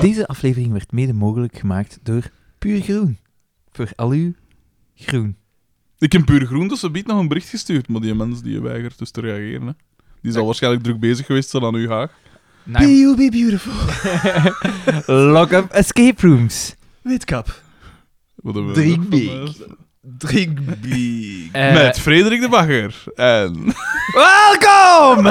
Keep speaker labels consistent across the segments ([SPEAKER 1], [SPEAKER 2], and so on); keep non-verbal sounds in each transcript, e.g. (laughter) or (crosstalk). [SPEAKER 1] Deze aflevering werd mede mogelijk gemaakt door Puur Groen. Voor al uw groen.
[SPEAKER 2] Ik heb puur groen, dus ze biedt nog een bericht gestuurd, maar die mens die weigert dus te reageren. Hè. Die zal waarschijnlijk druk bezig geweest zijn aan uw haag.
[SPEAKER 1] Be you be (laughs) beautiful. Lock up escape rooms.
[SPEAKER 3] Witkap.
[SPEAKER 2] Wat hebben we
[SPEAKER 3] Drink
[SPEAKER 2] nog van,
[SPEAKER 3] big. Drink big.
[SPEAKER 2] eh,
[SPEAKER 1] Eh,
[SPEAKER 2] Met Frederik de Bagger. En
[SPEAKER 1] (laughs) Welkom!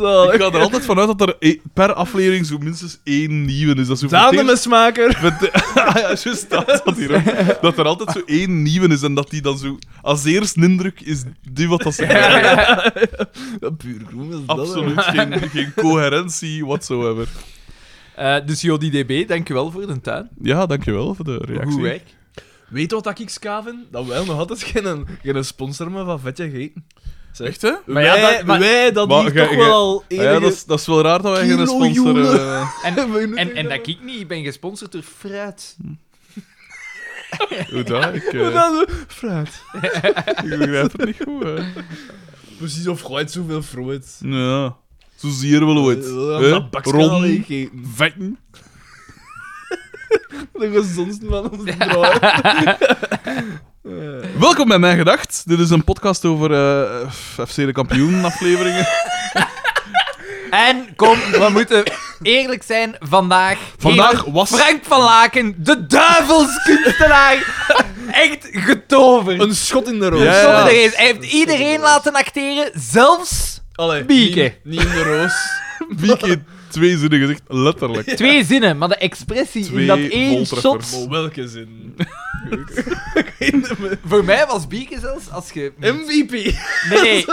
[SPEAKER 3] Zo.
[SPEAKER 2] ik ga er altijd vanuit dat er e- per aflevering zo minstens één nieuwe is. Dat is zo voor het
[SPEAKER 3] Daan de smaker.
[SPEAKER 1] (laughs)
[SPEAKER 2] Met de- (laughs) ah, ja, juist, dat zat hier ook. Dat er altijd zo één nieuwe is en dat die dan zo... Als eerst een indruk is die wat (laughs) dat ze krijgen.
[SPEAKER 3] Puur groen is dat.
[SPEAKER 2] Absoluut geen, geen coherentie whatsoever.
[SPEAKER 1] Eh, dus JodiDB, dankjewel voor de tuin.
[SPEAKER 2] Ja, dankjewel voor de reactie.
[SPEAKER 1] Goed werk.
[SPEAKER 3] Weet wat dat ik skaven? Dat wij nog altijd geen, geen sponsor meer van vetje gegeten. Zeg.
[SPEAKER 2] Echt, hè?
[SPEAKER 1] Maar ja,
[SPEAKER 3] wij,
[SPEAKER 1] dat- maar-
[SPEAKER 3] wij dat
[SPEAKER 2] Maar
[SPEAKER 3] hier
[SPEAKER 2] ge-
[SPEAKER 3] toch
[SPEAKER 2] ge- Ah
[SPEAKER 3] wel al enige...
[SPEAKER 2] ja, dat is, dat is wel raar dat wij geen sponsor...
[SPEAKER 3] Kilojoule.
[SPEAKER 2] eh,
[SPEAKER 1] En,
[SPEAKER 3] minuten
[SPEAKER 1] en, en dat
[SPEAKER 3] hebben.
[SPEAKER 1] ik niet, ik ben gesponsord door fruit.
[SPEAKER 2] Hoe dat? Ik, eh,
[SPEAKER 3] Maar dan, eh, fruit.
[SPEAKER 2] ik begrijp het niet goed, hè.
[SPEAKER 3] Precies, of fruit, zoveel fruit.
[SPEAKER 2] Ja, zo zeer wel ooit.
[SPEAKER 3] Eh,
[SPEAKER 2] hè?
[SPEAKER 3] dat bakje al
[SPEAKER 2] Ronden,
[SPEAKER 3] gegeten. (laughs)
[SPEAKER 2] vetten.
[SPEAKER 3] De gezondste van
[SPEAKER 1] (laughs)
[SPEAKER 3] onze draai.
[SPEAKER 2] Welkom bij Mijn Gedacht. Dit is een podcast over eh, FC de
[SPEAKER 1] (laughs)
[SPEAKER 2] Kampioen afleveringen.
[SPEAKER 1] En kom, we moeten eerlijk zijn, vandaag...
[SPEAKER 2] Vandaag
[SPEAKER 1] heeft
[SPEAKER 2] was...
[SPEAKER 1] Frank van Laken, de (laughs) duivelskunstenaar, echt getoverd.
[SPEAKER 3] Een schot in de roos.
[SPEAKER 2] Ja, ja.
[SPEAKER 1] Zonder er eens. Hij heeft iedereen laten acteren, zelfs
[SPEAKER 3] Allee,
[SPEAKER 1] Bieke.
[SPEAKER 3] Niet, niet in de roos. (laughs)
[SPEAKER 2] Wieke heeft twee zinnen gezegd, letterlijk.
[SPEAKER 1] (laughs) twee zinnen, maar de expressie
[SPEAKER 2] Twee
[SPEAKER 1] in dat één
[SPEAKER 2] voltreffers.
[SPEAKER 1] shot.
[SPEAKER 3] Maar
[SPEAKER 2] (laughs)
[SPEAKER 3] welke zin?
[SPEAKER 1] (laughs) Voor mij was Bieke zelfs als je.
[SPEAKER 3] MVP.
[SPEAKER 1] Nee,
[SPEAKER 2] (laughs)
[SPEAKER 1] nee.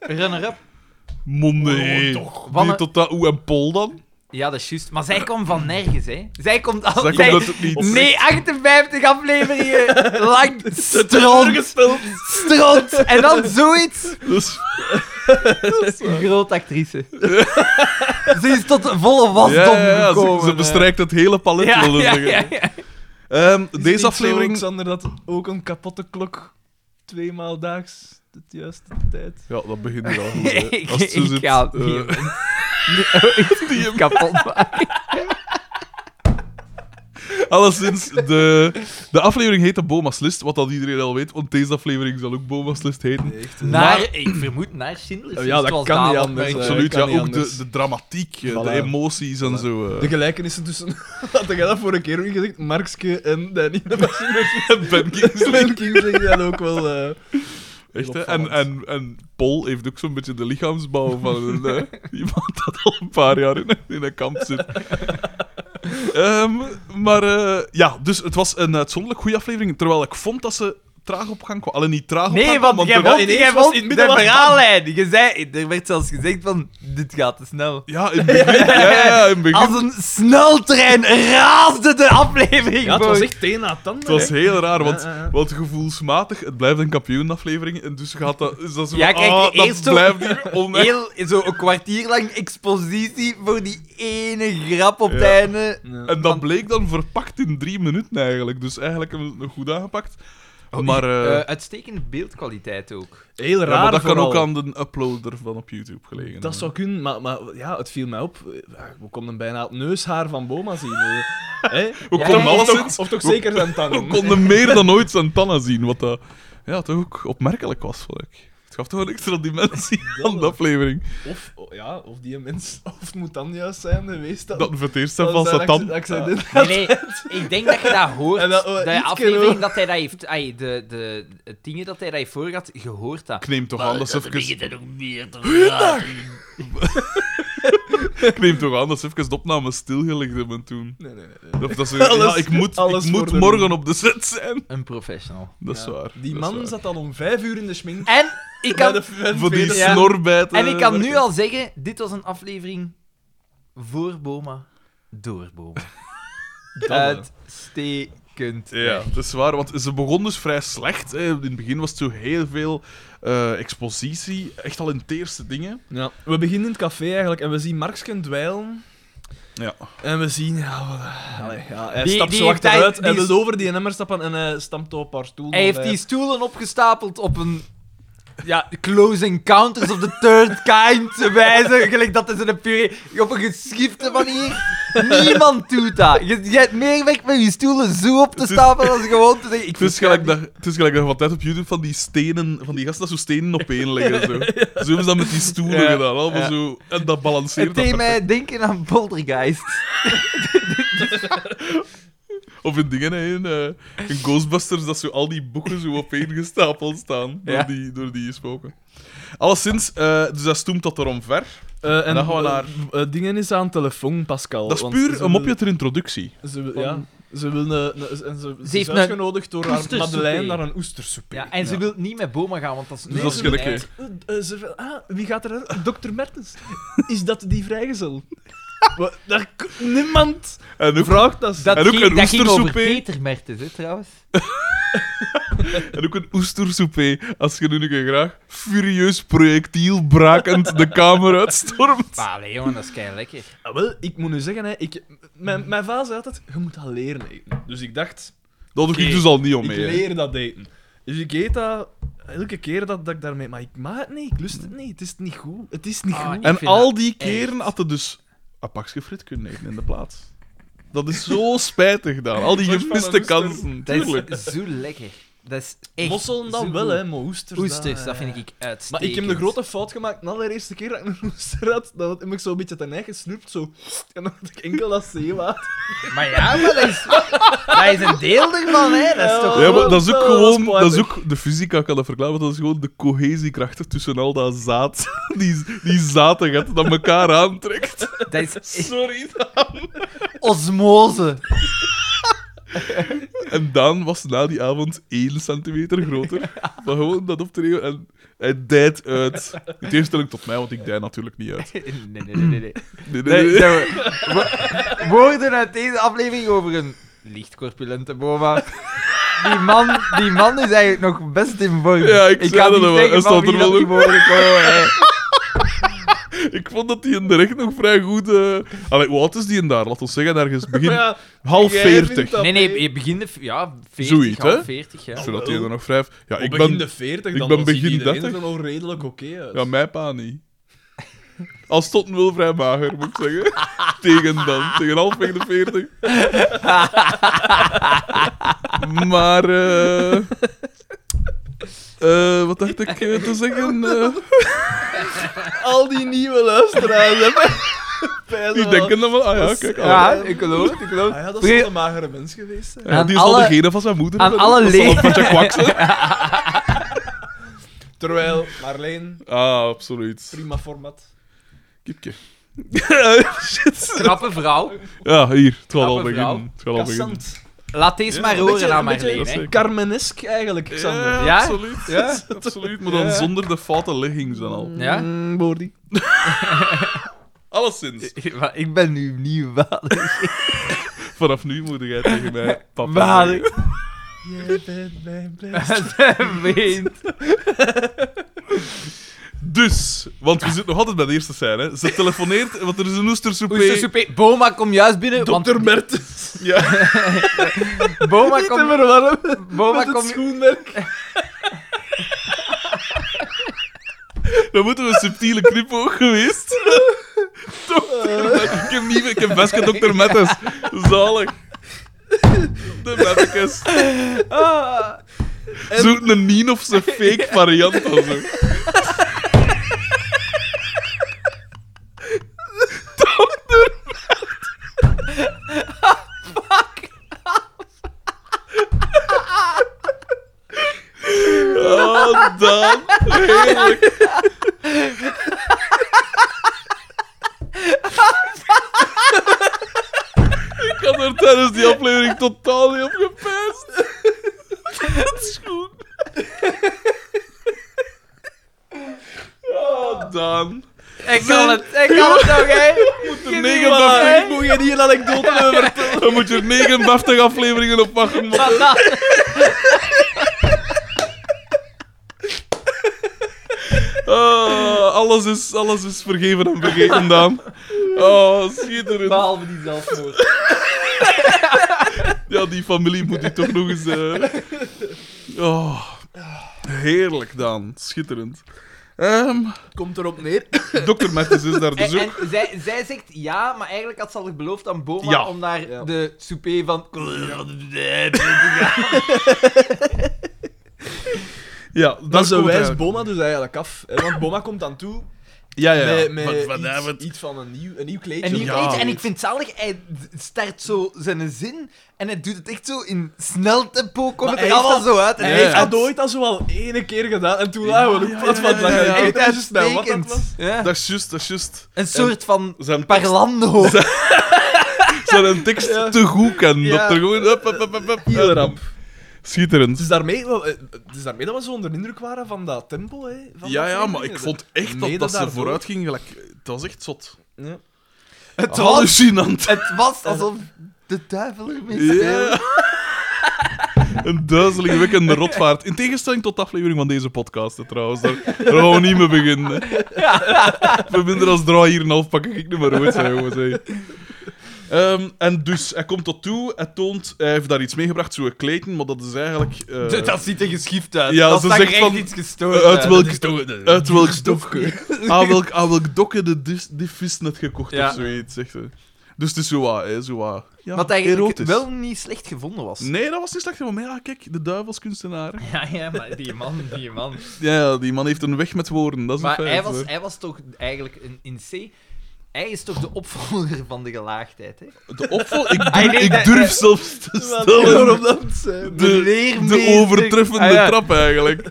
[SPEAKER 1] Runner-up. Oh,
[SPEAKER 2] Monde, hé.
[SPEAKER 3] toch.
[SPEAKER 2] Die
[SPEAKER 1] Wanne-
[SPEAKER 2] tot dat... Oeh, en Pol dan?
[SPEAKER 1] Ja, dat is juist. Maar zij komt van nergens, hè? Zij komt al.
[SPEAKER 2] Zij
[SPEAKER 1] zij-
[SPEAKER 2] komt uit het niets.
[SPEAKER 1] Oh, Nee, 58 afleveringen lang stront,
[SPEAKER 3] gespeeld.
[SPEAKER 1] stront. En dan zoiets.
[SPEAKER 2] (laughs) Dus,
[SPEAKER 1] Groot
[SPEAKER 2] (laughs)
[SPEAKER 1] actrice. ze is tot de volle wasdom
[SPEAKER 2] ja, ja, ja,
[SPEAKER 1] gekomen. eh.
[SPEAKER 2] ze, ze bestrijkt het hele palet,
[SPEAKER 1] ja,
[SPEAKER 2] wilde
[SPEAKER 1] ja,
[SPEAKER 2] zeggen.
[SPEAKER 1] ja, ja.
[SPEAKER 2] Ehm, deze aflevering...
[SPEAKER 3] Alexander, dat ook een kapotte klok tweemaal daags de juiste tijd.
[SPEAKER 2] Ja, dat begint (laughs) hier al goed. hè.
[SPEAKER 1] Ik,
[SPEAKER 2] Als het
[SPEAKER 1] (laughs)
[SPEAKER 2] zo
[SPEAKER 1] ik
[SPEAKER 2] zit,
[SPEAKER 1] ga het
[SPEAKER 2] eh,
[SPEAKER 1] niet doen.
[SPEAKER 2] die-
[SPEAKER 1] kapot maken.
[SPEAKER 2] Alleszins, de, de aflevering heet de Boma's List, wat dat iedereen al weet, want deze aflevering zal ook Boma's List heten.
[SPEAKER 3] Echt.
[SPEAKER 1] Naar,
[SPEAKER 2] Maar-
[SPEAKER 1] ik vermoed naar Schindler's
[SPEAKER 3] Ja,
[SPEAKER 1] List,
[SPEAKER 3] dat
[SPEAKER 1] zoals
[SPEAKER 3] kan niet
[SPEAKER 1] David
[SPEAKER 3] anders,
[SPEAKER 1] Berg.
[SPEAKER 3] hè.
[SPEAKER 2] Absoluut,
[SPEAKER 3] Eh, kan
[SPEAKER 2] ja,
[SPEAKER 3] niet
[SPEAKER 2] ook de,
[SPEAKER 3] anders.
[SPEAKER 2] de dramatiek, eh,
[SPEAKER 3] Voilà.
[SPEAKER 2] de emoties en
[SPEAKER 3] Voilà.
[SPEAKER 2] zo. (laughs) eh.
[SPEAKER 3] De gelijkenissen tussen, (laughs) had ik dat vorige keer ook gezegd, Markske en Danny.
[SPEAKER 2] (laughs) ben Kingsley.
[SPEAKER 3] (laughs) Slim King zegt dat ook wel. eh,
[SPEAKER 2] Echt, hè? En,
[SPEAKER 3] opvallend.
[SPEAKER 2] en, en Paul heeft ook zo'n beetje de lichaamsbouw van een, eh,
[SPEAKER 3] (laughs)
[SPEAKER 2] iemand dat al een paar jaar in een, in een kamp zit. Ehm, maar eh, ja, dus het was een uitzonderlijk goede aflevering, terwijl ik vond dat ze traag op gang kwam. Alleen niet traag op gang
[SPEAKER 1] Nee,
[SPEAKER 2] kwam,
[SPEAKER 1] want jij
[SPEAKER 2] er-
[SPEAKER 3] wel
[SPEAKER 1] vond,
[SPEAKER 3] ineens
[SPEAKER 1] jij
[SPEAKER 3] was
[SPEAKER 1] vond
[SPEAKER 3] in het
[SPEAKER 1] de
[SPEAKER 3] midden was
[SPEAKER 1] verhaallijn. Je zei, er werd zelfs gezegd van, dit gaat te snel.
[SPEAKER 2] Ja, in het begin. Ja, ja, ja, in het begin.
[SPEAKER 1] Als een sneltrein raasde de aflevering
[SPEAKER 3] Ja, het was
[SPEAKER 1] voor.
[SPEAKER 3] echt teen na tanden.
[SPEAKER 2] Het was
[SPEAKER 3] hè.
[SPEAKER 2] heel raar, want,
[SPEAKER 3] Ja, ja, ja.
[SPEAKER 2] want gevoelsmatig, het blijft een kampioenaflevering. En dus gaat dat, is dat zo
[SPEAKER 1] Ja,
[SPEAKER 2] van,
[SPEAKER 1] kijk,
[SPEAKER 2] ah,
[SPEAKER 1] eerst zo-
[SPEAKER 2] dat
[SPEAKER 1] (laughs)
[SPEAKER 2] blijft hier on-
[SPEAKER 1] Heel, zo een kwartier lang expositie voor die ene grap op het
[SPEAKER 2] Ja.
[SPEAKER 1] einde.
[SPEAKER 3] Ja.
[SPEAKER 2] En dat bleek dan verpakt in drie minuten eigenlijk. Dus eigenlijk hebben we het nog goed aangepakt.
[SPEAKER 3] Oh,
[SPEAKER 2] maar, eh,
[SPEAKER 1] Eh, uitstekende beeldkwaliteit (laughs) ook.
[SPEAKER 3] Heel raar.
[SPEAKER 2] ja, maar dat kan
[SPEAKER 3] vooral.
[SPEAKER 2] ook aan de uploader van op YouTube gelegen.
[SPEAKER 3] Dat zou kunnen, maar, maar ja, het viel mij op. Eh, We konden bijna het neushaar van Boma zien.
[SPEAKER 2] (laughs)
[SPEAKER 3] eh. Hè?
[SPEAKER 2] We
[SPEAKER 1] Ja,
[SPEAKER 2] konden
[SPEAKER 1] ja,
[SPEAKER 2] alles
[SPEAKER 3] of,
[SPEAKER 2] zien.
[SPEAKER 3] toch, of toch zeker
[SPEAKER 2] (laughs)
[SPEAKER 3] zijn
[SPEAKER 2] We
[SPEAKER 3] tanden.
[SPEAKER 2] konden meer dan ooit zijn tanden zien. Wat dat, ja, toch ook opmerkelijk was, vond ik. Het gaf toch een extra dimensie aan de aflevering.
[SPEAKER 3] Of, oh, ja, of die mens, (laughs) of het moet dan juist zijn geweest. Dat,
[SPEAKER 2] Dat voor het eerst
[SPEAKER 3] dat
[SPEAKER 2] van Ah.
[SPEAKER 3] zijn
[SPEAKER 2] zijn tand.
[SPEAKER 3] acc- accident.
[SPEAKER 1] Nee, nee, ik denk dat je dat hoort.
[SPEAKER 3] En
[SPEAKER 1] Dat,
[SPEAKER 3] dat-
[SPEAKER 1] de
[SPEAKER 3] ietsje
[SPEAKER 1] aflevering
[SPEAKER 3] hoor.
[SPEAKER 1] dat hij dat heeft... ai, de, de, het ding dat hij dat heeft voorgehad, je hoort dat.
[SPEAKER 2] Ik neem toch aan dat ze even...
[SPEAKER 1] begint er nog meer te
[SPEAKER 2] Ah.
[SPEAKER 1] raken.
[SPEAKER 2] Ik neem toch aan dat ze even de opname stilgelegd hebben toen.
[SPEAKER 3] Nee, nee, nee. nee.
[SPEAKER 2] Of dat ze...
[SPEAKER 3] (laughs) Alles-
[SPEAKER 2] ja, ik moet,
[SPEAKER 3] alles
[SPEAKER 2] ik moet
[SPEAKER 3] voor de
[SPEAKER 2] morgen op de set zijn.
[SPEAKER 1] Een professional.
[SPEAKER 2] Dat is
[SPEAKER 3] Ja.
[SPEAKER 2] waar.
[SPEAKER 3] Die
[SPEAKER 2] dat is
[SPEAKER 3] man
[SPEAKER 2] waar.
[SPEAKER 3] zat al om vijf uur in de schmink.
[SPEAKER 1] En ik
[SPEAKER 3] bij
[SPEAKER 1] kan,
[SPEAKER 3] de bij de
[SPEAKER 2] Voor die
[SPEAKER 3] tweede-
[SPEAKER 1] Ja.
[SPEAKER 2] snorbijten.
[SPEAKER 1] en ik kan nu al zeggen, dit was een aflevering voor Boma, door
[SPEAKER 2] (laughs)
[SPEAKER 1] Boma.
[SPEAKER 3] Dat, hè.
[SPEAKER 1] Uitstekend.
[SPEAKER 2] Ja, dat is waar, want ze begon dus vrij slecht. Hè. In het begin was het zo heel veel eh, expositie, echt al in het eerste dingen.
[SPEAKER 3] Ja. We beginnen in het café eigenlijk en we zien Marksken dwijlen.
[SPEAKER 2] Ja.
[SPEAKER 3] En we zien... Ja, wat- allee, ja, hij
[SPEAKER 1] Die-
[SPEAKER 3] stapt
[SPEAKER 1] die
[SPEAKER 3] zo
[SPEAKER 1] heeft
[SPEAKER 3] achteruit,
[SPEAKER 1] hij-
[SPEAKER 3] hij
[SPEAKER 1] die
[SPEAKER 3] wil over die emmer stappen en hij stampt op haar stoel.
[SPEAKER 1] Hij heeft
[SPEAKER 3] want
[SPEAKER 1] die stoelen opgestapeld op een ja, close encounters of the third kind wijzen. (laughs) Gelijk dat is in een puree. Op een geschifte manier. Niemand doet dat. Je, je hebt meer weg met je stoelen zo op te
[SPEAKER 2] is-
[SPEAKER 1] stapelen als gewoon te zeggen... Ik
[SPEAKER 2] Het is
[SPEAKER 1] versta
[SPEAKER 2] gelijk dat, het is gelijk dat je van tijd op YouTube van die stenen, van die gasten dat zo stenen op één leggen.
[SPEAKER 3] (laughs)
[SPEAKER 2] Zo, zo hebben ze dat met die stoelen
[SPEAKER 1] Ja.
[SPEAKER 2] gedaan. Allemaal
[SPEAKER 1] Ja.
[SPEAKER 2] zo, en dat
[SPEAKER 1] niet.
[SPEAKER 2] balanceert
[SPEAKER 1] Het
[SPEAKER 2] dat
[SPEAKER 1] deed
[SPEAKER 2] perfect.
[SPEAKER 1] mij denken aan Poltergeist.
[SPEAKER 2] Of in dingen, hè, in, eh, in Ghostbusters, dat zo al die boeken zo opeen gestapeld staan door,
[SPEAKER 1] Ja.
[SPEAKER 2] die, door die spoken. Alleszins, eh, dus dat stoemt tot erom ver.
[SPEAKER 3] Eh, en
[SPEAKER 2] Dan gaan we
[SPEAKER 3] eh,
[SPEAKER 2] naar-
[SPEAKER 3] eh, dingen is aan telefoon, Pascal.
[SPEAKER 2] Dat is
[SPEAKER 3] want
[SPEAKER 2] puur
[SPEAKER 3] ze
[SPEAKER 2] een mopje
[SPEAKER 3] wil-
[SPEAKER 2] ter introductie.
[SPEAKER 3] Ze, wil-
[SPEAKER 2] van-
[SPEAKER 3] ja, ze, wil een, een- en ze, ze,
[SPEAKER 1] heeft
[SPEAKER 3] is
[SPEAKER 1] een
[SPEAKER 3] uitgenodigd door haar
[SPEAKER 1] oestersoepé.
[SPEAKER 3] Madeleine naar een oestersoepé.
[SPEAKER 1] Ja, en ze wil niet met Boma gaan, want dat is...
[SPEAKER 2] Dus dat is gelijk, hè.
[SPEAKER 3] Eh, eh, ze wil- ah, wie gaat er? Dr. Mertens. Is dat die vrijgezel? Wat, dat, niemand
[SPEAKER 2] En ook,
[SPEAKER 3] vraagt dat.
[SPEAKER 1] Dat
[SPEAKER 2] En ook
[SPEAKER 1] ging,
[SPEAKER 2] een
[SPEAKER 1] dat ging over
[SPEAKER 2] oestersoepé.
[SPEAKER 1] Peter Mertens, hè, trouwens.
[SPEAKER 2] en ook een oestersoepé, als je nu een keer graag furieus projectiel brakend de kamer uitstormt.
[SPEAKER 1] Maar allee, jongen, dat is kei lekker.
[SPEAKER 3] Ah, wel, ik moet nu zeggen, hè, ik, mijn, mijn vader zei altijd, je moet dat leren eten. Dus ik dacht,
[SPEAKER 2] Dat doe ik
[SPEAKER 3] Oké,
[SPEAKER 2] dus al niet om
[SPEAKER 3] ik
[SPEAKER 2] mee. hè.
[SPEAKER 3] leer dat eten. Dus ik eet dat elke keer dat, dat ik daarmee... Maar ik maak het niet, ik lust het niet, het is niet goed. Het is niet
[SPEAKER 1] Ah,
[SPEAKER 3] goed.
[SPEAKER 1] ik
[SPEAKER 2] En
[SPEAKER 1] vind
[SPEAKER 2] al
[SPEAKER 1] dat
[SPEAKER 2] die
[SPEAKER 1] echt-
[SPEAKER 2] keren had je dus een pakje frit kunnen eten in de plaats. Dat is zo spijtig dan. Al die
[SPEAKER 3] Soort van
[SPEAKER 2] gemiste
[SPEAKER 3] een oester.
[SPEAKER 1] (laughs)
[SPEAKER 2] kansen.
[SPEAKER 1] Dat
[SPEAKER 2] Tuurlijk.
[SPEAKER 1] is zo lekker. Dat is echt
[SPEAKER 3] Mosselen
[SPEAKER 1] zo
[SPEAKER 3] dan wel,
[SPEAKER 1] goed.
[SPEAKER 3] hè, maar oesters...
[SPEAKER 1] Oesters, dat vind
[SPEAKER 3] eh.
[SPEAKER 1] ik uitstekend.
[SPEAKER 3] Maar ik heb de grote fout gemaakt, na de eerste keer dat ik een (laughs) oester had, dan heb ik zo een beetje ten eigen gesnoept, zo... (laughs) En dan had ik enkel dat zeewater.
[SPEAKER 1] Maar ja, maar dat is, dat is een deel ervan, hè. Dat is toch...
[SPEAKER 2] Ja, maar dat is ook
[SPEAKER 3] Oh,
[SPEAKER 2] gewoon...
[SPEAKER 3] dat is
[SPEAKER 2] Dat is ook, de fysica kan dat verklaren, want dat is gewoon de cohesiekrachten tussen al dat zaad. (laughs) Die, die zaten dat elkaar aantrekt.
[SPEAKER 1] Dat is echt
[SPEAKER 2] Sorry.
[SPEAKER 1] osmose.
[SPEAKER 2] En Daan was na die avond 1 centimeter groter. Maar gewoon dat optreden en hij dijt uit. In tegenstelling tot mij, want ik dij natuurlijk niet uit.
[SPEAKER 1] Nee, nee, nee, nee. nee.
[SPEAKER 2] Nee,
[SPEAKER 1] Nee,
[SPEAKER 2] nee, nee.
[SPEAKER 1] dat we- wo- woorden uit deze aflevering over een licht corpulente boma. Die man, die man is eigenlijk nog best in vorm.
[SPEAKER 2] Ja, ik zei
[SPEAKER 1] kan
[SPEAKER 2] dat
[SPEAKER 1] niet
[SPEAKER 2] wel,
[SPEAKER 1] zeggen
[SPEAKER 2] hij
[SPEAKER 1] van
[SPEAKER 2] stond
[SPEAKER 1] wie
[SPEAKER 2] er
[SPEAKER 1] dat
[SPEAKER 2] wel
[SPEAKER 1] die
[SPEAKER 2] in.
[SPEAKER 1] woorden komen, hè.
[SPEAKER 2] (laughs) Ik vond dat die in de recht nog vrij goed. eh Allee, hoe oud is die in daar? Laat ons zeggen, ergens begin.
[SPEAKER 1] (laughs)
[SPEAKER 3] Maar ja,
[SPEAKER 2] half
[SPEAKER 3] jij vindt
[SPEAKER 2] 40.
[SPEAKER 3] dat
[SPEAKER 1] Nee, nee,
[SPEAKER 3] mee.
[SPEAKER 1] je begint de... v- Ja, 40,
[SPEAKER 2] Zoiets,
[SPEAKER 1] half
[SPEAKER 2] hè?
[SPEAKER 1] 40, ja.
[SPEAKER 2] Zodat die er nog vijf. Ja, ik
[SPEAKER 3] ik begin
[SPEAKER 2] ben.
[SPEAKER 3] de 40,
[SPEAKER 2] ik
[SPEAKER 3] dan,
[SPEAKER 2] ben
[SPEAKER 3] dan begin
[SPEAKER 2] begin
[SPEAKER 3] ziet iedereen
[SPEAKER 2] 30.
[SPEAKER 3] er nog redelijk oké uit.
[SPEAKER 2] Ja, mijn pa niet. Al stond hem wel vrij mager, moet ik zeggen. Tegen dan, tegen halfweg de 40. Maar, eh. eh, wat dacht ik eh, te zeggen? Eh,
[SPEAKER 3] Al die nieuwe luisteraars (laughs) hebben...
[SPEAKER 2] die denken dan wel, ah ja, kijk. ah,
[SPEAKER 1] Ja, ik geloof het, ik geloof
[SPEAKER 3] Ah ja,
[SPEAKER 1] het.
[SPEAKER 3] dat is een magere mens geweest. Hè.
[SPEAKER 2] ja,
[SPEAKER 1] aan
[SPEAKER 2] die is al
[SPEAKER 1] alle-
[SPEAKER 2] degene van zijn moeder.
[SPEAKER 1] aan
[SPEAKER 2] dat is
[SPEAKER 1] alle
[SPEAKER 2] al een
[SPEAKER 1] le-
[SPEAKER 2] beetje kwak zijn.
[SPEAKER 3] Terwijl Marleen,
[SPEAKER 2] Ah, absoluut.
[SPEAKER 3] prima format.
[SPEAKER 2] Kipje. Shit.
[SPEAKER 1] (laughs) Knappe vrouw.
[SPEAKER 2] Ja, hier. Het gaat al
[SPEAKER 1] Knappe
[SPEAKER 2] beginnen. Het gaat al beginnen.
[SPEAKER 3] Cassant.
[SPEAKER 1] Laat deze maar
[SPEAKER 3] Een beetje-
[SPEAKER 1] horen aan
[SPEAKER 3] een beetje
[SPEAKER 1] Marleen, hè.
[SPEAKER 2] hè.
[SPEAKER 3] Carmenesk eigenlijk, Xander.
[SPEAKER 2] Ja,
[SPEAKER 1] Ja?
[SPEAKER 2] absoluut.
[SPEAKER 3] Ja?
[SPEAKER 2] (laughs) absoluut. Maar dan
[SPEAKER 3] Ja.
[SPEAKER 2] zonder de foute ligging zijn al.
[SPEAKER 1] Ja?
[SPEAKER 3] Mm, Bordy.
[SPEAKER 2] Alleszins.
[SPEAKER 1] (laughs) Maar ik ben nu nieuw vader.
[SPEAKER 2] Vanaf nu moet jij tegen mij papa
[SPEAKER 1] (laughs) Vader.
[SPEAKER 2] zeggen.
[SPEAKER 3] (laughs) Jij bent mijn best.
[SPEAKER 1] Meent.
[SPEAKER 2] Dus, want we zitten nog altijd bij de eerste scène. hè. Ze telefoneert, want er is een
[SPEAKER 1] Oester
[SPEAKER 2] oestersoepé.
[SPEAKER 1] soepé. Boma, kom juist binnen. want
[SPEAKER 3] Dr.
[SPEAKER 1] (laughs)
[SPEAKER 3] Mertens.
[SPEAKER 2] Ja.
[SPEAKER 1] Boma,
[SPEAKER 3] Kom
[SPEAKER 1] kom,
[SPEAKER 3] maar warm.
[SPEAKER 1] Boma,
[SPEAKER 3] Met het
[SPEAKER 1] kom,
[SPEAKER 3] schoenmerk.
[SPEAKER 2] Dan moeten we een subtiele knipoog geweest. Dokter, ik heb nieuwe, ik heb best dokter Mettes. Zalig. De Mettekes.
[SPEAKER 1] Ah.
[SPEAKER 2] Zoek een Nien of zijn fake variant of zo. Oh, dan. Heerlijk. Ik had er tijdens die aflevering totaal niet op gepest. Dat is goed. Oh, Dan.
[SPEAKER 1] Ik kan het, ik kan het ook, hè.
[SPEAKER 2] De negen baf-
[SPEAKER 3] Ik moet je die een anekdote hebben vertellen.
[SPEAKER 2] Dan moet je er 59 afleveringen op wachten. man. Ah, alles, is, alles is vergeven en vergeten, Daan. Oh, schitterend.
[SPEAKER 1] Behalve die zelfmoord.
[SPEAKER 2] Ja, die familie moet u toch nog eens. eh, Oh. Heerlijk, Daan. Schitterend. Ehm
[SPEAKER 3] Komt erop neer.
[SPEAKER 2] Dr. Mattis is daar dus
[SPEAKER 1] En,
[SPEAKER 2] ook.
[SPEAKER 1] en zij, zij zegt ja, maar eigenlijk had ze al beloofd aan Boma
[SPEAKER 2] Ja.
[SPEAKER 1] om naar
[SPEAKER 3] Ja.
[SPEAKER 1] de souper van...
[SPEAKER 2] Ja, dat
[SPEAKER 3] Dan
[SPEAKER 2] is
[SPEAKER 3] zo
[SPEAKER 2] komt
[SPEAKER 3] wijst
[SPEAKER 2] eigenlijk.
[SPEAKER 3] Boma dus eigenlijk af. hè, Want Boma komt aan toe
[SPEAKER 2] Ja, ja, ja.
[SPEAKER 3] met, met
[SPEAKER 2] Want
[SPEAKER 3] iets, iets van een nieuw, een nieuw kleedje.
[SPEAKER 1] En, die
[SPEAKER 2] Ja.
[SPEAKER 1] weet- en ik vind het zalig, hij start zo zijn zin en hij doet het echt zo in snel tempo, komt
[SPEAKER 3] Maar
[SPEAKER 1] het
[SPEAKER 3] hij
[SPEAKER 1] er
[SPEAKER 3] heeft
[SPEAKER 1] allemaal
[SPEAKER 3] dat-
[SPEAKER 1] zo uit. En
[SPEAKER 3] Hij
[SPEAKER 2] Ja,
[SPEAKER 1] hij
[SPEAKER 3] heeft
[SPEAKER 2] ja.
[SPEAKER 3] dat ooit al zo al ene keer gedaan en toen lagen we
[SPEAKER 2] ja,
[SPEAKER 3] ook plat
[SPEAKER 2] ja,
[SPEAKER 3] van
[SPEAKER 2] ja,
[SPEAKER 3] dat.
[SPEAKER 2] ja, ja.
[SPEAKER 3] Ik weet
[SPEAKER 1] Echt
[SPEAKER 3] juist bij wat dat
[SPEAKER 1] uitstekend.
[SPEAKER 3] was.
[SPEAKER 1] Ja.
[SPEAKER 2] Dat is juist, dat is juist.
[SPEAKER 1] Een soort van (laughs)
[SPEAKER 2] Zijn,
[SPEAKER 1] parlando.
[SPEAKER 2] zijn een tekst
[SPEAKER 3] Ja.
[SPEAKER 2] te goed kennen.
[SPEAKER 3] Ja.
[SPEAKER 2] Dat er gewoon... Up, up, up, up, up,
[SPEAKER 3] Heel ramp.
[SPEAKER 2] Schitterend.
[SPEAKER 3] Dus daarmee, wel, eh, dus daarmee dat we zo onder de indruk waren van dat tempo. Hè, van
[SPEAKER 2] Ja,
[SPEAKER 3] dat
[SPEAKER 2] ja,
[SPEAKER 3] soort
[SPEAKER 2] maar
[SPEAKER 3] dingen.
[SPEAKER 2] ik vond echt
[SPEAKER 3] Mede
[SPEAKER 2] dat, dat ze
[SPEAKER 3] daarvoor.
[SPEAKER 2] vooruit ging. Gelijk, dat was echt zot.
[SPEAKER 3] Ja.
[SPEAKER 1] Het was,
[SPEAKER 2] Hallucinant.
[SPEAKER 1] het was alsof de duivel ermee speelde.
[SPEAKER 2] Ja. (laughs) Een
[SPEAKER 1] (laughs)
[SPEAKER 2] duizelingwekkende rotvaart. In tegenstelling tot de aflevering van deze podcast, hè, trouwens. Daar, daar gaan we niet mee beginnen.
[SPEAKER 1] (laughs)
[SPEAKER 2] Voor minder dan draai hier een half pak ik nummer ooit, hè, jongens. hè.
[SPEAKER 1] (laughs)
[SPEAKER 2] Ehm, en dus, hij komt tot toe, hij toont, hij heeft daar iets meegebracht, zo'n kleten, maar dat is eigenlijk... eh,
[SPEAKER 1] D- (laughs) Dat ziet er geschift uit.
[SPEAKER 2] Ja,
[SPEAKER 1] dat
[SPEAKER 2] ze
[SPEAKER 1] zag er
[SPEAKER 2] zegt
[SPEAKER 1] echt
[SPEAKER 2] van- eh,
[SPEAKER 1] iets gestoord
[SPEAKER 2] uit welk,
[SPEAKER 1] Dat is toch-
[SPEAKER 2] uit
[SPEAKER 1] (laughs)
[SPEAKER 2] welk
[SPEAKER 3] Stofke.
[SPEAKER 2] aan welk, aan welk dokken de dis- die vis net gekocht
[SPEAKER 1] Ja.
[SPEAKER 2] of zoiets, zegt hij. Dus het is zo wat, hè, zo wat... Ja,
[SPEAKER 1] Wat eigenlijk
[SPEAKER 2] erotisch.
[SPEAKER 1] wel niet slecht gevonden was.
[SPEAKER 2] Nee, dat was niet slecht, maar ja, kijk, de duivelskunstenaar.
[SPEAKER 1] Ja, ja, maar die man, die man.
[SPEAKER 2] Ja, die man heeft een weg met woorden, dat is
[SPEAKER 1] Maar
[SPEAKER 2] een feit.
[SPEAKER 1] hij was,
[SPEAKER 2] hoor.
[SPEAKER 1] hij was toch eigenlijk in, in C... Hij is toch de opvolger van de gelaagdheid, hè?
[SPEAKER 2] De opvolg... Ik,
[SPEAKER 1] (laughs) Hij
[SPEAKER 2] durf-
[SPEAKER 1] denkt
[SPEAKER 2] ik
[SPEAKER 1] dat-
[SPEAKER 2] durf
[SPEAKER 1] dat-
[SPEAKER 2] zelfs te
[SPEAKER 3] Wat
[SPEAKER 2] stellen...
[SPEAKER 3] waarom dat het zijn.
[SPEAKER 2] De-
[SPEAKER 1] leermeester.
[SPEAKER 2] De overtreffende
[SPEAKER 1] Ah, ja.
[SPEAKER 2] trap, eigenlijk.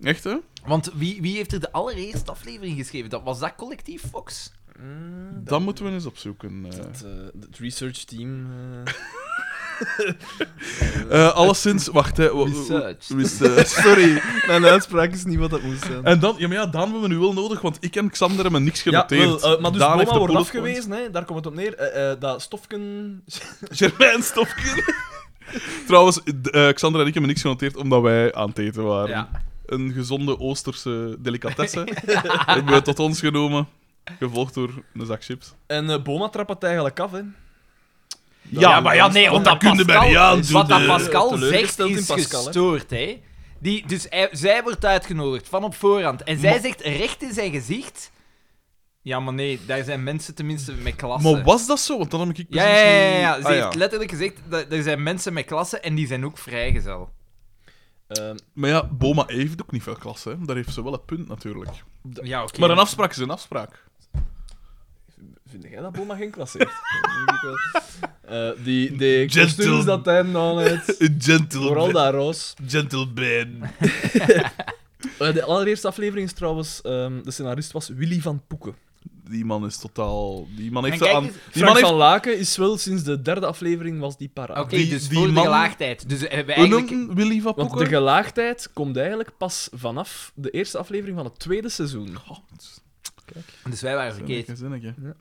[SPEAKER 2] Echt, hè?
[SPEAKER 1] Want wie, wie heeft er de allereerste aflevering geschreven? Dat, was dat collectief Fox?
[SPEAKER 2] Dat, moeten we eens opzoeken. eh.
[SPEAKER 3] Het, eh, het research team. eh,
[SPEAKER 2] Eh, alleszins... Wacht, hè. wa-
[SPEAKER 1] Research.
[SPEAKER 2] research.
[SPEAKER 3] Sorry,
[SPEAKER 1] (laughs)
[SPEAKER 3] mijn uitspraak is niet wat dat moest
[SPEAKER 2] (laughs)
[SPEAKER 3] zijn.
[SPEAKER 2] En dan... Ja, maar ja, Daan hebben we nu wel nodig, want ik en Xander hebben niks genoteerd.
[SPEAKER 3] Ja, wel, eh, maar dus
[SPEAKER 2] Daan heeft
[SPEAKER 3] Boma
[SPEAKER 2] de
[SPEAKER 3] wordt
[SPEAKER 2] bullet points. (laughs)
[SPEAKER 3] afgewezen, hè? daar komt het op neer. Eh, eh, dat stofken...
[SPEAKER 2] Germijn Stofkin. (laughs) Trouwens, d- eh, Xander en ik hebben niks genoteerd omdat wij aan het eten waren.
[SPEAKER 1] Ja.
[SPEAKER 2] Een gezonde Oosterse delicatesse (laughs) hebben we tot ons genomen. Gevolgd door een zak chips.
[SPEAKER 3] En eh, Boma trapt het eigenlijk af, hè.
[SPEAKER 2] Ja,
[SPEAKER 1] maar ja, nee, want
[SPEAKER 2] dat
[SPEAKER 1] dat
[SPEAKER 2] kun je bij niet aan
[SPEAKER 1] Pascal,
[SPEAKER 2] doen,
[SPEAKER 1] wat dat
[SPEAKER 2] eh,
[SPEAKER 1] Pascal zegt
[SPEAKER 3] teleurgesteld in
[SPEAKER 1] is
[SPEAKER 3] Pascal, hè.
[SPEAKER 1] gestoord, hè? Die, dus hij- zij wordt uitgenodigd van op voorhand. En zij zegt recht in zijn gezicht: Ja, maar nee, daar zijn mensen tenminste met klassen.
[SPEAKER 2] Maar was dat zo? Want dan heb ik precies...
[SPEAKER 1] Ja, ja, ja, ja, ja.
[SPEAKER 2] niet-
[SPEAKER 1] Ze
[SPEAKER 2] Ah,
[SPEAKER 1] heeft letterlijk gezegd: dat, Er zijn mensen met klassen en die zijn ook vrijgezel.
[SPEAKER 3] Ehm,
[SPEAKER 2] Maar ja, Boma heeft ook niet veel klasse. Hè. Daar heeft ze wel een punt, natuurlijk.
[SPEAKER 1] Ja, oké.
[SPEAKER 2] Maar een afspraak is een afspraak.
[SPEAKER 3] vind jij dat Boma geen
[SPEAKER 1] (laughs)
[SPEAKER 3] klas heeft? Dat denk ik wel. Eh, die die
[SPEAKER 2] Gentle-
[SPEAKER 3] kostuums dat hij dan
[SPEAKER 2] (laughs)
[SPEAKER 3] heeft.
[SPEAKER 2] Een gentleman.
[SPEAKER 3] Vooral dat roos.
[SPEAKER 2] Gentleman.
[SPEAKER 3] Eh, de allereerste aflevering is trouwens... ehm, de scenarist was Willy van Poeken.
[SPEAKER 2] Die man is totaal... Die man heeft...
[SPEAKER 1] kijk
[SPEAKER 2] aan...
[SPEAKER 1] eens,
[SPEAKER 2] Die
[SPEAKER 3] Frank
[SPEAKER 2] man heeft...
[SPEAKER 3] van Laken is wel sinds de derde aflevering was die para.
[SPEAKER 1] Oké,
[SPEAKER 2] die-
[SPEAKER 1] dus
[SPEAKER 2] die
[SPEAKER 1] voor
[SPEAKER 2] man-
[SPEAKER 1] de gelaagdheid. Dus hebben we
[SPEAKER 2] Hoe
[SPEAKER 1] eigenlijk.
[SPEAKER 2] noemt Willy van
[SPEAKER 3] Want
[SPEAKER 2] Poeken?
[SPEAKER 3] de gelaagdheid komt eigenlijk pas vanaf de eerste aflevering van het tweede seizoen.
[SPEAKER 2] God.
[SPEAKER 1] Dus wij waren verkeerd.
[SPEAKER 2] Zinnetje, zinnetje.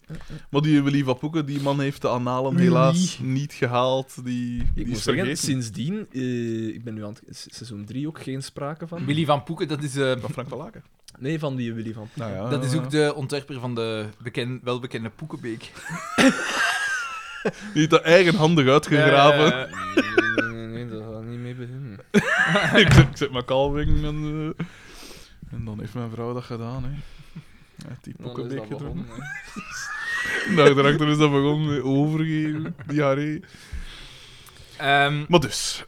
[SPEAKER 2] Maar die Willy van Poeken, die man heeft de analen
[SPEAKER 3] Willy.
[SPEAKER 2] helaas niet gehaald. Die,
[SPEAKER 3] Ik
[SPEAKER 2] die
[SPEAKER 3] moet
[SPEAKER 2] is
[SPEAKER 3] zeggen,
[SPEAKER 2] vergeten.
[SPEAKER 3] sindsdien, eh, ik ben nu aan het, se- seizoen 3 ook geen sprake van.
[SPEAKER 1] Willy van Poeken, dat is. eh,
[SPEAKER 2] Van Frank van Laken.
[SPEAKER 3] Nee, van die Willy van.
[SPEAKER 2] Nou ja,
[SPEAKER 1] Dat is
[SPEAKER 2] ja,
[SPEAKER 1] ook
[SPEAKER 2] ja.
[SPEAKER 1] de ontwerper van de beken, welbekende Poekenbeek.
[SPEAKER 2] Die heeft dat eigenhandig uitgegraven.
[SPEAKER 1] Eh,
[SPEAKER 3] Nee, nee, nee, dat gaat niet mee beginnen.
[SPEAKER 2] (laughs) ik, zet, ik zet mijn kalving en... eh, en dan heeft mijn vrouw dat gedaan, hè. Uit die pokkenbeek gedronken. (laughs) Nou, daarachter is dat begonnen. eh, Overgeven, diarree.
[SPEAKER 1] ehm,
[SPEAKER 2] Maar dus,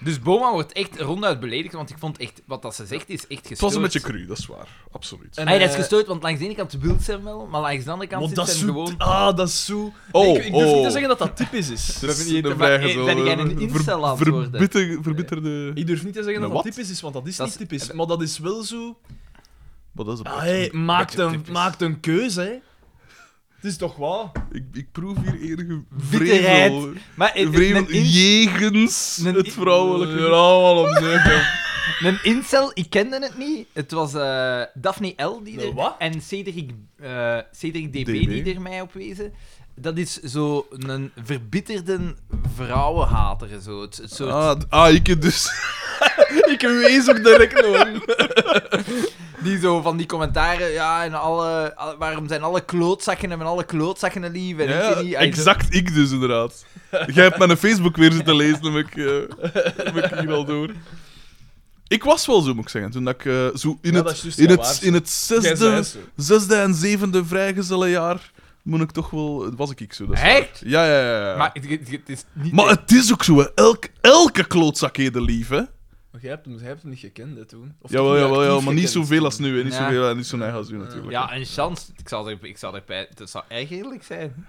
[SPEAKER 1] dus Boma wordt echt ronduit beledigd, want ik vond echt, wat dat ze zegt is echt gestoord.
[SPEAKER 2] het was een beetje cru, dat is waar. Absoluut.
[SPEAKER 3] En-
[SPEAKER 1] Hey, dat is
[SPEAKER 3] eh,
[SPEAKER 1] gestoord, want langs de ene kant wil ze hem wel, maar langs de andere kant zit
[SPEAKER 3] dat
[SPEAKER 1] ze
[SPEAKER 3] is
[SPEAKER 1] hem gewoon...
[SPEAKER 3] Ah, dat is zo.
[SPEAKER 2] Oh,
[SPEAKER 3] ik, ik durf
[SPEAKER 2] oh.
[SPEAKER 3] niet te zeggen dat dat
[SPEAKER 2] (laughs)
[SPEAKER 3] typisch is.
[SPEAKER 2] Het is
[SPEAKER 1] ben niet-
[SPEAKER 2] een
[SPEAKER 1] maar, eh,
[SPEAKER 2] vrijgezel,
[SPEAKER 1] ben jij
[SPEAKER 2] eh,
[SPEAKER 1] een incel aan het worden?
[SPEAKER 2] verbitter- Verbitterde...
[SPEAKER 3] Ik durf niet te zeggen
[SPEAKER 2] Nou,
[SPEAKER 3] dat dat
[SPEAKER 2] wat?
[SPEAKER 3] typisch is, want dat is
[SPEAKER 1] Dat
[SPEAKER 3] niet
[SPEAKER 1] is-
[SPEAKER 3] typisch. Maar dat is wel zo.
[SPEAKER 2] Maar dat is een
[SPEAKER 3] Ah,
[SPEAKER 2] beetje-
[SPEAKER 3] hey, maakt,
[SPEAKER 2] beetje
[SPEAKER 3] een,
[SPEAKER 2] typisch.
[SPEAKER 3] maakt een keuze, hè? Het is toch waar?
[SPEAKER 2] Ik, ik proef hier enige
[SPEAKER 1] Bitterheid.
[SPEAKER 2] vrevel.
[SPEAKER 1] Maar eh, eh,
[SPEAKER 2] Vrevel
[SPEAKER 1] een, in-
[SPEAKER 2] jegens
[SPEAKER 1] een
[SPEAKER 2] het
[SPEAKER 1] in-
[SPEAKER 2] vrouwelijke.
[SPEAKER 1] Ja,
[SPEAKER 2] allemaal om zeggen.
[SPEAKER 1] een incel, ik kende het niet. Het was eh Daphne L. die
[SPEAKER 3] De
[SPEAKER 1] er-
[SPEAKER 3] wat?
[SPEAKER 1] en Cedric, eh, Cedric DB,
[SPEAKER 2] DB.
[SPEAKER 1] die er mij op wezen. Dat is zo een verbitterde vrouwenhater. Zo. Het, het soort
[SPEAKER 2] (laughs) Ah, d- ah, ik dus.
[SPEAKER 3] (laughs) ik wees ook direct nog.
[SPEAKER 1] Die zo van die commentaren, ja, en alle, al- waarom zijn alle klootzakken en alle klootzakken een lief? En ik
[SPEAKER 2] Ja,
[SPEAKER 1] weet niet, hij zo-
[SPEAKER 2] exact ik dus, inderdaad. Jij hebt mijn Facebook weer zitten lezen, dan heb ik, eh, heb ik hier al door. Ik was wel zo, moet ik zeggen. Toen dat ik eh, zo in,
[SPEAKER 3] Ja, dat
[SPEAKER 2] het,
[SPEAKER 3] is juist,
[SPEAKER 2] in,
[SPEAKER 3] ja,
[SPEAKER 2] het,
[SPEAKER 3] waar.
[SPEAKER 2] in het
[SPEAKER 3] Jij zei
[SPEAKER 2] zesde,
[SPEAKER 3] zo.
[SPEAKER 2] zesde en zevende vrijgezellenjaar, moet ik toch wel... Was ik ik zo, dat is waar.
[SPEAKER 1] Echt?
[SPEAKER 2] Ja, ja, ja. ja.
[SPEAKER 1] Maar
[SPEAKER 2] Maar,
[SPEAKER 1] het, het- het is niet...
[SPEAKER 2] het is ook zo, hè. Elk, elke klootzak heette lief, hè.
[SPEAKER 3] Maar jij hebt hem, jij hebt hem niet gekend hè, toen. Of
[SPEAKER 2] Jawel,
[SPEAKER 3] toch niet
[SPEAKER 2] jawel, jawel,
[SPEAKER 3] actief
[SPEAKER 2] maar niet
[SPEAKER 3] gekend.
[SPEAKER 2] zoveel als nu, hè. Niet
[SPEAKER 1] Ja.
[SPEAKER 2] zoveel en niet zo neig als nu, natuurlijk.
[SPEAKER 1] Ja, een chance. Ik zal, er, ik zal erbij... Dat zou echt eerlijk zijn.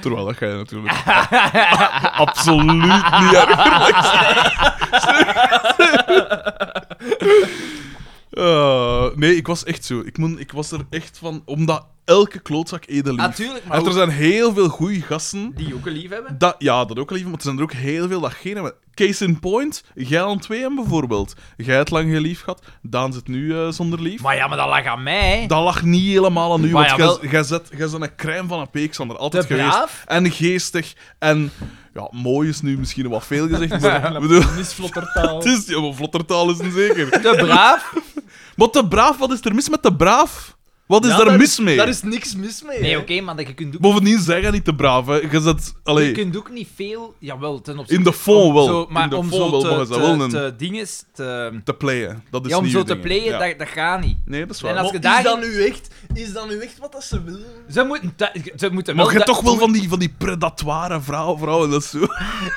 [SPEAKER 2] Terwijl dat ga je natuurlijk
[SPEAKER 1] (laughs)
[SPEAKER 2] absoluut niet erger bent. (laughs) Eh, nee, ik was echt zo. Ik, moet, ik was er echt van, omdat elke klootzak edel lief.
[SPEAKER 1] Natuurlijk, maar
[SPEAKER 2] En er zijn heel veel goede gasten.
[SPEAKER 1] die ook een lief hebben.
[SPEAKER 2] Dat, ja, dat ook lief, maar er zijn er ook heel veel dat geen hebben. Case in point, jij aan 2M bijvoorbeeld. Jij hebt lang geen lief gehad, Daan zit nu eh, zonder lief.
[SPEAKER 1] Maar ja, maar dat lag aan
[SPEAKER 4] (laughs)
[SPEAKER 1] mij.
[SPEAKER 2] Dat lag niet helemaal aan u,
[SPEAKER 1] Maar
[SPEAKER 2] want
[SPEAKER 1] jawel.
[SPEAKER 2] jij- jij zet- jij bent een crème van een peek, Sander. Altijd
[SPEAKER 1] Te
[SPEAKER 2] geweest.
[SPEAKER 1] braaf?
[SPEAKER 2] En geestig. En ja, mooi is nu misschien wat veel gezegd,
[SPEAKER 1] (laughs)
[SPEAKER 2] maar ik bedoel,
[SPEAKER 3] Misvlottertaal.
[SPEAKER 2] het is... Ja, maar vlottertaal is een zeker.
[SPEAKER 1] Te braaf.
[SPEAKER 2] (laughs) Maar te braaf, wat is er mis met te braaf? Wat is
[SPEAKER 3] Ja,
[SPEAKER 2] daar,
[SPEAKER 3] daar
[SPEAKER 2] mis mee?
[SPEAKER 3] Daar is niks mis mee.
[SPEAKER 1] Nee,
[SPEAKER 3] hè.
[SPEAKER 1] oké, maar dat je kunt ook...
[SPEAKER 2] Bovendien zeg je niet te braaf, hè. Je zet...
[SPEAKER 1] Je
[SPEAKER 2] Allee,
[SPEAKER 1] kunt ook niet veel... Jawel, ten opzichte...
[SPEAKER 2] in de fond
[SPEAKER 1] om
[SPEAKER 2] wel.
[SPEAKER 1] Zo, maar
[SPEAKER 2] in de
[SPEAKER 1] om
[SPEAKER 2] fond
[SPEAKER 1] zo
[SPEAKER 2] wel,
[SPEAKER 1] te,
[SPEAKER 2] maar je
[SPEAKER 1] te,
[SPEAKER 2] zet wel een...
[SPEAKER 1] te dinges, te...
[SPEAKER 2] te playen. Dat is
[SPEAKER 1] Ja, om
[SPEAKER 2] niet
[SPEAKER 1] zo
[SPEAKER 2] je
[SPEAKER 1] te
[SPEAKER 2] ding, hè.
[SPEAKER 1] playen,
[SPEAKER 2] Ja.
[SPEAKER 1] dat, dat gaat niet.
[SPEAKER 2] Nee, dat is
[SPEAKER 1] En
[SPEAKER 2] waar.
[SPEAKER 1] als
[SPEAKER 2] Maar-
[SPEAKER 1] je
[SPEAKER 3] Is
[SPEAKER 1] daar-
[SPEAKER 3] dat nu echt, is dat nu echt wat dat ze willen?
[SPEAKER 1] Ze moeten, da- ze moeten
[SPEAKER 2] Maar je
[SPEAKER 1] dat-
[SPEAKER 2] hebt toch wel van die, van die predatoire vrouwen, vrouwen, dat is zo.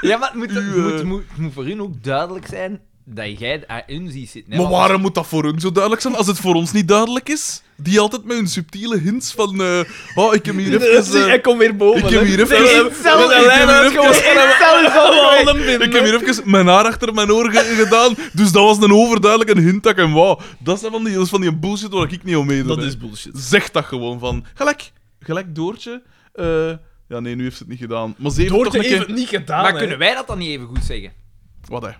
[SPEAKER 1] Ja, maar het moet, het
[SPEAKER 2] uw,
[SPEAKER 1] moet,
[SPEAKER 2] eh,
[SPEAKER 1] moet, het moet voor hun ook duidelijk zijn dat jij aan hun ziet zitten. hè,
[SPEAKER 2] maar
[SPEAKER 1] want-
[SPEAKER 2] waarom moet dat voor hun zo duidelijk zijn als het voor ons niet duidelijk is? Die altijd met hun subtiele hints van. eh, oh,
[SPEAKER 1] (laughs)
[SPEAKER 2] ik heb hier
[SPEAKER 3] Nee,
[SPEAKER 2] even.
[SPEAKER 3] zie,
[SPEAKER 2] eh,
[SPEAKER 3] hij komt weer boven.
[SPEAKER 2] ik heb
[SPEAKER 3] hè.
[SPEAKER 2] hier even-
[SPEAKER 3] Nee,
[SPEAKER 2] ik
[SPEAKER 3] nee,
[SPEAKER 2] heb
[SPEAKER 3] hetzelfde-
[SPEAKER 2] hier
[SPEAKER 3] de lijn
[SPEAKER 2] even-
[SPEAKER 3] uitgekomen.
[SPEAKER 1] Hetzelfde
[SPEAKER 3] Allemaal
[SPEAKER 1] verhaal.
[SPEAKER 3] binnen,
[SPEAKER 2] ik heb hier even mijn haar achter mijn oor ge- (laughs) gedaan. Dus dat was een overduidelijk een hint dat ik hem wou. Dat is van die, dat is van die bullshit waar ik niet om meedoe.
[SPEAKER 3] Dat
[SPEAKER 2] hè.
[SPEAKER 3] is bullshit.
[SPEAKER 2] Zeg dat gewoon van. Gelijk, gelijk Doortje. eh, ja, nee, nu heeft ze het niet gedaan. Maar ze heeft
[SPEAKER 3] Doortje
[SPEAKER 2] toch een
[SPEAKER 3] heeft
[SPEAKER 2] keer.
[SPEAKER 3] het niet gedaan.
[SPEAKER 1] Maar
[SPEAKER 3] hè.
[SPEAKER 1] kunnen wij dat dan niet even goed zeggen?
[SPEAKER 2] Wat hè?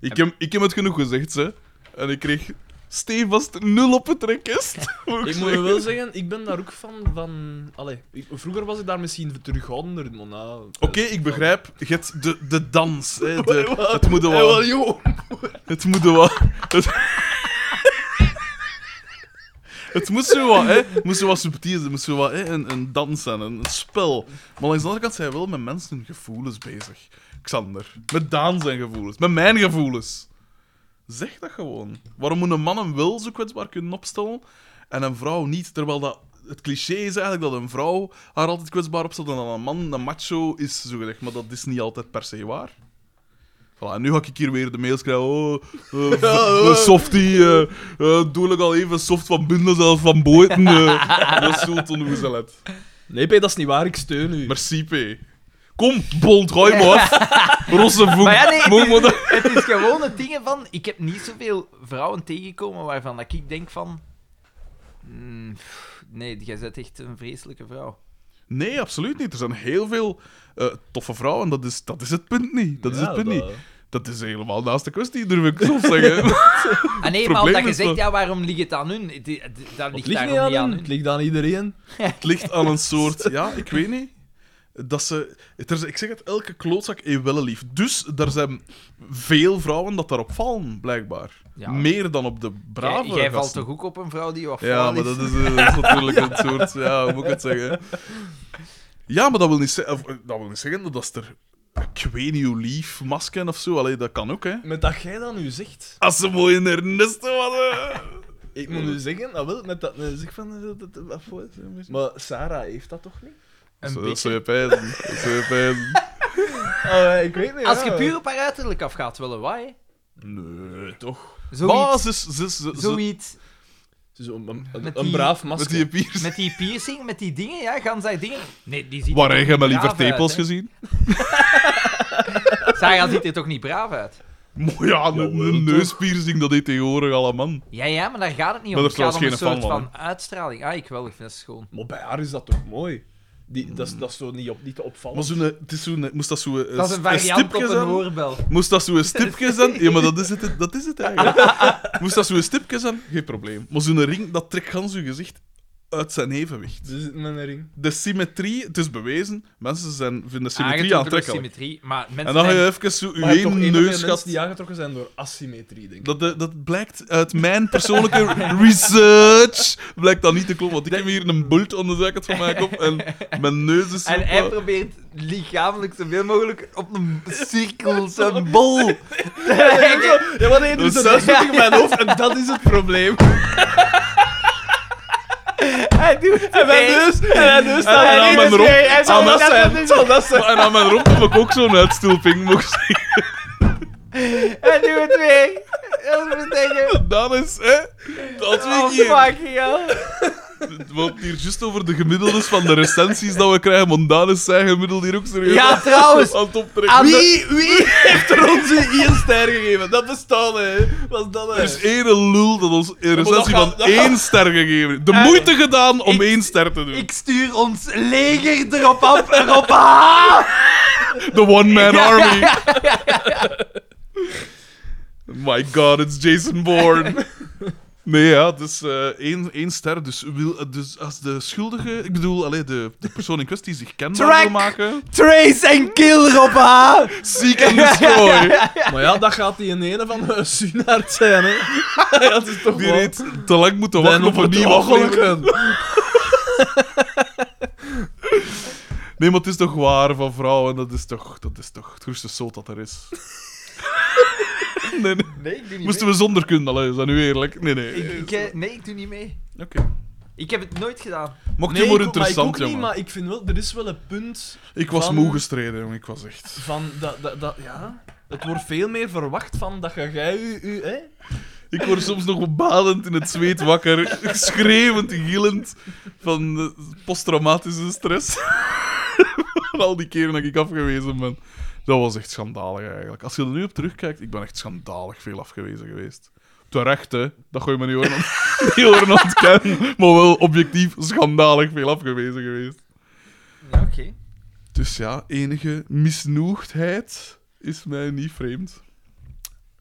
[SPEAKER 2] Ik heb, ik heb het genoeg gezegd, ze. En ik kreeg stevast nul op het (laughs) rekest.
[SPEAKER 3] Ik moet wel zeggen, ik ben daar ook van. van... Allee, ik- vroeger was ik daar misschien terughoudender, maar nou...
[SPEAKER 2] Oké, ik begrijp. Je hebt de, de dans.
[SPEAKER 3] (laughs)
[SPEAKER 2] Hè, de,
[SPEAKER 3] Wat?
[SPEAKER 2] het moet er
[SPEAKER 3] Eh, wel,
[SPEAKER 2] wel.
[SPEAKER 3] joh.
[SPEAKER 2] Het moet er wel. Het, het moet zo wat, hè? Het moet zo wat subtiel zijn. Het moet zo wat, hè? Een, een dans zijn, een, een spel. Maar langs de andere kant zijn we wel met mensen hun gevoelens bezig. Xander. Met Daan zijn gevoelens. Met mijn gevoelens. Zeg dat gewoon. Waarom moet een man hem wel zo kwetsbaar kunnen opstellen en een vrouw niet? Terwijl dat het cliché is eigenlijk dat een vrouw haar altijd kwetsbaar opstelt en dan een man, een macho, is zo gezegd. Maar dat is niet altijd per se waar. Voilà, en nu ga ik hier weer de mails krijgen. Oh,
[SPEAKER 1] (laughs)
[SPEAKER 2] eh, v- eh, softie, eh, eh, doe ik al even soft van binnen, zelfs van
[SPEAKER 1] (laughs)
[SPEAKER 2] buiten. eh. dat is zo tot ongezellig.
[SPEAKER 3] Nee, P, dat is niet waar, ik steun u.
[SPEAKER 2] Merci, P. Kom, bond, gooi me af.
[SPEAKER 1] (laughs)
[SPEAKER 2] Rosse voet.
[SPEAKER 1] Maar ja, nee,
[SPEAKER 2] Moet me
[SPEAKER 1] het
[SPEAKER 2] dat-
[SPEAKER 1] is, het is gewoon het ding van... Ik heb niet zoveel vrouwen tegengekomen waarvan dat ik denk van... mm, pff, nee, jij bent echt een vreselijke vrouw.
[SPEAKER 2] Nee, absoluut niet. Er zijn heel veel eh, toffe vrouwen. Dat is, dat is het punt niet. Dat is
[SPEAKER 3] Ja,
[SPEAKER 2] het punt
[SPEAKER 3] dat-
[SPEAKER 2] niet. Dat is helemaal naast de kwestie, durf ik soms
[SPEAKER 1] (laughs)
[SPEAKER 2] zeggen.
[SPEAKER 1] Ah nee,
[SPEAKER 2] Het
[SPEAKER 1] maar omdat
[SPEAKER 2] probleem
[SPEAKER 1] je
[SPEAKER 2] is
[SPEAKER 1] zegt,
[SPEAKER 2] dat-
[SPEAKER 1] ja, waarom ligt het aan hun? Het- het- Dat
[SPEAKER 3] Het
[SPEAKER 1] ligt
[SPEAKER 3] ligt
[SPEAKER 1] daarom
[SPEAKER 3] niet aan,
[SPEAKER 1] niet
[SPEAKER 3] hen,
[SPEAKER 1] aan
[SPEAKER 3] het
[SPEAKER 1] hun.
[SPEAKER 3] ligt aan iedereen.
[SPEAKER 2] het ligt aan een soort... Ja, ik weet niet. Dat ze... het is- ik zeg het, elke klootzak heeft wel een lief. Dus er zijn veel vrouwen dat daarop vallen, blijkbaar.
[SPEAKER 1] Ja.
[SPEAKER 2] Meer dan op de brave
[SPEAKER 1] Jij, jij valt
[SPEAKER 2] gasten.
[SPEAKER 1] toch ook op een vrouw die wat
[SPEAKER 2] Ja, maar dat is, eh, dat is natuurlijk een soort... Ja, hoe moet ik het zeggen? Ja, maar dat wil niet, ze- of, eh, dat wil niet zeggen dat er... Ik weet niet hoe lief, masken of zo. Allee, dat kan ook, hè.
[SPEAKER 3] Met dat jij dat nu zegt.
[SPEAKER 2] Als ze mooi in haar nesten hadden.
[SPEAKER 3] Ik moet nu zeggen, dat wil, met dat nu zeg van... eh, dat- dat- wat voor- Maar Sarah heeft dat toch niet?
[SPEAKER 1] Een
[SPEAKER 2] Zo- Dat
[SPEAKER 1] beetje.
[SPEAKER 2] zou je pijzen. Dat zou je pijzen.
[SPEAKER 3] Oh, ik weet niet.
[SPEAKER 1] Als
[SPEAKER 3] ja.
[SPEAKER 1] je puur op haar uiterlijk afgaat, willen wij.
[SPEAKER 2] Nee, toch. Maar
[SPEAKER 1] Zoiets.
[SPEAKER 2] ze is- ze is- ze- ze-
[SPEAKER 1] Zoiets.
[SPEAKER 3] Zo, een, een- een,
[SPEAKER 1] Met
[SPEAKER 3] een
[SPEAKER 1] die-
[SPEAKER 3] braaf
[SPEAKER 2] Met
[SPEAKER 3] masker.
[SPEAKER 2] die piers.
[SPEAKER 1] Met die piercing, met die dingen, ja, gaan zij dingen. Nee, die ziet
[SPEAKER 2] Waar
[SPEAKER 1] er
[SPEAKER 2] heb
[SPEAKER 1] toch
[SPEAKER 2] je
[SPEAKER 1] niet
[SPEAKER 2] maar liever
[SPEAKER 1] braaf uit,
[SPEAKER 2] tepels
[SPEAKER 1] hè?
[SPEAKER 2] gezien?
[SPEAKER 1] Sarah ziet er toch niet braaf uit?
[SPEAKER 2] Maar ja, een-
[SPEAKER 3] Jawel,
[SPEAKER 2] een
[SPEAKER 3] toch?
[SPEAKER 2] neuspiercing, dat deed tegenwoordig allemaal.
[SPEAKER 1] Ja, ja, maar daar gaat het niet om.
[SPEAKER 2] Maar
[SPEAKER 1] Het
[SPEAKER 2] daar
[SPEAKER 1] gaat
[SPEAKER 2] is
[SPEAKER 1] om een
[SPEAKER 2] trouwens
[SPEAKER 1] soort
[SPEAKER 2] geen fan
[SPEAKER 1] van uitstraling. Ah, ik wel, ik vind dat schoon.
[SPEAKER 3] Maar bij haar is dat toch mooi? Die, dat, is, dat is Mm. zo niet, op, niet te opvallen.
[SPEAKER 2] Maar zo'n... eh, Het is zo'n... Moest dat zo'n... eh,
[SPEAKER 1] Dat is een variant op een oorbel.
[SPEAKER 2] Moest dat
[SPEAKER 1] (laughs)
[SPEAKER 2] zo'n stipje zijn? Ja, maar dat is het, dat is het eigenlijk. Moest dat zo'n stipje zijn? Geen probleem. Maar zo'n ring, dat trekt gans uw gezicht uit zijn evenwicht.
[SPEAKER 3] Ze zit met een ring.
[SPEAKER 2] De symmetrie, het is bewezen, mensen zijn, vinden
[SPEAKER 1] Aangetrokken
[SPEAKER 2] symmetrie
[SPEAKER 1] door
[SPEAKER 2] aantrekkelijk.
[SPEAKER 1] Symmetrie, maar mensen
[SPEAKER 2] En dan ga
[SPEAKER 1] zijn-
[SPEAKER 2] je even zo je
[SPEAKER 3] Maar toch één
[SPEAKER 2] één
[SPEAKER 3] of twee
[SPEAKER 2] neus gaat...
[SPEAKER 3] mensen die aangetrokken zijn door asymmetrie, denk ik.
[SPEAKER 2] Dat, dat- dat blijkt uit mijn persoonlijke research. Blijkt dat niet te kloppen, want ik heb hier een bult onder de zijkant van mijn kop en mijn neus is.
[SPEAKER 1] En
[SPEAKER 2] op,
[SPEAKER 1] hij
[SPEAKER 2] eh,
[SPEAKER 1] probeert lichamelijk zoveel mogelijk op
[SPEAKER 2] (laughs)
[SPEAKER 1] een cirkel zijn (laughs) bol.
[SPEAKER 3] Ja, maar nee, er is
[SPEAKER 2] Dus-
[SPEAKER 3] een uitstoting in mijn hoofd en dat is het probleem.
[SPEAKER 1] Dus Hij doet het
[SPEAKER 3] En mijn
[SPEAKER 4] dus-
[SPEAKER 1] echt.
[SPEAKER 3] neus, en mijn neus
[SPEAKER 2] En
[SPEAKER 3] staat
[SPEAKER 2] aan
[SPEAKER 3] en
[SPEAKER 2] mijn rond.
[SPEAKER 1] Hij zal
[SPEAKER 2] Aan
[SPEAKER 1] dat
[SPEAKER 2] dat
[SPEAKER 1] zijn.
[SPEAKER 3] (laughs) Het zal dus- dat zijn.
[SPEAKER 2] En aan mijn romp heb ik ook zo'n uitstulping, mocht ik zeggen.
[SPEAKER 4] Ah.
[SPEAKER 1] Hij doet het weer. Dat wil zeggen.
[SPEAKER 2] Dat is, hè? Dat
[SPEAKER 1] Oh,
[SPEAKER 2] weet je.
[SPEAKER 1] fucking hell.
[SPEAKER 2] We hadden hier juist over de gemiddeldes van de recensies dat we krijgen, want Daan is zijn gemiddelde hier ook serieus
[SPEAKER 1] Ja,
[SPEAKER 2] aan-
[SPEAKER 1] trouwens.
[SPEAKER 2] aan het optrekken.
[SPEAKER 1] Aan de-
[SPEAKER 3] Wie, wie heeft er ons één ster gegeven? Dat bestaat, hè. Was dat, hè?
[SPEAKER 2] Er is één lul dat ons een recensie
[SPEAKER 3] dat
[SPEAKER 2] van
[SPEAKER 3] gaat- dat
[SPEAKER 2] één ster gegeven heeft. De
[SPEAKER 1] Eh,
[SPEAKER 2] moeite gedaan om
[SPEAKER 1] ik-
[SPEAKER 2] één ster te doen.
[SPEAKER 1] Ik stuur ons leger erop af, erop af.
[SPEAKER 2] The One Man
[SPEAKER 1] Ja,
[SPEAKER 2] Army. My god, it's Jason
[SPEAKER 1] (laughs)
[SPEAKER 2] Bourne. Nee, ja, dus eh één, één ster. Dus, wil, eh, dus als de schuldige, ik bedoel, allee, de, de persoon in kwestie zich kenbaar
[SPEAKER 1] Track.
[SPEAKER 2] wil maken...
[SPEAKER 1] Trace en kill erop af.
[SPEAKER 2] Seek and destroy.
[SPEAKER 3] Maar ja, dat gaat die ene van de Sunaard zijn, hè. (laughs) Ja, dat is toch
[SPEAKER 2] Die
[SPEAKER 3] wel...
[SPEAKER 2] heeft te lang moeten wachten op een
[SPEAKER 3] die
[SPEAKER 2] nieuwe aflevering.
[SPEAKER 3] walgelijken.
[SPEAKER 2] Nee, maar het is toch waar van vrouwen. Dat is toch, dat is toch het grootste zoot dat er is. (laughs) nee, nee.
[SPEAKER 1] Nee, ik doe niet
[SPEAKER 2] (laughs) Moesten we zonder kunnen, allee, is dat nu eerlijk? Nee, nee.
[SPEAKER 1] mee. Ik, ik, eh, nee, ik doe niet mee.
[SPEAKER 2] Oké.
[SPEAKER 1] Ik heb het nooit gedaan.
[SPEAKER 2] Mocht
[SPEAKER 3] Nee,
[SPEAKER 2] je maar
[SPEAKER 3] ik ook- maar ik
[SPEAKER 2] interessant,
[SPEAKER 3] ook niet,
[SPEAKER 2] jongen.
[SPEAKER 3] maar ik vind wel... Er is wel een punt
[SPEAKER 2] Ik was
[SPEAKER 3] van-
[SPEAKER 2] moe gestreden, jongen. Ik was echt...
[SPEAKER 3] van... Dat, dat, dat, ja... Het wordt veel meer verwacht van dat ga jij u, u, hè?
[SPEAKER 2] Ik word soms nog badend in het zweet wakker, (laughs) schreeuwend, gillend van eh, posttraumatische stress. (laughs) van al die keren dat ik afgewezen ben. Dat was echt schandalig eigenlijk. Als je er nu op terugkijkt, ik ben echt schandalig veel afgewezen geweest. Terecht, hè. Dat gooi je me niet horen, ont- (laughs) niet horen ontkennen. Maar wel objectief schandalig veel afgewezen geweest.
[SPEAKER 1] Ja, oké.
[SPEAKER 2] Dus ja, enige misnoegdheid is mij niet vreemd.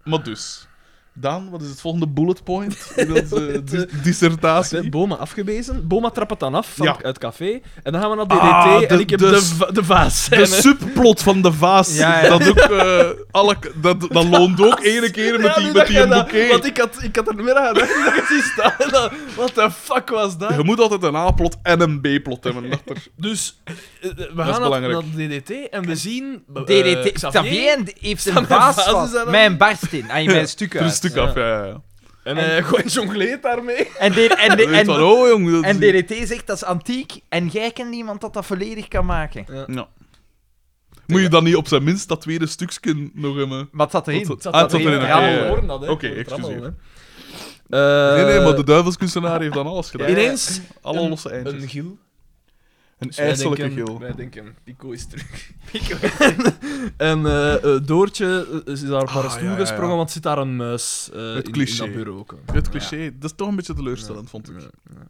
[SPEAKER 2] Maar dus... Daan, wat is het volgende bullet
[SPEAKER 3] (laughs)
[SPEAKER 2] point in onze dis- dissertatie?
[SPEAKER 3] Boma afgewezen. Boma trapt het dan af van,
[SPEAKER 2] Ja.
[SPEAKER 3] uit café. En dan gaan we naar DDT.
[SPEAKER 2] Ah,
[SPEAKER 3] en
[SPEAKER 2] de-
[SPEAKER 3] ik heb
[SPEAKER 2] de
[SPEAKER 3] de,
[SPEAKER 2] s-
[SPEAKER 3] va- de vaas. eh,
[SPEAKER 2] De subplot van de vaas.
[SPEAKER 1] Ja, ja.
[SPEAKER 2] Dat, ook, eh, alle, k- dat, dat loont ook ene keer met
[SPEAKER 3] (laughs) Ja,
[SPEAKER 2] die,
[SPEAKER 3] nu
[SPEAKER 2] met
[SPEAKER 3] dat
[SPEAKER 2] die
[SPEAKER 3] jij dat-
[SPEAKER 2] bouquet.
[SPEAKER 3] Want ik had, ik had er niet meer aan gedacht. (laughs) dat ik het zie staan. en dan- Wat de fuck was dat?
[SPEAKER 2] Je moet altijd een A-plot en een B-plot hebben. Dat er...
[SPEAKER 3] Dus eh, eh, we
[SPEAKER 2] is
[SPEAKER 3] gaan naar,
[SPEAKER 2] belangrijk.
[SPEAKER 3] naar DDT en we zien.
[SPEAKER 2] Oh,
[SPEAKER 3] eh,
[SPEAKER 1] DDT.
[SPEAKER 3] Xavier.
[SPEAKER 1] Xavier heeft een
[SPEAKER 3] Xavier
[SPEAKER 1] baas
[SPEAKER 3] Vaas
[SPEAKER 1] van
[SPEAKER 3] is aan hem.
[SPEAKER 1] mijn barst in. Ah, mijn stuk
[SPEAKER 2] Er is een
[SPEAKER 1] uit.
[SPEAKER 2] stuk af, ja. ja, ja. (laughs)
[SPEAKER 3] En eh gewoon jongleert daarmee.
[SPEAKER 1] En, de, en, de,
[SPEAKER 2] Je weet
[SPEAKER 1] en,
[SPEAKER 2] van, oh, jong, dat is-
[SPEAKER 1] en DDT zegt dat is antiek en jij kent niemand dat dat volledig kan maken.
[SPEAKER 2] Ja. Moet je dan niet op zijn minst dat tweede stukje nog hebben?
[SPEAKER 1] Maar het zat erin.
[SPEAKER 2] Wat dat-
[SPEAKER 1] Het
[SPEAKER 2] Ah, het zat
[SPEAKER 1] erin,
[SPEAKER 2] erin,
[SPEAKER 1] ja,
[SPEAKER 2] oké,
[SPEAKER 1] we
[SPEAKER 2] ja.
[SPEAKER 3] horen dat, hè.
[SPEAKER 2] Oké,
[SPEAKER 3] We horen het
[SPEAKER 2] excuseer.
[SPEAKER 3] allemaal, hè.
[SPEAKER 2] Nee, nee,
[SPEAKER 3] Eh,
[SPEAKER 2] maar de duivelskunstenaar heeft dan alles gedaan.
[SPEAKER 3] Ineens
[SPEAKER 2] Alle
[SPEAKER 3] een-
[SPEAKER 2] losse eindjes.
[SPEAKER 3] een gil.
[SPEAKER 2] Een
[SPEAKER 3] Wij
[SPEAKER 2] ijselijke
[SPEAKER 3] denken-
[SPEAKER 2] gil.
[SPEAKER 3] Wij denken, Pico is terug.
[SPEAKER 2] (laughs)
[SPEAKER 3] (laughs) en eh, eh, Doortje eh, is daar op haar
[SPEAKER 2] Ah,
[SPEAKER 3] stoel
[SPEAKER 2] ja, ja, ja.
[SPEAKER 3] gesprongen, want zit daar een muis eh, in, in
[SPEAKER 2] cliché.
[SPEAKER 3] dat bureau. ook.
[SPEAKER 2] Het cliché, dat is toch een beetje teleurstellend, vond ik.
[SPEAKER 3] Ja,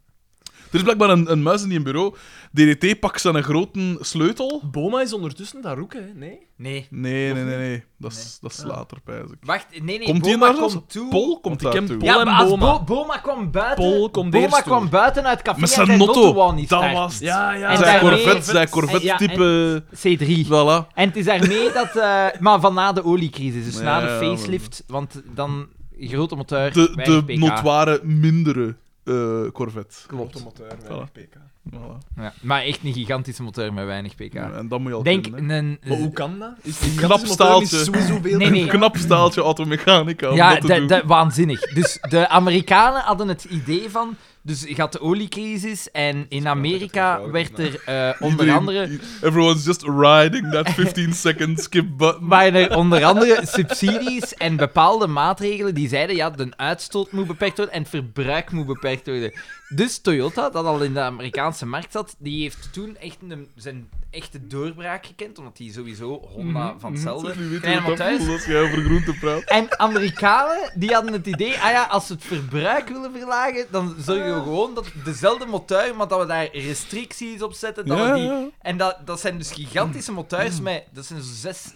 [SPEAKER 2] Er is blijkbaar een, een muis in die bureau. DDT pakt zijn grote sleutel.
[SPEAKER 3] Boma is ondertussen daar ook, hè? Nee?
[SPEAKER 1] Nee.
[SPEAKER 2] Nee,
[SPEAKER 1] Of
[SPEAKER 2] nee, nee,
[SPEAKER 1] niet?
[SPEAKER 2] nee. Dat is, dat is later, pijs ik.
[SPEAKER 1] Wacht, nee, nee.
[SPEAKER 2] Komt die
[SPEAKER 1] Boma
[SPEAKER 2] naar ons?
[SPEAKER 1] komt toe.
[SPEAKER 2] Pol
[SPEAKER 3] Want
[SPEAKER 2] komt
[SPEAKER 3] ik
[SPEAKER 2] daar
[SPEAKER 3] ken
[SPEAKER 2] toe.
[SPEAKER 3] Pol-
[SPEAKER 1] ja, maar als
[SPEAKER 3] en
[SPEAKER 1] Boma.
[SPEAKER 3] Boma.
[SPEAKER 1] Boma kwam buiten.
[SPEAKER 3] Pol komt
[SPEAKER 1] Boma
[SPEAKER 3] eerst toe.
[SPEAKER 1] kwam buiten uit het café.
[SPEAKER 2] Met
[SPEAKER 1] en
[SPEAKER 2] zijn
[SPEAKER 1] zijn
[SPEAKER 2] notto.
[SPEAKER 1] notto wou niet
[SPEAKER 2] Dat
[SPEAKER 1] starten.
[SPEAKER 2] was...
[SPEAKER 3] Ja, ja.
[SPEAKER 1] En
[SPEAKER 2] Zijn
[SPEAKER 1] daarmee-
[SPEAKER 2] corvette, zijn
[SPEAKER 1] Ja, en-
[SPEAKER 2] corvette-type...
[SPEAKER 1] C3.
[SPEAKER 2] Voilà.
[SPEAKER 1] En het is daarmee dat... eh, maar van na de oliecrisis, dus na de
[SPEAKER 2] Ja,
[SPEAKER 1] facelift. Want dan grote motor,
[SPEAKER 2] De,
[SPEAKER 1] weinig
[SPEAKER 2] de
[SPEAKER 1] pk.
[SPEAKER 2] notoire mindere eh, corvette.
[SPEAKER 1] Klopt.
[SPEAKER 3] motor,
[SPEAKER 2] weinig
[SPEAKER 3] PK.
[SPEAKER 2] Voilà.
[SPEAKER 1] Ja, maar echt een gigantische motor met weinig pk.
[SPEAKER 2] Ja, En dat moet je al
[SPEAKER 1] Denk
[SPEAKER 2] kunnen, hè.
[SPEAKER 1] een...
[SPEAKER 3] Maar hoe kan dat? Is
[SPEAKER 2] Knap staaltje.
[SPEAKER 1] Nee, nee.
[SPEAKER 2] Een (laughs) knap staaltje automechanica om
[SPEAKER 1] Ja,
[SPEAKER 2] dat te doen.
[SPEAKER 1] dat- dat- waanzinnig. Dus de Amerikanen hadden het idee van. Dus je had de oliecrisis en in Amerika
[SPEAKER 3] wel
[SPEAKER 1] werd er eh, onder
[SPEAKER 2] Iedereen-
[SPEAKER 1] andere.
[SPEAKER 2] Everyone's just riding that 15-second skip button.
[SPEAKER 1] Waren er onder andere subsidies en bepaalde maatregelen die zeiden ja, de uitstoot moet beperkt worden en het verbruik moet beperkt worden. Dus Toyota, dat al in de Amerikaanse markt zat, die heeft toen echt een, zijn echte doorbraak gekend, omdat die sowieso Honda van hetzelfde.
[SPEAKER 2] Nu weet je
[SPEAKER 1] Kleine
[SPEAKER 2] wat dat
[SPEAKER 1] motor.
[SPEAKER 2] voelt als jij over groente praat.
[SPEAKER 1] En Amerikanen die hadden het idee, ah ja, als we het verbruik willen verlagen, dan zorgen we gewoon dat dezelfde motor, maar dat we daar restricties op zetten. (laughs) Dat
[SPEAKER 2] Ja,
[SPEAKER 1] we die...
[SPEAKER 2] ja.
[SPEAKER 1] En dat, dat
[SPEAKER 2] Mm.
[SPEAKER 1] zijn dus gigantische motors met, dat zijn zo'n zes-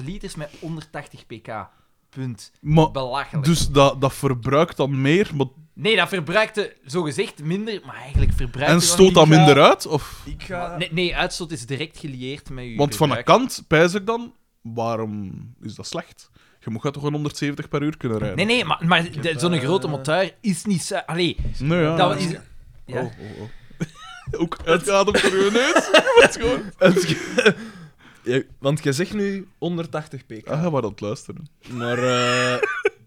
[SPEAKER 1] 6,5 liters met 180 pk. Punt.
[SPEAKER 2] Maar,
[SPEAKER 1] Belachelijk.
[SPEAKER 2] dus dat, dat verbruikt dan meer maar,
[SPEAKER 1] Nee, dat verbruikte zogezegd minder, maar eigenlijk verbruikte...
[SPEAKER 2] en
[SPEAKER 1] dat
[SPEAKER 2] stoot
[SPEAKER 1] niet.
[SPEAKER 2] dat
[SPEAKER 3] ik ga-
[SPEAKER 2] minder uit? Of,
[SPEAKER 3] Ik
[SPEAKER 1] Maar
[SPEAKER 3] ga...
[SPEAKER 1] Nee, nee, uitstoot is direct gelieerd met je
[SPEAKER 2] want van een
[SPEAKER 1] verbruik.
[SPEAKER 2] kant pijs ik dan, waarom is dat slecht? Je moet toch gewoon 170 per uur kunnen rijden?
[SPEAKER 1] Nee, nee, maar, maar de-
[SPEAKER 3] heb,
[SPEAKER 1] zo'n
[SPEAKER 3] eh, Ah,
[SPEAKER 1] grote motor is niet... zo- Allee,
[SPEAKER 2] Nee, ja.
[SPEAKER 1] dat
[SPEAKER 2] ja.
[SPEAKER 1] is... Ja.
[SPEAKER 2] Oh, oh, (laughs) oh. Ook uitgeademd voor uw
[SPEAKER 1] (laughs)
[SPEAKER 2] neus. Wat gewoon.
[SPEAKER 3] (laughs) Ja, want jij zegt nu 180 pk.
[SPEAKER 2] Ah, maar aan het luisteren.
[SPEAKER 3] Maar eh,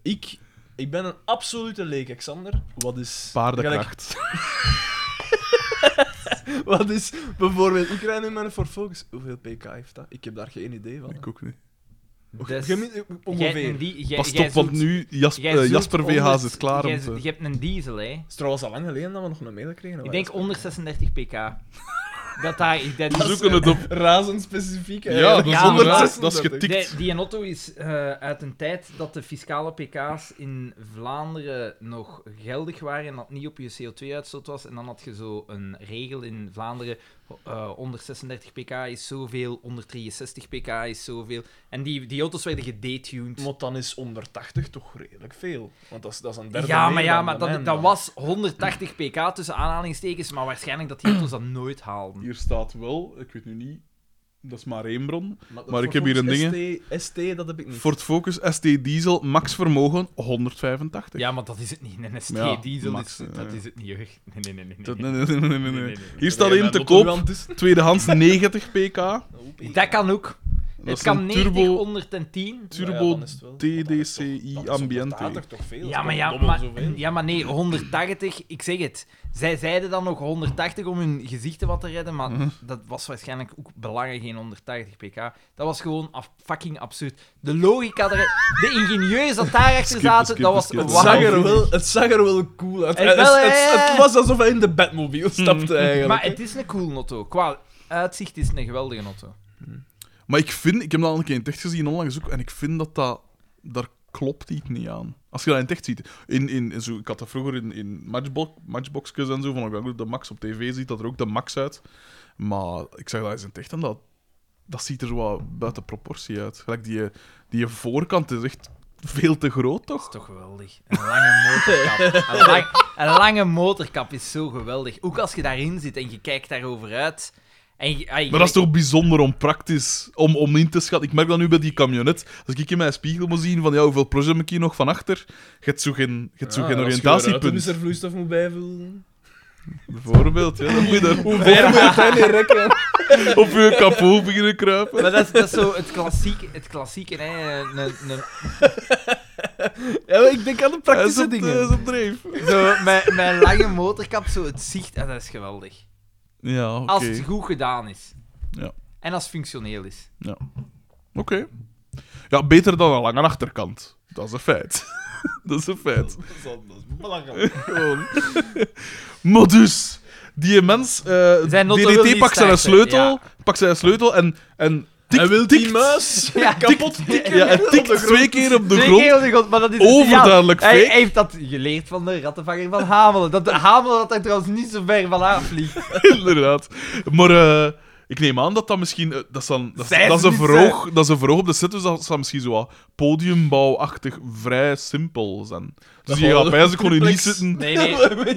[SPEAKER 3] ik, ik ben een absolute leek, Xander. Wat is...
[SPEAKER 2] Paardenkracht.
[SPEAKER 3] gelijk- wat is bijvoorbeeld... Ik rijd nu met een Ford Focus. Hoeveel pk heeft dat? Ik heb daar geen idee van.
[SPEAKER 2] (laughs) Ik ook niet.
[SPEAKER 1] Dus,
[SPEAKER 3] Gemin- eh,
[SPEAKER 1] jij hebt
[SPEAKER 3] ongeveer.
[SPEAKER 1] een die- jij-
[SPEAKER 2] Pas
[SPEAKER 1] jij
[SPEAKER 2] op, want
[SPEAKER 1] zoekt-
[SPEAKER 2] nu Jas-
[SPEAKER 1] jij
[SPEAKER 2] eh,
[SPEAKER 1] zoekt
[SPEAKER 2] Jasper VH
[SPEAKER 1] onder-
[SPEAKER 2] zit klaar om
[SPEAKER 1] jij-
[SPEAKER 2] te...
[SPEAKER 1] Je hebt een diesel, hè.
[SPEAKER 3] Het is trouwens al lang geleden dat we nog een mail kregen.
[SPEAKER 1] Ik denk onder 36 pk. Dat daar... Dat
[SPEAKER 2] We
[SPEAKER 1] is-
[SPEAKER 2] zoeken het op.
[SPEAKER 3] Razend specifiek.
[SPEAKER 2] Ja, dat is,
[SPEAKER 1] Ja,
[SPEAKER 2] ondertussen- dat is
[SPEAKER 3] 136.
[SPEAKER 2] getikt.
[SPEAKER 1] Die, die auto is eh, uit een tijd dat de fiscale pk's in Vlaanderen nog geldig waren en dat niet op je CO2-uitstoot was. En dan had je zo een regel in Vlaanderen, eh, onder 36 pk is zoveel, onder 63 pk is zoveel. En die, die auto's werden gedetuned.
[SPEAKER 3] Maar dan is 180 toch redelijk veel. Want dat is, dat is een derde
[SPEAKER 1] ja, maar,
[SPEAKER 3] meer
[SPEAKER 1] ja,
[SPEAKER 3] dan
[SPEAKER 1] maar
[SPEAKER 3] bij
[SPEAKER 1] dat,
[SPEAKER 3] mij
[SPEAKER 1] dat
[SPEAKER 3] dan.
[SPEAKER 1] was 180 pk tussen aanhalingstekens, maar waarschijnlijk dat die auto's dat nooit haalden.
[SPEAKER 2] Hier staat wel, ik weet nu niet, dat is maar één bron.
[SPEAKER 3] dat
[SPEAKER 2] maar ik heb hier een
[SPEAKER 3] Focus ST, ST, dat heb ik niet.
[SPEAKER 2] Ford Focus ST Diesel, max vermogen 185.
[SPEAKER 1] Ja, maar dat is het niet. Een
[SPEAKER 2] Ja,
[SPEAKER 1] ST-diesel,
[SPEAKER 2] max, eh,
[SPEAKER 1] dat
[SPEAKER 2] ja.
[SPEAKER 1] is het niet. hoor. Nee, nee, nee. nee, nee.
[SPEAKER 2] Dat- nee, nee, nee, nee, nee,
[SPEAKER 1] nee,
[SPEAKER 2] nee.
[SPEAKER 1] nee.
[SPEAKER 2] Hier staat
[SPEAKER 3] Nee,
[SPEAKER 2] één te
[SPEAKER 3] mijn motor
[SPEAKER 2] koop,
[SPEAKER 3] brandt dus. (laughs)
[SPEAKER 2] tweedehands 90 pk. Dat
[SPEAKER 1] Dat kan ook.
[SPEAKER 2] is
[SPEAKER 1] het kan
[SPEAKER 2] een
[SPEAKER 1] 90,
[SPEAKER 2] turbo,
[SPEAKER 1] 110.
[SPEAKER 3] Nou ja,
[SPEAKER 2] turbo
[SPEAKER 3] dan is het wel.
[SPEAKER 2] TDCI
[SPEAKER 3] Dat is
[SPEAKER 2] Ambiente.
[SPEAKER 3] 180 toch veel?
[SPEAKER 1] Ja maar, ja,
[SPEAKER 3] Dobbel
[SPEAKER 1] maar,
[SPEAKER 3] zoveel.
[SPEAKER 1] ja, maar nee, 180, ik zeg het. Zij zeiden dan nog 180 om hun gezichten wat te redden, maar
[SPEAKER 2] Mhm.
[SPEAKER 1] dat was waarschijnlijk ook belangen geen 180 pk. Dat was gewoon af, fucking absurd. De logica, daar, de ingenieurs dat daarachter
[SPEAKER 2] Skip,
[SPEAKER 1] zaten,
[SPEAKER 2] skip,
[SPEAKER 1] dat was
[SPEAKER 2] skip.
[SPEAKER 3] Het,
[SPEAKER 2] Wauw.
[SPEAKER 3] zag er wel, het zag er wel cool uit.
[SPEAKER 1] Het
[SPEAKER 3] Het,
[SPEAKER 1] wel,
[SPEAKER 3] het-
[SPEAKER 1] hè?
[SPEAKER 3] het was alsof hij in de Batmobile
[SPEAKER 2] Mm.
[SPEAKER 3] stapte, eigenlijk.
[SPEAKER 1] Maar het is een cool auto. Qua uitzicht is het een geweldige auto.
[SPEAKER 2] Maar ik vind, ik heb dat al een keer in het echt gezien onlangs ook, en ik vind dat dat, daar klopt iets niet aan. Als je dat in het echt ziet. In, in, in zo, ik had dat vroeger in, in matchbox, matchboxjes en zo, van ik ook de max op tv ziet, dat er ook de max uit. Maar ik zeg dat eens in het echt en dat, dat ziet er zo wat buiten proportie uit. Gelijk die, die voorkant is echt veel te groot, toch?
[SPEAKER 1] Dat is toch geweldig. Een lange motorkap. Een, lang- een lange motorkap is zo geweldig. Ook als je daarin zit en je kijkt daarover uit. En je, ah, je-
[SPEAKER 2] Maar dat is toch bijzonder onpraktisch om, om in te schatten. Ik merk dat nu bij die camionet. Als ik in mijn spiegel moet zien van ja, hoeveel project heb ik hier nog van achter, je hebt zo geen, je hebt
[SPEAKER 1] Ah,
[SPEAKER 2] zo geen
[SPEAKER 3] Dus
[SPEAKER 2] oriëntatiepunt.
[SPEAKER 3] er vloeistof moet bijvullen.
[SPEAKER 2] Bijvoorbeeld, ja, dan moet je daar
[SPEAKER 1] (laughs)
[SPEAKER 3] Hoe ver moet je het in rekken?
[SPEAKER 2] op je kapot beginnen kruipen.
[SPEAKER 1] Maar dat is, dat is zo het klassieke, het klassieke hè. Een, een, een-
[SPEAKER 3] Ja, maar ik denk aan de
[SPEAKER 2] Hij eh, is
[SPEAKER 3] praktische
[SPEAKER 2] op, hij is
[SPEAKER 3] dingen.
[SPEAKER 2] op dreef.
[SPEAKER 1] zo, mijn, mijn lange motorkap, zo het zicht, ah, dat is geweldig.
[SPEAKER 2] Ja, oké.
[SPEAKER 1] Als het goed gedaan is.
[SPEAKER 2] Ja.
[SPEAKER 1] En als het functioneel is.
[SPEAKER 2] Oké. Ja, beter dan een lange achterkant. Dat is een feit. (laughs) dat is een feit.
[SPEAKER 3] Dat is belachelijk.
[SPEAKER 2] (laughs)
[SPEAKER 3] Gewoon.
[SPEAKER 2] Maar dus, die mens, eh
[SPEAKER 1] Zijn auto wil
[SPEAKER 2] DDT
[SPEAKER 1] niet
[SPEAKER 2] pakt zijn
[SPEAKER 1] starten,
[SPEAKER 2] sleutel,
[SPEAKER 1] ja.
[SPEAKER 2] pakt zijn sleutel en, en tikt,
[SPEAKER 3] Hij wil die
[SPEAKER 2] tikt,
[SPEAKER 3] muis
[SPEAKER 1] Ja.
[SPEAKER 3] kapot tikken.
[SPEAKER 2] Ja, het tikt twee keer op de
[SPEAKER 1] Twee
[SPEAKER 2] grond.
[SPEAKER 1] keer op de grond, maar dat is
[SPEAKER 2] Overduidelijk
[SPEAKER 1] ja, hij,
[SPEAKER 2] fake.
[SPEAKER 1] hij heeft dat geleerd van de rattenvanger van Hamelen. Dat de Hamelen dat daar trouwens niet zo ver van aanvliegt.
[SPEAKER 2] (laughs) Inderdaad. Maar eh, ik neem aan dat dat misschien... eh, dat, is dan, dat, is-
[SPEAKER 1] Zij
[SPEAKER 2] dat is
[SPEAKER 1] is
[SPEAKER 2] een
[SPEAKER 1] niet
[SPEAKER 2] verhoog, dat is een verhoog op de set, dus dat zal misschien zo wat podiumbouwachtig vrij simpel zijn. Dus
[SPEAKER 3] Dat
[SPEAKER 2] je gaat
[SPEAKER 3] gewoon
[SPEAKER 2] bij ze gewoon in niet
[SPEAKER 3] triplex.
[SPEAKER 2] zitten.
[SPEAKER 1] Nee,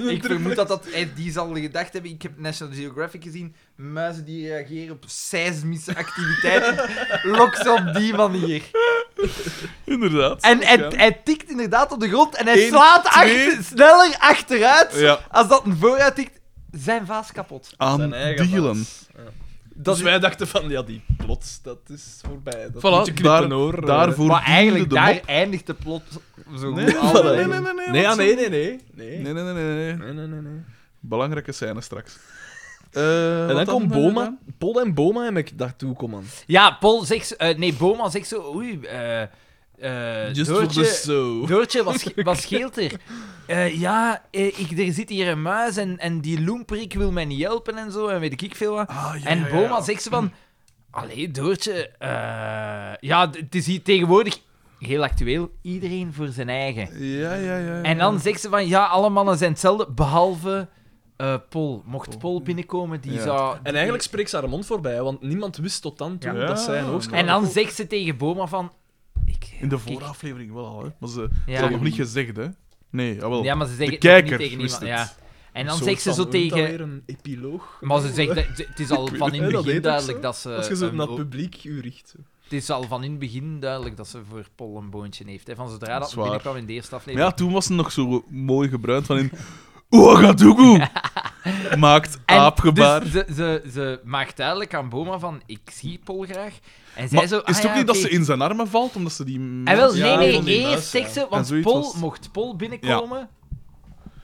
[SPEAKER 3] (laughs)
[SPEAKER 1] nee. Ik vermoed dat, dat hij- die zal gedacht hebben. Ik heb National Geographic gezien. Muizen die reageren op seismische
[SPEAKER 2] (laughs)
[SPEAKER 1] activiteiten. Lok ze op die manier.
[SPEAKER 2] Inderdaad.
[SPEAKER 1] En hij, hij tikt inderdaad op de grond en hij
[SPEAKER 2] Eén,
[SPEAKER 1] slaat
[SPEAKER 2] twee.
[SPEAKER 1] achter- sneller achteruit
[SPEAKER 2] Ja,
[SPEAKER 1] als dat een vooruit tikt. Zijn vaas kapot.
[SPEAKER 2] aan dealen.
[SPEAKER 1] Dat
[SPEAKER 3] Dus
[SPEAKER 1] is,
[SPEAKER 3] wij dachten van, ja, die plots, dat is voorbij. Dat
[SPEAKER 2] Voilà,
[SPEAKER 3] moet je knippen,
[SPEAKER 2] daar-
[SPEAKER 3] hoor. Eh,
[SPEAKER 2] Daarvoor
[SPEAKER 1] maar eigenlijk,
[SPEAKER 2] diende de
[SPEAKER 1] daar
[SPEAKER 2] mop.
[SPEAKER 1] eindigt de plot zo
[SPEAKER 2] Nee,
[SPEAKER 1] goed
[SPEAKER 3] Voilà.
[SPEAKER 1] altijd.
[SPEAKER 2] nee, nee, nee, nee,
[SPEAKER 3] Nee, ja,
[SPEAKER 2] want zo-
[SPEAKER 3] nee, nee, nee. Nee,
[SPEAKER 2] Nee, nee, nee, nee, nee.
[SPEAKER 3] nee, nee, nee, nee.
[SPEAKER 2] Belangrijke scène straks. Eh,
[SPEAKER 3] En dan
[SPEAKER 2] wat
[SPEAKER 3] komt
[SPEAKER 2] eh,
[SPEAKER 3] Boma.
[SPEAKER 2] dan?
[SPEAKER 3] Paul en Boma heb ik daartoe komen.
[SPEAKER 1] Ja, Paul zegt... zo- eh, nee, Boma zegt zo... Oei, eh eh,
[SPEAKER 3] Just for
[SPEAKER 1] Doortje-
[SPEAKER 3] the show.
[SPEAKER 1] Doortje, wat, wat scheelt er? Eh, ja, eh, ik, er zit hier een muis en, en die loemperik wil mij niet helpen en zo, en weet ik veel wat.
[SPEAKER 2] Ah, ja, ja,
[SPEAKER 1] en
[SPEAKER 2] ja.
[SPEAKER 1] Boma zegt ze van... Allee, Doortje, eh, ja, d- het is hier tegenwoordig heel actueel. Iedereen voor zijn eigen.
[SPEAKER 2] Ja, ja, ja. ja.
[SPEAKER 1] En dan zegt ze van, ja, alle mannen zijn hetzelfde, behalve eh Paul. Mocht Paul binnenkomen, die
[SPEAKER 2] Ja.
[SPEAKER 1] zou...
[SPEAKER 3] En eigenlijk spreekt ze haar mond voorbij, want niemand wist tot dan toe
[SPEAKER 2] Ja.
[SPEAKER 3] dat zij een hoogskade
[SPEAKER 1] En dan zegt ze tegen Boma van... Ik
[SPEAKER 2] In de vooraflevering wel al, hè. Maar ze ze
[SPEAKER 1] Ja.
[SPEAKER 2] had nog niet gezegd, hè. Nee, jawel.
[SPEAKER 1] Ja, maar ze zeggen
[SPEAKER 2] de
[SPEAKER 1] het nog
[SPEAKER 2] kijker
[SPEAKER 1] niet tegen
[SPEAKER 2] wist
[SPEAKER 1] iemand. Ja.
[SPEAKER 2] het.
[SPEAKER 1] En dan
[SPEAKER 2] Een
[SPEAKER 1] zegt ze
[SPEAKER 3] Van,
[SPEAKER 1] zo
[SPEAKER 3] noemt dat
[SPEAKER 1] tegen...
[SPEAKER 3] weer een epiloog.
[SPEAKER 1] Maar ze zegt, dat- het is al van in
[SPEAKER 3] Ja,
[SPEAKER 1] het
[SPEAKER 3] dat weet
[SPEAKER 1] begin
[SPEAKER 3] ik
[SPEAKER 1] duidelijk
[SPEAKER 3] zo.
[SPEAKER 1] dat ze...
[SPEAKER 3] Als je zo
[SPEAKER 2] Eh,
[SPEAKER 1] een
[SPEAKER 3] naar het
[SPEAKER 1] o-
[SPEAKER 3] publiek u richt.
[SPEAKER 1] het is al van in het begin duidelijk dat ze voor Pol een boontje heeft. Hè. Van zodra
[SPEAKER 2] Dat
[SPEAKER 1] dat
[SPEAKER 2] is
[SPEAKER 1] het
[SPEAKER 2] waar.
[SPEAKER 1] binnenkwam in de eerste
[SPEAKER 2] Maar ja,
[SPEAKER 1] aflevering.
[SPEAKER 2] toen was het nog zo mooi gebruikt van in... (laughs)
[SPEAKER 1] (laughs)
[SPEAKER 2] Ouagadougou! Maakt
[SPEAKER 1] En
[SPEAKER 2] aapgebaar.
[SPEAKER 1] dus ze, ze, ze maakt duidelijk aan Boma van, ik zie Pol graag. En zij
[SPEAKER 2] maar
[SPEAKER 1] zo...
[SPEAKER 2] is
[SPEAKER 1] ah
[SPEAKER 2] het ook
[SPEAKER 1] ja,
[SPEAKER 2] niet dat
[SPEAKER 1] oké.
[SPEAKER 2] ze in zijn armen valt, omdat ze die...
[SPEAKER 1] En wel,
[SPEAKER 3] Ja,
[SPEAKER 1] nee,
[SPEAKER 3] van die
[SPEAKER 1] nee,
[SPEAKER 3] muis,
[SPEAKER 1] eerst zegt
[SPEAKER 3] ja.
[SPEAKER 1] ze,
[SPEAKER 2] En
[SPEAKER 1] want
[SPEAKER 2] zoiets
[SPEAKER 1] Pol,
[SPEAKER 2] was-
[SPEAKER 1] mocht Pol binnenkomen,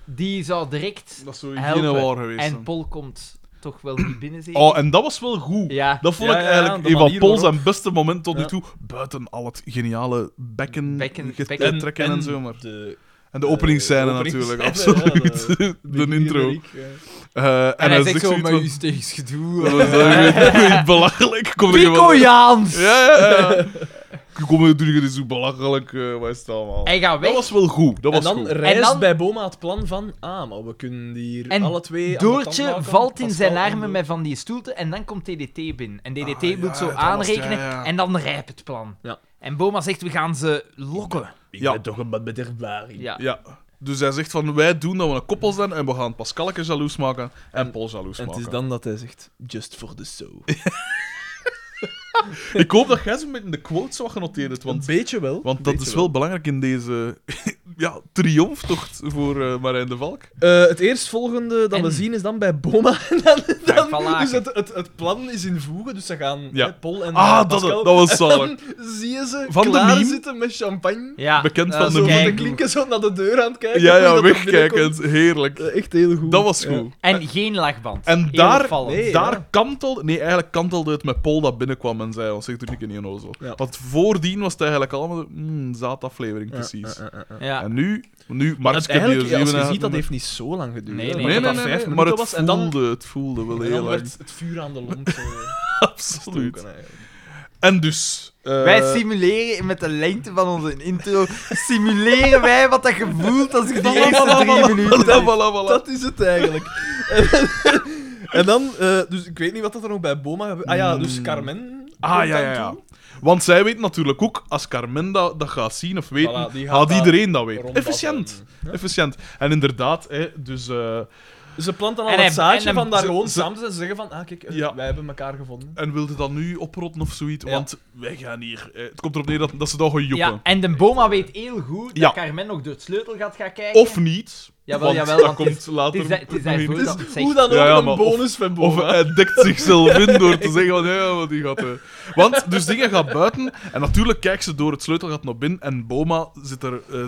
[SPEAKER 1] die zou direct
[SPEAKER 2] Dat zou geen
[SPEAKER 1] helpen.
[SPEAKER 2] war geweest
[SPEAKER 1] En
[SPEAKER 2] zijn.
[SPEAKER 1] Pol komt toch wel niet binnen, zeker?
[SPEAKER 2] Oh, en dat was wel goed.
[SPEAKER 1] Ja.
[SPEAKER 2] Dat vond
[SPEAKER 3] Ja,
[SPEAKER 2] ik
[SPEAKER 3] ja,
[SPEAKER 2] eigenlijk
[SPEAKER 3] de
[SPEAKER 2] een van
[SPEAKER 3] manier
[SPEAKER 2] Paul
[SPEAKER 3] waarop.
[SPEAKER 2] zijn beste moment tot nu
[SPEAKER 3] Ja.
[SPEAKER 2] toe. Buiten al het geniale bekken,
[SPEAKER 1] Bekken-
[SPEAKER 2] get-
[SPEAKER 1] bekken-
[SPEAKER 2] trekken en, zo. Maar.
[SPEAKER 3] De,
[SPEAKER 2] En de openingsscène
[SPEAKER 3] de
[SPEAKER 2] natuurlijk,
[SPEAKER 3] openingsscène,
[SPEAKER 2] absoluut.
[SPEAKER 3] ja, (laughs)
[SPEAKER 2] de, intro.
[SPEAKER 3] generiek, ja.
[SPEAKER 2] Eh, en, hij zegt zoiets van...
[SPEAKER 1] steeds gedoe.
[SPEAKER 2] "Wat is (laughs) dat
[SPEAKER 1] (laughs)
[SPEAKER 2] weer? belachelijk. Kom er
[SPEAKER 1] Pico
[SPEAKER 2] gewoon-
[SPEAKER 1] Jaans!
[SPEAKER 2] Ja, ja, (laughs) ja. Kom, doe je dit zo belachelijk. eh, wat is het allemaal?
[SPEAKER 1] Hij gaat weg.
[SPEAKER 2] Dat was wel goed. Dat
[SPEAKER 3] En
[SPEAKER 2] was
[SPEAKER 3] dan
[SPEAKER 2] goed.
[SPEAKER 3] rijst
[SPEAKER 1] En dan-
[SPEAKER 3] bij Boma het plan van, ah, maar we kunnen hier
[SPEAKER 1] En
[SPEAKER 3] alle twee... aan de tand
[SPEAKER 1] Doortje
[SPEAKER 3] maken,
[SPEAKER 1] valt in
[SPEAKER 3] Pascal
[SPEAKER 1] zijn
[SPEAKER 3] en
[SPEAKER 1] armen
[SPEAKER 3] de-
[SPEAKER 1] met van die stoelte en dan komt DDT binnen. En DDT
[SPEAKER 2] Ah,
[SPEAKER 1] moet
[SPEAKER 2] ja,
[SPEAKER 1] zo
[SPEAKER 2] dat was-
[SPEAKER 1] aanrekenen
[SPEAKER 2] ja, ja.
[SPEAKER 1] en dan rijpt het plan.
[SPEAKER 3] Ja.
[SPEAKER 1] En Boma zegt, we gaan ze lokken.
[SPEAKER 3] Ik
[SPEAKER 2] Ja.
[SPEAKER 3] ben toch een bedrijfbaar.
[SPEAKER 1] Ja.
[SPEAKER 2] Ja. Dus hij zegt van, wij doen dat we een koppel zijn en we gaan Pascalke jaloers maken en
[SPEAKER 3] En-
[SPEAKER 2] Paul jaloers
[SPEAKER 3] En het
[SPEAKER 2] maken.
[SPEAKER 3] is dan dat hij zegt, just for the show.
[SPEAKER 2] Ik hoop dat jij zo met de quote zo wat genoteerd hebt,
[SPEAKER 3] Want,
[SPEAKER 2] want,
[SPEAKER 3] een beetje wel.
[SPEAKER 2] want dat
[SPEAKER 3] Beetje
[SPEAKER 2] is wel belangrijk in deze (laughs) ja, triomftocht voor eh Marijn de Valk.
[SPEAKER 3] Eh, het eerstvolgende dat
[SPEAKER 1] En-
[SPEAKER 3] we zien is dan bij Boma. (laughs) en dan,
[SPEAKER 1] Frank van
[SPEAKER 3] dan,
[SPEAKER 1] Laken.
[SPEAKER 3] dus het, het, het plan is in voegen, dus ze gaan
[SPEAKER 2] Ja.
[SPEAKER 3] hè, Paul en
[SPEAKER 2] Ah,
[SPEAKER 3] eh,
[SPEAKER 2] dat,
[SPEAKER 3] Pascal.
[SPEAKER 2] dat was zalig.
[SPEAKER 3] Dan (laughs) zie je ze
[SPEAKER 2] Van de
[SPEAKER 3] klaar
[SPEAKER 2] meme.
[SPEAKER 3] zitten met champagne.
[SPEAKER 1] Ja, eh,
[SPEAKER 2] Bekend
[SPEAKER 1] dat
[SPEAKER 2] van
[SPEAKER 1] is
[SPEAKER 2] de
[SPEAKER 3] zo
[SPEAKER 1] ook
[SPEAKER 3] van de
[SPEAKER 1] keigoed.
[SPEAKER 3] klinken zo naar de deur aan het kijken.
[SPEAKER 2] Ja,
[SPEAKER 3] hoe dat
[SPEAKER 2] ja,
[SPEAKER 3] er
[SPEAKER 2] wegkijkend.
[SPEAKER 3] binnenkomt.
[SPEAKER 2] Heerlijk.
[SPEAKER 3] Eh, Echt heel goed.
[SPEAKER 2] Dat was
[SPEAKER 3] Ja.
[SPEAKER 2] goed.
[SPEAKER 1] En geen lachband.
[SPEAKER 2] En
[SPEAKER 1] Heel
[SPEAKER 2] daar-
[SPEAKER 1] opvallend.
[SPEAKER 3] Nee.
[SPEAKER 2] Daar
[SPEAKER 3] ja.
[SPEAKER 2] kantelde... Nee, eigenlijk kantelde het met Paul dat binnenkwam en zei, ons zegt er niet in onnozel.
[SPEAKER 3] Ja.
[SPEAKER 2] Want voordien was het eigenlijk allemaal een zaadaflevering,
[SPEAKER 3] Ja,
[SPEAKER 2] precies.
[SPEAKER 3] eh, eh, eh, eh.
[SPEAKER 1] Ja.
[SPEAKER 2] En nu... Nu, Marks kan
[SPEAKER 3] Uiteindelijk,
[SPEAKER 2] hier
[SPEAKER 3] ja, als
[SPEAKER 2] zien
[SPEAKER 3] je
[SPEAKER 2] we
[SPEAKER 3] ziet, dat
[SPEAKER 2] naar-
[SPEAKER 3] heeft niet zo lang geduurd.
[SPEAKER 1] Nee,
[SPEAKER 3] hè.
[SPEAKER 1] nee,
[SPEAKER 3] Ik
[SPEAKER 2] Nee,
[SPEAKER 3] denk
[SPEAKER 2] nee,
[SPEAKER 3] dat
[SPEAKER 2] nee,
[SPEAKER 3] dat
[SPEAKER 2] nee,
[SPEAKER 3] vijf
[SPEAKER 2] maar
[SPEAKER 3] minuten
[SPEAKER 2] het
[SPEAKER 3] was. En
[SPEAKER 2] voelde,
[SPEAKER 3] dan,
[SPEAKER 2] het voelde wel
[SPEAKER 3] en
[SPEAKER 2] heel
[SPEAKER 3] dan
[SPEAKER 2] lang.
[SPEAKER 3] werd het vuur
[SPEAKER 2] (laughs)
[SPEAKER 3] aan de lont eh,
[SPEAKER 2] Absoluut.
[SPEAKER 3] gestoken,
[SPEAKER 2] (laughs)
[SPEAKER 3] eigenlijk.
[SPEAKER 2] En dus... eh,
[SPEAKER 1] Wij
[SPEAKER 2] (laughs)
[SPEAKER 1] simuleren met de lengte van onze intro, simuleren wij wat dat je voelt als je die
[SPEAKER 2] Voilà,
[SPEAKER 1] eerste
[SPEAKER 2] voilà,
[SPEAKER 1] drie
[SPEAKER 2] voilà,
[SPEAKER 1] minuten...
[SPEAKER 2] voilà, voilà, voilà.
[SPEAKER 3] Dat is het (laughs) eigenlijk. En- en dan, eh, dus ik weet niet wat dat er nog bij Boma gebeurt. Ah ja, dus
[SPEAKER 2] Mm.
[SPEAKER 3] Carmen.
[SPEAKER 2] Ah,
[SPEAKER 3] komt
[SPEAKER 2] ja,
[SPEAKER 3] aan
[SPEAKER 2] ja, ja.
[SPEAKER 3] toe.
[SPEAKER 2] Want zij weet natuurlijk ook, als Carmen dat, dat gaat zien of weten,
[SPEAKER 3] Voilà, die gaat
[SPEAKER 2] gaat
[SPEAKER 3] daar
[SPEAKER 2] iedereen dat weten.
[SPEAKER 3] rondbabbelen.
[SPEAKER 2] Efficiënt.
[SPEAKER 3] Ja.
[SPEAKER 2] Efficiënt. En inderdaad, hè, dus... eh,
[SPEAKER 3] Ze planten al
[SPEAKER 1] En
[SPEAKER 3] het
[SPEAKER 1] hij- en
[SPEAKER 3] zaadje
[SPEAKER 1] hem-
[SPEAKER 3] van daar
[SPEAKER 2] ze-
[SPEAKER 3] gewoon
[SPEAKER 2] ze-
[SPEAKER 3] samen te zijn. Ze zeggen van, ah kijk, eh,
[SPEAKER 2] Ja.
[SPEAKER 3] wij hebben elkaar gevonden.
[SPEAKER 2] en wilde dat nu oprotten of zoiets,
[SPEAKER 3] Ja.
[SPEAKER 2] want wij gaan hier... eh, het komt erop neer dat, dat ze dat gaan joppen.
[SPEAKER 1] Ja, en de Boma weet heel goed dat
[SPEAKER 2] Ja.
[SPEAKER 1] Carmen nog door het sleutelgat gaat kijken.
[SPEAKER 2] Of niet.
[SPEAKER 1] Jawel,
[SPEAKER 2] want
[SPEAKER 1] jawel,
[SPEAKER 2] dat
[SPEAKER 1] want het
[SPEAKER 2] komt
[SPEAKER 1] is-
[SPEAKER 2] later...
[SPEAKER 1] het is daar- het is
[SPEAKER 2] nog in.
[SPEAKER 1] daarvoor
[SPEAKER 2] Dus-
[SPEAKER 1] dat- zegt-
[SPEAKER 3] Hoe dan ook
[SPEAKER 2] Ja, ja, maar
[SPEAKER 3] een bonus van
[SPEAKER 2] Of
[SPEAKER 3] Boma.
[SPEAKER 2] hij dekt zichzelf in door te zeggen van, ja, want die gaat... eh. Want, dus dingen gaat buiten en natuurlijk kijkt ze door het sleutelgat naar binnen en Boma zit er... eh,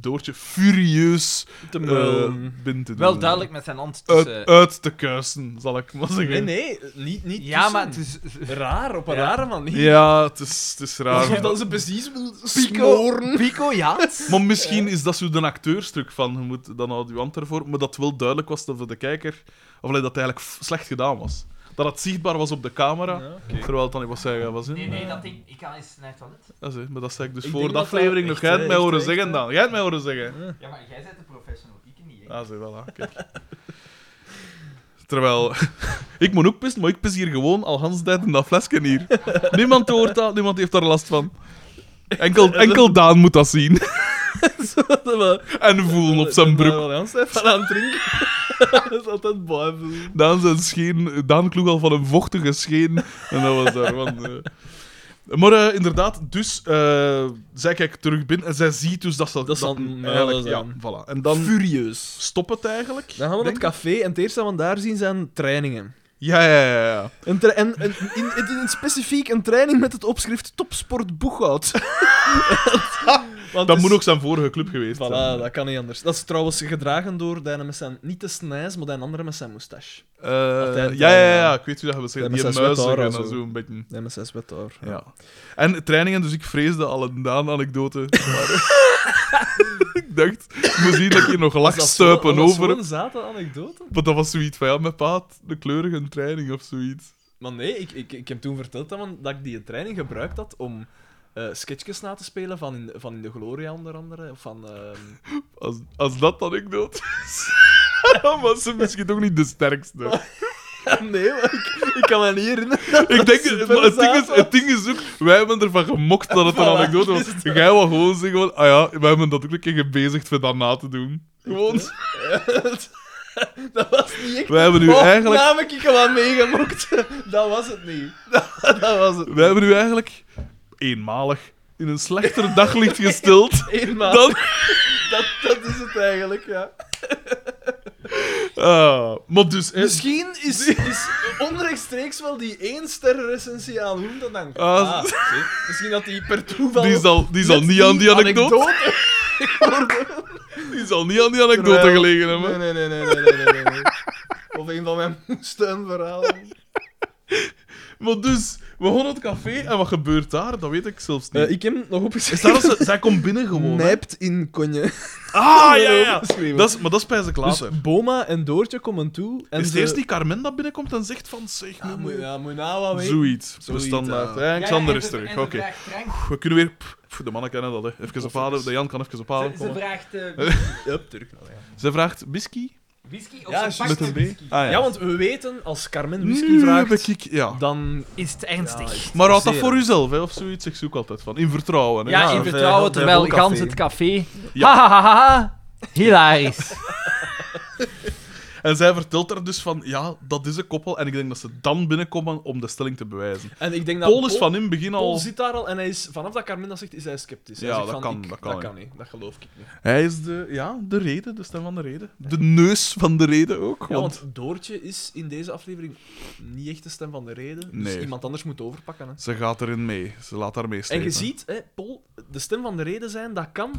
[SPEAKER 2] Doortje furieus
[SPEAKER 3] Te
[SPEAKER 2] eh,
[SPEAKER 3] muilen.
[SPEAKER 2] binnen te doen.
[SPEAKER 1] Wel duidelijk met zijn hand
[SPEAKER 2] Uit,
[SPEAKER 1] tussen...
[SPEAKER 2] uit te kuisen, zal ik maar zeggen.
[SPEAKER 3] Nee, nee, niet, niet
[SPEAKER 1] ja, maar het
[SPEAKER 3] tussen.
[SPEAKER 1] is...
[SPEAKER 3] Raar, op een
[SPEAKER 1] Ja.
[SPEAKER 3] rare manier.
[SPEAKER 2] Ja, het is, het is
[SPEAKER 3] Alsof
[SPEAKER 2] raar.
[SPEAKER 3] (laughs) dat ze precies wil
[SPEAKER 1] Pico,
[SPEAKER 3] smoren. (laughs)
[SPEAKER 1] Pico Jaans?
[SPEAKER 2] Maar misschien is dat zo een acteurstuk van, je moet dan adjuvant ervoor, maar dat wel duidelijk was dat voor de kijker, of dat het eigenlijk f- slecht gedaan was. Dat het zichtbaar was op de camera,
[SPEAKER 3] Ja,
[SPEAKER 2] terwijl het dan niet was zeggen was in.
[SPEAKER 1] Nee, nee, dat ik... Ik kan eens naar het toilet.
[SPEAKER 2] Dat is, hè. maar dat zei ik dus
[SPEAKER 3] Ik
[SPEAKER 2] voor
[SPEAKER 3] denk
[SPEAKER 2] de
[SPEAKER 3] dat dat
[SPEAKER 2] aflevering nog.
[SPEAKER 3] echt,
[SPEAKER 2] Jij hebt
[SPEAKER 3] eh,
[SPEAKER 2] mij
[SPEAKER 3] echt,
[SPEAKER 2] horen
[SPEAKER 3] echt,
[SPEAKER 2] zeggen
[SPEAKER 3] eh,
[SPEAKER 2] dan. Jij hebt mij horen zeggen.
[SPEAKER 1] Ja, maar jij bent de professional, ik niet,
[SPEAKER 2] Ah, zo wel, kijk. Terwijl, (laughs) ik moet ook pissen, maar ik pis hier gewoon al hans de tijd in dat flesje hier. Niemand hoort dat, niemand heeft daar last van. Enkel, enkel Daan moet dat zien (laughs) en voelen op zijn broek.
[SPEAKER 3] Jan zei van aan het drinken. (laughs) Dat is altijd boy voelen.
[SPEAKER 2] Daan, zijn scheen, Daan kloeg al van een vochtige scheen. En dat was daarvan. eh. Maar eh, inderdaad, dus eh, zij kijkt terug binnen en zij ziet dus dat ze
[SPEAKER 3] Dat ze aan het
[SPEAKER 2] eigenlijk,
[SPEAKER 3] muilen
[SPEAKER 2] ja,
[SPEAKER 3] zijn.
[SPEAKER 2] voilà. En dan
[SPEAKER 3] Furieus.
[SPEAKER 2] stopt het eigenlijk.
[SPEAKER 3] Dan gaan we naar
[SPEAKER 2] denk
[SPEAKER 3] het café en het eerste wat we daar zien zijn trainingen.
[SPEAKER 2] Ja, ja, ja, ja.
[SPEAKER 3] Een tra- en en in, in, in het specifiek een training met het opschrift Topsport Boeghout. (laughs) Want
[SPEAKER 2] Dat
[SPEAKER 3] het
[SPEAKER 2] moet
[SPEAKER 3] is-
[SPEAKER 2] ook zijn vorige club geweest zijn.
[SPEAKER 3] Voilà, dat kan niet anders. Dat is trouwens gedragen door de ene met zijn, niet de snijs, maar de andere met zijn moustache.
[SPEAKER 2] Eh,
[SPEAKER 3] Altijd,
[SPEAKER 2] ja, ja, ja,
[SPEAKER 3] eh,
[SPEAKER 2] ja, ik weet hoe dat je
[SPEAKER 3] ja,
[SPEAKER 2] beschrijft.
[SPEAKER 3] met
[SPEAKER 2] Die
[SPEAKER 3] zijn
[SPEAKER 2] muizen
[SPEAKER 3] sweater
[SPEAKER 2] en
[SPEAKER 3] en
[SPEAKER 2] dan
[SPEAKER 3] zo.
[SPEAKER 2] zo een beetje.
[SPEAKER 3] De MS wet daar.
[SPEAKER 2] Ja. En trainingen, dus ik vreesde al een
[SPEAKER 3] (laughs)
[SPEAKER 2] Daan-anekdote. maar- (laughs) ik dacht, ik moet zien dat ik hier nog
[SPEAKER 3] Was dat zo-
[SPEAKER 2] lachstuipen
[SPEAKER 3] was dat
[SPEAKER 2] over.
[SPEAKER 3] zo'n zate anekdote?
[SPEAKER 2] Maar dat was zoiets van, ja, mijn paat, de kleurige training of zoiets.
[SPEAKER 3] Maar nee, ik, ik, ik heb toen verteld dat, man, dat ik die training gebruikt had om eh sketchjes na te spelen van in, van in de Gloria onder andere. Of van, ehm, (laughs)
[SPEAKER 2] (laughs) Als, als dat dan ik dood is, dan was ze misschien toch niet de sterkste.
[SPEAKER 3] nee, maar ik, ik kan me niet herinneren. (laughs) dat
[SPEAKER 2] Ik
[SPEAKER 3] dat
[SPEAKER 2] denk,
[SPEAKER 3] super
[SPEAKER 2] maar het, ding
[SPEAKER 3] zaad
[SPEAKER 2] is, het ding is ook, wij hebben ervan gemokt dat het een
[SPEAKER 3] Voilà,
[SPEAKER 2] anekdote was.
[SPEAKER 3] juist.
[SPEAKER 2] Jij wou gewoon zeggen van, ah ja, wij hebben dat ook een keer gebezigd voor dat na te doen. Gewoon,
[SPEAKER 3] was. dat was niet echt...
[SPEAKER 2] wij hebben nu
[SPEAKER 3] oh,
[SPEAKER 2] eigenlijk...
[SPEAKER 3] nou heb ik hem aan meegemokt. (laughs) dat was het niet. (laughs) Dat, dat was het.
[SPEAKER 2] Wij hebben u eigenlijk eenmalig in een
[SPEAKER 3] (laughs)
[SPEAKER 2] slechter daglicht gesteld
[SPEAKER 3] Eenmaal. Dat...
[SPEAKER 2] dan...
[SPEAKER 3] (laughs) Dat, is het eigenlijk, ja.
[SPEAKER 2] Ah, maar dus... hè,
[SPEAKER 3] Misschien is, is onrechtstreeks wel die één ster recensie aan Hoen te danken.
[SPEAKER 2] Ah,
[SPEAKER 3] Ah, zie. misschien dat die per toeval...
[SPEAKER 2] die zal, die zal
[SPEAKER 3] net
[SPEAKER 2] niet aan die anekdote,
[SPEAKER 3] geworden.
[SPEAKER 2] die zal niet aan die anekdote
[SPEAKER 3] Terwijl-
[SPEAKER 2] gelegen hebben.
[SPEAKER 3] Nee, nee, nee, nee, nee, nee, nee, nee. Of een van mijn (laughs) steunverhalen.
[SPEAKER 2] Maar dus, we gaan naar het café en wat gebeurt daar? Dat weet Eh, ik zelfs niet.
[SPEAKER 3] Eh, ik heb nog
[SPEAKER 2] Is
[SPEAKER 3] opgeschreven... (laughs)
[SPEAKER 2] daar als ze- zij komt binnen gewoon. hè?
[SPEAKER 3] Nijpt in konje.
[SPEAKER 2] Ah, ja,
[SPEAKER 3] (laughs)
[SPEAKER 2] ja.
[SPEAKER 3] Opgeschreven.
[SPEAKER 2] Dat is, maar dat is pijs ik later.
[SPEAKER 3] Dus Boma en Doortje komen toe en
[SPEAKER 2] is het
[SPEAKER 3] ze...
[SPEAKER 2] eerst die Carmen dat binnenkomt en zegt van, zeg,
[SPEAKER 3] Ja,
[SPEAKER 2] nu
[SPEAKER 3] moet
[SPEAKER 2] moet-
[SPEAKER 3] ja, moet nou wat weten.
[SPEAKER 2] Zoiets.
[SPEAKER 3] Zoiets, eh.
[SPEAKER 2] Standaard.
[SPEAKER 3] ja.
[SPEAKER 2] hè. Xander
[SPEAKER 4] en
[SPEAKER 2] is
[SPEAKER 4] ze-
[SPEAKER 2] terug.
[SPEAKER 4] en
[SPEAKER 2] Oké.
[SPEAKER 4] ze vraagt drank.
[SPEAKER 2] We kunnen weer... pff, pff, de mannen kennen dat, hè. Even op adem. De Jan kan even op adem
[SPEAKER 4] Ze, ze
[SPEAKER 2] komen.
[SPEAKER 4] vraagt eh,
[SPEAKER 3] Hup, terug. nou, ja.
[SPEAKER 2] Ze vraagt whisky.
[SPEAKER 4] whisky of
[SPEAKER 3] Ja,
[SPEAKER 4] ze
[SPEAKER 3] juist.
[SPEAKER 4] pakt
[SPEAKER 2] Met een
[SPEAKER 4] een
[SPEAKER 2] B.
[SPEAKER 4] whisky.
[SPEAKER 2] Ah,
[SPEAKER 3] ja. want we weten, als Carmen whisky
[SPEAKER 2] nu
[SPEAKER 3] vraagt,
[SPEAKER 2] heb ik... Ja.
[SPEAKER 3] dan...
[SPEAKER 4] Is het ernstig?
[SPEAKER 2] Maar houd dat
[SPEAKER 3] Zeer.
[SPEAKER 2] voor uzelf, hè, of zoiets. Ik zoek altijd van. In vertrouwen. Hè.
[SPEAKER 4] Ja, in
[SPEAKER 3] of, eh,
[SPEAKER 4] vertrouwen,
[SPEAKER 3] dat-
[SPEAKER 4] terwijl
[SPEAKER 3] dat café.
[SPEAKER 4] gans het café...
[SPEAKER 2] Ja.
[SPEAKER 4] Ha, ha, ha, ha. Hilarisch.
[SPEAKER 2] En zij vertelt er dus van, ja, dat is een koppel. En ik denk dat ze dan binnenkomen om de stelling te bewijzen.
[SPEAKER 3] En ik denk dat...
[SPEAKER 2] Paul is
[SPEAKER 3] Paul-
[SPEAKER 2] van in het begin
[SPEAKER 3] Paul
[SPEAKER 2] al...
[SPEAKER 3] zit daar al en hij is, vanaf dat Carmen dat zegt, is hij sceptisch. Hij
[SPEAKER 2] Ja,
[SPEAKER 3] zegt
[SPEAKER 2] dat
[SPEAKER 3] van,
[SPEAKER 2] kan,
[SPEAKER 3] ik-
[SPEAKER 2] dat kan, ja.
[SPEAKER 3] niet. Dat geloof ik niet.
[SPEAKER 2] Hij is de, ja, de reden, de stem van de reden. De neus van de reden ook.
[SPEAKER 3] Ja,
[SPEAKER 2] Want
[SPEAKER 3] want Doortje is in deze aflevering niet echt de stem van de reden. Dus
[SPEAKER 2] Nee.
[SPEAKER 3] iemand anders moet overpakken. Hè.
[SPEAKER 2] ze gaat erin mee. Ze laat haar meeslepen.
[SPEAKER 3] En je ziet, hè, Paul, de stem van de reden zijn, dat kan.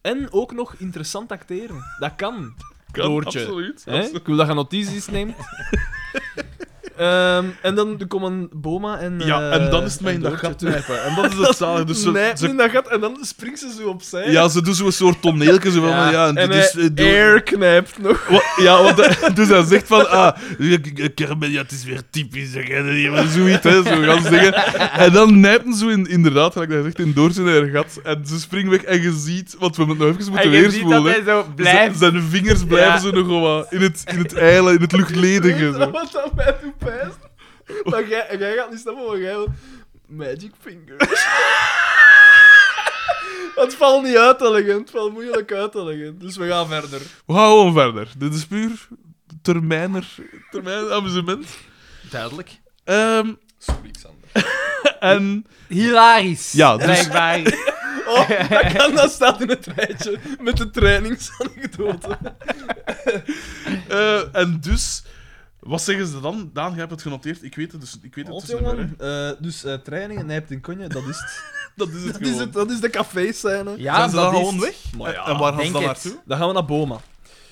[SPEAKER 3] En ook nog interessant acteren. Dat kan.
[SPEAKER 2] (laughs) Kan,
[SPEAKER 3] Doortje.
[SPEAKER 2] Absoluut.
[SPEAKER 3] Hè? Ik wil dat je notities
[SPEAKER 2] (laughs)
[SPEAKER 3] neemt. Ehm, en dan komen Boma en.
[SPEAKER 2] Ja,
[SPEAKER 3] eh,
[SPEAKER 2] en dan is het mij in dat
[SPEAKER 3] Doortje
[SPEAKER 2] gat
[SPEAKER 3] terug.
[SPEAKER 2] knijpen. (laughs) En dat is het zalige. Dus ze,
[SPEAKER 3] Nee,
[SPEAKER 2] ze-
[SPEAKER 3] in dat gat. En dan springt ze zo opzij.
[SPEAKER 2] ja, ze doen zo'n soort toneeltje. Zo van, ja, en dit
[SPEAKER 3] hij
[SPEAKER 2] is... eh, door-
[SPEAKER 3] air knijpt nog.
[SPEAKER 2] Wa- Ja, want hij- (laughs) dus hij zegt van, ah, Carmen, ja, het is weer typisch, hè, jij bent hier wel zoiets, hè, zo gaan ze zeggen. En dan nijpen ze in, inderdaad, gelijk dat hij zegt, in Doortje naar haar gat. En ze springt weg en je ziet, want we hebben het nog even moeten
[SPEAKER 4] en je ziet dat
[SPEAKER 2] weerspoelen.
[SPEAKER 4] hij zo
[SPEAKER 2] Zijn,
[SPEAKER 4] (laughs) blijft.
[SPEAKER 2] zijn vingers blijven
[SPEAKER 4] Ja.
[SPEAKER 2] zo nog wel wat in het, in het eilen, in het (laughs)
[SPEAKER 4] (laughs)
[SPEAKER 2] luchtledige.
[SPEAKER 3] Weet je
[SPEAKER 2] Zo.
[SPEAKER 3] Wat dat mij doet pijst. Maar jij, en jij gaat niet snappen, maar jij wil- Magic fingers. (laughs) Het valt niet uit te leggen. Het valt moeilijk uit te leggen. Dus we gaan verder.
[SPEAKER 2] We gaan gewoon verder. Dit is puur termijner, termijn amusement.
[SPEAKER 3] Duidelijk.
[SPEAKER 2] Ehm,
[SPEAKER 3] Sorry, Xander.
[SPEAKER 2] en
[SPEAKER 4] Hilarisch.
[SPEAKER 2] Ja, dus- (laughs)
[SPEAKER 4] Blijkbaar.
[SPEAKER 3] Oh, dat kan, dat (laughs) staat in het rijtje met de trainingsanekdote.
[SPEAKER 2] eh, en dus, wat zeggen ze dan? Daan, jij hebt het genoteerd. Ik weet het dus ik weet het
[SPEAKER 3] Alt,
[SPEAKER 2] dus niet meer. hè.
[SPEAKER 3] jongen. Eh, dus eh, trainingen, nijpt in konje, dat is het.
[SPEAKER 2] Dat is het
[SPEAKER 3] (laughs) Dat is,
[SPEAKER 2] gewoon.
[SPEAKER 3] het, dat is de café-scène.
[SPEAKER 4] Ja,
[SPEAKER 2] Zijn ze
[SPEAKER 4] dat
[SPEAKER 2] dan
[SPEAKER 4] is
[SPEAKER 2] gewoon
[SPEAKER 4] het.
[SPEAKER 2] weg?
[SPEAKER 3] Maar ja,
[SPEAKER 2] en waar gaan ze
[SPEAKER 4] denk
[SPEAKER 2] dan
[SPEAKER 4] het.
[SPEAKER 2] naartoe?
[SPEAKER 3] Dan gaan we naar Boma.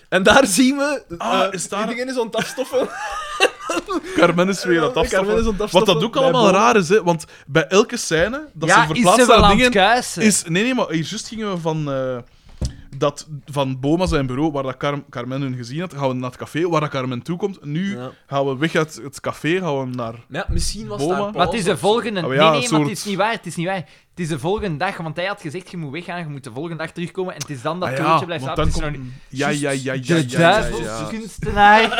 [SPEAKER 3] En daar zien we...
[SPEAKER 2] Ah,
[SPEAKER 3] eh,
[SPEAKER 2] is daar-
[SPEAKER 3] Die dingen is aan het (laughs) afstoffen.
[SPEAKER 2] Carmen is weer aan het
[SPEAKER 3] Ja, Carmen
[SPEAKER 2] afstappen.
[SPEAKER 3] is aan het
[SPEAKER 2] Wat
[SPEAKER 3] afstappen
[SPEAKER 2] dat ook
[SPEAKER 3] bij
[SPEAKER 2] allemaal
[SPEAKER 3] Boma.
[SPEAKER 2] raar is, hè, want bij elke scène dat
[SPEAKER 4] ja,
[SPEAKER 2] ze
[SPEAKER 4] is ze
[SPEAKER 2] verplaatst
[SPEAKER 4] wel
[SPEAKER 2] naar
[SPEAKER 4] aan
[SPEAKER 2] dingen,
[SPEAKER 4] het kuisen?
[SPEAKER 2] Is, nee, nee, maar hier juist gingen we van, eh, dat, van Boma zijn bureau, waar dat Car- Carmen hun gezien had, gaan we naar het café waar dat Carmen toekomt. Nu
[SPEAKER 3] Ja.
[SPEAKER 2] gaan we weg uit het café, gaan we naar...
[SPEAKER 3] Ja, misschien was
[SPEAKER 2] Boma.
[SPEAKER 3] daar pauze
[SPEAKER 4] Maar het is de
[SPEAKER 3] of zo.
[SPEAKER 4] volgende...
[SPEAKER 2] Ah, maar
[SPEAKER 4] nee,
[SPEAKER 2] ja,
[SPEAKER 4] nee,
[SPEAKER 2] een
[SPEAKER 4] maar
[SPEAKER 2] soort-
[SPEAKER 4] het is niet waar. Het is niet waar. Het is de volgende dag, want hij had gezegd, je moet weggaan, je moet de volgende dag terugkomen. En het is dan dat
[SPEAKER 2] Ah
[SPEAKER 4] Doortje blijft
[SPEAKER 2] want
[SPEAKER 4] slapen. Het
[SPEAKER 2] dan
[SPEAKER 4] is nog
[SPEAKER 2] komt-
[SPEAKER 4] niet-
[SPEAKER 2] Ja, ja, ja, ja, ja,
[SPEAKER 4] De
[SPEAKER 2] ja, ja, ja.
[SPEAKER 4] duivelskunstenaar. (laughs)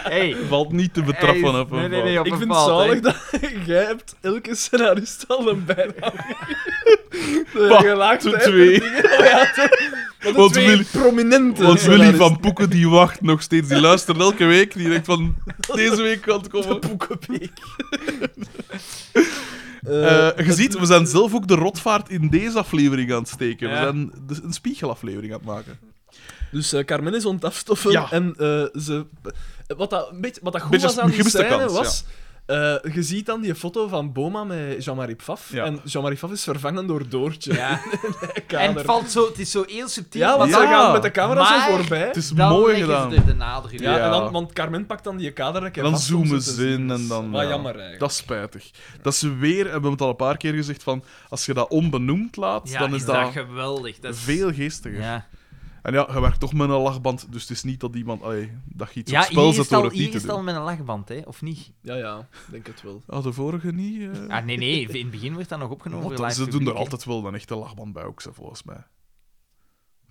[SPEAKER 4] Hey.
[SPEAKER 2] Valt niet te betrappen
[SPEAKER 4] Hey,
[SPEAKER 2] op een
[SPEAKER 4] nee, nee,
[SPEAKER 2] val.
[SPEAKER 4] nee, op
[SPEAKER 3] Ik
[SPEAKER 4] een
[SPEAKER 3] vind het
[SPEAKER 4] bepaald,
[SPEAKER 3] zalig
[SPEAKER 4] hè.
[SPEAKER 3] dat (laughs) jij hebt elke scenarist al een
[SPEAKER 2] (laughs)
[SPEAKER 3] bijnaam. De
[SPEAKER 2] Bah,
[SPEAKER 3] gelaagdheid en
[SPEAKER 2] twee.
[SPEAKER 3] dingen. Oh ja, de- maar de
[SPEAKER 2] Want
[SPEAKER 3] twee
[SPEAKER 2] Willy-
[SPEAKER 3] prominente
[SPEAKER 2] Want Willy
[SPEAKER 3] scenaristen.
[SPEAKER 2] van Poeken die wacht nog steeds. Die luistert elke week. Die denkt van, deze week kan het komen.
[SPEAKER 3] Poekepeek.
[SPEAKER 2] (laughs) Eh, je ziet, we zijn zelf ook de rotvaart in deze aflevering aan het steken.
[SPEAKER 3] Ja.
[SPEAKER 2] We zijn de- een spiegelaflevering aan het maken.
[SPEAKER 3] Dus eh, Carmen is aan het afstoffen
[SPEAKER 2] Ja.
[SPEAKER 3] en eh, ze... Wat dat, een beetje- wat dat goed
[SPEAKER 2] Beetje
[SPEAKER 3] was aan die
[SPEAKER 2] gemiste
[SPEAKER 3] scène
[SPEAKER 2] kans,
[SPEAKER 3] was... eh, je ziet dan die foto van Boma met Jean-Marie Pfaff.
[SPEAKER 2] Ja.
[SPEAKER 3] En Jean-Marie Pfaff is vervangen door Doortje. (laughs)
[SPEAKER 4] Ja. En
[SPEAKER 3] Kader.
[SPEAKER 4] het valt zo... Het is zo heel subtiel.
[SPEAKER 3] ja,
[SPEAKER 4] maar
[SPEAKER 3] want
[SPEAKER 2] Ja.
[SPEAKER 3] ze gaan met de camera
[SPEAKER 4] Maar-
[SPEAKER 3] zo voorbij.
[SPEAKER 2] Het is
[SPEAKER 4] dan
[SPEAKER 2] mooi
[SPEAKER 4] leggen
[SPEAKER 2] gedaan.
[SPEAKER 4] ze er de nadruk
[SPEAKER 3] Ja,
[SPEAKER 4] op.
[SPEAKER 2] Ja.
[SPEAKER 3] En dan, want Carmen pakt dan die kader
[SPEAKER 2] En dan zoomen ze in en dan...
[SPEAKER 3] Wat
[SPEAKER 2] ja.
[SPEAKER 3] jammer eigenlijk.
[SPEAKER 2] Dat is spijtig. Dat ze weer, en we hebben het al een paar keer gezegd, van als je dat onbenoemd laat,
[SPEAKER 4] Ja,
[SPEAKER 2] dan is,
[SPEAKER 4] dat
[SPEAKER 2] dat,
[SPEAKER 4] geweldig. Dat is...
[SPEAKER 2] veel geestiger.
[SPEAKER 4] Ja,
[SPEAKER 2] En ja, je werkt toch met een lachband, dus het is niet dat iemand... Allee, dat je iets
[SPEAKER 4] ja
[SPEAKER 2] op spel
[SPEAKER 4] hier is
[SPEAKER 2] zet
[SPEAKER 4] het
[SPEAKER 2] door
[SPEAKER 4] al,
[SPEAKER 2] het
[SPEAKER 4] hier
[SPEAKER 2] niet
[SPEAKER 4] is
[SPEAKER 2] te
[SPEAKER 4] het al
[SPEAKER 2] doen.
[SPEAKER 4] met een lachband, hè? Of niet?
[SPEAKER 3] Ja, ja, denk het wel.
[SPEAKER 2] Ah, de vorige niet? eh?
[SPEAKER 4] Ah, nee, nee. In het begin wordt dat nog opgenomen.
[SPEAKER 2] Want
[SPEAKER 4] voor
[SPEAKER 2] ze
[SPEAKER 4] live
[SPEAKER 2] doen er
[SPEAKER 4] publiek, hè.
[SPEAKER 2] altijd wel een echte lachband bij ook, ze, volgens mij.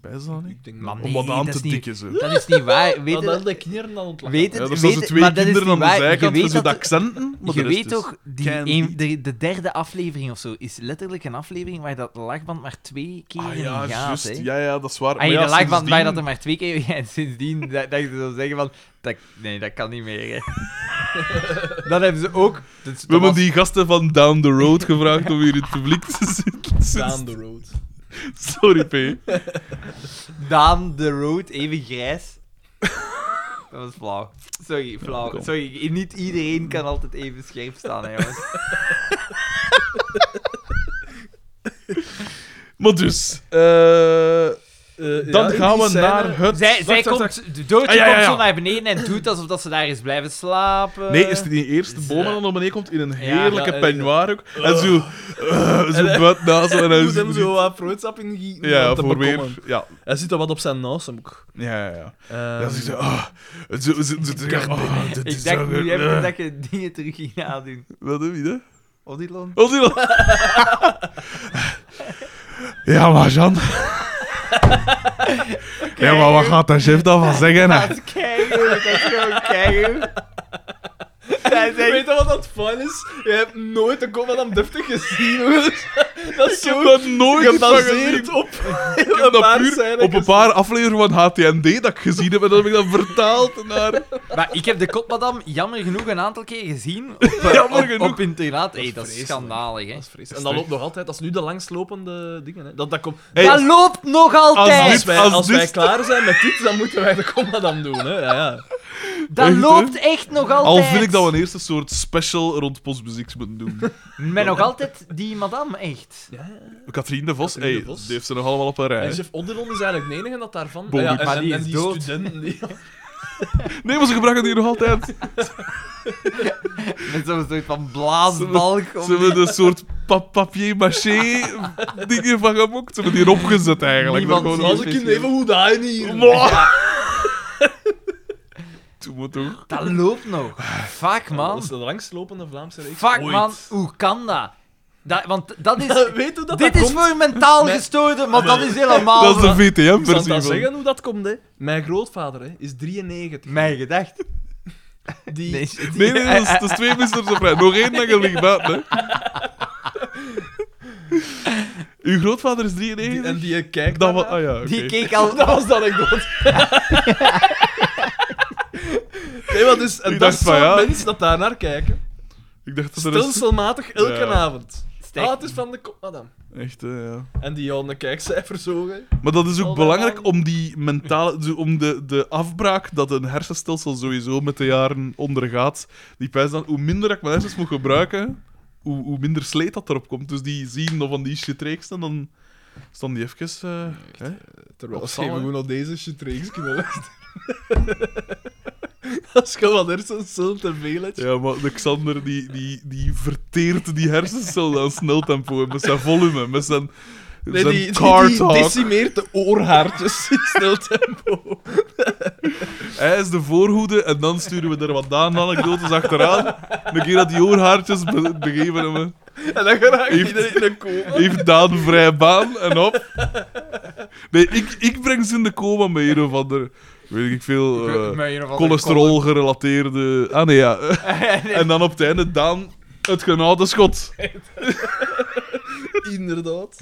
[SPEAKER 2] Bij ze dan niet?
[SPEAKER 3] Ik denk
[SPEAKER 4] Maar
[SPEAKER 3] dat-
[SPEAKER 4] nee,
[SPEAKER 2] Omdat de hand
[SPEAKER 4] dat
[SPEAKER 2] te
[SPEAKER 4] is
[SPEAKER 2] dik
[SPEAKER 4] niet-
[SPEAKER 2] is. hè.
[SPEAKER 4] Dat is niet waar. Weet
[SPEAKER 3] dat, dat
[SPEAKER 4] je-
[SPEAKER 3] de kinderen dan ontlachen.
[SPEAKER 4] Weet
[SPEAKER 2] Ja, dat
[SPEAKER 4] het, weet
[SPEAKER 2] zijn zo
[SPEAKER 4] het,
[SPEAKER 2] twee
[SPEAKER 4] maar dat is
[SPEAKER 2] kinderen aan
[SPEAKER 4] niet
[SPEAKER 2] de
[SPEAKER 4] waar. Je
[SPEAKER 2] zijkant
[SPEAKER 4] weet
[SPEAKER 2] met zo'n
[SPEAKER 4] dat-
[SPEAKER 2] accenten. Maar
[SPEAKER 4] je
[SPEAKER 2] de rest
[SPEAKER 4] weet
[SPEAKER 2] is dus-
[SPEAKER 4] toch, die
[SPEAKER 2] kei
[SPEAKER 4] een-
[SPEAKER 2] niet.
[SPEAKER 4] de, de derde aflevering of zo is letterlijk een aflevering waar dat lachband maar twee keer
[SPEAKER 2] Ah ja,
[SPEAKER 4] in gaat.
[SPEAKER 2] juist.
[SPEAKER 4] hè.
[SPEAKER 2] Ja, ja, dat is waar.
[SPEAKER 4] Ah, je
[SPEAKER 2] ja,
[SPEAKER 4] de lachband bij dat
[SPEAKER 2] sindsdien-
[SPEAKER 4] er maar twee keer (laughs) ja, en sindsdien da- dacht je zo zeggen van, dat, nee, dat kan niet meer.
[SPEAKER 2] (laughs)
[SPEAKER 4] Hè. dat hebben ze ook. dat is-
[SPEAKER 2] We hebben
[SPEAKER 4] dat was-
[SPEAKER 2] die gasten van Down the
[SPEAKER 3] (laughs)
[SPEAKER 2] Road gevraagd om hier in het publiek te zitten.
[SPEAKER 3] Down the road.
[SPEAKER 2] (laughs) Sorry, P.
[SPEAKER 4] Daan de Road, even grijs. Dat was flauw. Sorry, (laughs) flauw.
[SPEAKER 2] kom.
[SPEAKER 4] Sorry, niet iedereen kan altijd even scherp staan, hè, jongens.
[SPEAKER 2] Maar dus, eh, dan gaan we naar het.
[SPEAKER 4] Zij, zij
[SPEAKER 3] wacht,
[SPEAKER 4] komt,
[SPEAKER 3] wacht.
[SPEAKER 4] de doodje
[SPEAKER 2] Ah, ja, ja,
[SPEAKER 4] komt
[SPEAKER 2] ja.
[SPEAKER 4] zo naar beneden en doet alsof dat ze daar is blijven slapen.
[SPEAKER 2] Nee, is die eerste
[SPEAKER 4] eh, Is,
[SPEAKER 2] boom en
[SPEAKER 4] eh,
[SPEAKER 2] dan naar beneden komt in een
[SPEAKER 4] ja, Oh.
[SPEAKER 2] heerlijke
[SPEAKER 3] ja, en-
[SPEAKER 2] peignoir ook. En zo,
[SPEAKER 4] (laughs)
[SPEAKER 2] eh, zo
[SPEAKER 3] En-
[SPEAKER 2] buiten naast en
[SPEAKER 3] Hij
[SPEAKER 2] hij
[SPEAKER 3] moet hem
[SPEAKER 2] is-
[SPEAKER 3] zo wat fruitsap ingieten.
[SPEAKER 2] Ja,
[SPEAKER 3] om te
[SPEAKER 2] voor
[SPEAKER 3] bekommen.
[SPEAKER 2] weer. Ja,
[SPEAKER 3] Hij zit er wat op zijn naast. ook.
[SPEAKER 2] ja, ja. ja.
[SPEAKER 3] Ehm, (laughs)
[SPEAKER 2] Ja, ze zegt, ah, het zo- ze- ze- ze- ah, dit
[SPEAKER 4] Ik
[SPEAKER 2] is
[SPEAKER 4] dacht
[SPEAKER 2] (laughs) zo-
[SPEAKER 4] nu even dat je dingen terug ging aandoen.
[SPEAKER 2] Wat heb je dan?
[SPEAKER 4] Odilon?
[SPEAKER 2] Oh, die wel. Ja, maar Jan. Ja, maar wat gaat de chef dan van zeggen? hè?
[SPEAKER 4] Dat is keigoed, dat is gewoon keigoed. Zij
[SPEAKER 3] Weet
[SPEAKER 4] zegt...
[SPEAKER 3] je wat dat fun is? Je hebt nooit een kop van hem deftig gezien. hoor. dat is
[SPEAKER 2] Ik heb
[SPEAKER 3] zo
[SPEAKER 2] dat nooit gezien.
[SPEAKER 3] gebaseerd (laughs) op
[SPEAKER 2] Ik heb
[SPEAKER 3] een
[SPEAKER 2] dat
[SPEAKER 3] paar
[SPEAKER 2] puur op
[SPEAKER 3] scènes.
[SPEAKER 2] een paar afleveringen van HTND dat ik gezien heb en dat heb ik dan vertaald naar...
[SPEAKER 4] Maar ik heb de kotmadam jammer genoeg een aantal keer gezien op, eh,
[SPEAKER 2] Jammer
[SPEAKER 4] op-
[SPEAKER 2] genoeg.
[SPEAKER 4] op internaat. Hé, dat is
[SPEAKER 3] vreselijk.
[SPEAKER 4] schandalig, hè.
[SPEAKER 3] Dat is vreselijk. En dat loopt nog altijd. Dat is nu de langslopende dingen. Hè. Dat, dat komt...
[SPEAKER 2] Hey,
[SPEAKER 4] dat loopt nog
[SPEAKER 2] als
[SPEAKER 4] altijd!
[SPEAKER 3] Als wij,
[SPEAKER 2] Als
[SPEAKER 3] als
[SPEAKER 2] dit-
[SPEAKER 3] wij klaar zijn met dit, dan moeten wij de commadam doen. Hè. Ja, ja.
[SPEAKER 4] Dat
[SPEAKER 2] Echt, hè?
[SPEAKER 4] loopt echt nog altijd!
[SPEAKER 2] Al vind ik dat we een eerste soort special rond postmuziek moeten doen.
[SPEAKER 4] Met nog altijd die madame, echt.
[SPEAKER 2] Katrien de Vos,
[SPEAKER 3] Catherine
[SPEAKER 2] hey,
[SPEAKER 3] de Vos.
[SPEAKER 2] die heeft ze nog allemaal op een
[SPEAKER 3] En
[SPEAKER 2] rij.
[SPEAKER 3] Jeff Odilon is eigenlijk de enige dat daarvan...
[SPEAKER 2] Bon,
[SPEAKER 3] Ah ja,
[SPEAKER 2] maar
[SPEAKER 3] en, en-
[SPEAKER 4] die
[SPEAKER 3] en
[SPEAKER 4] is
[SPEAKER 3] die
[SPEAKER 2] (laughs)
[SPEAKER 4] dood.
[SPEAKER 3] studenten... Die...
[SPEAKER 2] Nee, maar ze gebruiken die nog altijd.
[SPEAKER 4] Met zo'n soort van blaasbalk. om
[SPEAKER 2] Ze hebben een soort pa papier-maché dingen van gemokt. Ze hebben die erop gezet eigenlijk.
[SPEAKER 4] Niemand
[SPEAKER 2] Dat gewoon-
[SPEAKER 4] ziet
[SPEAKER 3] Als ik in even hoe daar hier...
[SPEAKER 2] Toen moet toch.
[SPEAKER 4] Dat loopt nog. Fuck, man.
[SPEAKER 3] Dat is de langslopende Vlaamse reeks
[SPEAKER 4] Fuck,
[SPEAKER 3] ooit.
[SPEAKER 4] man. Hoe kan dat? dat want
[SPEAKER 2] (laughs)
[SPEAKER 4] dat is...
[SPEAKER 3] (laughs) Weet hoe dat
[SPEAKER 4] dit
[SPEAKER 3] dat
[SPEAKER 4] is
[SPEAKER 3] komt?
[SPEAKER 4] voor mentaal
[SPEAKER 3] Met-
[SPEAKER 4] gestoorden, maar dat is helemaal...
[SPEAKER 2] (laughs) Dat is de
[SPEAKER 3] Ik zal dat
[SPEAKER 2] VTM-versie.
[SPEAKER 3] zeggen hoe dat komt, hè. Mijn grootvader hè, is 93.
[SPEAKER 4] Mijn gedacht.
[SPEAKER 3] Die...
[SPEAKER 4] Nee,
[SPEAKER 2] Nee, nee, dat is, dat is twee misters op rij. Nog één dat je ligt buiten, hè. Uw grootvader is
[SPEAKER 3] (laughs) die-
[SPEAKER 2] 93?
[SPEAKER 3] en die eh, kijkt
[SPEAKER 2] Dat was...
[SPEAKER 3] daarnaar.
[SPEAKER 2] Ah ja, oké.
[SPEAKER 4] Die keek al...
[SPEAKER 3] Dat was dan een
[SPEAKER 2] (laughs)
[SPEAKER 3] god. nee, wat is... En
[SPEAKER 2] Ik
[SPEAKER 3] dat
[SPEAKER 2] dacht
[SPEAKER 3] is
[SPEAKER 2] van,
[SPEAKER 3] zo'n
[SPEAKER 2] ja.
[SPEAKER 3] mens dat daar naar kijken.
[SPEAKER 2] Ik dacht dat er is...
[SPEAKER 3] Stelselmatig elke
[SPEAKER 2] Ja.
[SPEAKER 3] avond.
[SPEAKER 4] Stijk.
[SPEAKER 3] Ah, het is van de kop, madame.
[SPEAKER 2] Echt, hè, ja.
[SPEAKER 3] En die jouw kijkcijfers hoog, hè.
[SPEAKER 2] Maar dat is ook
[SPEAKER 3] Al dat
[SPEAKER 2] belangrijk
[SPEAKER 3] lang.
[SPEAKER 2] om die mentale... zo- Om de, de afbraak dat een hersenstelsel sowieso met de jaren ondergaat. Die pijs dan, hoe minder ik mijn hersens moet gebruiken, hoe, hoe minder sleet dat erop komt. Dus die zien nog van die shit reeks en dan... Staan die even... eh, hè?
[SPEAKER 3] Terwijl
[SPEAKER 2] Of
[SPEAKER 3] ze
[SPEAKER 2] zal, hè?
[SPEAKER 3] even gewoon op deze shit reeks kunnen luisteren. (laughs) Dat is gewoon wat hersencel te veel, hè.
[SPEAKER 2] Ja, maar de Xander die, die, die verteert die hersencel aan snel tempo en met zijn volume, met zijn,
[SPEAKER 3] Nee,
[SPEAKER 2] zijn
[SPEAKER 3] die, die,
[SPEAKER 2] car
[SPEAKER 3] die
[SPEAKER 2] talk.
[SPEAKER 3] decimeert de
[SPEAKER 2] (laughs)
[SPEAKER 3] oorhaartjes in snel tempo.
[SPEAKER 2] Hij is de voorhoede en dan sturen we er wat Daan anekdotes achteraan. Een keer dat die oorhaartjes be- begeven hebben,
[SPEAKER 3] En dan geraakt
[SPEAKER 2] Heeft-
[SPEAKER 3] iedereen in een coma.
[SPEAKER 2] heeft Daan vrij baan en op. Nee, ik, ik breng ze in de coma met een of ander, weet ik veel, eh, cholesterol-gerelateerde... Ah nee, (laughs) ja. En dan op het einde Daan het genade schot.
[SPEAKER 3] Inderdaad.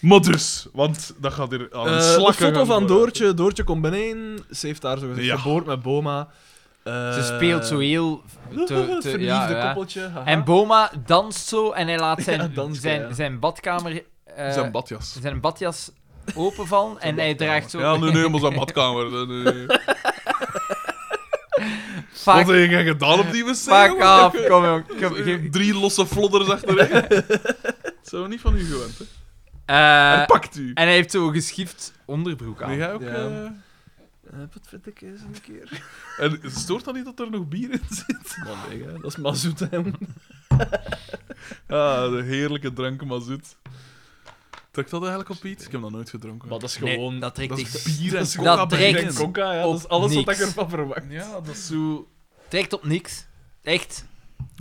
[SPEAKER 2] Maar dus, want dat gaat hier aan Ah, een
[SPEAKER 3] Eh,
[SPEAKER 2] slag.
[SPEAKER 3] de foto van Doortje. Doortje komt beneden. Ze heeft daar zo
[SPEAKER 2] Ja.
[SPEAKER 3] ja. geboord met Boma. Eh,
[SPEAKER 4] Ze speelt zo
[SPEAKER 3] (laughs)
[SPEAKER 2] (laughs)
[SPEAKER 4] heel... Te,
[SPEAKER 3] het
[SPEAKER 4] te,
[SPEAKER 3] verliefde
[SPEAKER 4] ja, ja.
[SPEAKER 3] koppeltje. haha.
[SPEAKER 4] En Boma danst zo en hij laat zijn,
[SPEAKER 3] Ja, dansen,
[SPEAKER 4] zijn,
[SPEAKER 3] ja.
[SPEAKER 4] zijn badkamer... eh,
[SPEAKER 2] Zijn badjas.
[SPEAKER 4] zijn badjas openvallen en hij draagt zo...
[SPEAKER 2] Ja, nu neem ons aan badkamer. Nee, nee, nee. Wat
[SPEAKER 4] Fuck,
[SPEAKER 2] heb jij gedaan op die wc?
[SPEAKER 4] fuck
[SPEAKER 2] jongen?
[SPEAKER 4] af,
[SPEAKER 2] (laughs)
[SPEAKER 4] kom jong. Kom, ge-
[SPEAKER 2] Drie losse flodders achterin. Dat zijn we niet van u gewend, hè?
[SPEAKER 4] Eh,
[SPEAKER 2] en pakt u.
[SPEAKER 4] en hij heeft zo'n geschift onderbroek aan.
[SPEAKER 2] Nee, jij ook,
[SPEAKER 3] Ja.
[SPEAKER 2] eh,
[SPEAKER 3] Eh, wat vind ik eens een keer?
[SPEAKER 2] En stoort dat niet dat er nog bier in zit? (laughs)
[SPEAKER 3] Man, nee, hè, dat is mazoet, hè.
[SPEAKER 2] Ah, de heerlijke drank mazoet. Trekt dat eigenlijk op iets? Ik heb dat nooit gedronken.
[SPEAKER 3] Maar dat is
[SPEAKER 4] Nee,
[SPEAKER 3] gewoon...
[SPEAKER 4] dat trekt
[SPEAKER 2] dat
[SPEAKER 4] echt
[SPEAKER 2] is bier en
[SPEAKER 3] dat is
[SPEAKER 2] coca
[SPEAKER 4] dat
[SPEAKER 2] bij
[SPEAKER 4] trekt-
[SPEAKER 2] Gent.
[SPEAKER 3] coca, ja.
[SPEAKER 4] op
[SPEAKER 3] Dat is alles wat
[SPEAKER 4] niks.
[SPEAKER 3] ik ervan verwacht.
[SPEAKER 2] Ja, dat is zo...
[SPEAKER 4] trekt op niks. Echt.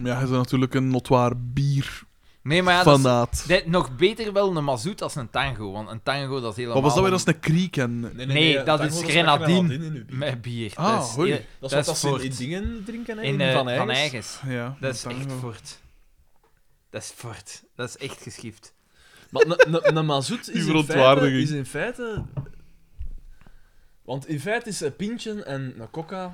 [SPEAKER 2] Ja, hij is natuurlijk een notoir bier.
[SPEAKER 1] Nee, maar ja, dat is-
[SPEAKER 2] Fanaat.
[SPEAKER 1] dat- nog beter wel een mazoet als een tango, want een tango dat is helemaal...
[SPEAKER 2] Wat was dat weer als een kriek? En...
[SPEAKER 1] Nee, dat
[SPEAKER 3] tango
[SPEAKER 1] is
[SPEAKER 3] met
[SPEAKER 1] grenadine.
[SPEAKER 3] in uw bier.
[SPEAKER 1] Met bier.
[SPEAKER 2] Ah,
[SPEAKER 1] dat is,
[SPEAKER 2] hoi.
[SPEAKER 1] dat
[SPEAKER 3] Dat
[SPEAKER 1] is
[SPEAKER 3] is wat dat
[SPEAKER 1] voort.
[SPEAKER 3] ze in dingen drinken, hè?
[SPEAKER 1] in eh,
[SPEAKER 3] Van Eyck.
[SPEAKER 1] Van Eigens.
[SPEAKER 2] Ja,
[SPEAKER 1] Dat is
[SPEAKER 2] dan-
[SPEAKER 1] echt fort. Dat is fort. Dat is echt geschift.
[SPEAKER 3] Maar ne- ne- een mazoet
[SPEAKER 2] Die
[SPEAKER 3] is in, feite,
[SPEAKER 2] verontwaardiging.
[SPEAKER 3] is in feite... Want in feite is een pintje en een coca,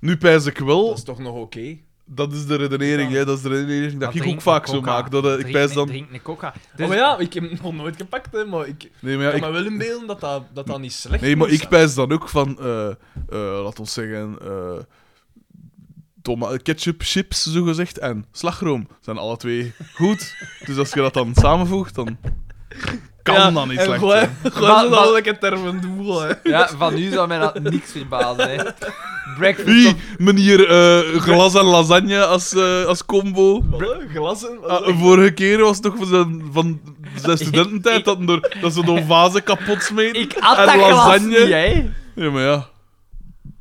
[SPEAKER 2] Nu pijs ik wel,
[SPEAKER 3] dat is toch nog oké?
[SPEAKER 1] Dus-
[SPEAKER 2] dat is de redenering,
[SPEAKER 3] Ja.
[SPEAKER 2] hè, dat is de redenering dat
[SPEAKER 1] Maar
[SPEAKER 2] ik ook
[SPEAKER 1] drink
[SPEAKER 2] vaak
[SPEAKER 1] een
[SPEAKER 2] zo
[SPEAKER 1] coca.
[SPEAKER 2] maak. Dat, eh, ik
[SPEAKER 1] Drink
[SPEAKER 2] pijs
[SPEAKER 1] een-
[SPEAKER 2] dan...
[SPEAKER 1] Drink een coca. Dus,
[SPEAKER 3] Oh, maar ja, ik heb hem nog nooit gepakt, hè, maar ik
[SPEAKER 2] Nee, maar ja,
[SPEAKER 3] kan
[SPEAKER 2] ik
[SPEAKER 3] me wel inbeelden dat dat, dat, dat niet slecht
[SPEAKER 2] Nee, maar
[SPEAKER 3] moet
[SPEAKER 2] ik
[SPEAKER 3] zijn.
[SPEAKER 2] pijs dan ook van, eh eh laat ons zeggen, eh toma- ketchup, chips, zogezegd, en slagroom. Zijn alle twee goed. dus als je dat dan samenvoegt, dan kan
[SPEAKER 3] Ja,
[SPEAKER 2] dan niet
[SPEAKER 3] en
[SPEAKER 2] slecht
[SPEAKER 3] Gewoon
[SPEAKER 2] zijn.
[SPEAKER 1] Maar-
[SPEAKER 3] gewoon zo'n
[SPEAKER 1] maar-
[SPEAKER 3] lelijke termen doen, hè. (laughs)
[SPEAKER 1] ja, van nu zou mij dat niks verbazen. Hè. Breakfast
[SPEAKER 2] Wie,
[SPEAKER 1] of-
[SPEAKER 2] meneer eh, glas en lasagne als, eh, als combo.
[SPEAKER 3] Voilà, Glazen.
[SPEAKER 2] Ah, de vorige keer was het toch van zijn, van zijn
[SPEAKER 1] (laughs)
[SPEAKER 2] studententijd dat, hem door, dat ze door vazen kapot smeten.
[SPEAKER 1] Ik at
[SPEAKER 2] en
[SPEAKER 1] dat glas
[SPEAKER 2] lasagne.
[SPEAKER 1] niet, hè.
[SPEAKER 2] Ja, maar ja.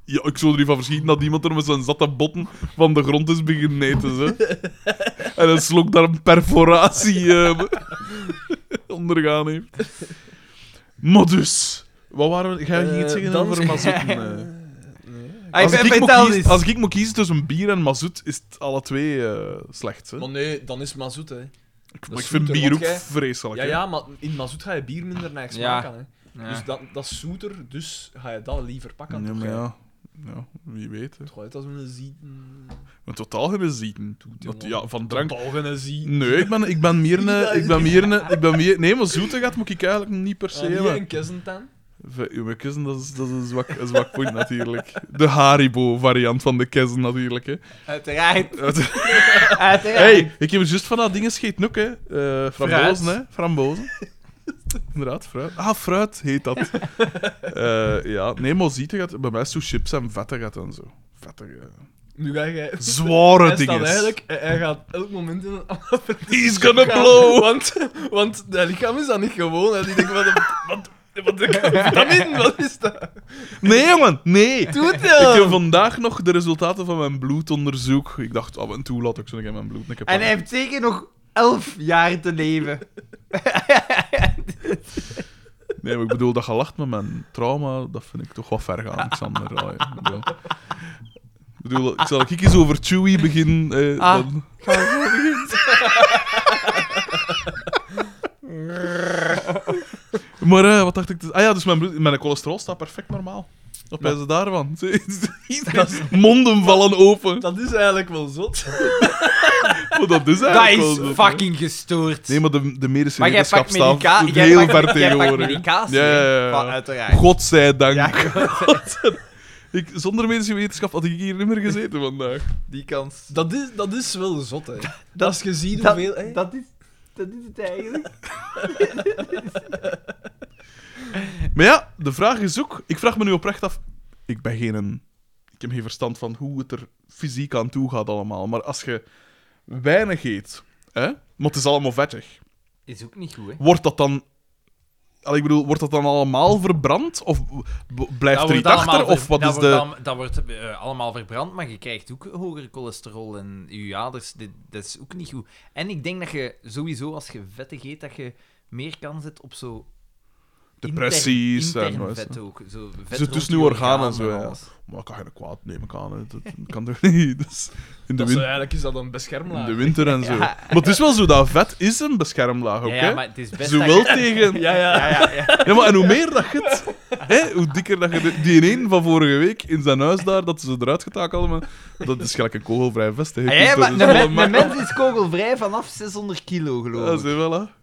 [SPEAKER 2] ja. Ik zou er niet van verschieten dat iemand er met zijn zatte botten van de grond is beginnen eten.
[SPEAKER 1] (laughs)
[SPEAKER 2] Zo. en een slok daar een perforatie eh, (laughs) ondergaan heeft. Maar dus, wat waren we... Ga je iets zeggen
[SPEAKER 3] dan-
[SPEAKER 1] (laughs)
[SPEAKER 2] over mazoeten? eh?
[SPEAKER 1] Eh, Ah, ik
[SPEAKER 2] Als,
[SPEAKER 1] ben
[SPEAKER 2] ik moet
[SPEAKER 1] vertel
[SPEAKER 2] kiezen,
[SPEAKER 1] eens.
[SPEAKER 2] als ik moet kiezen tussen bier en mazoet, is het alle twee eh, slecht. Hè?
[SPEAKER 3] Maar nee, dan is mazoet, hè.
[SPEAKER 2] Ik,
[SPEAKER 3] dat
[SPEAKER 2] maar ik
[SPEAKER 3] is
[SPEAKER 2] vind
[SPEAKER 3] zoeter,
[SPEAKER 2] bier
[SPEAKER 3] want
[SPEAKER 2] ook
[SPEAKER 3] jij-
[SPEAKER 2] vreselijk.
[SPEAKER 3] Ja,
[SPEAKER 2] hè.
[SPEAKER 3] ja, maar in mazoet ga je bier minder naar
[SPEAKER 1] Ja.
[SPEAKER 3] smaak aan, hè.
[SPEAKER 1] Ja.
[SPEAKER 3] Dus dat, dat is zoeter, dus ga je dat liever pakken.
[SPEAKER 2] Ja,
[SPEAKER 3] toch,
[SPEAKER 2] maar
[SPEAKER 3] hè?
[SPEAKER 2] ja. ja, wie weet. Hè.
[SPEAKER 3] Toch uit als een zieten.
[SPEAKER 2] Maar totaal geen zieten. Dat-
[SPEAKER 3] jongen.
[SPEAKER 2] Ja, van drank
[SPEAKER 3] Toch een zieten.
[SPEAKER 2] Nee, ik ben, ik ben meer
[SPEAKER 3] (laughs) Ja,
[SPEAKER 2] een... eh, Ik ben meer een, ik ben meer, nee, maar zoete gaat moet ik eigenlijk niet per se
[SPEAKER 3] Ah, niet
[SPEAKER 2] hebben.
[SPEAKER 3] een kessentan.
[SPEAKER 2] V- Uw kussen, dat is, dat is een, zwak, een zwak punt natuurlijk. De Haribo-variant van de kussen natuurlijk. Hè.
[SPEAKER 1] Uiteraard.
[SPEAKER 2] (laughs) Het-
[SPEAKER 1] Uiteraard.
[SPEAKER 2] hey, ik heb juist van dat ding gegeten ook, hè. Eh, frambozen,
[SPEAKER 1] Fruit.
[SPEAKER 2] hè. Frambozen. (laughs) Inderdaad, fruit. Ah, fruit heet dat.
[SPEAKER 3] (laughs)
[SPEAKER 2] Eh, ja, nee, maar zoete gaat... Bij mij is zo chips en vetten gaat en zo. Vettige...
[SPEAKER 3] Nu ga jij...
[SPEAKER 2] Zware
[SPEAKER 3] (laughs) Hij staat
[SPEAKER 2] dingen.
[SPEAKER 3] eigenlijk... Hij hij gaat elk moment
[SPEAKER 2] (laughs)
[SPEAKER 3] in (laughs) een andere
[SPEAKER 2] He's gonna blow!
[SPEAKER 3] (laughs) Want, want dat lichaam is dat niet gewoon. Hè. Die denkt, wat... Wat... Wat... Vitamine, wat is dat?
[SPEAKER 2] Nee, jongen, nee!
[SPEAKER 3] (laughs) Doet
[SPEAKER 2] Ik
[SPEAKER 1] Ehm.
[SPEAKER 2] heb
[SPEAKER 3] dat?
[SPEAKER 2] vandaag nog de resultaten van mijn bloedonderzoek. Ik dacht, af en toe laat ik zo nog in mijn bloed. Ik heb
[SPEAKER 1] En hij heeft zeker nog elf jaar te leven.
[SPEAKER 2] Nee, maar ik bedoel, dat gelacht met mijn trauma, dat vind ik toch wat ver gaan, Xander. Ah, ja, ik bedoel- Ik bedoel, ik zal ik eens over Chewie beginnen. Eh,
[SPEAKER 1] Ah.
[SPEAKER 2] dan... Maar eh, wat dacht ik? te- Ah ja, dus mijn, bloed, mijn cholesterol staat perfect normaal. Wat ben ze daarvan? (laughs)
[SPEAKER 3] (laughs)
[SPEAKER 2] Monden vallen open.
[SPEAKER 3] Dat is eigenlijk wel zot.
[SPEAKER 2] Maar dat is
[SPEAKER 1] Dat
[SPEAKER 2] eigenlijk wel
[SPEAKER 1] is
[SPEAKER 2] zo, hè.
[SPEAKER 1] fucking gestoord.
[SPEAKER 2] Nee, maar de, de medische
[SPEAKER 1] maar jij
[SPEAKER 2] wetenschap
[SPEAKER 1] pakt
[SPEAKER 2] staat
[SPEAKER 1] medicatie. Jij
[SPEAKER 2] heel
[SPEAKER 1] pakt,
[SPEAKER 2] ver
[SPEAKER 1] jij pakt
[SPEAKER 2] tegenwoordig.
[SPEAKER 1] medicatie.
[SPEAKER 2] Ja, ja, ja,
[SPEAKER 1] hè?
[SPEAKER 2] ja.
[SPEAKER 1] Van, uiteraard.
[SPEAKER 2] Godzijdank.
[SPEAKER 1] Ja,
[SPEAKER 2] (laughs) Ik, zonder medische wetenschap had ik hier niet meer gezeten
[SPEAKER 1] (laughs)
[SPEAKER 2] vandaag.
[SPEAKER 1] die kans.
[SPEAKER 3] Dat is, dat is wel zot, hè.
[SPEAKER 1] Dat-
[SPEAKER 3] Als je ziet
[SPEAKER 1] Dat,
[SPEAKER 3] hoeveel... hè.
[SPEAKER 1] dat, is, dat is het eigenlijk.
[SPEAKER 2] Maar ja, de vraag is ook... Ik vraag me nu oprecht af... Ik ben geen... een- Ik heb geen verstand van hoe het er fysiek aan toe gaat allemaal. Maar als je weinig eet, hè, maar het is allemaal vettig,
[SPEAKER 1] Is ook niet goed, hè?
[SPEAKER 2] wordt dat dan... Allee, Ik bedoel, wordt dat dan allemaal verbrand? Of b- blijft
[SPEAKER 1] Dat
[SPEAKER 2] er
[SPEAKER 1] wordt
[SPEAKER 2] iets
[SPEAKER 1] allemaal
[SPEAKER 2] achter?
[SPEAKER 1] ver-
[SPEAKER 2] Of wat
[SPEAKER 1] dat
[SPEAKER 2] is
[SPEAKER 1] wordt
[SPEAKER 2] de...
[SPEAKER 1] allemaal- dat wordt eh, allemaal verbrand, maar je krijgt ook hoger cholesterol en je aders. Dit, dat is ook niet goed. En ik denk dat je sowieso, als je vettig eet, dat je meer kans hebt op zo...
[SPEAKER 2] Depressies
[SPEAKER 1] intern,
[SPEAKER 2] en
[SPEAKER 1] intern
[SPEAKER 2] wat is
[SPEAKER 1] vet
[SPEAKER 2] dat?
[SPEAKER 1] ook. Zo
[SPEAKER 2] Dus
[SPEAKER 1] vet
[SPEAKER 2] het
[SPEAKER 1] rond
[SPEAKER 2] is nu
[SPEAKER 1] je
[SPEAKER 2] orgaan en zo,
[SPEAKER 1] organen
[SPEAKER 2] ja.
[SPEAKER 1] alles.
[SPEAKER 2] Maar ik kan geen kwaad nemen, kan, hè. dat kan toch niet? Dus in de
[SPEAKER 3] Dat is,
[SPEAKER 2] winter...
[SPEAKER 3] eigenlijk is dat een
[SPEAKER 2] In
[SPEAKER 3] beschermlaag.
[SPEAKER 2] de winter en zo.
[SPEAKER 1] Ja.
[SPEAKER 2] Maar het is wel zo, dat vet is een beschermlaag ook,
[SPEAKER 1] Ja,
[SPEAKER 2] hè?
[SPEAKER 1] ja, maar het is best
[SPEAKER 2] Zowel
[SPEAKER 1] dat je-
[SPEAKER 2] tegen...
[SPEAKER 3] (laughs) Ja, ja.
[SPEAKER 1] Ja, ja, ja.
[SPEAKER 2] Ja, maar en hoe meer dat je het... Hè, hoe dikker dat je... de- Die een van vorige week in zijn huis daar, dat ze eruit getakeld hadden, dat is gelijk een kogelvrij vest. hè.
[SPEAKER 1] Ah, ja,
[SPEAKER 2] Dus
[SPEAKER 1] maar
[SPEAKER 2] dat
[SPEAKER 1] een,
[SPEAKER 2] is wel
[SPEAKER 1] men- een
[SPEAKER 2] makkelijk.
[SPEAKER 1] mens is kogelvrij vanaf 600 kilo,
[SPEAKER 2] Ja,
[SPEAKER 1] geloof ik.
[SPEAKER 2] zie je voilà.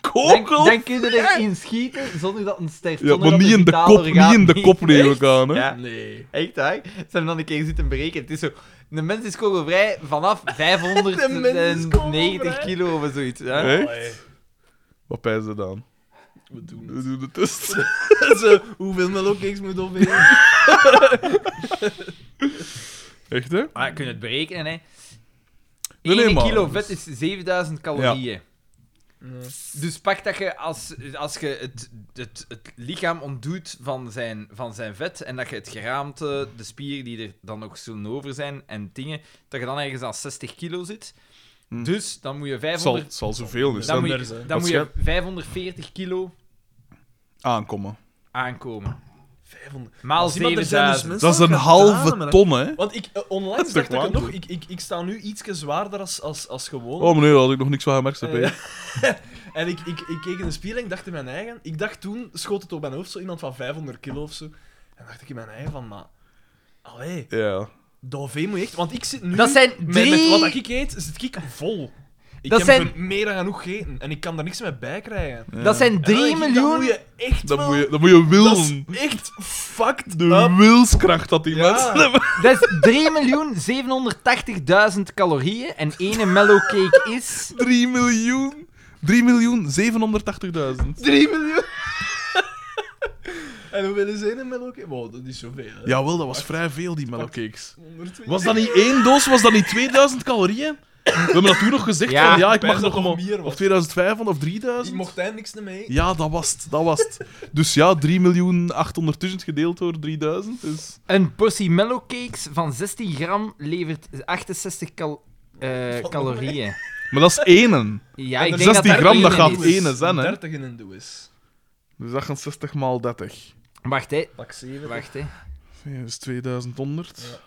[SPEAKER 1] Dan,
[SPEAKER 2] Kogel?
[SPEAKER 1] dan kun je erin schieten zonder dat een sterft.
[SPEAKER 2] Ja,
[SPEAKER 1] zonder dat
[SPEAKER 2] maar niet
[SPEAKER 1] een
[SPEAKER 2] in de
[SPEAKER 1] vitaal
[SPEAKER 2] kop, niet
[SPEAKER 1] orgaan-
[SPEAKER 2] in de kop neem
[SPEAKER 1] Echt?
[SPEAKER 2] ik aan, hè.
[SPEAKER 1] (laughs) Ja,
[SPEAKER 3] Nee.
[SPEAKER 1] echt waar. Ze hebben dan een keer zitten berekenen. Het is zo... Een mens is kogelvrij
[SPEAKER 2] (laughs)
[SPEAKER 1] vanaf 590
[SPEAKER 3] kogelvrij.
[SPEAKER 1] kilo of zoiets. Ja.
[SPEAKER 2] Hè?
[SPEAKER 3] Allee,
[SPEAKER 2] Wat pijn ze dan?
[SPEAKER 3] we doen
[SPEAKER 2] We doen de test. (laughs)
[SPEAKER 3] het. Zo, hoeveel melkcakes moet opeten?
[SPEAKER 2] Echt, hè?
[SPEAKER 1] Maar je kunt het berekenen, hè.
[SPEAKER 2] Nee,
[SPEAKER 1] 1
[SPEAKER 2] nee, maar-
[SPEAKER 1] kilo vet is 7000 calorieën. Dus pak dat je als, als je het, het, het lichaam ontdoet van zijn, van zijn vet en dat je het eh, geraamte, de spieren die er dan nog zullen over zijn en dingen, dat je dan ergens aan 60 kilo zit.
[SPEAKER 2] Hm.
[SPEAKER 4] Dus dan moet je
[SPEAKER 2] Het zal,
[SPEAKER 4] 500,
[SPEAKER 2] het zal zoveel dus
[SPEAKER 4] dan
[SPEAKER 2] dan
[SPEAKER 4] moet
[SPEAKER 3] Anders,
[SPEAKER 4] je,
[SPEAKER 3] hè.
[SPEAKER 4] dan moet je
[SPEAKER 2] Waarschijn-
[SPEAKER 4] 540 kilo
[SPEAKER 2] aankomen.
[SPEAKER 4] aankomen.
[SPEAKER 3] 500.
[SPEAKER 4] Maal
[SPEAKER 3] Zie, maar er zijn dus
[SPEAKER 4] 7000.
[SPEAKER 3] mensen
[SPEAKER 2] Dat is een
[SPEAKER 3] gedaan,
[SPEAKER 2] halve
[SPEAKER 3] maar-
[SPEAKER 2] ton, hè?
[SPEAKER 3] Want ik, eh,
[SPEAKER 2] Dat
[SPEAKER 3] onlangs
[SPEAKER 2] is
[SPEAKER 3] dacht
[SPEAKER 2] toch
[SPEAKER 3] ik het
[SPEAKER 2] waar?
[SPEAKER 3] nog, ik, ik, ik sta nu iets zwaarder als, als, als gewoon.
[SPEAKER 2] Oh, meneer, daar had ik nog niks van gemerkt. heb, hè.
[SPEAKER 3] Eh, en ik, ik, ik keek in de spiegel en ik dacht in mijn eigen... Ik dacht toen, schoot het op mijn hoofd, zo iemand van 500 kilo of zo. En dacht ik in mijn eigen van, maar... Allee,
[SPEAKER 2] Ja.
[SPEAKER 3] Davé moet je echt... Want ik zit nu...
[SPEAKER 4] Dat zijn
[SPEAKER 3] met-
[SPEAKER 4] drie-
[SPEAKER 3] Met, wat ik eet, zit ik vol. Ik
[SPEAKER 4] Dat
[SPEAKER 3] heb
[SPEAKER 4] zijn-
[SPEAKER 3] ver- meer dan genoeg gegeten. En ik kan daar niks mee bij krijgen.
[SPEAKER 2] ja.
[SPEAKER 4] Dat zijn 3
[SPEAKER 3] En dan denk
[SPEAKER 4] miljoen.
[SPEAKER 3] ik, Dat moet je echt
[SPEAKER 2] Dat
[SPEAKER 3] wel-
[SPEAKER 2] moet je, dat moet je
[SPEAKER 3] dat
[SPEAKER 2] willen.
[SPEAKER 3] is echt fucked
[SPEAKER 2] De
[SPEAKER 3] up.
[SPEAKER 2] wilskracht dat die
[SPEAKER 3] Ja.
[SPEAKER 2] mensen (laughs) hebben.
[SPEAKER 4] Dat is 3 miljoen 780.000 calorieën. En ene mellow cake is.
[SPEAKER 2] 3 miljoen. 3 miljoen 780.000.
[SPEAKER 3] 3 miljoen. (laughs) en hoeveel is één melk? ook? Wow, dat is zoveel. Hè?
[SPEAKER 2] Jawel, dat was vrij veel, die mellowcakes.
[SPEAKER 3] 120.
[SPEAKER 2] Was dat niet één doos? Was dat niet 2000 calorieën? We hebben dat toen nog gezegd.
[SPEAKER 4] Ja,
[SPEAKER 2] van, ja ik
[SPEAKER 3] ik
[SPEAKER 2] mag
[SPEAKER 3] dacht
[SPEAKER 2] nog
[SPEAKER 3] dat
[SPEAKER 2] maar-
[SPEAKER 3] het meer was.
[SPEAKER 2] Of 2500 of
[SPEAKER 3] Ik
[SPEAKER 2] 3000.
[SPEAKER 3] mocht daar niks mee.
[SPEAKER 2] Ja, dat was het. Dat was het. Dus ja, 3 miljoen 800.000 gedeeld door 3000. Dus...
[SPEAKER 4] Een portie mellow cakes van 16 gram levert 68 cal- eh,
[SPEAKER 3] Wat
[SPEAKER 4] calorieën.
[SPEAKER 2] Maar dat is één.
[SPEAKER 4] Ja,
[SPEAKER 3] En
[SPEAKER 4] ik
[SPEAKER 3] er
[SPEAKER 4] denk dat
[SPEAKER 2] 16
[SPEAKER 4] daar
[SPEAKER 2] gram, dat
[SPEAKER 4] één
[SPEAKER 2] gaat
[SPEAKER 4] is.
[SPEAKER 2] één. ene zijn, hè.
[SPEAKER 3] 30 in een doos.
[SPEAKER 2] Dus 68 maal 30.
[SPEAKER 4] Wacht, hè.
[SPEAKER 3] Pak 7.
[SPEAKER 4] Wacht, hè.
[SPEAKER 2] Ja, dat is 2100.
[SPEAKER 3] Ja.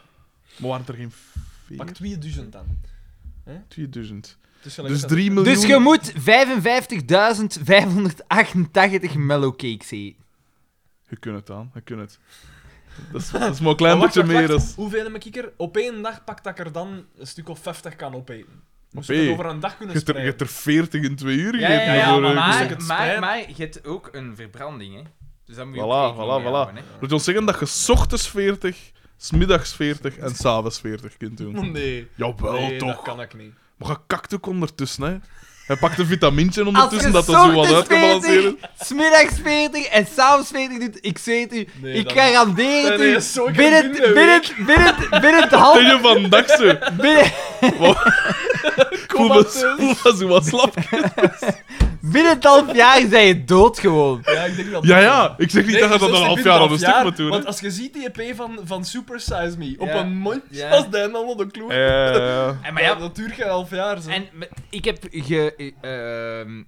[SPEAKER 2] Maar waren het er geen
[SPEAKER 3] Pak
[SPEAKER 2] 4?
[SPEAKER 3] 2000 dan.
[SPEAKER 2] 2000.
[SPEAKER 3] Dus, gelijk
[SPEAKER 2] Dus
[SPEAKER 3] dat-
[SPEAKER 2] 3 miljoen.
[SPEAKER 4] Dus je moet 55.588 mellow cakes eten.
[SPEAKER 2] Je kunt het aan, je kunt het. Dat is, dat is maar een klein
[SPEAKER 3] Maar wacht,
[SPEAKER 2] beetje
[SPEAKER 3] wacht,
[SPEAKER 2] meer.
[SPEAKER 3] wacht.
[SPEAKER 2] Als...
[SPEAKER 3] Hoeveel heb ik er? Op één dag pak dat ik er dan een stuk of 50 kan opeten. Moest
[SPEAKER 2] Opé.
[SPEAKER 3] ik over een dag
[SPEAKER 2] Je
[SPEAKER 3] kunnen
[SPEAKER 2] hebt er- je
[SPEAKER 3] spreiden.
[SPEAKER 2] hebt er 40 in 2 uur gegeten.
[SPEAKER 3] ja, ja,
[SPEAKER 2] door,
[SPEAKER 3] maar
[SPEAKER 2] eh,
[SPEAKER 3] maar-
[SPEAKER 2] gezegd.
[SPEAKER 3] het spijt.
[SPEAKER 4] je hebt ook een verbranding, hè. Dus dan moet
[SPEAKER 2] Voilà,
[SPEAKER 4] ook rekening
[SPEAKER 2] voilà,
[SPEAKER 4] mee
[SPEAKER 2] voilà.
[SPEAKER 4] houden, hè.
[SPEAKER 2] Moet je ons zeggen dat je 's ochtends 40, 's middags 40 en 's avonds 40 kunt doen?
[SPEAKER 3] Nee.
[SPEAKER 2] Jawel,
[SPEAKER 3] nee,
[SPEAKER 2] toch.
[SPEAKER 3] dat kan ik niet.
[SPEAKER 2] Maar je kakt ook ondertussen, hè. Hij pakt een vitamintje
[SPEAKER 4] Als je
[SPEAKER 2] ondertussen, dat dat zo wat
[SPEAKER 4] ochtends
[SPEAKER 2] uitgebalanceerd
[SPEAKER 4] 40,
[SPEAKER 2] is.
[SPEAKER 4] smiddags 40 en s'avonds 40 doet, ik zweet u,
[SPEAKER 3] Nee,
[SPEAKER 4] ik
[SPEAKER 3] dat-
[SPEAKER 4] garandeer het
[SPEAKER 3] Nee,
[SPEAKER 4] u,
[SPEAKER 3] nee, zo kan
[SPEAKER 4] binnen,
[SPEAKER 3] binnen
[SPEAKER 4] binnen,
[SPEAKER 3] een
[SPEAKER 4] binnen, binnen, het
[SPEAKER 2] (laughs)
[SPEAKER 4] half...
[SPEAKER 2] Tegen vandaag, zo.
[SPEAKER 4] Binnen,
[SPEAKER 2] Voel me zo- voel me zo wat slap.
[SPEAKER 4] binnen het half jaar zijn je dood gewoon.
[SPEAKER 3] Ja, ik denk dat dus
[SPEAKER 2] Ja, ja. Ik zeg niet dat je dat
[SPEAKER 3] zelfs
[SPEAKER 2] een
[SPEAKER 3] niet
[SPEAKER 2] half
[SPEAKER 3] binnen
[SPEAKER 2] jaar aan
[SPEAKER 3] half
[SPEAKER 2] een stuk moet doen. hè.
[SPEAKER 3] Want als je ziet die EP van, van Super Size Me op
[SPEAKER 4] Ja.
[SPEAKER 3] een mondje,
[SPEAKER 4] Ja.
[SPEAKER 3] als dat allemaal de kloer.
[SPEAKER 2] Eh,
[SPEAKER 4] En,
[SPEAKER 3] Maar ja, dat duurt geen half jaar. Zo.
[SPEAKER 4] En me- ik heb ge, ehm,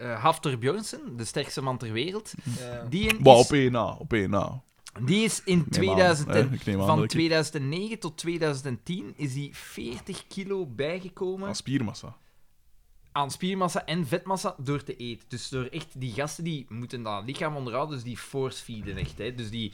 [SPEAKER 4] eh, Haftor Björnsen, de sterkste man ter wereld,
[SPEAKER 3] Ja.
[SPEAKER 4] die, in
[SPEAKER 2] maar
[SPEAKER 4] is,
[SPEAKER 2] op één na, op één na.
[SPEAKER 4] die is in
[SPEAKER 2] Neem aan,
[SPEAKER 4] 2000
[SPEAKER 2] hè.
[SPEAKER 4] en-
[SPEAKER 2] Ik neem aan dat
[SPEAKER 4] van
[SPEAKER 2] ik-
[SPEAKER 4] 2009 tot 2010 is die 40 kilo bijgekomen
[SPEAKER 2] Aan spiermassa.
[SPEAKER 4] aan spiermassa en vetmassa door te eten. Dus door echt, die gasten die moeten dat lichaam onderhouden, dus die force feeden echt. Hè. Dus die,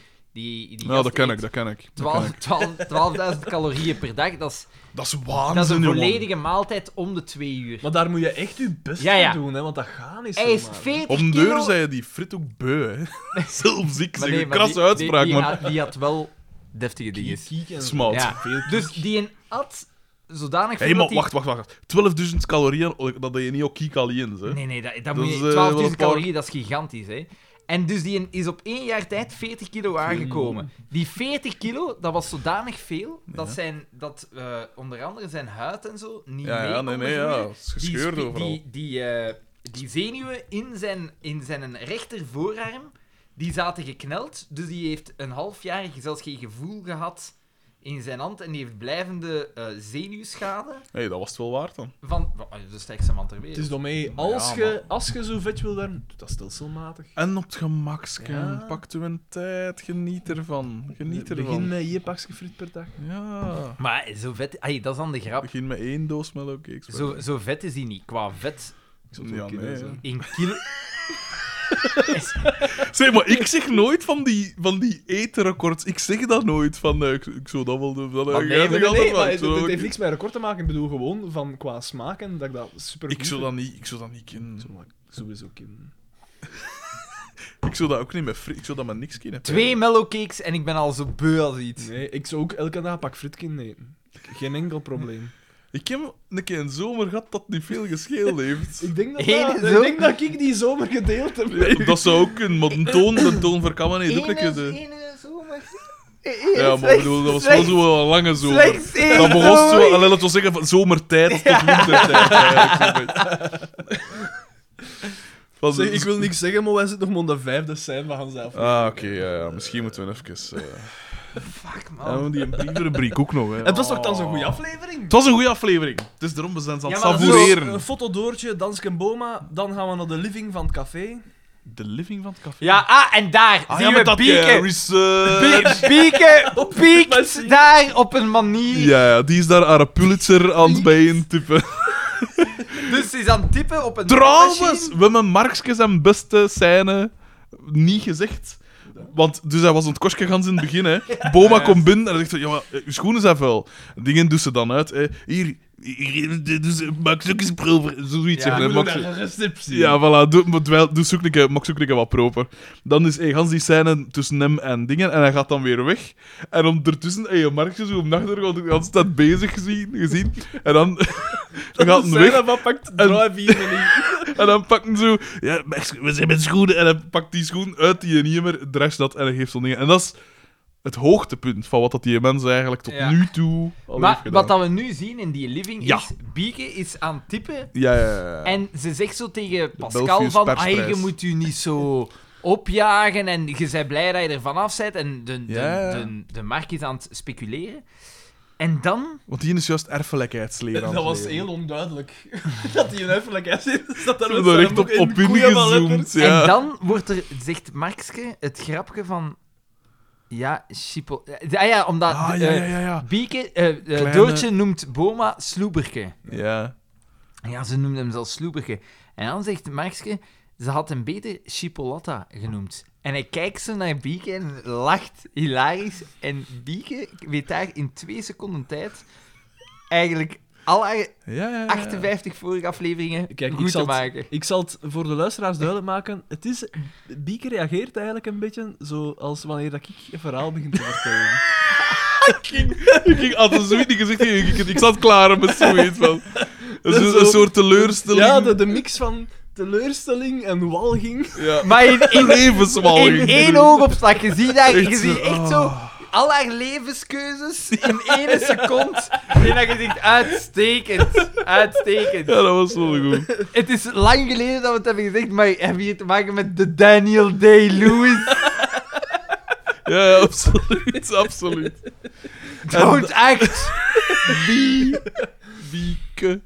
[SPEAKER 2] Ja,
[SPEAKER 4] die, die gasten
[SPEAKER 2] Nou, dat ken ik,
[SPEAKER 4] eten
[SPEAKER 2] dat ken ik. Dat, ken
[SPEAKER 4] 12
[SPEAKER 2] ik.
[SPEAKER 4] 12 12.000 calorieën per dag, dat is,
[SPEAKER 2] dat is
[SPEAKER 4] dat is
[SPEAKER 2] waanzin,
[SPEAKER 4] een
[SPEAKER 2] jongen.
[SPEAKER 4] volledige maaltijd om de twee uur.
[SPEAKER 3] Maar daar moet je echt je best
[SPEAKER 4] Ja, ja.
[SPEAKER 3] voor doen, hè, want dat gaat niet
[SPEAKER 4] Hij is
[SPEAKER 3] zomaar, hè.
[SPEAKER 4] 40
[SPEAKER 2] Om de
[SPEAKER 4] kilo...
[SPEAKER 2] deur zei je die frit ook
[SPEAKER 4] (laughs)
[SPEAKER 2] beu, hè. Zelfs ik
[SPEAKER 4] Maar
[SPEAKER 2] zeg
[SPEAKER 4] nee,
[SPEAKER 2] een
[SPEAKER 4] maar
[SPEAKER 2] krasse
[SPEAKER 4] die-
[SPEAKER 2] uitspraak,
[SPEAKER 4] die, die,
[SPEAKER 2] maar...
[SPEAKER 4] Had, die had wel deftige dingen.
[SPEAKER 3] Kiek en zo.
[SPEAKER 2] Smaat.
[SPEAKER 4] Ja.
[SPEAKER 3] Veel kiek.
[SPEAKER 4] Dus die een at zodanig
[SPEAKER 2] Hé,
[SPEAKER 4] veel
[SPEAKER 2] maar
[SPEAKER 4] dat die-
[SPEAKER 2] wacht, wacht, wacht. 12.000 calorieën, oh, dat deed je niet ook kiek al eens, hè.
[SPEAKER 4] Nee, nee, dat, dat,
[SPEAKER 2] Dat
[SPEAKER 4] moet
[SPEAKER 2] is,
[SPEAKER 4] je...
[SPEAKER 2] eh,
[SPEAKER 4] 12.000
[SPEAKER 2] wel een paar-
[SPEAKER 4] calorieën, dat is gigantisch, hè. En dus die een is op één jaar tijd 40 kilo aangekomen. Die 40 kilo, dat was zodanig veel, dat,
[SPEAKER 2] Ja.
[SPEAKER 4] zijn, dat eh, onder andere zijn huid en zo niet
[SPEAKER 2] Ja,
[SPEAKER 4] mee
[SPEAKER 2] ja, nee,
[SPEAKER 4] konden
[SPEAKER 2] nee, ja.
[SPEAKER 4] groeien.
[SPEAKER 2] Het is
[SPEAKER 4] Die
[SPEAKER 2] gescheurd
[SPEAKER 4] spi-
[SPEAKER 2] overal.
[SPEAKER 4] Die, die, eh, die zenuwen in zijn, in zijn rechter voorarm, die zaten gekneld. Dus die heeft een half jaar zelfs geen gevoel gehad in zijn hand. En die heeft blijvende eh, zenuwschade
[SPEAKER 2] Hé, dat was het wel waard dan.
[SPEAKER 4] van... van- ah, De sterkste man ter wereld.
[SPEAKER 3] Het is daarmee, als
[SPEAKER 2] Ja,
[SPEAKER 3] je als je zo vet wil worden, doe dat stelselmatig.
[SPEAKER 2] En op het gemakske.
[SPEAKER 3] Ja.
[SPEAKER 2] Pak u een tijd, geniet ervan. Geniet
[SPEAKER 3] Begin
[SPEAKER 2] ervan.
[SPEAKER 3] met je pakje friet per dag.
[SPEAKER 2] Ja.
[SPEAKER 4] Maar zo vet... Ay, dat is dan de grap.
[SPEAKER 2] Begin met één doos mellowcakes.
[SPEAKER 4] Zo, zo vet is die niet. Qua vet
[SPEAKER 3] zou het
[SPEAKER 2] Ja,
[SPEAKER 3] ook kunnen
[SPEAKER 2] nee,
[SPEAKER 3] zijn.
[SPEAKER 2] hè.
[SPEAKER 4] in kilo...
[SPEAKER 2] (laughs) Zeg maar, ik zeg nooit van die, van die etenrecords. Ik zeg dat nooit. Van, eh, ik, ik zou dat wel doen. van, eh,
[SPEAKER 4] Maar
[SPEAKER 2] jij
[SPEAKER 4] nee,
[SPEAKER 2] zegt
[SPEAKER 3] Nee,
[SPEAKER 2] altijd
[SPEAKER 3] nee,
[SPEAKER 2] van,
[SPEAKER 3] maar
[SPEAKER 2] ik
[SPEAKER 3] het,
[SPEAKER 2] zou
[SPEAKER 3] het
[SPEAKER 2] ook-
[SPEAKER 3] heeft niks met record te maken. Ik bedoel gewoon van qua smaak en dat ik dat super
[SPEAKER 2] Ik zou dat niet, ik zou dat niet kennen.
[SPEAKER 3] sowieso kunnen.
[SPEAKER 2] Ik zou dat ook niet met fri- Ik zou dat met niks kennen.
[SPEAKER 4] Twee mellowcakes en ik ben al zo beu als iets.
[SPEAKER 3] Nee, ik zou ook elke dag een pak fritkin eten. Geen enkel probleem.
[SPEAKER 2] Ik heb een keer een zomer gehad dat niet veel gescheeld heeft.
[SPEAKER 3] Ik denk dat,
[SPEAKER 4] Eén
[SPEAKER 3] dat-
[SPEAKER 4] zo-
[SPEAKER 3] ik, denk dat ik die zomer gedeeld heb. (laughs)
[SPEAKER 2] Dat zou ook kunnen, maar een toon, de toon verkammen heeft ook een keer de-
[SPEAKER 4] ene zomer...
[SPEAKER 2] Ja, maar ik bedoel, dat was wel zo'n lange zomer.
[SPEAKER 4] Slechts één
[SPEAKER 2] Dat begon zo,
[SPEAKER 4] zomer.
[SPEAKER 2] alleen laten we zeggen, van zomertijd (laughs) tot wintertijd. eigenlijk, zo'n beetje. (laughs) Van de-
[SPEAKER 3] Zeg, ik
[SPEAKER 2] Oh.
[SPEAKER 3] wil niks zeggen, maar wij zitten nog maar aan de vijfde scène van zelf.
[SPEAKER 2] Ah, oké, ja, ja. misschien moeten we even. eh,
[SPEAKER 1] Fuck, man.
[SPEAKER 2] En die brievenrubriek ook nog. Hè.
[SPEAKER 3] Het was toch dan zo'n goede aflevering?
[SPEAKER 2] Het was een goede aflevering. Het is daarom we zijn ze aan
[SPEAKER 3] Ja,
[SPEAKER 2] het
[SPEAKER 3] maar dat is
[SPEAKER 2] savoureren.
[SPEAKER 3] zo, Een fotodoortje, Dansken Boma, dan gaan we naar de living van het café.
[SPEAKER 2] De living van het café.
[SPEAKER 1] Ja, ah, en daar
[SPEAKER 2] Ah,
[SPEAKER 1] zien
[SPEAKER 2] ja,
[SPEAKER 1] we
[SPEAKER 2] met dat eh,
[SPEAKER 1] pieken.
[SPEAKER 2] research.
[SPEAKER 1] Pie-
[SPEAKER 2] (laughs)
[SPEAKER 1] Pieken piekt
[SPEAKER 3] machine.
[SPEAKER 1] daar op een manier.
[SPEAKER 2] Ja, ja, die is daar haar Pulitzer aan het bijeentypen.
[SPEAKER 1] Dus ze is aan het tippen op een
[SPEAKER 2] Trouwens,
[SPEAKER 1] machine.
[SPEAKER 2] we hebben Markske zijn beste scène niet gezegd. Want dus hij was aan het kostje gans in het
[SPEAKER 1] (laughs)
[SPEAKER 2] begin. Hè. Boma komt binnen en hij zegt van, ja, maar eh, uw schoenen zijn vuil. Dingen doet ze dan uit. Hè. Hier, hier, dit is- maak ze ook eens proper. Zoiets
[SPEAKER 1] Ja,
[SPEAKER 2] zeggen.
[SPEAKER 1] ik
[SPEAKER 2] hè. Maak ze-
[SPEAKER 3] een receptie.
[SPEAKER 2] Ja, voilà. Doe, maar dweil- doe zoek een keer- maak zoek een keer wat proper. Dan is hey, gans die scène tussen hem en dingen en hij gaat dan weer weg. En ondertussen, hey, Mark is zo om nacht door, de hele tijd bezig gezien. gezien. En dan (laughs) dan
[SPEAKER 3] (laughs)
[SPEAKER 2] gaat hij weg
[SPEAKER 3] Wat pakt
[SPEAKER 2] En-
[SPEAKER 3] Drive Evening?
[SPEAKER 2] en dan pakt hij zo... Ja, we zijn met schoenen. En hij pakt die schoen uit die niet meer, draagt dat en hij geeft zo'n dingen. En dat is het hoogtepunt van wat dat die mens eigenlijk tot
[SPEAKER 1] Ja.
[SPEAKER 2] nu toe al heeft
[SPEAKER 1] Maar
[SPEAKER 2] gedaan.
[SPEAKER 1] wat dat we nu zien in die living
[SPEAKER 2] Ja.
[SPEAKER 1] is... Bieke is aan het tippen
[SPEAKER 2] Ja, ja, ja. ja.
[SPEAKER 1] En ze zegt zo tegen Pascal
[SPEAKER 2] Belgius
[SPEAKER 1] van,
[SPEAKER 2] persprijs.
[SPEAKER 1] "Ai, je moet u niet zo opjagen en je bent blij dat je er vanaf zit. En de, de,
[SPEAKER 2] Ja.
[SPEAKER 1] de, de Mark is aan het speculeren. En dan...
[SPEAKER 2] Want die is juist erfelijkheidsleer aan
[SPEAKER 3] Dat
[SPEAKER 2] het
[SPEAKER 3] was
[SPEAKER 2] leren.
[SPEAKER 3] heel onduidelijk. (laughs) dat die een huffelijkheid zit. Dat daar
[SPEAKER 2] Zo er echt op, op ingezoomd. Ja.
[SPEAKER 1] En dan wordt er, zegt Markske, het grapje van... Ja, Schiphol... Ah ja, omdat...
[SPEAKER 2] Ah,
[SPEAKER 1] eh,
[SPEAKER 2] ja, ja, ja, ja.
[SPEAKER 1] Bieke, eh, eh,
[SPEAKER 2] Kleine-
[SPEAKER 1] Doortje noemt Boma Sloeberke.
[SPEAKER 2] Ja.
[SPEAKER 1] Ja, ze noemde hem zelfs Sloeberke. En dan zegt Markske, ze had hem beter Chipolata genoemd. En hij kijkt zo naar Bieke en lacht hilarisch. En Bieke weet daar in twee seconden tijd eigenlijk alle
[SPEAKER 2] Ja, ja, ja.
[SPEAKER 1] 58 vorige afleveringen
[SPEAKER 3] Kijk, ik
[SPEAKER 1] goed te
[SPEAKER 3] zal, het,
[SPEAKER 1] maken.
[SPEAKER 3] ik zal het voor de luisteraars duidelijk maken. Het is, Bieke reageert eigenlijk een beetje zoals wanneer dat ik een verhaal begin te
[SPEAKER 1] (laughs)
[SPEAKER 3] vertellen.
[SPEAKER 2] Ik ging- had een zoiets niet gezegd. Ik, ik, ik zat klaar met zoiets van. Dat is
[SPEAKER 3] Zo-
[SPEAKER 2] een, een soort teleurstelling.
[SPEAKER 3] ja, de, de mix van teleurstelling en walging.
[SPEAKER 2] Ja.
[SPEAKER 1] Maar in, in,
[SPEAKER 2] Levenswalging.
[SPEAKER 1] in één oogopslag, je ziet daar, je
[SPEAKER 2] Oh, Echt
[SPEAKER 1] ziet
[SPEAKER 2] zo,
[SPEAKER 1] echt zo
[SPEAKER 2] oh.
[SPEAKER 1] al haar levenskeuzes in één seconde. En dat je denkt, uitstekend, uitstekend.
[SPEAKER 2] Ja, dat was wel goed.
[SPEAKER 1] Het is lang geleden dat we het hebben gezegd, maar hebben we hier te maken met de Daniel
[SPEAKER 2] (laughs)
[SPEAKER 1] Day-Lewis?
[SPEAKER 2] Ja, ja, absoluut. Absoluut.
[SPEAKER 1] Don't act!
[SPEAKER 2] Wie? Wieke.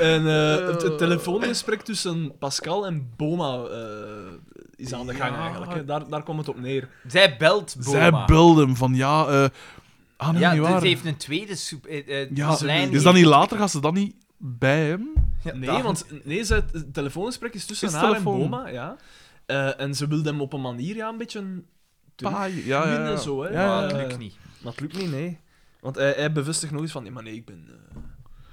[SPEAKER 3] En eh, het,
[SPEAKER 1] Oh.
[SPEAKER 3] het telefoongesprek tussen Pascal en Boma eh, is aan de gang
[SPEAKER 1] Ja.
[SPEAKER 3] eigenlijk. hè. Daar, daar kwam het op neer.
[SPEAKER 1] Zij belt Boma.
[SPEAKER 2] Zij belde hem van ja. eh ah, nee,
[SPEAKER 1] Ja,
[SPEAKER 2] niet
[SPEAKER 1] dus
[SPEAKER 2] waar.
[SPEAKER 1] ze heeft een tweede soep, eh, eh,
[SPEAKER 2] Ja,
[SPEAKER 1] lijn.
[SPEAKER 2] is dat niet later? Gaat ze dan niet bij hem?
[SPEAKER 1] Ja,
[SPEAKER 3] Nee,
[SPEAKER 1] dat-
[SPEAKER 3] want nee, ze- het telefoongesprek is tussen
[SPEAKER 2] Is
[SPEAKER 3] haar
[SPEAKER 2] telefoon.
[SPEAKER 3] en Boma. Ja. Eh, en ze wilde hem op een manier ja, een beetje terug.
[SPEAKER 2] Paai. Ja, ja, ja.
[SPEAKER 3] Minder zo, hè.
[SPEAKER 2] Ja, ja,
[SPEAKER 1] Maar
[SPEAKER 2] ja.
[SPEAKER 1] het lukt niet.
[SPEAKER 3] Maar het lukt niet, nee. Want hij, hij bevestigt nog eens van, nee, maar nee, ik ben eh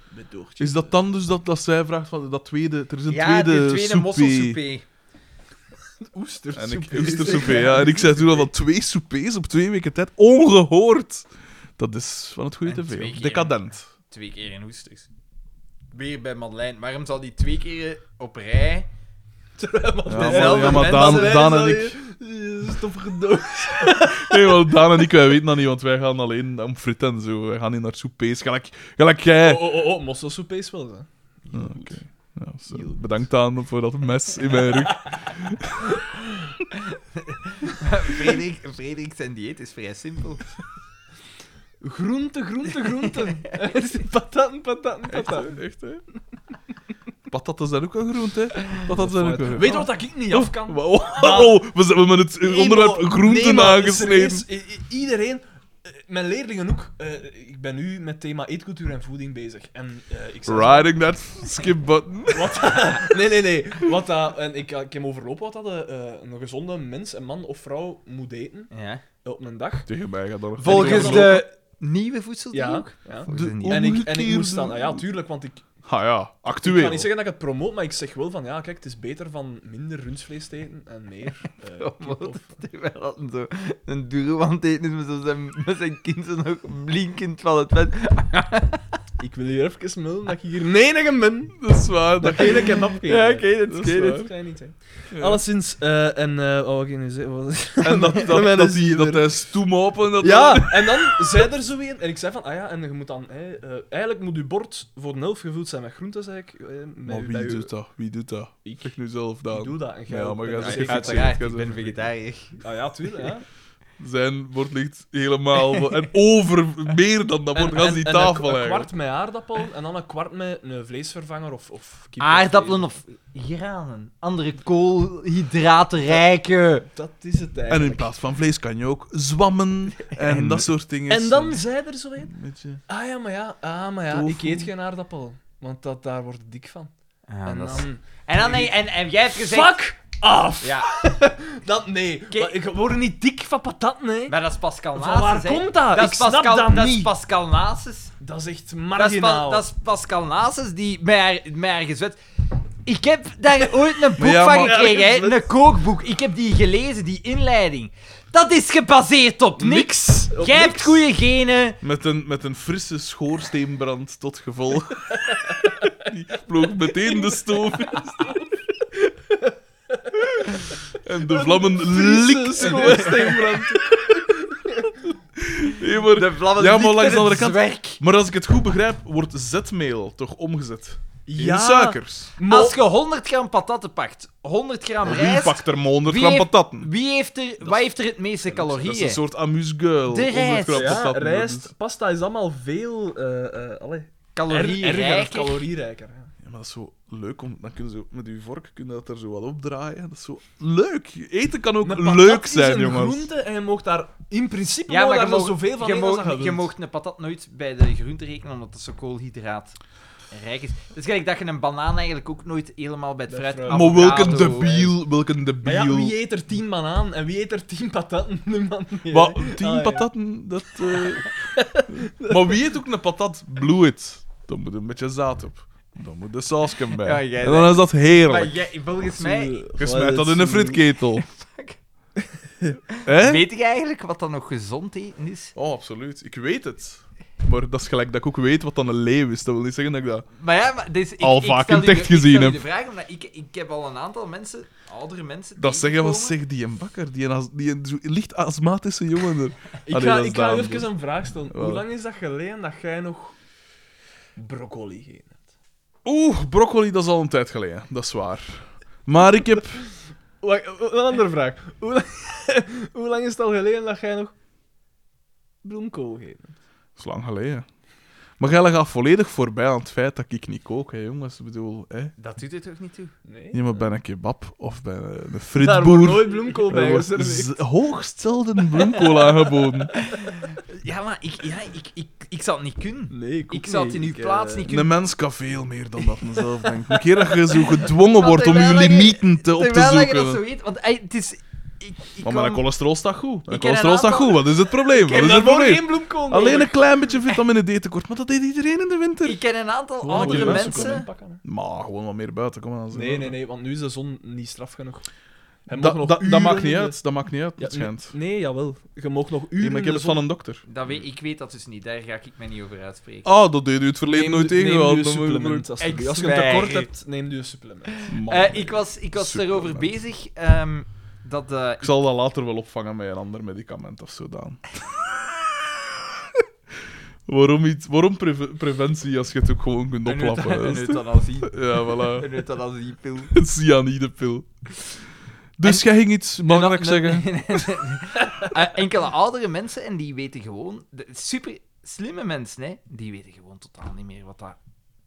[SPEAKER 3] met Doortje.
[SPEAKER 2] Is dat dan dus dat, dat zij vraagt van dat tweede... Er is een
[SPEAKER 1] Ja,
[SPEAKER 2] tweede,
[SPEAKER 1] de tweede mosselsoupé.
[SPEAKER 3] oester?
[SPEAKER 2] En ik oestersoepé, ja. En ik zei toen al van twee soupés op twee weken tijd. Ongehoord! Dat is van het goede
[SPEAKER 1] En twee
[SPEAKER 2] tv.
[SPEAKER 1] keer.
[SPEAKER 2] Decadent.
[SPEAKER 1] Twee keer in oesters. Weer bij Madeleine. Waarom zal die twee keer eh, op (laughs) rij...
[SPEAKER 2] Ja,
[SPEAKER 1] bij
[SPEAKER 2] maar,
[SPEAKER 1] dezelfde
[SPEAKER 2] ja,
[SPEAKER 1] mensen
[SPEAKER 2] maar Daan,
[SPEAKER 1] zijn
[SPEAKER 2] Daan en ik...
[SPEAKER 3] Stoffige doos.
[SPEAKER 2] Nee, want Daan en ik, wij weten dat niet, want wij gaan alleen om frit en zo. Wij gaan niet naar soupés. Gelijk, gelijk jij.
[SPEAKER 3] Oh, oh, oh, mosselsoepé is wel, hè.
[SPEAKER 2] Ah, Oké. Ja, zo. Bedankt, Daan, voor dat mes in mijn rug.
[SPEAKER 1] Frederik, Frederik, zijn dieet is vrij simpel.
[SPEAKER 3] Groente, groente, groente. (laughs) pataten, pataten, pataten.
[SPEAKER 2] Echt, hè? Patatten zijn ook een groente, hè? Patatten zijn ook een groente.
[SPEAKER 3] Weet je wat ik niet af kan?
[SPEAKER 2] Oh, oh, oh, we zijn- we hebben het onderwerp
[SPEAKER 3] Nee, maar-
[SPEAKER 2] groenten
[SPEAKER 3] nee, maar
[SPEAKER 2] aangesneden.
[SPEAKER 3] serieus, i- i- Iedereen, eh, mijn leerlingen ook, eh, ik ben nu met thema eetcultuur en voeding bezig. En eh ik zei-
[SPEAKER 2] Riding that skip button.
[SPEAKER 3] (laughs) Nee, nee, nee. Wat dat, en ik, ik heb overlopen wat dat eh, eh, een gezonde mens, een man of vrouw, moet eten
[SPEAKER 1] Ja.
[SPEAKER 3] eh, op een dag.
[SPEAKER 2] Tegen mij gaat dat nog
[SPEAKER 1] Volgens
[SPEAKER 2] niet
[SPEAKER 1] de nieuwe voedseltechniek?
[SPEAKER 3] ja.
[SPEAKER 1] Volgens de
[SPEAKER 2] De-
[SPEAKER 1] nieuwe.
[SPEAKER 3] En ik, en ik
[SPEAKER 2] Omgekeerde-
[SPEAKER 3] moest dan, ah ja, tuurlijk, want ik,
[SPEAKER 2] Ah ja,
[SPEAKER 3] ik ga
[SPEAKER 2] actueel.
[SPEAKER 3] niet zeggen dat ik het promoot, maar ik zeg wel van ja, kijk, het is beter van minder rundvlees te eten en meer. eh, (laughs) kip
[SPEAKER 1] Promoot.
[SPEAKER 3] of-
[SPEAKER 1] (laughs) Terwijl dat een zo een dure wand eten is met, zo zijn, met zijn kind zo nog blinkend van het vet.
[SPEAKER 3] ik wil hier even melden dat ik hier een enige ben
[SPEAKER 2] Dat is waar.
[SPEAKER 3] dat
[SPEAKER 2] Dat...
[SPEAKER 3] geen (laughs) kebab eet.
[SPEAKER 2] Ja, ik weet het,
[SPEAKER 3] Dat
[SPEAKER 2] ik
[SPEAKER 3] is
[SPEAKER 2] weet
[SPEAKER 3] waar.
[SPEAKER 2] het.
[SPEAKER 3] Kan je niet, hè.
[SPEAKER 2] Ja.
[SPEAKER 3] Alleszins, eh, en eh, oh, wat ging ik nu zeggen? Wat-
[SPEAKER 2] En
[SPEAKER 3] (laughs)
[SPEAKER 2] dat, dat,
[SPEAKER 3] Mijn
[SPEAKER 2] dat, die,
[SPEAKER 3] ziel
[SPEAKER 2] dat
[SPEAKER 3] er.
[SPEAKER 2] hij stoem open. Dat
[SPEAKER 3] Ja, en dan zei er zo een, en ik zei van, ah ja, en je moet dan, hè, eh, eigenlijk moet je bord voor een helft gevuld zijn met groenten, zei ik. eh, met
[SPEAKER 2] Maar
[SPEAKER 3] uw-
[SPEAKER 2] wie
[SPEAKER 3] bij uw-
[SPEAKER 2] doet dat? Wie doet dat?
[SPEAKER 3] Ik.
[SPEAKER 2] Zeg nu zelf dan.
[SPEAKER 3] Ik doe dat. En jij
[SPEAKER 2] Ja,
[SPEAKER 3] ook.
[SPEAKER 2] maar
[SPEAKER 3] En
[SPEAKER 4] Dus
[SPEAKER 2] jij
[SPEAKER 3] dan
[SPEAKER 2] zegt
[SPEAKER 3] zeg ik
[SPEAKER 2] het
[SPEAKER 3] van,
[SPEAKER 2] zelf.
[SPEAKER 1] Uiteraard, ik ben vegetariër.
[SPEAKER 3] Ah ja, tuurlijk, ja.
[SPEAKER 2] Zijn bord ligt helemaal... vol- En over meer dan (laughs) dat bord.
[SPEAKER 3] En-
[SPEAKER 2] Dat is
[SPEAKER 3] en-
[SPEAKER 2] die
[SPEAKER 3] en
[SPEAKER 2] tafel
[SPEAKER 3] een, een
[SPEAKER 2] eigenlijk.
[SPEAKER 3] kwart met aardappel en dan een kwart met een vleesvervanger of, of kip.
[SPEAKER 4] Aardappelen of granen. Andere koolhydratenrijke.
[SPEAKER 3] Dat is het
[SPEAKER 2] En in
[SPEAKER 3] eigenlijk.
[SPEAKER 2] plaats van vlees kan je ook
[SPEAKER 3] (laughs)
[SPEAKER 2] zwammen en, dat soort dingen.
[SPEAKER 3] En, dan zei er zo een...
[SPEAKER 2] Beetje...
[SPEAKER 3] Ah ja, maar ja, ah, maar ja
[SPEAKER 2] Tofu.
[SPEAKER 3] ik eet geen aardappel. Want dat, daar word ik dik van.
[SPEAKER 4] Ja,
[SPEAKER 3] en
[SPEAKER 4] dat is-
[SPEAKER 3] dan...
[SPEAKER 4] En dan en, en, en jij hebt gezegd...
[SPEAKER 3] Fuck af!
[SPEAKER 4] Ja,
[SPEAKER 3] (laughs) Dat, nee.
[SPEAKER 4] Oké.
[SPEAKER 3] Maar ik word niet dik van patat, nee.
[SPEAKER 4] maar dat is Pascal Nasus.
[SPEAKER 3] Van waar
[SPEAKER 4] hè.
[SPEAKER 3] komt dat?
[SPEAKER 4] Dat
[SPEAKER 3] ik
[SPEAKER 4] is
[SPEAKER 3] snap
[SPEAKER 4] Pascal,
[SPEAKER 3] dat,
[SPEAKER 4] is
[SPEAKER 3] niet.
[SPEAKER 4] Pascal Nasus.
[SPEAKER 3] dat is echt
[SPEAKER 4] Dat is,
[SPEAKER 3] marginaal.
[SPEAKER 4] Pa- dat is Pascal Nasus die mij haar, mij haar gezwet. Ik heb
[SPEAKER 1] (laughs)
[SPEAKER 4] daar ooit een boek
[SPEAKER 2] Maar ja,
[SPEAKER 4] van
[SPEAKER 2] maar-
[SPEAKER 4] gekregen, hè?
[SPEAKER 3] Ja, gezwet.
[SPEAKER 4] een kookboek. Ik heb die gelezen, die inleiding. Dat is gebaseerd op niks.
[SPEAKER 3] Op
[SPEAKER 4] Jij hebt
[SPEAKER 3] niks.
[SPEAKER 4] (laughs) goede genen.
[SPEAKER 2] Met een, met een frisse schoorsteenbrand tot
[SPEAKER 3] (laughs)
[SPEAKER 2] gevolg. Die vloog meteen de stoof in. En de vlammen
[SPEAKER 3] Frisse
[SPEAKER 2] likten.
[SPEAKER 3] schoorsteenbrand.
[SPEAKER 2] Nee, maar-
[SPEAKER 4] De vlammen
[SPEAKER 2] Ja, maar
[SPEAKER 4] lichten
[SPEAKER 2] langs de andere
[SPEAKER 4] het
[SPEAKER 2] kant-
[SPEAKER 4] zwerk.
[SPEAKER 2] Maar als ik het goed begrijp, wordt zetmeel toch omgezet in
[SPEAKER 3] ja,
[SPEAKER 2] suikers.
[SPEAKER 3] maar-
[SPEAKER 4] Als je 100 gram patatten pakt, 100 gram
[SPEAKER 2] Wie
[SPEAKER 4] rijst,
[SPEAKER 2] pakt er maar 100
[SPEAKER 4] Wie
[SPEAKER 2] gram
[SPEAKER 4] heeft-
[SPEAKER 2] patatten?
[SPEAKER 4] wie heeft er, wat heeft er het meeste
[SPEAKER 2] Dat is een
[SPEAKER 4] calorieën?
[SPEAKER 2] soort amuse-gueule.
[SPEAKER 4] De
[SPEAKER 2] 100
[SPEAKER 4] rijst.
[SPEAKER 2] gram
[SPEAKER 3] Ja,
[SPEAKER 2] patatten, dat is-
[SPEAKER 3] rijst, pasta is allemaal veel eh eh allee, er- erger of
[SPEAKER 4] Calorieënrijker.
[SPEAKER 3] calorierijker. ja.
[SPEAKER 2] Ja, maar dat is zo leuk, om, dan kun je zo, met je vork kun je dat er zo wat opdraaien. Dat is zo leuk. Eten kan ook
[SPEAKER 3] Een patat
[SPEAKER 2] leuk
[SPEAKER 3] is
[SPEAKER 2] zijn,
[SPEAKER 3] een
[SPEAKER 2] jongens.
[SPEAKER 3] groente en je mag daar in principe
[SPEAKER 4] Ja, maar je
[SPEAKER 3] daar zo
[SPEAKER 4] mag-
[SPEAKER 3] zoveel van
[SPEAKER 4] je
[SPEAKER 3] eten als
[SPEAKER 4] mag-
[SPEAKER 3] dat je
[SPEAKER 4] Je
[SPEAKER 3] wilt.
[SPEAKER 4] mag een patat nooit bij de groente rekenen, omdat het zo koolhydraatrijk is. Het is gelijk dat je een banaan eigenlijk ook nooit helemaal bij het
[SPEAKER 3] Bij
[SPEAKER 4] fruit...
[SPEAKER 3] fruit.
[SPEAKER 2] Maar welke
[SPEAKER 4] avocado-
[SPEAKER 2] debiel, welke
[SPEAKER 3] Maar ja,
[SPEAKER 2] debiel.
[SPEAKER 3] wie eet er 10 banaan en wie eet er 10 patatten? (laughs) Niemand meer.
[SPEAKER 2] Wat,
[SPEAKER 3] hè.
[SPEAKER 2] tien
[SPEAKER 3] Ah, ja.
[SPEAKER 2] patatten, dat... eh.
[SPEAKER 3] (laughs)
[SPEAKER 2] maar wie eet ook een patat? Blue it. Dan moet er een beetje zaad op. Dan moet de sausken bij.
[SPEAKER 4] Ja, jij
[SPEAKER 2] en dan is dat
[SPEAKER 4] Maar
[SPEAKER 2] heerlijk.
[SPEAKER 4] jij, volgens mij...
[SPEAKER 2] Je smijt dat in een
[SPEAKER 4] (laughs)
[SPEAKER 2] fritketel. Hè?
[SPEAKER 4] Weet ik eigenlijk wat dan nog gezond eten is?
[SPEAKER 2] Oh, absoluut. Ik weet het. Maar dat is gelijk dat ik ook weet wat dan een leeuw is. Dat wil niet zeggen dat ik dat...
[SPEAKER 4] Maar ja, maar, dus ik,
[SPEAKER 2] Al
[SPEAKER 4] ik
[SPEAKER 2] vaak
[SPEAKER 4] stel
[SPEAKER 2] in
[SPEAKER 4] u
[SPEAKER 2] het
[SPEAKER 4] de-
[SPEAKER 2] echt gezien
[SPEAKER 4] Ik stel u
[SPEAKER 2] heb.
[SPEAKER 4] de vraag, omdat ik, ik heb al een aantal mensen, oudere mensen...
[SPEAKER 2] Dat zeggen wat
[SPEAKER 4] tegengekomen.
[SPEAKER 2] zegt die een bakker, die een, as- die een zo- licht astmatische jongen er.
[SPEAKER 3] Ik
[SPEAKER 2] Allee,
[SPEAKER 3] ga,
[SPEAKER 2] dat is
[SPEAKER 3] ik ga
[SPEAKER 2] Daan,
[SPEAKER 3] u
[SPEAKER 2] dus.
[SPEAKER 3] even een vraag stellen.
[SPEAKER 2] Wel.
[SPEAKER 3] Hoe lang is dat geleden dat jij nog broccoli gegeten hebt?
[SPEAKER 2] Oeh, broccoli, dat is al een tijd geleden. Dat is waar. Maar ik heb...
[SPEAKER 3] Wacht, een andere vraag. Hoe lang, (laughs) hoe lang is het al geleden dat jij nog bloemkool gegeten hebt?
[SPEAKER 2] Dat is lang geleden. Maar jij gaat volledig voorbij aan het feit dat ik niet kook, hè, jongens. Ik bedoel, hè.
[SPEAKER 4] Dat doet het ook niet toe.
[SPEAKER 3] Nee.
[SPEAKER 2] Je moet bij een kebab of bij een een
[SPEAKER 3] Daar wordt
[SPEAKER 2] fritboer.
[SPEAKER 3] nooit bloemkool
[SPEAKER 2] Er
[SPEAKER 3] bij
[SPEAKER 2] wordt
[SPEAKER 3] geserveerd.
[SPEAKER 2] z- hoogst zelden bloemkool aangeboden.
[SPEAKER 4] Ja, maar ik, ja, ik, ik, ik zou het niet kunnen.
[SPEAKER 3] Nee, ook
[SPEAKER 4] Ik zou het in
[SPEAKER 3] niet.
[SPEAKER 4] uw
[SPEAKER 3] Ik,
[SPEAKER 4] plaats
[SPEAKER 3] eh,
[SPEAKER 4] niet kunnen.
[SPEAKER 2] Een mens kan veel meer dan dat men zelf denkt. Een keer dat je zo gedwongen wordt om je
[SPEAKER 4] terwijl je-
[SPEAKER 2] limieten te, op te
[SPEAKER 4] Terwijl je dat zo
[SPEAKER 2] zoeken.
[SPEAKER 4] weet, want ey, het is... Ik, ik
[SPEAKER 2] Maar mijn
[SPEAKER 4] kwam-
[SPEAKER 2] cholesterol staat goed. Mijn
[SPEAKER 4] Ik ken een
[SPEAKER 2] cholesterol staat
[SPEAKER 4] aantal-
[SPEAKER 2] goed. Wat is het probleem? Wat
[SPEAKER 3] Ik heb
[SPEAKER 2] is het
[SPEAKER 3] daarvoor
[SPEAKER 2] probleem?
[SPEAKER 3] geen bloemkool
[SPEAKER 2] Alleen een klein beetje vitamine D tekort, maar dat deed iedereen in de winter.
[SPEAKER 4] Ik ken een aantal
[SPEAKER 3] Oh,
[SPEAKER 2] Gewoon
[SPEAKER 4] oudere
[SPEAKER 2] moet je
[SPEAKER 4] mensen.
[SPEAKER 2] Maar gewoon wat meer buiten, kom aan. zeg
[SPEAKER 3] Nee,
[SPEAKER 2] maar.
[SPEAKER 3] nee, nee, want nu is de zon niet straf genoeg. Hij
[SPEAKER 2] Dat,
[SPEAKER 3] mag nog
[SPEAKER 2] dat, dat
[SPEAKER 3] uren
[SPEAKER 2] maakt niet
[SPEAKER 3] in de-
[SPEAKER 2] uit, dat maakt niet uit,
[SPEAKER 3] Ja,
[SPEAKER 2] het schijnt.
[SPEAKER 3] Nee, jawel. Je mag nog uren
[SPEAKER 2] Ja, maar ik
[SPEAKER 3] in
[SPEAKER 2] heb
[SPEAKER 3] de
[SPEAKER 2] het
[SPEAKER 3] zon-
[SPEAKER 2] van een dokter.
[SPEAKER 4] Oh, Dat weet, ik weet dat dus niet, daar ga ik me niet over uitspreken.
[SPEAKER 2] Ah, dat deed u het verleden
[SPEAKER 3] Neem
[SPEAKER 2] nooit
[SPEAKER 3] nu- neem
[SPEAKER 2] tegen.
[SPEAKER 3] nu
[SPEAKER 2] wel,
[SPEAKER 3] een
[SPEAKER 2] dan moet je-
[SPEAKER 3] supplement. Als,
[SPEAKER 4] Ik
[SPEAKER 3] je- als je een
[SPEAKER 4] zwijg.
[SPEAKER 3] tekort hebt, neem nu een supplement.
[SPEAKER 2] Man,
[SPEAKER 4] Eh,
[SPEAKER 2] nee.
[SPEAKER 4] ik was, ik was
[SPEAKER 2] Super,
[SPEAKER 4] erover
[SPEAKER 2] man.
[SPEAKER 4] bezig ehm, dat... eh, (laughs)
[SPEAKER 2] Ik zal dat later wel opvangen met een ander medicament of zo dan. (laughs) waarom, iets, waarom preve- preventie als je het ook gewoon kunt
[SPEAKER 4] een euth-
[SPEAKER 2] oplappen?
[SPEAKER 4] Een
[SPEAKER 2] hè?
[SPEAKER 4] euthanasie.
[SPEAKER 2] Ja, voilà.
[SPEAKER 4] Een euthanasiepil.
[SPEAKER 2] Een (laughs) cyanidepil. Dus jij ging iets belangrijk
[SPEAKER 4] En dat-
[SPEAKER 2] zeggen?
[SPEAKER 4] Eh, enkele oudere mensen, en die weten gewoon... de super slimme mensen, hè, die weten gewoon totaal niet meer wat dat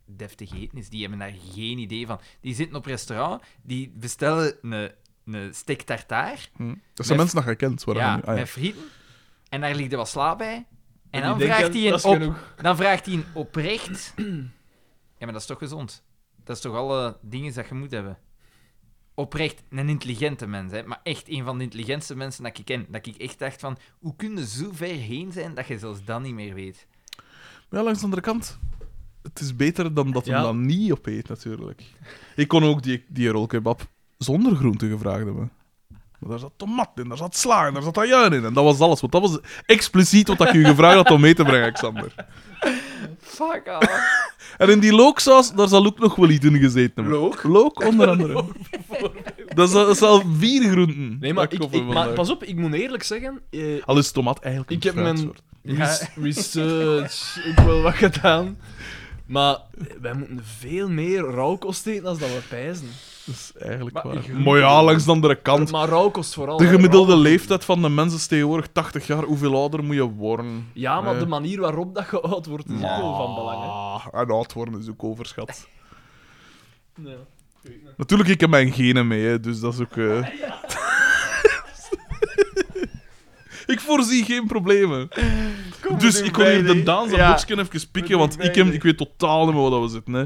[SPEAKER 4] deftig eten is. Die hebben daar geen idee van. Die zitten op restaurant, die bestellen een, een steak tartaar.
[SPEAKER 2] Hm. Dat zijn
[SPEAKER 4] Met-
[SPEAKER 2] mensen nog gekend. Waar
[SPEAKER 4] ja,
[SPEAKER 2] gaan we- ah, ja.
[SPEAKER 4] met frieten. En daar ligt er wat sla bij. En dan
[SPEAKER 3] die denken,
[SPEAKER 4] vraagt, hij
[SPEAKER 3] dat
[SPEAKER 4] een
[SPEAKER 3] is
[SPEAKER 4] op,
[SPEAKER 3] genoeg.
[SPEAKER 4] dan vraagt hij een oprecht... Ja, maar dat is toch gezond? Dat is toch alle dingen dat je moet hebben? Oprecht een intelligente mens, hè. Maar echt een van de intelligentste mensen dat ik ken. Dat ik echt dacht van, hoe kun je zo ver heen zijn dat je zelfs dat niet meer weet?
[SPEAKER 2] Maar ja, langs de andere kant. Het is beter dan dat
[SPEAKER 3] Ja.
[SPEAKER 2] hem dan niet op eet, natuurlijk. Ik kon ook die, die rolkebab zonder groente gevraagd hebben. Maar daar zat tomat in, daar zat sla in, daar zat ajuin in. En dat was alles. Want dat was expliciet wat ik u gevraagd had om mee te brengen, Xander.
[SPEAKER 4] Fuck off.
[SPEAKER 2] (laughs) En in die looksaus, daar zal ook nog wel iets in gezeten hebben. Look? Look, onder andere. dat, is, dat is al vier groenten.
[SPEAKER 3] Nee, maar,
[SPEAKER 2] dat
[SPEAKER 3] ik,
[SPEAKER 2] ik
[SPEAKER 3] ik-
[SPEAKER 2] over
[SPEAKER 3] maar
[SPEAKER 2] vandaag.
[SPEAKER 3] pas op, ik moet eerlijk zeggen... eh,
[SPEAKER 2] Al is tomat eigenlijk een
[SPEAKER 3] Ik heb mijn-
[SPEAKER 2] fruitsoort.
[SPEAKER 4] Ja.
[SPEAKER 3] res- research, ook wel wat gedaan. Maar wij moeten veel meer rauwkost eten dan dat we pijzen.
[SPEAKER 2] Dat is eigenlijk
[SPEAKER 3] Maar
[SPEAKER 2] waar.
[SPEAKER 3] ik-
[SPEAKER 2] Mooi, ja, langs de andere kant.
[SPEAKER 3] Maar rauw kost vooral.
[SPEAKER 2] De
[SPEAKER 3] hè,
[SPEAKER 2] gemiddelde
[SPEAKER 3] rauw.
[SPEAKER 2] leeftijd van de mensen is tegenwoordig 80 jaar. Hoeveel ouder moet je worden?
[SPEAKER 3] Ja, maar
[SPEAKER 2] Eh.
[SPEAKER 3] de manier waarop dat je oud wordt is ook wel van belang. Hè.
[SPEAKER 2] Ah, En oud worden is ook
[SPEAKER 3] (laughs)
[SPEAKER 2] overschat.
[SPEAKER 3] Ja. Ik weet niet.
[SPEAKER 2] Natuurlijk, ik heb mijn genen mee, hè, dus dat is ook.
[SPEAKER 3] (laughs)
[SPEAKER 2] eh. (laughs) ik voorzie geen problemen. dus
[SPEAKER 4] doen
[SPEAKER 2] ik wil hier
[SPEAKER 4] beide.
[SPEAKER 2] de Daanse
[SPEAKER 4] Ja.
[SPEAKER 2] boxken even
[SPEAKER 3] We
[SPEAKER 2] pikken,
[SPEAKER 3] doen
[SPEAKER 2] want ik,
[SPEAKER 3] beide.
[SPEAKER 2] heb, ik weet totaal niet meer waar we zitten. Hè.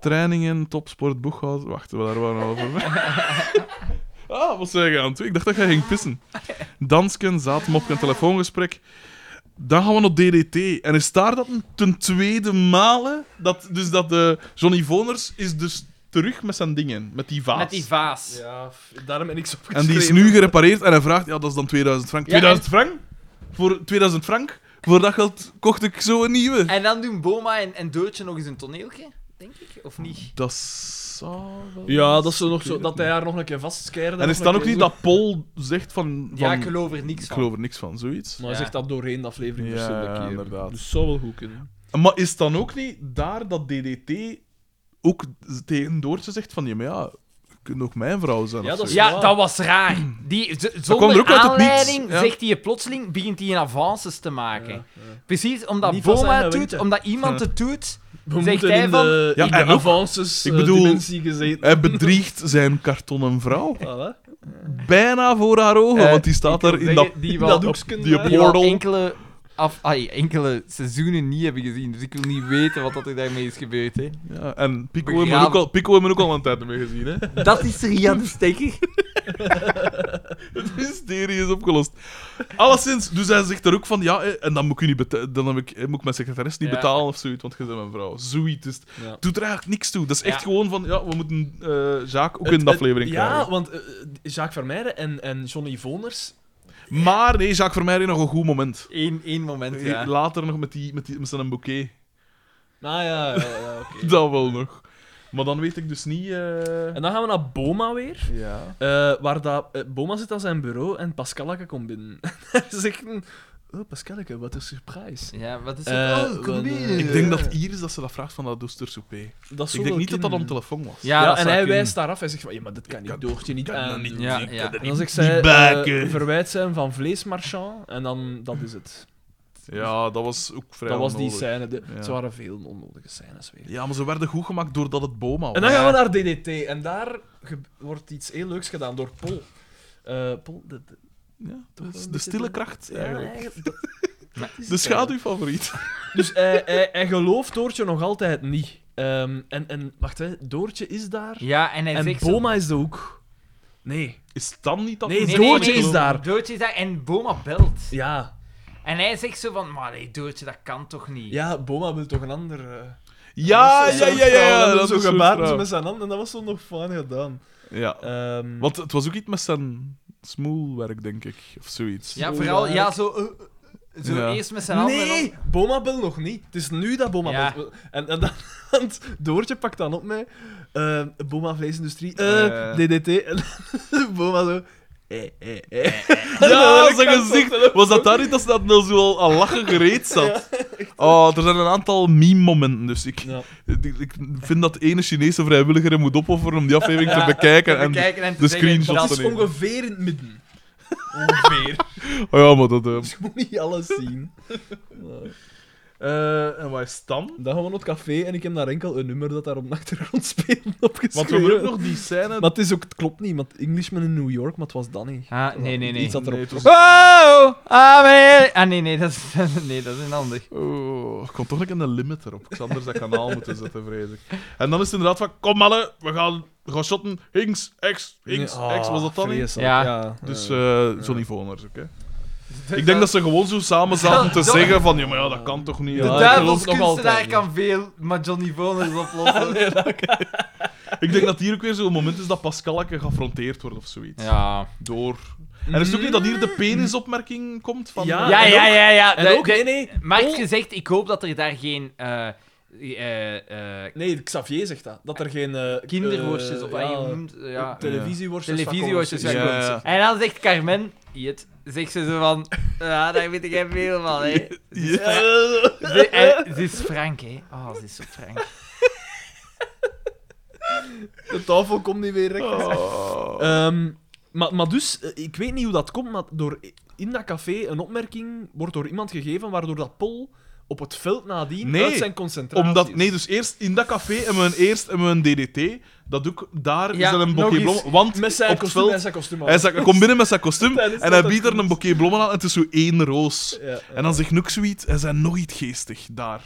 [SPEAKER 2] Trainingen, topsport, boekhouden. Wacht, we daar waren we over. ah, wat zei je aan het doen? Ik dacht dat jij ging pissen. Dansken, zaadmopken, telefoongesprek. Dan gaan we naar DDT. En is daar dat een- ten tweede malen dat, dus dat eh, Johnny Voners is dus terug met zijn dingen, met die vaas.
[SPEAKER 4] Met die vaas.
[SPEAKER 3] Ja, f- daarom ben ik zo
[SPEAKER 2] en die is nu gerepareerd en hij vraagt, ja, dat is dan 2000 frank.
[SPEAKER 4] Ja, en-
[SPEAKER 2] 2000 frank? Voor 2000 frank? Voor dat geld kocht ik zo een nieuwe.
[SPEAKER 4] En dan doen Boma en, en Doortje nog eens een toneeltje, denk ik. Of niet?
[SPEAKER 2] Dat zou wel-
[SPEAKER 3] Ja, dat, ze nog
[SPEAKER 2] Ik weet
[SPEAKER 3] zo,
[SPEAKER 2] het
[SPEAKER 3] dat hij haar nog een keer vastkeerde.
[SPEAKER 2] En is
[SPEAKER 3] nog
[SPEAKER 2] het dan
[SPEAKER 3] een
[SPEAKER 2] ook
[SPEAKER 3] keer
[SPEAKER 2] niet
[SPEAKER 3] zo.
[SPEAKER 2] dat Paul zegt van... van
[SPEAKER 4] Ja, ik geloof er niks
[SPEAKER 2] ik
[SPEAKER 4] van.
[SPEAKER 2] geloof er niks van, zoiets?
[SPEAKER 3] Maar hij
[SPEAKER 4] Ja.
[SPEAKER 3] zegt dat doorheen de aflevering
[SPEAKER 2] Ja,
[SPEAKER 3] verschillende
[SPEAKER 2] ja,
[SPEAKER 3] keer.
[SPEAKER 2] inderdaad.
[SPEAKER 3] Dus zou wel goed kunnen.
[SPEAKER 2] Maar is het dan ook niet daar dat DDT ook tegen Doortje zegt van... Ja, maar ja, je kunt ook mijn vrouw zijn
[SPEAKER 3] Ja,
[SPEAKER 2] of
[SPEAKER 3] dat is
[SPEAKER 2] zoiets?
[SPEAKER 4] Ja,
[SPEAKER 3] waar.
[SPEAKER 4] dat was raar. Die, z-
[SPEAKER 2] komt
[SPEAKER 4] zonder
[SPEAKER 2] er ook uit het niets,
[SPEAKER 4] aanleiding
[SPEAKER 2] ja.
[SPEAKER 4] zegt hij plotseling, begint hij een avances te maken. Precies, omdat
[SPEAKER 3] Niet van
[SPEAKER 4] Boma
[SPEAKER 3] zijn
[SPEAKER 4] het doet,
[SPEAKER 3] geweten.
[SPEAKER 4] omdat iemand het doet.
[SPEAKER 3] We
[SPEAKER 4] Zegt
[SPEAKER 3] moeten
[SPEAKER 4] hij
[SPEAKER 3] in
[SPEAKER 4] van-
[SPEAKER 3] de,
[SPEAKER 2] Ja,
[SPEAKER 3] in de
[SPEAKER 2] en ook-
[SPEAKER 3] avances
[SPEAKER 2] ik
[SPEAKER 3] eh,
[SPEAKER 2] bedoel-
[SPEAKER 3] dimensie gezeten.
[SPEAKER 2] Hij bedriegt zijn kartonnen vrouw.
[SPEAKER 3] Voilà.
[SPEAKER 2] Bijna voor haar ogen,
[SPEAKER 4] Eh,
[SPEAKER 2] want die staat
[SPEAKER 4] ik wil
[SPEAKER 2] er in
[SPEAKER 4] zeggen,
[SPEAKER 2] dat,
[SPEAKER 4] die
[SPEAKER 2] in
[SPEAKER 4] wel-
[SPEAKER 2] dat
[SPEAKER 3] dat hoekje
[SPEAKER 2] die
[SPEAKER 3] daar.
[SPEAKER 4] Die al
[SPEAKER 2] portal.
[SPEAKER 4] enkele, af, ai, enkele seizoenen niet hebben gezien, dus ik wil niet weten wat er daarmee is gebeurd. Hè.
[SPEAKER 2] Ja, en Pico
[SPEAKER 4] Begraven.
[SPEAKER 2] hebben, we ook al, Pico hebben we ook al een tijd mee gezien, hè?
[SPEAKER 4] (laughs) Dat is Rian de Stekker.
[SPEAKER 2] (laughs) Het mysterie is opgelost. Alleszins, dus hij zegt er ook van, ja, eh, en dan moet ik, u niet beta- dan heb ik, eh, moet ik mijn secretaris niet
[SPEAKER 4] Ja.
[SPEAKER 2] betalen of zoiets, want je bent mijn vrouw. Zoiets is het.
[SPEAKER 3] Ja.
[SPEAKER 2] Doet er eigenlijk niks toe. Dat is echt
[SPEAKER 4] Ja.
[SPEAKER 2] gewoon van, ja, we moeten eh Jaak ook
[SPEAKER 3] Het-
[SPEAKER 2] in de aflevering
[SPEAKER 3] het-
[SPEAKER 2] krijgen.
[SPEAKER 3] Ja, want eh, eh, Jacques Vermeijden en, en Johnny Voners...
[SPEAKER 2] Maar nee, Jaak voor mij heeft nog een goed moment. Eh,
[SPEAKER 4] Eén, één moment, ja.
[SPEAKER 2] Later nog met, die, met, die, met zijn bouquet.
[SPEAKER 3] Nou ja, ja, ja, oké.
[SPEAKER 2] Dat wel nog. Maar dan weet ik dus niet... eh,
[SPEAKER 3] En dan gaan we naar Boma weer.
[SPEAKER 2] Ja.
[SPEAKER 3] eh, waar dat, eh, Boma zit aan zijn bureau en Pascalke komt binnen. (laughs) Hij zegt... een, Oh, Pascalke, wat een surprise.
[SPEAKER 4] Ja, wat is het?
[SPEAKER 3] Eh,
[SPEAKER 4] oh, kom
[SPEAKER 3] want, eh,
[SPEAKER 4] hier.
[SPEAKER 2] Ik denk dat Iris dat ze dat vraagt van dat doester souper.
[SPEAKER 3] Dat zou
[SPEAKER 2] Ik denk
[SPEAKER 3] wel
[SPEAKER 2] niet dat dat
[SPEAKER 3] kunnen.
[SPEAKER 2] om telefoon was.
[SPEAKER 4] Ja,
[SPEAKER 3] Ja,
[SPEAKER 4] dat
[SPEAKER 3] en
[SPEAKER 4] zou
[SPEAKER 3] hij
[SPEAKER 4] kunnen.
[SPEAKER 3] wijst daaraf. Hij zegt van, ja, maar dat kan
[SPEAKER 2] kan-
[SPEAKER 3] niet doortje niet
[SPEAKER 2] kan dat
[SPEAKER 3] aan.
[SPEAKER 2] niet.
[SPEAKER 4] Ja,
[SPEAKER 2] Ik
[SPEAKER 4] ja.
[SPEAKER 2] kan dat
[SPEAKER 3] En dan zegt
[SPEAKER 2] niet
[SPEAKER 3] zij,
[SPEAKER 2] baken.
[SPEAKER 3] eh, verwijt zijn van vleesmarchand. En dan, dat is het.
[SPEAKER 2] Ja, dat was ook vrij
[SPEAKER 3] dat was die
[SPEAKER 2] onnodig.
[SPEAKER 3] scène. De,
[SPEAKER 2] Ja.
[SPEAKER 3] Ze waren veel onnodige scènes weer.
[SPEAKER 2] Ja, maar ze werden goed gemaakt doordat het Boma was.
[SPEAKER 3] En dan gaan we naar DDT. En daar ge- wordt iets heel leuks gedaan door Pol. Eh, Pol, de, de-
[SPEAKER 2] Ja,
[SPEAKER 3] Toch
[SPEAKER 2] dat is
[SPEAKER 3] wel een
[SPEAKER 2] de
[SPEAKER 3] beetje
[SPEAKER 2] stille
[SPEAKER 3] de-
[SPEAKER 2] kracht,
[SPEAKER 3] ja,
[SPEAKER 2] eigenlijk.
[SPEAKER 3] (laughs) eigenlijk, dat- dat is
[SPEAKER 2] (laughs) De
[SPEAKER 3] het
[SPEAKER 2] schaduwfavoriet. (laughs)
[SPEAKER 3] eigenlijk. Dus hij, hij, hij gelooft Doortje nog altijd niet. Ehm, en, en wacht, hè, Doortje is daar.
[SPEAKER 4] Ja, en hij
[SPEAKER 3] en
[SPEAKER 4] zegt zo-
[SPEAKER 3] Boma is de hoek. Nee.
[SPEAKER 2] Is dan niet dat...
[SPEAKER 3] Nee,
[SPEAKER 2] ze-
[SPEAKER 4] Nee, nee,
[SPEAKER 3] Doortje
[SPEAKER 4] nee,
[SPEAKER 3] is daar.
[SPEAKER 4] Doortje is daar en Boma belt.
[SPEAKER 3] Ja.
[SPEAKER 4] En hij zegt zo van, maar nee, Doortje, dat kan toch niet?
[SPEAKER 3] ja, Boma wil toch een ander. eh,
[SPEAKER 2] Ja,
[SPEAKER 3] dat is
[SPEAKER 2] ja,
[SPEAKER 3] zo'n
[SPEAKER 2] ja, ja.
[SPEAKER 3] vrouw,
[SPEAKER 2] ja,
[SPEAKER 3] en dan
[SPEAKER 2] dat
[SPEAKER 3] zo
[SPEAKER 2] is zo'n
[SPEAKER 3] gebaard
[SPEAKER 2] vrouw.
[SPEAKER 3] met zijn handen. En dat was zo nog fijn gedaan.
[SPEAKER 2] Ja,
[SPEAKER 3] Ehm,
[SPEAKER 2] want het was ook iets met zijn smoelwerk, denk ik. Of zoiets.
[SPEAKER 4] Ja,
[SPEAKER 3] Zo
[SPEAKER 4] vooral,
[SPEAKER 3] raar.
[SPEAKER 4] ja, zo, eh, eh, zo
[SPEAKER 2] Ja.
[SPEAKER 4] eerst met zijn handen.
[SPEAKER 3] Nee, Boma bel nog niet. Het is nu dat Boma
[SPEAKER 4] Ja.
[SPEAKER 3] belt. En, en dan, (laughs) want Doortje pakt dan op mij. eh, Boma vleesindustrie, eh,
[SPEAKER 2] Eh.
[SPEAKER 3] DDT. En (laughs) Boma zo... Eh, eh, eh.
[SPEAKER 2] (laughs) Ja,
[SPEAKER 3] (laughs) dat
[SPEAKER 2] zijn
[SPEAKER 3] kan
[SPEAKER 2] gezicht. Was dat daar niet dat ze dat nou zo al aan lachen gereed (laughs) zat? Oh, er zijn een aantal meme-momenten, dus ik,
[SPEAKER 3] Ja.
[SPEAKER 2] ik, ik vind dat ene Chinese vrijwilliger hem moet opofferen om die aflevering te bekijken. En,
[SPEAKER 4] kijken en te
[SPEAKER 2] de
[SPEAKER 4] zeggen,
[SPEAKER 2] screenshot
[SPEAKER 4] dat
[SPEAKER 3] Dat
[SPEAKER 4] is-
[SPEAKER 3] is
[SPEAKER 2] Anthony.
[SPEAKER 3] ongeveer in het midden. (laughs) Ongeveer.
[SPEAKER 2] oh ja, maar dat... eh,
[SPEAKER 3] Dus je moet niet alles zien. Nou,
[SPEAKER 2] eh, en waar is Stan?
[SPEAKER 3] Dan gaan we naar het café en ik heb daar enkel een nummer dat daar op de achtergrond (laughs) speelt opgeschreven.
[SPEAKER 2] Want we hebben ook nog die scène...
[SPEAKER 3] Maar het, is ook, het klopt niet, want Englishman in New York, maar het was dat niet.
[SPEAKER 4] Ah, nee, nee, nee.
[SPEAKER 3] Iets dat erop
[SPEAKER 2] Nee, het was-
[SPEAKER 4] Oh, ah, meneer. Ah, nee, nee, dat is, (laughs) nee, dat is een ander.
[SPEAKER 2] Oh, ik kon toch een een limit erop. Ik zou anders dat kanaal (laughs) moeten zetten, vrees ik. En dan is het inderdaad van, kom mannen, we gaan, we gaan shotten. Hinks, ex, hinks, ex, was dat dan niet?
[SPEAKER 3] Ja.
[SPEAKER 4] Ja.
[SPEAKER 3] ah, ja.
[SPEAKER 2] Dus eh Johnny Voners ook, hè. Ik denk dat ze gewoon zo samen zaten te
[SPEAKER 4] Ja,
[SPEAKER 2] zeggen van, ja, maar ja, dat kan toch niet.
[SPEAKER 3] De
[SPEAKER 2] Ja,
[SPEAKER 4] De
[SPEAKER 2] ik geloof-
[SPEAKER 4] duivelskunstenaar
[SPEAKER 3] altijd,
[SPEAKER 4] kan veel, maar Johnny
[SPEAKER 3] (laughs)
[SPEAKER 4] Voners oplossen.
[SPEAKER 2] Ik denk dat hier ook weer zo'n moment is dat Pascalke geaffronteerd wordt of zoiets.
[SPEAKER 4] Ja.
[SPEAKER 2] Door... En is het ook niet dat hier de penisopmerking komt van...
[SPEAKER 3] Ja.
[SPEAKER 4] Ja,
[SPEAKER 3] en
[SPEAKER 4] ja,
[SPEAKER 3] ook-
[SPEAKER 4] ja, ja.
[SPEAKER 3] en
[SPEAKER 4] de-
[SPEAKER 3] ook,
[SPEAKER 4] de-
[SPEAKER 3] nee,
[SPEAKER 4] Oh.
[SPEAKER 3] nee.
[SPEAKER 4] Maar
[SPEAKER 3] Paul-
[SPEAKER 4] ik gezegd, ik hoop dat er daar geen... eh, eh, eh,
[SPEAKER 3] Nee, Xavier zegt dat. Dat er geen... eh,
[SPEAKER 4] kinderworstjes
[SPEAKER 3] eh,
[SPEAKER 4] op
[SPEAKER 3] ja,
[SPEAKER 4] aangenoemd... ja.
[SPEAKER 3] Televisieworstjes.
[SPEAKER 4] Televisieworstjes
[SPEAKER 3] van
[SPEAKER 2] ja.
[SPEAKER 3] Colossus.
[SPEAKER 4] En dan zegt Carmen... Jet, zegt ze zo van... Ja, daar weet ik echt veel van, hè. (laughs)
[SPEAKER 1] (laughs)
[SPEAKER 3] Ja.
[SPEAKER 4] Ze, eh, ze is Frank, hè. Oh, ze is zo Frank.
[SPEAKER 1] De tafel komt niet weer recht.
[SPEAKER 2] Oh.
[SPEAKER 1] Ehm, maar, maar dus, eh, ik weet niet hoe dat komt, maar door, in dat café een opmerking wordt door iemand gegeven waardoor dat Pol op het veld nadien
[SPEAKER 2] Nee,
[SPEAKER 1] uit zijn concentratie
[SPEAKER 2] Omdat,
[SPEAKER 1] is.
[SPEAKER 2] nee, dus eerst in dat café hebben we een eerst hebben we een DDT. Dat ook daar
[SPEAKER 4] Ja,
[SPEAKER 2] is dan een
[SPEAKER 4] nog
[SPEAKER 2] bokje
[SPEAKER 4] eens.
[SPEAKER 2] bloemen. Want
[SPEAKER 1] Met zijn
[SPEAKER 2] op het
[SPEAKER 1] kostuum, hij
[SPEAKER 2] veld,
[SPEAKER 1] zijn kostuum aan.
[SPEAKER 2] hij, zegt- hij komt binnen met zijn kostuum
[SPEAKER 1] Tijdens dat
[SPEAKER 2] en hij
[SPEAKER 1] het
[SPEAKER 2] biedt er een bokje bloemen aan. En het is zo één roos.
[SPEAKER 1] Ja, ja.
[SPEAKER 2] En dan zegt Nook zoiets, hij zei nog iets geestig daar.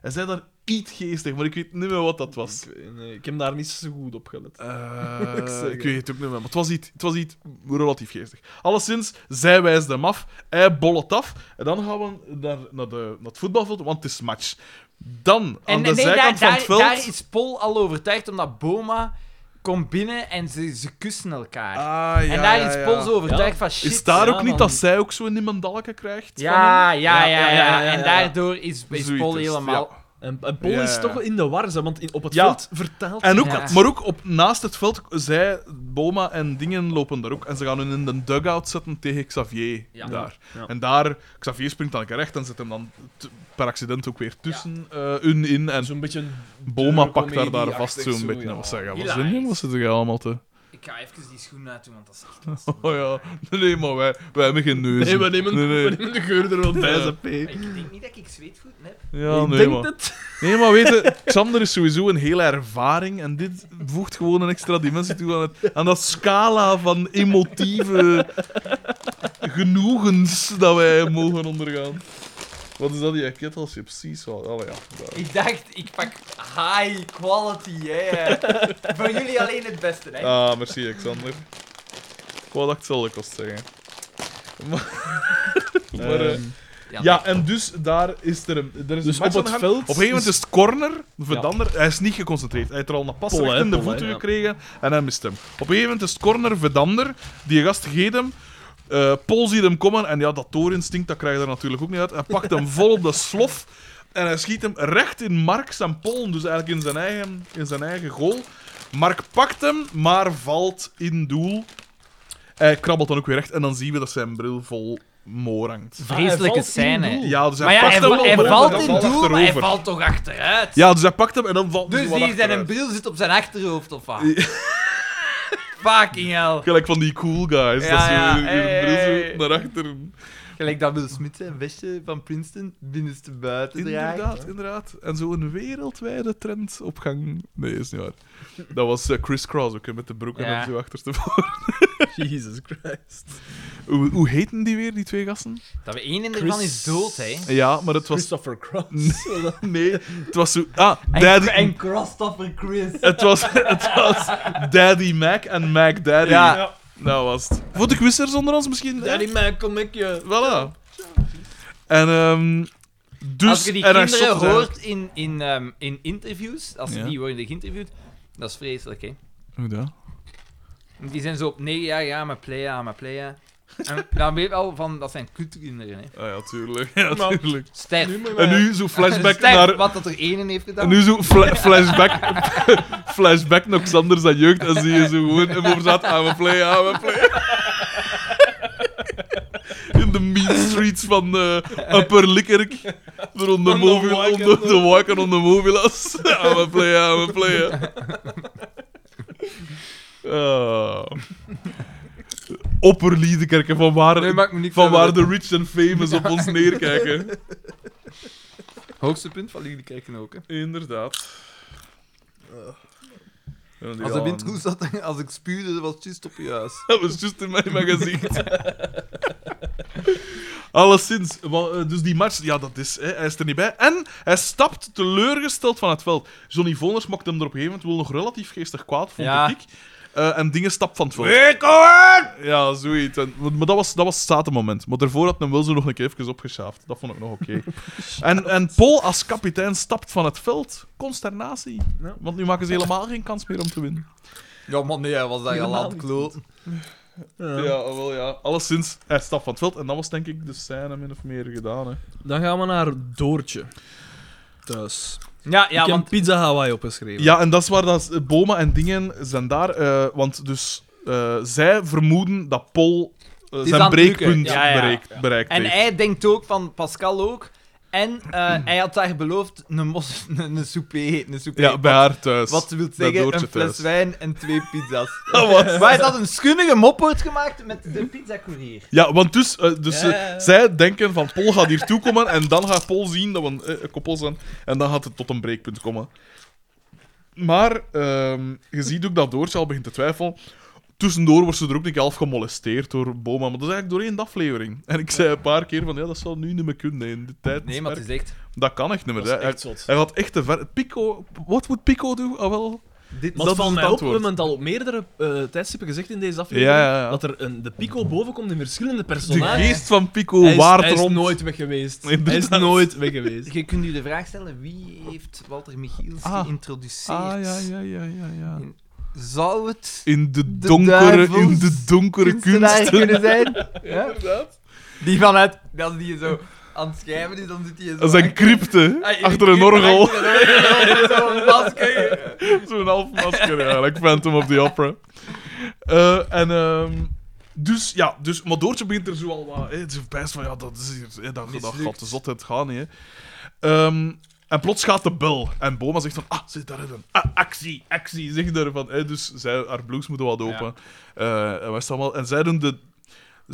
[SPEAKER 2] Hij zei daar iets geestig, maar ik weet niet meer wat dat was.
[SPEAKER 1] Ik, weet- nee, ik heb daar niet zo goed op gelet.
[SPEAKER 2] Eh,
[SPEAKER 1] Ik zeg
[SPEAKER 2] (laughs) ik
[SPEAKER 1] het.
[SPEAKER 2] weet het ook niet meer, maar het was iets, het was iets relatief geestig. Alleszins, zij wijst hem af, hij bollet af. En dan gaan we naar, naar, de, naar het voetbalveld, want het is match. Dan, aan
[SPEAKER 4] En
[SPEAKER 2] de
[SPEAKER 4] nee,
[SPEAKER 2] zijkant
[SPEAKER 4] daar,
[SPEAKER 2] van het
[SPEAKER 4] daar,
[SPEAKER 2] veld...
[SPEAKER 4] daar is Paul al overtuigd, omdat Boma komt binnen en ze, ze kussen elkaar.
[SPEAKER 2] Ah, ja,
[SPEAKER 4] en daar
[SPEAKER 2] ja,
[SPEAKER 4] is
[SPEAKER 2] ja.
[SPEAKER 4] Paul zo overtuigd
[SPEAKER 1] Ja.
[SPEAKER 4] van shit.
[SPEAKER 2] Is daar
[SPEAKER 1] ja,
[SPEAKER 2] ook niet
[SPEAKER 1] man.
[SPEAKER 2] dat zij ook zo een mandalke krijgt?
[SPEAKER 4] Ja, ja, ja, ja,
[SPEAKER 1] Ja, ja, ja,
[SPEAKER 4] En
[SPEAKER 1] ja.
[SPEAKER 4] daardoor is,
[SPEAKER 2] Zoiets
[SPEAKER 4] is Paul
[SPEAKER 2] is het,
[SPEAKER 4] helemaal...
[SPEAKER 2] ja.
[SPEAKER 1] En, en Pol
[SPEAKER 2] Ja,
[SPEAKER 1] is
[SPEAKER 2] ja.
[SPEAKER 1] toch in de war, ze, want in, op het
[SPEAKER 2] Ja.
[SPEAKER 1] veld vertaalt
[SPEAKER 2] En ook,
[SPEAKER 4] Ja.
[SPEAKER 2] Maar ook op, naast het veld, zij, Boma en dingen lopen daar ook. En ze gaan hun in de dugout zetten tegen Xavier.
[SPEAKER 4] Ja.
[SPEAKER 2] Daar.
[SPEAKER 1] Ja.
[SPEAKER 2] En daar, Xavier springt dan een keer recht en zet hem dan t- per accident ook weer tussen eh, hun in. En
[SPEAKER 1] zo'n beetje... een
[SPEAKER 2] Boma
[SPEAKER 1] dure
[SPEAKER 2] pakt daar, daar
[SPEAKER 1] comedie-achtig
[SPEAKER 2] vast zo'n
[SPEAKER 1] zo,
[SPEAKER 2] beetje.
[SPEAKER 1] ja.
[SPEAKER 2] En Wat zeggen wat
[SPEAKER 4] Hilarisch.
[SPEAKER 2] zijn die? Wat zitten die allemaal te...
[SPEAKER 4] Ik ga even die schoenen uitdoen, want dat is
[SPEAKER 2] (laughs)
[SPEAKER 4] echt...
[SPEAKER 2] Oh ja, nee, maar wij, wij hebben geen neus.
[SPEAKER 1] Nee, we nemen,
[SPEAKER 2] Nee,
[SPEAKER 1] (laughs)
[SPEAKER 2] nee.
[SPEAKER 3] (laughs)
[SPEAKER 1] we nemen de geur er wel bij,
[SPEAKER 2] Ja.
[SPEAKER 1] ze P.
[SPEAKER 4] Ik denk niet dat ik zweetvoet heb.
[SPEAKER 2] Ja,
[SPEAKER 1] ik
[SPEAKER 2] nee,
[SPEAKER 1] denk
[SPEAKER 2] maar.
[SPEAKER 1] het.
[SPEAKER 2] Nee, maar weet je, Xander is sowieso een hele ervaring en dit voegt gewoon een extra dimensie toe aan, het, aan dat scala van emotieve genoegens dat wij mogen ondergaan. Wat is dat, die ketelchips? Precies wel. Allee, ja. daar.
[SPEAKER 4] Ik dacht, ik pak high quality, (laughs) hè. Voor jullie alleen het beste, hè.
[SPEAKER 2] Ah, merci, Xander. Ik wou dat ik hetzelfde kost zeggen. Maar, (laughs) maar, eh,
[SPEAKER 1] Ehm,
[SPEAKER 2] ja, en dus daar is er een... Er is
[SPEAKER 1] Dus
[SPEAKER 2] een match
[SPEAKER 1] op het
[SPEAKER 2] aan de gang.
[SPEAKER 1] veld
[SPEAKER 2] Op een gegeven moment is het corner, Verdander, hij is niet geconcentreerd. Hij heeft er al een pas
[SPEAKER 1] Pol,
[SPEAKER 2] recht
[SPEAKER 1] hè,
[SPEAKER 2] in de
[SPEAKER 1] Pol,
[SPEAKER 2] voeten
[SPEAKER 1] hè, ja.
[SPEAKER 2] gekregen en hij mist hem. Op een gegeven moment is het corner, Verdander, die gast geeft hem. Eh, Pol ziet hem komen en ja, dat toorinstinct, dat krijg je er natuurlijk ook niet uit. Hij pakt
[SPEAKER 1] (laughs)
[SPEAKER 2] hem vol op de slof en hij schiet hem recht in Marks en Pol, dus eigenlijk in zijn eigen, in zijn eigen goal. Mark pakt hem, maar valt in doel. Hij krabbelt dan ook weer recht en dan zien we dat zijn bril vol moor hangt.
[SPEAKER 1] Ah, hij valt
[SPEAKER 4] Vreselijke
[SPEAKER 1] in
[SPEAKER 4] scène.
[SPEAKER 1] doel.
[SPEAKER 2] Ja, dus hij
[SPEAKER 4] Maar ja,
[SPEAKER 2] pakt
[SPEAKER 4] hij,
[SPEAKER 2] hem
[SPEAKER 4] va-
[SPEAKER 2] op
[SPEAKER 4] hij
[SPEAKER 2] en
[SPEAKER 4] valt
[SPEAKER 2] dan
[SPEAKER 4] in
[SPEAKER 2] valt
[SPEAKER 4] doel, maar hij
[SPEAKER 2] achterover.
[SPEAKER 4] valt toch achteruit.
[SPEAKER 2] Ja, dus hij pakt hem en dan valt hij
[SPEAKER 4] Dus
[SPEAKER 2] zo wat
[SPEAKER 4] die zijn een
[SPEAKER 2] achteruit.
[SPEAKER 4] bril zit op zijn achterhoofd of wat? (laughs) Fucking hell.
[SPEAKER 2] Gelijk van die cool guys.
[SPEAKER 4] Ja,
[SPEAKER 2] dat ze
[SPEAKER 4] ja,
[SPEAKER 2] hun- hun
[SPEAKER 4] hey,
[SPEAKER 2] bril zo
[SPEAKER 4] hey.
[SPEAKER 2] naar achteren.
[SPEAKER 4] Gelijk dat Will Smith zijn vestje van Princeton binnenste buiten
[SPEAKER 2] Inderdaad, inderdaad. En zo een wereldwijde trend op gang. Nee, is niet waar. Dat was eh, Chris Cross ook, hè, met de broeken
[SPEAKER 4] Ja.
[SPEAKER 2] en zo achterstevoren. (laughs)
[SPEAKER 1] Jesus Christ.
[SPEAKER 2] Hoe, hoe heten die weer, die twee gasten?
[SPEAKER 4] Dat we één in ervan is dood, hè? (laughs)
[SPEAKER 2] Ja, maar het was...
[SPEAKER 1] Christopher Cross. (laughs)
[SPEAKER 2] Nee, het was zo... Ah,
[SPEAKER 4] En,
[SPEAKER 2] Daddy...
[SPEAKER 4] en Christopher Chris.
[SPEAKER 2] Het was, het was Daddy Mac en Mac Daddy.
[SPEAKER 4] Ja.
[SPEAKER 2] Dat was het. Voor de quizers onder ons misschien?
[SPEAKER 1] Daddy man, kom ik je.
[SPEAKER 2] Voilà. En ehm dus...
[SPEAKER 4] als je die
[SPEAKER 2] en hij
[SPEAKER 4] kinderen
[SPEAKER 2] stopte
[SPEAKER 4] hoort in, in, ehm, in interviews, als
[SPEAKER 2] Ja.
[SPEAKER 4] die worden geïnterviewd, dat is vreselijk, hè?
[SPEAKER 2] eigenlijk- Hoe dat?
[SPEAKER 4] Die zijn zo op nee, ja, ja, maar playa, maar playa. En dan weet je wel van, dat zijn kutkinderen, hè?
[SPEAKER 2] Ah ja, tuurlijk. (laughs) Ja,
[SPEAKER 1] Maar-
[SPEAKER 2] tuurlijk.
[SPEAKER 4] Sterf.
[SPEAKER 2] En nu zo flashback
[SPEAKER 4] Sterf
[SPEAKER 2] naar...
[SPEAKER 4] wat dat er één heeft gedaan.
[SPEAKER 2] En nu zo fla- flashback... (laughs) flashback naar Xander zijn jeugd. En zie je zo gewoon hem over zat. I'm a play, I'm a play. In de mean streets van eh, Upper Likkerk. Door onder
[SPEAKER 1] On the
[SPEAKER 2] Mobile,
[SPEAKER 1] walk and
[SPEAKER 2] onder
[SPEAKER 1] the-
[SPEAKER 2] de walken onder mobilas. I'm a play, I'm a play.
[SPEAKER 4] (laughs)
[SPEAKER 2] Oh. Opperliedekerken, van waar,
[SPEAKER 4] Nee, maakt me niet
[SPEAKER 2] van
[SPEAKER 4] verder
[SPEAKER 2] waar
[SPEAKER 4] uit.
[SPEAKER 2] de rich and famous op ons neerkijken.
[SPEAKER 4] Hoogste punt van jullie kijken ook, hè?
[SPEAKER 2] Inderdaad.
[SPEAKER 4] Als de wind goed zat, (laughs) als ik spuurde, was het juist op je huis.
[SPEAKER 2] (laughs) Dat was juist in mijn, mijn gezicht. (laughs) Alleszins, wa- eh, dus die match, ja, dat is, hè, hij is er niet bij. En hij stapt teleurgesteld van het veld. Johnny Voners maakt hem er op een gegeven moment wel nog relatief geestig kwaad, vond
[SPEAKER 4] Ja.
[SPEAKER 2] ik. Eh, en dingen stapt van het veld.
[SPEAKER 4] Record!
[SPEAKER 2] Ja, zoiets. En, maar maar dat was, dat was het zate moment. Maar daarvoor had hem wel zo nog een keer even opgeschaafd. Dat vond ik nog oké.
[SPEAKER 4] (laughs)
[SPEAKER 2] En, en Paul als kapitein stapt van het veld. Consternatie.
[SPEAKER 1] Ja.
[SPEAKER 2] Want nu maken ze helemaal geen kans meer om te winnen.
[SPEAKER 4] Ja, man, nee, hij was daar al
[SPEAKER 1] Helemaal
[SPEAKER 4] aan het kloten.
[SPEAKER 2] Ja, ah, wel ja. Alleszins, hij stapt van het veld. En dat was denk ik de scène min of meer gedaan. Hè.
[SPEAKER 1] Dan gaan we naar Doortje. Thuis.
[SPEAKER 4] Ja,
[SPEAKER 1] ik
[SPEAKER 4] ja,
[SPEAKER 1] heb
[SPEAKER 4] want...
[SPEAKER 1] Pizza Hawaii opgeschreven.
[SPEAKER 2] Ja, en dat is waar dat, eh, Boma en dingen zijn daar. eh, want dus eh, zij vermoeden dat Paul eh,
[SPEAKER 4] is aan
[SPEAKER 2] zijn
[SPEAKER 4] het lukken.
[SPEAKER 2] breekpunt
[SPEAKER 4] Ja, ja.
[SPEAKER 2] bereikt, bereikt
[SPEAKER 4] En
[SPEAKER 2] heeft.
[SPEAKER 4] hij denkt ook van Pascal ook. En
[SPEAKER 2] (clears throat)
[SPEAKER 4] eh, hij had daar beloofd een, mos, (laughs) een, een souper. Een souper
[SPEAKER 2] Ja, bij haar thuis.
[SPEAKER 4] Wat wil
[SPEAKER 2] Bij
[SPEAKER 4] zeggen,
[SPEAKER 2] Doortje
[SPEAKER 4] een fles
[SPEAKER 2] thuis.
[SPEAKER 4] wijn en twee
[SPEAKER 2] (laughs)
[SPEAKER 4] pizza's.
[SPEAKER 2] Ah, wat?
[SPEAKER 4] Maar hij had een schunnige mopwoord gemaakt met de pizzacourier.
[SPEAKER 2] Ja, want dus, eh, dus
[SPEAKER 1] Ja,
[SPEAKER 2] eh,
[SPEAKER 1] ja, ja.
[SPEAKER 2] zij denken van Pol gaat hier toekomen en dan gaat Pol zien dat we een, eh, een koppel zijn en dan gaat het tot een breekpunt komen. Maar ehm, je ziet ook dat Doortje al begint te twijfelen. Tussendoor wordt ze er ook niet half gemolesteerd door Boma, maar dat is eigenlijk door één aflevering. En ik zei een paar keer van ja, dat zou nu niet meer kunnen in de tijd.
[SPEAKER 4] Nee, maar het is (laughs) echt...
[SPEAKER 2] Dat kan echt niet meer.
[SPEAKER 1] Dat is
[SPEAKER 2] hè. Hij-
[SPEAKER 1] echt zot.
[SPEAKER 2] Hij gaat echt te ver. Pico, wat moet Pico doen? Ah, wel.
[SPEAKER 4] Dit,
[SPEAKER 1] Maar
[SPEAKER 2] dat
[SPEAKER 1] dat
[SPEAKER 2] is
[SPEAKER 1] valt
[SPEAKER 2] het
[SPEAKER 1] mij op, we
[SPEAKER 2] antwoord.
[SPEAKER 1] hebben het al op meerdere eh, tijdstippen gezegd in deze aflevering,
[SPEAKER 2] Ja, ja, ja.
[SPEAKER 1] dat er een, de pico boven komt in verschillende
[SPEAKER 2] De
[SPEAKER 1] personages.
[SPEAKER 2] geest van Pico
[SPEAKER 1] hij is,
[SPEAKER 2] waart
[SPEAKER 1] hij is
[SPEAKER 2] rond.
[SPEAKER 1] nooit weg geweest. Hij is
[SPEAKER 2] Inderdaad.
[SPEAKER 1] nooit weg geweest.
[SPEAKER 4] je kunt u de vraag stellen, wie heeft Walter Michiels
[SPEAKER 2] Ah.
[SPEAKER 4] geïntroduceerd?
[SPEAKER 2] Ah, ja, ja, ja, ja, ja.
[SPEAKER 4] Zou het
[SPEAKER 2] In de
[SPEAKER 4] De
[SPEAKER 2] donkere,
[SPEAKER 4] duivels
[SPEAKER 2] in de donkere
[SPEAKER 4] kunstenaar
[SPEAKER 2] kunsten.
[SPEAKER 4] kunnen (laughs) zijn? Ja?
[SPEAKER 2] Inderdaad.
[SPEAKER 4] Die vanuit... Als die zo aan het schrijven is, dan zit hij zo...
[SPEAKER 2] Dat is een
[SPEAKER 4] achter-
[SPEAKER 2] crypte,
[SPEAKER 4] Ah, in
[SPEAKER 2] achter een orgel.
[SPEAKER 4] achter (laughs) een orgel, Zo'n masker.
[SPEAKER 2] (laughs) Zo'n half masker, eigenlijk. Phantom of the Opera. Eh, en, ehm, dus, ja, dus, maar Doortje begint er zo al wat... hè, Het is best van, ja, dat is hier... hè, dat, dat
[SPEAKER 4] Mislukt.
[SPEAKER 2] gaat de zotheid gaan, hè. Ehm, en plots gaat de bel. En Boma zegt van, ah, zit daarin. Ah, actie, actie, zegt daarvan. hè. dus zij, haar blouse moeten wat open. Eh, en, wij staan wel- en zij doen de...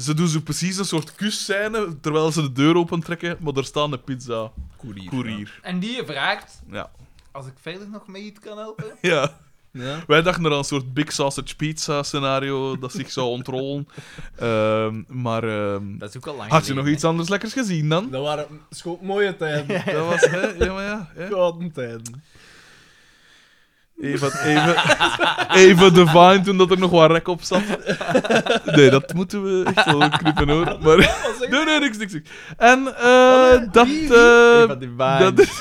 [SPEAKER 2] Ze doen zo precies een soort kusscène, terwijl ze de deur opentrekken, maar daar staan de pizza-courier.
[SPEAKER 4] En die vraagt,
[SPEAKER 2] Ja.
[SPEAKER 4] als ik verder nog mee iets kan helpen?
[SPEAKER 2] (laughs) ja.
[SPEAKER 1] Ja.
[SPEAKER 2] Wij dachten er aan een soort Big Sausage Pizza scenario dat zich zou ontrollen. Ehm, maar ehm,
[SPEAKER 4] Dat is ook al lang
[SPEAKER 2] had je nog iets anders lekkers gezien dan?
[SPEAKER 1] Dat waren scho- mooie
[SPEAKER 4] (laughs)
[SPEAKER 1] tijden.
[SPEAKER 2] Dat was, hè? Ja, maar ja. hè.
[SPEAKER 1] Gouden tijden.
[SPEAKER 2] Even, even, even de vine toen dat er nog wat rek op zat. Nee, dat moeten we echt wel knippen hoor. Maar, nee, nee, niks, niks, niks. En eh, dat... eh,
[SPEAKER 4] Eva de Vine.
[SPEAKER 2] dat is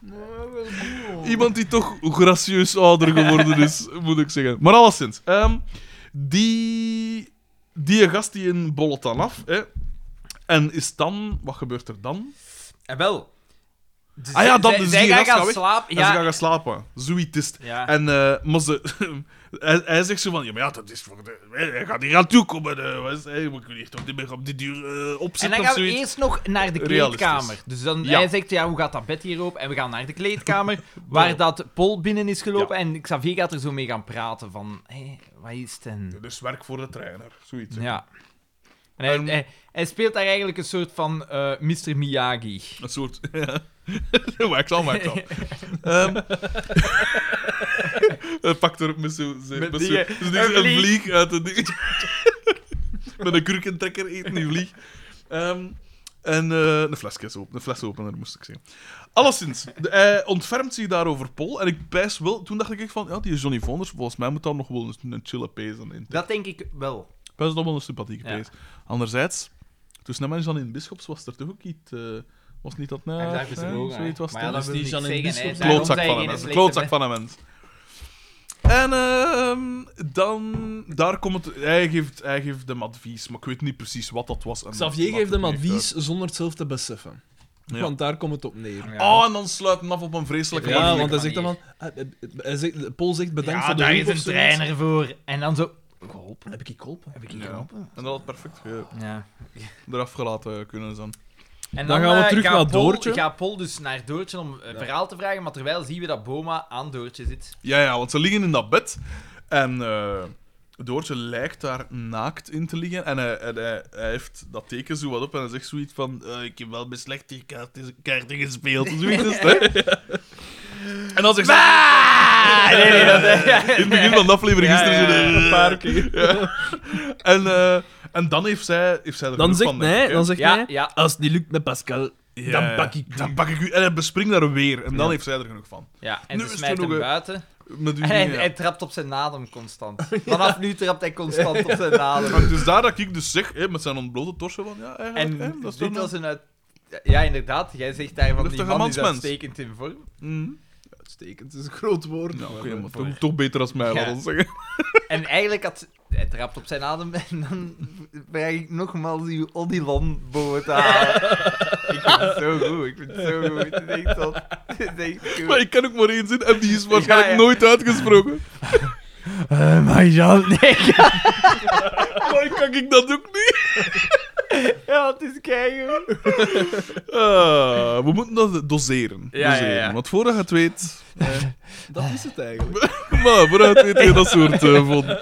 [SPEAKER 2] Nou, iemand die toch gracieus ouder geworden is, moet ik zeggen. Maar alleszins. ehm, die, die gast die in bollet dan af, hè. En is dan... Wat gebeurt er dan?
[SPEAKER 4] En wel. Dus
[SPEAKER 2] Ah ja, dat is
[SPEAKER 4] zij
[SPEAKER 2] die
[SPEAKER 4] gaan
[SPEAKER 2] gast gaat
[SPEAKER 4] gaan
[SPEAKER 2] weg.
[SPEAKER 4] slapen.
[SPEAKER 2] En ze gaan
[SPEAKER 4] Ja,
[SPEAKER 2] gaan slapen. Zoiets is het.
[SPEAKER 4] Ja.
[SPEAKER 2] En eh, maar ze, (laughs) hij, hij zegt zo van, ja, maar ja, dat is voor de, hij gaat hier aan toekomen. eh, wat is- hey, we kunnen hier toch niet meer op die duur eh
[SPEAKER 4] en
[SPEAKER 2] opzitten
[SPEAKER 4] dan
[SPEAKER 2] of
[SPEAKER 4] gaan we
[SPEAKER 2] zoiets.
[SPEAKER 4] eerst nog naar de
[SPEAKER 2] Realistisch.
[SPEAKER 4] kleedkamer. Dus dan,
[SPEAKER 2] Ja.
[SPEAKER 4] hij zegt, ja, hoe gaat dat bed hier open? En we gaan naar de kleedkamer, waar dat Paul binnen is gelopen. En Xavier gaat er zo mee gaan praten van, hé, wat is het? En,
[SPEAKER 2] Dus werk voor de trainer, zoiets. hè.
[SPEAKER 4] ja. En hij,
[SPEAKER 2] En-
[SPEAKER 4] hij, hij speelt daar eigenlijk een soort van eh Mr. Miyagi.
[SPEAKER 2] Een soort... (laughs) wax on, wax on. Ehm, (laughs) Hij pakt er met zo'n... Zo,
[SPEAKER 4] Met
[SPEAKER 2] met
[SPEAKER 4] die,
[SPEAKER 2] zo-
[SPEAKER 4] eh,
[SPEAKER 2] dus die-
[SPEAKER 4] een
[SPEAKER 2] een
[SPEAKER 4] vlieg.
[SPEAKER 2] vlieg. uit de ding. (laughs) met een kurkentrekker eten die vlieg. Ehm, en eh, een flesjes open, een flesopener moest ik zeggen. Alleszins, de- hij ontfermt zich daarover Pol. En ik bijs wel... Toen dacht ik echt van, ja, die Johnny Vonders, volgens mij moet daar nog wel een, een chille pezen in.
[SPEAKER 4] Dat denk ik wel.
[SPEAKER 2] Dat is nog wel een sympathieke
[SPEAKER 4] Ja.
[SPEAKER 2] pees. Anderzijds, tussen hem en Janine Bischops was er toch ook iets... eh, was niet dat...
[SPEAKER 4] Hij
[SPEAKER 2] nou
[SPEAKER 4] blijft dus mogen,
[SPEAKER 2] zoiets
[SPEAKER 4] hè.
[SPEAKER 2] was het,
[SPEAKER 4] Maar ja,
[SPEAKER 2] hè?
[SPEAKER 4] dat
[SPEAKER 1] Dus
[SPEAKER 4] wil
[SPEAKER 1] die
[SPEAKER 4] niks
[SPEAKER 1] Janine
[SPEAKER 4] zeggen, hè.
[SPEAKER 1] Bisschop-
[SPEAKER 4] Daarom
[SPEAKER 2] klootzak
[SPEAKER 4] zei
[SPEAKER 2] van
[SPEAKER 4] hij
[SPEAKER 2] een
[SPEAKER 4] geen
[SPEAKER 2] mens.
[SPEAKER 4] slechte
[SPEAKER 2] Klootzak
[SPEAKER 4] mens.
[SPEAKER 2] van een mens. En ehm, dan, daar komt het, hij geeft, hij geeft hem advies, maar ik weet niet precies wat dat was. en
[SPEAKER 1] Xavier
[SPEAKER 2] wat
[SPEAKER 1] geeft
[SPEAKER 2] het
[SPEAKER 1] hem
[SPEAKER 2] heeft
[SPEAKER 1] advies zonder het zelf te beseffen.
[SPEAKER 2] Ja.
[SPEAKER 1] Want daar komt het op neer.
[SPEAKER 4] Ja.
[SPEAKER 2] uit. Oh, en dan sluit hem af op een vreselijke
[SPEAKER 4] Ja,
[SPEAKER 1] Ja,
[SPEAKER 2] manier.
[SPEAKER 1] want hij
[SPEAKER 4] manier.
[SPEAKER 1] zegt dan van... eh, eh, Hij zegt, Paul zegt bedankt
[SPEAKER 4] ja,
[SPEAKER 1] voor de
[SPEAKER 4] daar
[SPEAKER 1] hulp
[SPEAKER 4] is
[SPEAKER 1] of
[SPEAKER 4] een
[SPEAKER 1] zoiets.
[SPEAKER 4] trainer voor. En dan zo... Geholpen?
[SPEAKER 1] Heb ik je geholpen?
[SPEAKER 4] Heb ik
[SPEAKER 2] Ja.
[SPEAKER 4] geholpen?
[SPEAKER 2] En dat had perfect ge-
[SPEAKER 4] Ja.
[SPEAKER 2] eraf gelaten kunnen zijn.
[SPEAKER 4] En
[SPEAKER 1] Dan gaan we
[SPEAKER 4] eh,
[SPEAKER 1] terug
[SPEAKER 4] gaat
[SPEAKER 1] naar
[SPEAKER 4] Paul-
[SPEAKER 1] Doortje.
[SPEAKER 4] Gaat Paul dus naar Doortje om eh, verhaal te vragen, maar terwijl zien we dat Boma aan Doortje zit.
[SPEAKER 2] Ja, ja, want ze liggen in dat bed en eh, Doortje lijkt daar naakt in te liggen. En, hij, en hij, hij heeft dat teken zo wat op en hij zegt zoiets van: eh, Ik heb wel mijn slechte kaarten, kaarten gespeeld. of Zoiets, is het, hè? En dan zegt ze.
[SPEAKER 4] Nee, nee, dat-
[SPEAKER 2] In het begin van de aflevering
[SPEAKER 4] Ja,
[SPEAKER 2] is er
[SPEAKER 4] ja,
[SPEAKER 2] zo'n,
[SPEAKER 4] ja,
[SPEAKER 2] eh,
[SPEAKER 1] Een paar keer.
[SPEAKER 2] (laughs) ja. En, eh, en dan heeft zij, heeft zij er
[SPEAKER 1] Dan
[SPEAKER 2] genoeg
[SPEAKER 1] zegt
[SPEAKER 2] van, denk
[SPEAKER 1] hij...
[SPEAKER 2] ik, hè.
[SPEAKER 1] Dan zegt
[SPEAKER 4] Ja,
[SPEAKER 1] hij...
[SPEAKER 4] ja.
[SPEAKER 1] Als het niet lukt met Pascal,
[SPEAKER 2] Ja,
[SPEAKER 1] dan
[SPEAKER 2] ja.
[SPEAKER 1] pak ik
[SPEAKER 2] Dan pak ik u. En hij bespringt daar weer. En dan heeft zij er genoeg van.
[SPEAKER 4] ja. En
[SPEAKER 2] Nu
[SPEAKER 4] ze
[SPEAKER 2] is het
[SPEAKER 4] smijt hem
[SPEAKER 2] genoeg, hè.
[SPEAKER 4] buiten.
[SPEAKER 2] Met u,
[SPEAKER 4] En (laughs) hij,
[SPEAKER 2] ja.
[SPEAKER 4] hij trapt op zijn nadem constant. Vanaf nu trapt hij constant op zijn nadem.
[SPEAKER 2] Maar dus daar dat ik dus zeg, hè, met zijn ontblote torso, van ja, eigenlijk,
[SPEAKER 4] En
[SPEAKER 2] hè, dat is
[SPEAKER 4] dit
[SPEAKER 2] toch
[SPEAKER 4] was
[SPEAKER 2] nog-
[SPEAKER 4] een uit... Ja, inderdaad. Jij zegt daarvan,
[SPEAKER 2] Dat is
[SPEAKER 4] die
[SPEAKER 2] toch
[SPEAKER 4] man
[SPEAKER 2] een
[SPEAKER 4] is
[SPEAKER 2] mansmens?
[SPEAKER 4] uitstekend in vorm.
[SPEAKER 2] Mhm.
[SPEAKER 1] Uitstekend, het is een groot woord.
[SPEAKER 2] Ja,
[SPEAKER 4] Nou,
[SPEAKER 1] maar,
[SPEAKER 2] oké,
[SPEAKER 1] eh,
[SPEAKER 2] maar toch, toch beter als mij,
[SPEAKER 4] Ja.
[SPEAKER 2] laat ons zeggen. (laughs)
[SPEAKER 4] En eigenlijk had... Hij trapt op zijn adem (laughs) en dan vraag ik nogmaals uw Odilon boven te halen. ik vind het zo goed, ik vind het zo goed. Het is echt tot... Het is echt goed.
[SPEAKER 2] Maar ik ken ook maar één zin en die is waarschijnlijk
[SPEAKER 4] (laughs) Ja, ja.
[SPEAKER 2] nooit
[SPEAKER 4] (laughs)
[SPEAKER 2] uitgesproken.
[SPEAKER 4] maar Jean, (laughs) nee.
[SPEAKER 2] (laughs) maar kan ik dat ook niet?
[SPEAKER 4] Ja, het is keigoed.
[SPEAKER 2] Eh, we moeten dat doseren.
[SPEAKER 3] Ja, ja, ja.
[SPEAKER 2] Doseren, Want voordat je het weet...
[SPEAKER 1] Dat is het
[SPEAKER 4] (laughs)
[SPEAKER 1] eigenlijk.
[SPEAKER 2] Maar voordat je het weet, heb je dat soort eh, vonden.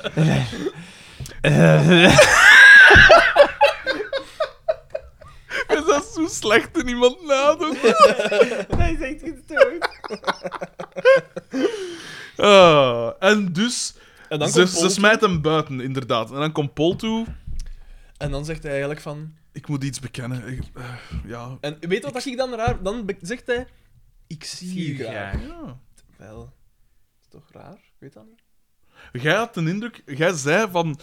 [SPEAKER 2] Is dat zo slecht in iemand nadoen?
[SPEAKER 4] Dat is echt gestoord.
[SPEAKER 2] Ah, en dus...
[SPEAKER 1] En dan,
[SPEAKER 2] Ze,
[SPEAKER 1] komt
[SPEAKER 2] ze
[SPEAKER 1] Paul
[SPEAKER 2] smijt hem buiten, inderdaad. En dan komt Paul toe.
[SPEAKER 1] toe en dan zegt hij eigenlijk van...
[SPEAKER 2] Ik moet iets bekennen. Ik- eh, ja.
[SPEAKER 1] En weet je wat ik dan raar... Dan be- zegt hij... Ik zie je
[SPEAKER 3] Zie je
[SPEAKER 1] graag.
[SPEAKER 3] graag.
[SPEAKER 2] ja.
[SPEAKER 1] Wel, is toch raar? Ik weet dat niet.
[SPEAKER 2] Jij had een indruk... Jij zei van...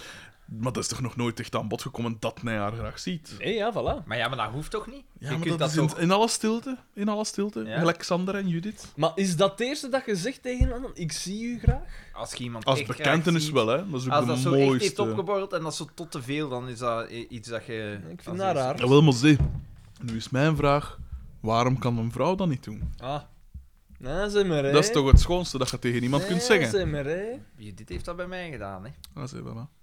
[SPEAKER 2] Maar dat is toch nog nooit echt aan bod gekomen dat hij haar graag ziet?
[SPEAKER 1] Nee, ja, voilà.
[SPEAKER 4] Maar ja, maar dat hoeft toch niet?
[SPEAKER 2] Ja,
[SPEAKER 4] Je
[SPEAKER 2] maar
[SPEAKER 4] kunt
[SPEAKER 2] dat, is
[SPEAKER 4] dat
[SPEAKER 2] in,
[SPEAKER 4] toch-
[SPEAKER 2] in alle stilte. In alle stilte.
[SPEAKER 4] Ja.
[SPEAKER 2] Alexander en Judith.
[SPEAKER 1] Maar is dat het eerste dat je zegt tegen iemand? Ik zie u graag?
[SPEAKER 4] Als je iemand
[SPEAKER 2] Als
[SPEAKER 4] echt graag
[SPEAKER 2] bekentenis
[SPEAKER 4] ziet-
[SPEAKER 2] wel, hè. Dat is ook
[SPEAKER 4] Als dat
[SPEAKER 2] de
[SPEAKER 4] zo echt heeft
[SPEAKER 2] mooiste.
[SPEAKER 4] opgeborreld en dat is zo tot te veel, dan is dat i- iets dat je...
[SPEAKER 1] Ik
[SPEAKER 4] dat
[SPEAKER 1] vind
[SPEAKER 4] is
[SPEAKER 1] dat
[SPEAKER 4] iets-
[SPEAKER 1] raar.
[SPEAKER 2] Jawel, maar zie. Nu is mijn vraag... Waarom kan een vrouw dat niet doen?
[SPEAKER 1] Ah. Nou, zeg maar, hè.
[SPEAKER 2] Dat is toch het schoonste dat je tegen iemand
[SPEAKER 1] Nee,
[SPEAKER 2] kunt zeggen?
[SPEAKER 1] Zeg maar, hè.
[SPEAKER 4] Judith heeft dat bij mij gedaan, hè.
[SPEAKER 2] Ah, zie, voilà.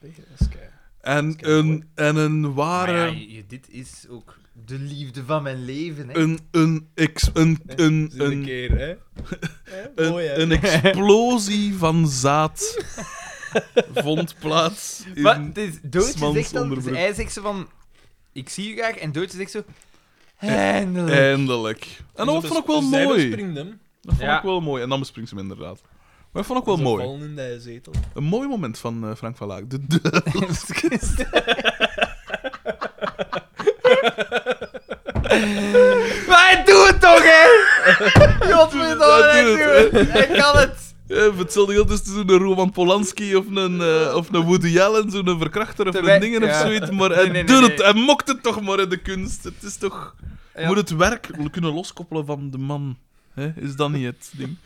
[SPEAKER 1] Dat is kei.
[SPEAKER 2] En een, en een
[SPEAKER 4] Maar
[SPEAKER 2] ware...
[SPEAKER 4] ja, Judith is ook de liefde van mijn leven, hè.
[SPEAKER 2] een, een, ex, een, een,
[SPEAKER 1] Zit een
[SPEAKER 2] een,
[SPEAKER 1] keer,
[SPEAKER 2] (laughs)
[SPEAKER 1] hè. Hè, Mooi, hè.
[SPEAKER 2] een,
[SPEAKER 1] (laughs)
[SPEAKER 2] een explosie van
[SPEAKER 4] (laughs)
[SPEAKER 2] zaad vond plaats. In...
[SPEAKER 4] Maar het is, Doortje
[SPEAKER 2] Smans
[SPEAKER 4] zegt dan...
[SPEAKER 2] onderbroek.
[SPEAKER 4] Hij zegt zo van... Ik zie je graag. En Doortje zegt zo... Eindelijk.
[SPEAKER 2] Eindelijk. En
[SPEAKER 4] Dus
[SPEAKER 2] dat vond ik wel
[SPEAKER 1] Dus Zij
[SPEAKER 2] mooi.
[SPEAKER 1] bespringt hem.
[SPEAKER 2] Dat vond
[SPEAKER 4] Ja.
[SPEAKER 2] ik wel mooi. En dan bespringt ze hem inderdaad. Maar dat vond ik wel
[SPEAKER 1] Ze
[SPEAKER 2] mooi.
[SPEAKER 1] vallen in die zetel.
[SPEAKER 2] Een mooi moment van eh, Frank van Laak. De
[SPEAKER 4] (laughs)
[SPEAKER 2] duivels.
[SPEAKER 4] Maar hij doet het toch, hè?
[SPEAKER 2] (laughs)
[SPEAKER 4] Godverdomme,
[SPEAKER 2] Hij
[SPEAKER 4] hij
[SPEAKER 2] doet
[SPEAKER 4] doet
[SPEAKER 2] het,
[SPEAKER 4] het. Hij kan het.
[SPEAKER 2] Eh, Hetzelfde geld is tussen een Roman Polanski of een, eh, of een Woody Allen, zo'n verkrachter of
[SPEAKER 4] Terwijl-
[SPEAKER 2] een dingen of
[SPEAKER 4] ja.
[SPEAKER 2] zoiets. Maar hij
[SPEAKER 4] Nee, nee, nee,
[SPEAKER 2] doet
[SPEAKER 4] nee.
[SPEAKER 2] het. Hij mokt het toch maar in de kunst. Het is toch... Je
[SPEAKER 4] Ja.
[SPEAKER 2] Moet het werk kunnen loskoppelen van de man. Hè? Is dat niet het
[SPEAKER 4] (laughs)
[SPEAKER 2] ding?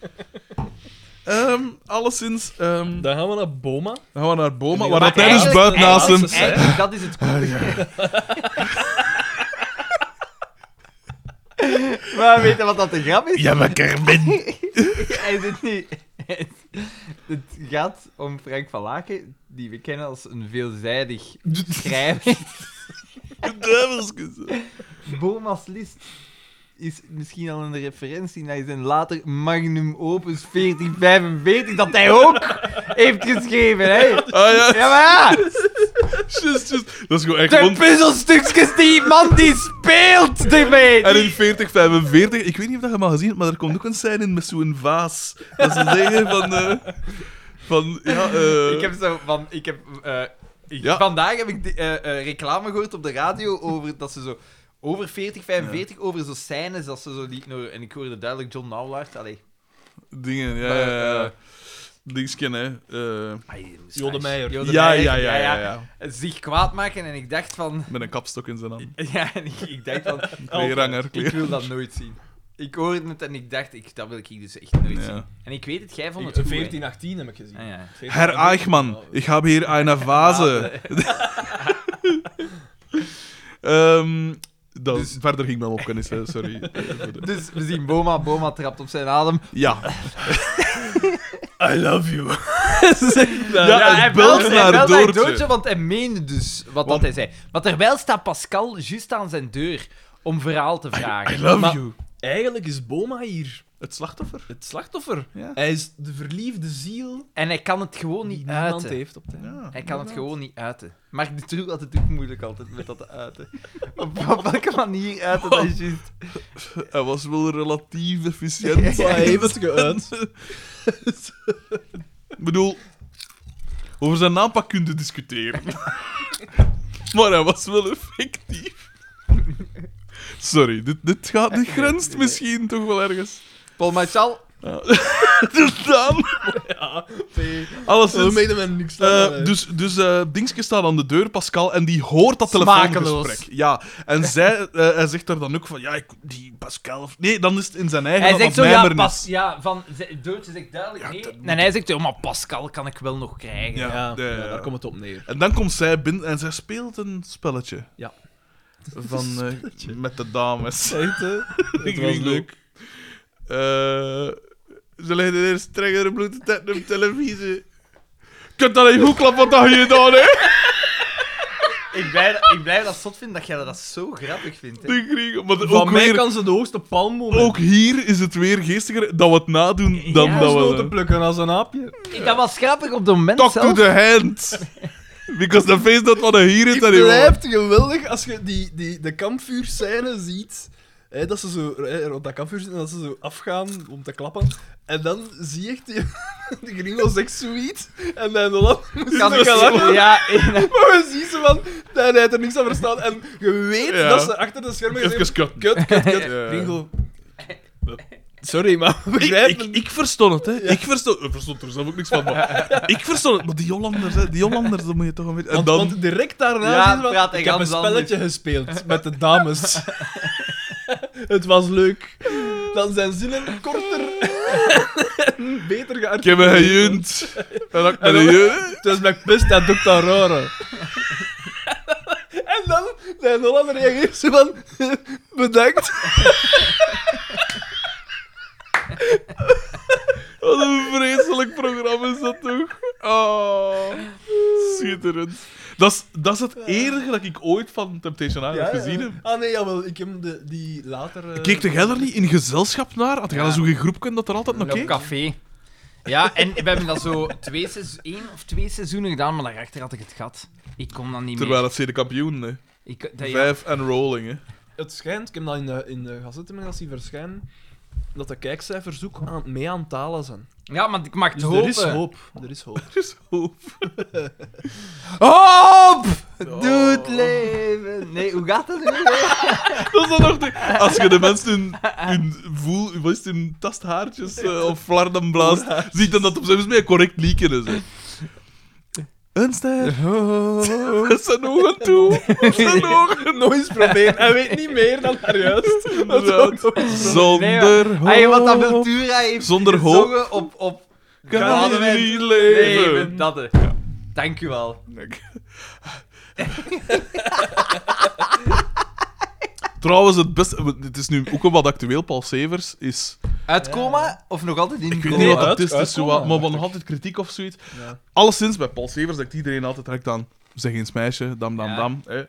[SPEAKER 2] Ehm alleszins, ehm,
[SPEAKER 1] Dan gaan we naar Boma.
[SPEAKER 2] dan gaan we naar Boma,
[SPEAKER 1] Nee,
[SPEAKER 2] waar
[SPEAKER 1] maar
[SPEAKER 2] dat hij dus
[SPEAKER 4] eigenlijk-
[SPEAKER 2] buiten naast hem...
[SPEAKER 4] eigenlijk- eigenlijk, dat is het Maar weet je wat dat de grap is?
[SPEAKER 2] Ja, maar
[SPEAKER 4] (laughs)
[SPEAKER 2] Kermin!
[SPEAKER 4] Hij zit niet... Het gaat om Frank van Laken, die we kennen als een veelzijdig schrijver.
[SPEAKER 2] De duivelskus. Ah,
[SPEAKER 4] Boma's List is misschien al een referentie naar zijn later magnum opus 1445, dat hij ook heeft geschreven, hè?
[SPEAKER 2] Ah ja,
[SPEAKER 4] Ja, maar ja!
[SPEAKER 2] just, just. Dat is gewoon echt...
[SPEAKER 4] De
[SPEAKER 2] rond.
[SPEAKER 4] puzzelstukjes, die man die speelt ermee!
[SPEAKER 2] En in 40, 45, ik weet niet of dat je hem al gezien hebt, maar er komt ook een scène in met zo'n vaas. Dat ze zeggen van... eh, van, ja, eh,
[SPEAKER 4] Ik heb zo van. Ik heb, eh, ik-
[SPEAKER 2] Ja.
[SPEAKER 4] Vandaag heb ik die, eh, eh, reclame gehoord op de radio over dat ze zo. Over 40, 45, over zo scènes dat ze zo liet naar- En ik hoorde duidelijk John Nauwlaert. Allee.
[SPEAKER 2] Dingen, ja,
[SPEAKER 4] Maar,
[SPEAKER 2] ja, ja.
[SPEAKER 4] eh,
[SPEAKER 2] Dingsken, hè. eh,
[SPEAKER 4] ai,
[SPEAKER 1] Jode Meijer.
[SPEAKER 4] Jode
[SPEAKER 2] ja,
[SPEAKER 4] Meijer,
[SPEAKER 2] ja, ja, ja, ja.
[SPEAKER 4] Zich kwaad maken en ik dacht van. (laughs)
[SPEAKER 2] Met een kapstok in zijn hand.
[SPEAKER 4] Ja, en ik, ik dacht van.
[SPEAKER 2] Kleerhanger,
[SPEAKER 4] Ik
[SPEAKER 2] kleer.
[SPEAKER 4] wil dat nooit zien. Ik hoorde het en ik dacht, ik, dat wil ik dus echt nooit
[SPEAKER 2] Ja.
[SPEAKER 4] zien. En ik weet het, jij vond
[SPEAKER 1] Ik-
[SPEAKER 4] het goed, hè?
[SPEAKER 1] 1418 heb ik gezien.
[SPEAKER 4] Ah, ja.
[SPEAKER 1] 1418.
[SPEAKER 2] Herr Eichmann, ik heb hier een vase. (laughs) Ehm dat,
[SPEAKER 4] Dus-
[SPEAKER 2] Verder ging mijn opkennis, hè, sorry. Eh, voor de-
[SPEAKER 4] Dus we zien Boma, Boma trapt op zijn adem.
[SPEAKER 2] Ja,
[SPEAKER 1] I love you. Zeg dat.
[SPEAKER 2] Ja, hij belt naar
[SPEAKER 4] Doortje.
[SPEAKER 2] Doortje.
[SPEAKER 4] want hij meende dus wat
[SPEAKER 2] Want-
[SPEAKER 4] dat hij zei. Maar terwijl staat Pascal juist aan zijn deur om verhaal te vragen.
[SPEAKER 2] I love
[SPEAKER 1] Maar-
[SPEAKER 2] you.
[SPEAKER 1] Eigenlijk is Boma hier
[SPEAKER 2] Het slachtoffer.
[SPEAKER 1] het slachtoffer.
[SPEAKER 2] Ja.
[SPEAKER 1] Hij is de verliefde ziel
[SPEAKER 4] En hij kan het gewoon
[SPEAKER 1] die
[SPEAKER 4] niet
[SPEAKER 1] niemand
[SPEAKER 4] uiten.
[SPEAKER 1] heeft op de
[SPEAKER 2] (laughs) Ja.
[SPEAKER 4] Hij kan het gewoon niet uiten. Maar de True had het ook moeilijk altijd met dat uiten. (laughs) Op, op welke manier uiten dat is juist.
[SPEAKER 2] Hij was wel relatief efficiënt.
[SPEAKER 1] Maar hij heeft het geuit.
[SPEAKER 2] Ik bedoel, over zijn aanpak kun je discussiëren. maar hij was wel effectief. Sorry, dit, dit, gaat, dit grenst misschien toch wel ergens.
[SPEAKER 4] Paul Marchal,
[SPEAKER 2] De naam.
[SPEAKER 1] Ja,
[SPEAKER 2] Alleszins,
[SPEAKER 1] we meten met niks van,
[SPEAKER 2] Eh,
[SPEAKER 1] hè.
[SPEAKER 2] dus dus eh, Dingske staat aan de deur, Pascal, en die hoort dat telefoongesprek.
[SPEAKER 4] Smakeloos.
[SPEAKER 2] Ja, en zij, eh, hij zegt er dan ook van, ja, ik, die Pascal... of- Nee, dan is het in zijn eigen
[SPEAKER 4] hij
[SPEAKER 2] dat
[SPEAKER 4] zegt
[SPEAKER 2] dat
[SPEAKER 4] zo, ja,
[SPEAKER 2] mijmer is.
[SPEAKER 4] pas, ja, van, ze- Doortje zegt duidelijk
[SPEAKER 2] Ja,
[SPEAKER 4] nee.
[SPEAKER 2] dat
[SPEAKER 4] En hij zegt, ja, maar Pascal kan ik wel nog krijgen.
[SPEAKER 2] Ja,
[SPEAKER 1] Ja,
[SPEAKER 2] ja, ja.
[SPEAKER 1] daar komt het op neer.
[SPEAKER 2] En dan komt zij binnen en zij speelt een spelletje.
[SPEAKER 1] Ja.
[SPEAKER 2] Van, eh, met de dames.
[SPEAKER 1] Echt,
[SPEAKER 3] (laughs)
[SPEAKER 1] hè? Het
[SPEAKER 2] Ik
[SPEAKER 1] was
[SPEAKER 2] vind het
[SPEAKER 1] leuk.
[SPEAKER 2] leuk. Eh, ze leggen de eerste strengere bloed te tetten op televisie. Je kunt dat niet goed klappen wat dat je gedaan hebt.
[SPEAKER 4] Ik blijf, ik blijf dat zot vinden dat jij dat zo grappig vindt. Hè.
[SPEAKER 2] De Grieken. Maar
[SPEAKER 3] Van
[SPEAKER 2] ook,
[SPEAKER 3] mij
[SPEAKER 2] weer,
[SPEAKER 3] kan ze de hoogste palm moment.
[SPEAKER 2] ook hier is het weer geestiger dat we het nadoen dan
[SPEAKER 4] Ja,
[SPEAKER 2] dat
[SPEAKER 3] Snoten
[SPEAKER 2] we...
[SPEAKER 3] plukken als een aapje.
[SPEAKER 4] Ik- Dat was grappig op dat moment
[SPEAKER 2] Talk to
[SPEAKER 4] zelf.
[SPEAKER 2] the hand! Because the face dat van hier is,
[SPEAKER 3] Het
[SPEAKER 2] dat hij wel-
[SPEAKER 3] blijft geweldig als je die, die, de kampvuurscène ziet. Hè, dat ze zo hè, rond dat kampvuur zitten en dat ze zo afgaan om te klappen. En dan zie je echt die, (laughs) de Gringo zegt zoiets. En dan Holland moest
[SPEAKER 4] Kan
[SPEAKER 3] ze
[SPEAKER 4] dus-
[SPEAKER 3] gaan
[SPEAKER 4] (laughs)
[SPEAKER 3] lachen.
[SPEAKER 4] ja,
[SPEAKER 3] (laughs)
[SPEAKER 4] en-
[SPEAKER 3] Maar we zien ze van, dat hij er niks aan verstaan. En je weet
[SPEAKER 2] Ja.
[SPEAKER 3] dat ze achter de schermen
[SPEAKER 2] Even
[SPEAKER 3] gezegd
[SPEAKER 2] cut.
[SPEAKER 3] Kut, kut,
[SPEAKER 4] (laughs)
[SPEAKER 3] kut.
[SPEAKER 2] Ja.
[SPEAKER 3] Gringo. Sorry, maar begrijp
[SPEAKER 2] Ik,
[SPEAKER 3] me
[SPEAKER 2] ik, ik verstond het, hè. Ik verstond, ik verstond er zelf ook niks van, maar... Ik verstond het, maar die Hollanders, hè. Die Hollanders, dat moet je toch een beetje... En
[SPEAKER 3] Want,
[SPEAKER 2] dan...
[SPEAKER 3] want direct daarna
[SPEAKER 4] Ja,
[SPEAKER 3] zien ze
[SPEAKER 4] praat hij
[SPEAKER 3] ik heb een
[SPEAKER 4] ganz
[SPEAKER 3] spelletje gespeeld met de
[SPEAKER 4] (laughs)
[SPEAKER 3] dames. het was leuk. Dan zijn zinnen korter en beter
[SPEAKER 2] Ik heb
[SPEAKER 3] gearticuleerd.
[SPEAKER 2] me gejunt. En dan heb ik me gejunt.
[SPEAKER 3] Het was met pist en dokter Rare. en dan, de Hollander reageert zo van, (laughs) bedankt.
[SPEAKER 2] Wat een vreselijk programma is dat toch? Oh, schitterend. Dat is, dat is het enige dat ik ooit van Temptation Island gezien heb.
[SPEAKER 3] Ah nee, jawel, ik heb de, die later... eh,
[SPEAKER 2] Keek jij daar niet in gezelschap naar? Had jij
[SPEAKER 4] Ja.
[SPEAKER 2] dan zo'n groep kunnen dat er altijd nog
[SPEAKER 4] Op
[SPEAKER 2] keek?
[SPEAKER 4] café. Ja, en we hebben dat zo twee seizoen, één of twee seizoenen gedaan, maar daarachter had ik het gat. Ik kon dat niet
[SPEAKER 2] Terwijl
[SPEAKER 4] meer.
[SPEAKER 2] het zede kampioen, hè.
[SPEAKER 4] Ik, dat, ja.
[SPEAKER 2] Vijf en rolling, hè.
[SPEAKER 3] Het schijnt, ik heb dat in de, in de gazetten maar dat zien verschijnen, dat de kijkcijfers ook aan, mee aan het dalen zijn.
[SPEAKER 4] ja, maar ik mag het
[SPEAKER 3] Dus
[SPEAKER 4] hopen.
[SPEAKER 3] er is hoop. Er is (laughs) hoop.
[SPEAKER 2] Zo.
[SPEAKER 4] Hoop! Doet leven! Nee, hoe gaat
[SPEAKER 2] (laughs)
[SPEAKER 4] dat nu?
[SPEAKER 2] Dat is dan nog de... Als je de mensen hun, hun voel, wat is het, hun tasthaartjes eh, of flarden blaast, ziet dan dat het op zijn minst meer correct lieken is. hè. Een ster. Met (laughs) zijn ogen toe. Met zijn ogen
[SPEAKER 3] Nooit eens proberen. Hij weet niet meer dan daar juist.
[SPEAKER 2] Inderdaad. Zonder hoop.
[SPEAKER 4] Hey, wat dat Ventura heeft
[SPEAKER 2] Zonder hoop.
[SPEAKER 4] gezongen op, op
[SPEAKER 2] Kan
[SPEAKER 4] Kan
[SPEAKER 2] hij
[SPEAKER 4] hij
[SPEAKER 2] niet leven.
[SPEAKER 4] leven. Dat is. Dank u wel.
[SPEAKER 2] (laughs) Trouwens, het beste... Het is nu ook wel wat actueel. Paul Severs is...
[SPEAKER 4] Uit coma of nog altijd in
[SPEAKER 2] Ik weet
[SPEAKER 4] coma?
[SPEAKER 2] niet wat het
[SPEAKER 3] uit-
[SPEAKER 2] is, het is zo dus wat,
[SPEAKER 3] uitkomen,
[SPEAKER 2] maar
[SPEAKER 3] dacht
[SPEAKER 2] nog altijd kritiek of zoiets.
[SPEAKER 3] Ja.
[SPEAKER 2] Alleszins, bij Paul Severs denkt iedereen altijd direct aan... Zeg eens meisje, dam, dam,
[SPEAKER 4] Ja.
[SPEAKER 2] dam. Hè.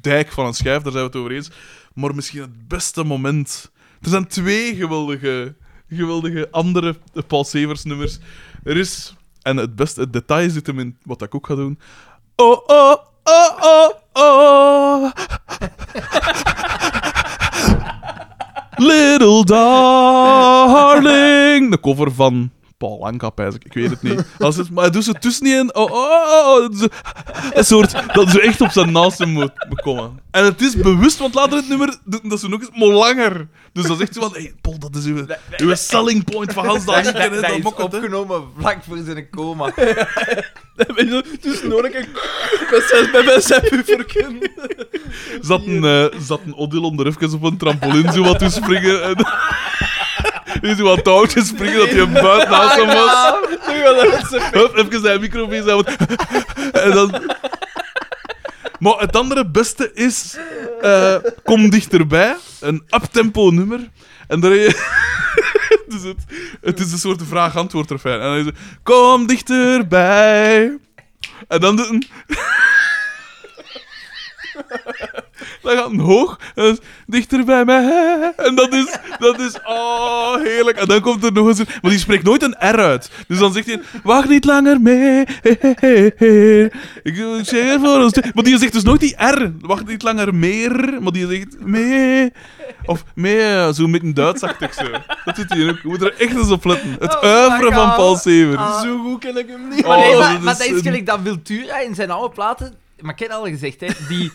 [SPEAKER 2] Dijk van een schijf, daar zijn we het over eens. Maar misschien het beste moment... Er zijn twee geweldige, geweldige andere eh, Paul Severs nummers. Er is... En het beste het detail zit hem in wat ik ook ga doen. Oh, oh, oh, oh, oh. Little darling. De cover van Paul Anka, pijs ik. Ik weet het niet. Als het, maar hij doet ze tussenin. Oh, oh, oh, oh. Zo- Een soort dat ze echt op zijn naasten moet bekomen. En het is bewust, want later het nummer doen dat ze nog eens, maar langer. Dus dat is echt zo van, hey, Paul, dat is uw, uw selling point van Hans dat
[SPEAKER 4] Dat,
[SPEAKER 2] ik
[SPEAKER 4] dat, dat is
[SPEAKER 2] mokken, hè.
[SPEAKER 4] opgenomen vlak voor zijn (laughs) Oh, coma.
[SPEAKER 3] Dus nodig ik met zijn, met mijn zijn pufferken.
[SPEAKER 2] Zat een, eh, zat een Odilon er even op een trampoline zo wat te springen. En... (laughs) Die zo wat touwtjes springen dat hij een buit naast hem was.
[SPEAKER 3] Oh, nou. Nu gaat dat met zijn
[SPEAKER 2] Hup, even zijn micro bezig. houden. en dan... Maar het andere beste is... eh, kom dichterbij. Een uptempo nummer. En daar... (laughs) dus het, het is een soort vraag-antwoord refrein. En dan is het... Kom dichterbij. En dan doet een... (laughs) Dan gaat een hoog, en dan is dichter bij mij. En dat is, dat is, oh, heerlijk. En dan komt er nog eens een, maar die spreekt nooit een R uit. Dus dan zegt hij, wacht niet langer mee. Ik ik zeg er voor ons. te-" Maar die zegt dus nooit die R. Wacht niet langer meer, maar die zegt mee. Of mee, zo met een Duitsachtig zo. Dat doet hij ook. Je moet er echt eens op letten. Het
[SPEAKER 4] Oh,
[SPEAKER 2] oeuvre
[SPEAKER 4] my
[SPEAKER 2] van
[SPEAKER 4] God.
[SPEAKER 2] Paul Severs.
[SPEAKER 4] Ah.
[SPEAKER 3] Zo goed ken ik hem niet.
[SPEAKER 4] Maar nee,
[SPEAKER 2] Oh,
[SPEAKER 4] maar,
[SPEAKER 2] dat
[SPEAKER 4] maar
[SPEAKER 2] is
[SPEAKER 4] dat is
[SPEAKER 2] een-
[SPEAKER 4] gelijk dat Vultura in zijn oude platen... Maar ik heb het al gezegd, hè. Die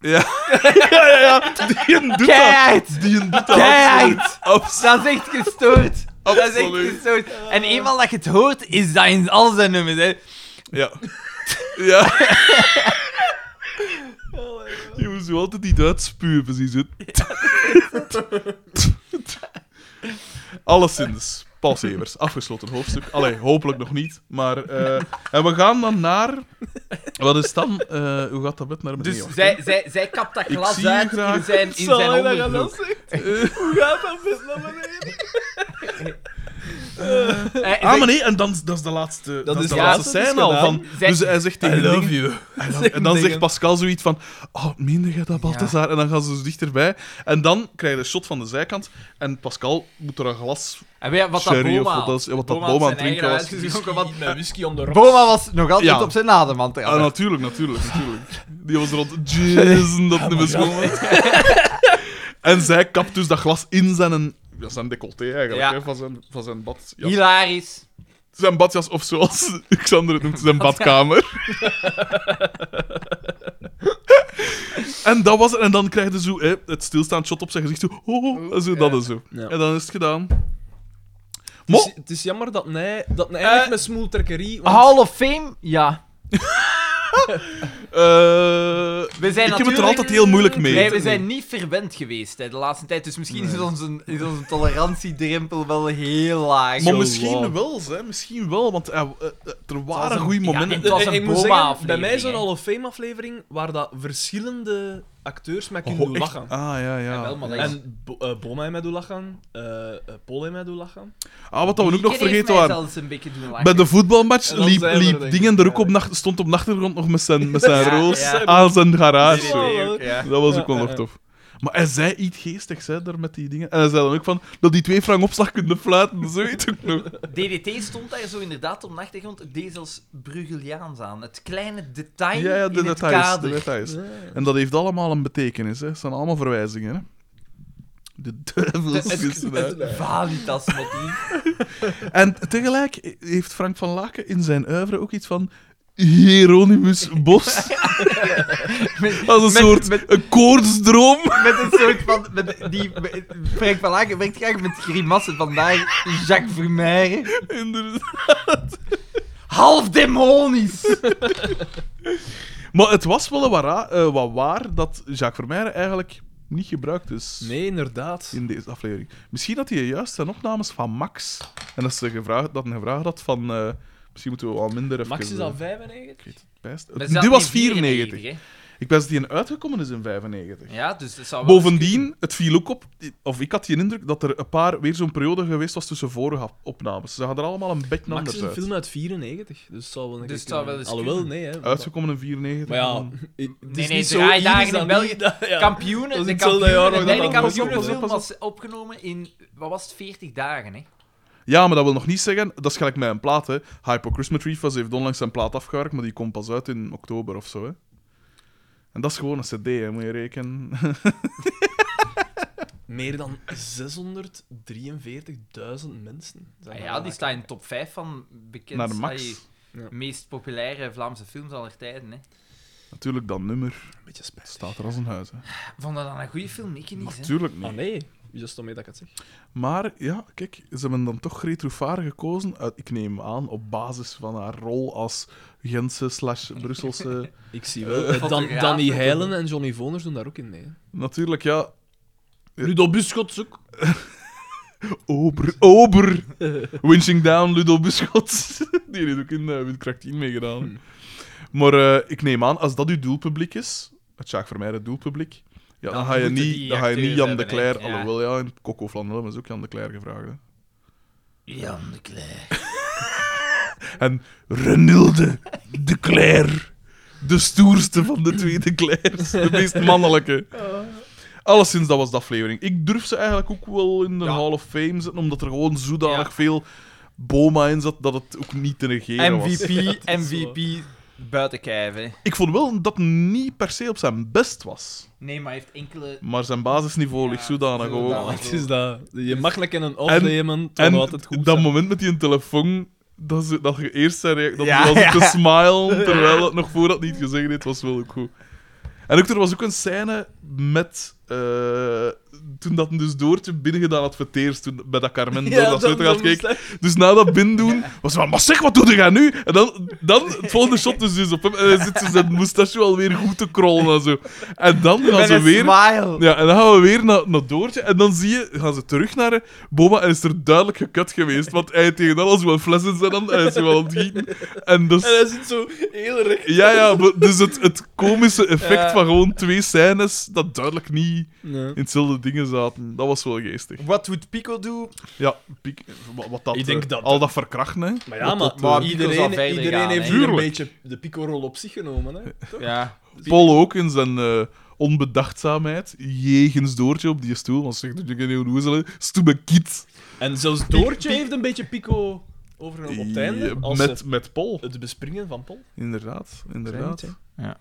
[SPEAKER 2] Ja. ja, ja, ja. Die doet dat.
[SPEAKER 4] keihard...
[SPEAKER 2] Die doet dat.
[SPEAKER 4] Keihard!
[SPEAKER 2] Absoluut.
[SPEAKER 4] Dat is echt gestoord. Dat is echt
[SPEAKER 2] Absoluut.
[SPEAKER 4] gestoord. En eenmaal dat je het hoort, is dat in al zijn nummers, hè.
[SPEAKER 2] Ja. ja. Je moet zo altijd niet uitspuwen, precies. hè. (laughs) Alleszins. Paul Severs, afgesloten hoofdstuk. Allee, hopelijk nog niet. Maar, eh, en we gaan dan naar... Wat is dan? eh, hoe gaat dat bed naar beneden? Ah,
[SPEAKER 4] Dus zij, zij, zij kapt dat
[SPEAKER 2] Ik
[SPEAKER 4] glas
[SPEAKER 2] zie je
[SPEAKER 4] uit
[SPEAKER 2] graag.
[SPEAKER 4] in zijn, in
[SPEAKER 3] Zal
[SPEAKER 4] zijn
[SPEAKER 3] hij dat gaan
[SPEAKER 4] onderbroek.
[SPEAKER 3] lastig? Hoe gaat dat met naar beneden?
[SPEAKER 4] Eh,
[SPEAKER 2] Ah, maar nee, en dan, dat is de laatste, dat is de
[SPEAKER 4] ja,
[SPEAKER 2] laatste
[SPEAKER 1] dat is
[SPEAKER 2] scène al.
[SPEAKER 1] gedaan.
[SPEAKER 2] Van,
[SPEAKER 4] Zeg-
[SPEAKER 2] dus hij zegt tegen
[SPEAKER 1] I
[SPEAKER 2] de
[SPEAKER 1] love
[SPEAKER 2] dingen-
[SPEAKER 1] you.
[SPEAKER 2] I love- (laughs) En dan
[SPEAKER 1] Dingen.
[SPEAKER 2] zegt Pascal zoiets van... Oh, meende jij dat, Balthazar? En dan gaan ze dus dichterbij. En dan krijg je een shot van de zijkant. En Pascal moet er een glas
[SPEAKER 4] En weet je wat dat
[SPEAKER 2] sherry of
[SPEAKER 4] Boma...
[SPEAKER 2] wat, dat is- wat dat
[SPEAKER 4] Boma
[SPEAKER 2] Boma aan
[SPEAKER 4] had
[SPEAKER 2] het
[SPEAKER 4] zijn
[SPEAKER 2] drinken was.
[SPEAKER 4] eigen huis
[SPEAKER 1] Whisky,
[SPEAKER 4] gedronken, want-
[SPEAKER 1] met whisky om de rocks.
[SPEAKER 4] Boma was nog altijd
[SPEAKER 2] Ja.
[SPEAKER 4] op zijn adem aan het
[SPEAKER 2] Ah,
[SPEAKER 4] trappen.
[SPEAKER 2] natuurlijk, natuurlijk,
[SPEAKER 4] (laughs)
[SPEAKER 2] natuurlijk. Die was er rond jizzen dat nummer schoon. (laughs) En zij kapt dus dat glas in zijn, ja, zijn decolleté eigenlijk,
[SPEAKER 4] Ja.
[SPEAKER 2] hè, van zijn, van zijn badjas.
[SPEAKER 4] Hilarisch.
[SPEAKER 2] Zijn badjas, of zoals (laughs) Xander het noemt, zijn badkamer. (laughs) en dat was het. En dan krijg je zo hè, het stilstaand shot op zijn gezicht. Zo, oh, en zo, dat en zo.
[SPEAKER 1] Ja.
[SPEAKER 2] En dan is het gedaan.
[SPEAKER 4] Dus
[SPEAKER 1] Het is-
[SPEAKER 2] Mo,
[SPEAKER 1] het is jammer dat hij, dat hij eindigt
[SPEAKER 4] Eh,
[SPEAKER 1] met smoeltrekkerie. want-
[SPEAKER 4] Hall of Fame? Ja.
[SPEAKER 2] eh,
[SPEAKER 4] We zijn
[SPEAKER 2] ik heb het er
[SPEAKER 4] natuurlijk-
[SPEAKER 2] altijd heel moeilijk mee.
[SPEAKER 4] Nee, we zijn niet verwend geweest hè, de laatste tijd, dus misschien is, onze, is onze tolerantiedrempel wel heel laag.
[SPEAKER 2] Maar
[SPEAKER 1] Zo
[SPEAKER 2] misschien
[SPEAKER 1] wauw.
[SPEAKER 2] wel, hè? Misschien wel, want eh, eh, eh, er waren
[SPEAKER 4] een-
[SPEAKER 2] goede
[SPEAKER 4] ja,
[SPEAKER 2] momenten.
[SPEAKER 4] Het was
[SPEAKER 1] Ik-
[SPEAKER 4] een
[SPEAKER 1] ik moet
[SPEAKER 4] Boma
[SPEAKER 1] zeggen, Bij
[SPEAKER 4] aflevering,
[SPEAKER 1] mij zo'n
[SPEAKER 4] hè.
[SPEAKER 1] Hall of Fame aflevering waar dat verschillende acteurs mij
[SPEAKER 2] Oh,
[SPEAKER 1] kunnen doen
[SPEAKER 2] echt?
[SPEAKER 1] lachen.
[SPEAKER 2] Ah, ja,
[SPEAKER 4] Ja, wel,
[SPEAKER 2] ja.
[SPEAKER 4] maar dat is-
[SPEAKER 1] En Bo- eh, Boma heeft mij doen lachen, eh eh, Paul heeft mij doen lachen.
[SPEAKER 2] Ah, wat dat we ook nog
[SPEAKER 4] Iedereen heeft
[SPEAKER 2] vergeten
[SPEAKER 4] mij
[SPEAKER 2] waren.
[SPEAKER 4] zelfs een beetje doen lachen.
[SPEAKER 2] Bij de voetbalmatch
[SPEAKER 1] En dan
[SPEAKER 2] liep,
[SPEAKER 1] zijn we er,
[SPEAKER 2] liep
[SPEAKER 1] denk
[SPEAKER 2] Dingen
[SPEAKER 1] ik.
[SPEAKER 2] er ook op nacht, stond op de achtergrond nog met zijn, met zijn
[SPEAKER 4] Ja,
[SPEAKER 2] roos
[SPEAKER 4] ja.
[SPEAKER 2] aan zijn garage.
[SPEAKER 4] Nee, nee, nee, ook, ja.
[SPEAKER 2] Dat was ook wel
[SPEAKER 1] Ja,
[SPEAKER 2] nog
[SPEAKER 1] ja.
[SPEAKER 2] tof. Maar hij zei iets geestigs, hè, daar met die dingen. En hij zei dan ook van, dat die twee frank opslag kunnen fluiten, zoiets ook nog.
[SPEAKER 4] DDT stond daar zo inderdaad op de achtergrond. Het deed zelfs Brugeliaans aan. Het kleine detail
[SPEAKER 2] Ja, ja, de
[SPEAKER 4] in het
[SPEAKER 2] details, de
[SPEAKER 4] kader.
[SPEAKER 2] details. En dat heeft allemaal een betekenis, hè. Het zijn allemaal verwijzingen, hè. De duivels
[SPEAKER 4] Het-
[SPEAKER 2] is eruit.
[SPEAKER 4] Valitas motief.
[SPEAKER 2] En tegelijk heeft Frank van Laken in zijn oeuvre ook iets van Hieronymus
[SPEAKER 1] (laughs)
[SPEAKER 2] Bos.
[SPEAKER 4] Met-
[SPEAKER 2] Als een
[SPEAKER 4] met-
[SPEAKER 2] soort
[SPEAKER 4] met-
[SPEAKER 2] een koortsdroom.
[SPEAKER 4] Met een soort van... Met die, met- Frank van Laken werkt graag met grimassen. Vandaar Jacques Vermeijren.
[SPEAKER 2] Inderdaad.
[SPEAKER 4] Half demonisch!
[SPEAKER 2] Maar het was wel wat, ra- eh, wat waar dat Jacques Vermeijren eigenlijk niet gebruikt is
[SPEAKER 1] Nee, inderdaad.
[SPEAKER 2] in deze aflevering. Misschien had hij juist zijn opnames van Max. En dat ze gevraagd, dat hij gevraagd had van... eh, misschien moeten we wat minder even...
[SPEAKER 1] Max is al
[SPEAKER 2] eh,
[SPEAKER 1] 95.
[SPEAKER 2] bijst-
[SPEAKER 4] Maar
[SPEAKER 2] Die
[SPEAKER 4] zat
[SPEAKER 2] was
[SPEAKER 4] in
[SPEAKER 2] 94.
[SPEAKER 4] hè?
[SPEAKER 2] Ik ben dat die uitgekomen is in 95.
[SPEAKER 4] Ja, dus dat zou wel eens
[SPEAKER 2] Bovendien, het viel ook op, of ik had die indruk dat er een paar weer zo'n periode geweest was tussen vorige opnames. Ze gaan er allemaal een beetje
[SPEAKER 1] Max is
[SPEAKER 2] anders
[SPEAKER 1] een
[SPEAKER 2] uit.
[SPEAKER 1] film uit 94, dus het zal wel een
[SPEAKER 4] Dus
[SPEAKER 1] keer
[SPEAKER 4] het zou wel
[SPEAKER 1] kunnen.
[SPEAKER 4] eens
[SPEAKER 1] Alhoewel,
[SPEAKER 4] kunnen.
[SPEAKER 1] nee, hè. want-
[SPEAKER 2] Uitgekomen in 94.
[SPEAKER 1] Maar ja,
[SPEAKER 2] en-
[SPEAKER 1] het is
[SPEAKER 4] Nee, nee,
[SPEAKER 1] niet zo
[SPEAKER 4] draai
[SPEAKER 1] hier
[SPEAKER 4] dagen
[SPEAKER 1] is
[SPEAKER 4] in
[SPEAKER 1] dat
[SPEAKER 4] België.
[SPEAKER 1] niet- dat- ja. Dat
[SPEAKER 4] Kampioenen,
[SPEAKER 1] is
[SPEAKER 4] de
[SPEAKER 1] hetzelfde
[SPEAKER 4] kampioenen,
[SPEAKER 1] jaar
[SPEAKER 4] de
[SPEAKER 1] nog
[SPEAKER 4] derde
[SPEAKER 1] dat dat-
[SPEAKER 4] kampioenenfilm
[SPEAKER 2] pas op, pas
[SPEAKER 4] was opgenomen in, wat was het, 40 dagen, hè?
[SPEAKER 2] Ja, maar dat wil nog niet zeggen, dat is gelijk met een plaat. Hè. Hypo Christmas Reef was, heeft onlangs zijn plaat afgewerkt, maar die komt pas uit in oktober of zo. Hè. En dat is gewoon een CD, hè, moet je rekenen. (laughs)
[SPEAKER 1] Meer dan 643.000 mensen. zijn
[SPEAKER 4] Ah
[SPEAKER 1] daar
[SPEAKER 4] ja,
[SPEAKER 1] aan
[SPEAKER 4] die
[SPEAKER 1] het
[SPEAKER 4] staat in de top 5 van
[SPEAKER 2] Naar de
[SPEAKER 4] bekendste,
[SPEAKER 2] max.
[SPEAKER 4] allee,
[SPEAKER 1] Ja.
[SPEAKER 4] meest populaire Vlaamse films aller tijden, hè?
[SPEAKER 2] Natuurlijk, dat nummer
[SPEAKER 1] kijken. Beetje spijt.
[SPEAKER 2] staat er als een huis. Hè.
[SPEAKER 4] Vond dat dan een goede film? Ik niet, hè?
[SPEAKER 2] Natuurlijk
[SPEAKER 1] Ah
[SPEAKER 2] niet.
[SPEAKER 1] nee, juist om mee dat ik het zeg.
[SPEAKER 2] Maar ja, kijk, ze hebben dan toch Greet Roefaar gekozen. Uit, ik neem aan, op basis van haar rol als Gentse slash Brusselse...
[SPEAKER 1] Ik zie wel. eh, Dan,
[SPEAKER 4] fotograaf,
[SPEAKER 1] Danny
[SPEAKER 4] dat
[SPEAKER 1] Heilen en Johnny Voners doen daar ook in mee. hè.
[SPEAKER 2] Natuurlijk, ja.
[SPEAKER 1] Ludo Buschot ook.
[SPEAKER 2] (laughs) Ober,
[SPEAKER 4] (laughs)
[SPEAKER 2] ober. Winching down, Ludo Buschot. (laughs) Die heeft ook in uh, Windkracht 10 meegedaan. Maar eh, ik neem aan, als dat uw doelpubliek is, het Sjaak Vermeijden het doelpubliek, ja, dan,
[SPEAKER 4] Dan
[SPEAKER 2] ga je
[SPEAKER 4] moeten
[SPEAKER 2] niet,
[SPEAKER 4] die
[SPEAKER 2] dan ga je niet
[SPEAKER 4] acteurs
[SPEAKER 2] Jan de
[SPEAKER 4] hebben,
[SPEAKER 2] Cler...
[SPEAKER 4] hè. Ja.
[SPEAKER 2] Alhoewel, ja, in Coco Flandel is ook Jan de Cler gevraagd. Hè.
[SPEAKER 4] Jan de Cler.
[SPEAKER 2] En Renilde de Cler. De stoerste van de twee de Clairs. De
[SPEAKER 4] (laughs)
[SPEAKER 2] meest mannelijke.
[SPEAKER 4] Oh.
[SPEAKER 2] Alleszins, dat was de aflevering. Ik durf ze eigenlijk ook wel in de
[SPEAKER 4] Ja.
[SPEAKER 2] Hall of Fame zetten, omdat er gewoon zodanig
[SPEAKER 4] Ja.
[SPEAKER 2] veel boma in zat dat het ook niet te negeren was.
[SPEAKER 4] MVP, (laughs) MVP, buiten kijf, hè?
[SPEAKER 2] Ik vond wel dat het niet per se op zijn best was.
[SPEAKER 4] Nee, maar hij heeft enkele...
[SPEAKER 2] Maar zijn basisniveau
[SPEAKER 4] Ja,
[SPEAKER 2] ligt zodanig
[SPEAKER 4] zodanig.
[SPEAKER 2] hoog.
[SPEAKER 4] Ja, Dus-
[SPEAKER 1] het is dat. Je mag lekker een
[SPEAKER 2] En-
[SPEAKER 1] opnemen, het
[SPEAKER 2] En
[SPEAKER 1] zal altijd goed
[SPEAKER 2] dat
[SPEAKER 1] zijn.
[SPEAKER 2] moment met die telefoon, dat, ze, dat je eerst zei, dat ze
[SPEAKER 4] Ja,
[SPEAKER 2] was
[SPEAKER 4] ja.
[SPEAKER 2] te smilen, terwijl het nog voordat niet gezegd heeft, was wel ook goed. En ook, er was ook een scène met... eh, toen dat hem dus Doortje binnengedaan had voor het eerst, toen, bij dat Carmen door dat
[SPEAKER 1] dan-
[SPEAKER 2] sleutel gaat
[SPEAKER 1] dan moest
[SPEAKER 2] kijken. Dus na dat bin doen, was ze van, maar zeg, wat doe je nu? En dan, dan het volgende shot dus, dus op hem, en hij zit ze zijn moustache alweer goed te krollen en zo. En dan gaan
[SPEAKER 4] Met
[SPEAKER 2] ze
[SPEAKER 4] een
[SPEAKER 2] weer...
[SPEAKER 4] smile.
[SPEAKER 2] Ja, en dan gaan we weer naar, naar Doortje. En dan zie je, gaan ze terug naar eh, Boba en is er duidelijk gekut geweest. Want hij heeft tegen alles wel flessen in zijn hand. Hij is wel aan het gieten. En dus...
[SPEAKER 1] En hij zit zo heel recht.
[SPEAKER 2] Ja, ja, maar dus het, het komische effect
[SPEAKER 1] Ja.
[SPEAKER 2] van gewoon twee scènes dat duidelijk niet in hetzelfde dingen zaten. Dat was wel geestig.
[SPEAKER 1] What would Pico do?
[SPEAKER 2] Ja, piek, wa- wat dat,
[SPEAKER 3] Ik denk
[SPEAKER 2] eh,
[SPEAKER 3] dat-
[SPEAKER 2] al dat verkrachten, hè.
[SPEAKER 3] Maar ja, maar,
[SPEAKER 4] maar Pico zal
[SPEAKER 3] iedereen,
[SPEAKER 4] verder
[SPEAKER 3] iedereen
[SPEAKER 4] gaan,
[SPEAKER 3] heeft
[SPEAKER 4] hè.
[SPEAKER 3] hier een
[SPEAKER 2] Tuurlijk.
[SPEAKER 3] beetje de pico-rol op zich genomen. Hè?
[SPEAKER 1] Ja.
[SPEAKER 2] Paul ook in zijn eh, onbedachtzaamheid, jegens Doortje op die stoel, want zegt dat je geen hoezelen, stoeme kiet.
[SPEAKER 3] En zelfs Doortje heeft een beetje pico overgenomen op het einde. Als
[SPEAKER 2] Met,
[SPEAKER 3] ze
[SPEAKER 2] met Paul.
[SPEAKER 3] het bespringen van Pol.
[SPEAKER 2] Inderdaad, inderdaad.
[SPEAKER 1] Zijn
[SPEAKER 4] Ja.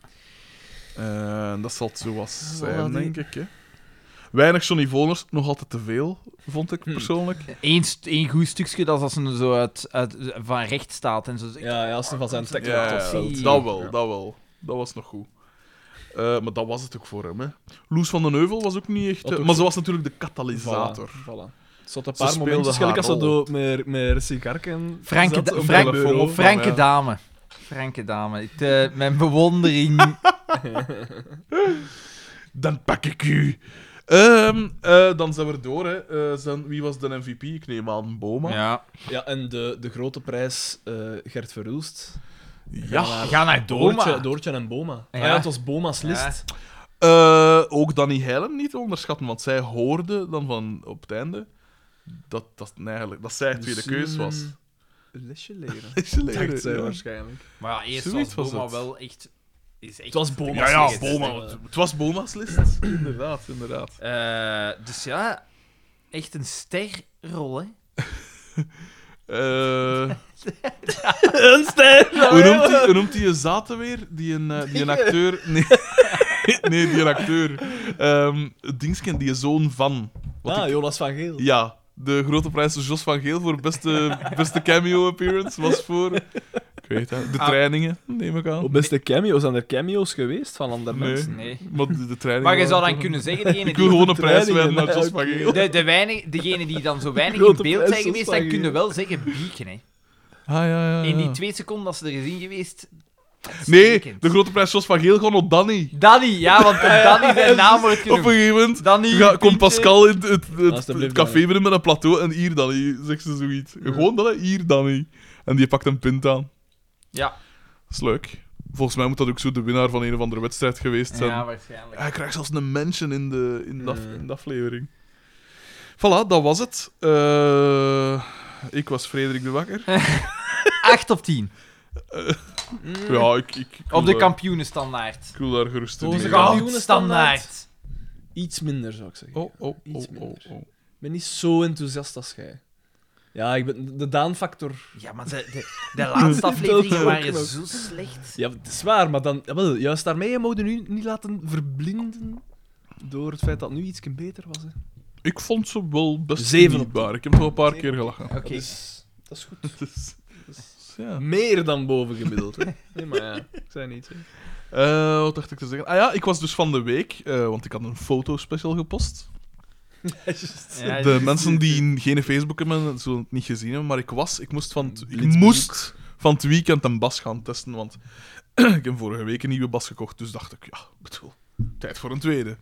[SPEAKER 2] Eh, dat zal het zo was zijn,
[SPEAKER 1] Voilà, die-
[SPEAKER 2] denk ik. Hè. Weinig Johnny Voners, nog altijd te veel, vond ik persoonlijk.
[SPEAKER 4] Eén, st- één goed stukje, dat is als ze zo uit, uit, van recht staat en zo.
[SPEAKER 3] Ja, ja, als ze van zijn
[SPEAKER 2] Ja,
[SPEAKER 3] tackle
[SPEAKER 2] ja,
[SPEAKER 3] tot
[SPEAKER 2] ja,
[SPEAKER 3] veld.
[SPEAKER 2] dat wel,
[SPEAKER 3] Ja.
[SPEAKER 2] dat wel. Dat was nog goed. Eh, maar dat was het ook voor hem. Hè. Loes van den Heuvel was ook niet echt...
[SPEAKER 3] Dat
[SPEAKER 2] eh,
[SPEAKER 3] ook
[SPEAKER 2] maar ze was natuurlijk de katalysator.
[SPEAKER 3] Voilà. voilà. Ze had een
[SPEAKER 2] Ze
[SPEAKER 3] paar
[SPEAKER 2] speelde
[SPEAKER 3] momentjes gelijk
[SPEAKER 2] haar
[SPEAKER 3] als ze
[SPEAKER 2] rol.
[SPEAKER 3] door met, met Rissie Karken
[SPEAKER 4] Franke,
[SPEAKER 3] zat
[SPEAKER 4] da-
[SPEAKER 3] op
[SPEAKER 4] Frank-
[SPEAKER 3] de bureau.
[SPEAKER 2] Frank-
[SPEAKER 4] Franke
[SPEAKER 2] Ja.
[SPEAKER 4] dame. Franke dame. Ik, eh, mijn
[SPEAKER 2] (laughs)
[SPEAKER 4] bewondering.
[SPEAKER 2] Dan pak ik u. Ehm, eh, dan zijn we er door. Hè. Eh, zijn, wie was de MVP? Ik neem aan Boma.
[SPEAKER 4] ja.
[SPEAKER 3] Ja, en de, de grote prijs eh, Gert Verhulst.
[SPEAKER 2] Ja.
[SPEAKER 4] Ga naar
[SPEAKER 3] Doortje, Doortje en Boma. Ah ja,
[SPEAKER 4] Ja.
[SPEAKER 3] het was Boma's list.
[SPEAKER 2] Eh, ook Danny Heilem niet te onderschatten, want zij hoorde dan van op het einde dat, dat, eigenlijk, dat zij haar tweede keus
[SPEAKER 3] (laughs)
[SPEAKER 2] was.
[SPEAKER 3] Dus Lesje leren.
[SPEAKER 2] Ja.
[SPEAKER 3] Dacht zij waarschijnlijk.
[SPEAKER 4] Maar ja, eerst
[SPEAKER 2] Zoiets
[SPEAKER 4] was
[SPEAKER 2] was
[SPEAKER 4] Boma
[SPEAKER 2] het.
[SPEAKER 4] wel echt... Is echt
[SPEAKER 3] Het was Boma's
[SPEAKER 2] Ja, ja,
[SPEAKER 3] list.
[SPEAKER 2] Boma.
[SPEAKER 3] Eh,
[SPEAKER 2] Het was Boma's list. inderdaad, inderdaad.
[SPEAKER 4] Eh, dus ja, echt een sterrol, hè.
[SPEAKER 2] Eh,
[SPEAKER 3] (laughs) Een ster!
[SPEAKER 2] hoe, noemt die, hoe noemt die je zaten weer? Die een, eh, die een acteur... Nee, (laughs) nee die een acteur. Ehm het Dingsken, die zoon van... Wat
[SPEAKER 3] Ah,
[SPEAKER 2] ik-
[SPEAKER 3] Jonas van Geel.
[SPEAKER 2] ja, de grote prijs van Jos van Geel voor beste, beste cameo-appearance was voor... Ik weet het, de
[SPEAKER 4] Ah.
[SPEAKER 2] trainingen, neem ik aan.
[SPEAKER 3] Op beste cameo's, zijn er cameo's geweest van andere
[SPEAKER 2] Nee.
[SPEAKER 3] mensen?
[SPEAKER 4] Nee.
[SPEAKER 2] Maar de, de trainingen
[SPEAKER 4] Maar je
[SPEAKER 2] waren
[SPEAKER 4] zou dan
[SPEAKER 2] toch-
[SPEAKER 4] kunnen zeggen, degene
[SPEAKER 2] Ik wil
[SPEAKER 4] die...
[SPEAKER 2] gewoon een prijs winnen
[SPEAKER 3] Trainingen,
[SPEAKER 2] naar Jos
[SPEAKER 3] oké.
[SPEAKER 2] van Geel.
[SPEAKER 4] De, de weinig, degene die dan zo weinig in
[SPEAKER 3] Grote
[SPEAKER 4] beeld zijn
[SPEAKER 3] prijs,
[SPEAKER 4] geweest,
[SPEAKER 3] dat
[SPEAKER 4] dan
[SPEAKER 3] is
[SPEAKER 4] kunnen
[SPEAKER 3] waar,
[SPEAKER 4] wel zeggen bieken, hè.
[SPEAKER 2] Ah, ja, ja, ja.
[SPEAKER 4] In die twee seconden dat ze er is in geweest... dat is
[SPEAKER 2] Nee,
[SPEAKER 4] stekend.
[SPEAKER 2] de grote prijs Jos van Geel gewoon op Danny.
[SPEAKER 4] Danny,
[SPEAKER 2] (laughs)
[SPEAKER 4] ja, want Danny zijn naam wordt
[SPEAKER 2] Op een
[SPEAKER 4] genoemd.
[SPEAKER 2] gegeven moment
[SPEAKER 4] Danny,
[SPEAKER 2] ga, komt
[SPEAKER 4] Pietje.
[SPEAKER 2] Pascal in het, het, het-
[SPEAKER 3] Alsjeblieft,
[SPEAKER 2] het café
[SPEAKER 3] Danny.
[SPEAKER 2] binnen met een plateau en hier Danny, zegt ze zoiets. Gewoon dat, hè, hier Danny. En die pakt een pint aan.
[SPEAKER 4] Ja.
[SPEAKER 2] Dat is leuk. Volgens mij moet dat ook zo de winnaar van een of andere wedstrijd geweest zijn.
[SPEAKER 4] Ja, waarschijnlijk.
[SPEAKER 2] Hij krijgt zelfs een mention in de, in de, af-
[SPEAKER 3] Mm.
[SPEAKER 2] in de aflevering. Voilà, dat was het. Eh, ik was Frederik de Wakker.
[SPEAKER 4] 8 op 10.
[SPEAKER 2] Ja, ik... ik, ik wil
[SPEAKER 4] Op de
[SPEAKER 2] daar-
[SPEAKER 4] kampioenenstandaard.
[SPEAKER 2] Ik wil daar gerust in
[SPEAKER 3] Onze
[SPEAKER 2] meegaan.
[SPEAKER 3] kampioen.
[SPEAKER 4] Goudstandaard.
[SPEAKER 3] Iets minder, zou ik zeggen.
[SPEAKER 2] Oh, oh, oh,
[SPEAKER 3] Iets
[SPEAKER 2] oh,
[SPEAKER 3] minder.
[SPEAKER 2] oh.
[SPEAKER 3] Ik ben niet zo enthousiast als jij. Ja, ik ben de Daan-factor.
[SPEAKER 4] Ja, maar de, de, de
[SPEAKER 2] (laughs)
[SPEAKER 4] laatste afleveringen
[SPEAKER 3] ook
[SPEAKER 4] waren
[SPEAKER 3] nog.
[SPEAKER 4] zo slecht.
[SPEAKER 3] Ja, het is waar, maar dan, jawel, juist daarmee je mogen nu niet laten verblinden door het feit dat het nu iets beter was. Hè.
[SPEAKER 2] Ik vond ze wel best
[SPEAKER 3] Zeven op
[SPEAKER 2] genietbaar. Ik heb wel een paar keer gelachen.
[SPEAKER 4] Oké.
[SPEAKER 3] Dat, is, dat is goed.
[SPEAKER 2] Dus, dus, ja.
[SPEAKER 3] Meer dan bovengemiddeld. Hè. (laughs) Nee, maar (laughs) ja, ik zei niet. Hè.
[SPEAKER 2] Eh, wat dacht ik te zeggen? Ah ja, ik was dus van de week, eh, want ik had een fotospecial gepost.
[SPEAKER 4] Ja,
[SPEAKER 2] de
[SPEAKER 4] dus-
[SPEAKER 2] mensen die geen Facebook hebben, zullen het niet gezien hebben, maar ik was, ik moest van, het- ik
[SPEAKER 3] Blitzbloek.
[SPEAKER 2] moest van het weekend een bas gaan testen, want (clears throat) ik heb vorige week een nieuwe bas gekocht, dus dacht ik, ja, bedoel, tijd voor een tweede.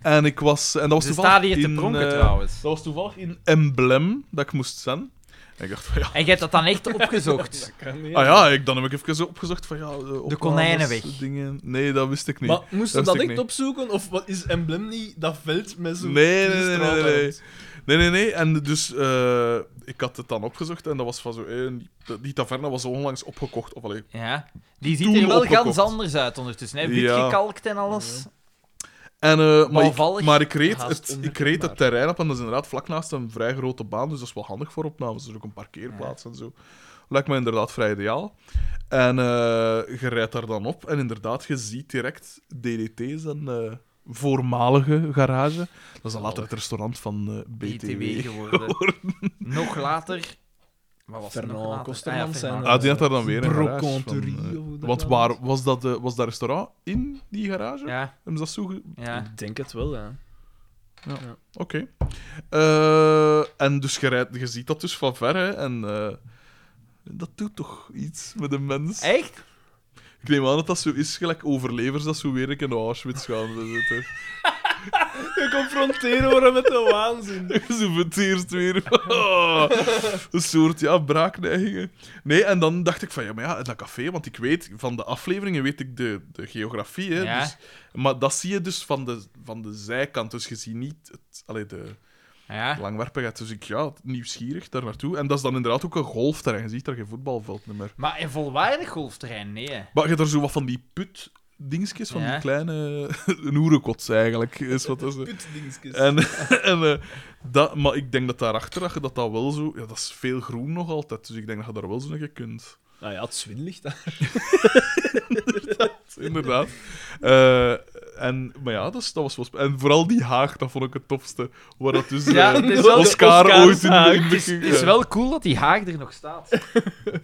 [SPEAKER 2] En ik was, en dat was
[SPEAKER 4] Ze
[SPEAKER 2] toevallig
[SPEAKER 4] staan hier te
[SPEAKER 2] in,
[SPEAKER 4] pronken
[SPEAKER 2] eh,
[SPEAKER 4] trouwens.
[SPEAKER 2] Dat was toevallig in Emblem dat ik moest zijn. En ik dacht van ja,
[SPEAKER 4] En je hebt dat dan echt
[SPEAKER 2] (laughs)
[SPEAKER 4] opgezocht.
[SPEAKER 2] Ah ja, ik, dan heb ik even opgezocht van ja... eh, opnames,
[SPEAKER 4] konijnenweg.
[SPEAKER 2] Dingen. Nee, dat wist ik niet.
[SPEAKER 3] Maar moesten
[SPEAKER 2] Dat
[SPEAKER 3] we dat
[SPEAKER 2] wist
[SPEAKER 3] echt
[SPEAKER 2] ik niet.
[SPEAKER 3] opzoeken? Of wat is emblem niet dat veld met zo'n...
[SPEAKER 2] Nee, nee,
[SPEAKER 3] die
[SPEAKER 2] nee,
[SPEAKER 3] straat
[SPEAKER 2] nee, nee.
[SPEAKER 3] uit?
[SPEAKER 2] Nee, nee, nee. En dus eh, ik had het dan opgezocht en dat was van zo... eh, die- die taverne was onlangs opgekocht. Of allee.
[SPEAKER 4] Ja. Die ziet
[SPEAKER 2] Toen
[SPEAKER 4] er wel
[SPEAKER 2] opgekocht.
[SPEAKER 4] gans anders uit ondertussen. Hè? Wit
[SPEAKER 2] Ja.
[SPEAKER 4] gekalkt en alles.
[SPEAKER 2] En, eh, maar, ik,
[SPEAKER 4] Bouwvallig,
[SPEAKER 2] maar ik reed,
[SPEAKER 3] haast
[SPEAKER 2] het, ik reed het terrein op en dat is inderdaad vlak naast een vrij grote baan, dus dat is wel handig voor opnames. Er is ook een parkeerplaats en zo. Lijkt me inderdaad vrij ideaal. En eh, je rijdt daar dan op en inderdaad, je ziet direct DDT's en... eh, voormalige garage. Dat is dan later het restaurant van eh,
[SPEAKER 4] BTW
[SPEAKER 2] BTW.
[SPEAKER 4] geworden. nog later... Wat was er nog
[SPEAKER 3] Fernand
[SPEAKER 4] later?
[SPEAKER 3] Kostermans
[SPEAKER 4] Ah, ja, Fernand.
[SPEAKER 3] zijn,
[SPEAKER 2] Ah, die had daar dan weer een garage
[SPEAKER 3] Brocanterie,
[SPEAKER 2] van, eh,
[SPEAKER 3] of hoe dat
[SPEAKER 2] Want
[SPEAKER 3] dan
[SPEAKER 2] waar
[SPEAKER 3] was.
[SPEAKER 2] was dat, eh, was dat restaurant in die garage? Ja.
[SPEAKER 4] Ja,
[SPEAKER 2] Hebben ze dat zo... ge-
[SPEAKER 4] ja.
[SPEAKER 3] Ik denk het wel, ja.
[SPEAKER 2] Oké. Eh, en dus je, rijdt- je ziet dat dus van ver, hè. En eh, dat doet toch iets met een mens.
[SPEAKER 4] Echt?
[SPEAKER 2] Ik neem aan dat dat zo is, gelijk overlevers dat zo weer een keer naar Auschwitz gaan. Dat is het, hè.
[SPEAKER 1] We confronteren worden met de waanzin.
[SPEAKER 2] Zo voor het eerst weer. Oh. een soort ja, braakneigingen. Nee, en dan dacht ik van ja, maar ja, dat café, want ik weet van de afleveringen weet ik de, de geografie. Hè,
[SPEAKER 4] Ja.
[SPEAKER 2] dus, maar dat zie je dus van de, van de zijkant. Dus je ziet niet het, allee, de
[SPEAKER 4] Ja.
[SPEAKER 2] langwerpigheid. Dus ik ja, nieuwsgierig daar naartoe. En dat is dan inderdaad ook een golfterrein. Je ziet daar geen voetbalveld meer.
[SPEAKER 4] Maar een volwaardig golfterrein, nee. hè.
[SPEAKER 2] Maar je hebt daar zo wat van die put. Dingetjes van
[SPEAKER 4] Ja.
[SPEAKER 2] die kleine. (laughs) een oerenkots eigenlijk. Is wat dat is.
[SPEAKER 1] Putdingskes.
[SPEAKER 2] En, en, (laughs) eh, dat, maar ik denk dat daarachter dat je dat, dat wel zo. Ja, dat is veel groen nog altijd. Dus ik denk dat je daar wel zo naar je kunt. (laughs)
[SPEAKER 1] Nou ja, het zwinlicht. daar.
[SPEAKER 2] Inderdaad. Eh, en, maar ja, dat, is- dat was wel sp- En vooral die haag, dat vond ik het tofste. Waar dat dus,
[SPEAKER 4] Ja,
[SPEAKER 2] eh,
[SPEAKER 4] (laughs) het is wel de
[SPEAKER 2] Oscar
[SPEAKER 1] Oscarshaag.
[SPEAKER 2] ooit in de- in
[SPEAKER 4] Het
[SPEAKER 2] de-
[SPEAKER 4] is, het is
[SPEAKER 2] ja.
[SPEAKER 4] wel cool dat die haag er nog staat.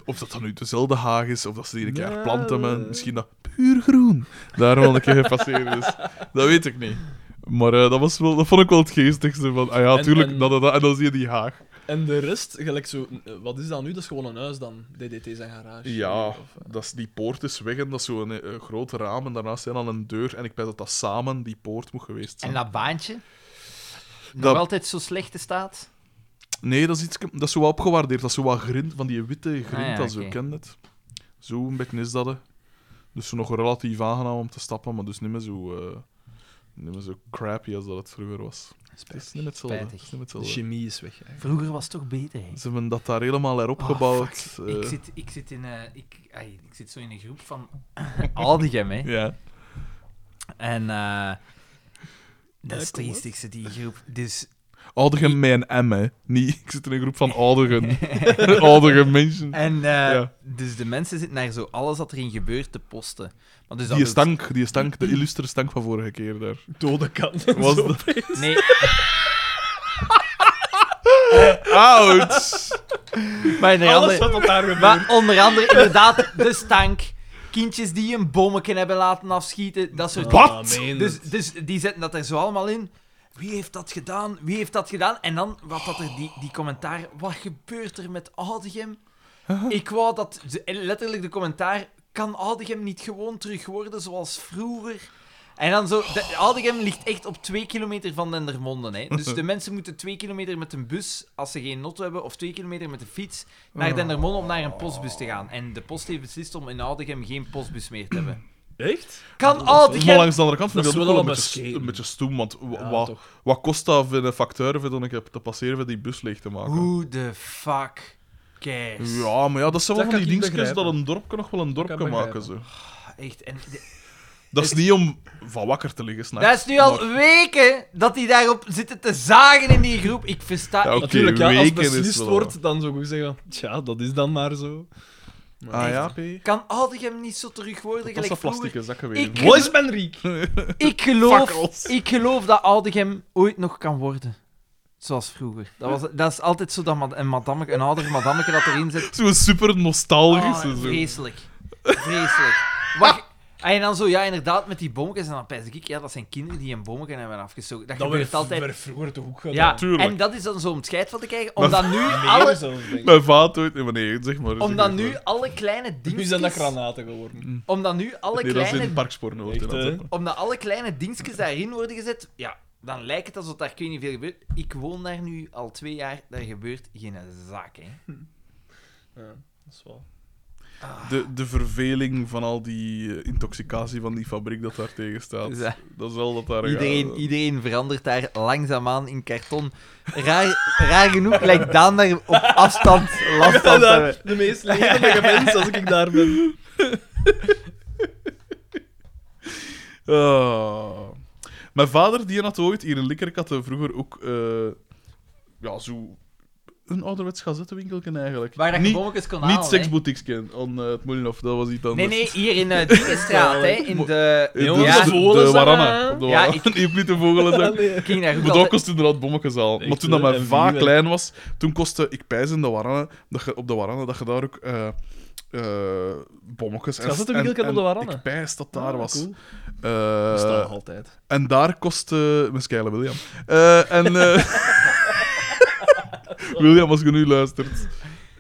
[SPEAKER 2] Of dat dan nu dezelfde haag is, of dat ze die een keer
[SPEAKER 1] Nou,
[SPEAKER 2] planten.
[SPEAKER 1] eh.
[SPEAKER 2] Maar misschien dat puur groen daar wel een keer gepasseerd (laughs) is. Dat weet ik niet. Maar eh, dat, was wel, dat vond ik wel het geestigste. Van, ah ja,
[SPEAKER 1] En-
[SPEAKER 2] tuurlijk.
[SPEAKER 1] en-
[SPEAKER 2] dat, dat, dat- en dan zie je die haag.
[SPEAKER 1] En de rest, gelijk zo... eh, Wat is dat nu? Dat is gewoon een huis dan. DDT zijn garage.
[SPEAKER 2] Ja,
[SPEAKER 1] Of, eh,
[SPEAKER 2] dat is, die poort is weg en dat is zo'n eh, eh, groot raam en daarnaast zijn dan een deur. En ik weet dat dat samen die poort moet geweest zijn.
[SPEAKER 4] (laughs) En dat baantje? Nog
[SPEAKER 2] Dat-
[SPEAKER 4] altijd zo slechte staat?
[SPEAKER 2] Nee, dat is, iets, dat is zo wat opgewaardeerd. Dat is zo wat grind, van die witte grind,
[SPEAKER 4] Ah ja,
[SPEAKER 2] dat zo,
[SPEAKER 4] oké.
[SPEAKER 2] ken je het? Zo'n beetje is dat, hè. Dus zo nog relatief aangenaam om te stappen, maar dus niet meer zo, eh, niet meer zo crappy als dat het vroeger was. Het is niet meer hetzelfde.
[SPEAKER 4] Spijtig.
[SPEAKER 2] Het is niet meer
[SPEAKER 1] De
[SPEAKER 2] hetzelfde.
[SPEAKER 1] chemie is weg. eigenlijk.
[SPEAKER 4] Vroeger was het toch beter, hè?
[SPEAKER 2] Ze hebben dat daar helemaal erop
[SPEAKER 4] Oh,
[SPEAKER 2] gebouwd.
[SPEAKER 4] fuck.
[SPEAKER 2] eh,
[SPEAKER 4] ik, zit, ik, zit in, eh, ik, ai, ik zit zo in een groep van (laughs) Aldegem, hè.
[SPEAKER 2] Ja.
[SPEAKER 4] En eh dat is het
[SPEAKER 1] kom op.
[SPEAKER 4] triestigste, die groep. Dus
[SPEAKER 2] Ouderen met een M, hè. Niet, (laughs) ik zit in een groep van
[SPEAKER 4] (laughs)
[SPEAKER 2] (laughs) ouderen. ouderen mensen.
[SPEAKER 4] En eh,
[SPEAKER 2] Ja.
[SPEAKER 4] dus de mensen zitten naar zo alles wat erin gebeurt te posten. Maar dus dat
[SPEAKER 2] Die
[SPEAKER 4] wil-
[SPEAKER 2] stank, die stank, de illustre stank van vorige keer daar.
[SPEAKER 1] Dode kant.
[SPEAKER 2] Was
[SPEAKER 1] Zo.
[SPEAKER 2] dat...
[SPEAKER 4] Nee,
[SPEAKER 2] (laughs) Ouch!
[SPEAKER 4] maar onder
[SPEAKER 1] (laughs) Alles
[SPEAKER 4] andere,
[SPEAKER 1] wat daar gebeurt.
[SPEAKER 4] maar onder andere inderdaad de stank. Kindjes die een bommetje hebben laten afschieten, dat soort
[SPEAKER 2] Wat?
[SPEAKER 1] Ah, meen het.
[SPEAKER 4] Dus, dus die zetten dat er zo allemaal in. Wie heeft dat gedaan? Wie heeft dat gedaan? En dan wat dat er, die, die commentaar. Wat gebeurt er met Oudegem? Ik wou dat. ze- Letterlijk de commentaar. Kan Oudegem niet gewoon terug worden zoals vroeger? En dan zo. De, Oudegem ligt echt op twee kilometer van Dendermonde. Hè. Dus de mensen moeten twee kilometer met een bus. als ze geen auto hebben. of twee kilometer met de fiets. naar Dendermonde om naar een postbus te gaan. En de post heeft beslist om in Oudegem geen postbus meer te hebben.
[SPEAKER 1] Echt?
[SPEAKER 4] Kan
[SPEAKER 2] Maar
[SPEAKER 4] Oudegem.
[SPEAKER 2] langs de andere kant vind ik
[SPEAKER 1] Dat
[SPEAKER 2] dat
[SPEAKER 1] is wel
[SPEAKER 2] ook wel een
[SPEAKER 1] al
[SPEAKER 2] beetje,
[SPEAKER 1] bescheten.
[SPEAKER 2] een beetje stoem, want wa-
[SPEAKER 1] Ja,
[SPEAKER 2] wa-
[SPEAKER 1] toch.
[SPEAKER 2] wat kost dat voor een facteur voor dan ik heb te passeren voor die bus leeg te maken?
[SPEAKER 4] Hoe de fuck cares?
[SPEAKER 2] Ja, maar ja, dat zijn wel
[SPEAKER 1] Dat
[SPEAKER 2] van
[SPEAKER 1] kan
[SPEAKER 2] die
[SPEAKER 1] ik
[SPEAKER 2] dingetjes dat
[SPEAKER 1] begrijpen.
[SPEAKER 2] een dorp kan nog wel een dorp
[SPEAKER 1] kan
[SPEAKER 2] kan maken. Zo.
[SPEAKER 1] begrijpen.
[SPEAKER 4] Echt. En de-
[SPEAKER 2] Dat is niet om van wakker te liggen s'nachts.
[SPEAKER 4] dat is nu al
[SPEAKER 2] maar-
[SPEAKER 4] weken dat die daarop zitten te zagen in die groep. Ik versta.
[SPEAKER 2] Ja,
[SPEAKER 4] ik-
[SPEAKER 2] Oké,
[SPEAKER 1] Natuurlijk, ja, als
[SPEAKER 2] weken is
[SPEAKER 1] beslist
[SPEAKER 2] wel-
[SPEAKER 1] wordt, dan zou ik ook zeggen... Tja, dat is dan maar zo.
[SPEAKER 2] Ah ja, P.
[SPEAKER 4] Kan Aldegem niet zo terug
[SPEAKER 2] Dat
[SPEAKER 4] worden
[SPEAKER 2] was
[SPEAKER 4] gelijk
[SPEAKER 2] dat
[SPEAKER 4] vroeger?
[SPEAKER 2] plastic zakken weer.
[SPEAKER 4] Ik-
[SPEAKER 1] Wat is Ben Riek?
[SPEAKER 4] Ik geloof,
[SPEAKER 2] Fakkels.
[SPEAKER 4] ik geloof dat Aldegem ooit nog kan worden. Zoals vroeger. Dat, was, dat is altijd zo dat ma- een, madammeke, een oudere madammeke dat erin zit.
[SPEAKER 2] Zo'n super nostalgisch.
[SPEAKER 4] Oh,
[SPEAKER 2] Ah, zo.
[SPEAKER 4] vreselijk. Vreselijk. Wacht. En dan zo, ja, inderdaad, met die bommetjes. En dan pijs ik, ja, dat zijn kinderen die een bommetje hebben afgestoken. Dat,
[SPEAKER 1] Dat
[SPEAKER 4] gebeurt
[SPEAKER 1] werd,
[SPEAKER 4] altijd.
[SPEAKER 1] werd vroeger toch ook gedaan.
[SPEAKER 4] Ja,
[SPEAKER 2] Tuurlijk.
[SPEAKER 4] en dat is dan zo om het scheid van te krijgen, omdat nu alle,
[SPEAKER 1] Meer zelfs, denk ik.
[SPEAKER 2] (laughs) Mijn vader ooit. Nee, maar nee, zeg maar. zeg
[SPEAKER 4] omdat
[SPEAKER 2] maar.
[SPEAKER 4] nu alle kleine
[SPEAKER 1] Nu zijn dat
[SPEAKER 4] dingetjes...
[SPEAKER 1] granaten geworden.
[SPEAKER 4] Omdat nu alle
[SPEAKER 2] Nee, dat is in
[SPEAKER 4] kleine,
[SPEAKER 2] parksporno.
[SPEAKER 1] Echt, hè?
[SPEAKER 4] omdat alle kleine dingetjes daarin worden gezet, ja, dan lijkt het alsof daar ik weet niet veel gebeurt. Ik woon daar nu al twee jaar, daar gebeurt geen zaak, hè.
[SPEAKER 1] Ja, dat is (laughs) wel...
[SPEAKER 2] De, de verveling van al die eh, intoxicatie van die fabriek dat daar tegen staat.
[SPEAKER 4] Dus, eh,
[SPEAKER 2] Dat is wel dat daar...
[SPEAKER 4] Iedereen, iedereen verandert daar langzaamaan in karton. Raar, raar genoeg lijkt Daan daar op afstand (laughs) last van te hebben.
[SPEAKER 1] de meest (laughs) levendige mens als ik daar ben.
[SPEAKER 2] Ah. Mijn vader die had ooit hier in Likkerk had hij vroeger ook... eh, ja, zo... Een ouderwets gazettenwinkelken eigenlijk.
[SPEAKER 4] Waar dat je
[SPEAKER 2] niet,
[SPEAKER 4] bommetjes kon
[SPEAKER 2] Niet
[SPEAKER 4] halen, hè.
[SPEAKER 2] seksboutiquesken aan eh, het Moelinhof, dat was iets
[SPEAKER 4] Nee,
[SPEAKER 2] anders.
[SPEAKER 4] nee, hier in eh (laughs) Dingenstraat, hè. In de...
[SPEAKER 2] Eh,
[SPEAKER 1] Jongens,
[SPEAKER 4] ja,
[SPEAKER 2] de, de,
[SPEAKER 1] vogels,
[SPEAKER 2] de
[SPEAKER 1] hè.
[SPEAKER 2] Waranne. Op de
[SPEAKER 4] Ja,
[SPEAKER 2] Waranne. (laughs)
[SPEAKER 4] ik-
[SPEAKER 2] Nee, ook niet de vogelen. zeg.
[SPEAKER 4] ik ging daar ook
[SPEAKER 2] Maar dat
[SPEAKER 4] altijd-
[SPEAKER 2] kost inderdaad bommetjes al.
[SPEAKER 1] Echt,
[SPEAKER 2] maar toen dat
[SPEAKER 1] hè?
[SPEAKER 2] mijn
[SPEAKER 1] En
[SPEAKER 2] va
[SPEAKER 1] vuur, hè?
[SPEAKER 2] klein was, toen kostte ik pijs in de Waranne, dat je, op de Waranne, dat je daar ook eh eh bommetjes...
[SPEAKER 1] Schat, dat winkelken op de Waranne?
[SPEAKER 2] Ik pijs dat daar was.
[SPEAKER 1] Ah, Cool.
[SPEAKER 2] Eh,
[SPEAKER 1] Dat nog altijd.
[SPEAKER 2] en daar kostte... Mijn Skyler William. Eh, en... eh, (laughs) William, als je nu luistert...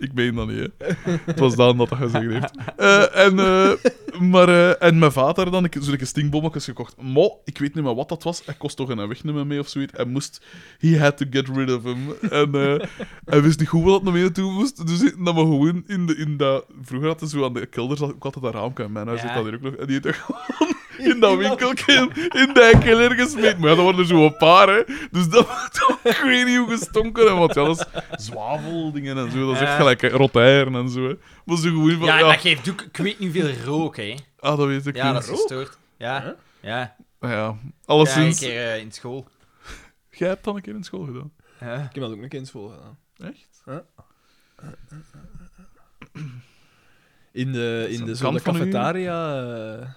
[SPEAKER 2] Ik meen dat niet, hè. Het was Daan dat dat gezegd heeft. Eh, en eh, Maar, eh, en mijn vader dan, ik heb zulke stinkbommetjes gekocht. Mo, ik weet niet meer wat dat was. Hij kost toch een wegnummer mee of zoiets. Hij moest... He had to get rid of him. En eh, hij wist niet goed wat naar mee toe moest. Dus hij nam me gewoon in, de, in dat... Vroeger hadden ze zo aan de kelder zat ook altijd dat raamje. in Mijn huis
[SPEAKER 4] Ja.
[SPEAKER 2] zit dat hier ook nog. En die heeft (laughs) dat gewoon in dat winkeltje in de kelder gesmeed. Maar ja, dat waren er zo een paar, hè. Dus dat dat- ik weet niet hoe gestonken. En wat, ja, dat is zwaveldingen en zo. Dat is echt
[SPEAKER 4] Ja.
[SPEAKER 2] gelijk hè, rot eieren en zo, hè. Maar zo gewoon van...
[SPEAKER 4] Ja,
[SPEAKER 2] Ja,
[SPEAKER 4] dat geeft ook, ik weet niet hoeveel rook, hè.
[SPEAKER 2] ah, dat weet ik
[SPEAKER 4] Ja,
[SPEAKER 2] niet.
[SPEAKER 4] dat is gestoord. Ja, ja.
[SPEAKER 2] Nou Ja,
[SPEAKER 4] Ja, een
[SPEAKER 2] alleszins.
[SPEAKER 4] keer eh, in school.
[SPEAKER 2] Jij hebt dan een keer in school gedaan.
[SPEAKER 4] Ja.
[SPEAKER 1] Ik heb dat ook een keer in school gedaan.
[SPEAKER 2] Echt?
[SPEAKER 1] In de, in de
[SPEAKER 2] Zo'n
[SPEAKER 1] zo'n
[SPEAKER 2] kant van u.
[SPEAKER 1] cafetaria. eh.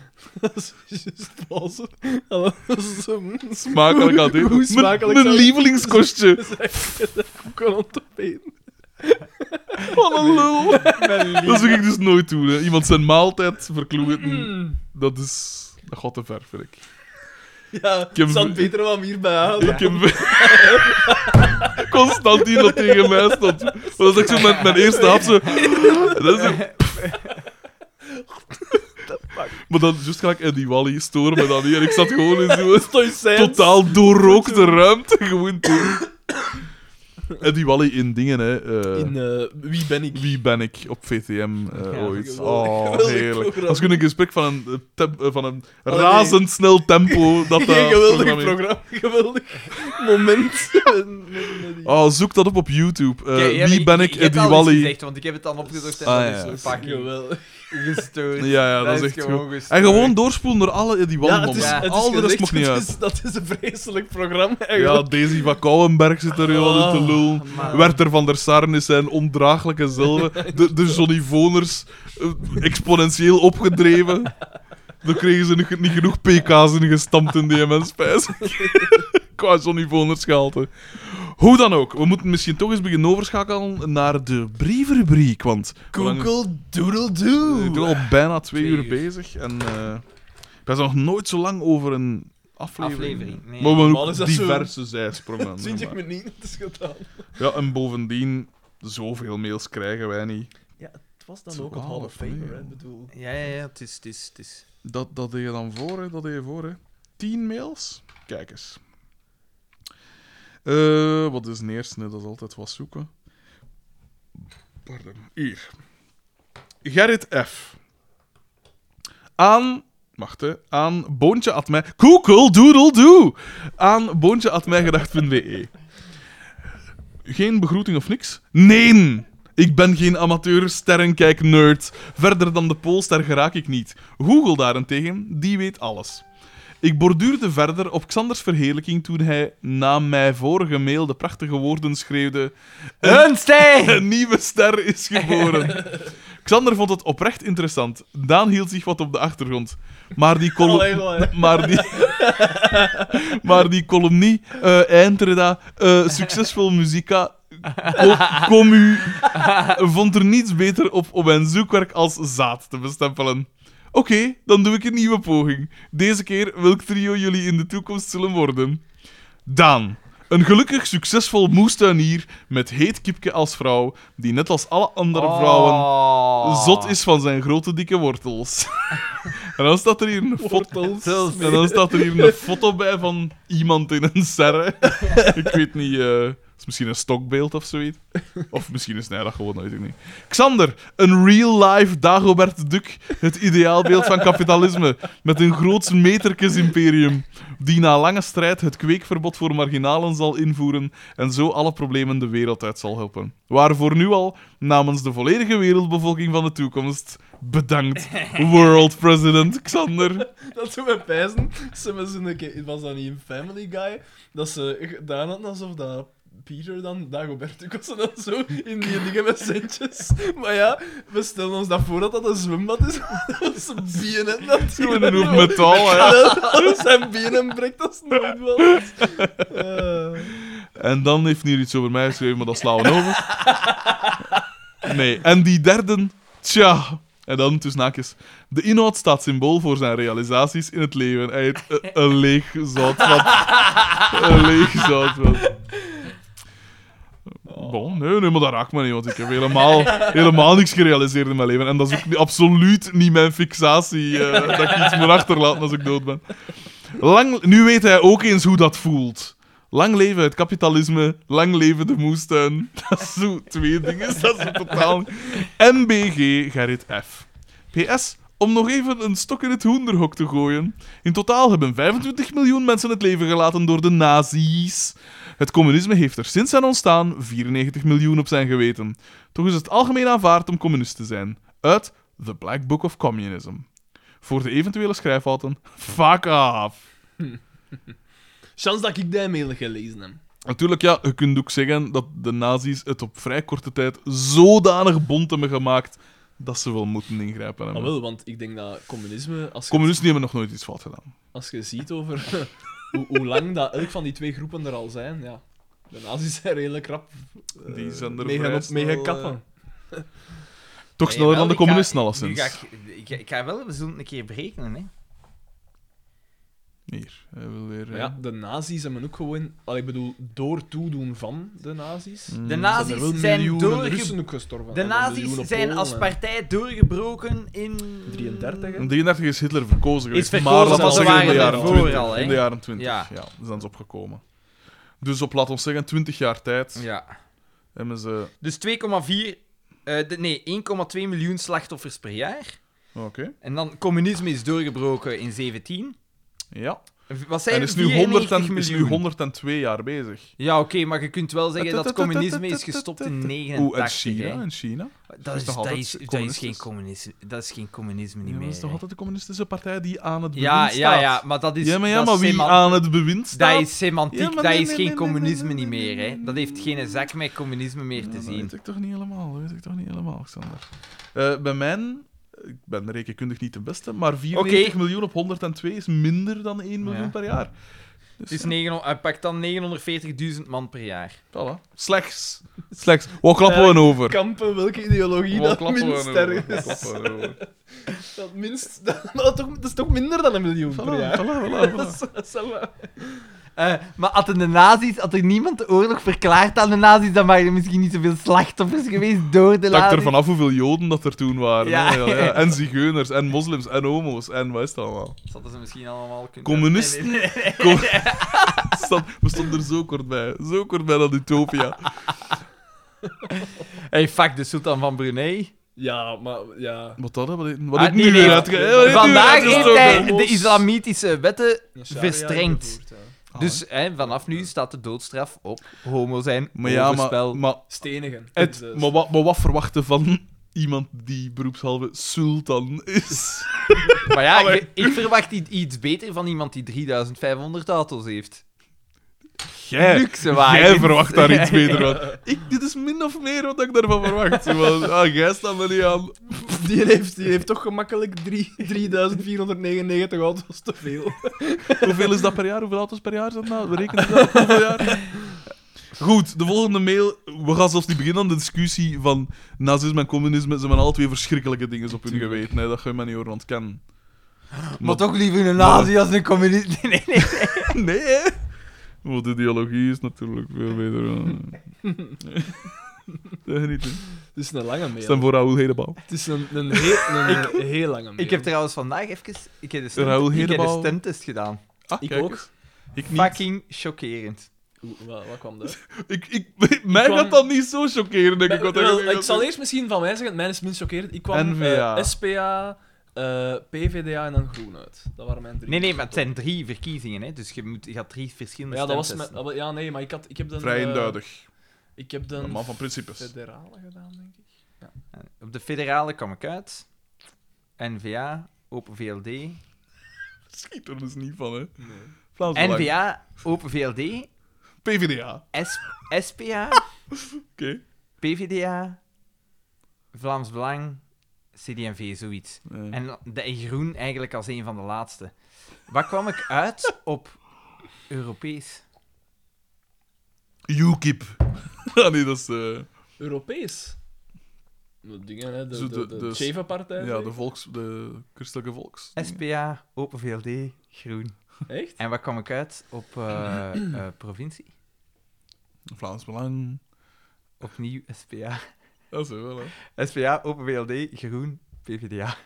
[SPEAKER 1] (laughs) Dat is juist pauze. Hallo, (laughs) dat is zo-
[SPEAKER 2] Smakelijk
[SPEAKER 1] Hoe-
[SPEAKER 4] (laughs)
[SPEAKER 2] had dit.
[SPEAKER 1] Hoe smakelijk
[SPEAKER 2] Mijn
[SPEAKER 1] zou-
[SPEAKER 2] lievelingskostje.
[SPEAKER 1] Ik kon aan het opeten.
[SPEAKER 2] Wat een lul. (laughs) Dat zou ik dus nooit doen. Hè. Iemand zijn maaltijd
[SPEAKER 4] Mm.
[SPEAKER 2] verkloeten. Dat is... Dat gaat te ver, vind ik.
[SPEAKER 1] Ja,
[SPEAKER 2] heb-
[SPEAKER 1] het zat beter om hem hierbij aan. (laughs)
[SPEAKER 2] Ik heb... (laughs) Constant die dat tegen mij stond. Maar dat is ook zo met mijn eerste hap zo... Dat is een... Maar dan, juist gelijk, en die Wally storen me dan niet. En ik zat gewoon in zo'n
[SPEAKER 1] Stoïcijns.
[SPEAKER 2] totaal doorrookte ruimte gewoon toe. En die Wally in dingen, hè. eh,
[SPEAKER 1] In eh, Wie ben ik?
[SPEAKER 2] Wie ben ik op VTM eh,
[SPEAKER 4] Ja,
[SPEAKER 2] ooit?
[SPEAKER 1] geweldig,
[SPEAKER 2] Oh,
[SPEAKER 1] geweldig
[SPEAKER 2] heerlijk.
[SPEAKER 1] programma.
[SPEAKER 2] Dat is gewoon een gesprek van een, eh, tem- eh, van een
[SPEAKER 1] Allee.
[SPEAKER 2] razendsnel tempo.
[SPEAKER 1] (laughs)
[SPEAKER 2] Dat, eh, dat
[SPEAKER 1] Geen (laughs) Oh, geweldig
[SPEAKER 2] programma-
[SPEAKER 1] programma. (laughs) Geweldig moment.
[SPEAKER 2] (laughs)
[SPEAKER 1] Met- met- met die-
[SPEAKER 2] Oh, zoek dat op op YouTube. Eh,
[SPEAKER 4] Oké, ja,
[SPEAKER 2] wie
[SPEAKER 4] je-
[SPEAKER 2] ben
[SPEAKER 4] je-
[SPEAKER 2] ik,
[SPEAKER 4] je hebt
[SPEAKER 2] Eddie
[SPEAKER 4] al iets
[SPEAKER 2] Wally?
[SPEAKER 4] gezegd, want ik heb het dan opgezocht en
[SPEAKER 2] Ah,
[SPEAKER 4] dat
[SPEAKER 2] ja.
[SPEAKER 4] is zo fucking
[SPEAKER 1] Geweldig.
[SPEAKER 4] gestoord.
[SPEAKER 2] Ja, ja, dat, is echt goed. En gewoon doorspoelen door alle Eddie Wally
[SPEAKER 1] Ja, het is,
[SPEAKER 2] momenten.
[SPEAKER 4] moment.
[SPEAKER 1] het is
[SPEAKER 2] Al de rest
[SPEAKER 1] gezegd,
[SPEAKER 2] mocht niet
[SPEAKER 1] het
[SPEAKER 2] uit.
[SPEAKER 1] is- dat is een vreselijk programma.
[SPEAKER 2] Ja,
[SPEAKER 1] Eigenlijk.
[SPEAKER 2] Daisy van Kouwenberg zit er heel wat in
[SPEAKER 1] Ah,
[SPEAKER 2] te lullen.
[SPEAKER 4] man.
[SPEAKER 2] Werther van der Sarn is zijn ondraaglijke
[SPEAKER 1] (laughs)
[SPEAKER 2] zelve. De, de Johnny Voners eh, exponentieel opgedreven. Dan kregen ze nog niet genoeg pk's in gestampt in DMS-spijs. (laughs) Qua Johnny Voners gehalte. Hoe dan ook, we moeten misschien toch eens beginnen overschakelen naar de brievenrubriek. Want we
[SPEAKER 1] Google Doodle
[SPEAKER 2] zijn- ik ben
[SPEAKER 1] Doo.
[SPEAKER 2] al bijna twee,
[SPEAKER 4] Twee
[SPEAKER 2] uur
[SPEAKER 4] uur.
[SPEAKER 2] bezig. En eh we zijn nog nooit zo lang over een aflevering.
[SPEAKER 4] Aflevering,
[SPEAKER 2] Maar
[SPEAKER 4] nee.
[SPEAKER 2] we hebben
[SPEAKER 1] Normaal is
[SPEAKER 2] ook
[SPEAKER 1] dat zo-
[SPEAKER 2] diverse zijsprongen.
[SPEAKER 3] (laughs)
[SPEAKER 2] zeg
[SPEAKER 1] 20
[SPEAKER 2] maar.
[SPEAKER 1] minuten, het is gedaan.
[SPEAKER 2] Ja, en bovendien, zoveel mails krijgen wij niet.
[SPEAKER 1] Ja, het was dan
[SPEAKER 2] Zo
[SPEAKER 1] ook een Hall of
[SPEAKER 2] half, nee,
[SPEAKER 1] Famer, hè,
[SPEAKER 2] joh.
[SPEAKER 1] ik bedoel.
[SPEAKER 4] Ja, ja, ja, het is... Het is, het is.
[SPEAKER 2] Dat, dat deed je dan voor, hè? Dat deed je voor, hè? Tien mails? Kijk eens. Eh, wat is de eerste? hè? Dat is altijd wat zoeken. Pardon. Hier. Gerrit F. Aan... Wacht, hè. Aan boontje at mij... Google doodle doe! Aan boontje at mijgedacht.be. E. Geen begroeting of niks? Nee! Ik ben geen amateur sterrenkijk-nerd. Verder dan de Poolster geraak ik niet. Google daarentegen, die weet alles. Ik borduurde verder op Xanders verheerlijking toen hij na mijn vorige mail de prachtige woorden schreeuwde...
[SPEAKER 4] Een
[SPEAKER 2] Een nieuwe ster is geboren. Xander vond het oprecht interessant. Daan hield zich wat op de achtergrond. Maar die
[SPEAKER 1] Allee,
[SPEAKER 2] column...
[SPEAKER 1] allee.
[SPEAKER 2] Maar die, maar die columnie, eh eindreda, eh, succesvol muzika, co- commu, vond er niets beter op om mijn zoekwerk als zaad te bestempelen. Oké, dan doe ik een nieuwe poging. Deze keer welk trio jullie in de toekomst zullen worden. Daan. Een gelukkig, succesvol moestuinier met heet kipke als vrouw, die net als alle andere vrouwen zot is van zijn grote, dikke wortels. (laughs) en dan staat er hier een foto...
[SPEAKER 1] Wortels.
[SPEAKER 2] En dan staat er hier een foto bij van iemand in een serre. (laughs) ik weet niet, eh, is misschien een stokbeeld of zoiets. Of misschien is nee, dat gewoon, dat weet ik niet. Xander, een real-life Dagobert Duck. Het ideaalbeeld van kapitalisme. Met een groots meterkes-imperium. Die na lange strijd het kweekverbod voor marginalen zal invoeren. En zo alle problemen de wereld uit zal helpen. Waarvoor nu al namens de volledige wereldbevolking van de toekomst. Bedankt, World President Xander.
[SPEAKER 1] Dat ze met pijzen, ze met zo'n keer- was dat niet een Family Guy, dat ze gedaan hadden alsof dat Peter dan Dagobert ook was en dan zo in die dingen met centjes. Maar ja, we stellen ons dat voor dat dat een zwembad is, (laughs) dat is een BNN dat
[SPEAKER 2] Gewoon
[SPEAKER 3] (laughs)
[SPEAKER 2] een hoop metaal, hè.
[SPEAKER 1] Als zijn benen breekt, dat is nooit wel. Eh,
[SPEAKER 2] En dan heeft hij hier iets over mij geschreven, maar dat slaan we over. Nee, en die derde, tja. En dan tussen haakjes. De inhoud staat symbool voor zijn realisaties in het leven. Hij heeft een, een leeg zoutvat. Een leeg zoutvat. Bon, nee, nee, maar dat raakt me niet, want ik heb helemaal, helemaal niks gerealiseerd in mijn leven. En dat is ook niet- absoluut niet mijn fixatie, eh, dat ik iets moet achterlaten als ik dood ben. Lang, nu weet hij ook eens hoe dat voelt. Lang leven het kapitalisme, lang leven de moestuin. (laughs) Dat is zo twee dingen, dat is totaal... niet. MBG Gerrit F. PS, om nog even een stok in het hoenderhok te gooien. In totaal hebben 25 miljoen mensen het leven gelaten door de nazi's. Het communisme heeft er sinds zijn ontstaan 94 miljoen op zijn geweten. Toch is het algemeen aanvaard om communist te zijn. Uit The Black Book of Communism. Voor de eventuele schrijffouten, (laughs) fuck off.
[SPEAKER 3] Chans dat ik die mail gelezen heb.
[SPEAKER 2] Natuurlijk, ja, je kunt ook zeggen dat de nazi's het op vrij korte tijd zodanig bont hebben gemaakt dat ze wel moeten ingrijpen.
[SPEAKER 3] Ah,
[SPEAKER 2] hebben.
[SPEAKER 3] wel, want ik denk dat communisme, als je,
[SPEAKER 2] Communisten hebben nog nooit iets fout gedaan.
[SPEAKER 3] als je ziet over (laughs) hoe, hoe lang dat elk van die twee groepen er al zijn, ja. De nazi's zijn redelijk rap eh,
[SPEAKER 2] Die zijn er eh,
[SPEAKER 3] mee
[SPEAKER 2] vrij
[SPEAKER 3] gaan op- mee
[SPEAKER 2] snel,
[SPEAKER 3] gaan kappen.
[SPEAKER 2] Toch
[SPEAKER 4] Nee,
[SPEAKER 2] sneller
[SPEAKER 4] wel,
[SPEAKER 2] dan de
[SPEAKER 4] ik ga-
[SPEAKER 2] communisten,
[SPEAKER 4] ik-
[SPEAKER 2] alleszins.
[SPEAKER 4] nu ga Ik, ik, ik ga wel we zullen het een keer berekenen, hè.
[SPEAKER 2] Hier, hij wil weer...
[SPEAKER 3] Maar
[SPEAKER 2] eh,
[SPEAKER 3] ja, de nazi's hebben ook gewoon... Al, ik bedoel, door toedoen van de nazi's...
[SPEAKER 2] Mm.
[SPEAKER 4] De
[SPEAKER 3] zijn er wel
[SPEAKER 4] nazi's zijn,
[SPEAKER 3] miljoenen
[SPEAKER 4] doorge-
[SPEAKER 3] Russen ook gestorven.
[SPEAKER 4] de
[SPEAKER 3] en
[SPEAKER 4] nazi's
[SPEAKER 3] miljoenen
[SPEAKER 4] zijn
[SPEAKER 3] Polen
[SPEAKER 4] als
[SPEAKER 3] en-
[SPEAKER 4] partij doorgebroken in...
[SPEAKER 3] 33, hè?
[SPEAKER 2] In 33 is Hitler verkozen geweest.
[SPEAKER 4] verkozen,
[SPEAKER 2] maar dat
[SPEAKER 3] maar
[SPEAKER 2] was
[SPEAKER 3] ze
[SPEAKER 2] in de
[SPEAKER 3] waren
[SPEAKER 2] jaren
[SPEAKER 3] ervoor
[SPEAKER 2] 20.
[SPEAKER 4] al, hè?
[SPEAKER 2] in de jaren 20, ja.
[SPEAKER 4] Ja.
[SPEAKER 2] Dan zijn ze opgekomen. Dus op, laat ons zeggen, 20 jaar tijd
[SPEAKER 4] Ja.
[SPEAKER 2] hebben ze...
[SPEAKER 4] Dus 2,4... eh, de- nee, 1,2 miljoen slachtoffers per jaar.
[SPEAKER 2] Oké,
[SPEAKER 4] En dan communisme is doorgebroken in 17.
[SPEAKER 2] ja.
[SPEAKER 4] Wat zijn
[SPEAKER 2] En
[SPEAKER 4] er?
[SPEAKER 2] is nu,
[SPEAKER 4] 94
[SPEAKER 2] 100 en, is nu
[SPEAKER 4] miljoen.
[SPEAKER 2] 102 jaar bezig.
[SPEAKER 4] Ja, oké, maar je kunt wel zeggen dat communisme is gestopt in 89.
[SPEAKER 2] Oeh, en China?
[SPEAKER 4] hè.
[SPEAKER 2] En China?
[SPEAKER 4] Dat is,
[SPEAKER 2] toch
[SPEAKER 4] dat,
[SPEAKER 2] altijd
[SPEAKER 4] is, dat, is
[SPEAKER 2] communistisch?
[SPEAKER 4] geen communisme, dat is geen communisme
[SPEAKER 2] Ja,
[SPEAKER 4] niet
[SPEAKER 2] maar
[SPEAKER 4] meer.
[SPEAKER 2] dat is toch
[SPEAKER 4] hè.
[SPEAKER 2] altijd de communistische partij die aan het
[SPEAKER 4] ja,
[SPEAKER 2] bewind
[SPEAKER 4] ja,
[SPEAKER 2] staat?
[SPEAKER 4] ja, maar dat is.
[SPEAKER 2] ja, maar, ja,
[SPEAKER 4] dat
[SPEAKER 2] maar
[SPEAKER 4] is
[SPEAKER 2] wie
[SPEAKER 4] seman-
[SPEAKER 2] aan het bewind staat...
[SPEAKER 4] Dat is semantiek,
[SPEAKER 2] Ja, maar
[SPEAKER 4] dat
[SPEAKER 2] nee,
[SPEAKER 4] is
[SPEAKER 2] nee,
[SPEAKER 4] geen
[SPEAKER 2] nee, nee,
[SPEAKER 4] communisme
[SPEAKER 2] nee, nee,
[SPEAKER 4] niet
[SPEAKER 2] nee,
[SPEAKER 4] meer.
[SPEAKER 2] nee,
[SPEAKER 4] Hè. Dat heeft geen zak met communisme meer
[SPEAKER 2] Ja,
[SPEAKER 4] te
[SPEAKER 2] Dat
[SPEAKER 4] zien.
[SPEAKER 2] weet ik toch niet helemaal, dat weet ik toch niet helemaal, Alexander. Eh, bij mijn, ik ben rekenkundig niet de beste, maar 94
[SPEAKER 4] Oké.
[SPEAKER 2] miljoen op 102 is minder dan 1 miljoen
[SPEAKER 4] Ja.
[SPEAKER 2] per jaar. Dus
[SPEAKER 4] Het is
[SPEAKER 2] ja,
[SPEAKER 4] 900 hij pakt dan 940.000 man per jaar.
[SPEAKER 2] voilà. Slechts.
[SPEAKER 4] (laughs)
[SPEAKER 2] Slechts. Wat klappen
[SPEAKER 4] Eh,
[SPEAKER 2] we over?
[SPEAKER 3] Kampen, welke ideologie
[SPEAKER 2] Wat
[SPEAKER 3] dat
[SPEAKER 2] klappen we
[SPEAKER 3] minst sterk
[SPEAKER 2] over? Wat
[SPEAKER 3] is.
[SPEAKER 2] klappen we (laughs) over?
[SPEAKER 3] Dat minst... (laughs) Dat, dat, toch, dat is toch minder dan een miljoen per
[SPEAKER 2] Voilà,
[SPEAKER 3] (laughs) jaar.
[SPEAKER 2] voilà, voilà,
[SPEAKER 3] Dat
[SPEAKER 2] voilà.
[SPEAKER 3] is- dat is wel-
[SPEAKER 4] Eh, maar hadden de nazi's, had er niemand de oorlog verklaard aan de nazi's, dan waren er misschien niet zoveel slachtoffers geweest door de
[SPEAKER 2] Het hangt er
[SPEAKER 4] nazi's.
[SPEAKER 2] vanaf hoeveel Joden dat er toen waren.
[SPEAKER 4] Ja.
[SPEAKER 2] hè. Ja,
[SPEAKER 4] (laughs)
[SPEAKER 2] ja. En zigeuners, en moslims, en homo's, en wat is het allemaal?
[SPEAKER 4] Dat hadden ze misschien allemaal kunnen...
[SPEAKER 2] Communisten.
[SPEAKER 4] Nee, nee, nee.
[SPEAKER 2] Kom. (laughs) Stan- we stonden er zo kort bij. Zo kort bij dat utopia.
[SPEAKER 4] Hey, fuck, de sultan van Brunei.
[SPEAKER 3] Ja, maar... Ja.
[SPEAKER 2] Wat dat? hè? Wat, wat
[SPEAKER 4] Ah,
[SPEAKER 2] heeft nu
[SPEAKER 4] nee,
[SPEAKER 2] weer
[SPEAKER 4] nee.
[SPEAKER 2] uitge- hè, wat heeft nu weer
[SPEAKER 4] Vandaag heeft
[SPEAKER 2] uitgestoken?
[SPEAKER 4] hij de
[SPEAKER 3] homo's.
[SPEAKER 4] islamitische wetten Verstrengd.
[SPEAKER 3] Sharia ingevoerd, ja.
[SPEAKER 2] Ah,
[SPEAKER 4] Dus hè, vanaf nu staat de doodstraf op homo zijn,
[SPEAKER 2] Maar ja, maar,
[SPEAKER 4] overspel.
[SPEAKER 2] maar,
[SPEAKER 3] Stenigen.
[SPEAKER 2] het,
[SPEAKER 3] Dus, eh,
[SPEAKER 2] maar, wat, maar wat verwachten van iemand die beroepshalve sultan is?
[SPEAKER 4] (laughs) Maar
[SPEAKER 2] Ah,
[SPEAKER 4] ja, ik, ik verwacht i- iets beter van iemand die 3500 auto's heeft.
[SPEAKER 2] Jij,
[SPEAKER 4] Luxe wagens.
[SPEAKER 2] jij verwacht daar iets beter van. (laughs) Ik, dit is min of meer wat ik daarvan (laughs) verwacht. Zo van, ah, jij staat er niet aan.
[SPEAKER 3] Die heeft, die heeft toch gemakkelijk drie- 3499 auto's te veel.
[SPEAKER 2] Hoeveel is dat per jaar? Hoeveel auto's per jaar zijn dat nou? We rekenen dat op hoeveel jaar. Goed, de volgende mail. We gaan zelfs niet beginnen aan de discussie van nazisme en communisme. Ze hebben alle twee verschrikkelijke dingen op hun geweten. Hè. Dat ga je maar niet horen ontkennen.
[SPEAKER 4] Maar toch liever een nazi als een (laughs) communist. Nee, nee, nee.
[SPEAKER 2] (laughs) Nee. Want de ideologie is natuurlijk veel beter.
[SPEAKER 4] (laughs)
[SPEAKER 2] Dat geniet ik.
[SPEAKER 3] Het is een lange mail.
[SPEAKER 2] Stem voor Raoul Hedebouw.
[SPEAKER 3] Het is een, een, heel, een eh, heel lange mail.
[SPEAKER 4] Ik heb trouwens vandaag even... Ik heb de,
[SPEAKER 2] Raoul
[SPEAKER 4] stem, ik heb de
[SPEAKER 2] Hedebouw.
[SPEAKER 4] stemtest gedaan.
[SPEAKER 2] Ah,
[SPEAKER 3] Ik
[SPEAKER 2] kijk
[SPEAKER 3] ook.
[SPEAKER 2] eens. Ik niet.
[SPEAKER 4] Fucking chockerend.
[SPEAKER 3] Oeh, wat, wat kwam dat?
[SPEAKER 2] Ik, ik, (laughs) mij
[SPEAKER 3] kwam-
[SPEAKER 2] gaat dat niet zo chockeren, denk ik. Wat
[SPEAKER 3] Wel,
[SPEAKER 2] hij-
[SPEAKER 3] ik zal eerst misschien van mij zeggen, mijn is minst chockerend. Ik kwam
[SPEAKER 2] NVA.
[SPEAKER 3] eh, SPA, eh, PVDA en dan Groen uit. Dat waren mijn drie.
[SPEAKER 4] Nee, nee, maar het zijn drie verkiezingen, hè. Dus je, moet, je gaat drie verschillende
[SPEAKER 3] Ja, dat was
[SPEAKER 4] stemtesten.
[SPEAKER 3] mijn- ja, nee, maar ik, had, ik heb dan...
[SPEAKER 2] Vrij
[SPEAKER 3] eh,
[SPEAKER 2] eenduidig.
[SPEAKER 3] ik heb
[SPEAKER 2] Een
[SPEAKER 3] dan
[SPEAKER 2] man van principes.
[SPEAKER 3] federale gedaan, denk ik.
[SPEAKER 4] Op de federale kwam ik uit. NVA, Open VLD.
[SPEAKER 2] Schiet er dus niet van, hè.
[SPEAKER 3] Nee.
[SPEAKER 2] Vlaams Belang.
[SPEAKER 4] NVA, Open VLD,
[SPEAKER 2] PvdA. Oké.
[SPEAKER 4] S SPA, PVDA, Vlaams Belang, CD&V, zoiets.
[SPEAKER 2] Eh,
[SPEAKER 4] En de Groen eigenlijk als een van de laatste. Waar kwam ik uit op Europees?
[SPEAKER 2] UKIP. (laughs) ah, nee, dat is de,
[SPEAKER 3] Europees. De dingen, hè.
[SPEAKER 2] Zo
[SPEAKER 3] De,
[SPEAKER 2] de-
[SPEAKER 3] de, de,
[SPEAKER 2] de-
[SPEAKER 3] Sheva-partij.
[SPEAKER 2] ja, de, volks, de christelijke volks.
[SPEAKER 4] SPA, Open VLD, Groen.
[SPEAKER 3] Echt?
[SPEAKER 4] En waar kwam (clears throat) ik uit op eh, eh, provincie?
[SPEAKER 2] Vlaams Belang.
[SPEAKER 4] Opnieuw SPA.
[SPEAKER 2] Dat is wel, (laughs) hè.
[SPEAKER 4] SPA, Open VLD, Groen, PvdA.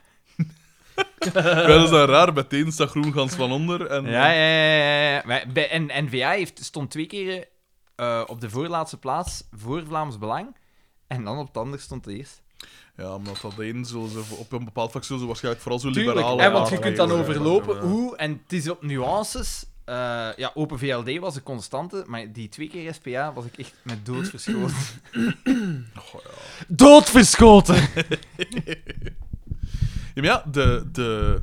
[SPEAKER 2] Ja, dat is dan raar. Meteen staat Groengans van onder. En,
[SPEAKER 4] Ja, ja, ja. ja, ja. Maar bij, en N-VA heeft, stond twee keer eh, op de voorlaatste plaats voor Vlaams Belang. En dan op het ander stond het eerst.
[SPEAKER 2] Ja, maar dat één zullen ze op een bepaald vlak zullen ze waarschijnlijk vooral zo
[SPEAKER 4] Tuurlijk,
[SPEAKER 2] liberalen.
[SPEAKER 4] hè, want je
[SPEAKER 2] aanleggen.
[SPEAKER 4] kunt dan
[SPEAKER 1] ja, ja,
[SPEAKER 4] overlopen
[SPEAKER 1] ja, ja.
[SPEAKER 4] hoe, en het is op nuances. Eh, ja, Open VLD was een constante, maar die twee keer SPA was ik echt met dood verschoten.
[SPEAKER 2] Goh, ja.
[SPEAKER 4] dood verschoten!
[SPEAKER 2] Ja, maar ja, de, de,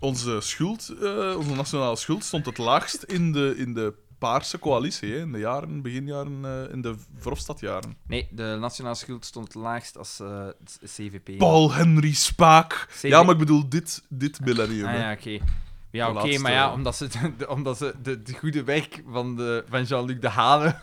[SPEAKER 2] onze schuld, eh, onze nationale schuld, stond het laagst in de, in de Paarse coalitie, hè, in de jaren, beginjaren, eh, in de Verhofstadjaren.
[SPEAKER 4] Nee, de nationale schuld stond laagst als eh, het CVP.
[SPEAKER 2] Paul Henry Spaak.
[SPEAKER 4] Zeker.
[SPEAKER 2] Ja, maar ik bedoel dit, dit millennium.
[SPEAKER 4] Ah
[SPEAKER 2] hè.
[SPEAKER 4] ja, oké. Ja,
[SPEAKER 2] De
[SPEAKER 4] oké,
[SPEAKER 2] laatste-
[SPEAKER 4] maar ja, omdat ze, de, de- omdat ze de, de goede werk van, de, van Jean-Luc de Hane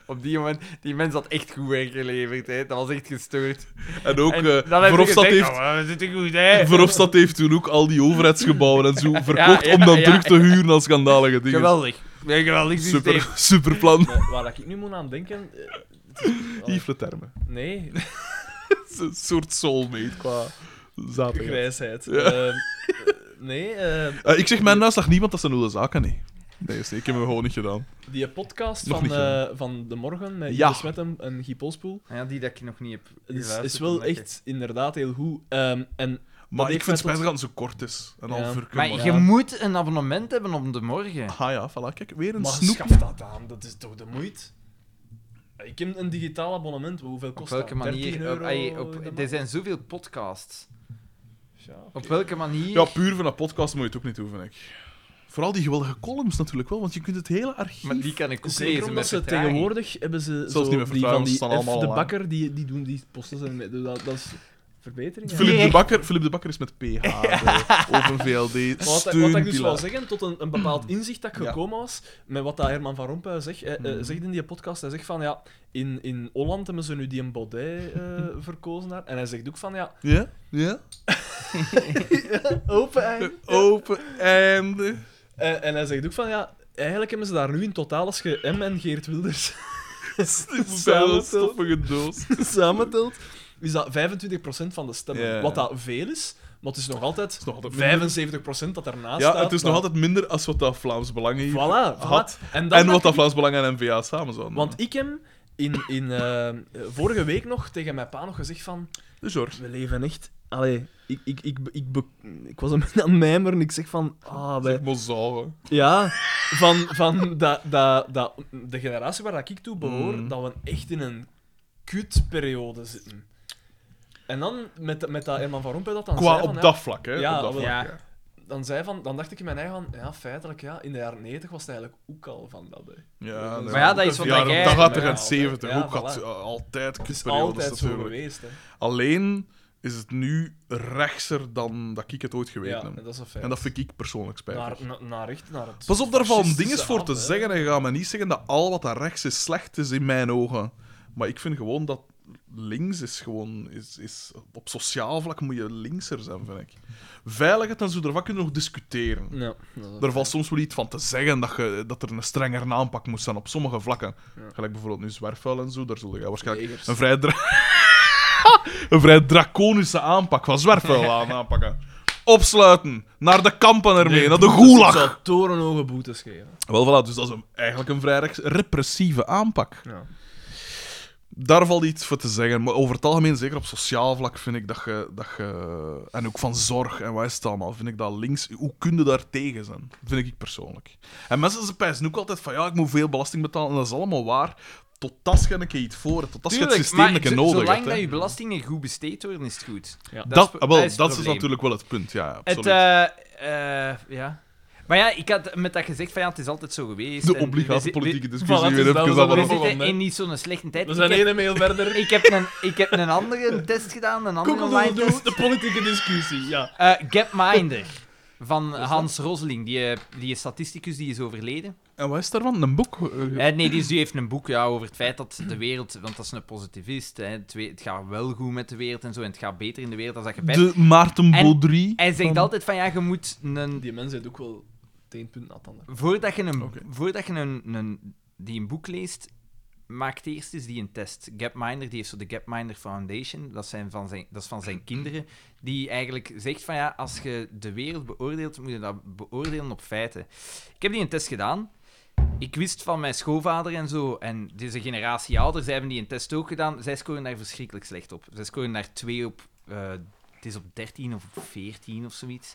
[SPEAKER 4] (laughs) op die moment... Die mens had echt goed werk geleverd, hè. Dat was echt gestoord.
[SPEAKER 2] En ook
[SPEAKER 4] En
[SPEAKER 2] eh,
[SPEAKER 4] dan heb ik
[SPEAKER 2] Verhofstadt
[SPEAKER 4] gezegd,
[SPEAKER 2] heeft,
[SPEAKER 4] "Oh, we zitten goed, hè.
[SPEAKER 2] Verhofstadt heeft toen ook al die overheidsgebouwen en zo verkocht
[SPEAKER 4] (laughs) ja,
[SPEAKER 2] om dan
[SPEAKER 4] ja,
[SPEAKER 2] terug te huren als schandalige dingen.
[SPEAKER 4] Geweldig. Nee, geweldig systeem.
[SPEAKER 2] Super, super plan.
[SPEAKER 3] Eh, waar ik nu moet aan denken... eh, het is- allee,
[SPEAKER 2] Yves Le Terme.
[SPEAKER 3] nee,
[SPEAKER 2] Het is Een soort soulmate qua zaterdag.
[SPEAKER 3] grijsheid.
[SPEAKER 2] Ja.
[SPEAKER 3] Ehm, eh, nee, eh,
[SPEAKER 2] Eh, ik zeg mijn naslag niet, want dat zijn nullen zaken, nee. Nee, is- ik heb hem gewoon niet gedaan.
[SPEAKER 3] die podcast
[SPEAKER 2] Nog
[SPEAKER 3] van,
[SPEAKER 2] niet gedaan.
[SPEAKER 3] eh, van de morgen met
[SPEAKER 2] Ja.
[SPEAKER 3] ja. Smetten en Guy Polspoel,
[SPEAKER 4] Ja, die dat ik nog niet heb
[SPEAKER 3] is,
[SPEAKER 4] geluisterd,
[SPEAKER 3] is wel
[SPEAKER 4] omdat ik-
[SPEAKER 3] echt inderdaad heel goed. Ehm, en
[SPEAKER 2] Maar
[SPEAKER 3] heeft
[SPEAKER 2] ik vind
[SPEAKER 3] mij
[SPEAKER 2] spijtig dat het zo kort is. Een
[SPEAKER 3] Ja.
[SPEAKER 2] half uur.
[SPEAKER 4] Maar
[SPEAKER 2] maar-
[SPEAKER 4] je
[SPEAKER 3] Ja.
[SPEAKER 4] moet een abonnement hebben om de morgen.
[SPEAKER 2] Ah ja, voilà, kijk, weer een
[SPEAKER 3] maar
[SPEAKER 2] snoep.
[SPEAKER 3] schaf dat aan, dat is toch de moeite? Ik heb een digitaal abonnement, maar hoeveel
[SPEAKER 4] Op
[SPEAKER 3] kost
[SPEAKER 4] welke
[SPEAKER 3] dat?
[SPEAKER 4] manier?
[SPEAKER 3] 13
[SPEAKER 4] Op,
[SPEAKER 3] euro
[SPEAKER 4] ai, op-
[SPEAKER 3] in de
[SPEAKER 4] er
[SPEAKER 3] maand?
[SPEAKER 4] zijn zoveel podcasts.
[SPEAKER 3] Ja.
[SPEAKER 4] Op welke manier?
[SPEAKER 2] Ja, puur van een podcast moet je het ook niet hoeven, ik. Vooral die geweldige columns natuurlijk wel, want je kunt het hele archief...
[SPEAKER 4] Maar die kan ik ook
[SPEAKER 3] Zeker
[SPEAKER 4] lezen
[SPEAKER 3] omdat
[SPEAKER 4] met
[SPEAKER 3] ze
[SPEAKER 4] vertraging.
[SPEAKER 3] tegenwoordig hebben ze
[SPEAKER 2] Zelfs
[SPEAKER 3] zo
[SPEAKER 2] niet meer
[SPEAKER 3] die van
[SPEAKER 2] vertrouwen,
[SPEAKER 3] die
[SPEAKER 2] ze staan
[SPEAKER 3] F
[SPEAKER 2] allemaal
[SPEAKER 3] de
[SPEAKER 2] online.
[SPEAKER 3] Bakker, die, die doen die posten en Dus dat, dat is verbetering. ja.
[SPEAKER 2] Philip, de
[SPEAKER 4] Direct.
[SPEAKER 2] Bakker, Philip de Bakker is met PH,
[SPEAKER 3] (laughs)
[SPEAKER 2] de Open VLD,
[SPEAKER 3] Maar Wat, ik- wat ik dus wil
[SPEAKER 2] steunpilaar.
[SPEAKER 3] zeggen, tot een, een
[SPEAKER 2] (clears throat)
[SPEAKER 3] bepaald inzicht dat ik
[SPEAKER 2] Ja.
[SPEAKER 3] gekomen was, met wat dat Herman van Rompuy zegt, eh, eh,
[SPEAKER 2] Mhm.
[SPEAKER 3] zegt in die podcast, hij zegt van ja, in, in Holland hebben ze nu die een
[SPEAKER 2] (laughs)
[SPEAKER 3] Baudet eh, verkozen daar, en hij zegt ook van ja,
[SPEAKER 2] Ja? Ja?
[SPEAKER 3] open einde.
[SPEAKER 2] Open
[SPEAKER 3] (laughs)
[SPEAKER 2] einde.
[SPEAKER 3] Eh, en hij zegt ook van ja, eigenlijk hebben ze daar nu in totaal als je M en Geert Wilders (laughs)
[SPEAKER 2] Vuile
[SPEAKER 3] samentelt,
[SPEAKER 2] stoffige doos.
[SPEAKER 3] samentelt, is dat 25% van de stemmen,
[SPEAKER 2] Ja.
[SPEAKER 3] wat dat veel is, maar het is nog altijd,
[SPEAKER 2] nog altijd
[SPEAKER 3] 75% dat daarnaast staat.
[SPEAKER 2] Ja, het is nog
[SPEAKER 3] maar-
[SPEAKER 2] altijd minder als wat dat Vlaams Belang heeft.
[SPEAKER 3] Voilà, voilà.
[SPEAKER 2] had.
[SPEAKER 3] En, dan
[SPEAKER 2] En wat
[SPEAKER 3] dacht
[SPEAKER 2] dat
[SPEAKER 3] ik-
[SPEAKER 2] Vlaams Belang en N-VA samen zouden
[SPEAKER 3] Want ik heb in, in, eh, eh, vorige week nog tegen mijn pa nog gezegd van...
[SPEAKER 2] doen. De George.
[SPEAKER 3] We leven echt... Allee, ik, ik, ik, ik, be- ik was een (laughs) beetje aan het mijmeren en ik zeg van... Ah, wij,
[SPEAKER 2] Zeg maar zo, hè.
[SPEAKER 3] ja, van, van dat dat dat de generatie waar ik toe behoor,
[SPEAKER 2] Mm.
[SPEAKER 3] dat we echt in een kutperiode zitten. En dan, met, met dat Herman van Rompuy dat dan
[SPEAKER 2] Qua
[SPEAKER 3] zei van,
[SPEAKER 2] op
[SPEAKER 3] ja,
[SPEAKER 2] dat vlak, hè.
[SPEAKER 3] Ja,
[SPEAKER 2] op dat
[SPEAKER 3] wel,
[SPEAKER 2] vlak,
[SPEAKER 4] ja.
[SPEAKER 2] ja.
[SPEAKER 3] dan, zei van, dan dacht ik in mijn eigen van... Ja, feitelijk, ja, in de jaren 90 was het eigenlijk ook al van dat. Hè.
[SPEAKER 2] Ja,
[SPEAKER 3] Maar
[SPEAKER 2] nee.
[SPEAKER 4] ja, dat is wat
[SPEAKER 2] Ja,
[SPEAKER 4] dat jij-
[SPEAKER 2] dat gaat er
[SPEAKER 3] Ja,
[SPEAKER 2] in 70.
[SPEAKER 3] ja,
[SPEAKER 2] ook had
[SPEAKER 3] voilà.
[SPEAKER 2] eh, altijd
[SPEAKER 3] Het is
[SPEAKER 2] kutperiodes
[SPEAKER 3] altijd zo
[SPEAKER 2] natuurlijk.
[SPEAKER 3] geweest, hè.
[SPEAKER 2] Alleen is het nu rechtser dan dat ik het ooit geweten
[SPEAKER 3] Ja,
[SPEAKER 2] heb.
[SPEAKER 3] dat is een feit.
[SPEAKER 2] En dat vind ik persoonlijk spijtig.
[SPEAKER 3] Naar, na- naar echt, naar het...
[SPEAKER 2] Pas op, daar vallen
[SPEAKER 3] fascistische
[SPEAKER 2] dingen voor te
[SPEAKER 3] aan, hè.
[SPEAKER 2] zeggen. En je gaat me niet zeggen dat al wat daar rechts is slecht is in mijn ogen. Maar ik vind gewoon dat links is gewoon... Is, is, op sociaal vlak moet je linkser zijn, vind ik. Veiligheid en zo, daarvan kunnen we nog discussiëren.
[SPEAKER 3] Ja,
[SPEAKER 2] Er valt soms wel iets van te zeggen dat, je, dat er een strenger aanpak moet zijn op sommige vlakken.
[SPEAKER 3] Ja.
[SPEAKER 2] Gelijk bijvoorbeeld nu zwerfvuil en zo, daar zul je waarschijnlijk
[SPEAKER 3] Legers.
[SPEAKER 2] een vrij, dra- (laughs) een vrij draconische aanpak van zwerfvuil aan aanpakken. Opsluiten, naar de kampen ermee, naar de
[SPEAKER 3] Ik
[SPEAKER 2] gulag.
[SPEAKER 3] zou torenhoge boetes geven.
[SPEAKER 2] Wel voilà, dus dat is een, eigenlijk een vrij rechts- repressieve aanpak.
[SPEAKER 3] Ja.
[SPEAKER 2] Daar valt iets voor te zeggen, maar over het algemeen, zeker op sociaal vlak, vind ik dat je... Dat je en ook van zorg en wat is het allemaal, vind ik dat links... Hoe kun je daar tegen zijn? Vind ik persoonlijk. En mensen ze pijzen ook altijd van, ja, ik moet veel belasting betalen, en dat is allemaal waar. Tot dat je een keer iets voor hebt, tot dat je het
[SPEAKER 4] Tuurlijk,
[SPEAKER 2] systeem een
[SPEAKER 4] maar
[SPEAKER 2] keer
[SPEAKER 4] zo-
[SPEAKER 2] nodig
[SPEAKER 4] zolang
[SPEAKER 2] hebt.
[SPEAKER 4] dat
[SPEAKER 2] hè.
[SPEAKER 4] je belastingen goed besteed worden, is het goed.
[SPEAKER 3] Ja.
[SPEAKER 2] Dat,
[SPEAKER 4] is-
[SPEAKER 2] ah, wel,
[SPEAKER 4] dat
[SPEAKER 2] dat,
[SPEAKER 4] is het
[SPEAKER 2] is
[SPEAKER 4] probleem.
[SPEAKER 2] natuurlijk wel het punt, ja, ja, absoluut.
[SPEAKER 4] Het, eh, eh, ja. Maar ja, ik had met dat gezegd van ja, het is altijd zo geweest.
[SPEAKER 2] de
[SPEAKER 4] en we
[SPEAKER 2] obligate
[SPEAKER 4] zi-
[SPEAKER 2] politieke
[SPEAKER 3] voilà,
[SPEAKER 2] discussie
[SPEAKER 3] dus
[SPEAKER 2] weer
[SPEAKER 3] dat
[SPEAKER 2] even
[SPEAKER 3] was
[SPEAKER 4] We, we
[SPEAKER 3] allemaal-
[SPEAKER 2] aan
[SPEAKER 4] zitten
[SPEAKER 3] hè.
[SPEAKER 4] in niet zo'n slechte tijd.
[SPEAKER 3] We
[SPEAKER 4] Ik
[SPEAKER 3] zijn
[SPEAKER 4] heb,
[SPEAKER 3] één mail verder.
[SPEAKER 4] (laughs) ik, heb een, ik heb een andere test gedaan, een andere online
[SPEAKER 3] Koekeldoedeldoe,
[SPEAKER 4] test.
[SPEAKER 3] dus de politieke discussie, ja.
[SPEAKER 4] Eh, Gapminder van Hans Rosling, die, eh, die is statisticus, die is overleden.
[SPEAKER 2] En wat is daarvan? Een boek? eh,
[SPEAKER 4] Eh, nee, dus die heeft een boek ja, over het feit dat de wereld, want dat is een positivist, hè, het, we- het gaat wel goed met de wereld en zo, en het gaat beter in de wereld als dat je bent.
[SPEAKER 2] De Maarten
[SPEAKER 4] En-
[SPEAKER 2] Baudry.
[SPEAKER 4] Hij zegt
[SPEAKER 2] van-
[SPEAKER 4] altijd van ja, je moet een
[SPEAKER 3] Die mensen hebben ook wel het een punt na het ander.
[SPEAKER 4] voordat je, een,
[SPEAKER 2] Oké.
[SPEAKER 4] voordat je een, een, die een boek leest, maakt eerst eens die een test. Gapminder, die heeft zo de Gapminder Foundation, dat, zijn van zijn, dat is van zijn kinderen, die eigenlijk zegt van ja, als je de wereld beoordeelt, moet je dat beoordelen op feiten. Ik heb die een test gedaan. Ik wist van mijn schoonvader en zo, en deze generatie ouder, zij hebben die een test ook gedaan. Zij scoren daar verschrikkelijk slecht op. Zij scoren daar 2 op, eh, het is op 13 of op 14 of zoiets.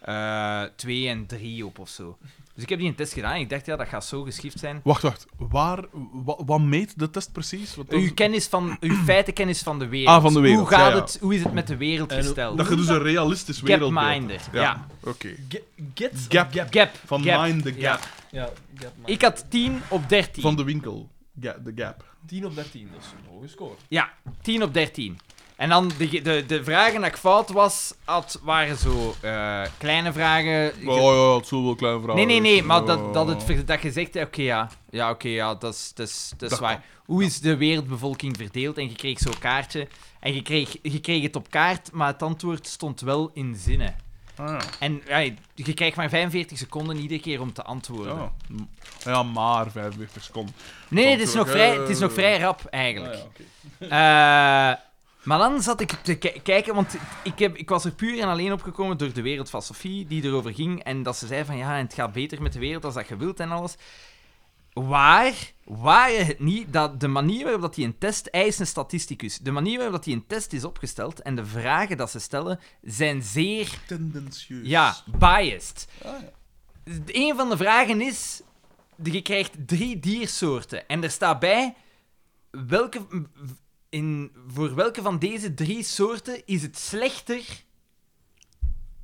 [SPEAKER 4] Eh 2 en 3 op of zo. Dus ik heb die een test gedaan en ik dacht, ja, dat gaat zo geschift zijn.
[SPEAKER 2] Wacht, wacht. Waar, wa- wat meet de test precies? Want dat is-
[SPEAKER 4] Uw, kennis van,
[SPEAKER 2] (clears throat)
[SPEAKER 4] uw feitenkennis van de wereld.
[SPEAKER 2] Ah, van de wereld,
[SPEAKER 4] Hoe, gaat
[SPEAKER 2] ja, ja.
[SPEAKER 4] Het, hoe is het met de wereld
[SPEAKER 3] En hoe-
[SPEAKER 4] gesteld?
[SPEAKER 2] Dat je dus een realistisch wereldbeeld
[SPEAKER 4] Gapminder.
[SPEAKER 2] hebt.
[SPEAKER 4] Ja.
[SPEAKER 2] Oké.
[SPEAKER 3] Get, get
[SPEAKER 2] Gap.
[SPEAKER 3] gap.
[SPEAKER 4] Gap.
[SPEAKER 2] Van
[SPEAKER 4] gap.
[SPEAKER 2] mind the
[SPEAKER 4] Ja.
[SPEAKER 2] gap.
[SPEAKER 3] Ja, gap maar.
[SPEAKER 4] Ik had 10 op 13.
[SPEAKER 2] Van de winkel. Ga- de gap.
[SPEAKER 3] 10 op 13, dat is een hoge score.
[SPEAKER 4] Ja, 10 op 13. En dan de, ge- de, de vragen dat ik fout was, had, waren zo eh, kleine vragen.
[SPEAKER 2] Oh ja, het zullen wel kleine vragen.
[SPEAKER 4] nee, nee, nee, maar
[SPEAKER 2] Oh.
[SPEAKER 4] dat, dat, het, ver- dat je zegt, eh, oké, ja, ja, oké ja, dat is, dat is, dat is
[SPEAKER 2] Dat
[SPEAKER 4] waar. Hoe is de wereldbevolking verdeeld? En je kreeg zo'n kaartje. En je kreeg, je kreeg het op kaart, maar het antwoord stond wel in zinnen.
[SPEAKER 2] Ah,
[SPEAKER 4] En ja, je krijgt maar 45 seconden iedere keer om te
[SPEAKER 2] ja.
[SPEAKER 4] antwoorden.
[SPEAKER 2] Ja. Oh. ja, maar 45 seconden.
[SPEAKER 4] Nee, nee, het is, nog
[SPEAKER 2] Antwoord,
[SPEAKER 4] vrij,
[SPEAKER 2] eh.
[SPEAKER 4] het is nog vrij rap eigenlijk.
[SPEAKER 2] Ah, ja, oké.
[SPEAKER 4] Eh, maar dan zat ik te ki- kijken, want ik, heb, ik was er puur en alleen opgekomen door de wereld van Sophie, die erover ging. En dat ze zei van ja, en het gaat beter met de wereld als dat je wilt en alles. Waar, waar het niet, dat de manier waarop dat hij een test, hij is een statisticus, de manier waarop dat hij een test is opgesteld en de vragen dat ze stellen zijn zeer
[SPEAKER 2] Tendentieus.
[SPEAKER 4] ja, biased.
[SPEAKER 2] Ah, ja.
[SPEAKER 4] Een van de vragen is: je krijgt drie diersoorten. En er staat bij welke, in, voor welke van deze drie soorten is het slechter.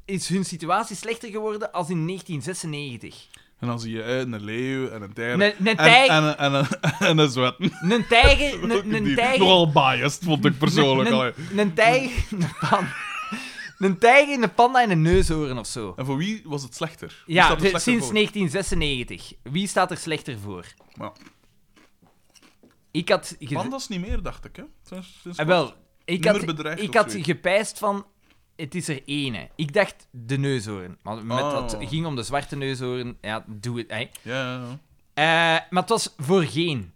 [SPEAKER 4] Is hun situatie slechter geworden als in 1996?
[SPEAKER 2] En dan zie je eh, een leeuw en een tijger.
[SPEAKER 4] Een, een,
[SPEAKER 2] En, en,
[SPEAKER 4] tijger,
[SPEAKER 2] en, en, en een (laughs) zwetten.
[SPEAKER 4] een
[SPEAKER 2] (laughs)
[SPEAKER 4] tijger. Een,
[SPEAKER 2] Die-
[SPEAKER 4] een tijger.
[SPEAKER 2] Nogal biased, vond ik persoonlijk.
[SPEAKER 4] Een,
[SPEAKER 2] allee.
[SPEAKER 4] een, een tijger. Een pan- Een tijger, een panda en een neushoorn of zo.
[SPEAKER 2] En voor wie was het slechter? Wie
[SPEAKER 4] Ja,
[SPEAKER 2] staat er
[SPEAKER 4] de-
[SPEAKER 2] slechter
[SPEAKER 4] sinds
[SPEAKER 2] voor?
[SPEAKER 4] 1996. Wie staat er slechter voor?
[SPEAKER 2] Ja.
[SPEAKER 4] Ik had... ge-
[SPEAKER 2] Pandas niet meer, dacht ik. Hè? Sinds- sinds
[SPEAKER 4] Ah, wel, ik had,
[SPEAKER 2] Minder bedreigd
[SPEAKER 4] ik
[SPEAKER 2] of
[SPEAKER 4] had
[SPEAKER 2] zoiets.
[SPEAKER 4] gepijst van... Het is er ene. Ik dacht de neushoorn. Maar met
[SPEAKER 2] Oh.
[SPEAKER 4] dat ging om de zwarte neushoorn. Ja, doe het. hè.
[SPEAKER 2] kort. Ja, ja, ja.
[SPEAKER 4] Eh, maar het was voor geen.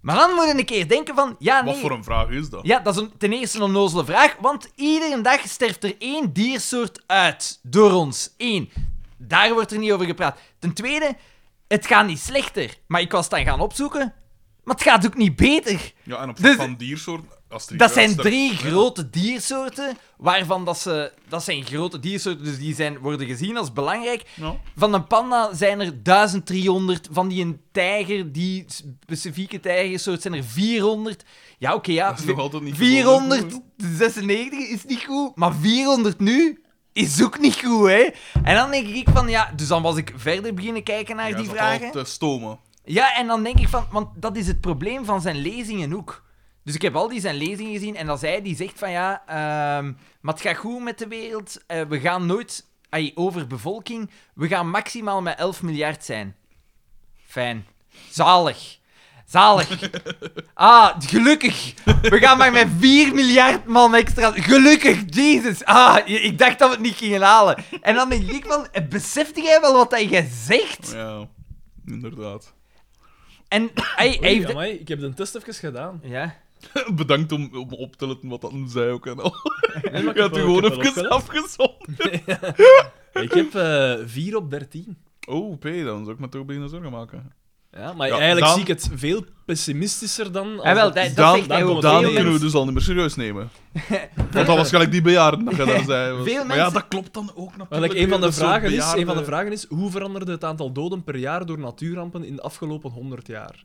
[SPEAKER 4] Maar dan moet je een keer denken van... Ja, nee.
[SPEAKER 2] Wat voor een vraag is dat?
[SPEAKER 4] Ja, dat is een- ten eerste een onnozele vraag, want iedere dag sterft er één diersoort uit. Door ons. Eén. Daar wordt er niet over gepraat. Ten tweede, het gaat niet slechter. Maar ik was het dan gaan opzoeken, maar het gaat ook niet beter.
[SPEAKER 2] Ja, en op
[SPEAKER 4] Dus-
[SPEAKER 2] van diersoorten... Als er iets
[SPEAKER 4] Dat zijn
[SPEAKER 2] uitsterft-
[SPEAKER 4] drie grote diersoorten, waarvan dat ze... Dat zijn grote diersoorten, dus die zijn, worden gezien als belangrijk.
[SPEAKER 2] Ja.
[SPEAKER 4] Van een panda zijn er 1300, van die een tijger, die specifieke tijgersoort, zijn er 400. Ja, oké, ja.
[SPEAKER 2] Dat is nog altijd niet geweldig,
[SPEAKER 4] 496 is niet goed, maar 400 nu is ook niet goed, hè. En dan denk ik van, ja... Dus dan was ik verder beginnen kijken naar
[SPEAKER 2] Ja,
[SPEAKER 4] die
[SPEAKER 2] zat
[SPEAKER 4] vragen.
[SPEAKER 2] al te eh, stomen.
[SPEAKER 4] Ja, en dan denk ik van, want dat is het probleem van zijn lezingen ook. Dus ik heb al die zijn lezingen gezien en als hij die zegt van ja, ehm, maar het gaat goed met de wereld, eh, we gaan nooit ai, over bevolking, we gaan maximaal met 11 miljard zijn. Fijn. Zalig. Zalig. Ah, gelukkig. We gaan maar met 4 miljard man extra. Gelukkig, Jezus. Ah, je- ik dacht dat we het niet gingen halen. En dan denk ik van, eh, beseft jij wel wat dat jij zegt?
[SPEAKER 2] Ja, inderdaad. (laughs)
[SPEAKER 4] En ai, hij
[SPEAKER 3] Oei,
[SPEAKER 4] heeft...
[SPEAKER 3] amai, ik heb de test even
[SPEAKER 2] (laughs)
[SPEAKER 3] gedaan.
[SPEAKER 4] Ja.
[SPEAKER 2] Bedankt om, om op te letten wat dat zei ook en al.
[SPEAKER 3] Nee, maar
[SPEAKER 2] Ik
[SPEAKER 3] ik heb
[SPEAKER 2] had u
[SPEAKER 3] wel-
[SPEAKER 2] gewoon
[SPEAKER 3] ik heb wel
[SPEAKER 2] even
[SPEAKER 3] opgelet.
[SPEAKER 2] afgezond.
[SPEAKER 3] Ik heb eh 4 op 13.
[SPEAKER 2] Oh, P, dan zou ik me toch beginnen zorgen maken.
[SPEAKER 3] Ja, maar
[SPEAKER 2] Ja,
[SPEAKER 3] eigenlijk
[SPEAKER 2] dan-
[SPEAKER 3] zie ik het veel pessimistischer dan. als
[SPEAKER 4] Ah, wel,
[SPEAKER 3] het-
[SPEAKER 4] dat, dat
[SPEAKER 2] Daan-
[SPEAKER 4] zegt hij
[SPEAKER 3] Daan
[SPEAKER 4] ook.
[SPEAKER 3] komt
[SPEAKER 2] Daan
[SPEAKER 4] Veel
[SPEAKER 2] kunnen we
[SPEAKER 4] mensen-
[SPEAKER 2] dus al niet meer serieus
[SPEAKER 4] (laughs)
[SPEAKER 2] nemen. Want dat was gelijk die bejaarden dat je daar zei. was.
[SPEAKER 4] Veel
[SPEAKER 2] maar ja,
[SPEAKER 4] mensen-
[SPEAKER 2] dat klopt dan ook natuurlijk.
[SPEAKER 3] Want like, een, van de
[SPEAKER 2] Dat soort
[SPEAKER 3] vragen is,
[SPEAKER 2] bejaarden-
[SPEAKER 3] een van de vragen is: hoe veranderde het aantal doden per jaar door natuurrampen in de afgelopen 100 jaar?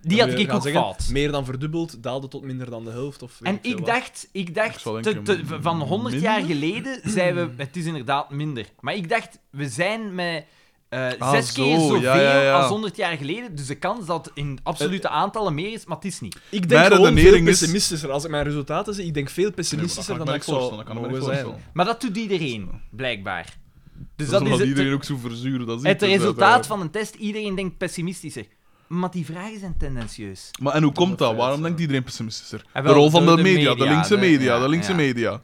[SPEAKER 4] Die
[SPEAKER 3] Dan
[SPEAKER 4] had
[SPEAKER 3] wil je
[SPEAKER 4] ik
[SPEAKER 3] gaan
[SPEAKER 4] ook
[SPEAKER 3] zeggen,
[SPEAKER 4] fout.
[SPEAKER 3] Meer dan verdubbeld, daalde tot minder dan de helft. Of weet
[SPEAKER 4] En
[SPEAKER 3] veel
[SPEAKER 4] ik
[SPEAKER 3] wat.
[SPEAKER 4] dacht, ik dacht
[SPEAKER 2] Ik zal
[SPEAKER 4] te-
[SPEAKER 2] denken,
[SPEAKER 4] te- van 100 jaar
[SPEAKER 2] minder? Hmm.
[SPEAKER 4] geleden zijn we... Het is inderdaad minder. Maar ik dacht, we zijn met eh,
[SPEAKER 2] Ah,
[SPEAKER 4] zes
[SPEAKER 2] zo,
[SPEAKER 4] keer
[SPEAKER 2] ja,
[SPEAKER 4] zoveel
[SPEAKER 2] ja, ja. Eh,
[SPEAKER 4] als 100 jaar geleden. Dus de kans dat in absolute aantallen meer is, maar het is niet.
[SPEAKER 3] Ik
[SPEAKER 2] Mijn
[SPEAKER 3] denk gewoon veel
[SPEAKER 2] redenering is-
[SPEAKER 3] pessimistischer. Als ik mijn resultaten zie, ik denk veel pessimistischer
[SPEAKER 2] Nee,
[SPEAKER 3] dan
[SPEAKER 2] maar
[SPEAKER 3] dat
[SPEAKER 2] dat
[SPEAKER 3] ik
[SPEAKER 2] kan ik me
[SPEAKER 3] zou
[SPEAKER 2] niet voorstellen, dat kan ik me niet
[SPEAKER 3] mogen zijn.
[SPEAKER 2] voorstellen.
[SPEAKER 4] Maar dat doet iedereen, blijkbaar. Dus
[SPEAKER 2] Dus
[SPEAKER 4] dat
[SPEAKER 2] dat
[SPEAKER 4] is het,
[SPEAKER 2] iedereen ook zo verzuren. Dat is
[SPEAKER 4] het
[SPEAKER 2] iets,
[SPEAKER 4] resultaat
[SPEAKER 2] uiteraard.
[SPEAKER 4] van een test. Iedereen denkt pessimistischer. Maar die vragen zijn tendentieus.
[SPEAKER 2] Maar en hoe komt dat?
[SPEAKER 3] feit,
[SPEAKER 2] Waarom
[SPEAKER 3] ja.
[SPEAKER 2] denkt iedereen pessimistischer?
[SPEAKER 4] Ah,
[SPEAKER 2] de
[SPEAKER 4] wel,
[SPEAKER 2] rol van de
[SPEAKER 4] door
[SPEAKER 2] media,
[SPEAKER 4] de
[SPEAKER 2] de
[SPEAKER 4] media,
[SPEAKER 2] linkse
[SPEAKER 4] de-
[SPEAKER 2] media,
[SPEAKER 4] ja,
[SPEAKER 2] de linkse
[SPEAKER 4] ja.
[SPEAKER 2] media.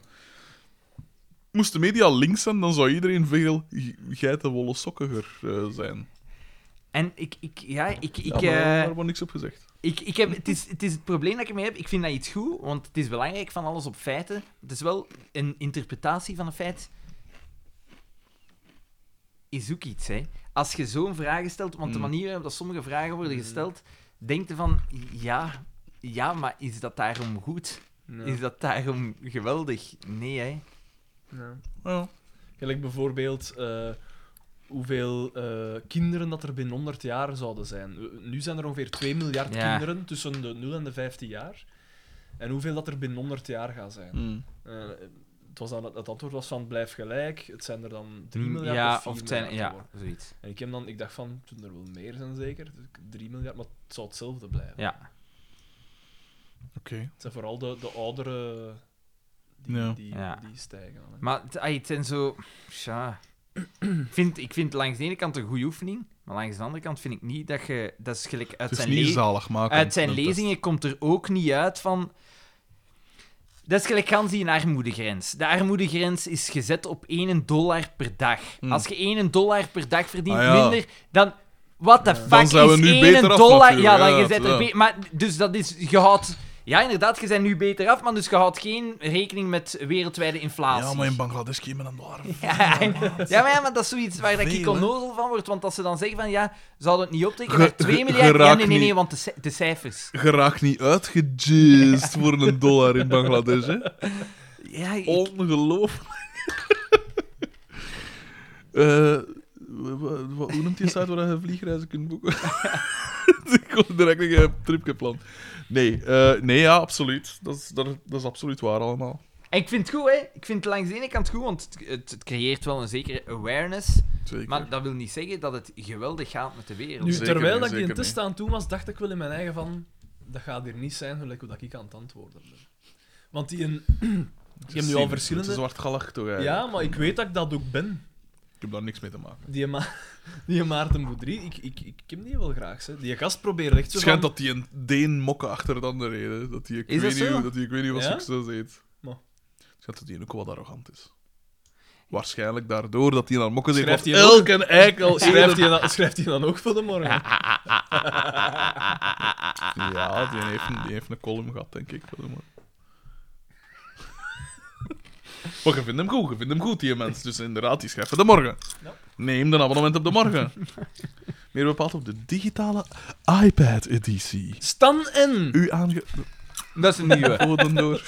[SPEAKER 2] Moest de media links zijn, dan zou iedereen veel ge- geitenwolle sokkiger eh, zijn.
[SPEAKER 4] En ik, ik ja, ik, ik,
[SPEAKER 2] Ja, maar
[SPEAKER 4] eh,
[SPEAKER 2] daar wordt niks op gezegd.
[SPEAKER 4] ik, ik heb, het, is, het is het probleem dat ik ermee heb. Ik vind dat iets goed, want het is belangrijk van alles op feiten. Het is wel een interpretatie van een feit. Is ook iets, hè. Als je zo'n vraag stelt, want de
[SPEAKER 2] Mm.
[SPEAKER 4] manier waarop dat sommige vragen worden gesteld, denk je van, ja, ja, maar is dat daarom goed? Is dat daarom geweldig? Nee, hè.
[SPEAKER 3] Ja.
[SPEAKER 2] Ja.
[SPEAKER 3] Gelijk bijvoorbeeld eh, hoeveel eh, kinderen dat er binnen 100 jaar zouden zijn. Eh, Nu zijn er ongeveer 2 miljard
[SPEAKER 4] Ja.
[SPEAKER 3] kinderen tussen de 0 en de 15 jaar. En hoeveel dat er binnen 100 jaar gaan zijn.
[SPEAKER 2] Hmm.
[SPEAKER 3] Eh, het, was dan, het antwoord was van blijf gelijk. Het zijn er dan 3
[SPEAKER 4] Mm,
[SPEAKER 3] miljard
[SPEAKER 4] ja,
[SPEAKER 3] of 4
[SPEAKER 4] of het zijn,
[SPEAKER 3] miljard
[SPEAKER 4] ja,
[SPEAKER 3] geworden.
[SPEAKER 4] zoiets.
[SPEAKER 3] En ik, heb dan, ik dacht van, het zullen er wel meer zijn zeker. 3 miljard, maar het zou hetzelfde blijven.
[SPEAKER 4] Ja.
[SPEAKER 2] Oké.
[SPEAKER 3] Het zijn vooral de, de ouderen die,
[SPEAKER 2] Ja.
[SPEAKER 3] die,
[SPEAKER 4] Ja.
[SPEAKER 3] die stijgen. dan, hè.
[SPEAKER 4] Maar het, ai, het zijn zo... Tja. Ik vind, ik vind langs de ene kant een goede oefening, maar langs de andere kant vind ik niet dat je... Dat is gelijk uit
[SPEAKER 2] Het is
[SPEAKER 4] zijn
[SPEAKER 2] niet
[SPEAKER 4] le-
[SPEAKER 2] zalig maken.
[SPEAKER 4] Uit zijn lezingen komt er ook niet uit van... Dat is gelijk gans die armoedegrens. De armoedegrens is gezet op 1 dollar per dag.
[SPEAKER 2] Hmm.
[SPEAKER 4] Als je 1 dollar per dag verdient
[SPEAKER 2] Ah, ja.
[SPEAKER 4] minder, dan... What the fuck
[SPEAKER 2] Dan zijn we
[SPEAKER 4] is
[SPEAKER 2] nu
[SPEAKER 4] 1
[SPEAKER 2] beter af,
[SPEAKER 4] dollar? ja,
[SPEAKER 2] natuurlijk.
[SPEAKER 4] dan
[SPEAKER 2] Ja,
[SPEAKER 4] je bent er
[SPEAKER 2] ja.
[SPEAKER 4] be- Maar dus dat is... Je houdt... Ja, inderdaad, je bent nu beter af, maar dus je houdt geen rekening met wereldwijde inflatie.
[SPEAKER 2] Ja, maar in Bangladesh kun je met een dollar.
[SPEAKER 4] Ja, ja, maar, ja, maar dat is zoiets waar dat ik
[SPEAKER 2] Veel, hè?
[SPEAKER 4] onnozel van word. Want als ze dan zeggen van ja, zou het niet optrekken
[SPEAKER 2] Ge-
[SPEAKER 4] naar 2
[SPEAKER 2] ge-
[SPEAKER 4] miljard? Ja,
[SPEAKER 2] geraakt
[SPEAKER 4] nee, nee, nee,
[SPEAKER 2] niet.
[SPEAKER 4] want de, ci- de cijfers.
[SPEAKER 2] Je raakt niet uitgejazed voor een dollar in Bangladesh,
[SPEAKER 3] (laughs)
[SPEAKER 2] hè?
[SPEAKER 4] Ja, ik-
[SPEAKER 2] Ongelooflijk. Eh, wa- wa- wa- hoe noemt die site waar je vliegreizen kunt boeken? (laughs) Ik kom direct een eh, tripje plan. Nee, eh, nee ja, absoluut. Dat is, dat, dat is absoluut waar allemaal.
[SPEAKER 4] en ik vind het goed, hè. Ik vind het langs de ene kant goed, want het, het, het creëert wel een zekere awareness.
[SPEAKER 2] Zeker.
[SPEAKER 4] Maar dat wil niet zeggen dat het geweldig gaat met de wereld.
[SPEAKER 3] Nu,
[SPEAKER 2] Zeker
[SPEAKER 3] terwijl
[SPEAKER 2] niet,
[SPEAKER 3] dat ik die
[SPEAKER 2] zeker
[SPEAKER 3] test aan toe was, dacht ik wel in mijn eigen van... Dat gaat hier niet zijn, gelijk hoe dat ik aan het antwoorden ben. Want die een...
[SPEAKER 2] Het is
[SPEAKER 3] je hebt nu al
[SPEAKER 2] cynisch,
[SPEAKER 3] verschillende-
[SPEAKER 2] Het is zwartgallig toch eigenlijk.
[SPEAKER 3] Ja, maar ik weet dat ik dat ook ben.
[SPEAKER 2] Ik heb daar niks mee te maken.
[SPEAKER 3] Die, Ma- (laughs) die Maarten Boudry, ik, ik, ik ken die wel graag. Hè. Die gast probeert echt zo
[SPEAKER 2] Het schijnt
[SPEAKER 3] van-
[SPEAKER 2] dat die een Deen mokken achter de andere reden. Dat die, ik,
[SPEAKER 4] Is dat
[SPEAKER 2] weet niet,
[SPEAKER 4] zo?
[SPEAKER 2] hoe- dat die, ik weet niet wat
[SPEAKER 3] Ja?
[SPEAKER 2] succes heet.
[SPEAKER 3] Maar.
[SPEAKER 2] Het schijnt dat die ook wel wat arrogant is. Waarschijnlijk daardoor dat hij aan mokken zegt...
[SPEAKER 3] Schrijft
[SPEAKER 2] "Wat
[SPEAKER 3] hij ook-
[SPEAKER 2] elke eikel
[SPEAKER 3] (laughs) Schrijft hij, dan, schrijft hij dan ook voor de morgen? Ah.
[SPEAKER 2] Ja, die heeft, een, die heeft een column gehad, denk ik. Voor de man. (laughs) Maar je vindt hem goed, je vindt hem goed, die mens. Dus inderdaad, die schrijft voor de morgen.
[SPEAKER 3] Ja.
[SPEAKER 2] Neem een abonnement op de
[SPEAKER 3] (laughs)
[SPEAKER 2] morgen. Meer bepaald op de digitale iPad-editie.
[SPEAKER 3] Stan N.
[SPEAKER 2] U aange...
[SPEAKER 4] Dat is een (laughs) nieuwe.
[SPEAKER 2] Boden door.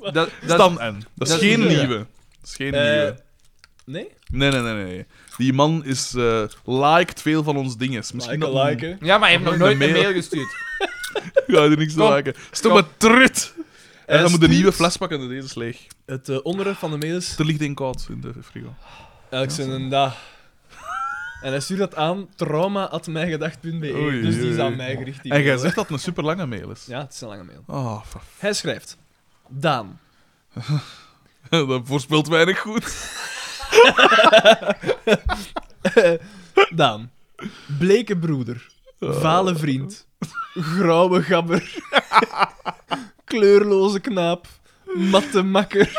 [SPEAKER 4] Dat, dat is-
[SPEAKER 2] Stan N. Dat is
[SPEAKER 4] dat is
[SPEAKER 2] geen
[SPEAKER 4] een nieuwe.
[SPEAKER 2] nieuwe. Dat is geen
[SPEAKER 3] Eh,
[SPEAKER 2] nieuwe.
[SPEAKER 3] Nee?
[SPEAKER 2] Nee, nee, nee, nee. Die man is... eh liked veel van ons dinges. Misschien
[SPEAKER 3] Like,
[SPEAKER 2] dat-
[SPEAKER 3] like, hè.
[SPEAKER 4] Ja, maar je hebt nog
[SPEAKER 2] Een
[SPEAKER 4] nooit een
[SPEAKER 2] mail.
[SPEAKER 4] mail gestuurd.
[SPEAKER 2] (laughs) Ja, die niks te
[SPEAKER 4] Kom.
[SPEAKER 2] liken. Stop
[SPEAKER 4] Kom.
[SPEAKER 2] met trut! En dan
[SPEAKER 3] Eh,
[SPEAKER 2] moet een
[SPEAKER 3] stuurt
[SPEAKER 2] nieuwe fles pakken, en deze is leeg.
[SPEAKER 3] Het eh, onderwerp van de mail is...
[SPEAKER 2] Er ligt een koud in de frigo.
[SPEAKER 3] Elk zijn een dag. En hij stuurt dat aan trauma.mijgedacht.be.
[SPEAKER 2] Oei,
[SPEAKER 3] Dus die is
[SPEAKER 2] oei.
[SPEAKER 3] aan mij gericht. die
[SPEAKER 2] En jij
[SPEAKER 3] mail, hè.
[SPEAKER 2] zegt dat het een super lange mail is.
[SPEAKER 3] Ja, het is een lange mail.
[SPEAKER 2] Ah, fa-
[SPEAKER 3] Hij schrijft: Daan,
[SPEAKER 2] (laughs) dat voorspelt weinig goed. (laughs)
[SPEAKER 3] Daan, bleke broeder, vale vriend, grauwe gabber, (laughs) kleurloze knaap, matte makker,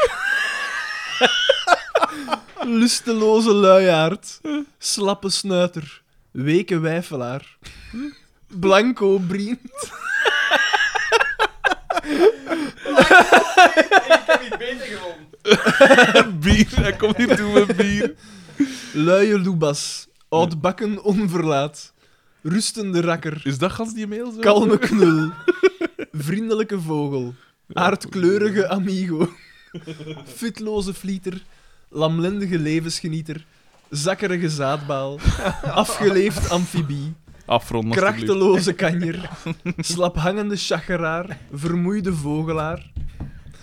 [SPEAKER 3] (laughs) lusteloze luiaard, slappe snuiter, weke wijfelaar, blanco vriend.
[SPEAKER 2] bier, hij komt hier toe met bier.
[SPEAKER 3] luie loebas, oudbakken onverlaat, rustende rakker,
[SPEAKER 2] Is dat gans die mail zo?
[SPEAKER 3] Kalme knul. Vriendelijke vogel. Aardkleurige amigo. Fitloze flieter. Lamlendige levensgenieter. Zakkerige zaadbaal. Afgeleefd amfibie.
[SPEAKER 2] Afrond, alstublieft.
[SPEAKER 3] Krachteloze kanjer. Slaphangende chageraar. Vermoeide vogelaar.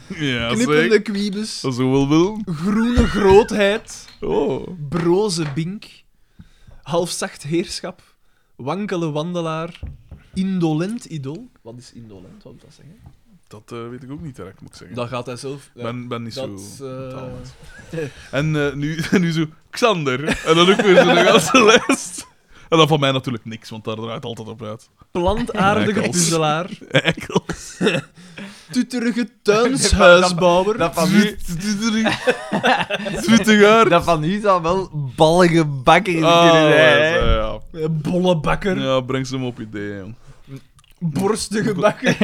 [SPEAKER 2] Ja, zeker.
[SPEAKER 3] Knippende kwiebes.
[SPEAKER 2] Dat zo wel wil.
[SPEAKER 3] Groene grootheid.
[SPEAKER 2] Oh.
[SPEAKER 3] Broze bink. Halfzacht heerschap. Wankele wandelaar. Indolent idool. Wat is indolent? Wat moet dat zeggen?
[SPEAKER 2] Dat eh, weet ik ook niet direct, moet ik zeggen.
[SPEAKER 3] Dan gaat hij zelf.
[SPEAKER 2] Ik ben, ben niet
[SPEAKER 3] dat,
[SPEAKER 2] zo...
[SPEAKER 3] eh,
[SPEAKER 2] taalmens. En eh, nu, (laughs) nu zo... Xander. En dan ook weer zo'n ganse lijst. En dan van mij natuurlijk (laughs) niks, want daar draait altijd op uit.
[SPEAKER 3] (laughs) plantaardige
[SPEAKER 2] Eikels.
[SPEAKER 3] puzzelaar,
[SPEAKER 2] Eikel.
[SPEAKER 3] stutterige
[SPEAKER 4] (laughs)
[SPEAKER 3] tuinshuisbouwer.
[SPEAKER 4] Dat van u,
[SPEAKER 2] Twintig jaar.
[SPEAKER 4] dat van u zou wel ballige bakker
[SPEAKER 2] Ah,
[SPEAKER 4] kunnen zijn. hè.
[SPEAKER 2] ja,
[SPEAKER 3] Eh, Bollebakker,
[SPEAKER 2] ja. ja, breng ze hem op ideeën. jong. (laughs)
[SPEAKER 3] borstige bakker.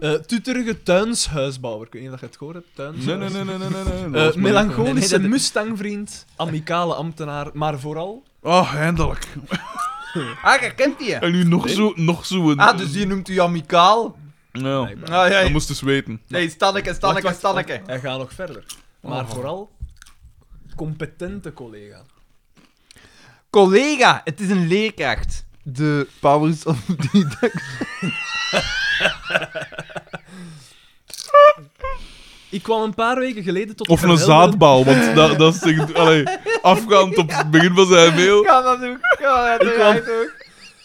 [SPEAKER 3] Eh, tutterige tuinshuisbouwer. Ik weet niet of je het gehoord hebt. Tuinshuis.
[SPEAKER 2] Nee, nee, nee, nee, nee. nee, nee. Dat was
[SPEAKER 3] Eh,
[SPEAKER 2] maar-
[SPEAKER 4] Nee, nee,
[SPEAKER 3] melancholische
[SPEAKER 4] dat-
[SPEAKER 3] mustangvriend, amicale ambtenaar, maar vooral...
[SPEAKER 2] Ah, eindelijk.
[SPEAKER 4] Ah, je kent die. hè?
[SPEAKER 2] En nu nog zo, nog zo een...
[SPEAKER 4] Ah, dus die noemt u amicaal.
[SPEAKER 2] Ja,
[SPEAKER 4] Ah, ja,
[SPEAKER 2] dat
[SPEAKER 4] ja.
[SPEAKER 2] moest eens weten.
[SPEAKER 4] Nee, Stanneke, Stanneke, Stanneke.
[SPEAKER 3] Hij gaat nog verder. Maar
[SPEAKER 4] Oh.
[SPEAKER 3] vooral competente collega.
[SPEAKER 4] Collega, het is een leerkracht. De powers of (laughs) die
[SPEAKER 3] Ik kwam een paar weken geleden tot
[SPEAKER 2] Of
[SPEAKER 3] het
[SPEAKER 2] een
[SPEAKER 3] verhelderend-
[SPEAKER 2] zaadbal, (laughs) want dat, dat zegt... Allee, afgaand op het begin van zijn mail.
[SPEAKER 4] Ga dat doen. Ga dat doen.
[SPEAKER 3] Ik
[SPEAKER 4] ga
[SPEAKER 3] kwam-
[SPEAKER 4] dat doen.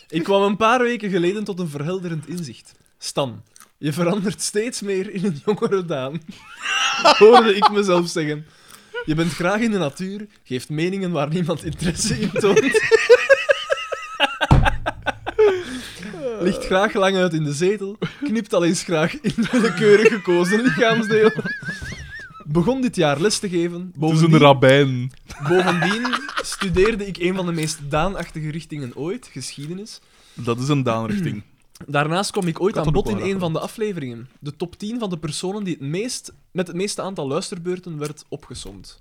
[SPEAKER 3] Ik kwam een paar weken geleden tot een verhelderend inzicht. Stan, je verandert steeds meer in een jongere Daan. Hoorde ik mezelf zeggen. Je bent graag in de natuur, geeft meningen waar niemand interesse in toont. Ligt graag lang uit in de zetel, knipt al eens graag in een willekeurig gekozen lichaamsdeel. Begon dit jaar les te geven.
[SPEAKER 2] Het is een
[SPEAKER 3] Bovendien,
[SPEAKER 2] rabbijn.
[SPEAKER 3] bovendien studeerde ik een van de meest Daanachtige richtingen ooit, geschiedenis.
[SPEAKER 2] Dat is een daanrichting.
[SPEAKER 3] Daarnaast kwam ik ooit
[SPEAKER 2] had
[SPEAKER 3] aan
[SPEAKER 2] er ook
[SPEAKER 3] bod
[SPEAKER 2] wel
[SPEAKER 3] in een
[SPEAKER 2] graag
[SPEAKER 3] van de afleveringen. De top 10 van de personen die het meest, met het meeste aantal luisterbeurten werd opgesomd.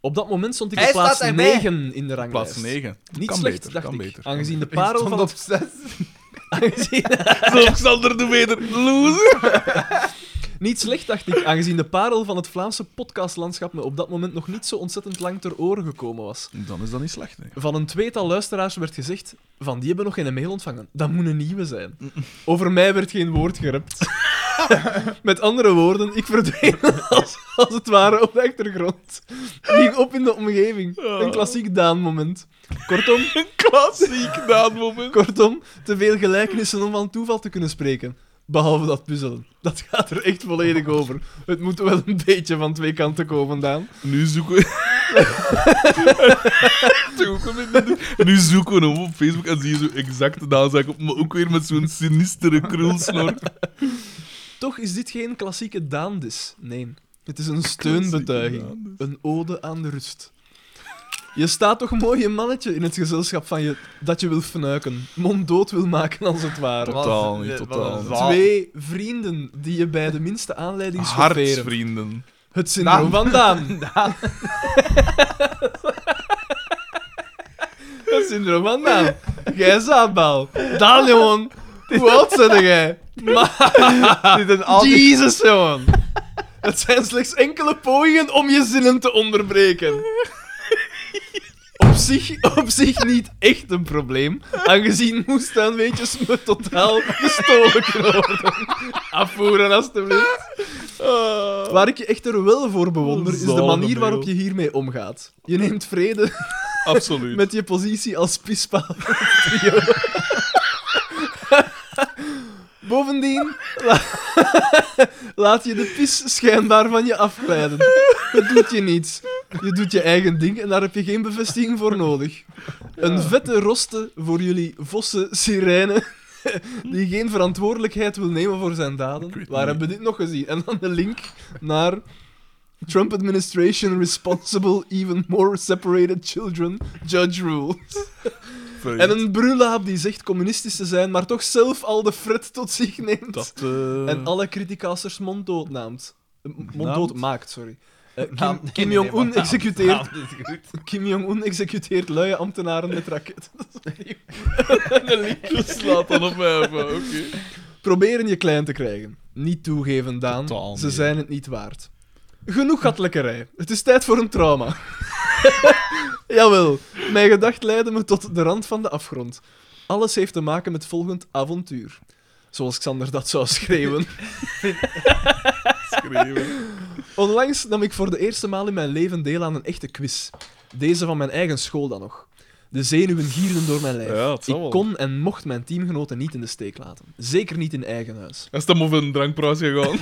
[SPEAKER 3] Op dat moment stond ik op
[SPEAKER 4] Hij staat
[SPEAKER 3] plaats
[SPEAKER 4] erbij.
[SPEAKER 3] 9 in de ranglijst.
[SPEAKER 2] Plaats 9.
[SPEAKER 3] Niet
[SPEAKER 2] kan
[SPEAKER 3] slecht,
[SPEAKER 2] beter,
[SPEAKER 3] dacht
[SPEAKER 2] kan
[SPEAKER 3] ik.
[SPEAKER 2] beter.
[SPEAKER 3] Aangezien de
[SPEAKER 4] Ik
[SPEAKER 3] parel
[SPEAKER 4] stond
[SPEAKER 3] van...
[SPEAKER 4] op zes.
[SPEAKER 3] (laughs) aangezien-
[SPEAKER 2] (laughs) Alexander de Weder, loser.
[SPEAKER 3] Niet slecht, dacht ik, aangezien de parel van het Vlaamse podcastlandschap me op dat moment nog niet zo ontzettend lang ter oren gekomen was.
[SPEAKER 2] Dan is dat niet slecht, nee.
[SPEAKER 3] Van een tweetal luisteraars werd gezegd, van die hebben nog geen mail ontvangen. Dat moet een nieuwe zijn. Over mij werd geen woord gerept. Met andere woorden, ik verdween als, als het ware op de achtergrond. Ging op in de omgeving. Een klassiek Daan-moment. Kortom,
[SPEAKER 2] Klassiek daadmoment.
[SPEAKER 3] kortom, te veel gelijkenissen om van toeval te kunnen spreken. Behalve dat puzzelen. Dat gaat er echt volledig over. Het moet wel een beetje van twee kanten komen, Daan.
[SPEAKER 2] Nu zoeken (laughs) we... Toen ook een beetje- nu zoeken we hem op Facebook en zie je zo exact de naamzaak op, maar ook weer met zo'n sinistere (laughs) krulsnor.
[SPEAKER 3] Toch is dit geen klassieke daandis. Nee. Het is een steunbetuiging. Een ode aan de rust. Je staat toch mooi een mannetje in het gezelschap van je dat je wil fnuiken. Monddood wil maken als het ware.
[SPEAKER 2] Totaal
[SPEAKER 4] Wat-
[SPEAKER 2] niet,
[SPEAKER 4] wat
[SPEAKER 2] totaal
[SPEAKER 4] een
[SPEAKER 2] niet.
[SPEAKER 4] zaal.
[SPEAKER 3] Twee vrienden die je bij de minste aanleiding schofferen.
[SPEAKER 2] Hartsvrienden.
[SPEAKER 3] Het syndroom van Daan. Het syndroom van Daan. Jij zaadbal. Daan, jongen. Hoe oud zit jij? (laughs)
[SPEAKER 4] Dit is een altijd...
[SPEAKER 3] Jezus, jongen. Het zijn slechts enkele pogingen om je zinnen te onderbreken. Op zich, op zich niet echt een probleem, aangezien moestuinweetjes me totaal gestolen kunnen worden. Afvoeren, alstublieft. Waar ik je echter wel voor bewonder, is de
[SPEAKER 2] Zalige
[SPEAKER 3] manier waarop je
[SPEAKER 2] mail.
[SPEAKER 3] hiermee omgaat. Je neemt vrede
[SPEAKER 2] Absoluut.
[SPEAKER 3] met je positie als pispaal. (laughs) Bovendien la- (laughs) laat je de pis schijnbaar van je afglijden. Het doet je niets. Je doet je eigen ding en daar heb je geen bevestiging voor nodig. Een vette roste voor jullie vossen sirene die geen verantwoordelijkheid wil nemen voor zijn daden.
[SPEAKER 2] Ik weet
[SPEAKER 3] Waar
[SPEAKER 2] niet.
[SPEAKER 3] hebben we dit nog gezien? En dan de link naar Trump administration responsible even more separated children judge rule.
[SPEAKER 2] Vreemd.
[SPEAKER 3] En een brulaap die zegt communistisch te zijn, maar toch zelf al de fret tot zich neemt.
[SPEAKER 2] Dat, eh,
[SPEAKER 3] En alle criticasters monddood naamt. Eh, Monddood
[SPEAKER 2] Naamt?
[SPEAKER 3] maakt, sorry. Eh, Kim,
[SPEAKER 4] Naamt? Nee,
[SPEAKER 3] Kim
[SPEAKER 4] nee,
[SPEAKER 3] Jong-un
[SPEAKER 4] maar-
[SPEAKER 3] executeert,
[SPEAKER 4] Ah, dat is goed.
[SPEAKER 3] (laughs) Kim Jong-un executeert luie ambtenaren met raketten. Dat is opnieuw een link.
[SPEAKER 2] Je (laughs) slaat dan op mij af, oké.
[SPEAKER 3] Proberen je klein te krijgen. Niet toegeven, Daan.
[SPEAKER 2] Totaal
[SPEAKER 3] Ze
[SPEAKER 2] niet.
[SPEAKER 3] zijn het niet waard. Genoeg gatlekkerij. Het is tijd voor een trauma. (laughs) Jawel, mijn gedacht leidde me tot de rand van de afgrond. Alles heeft te maken met volgend avontuur. Zoals Xander dat zou schreeuwen.
[SPEAKER 2] Schreeuwen.
[SPEAKER 3] Onlangs nam ik voor de eerste maal in mijn leven deel aan een echte quiz. Deze van mijn eigen school dan nog. De zenuwen gierden door mijn lijf.
[SPEAKER 2] Ja, het zal
[SPEAKER 3] ik
[SPEAKER 2] wel.
[SPEAKER 3] kon en mocht mijn teamgenoten niet in de steek laten. Zeker niet in eigen huis.
[SPEAKER 2] (laughs) Hij is dan over een drankprijs gegaan.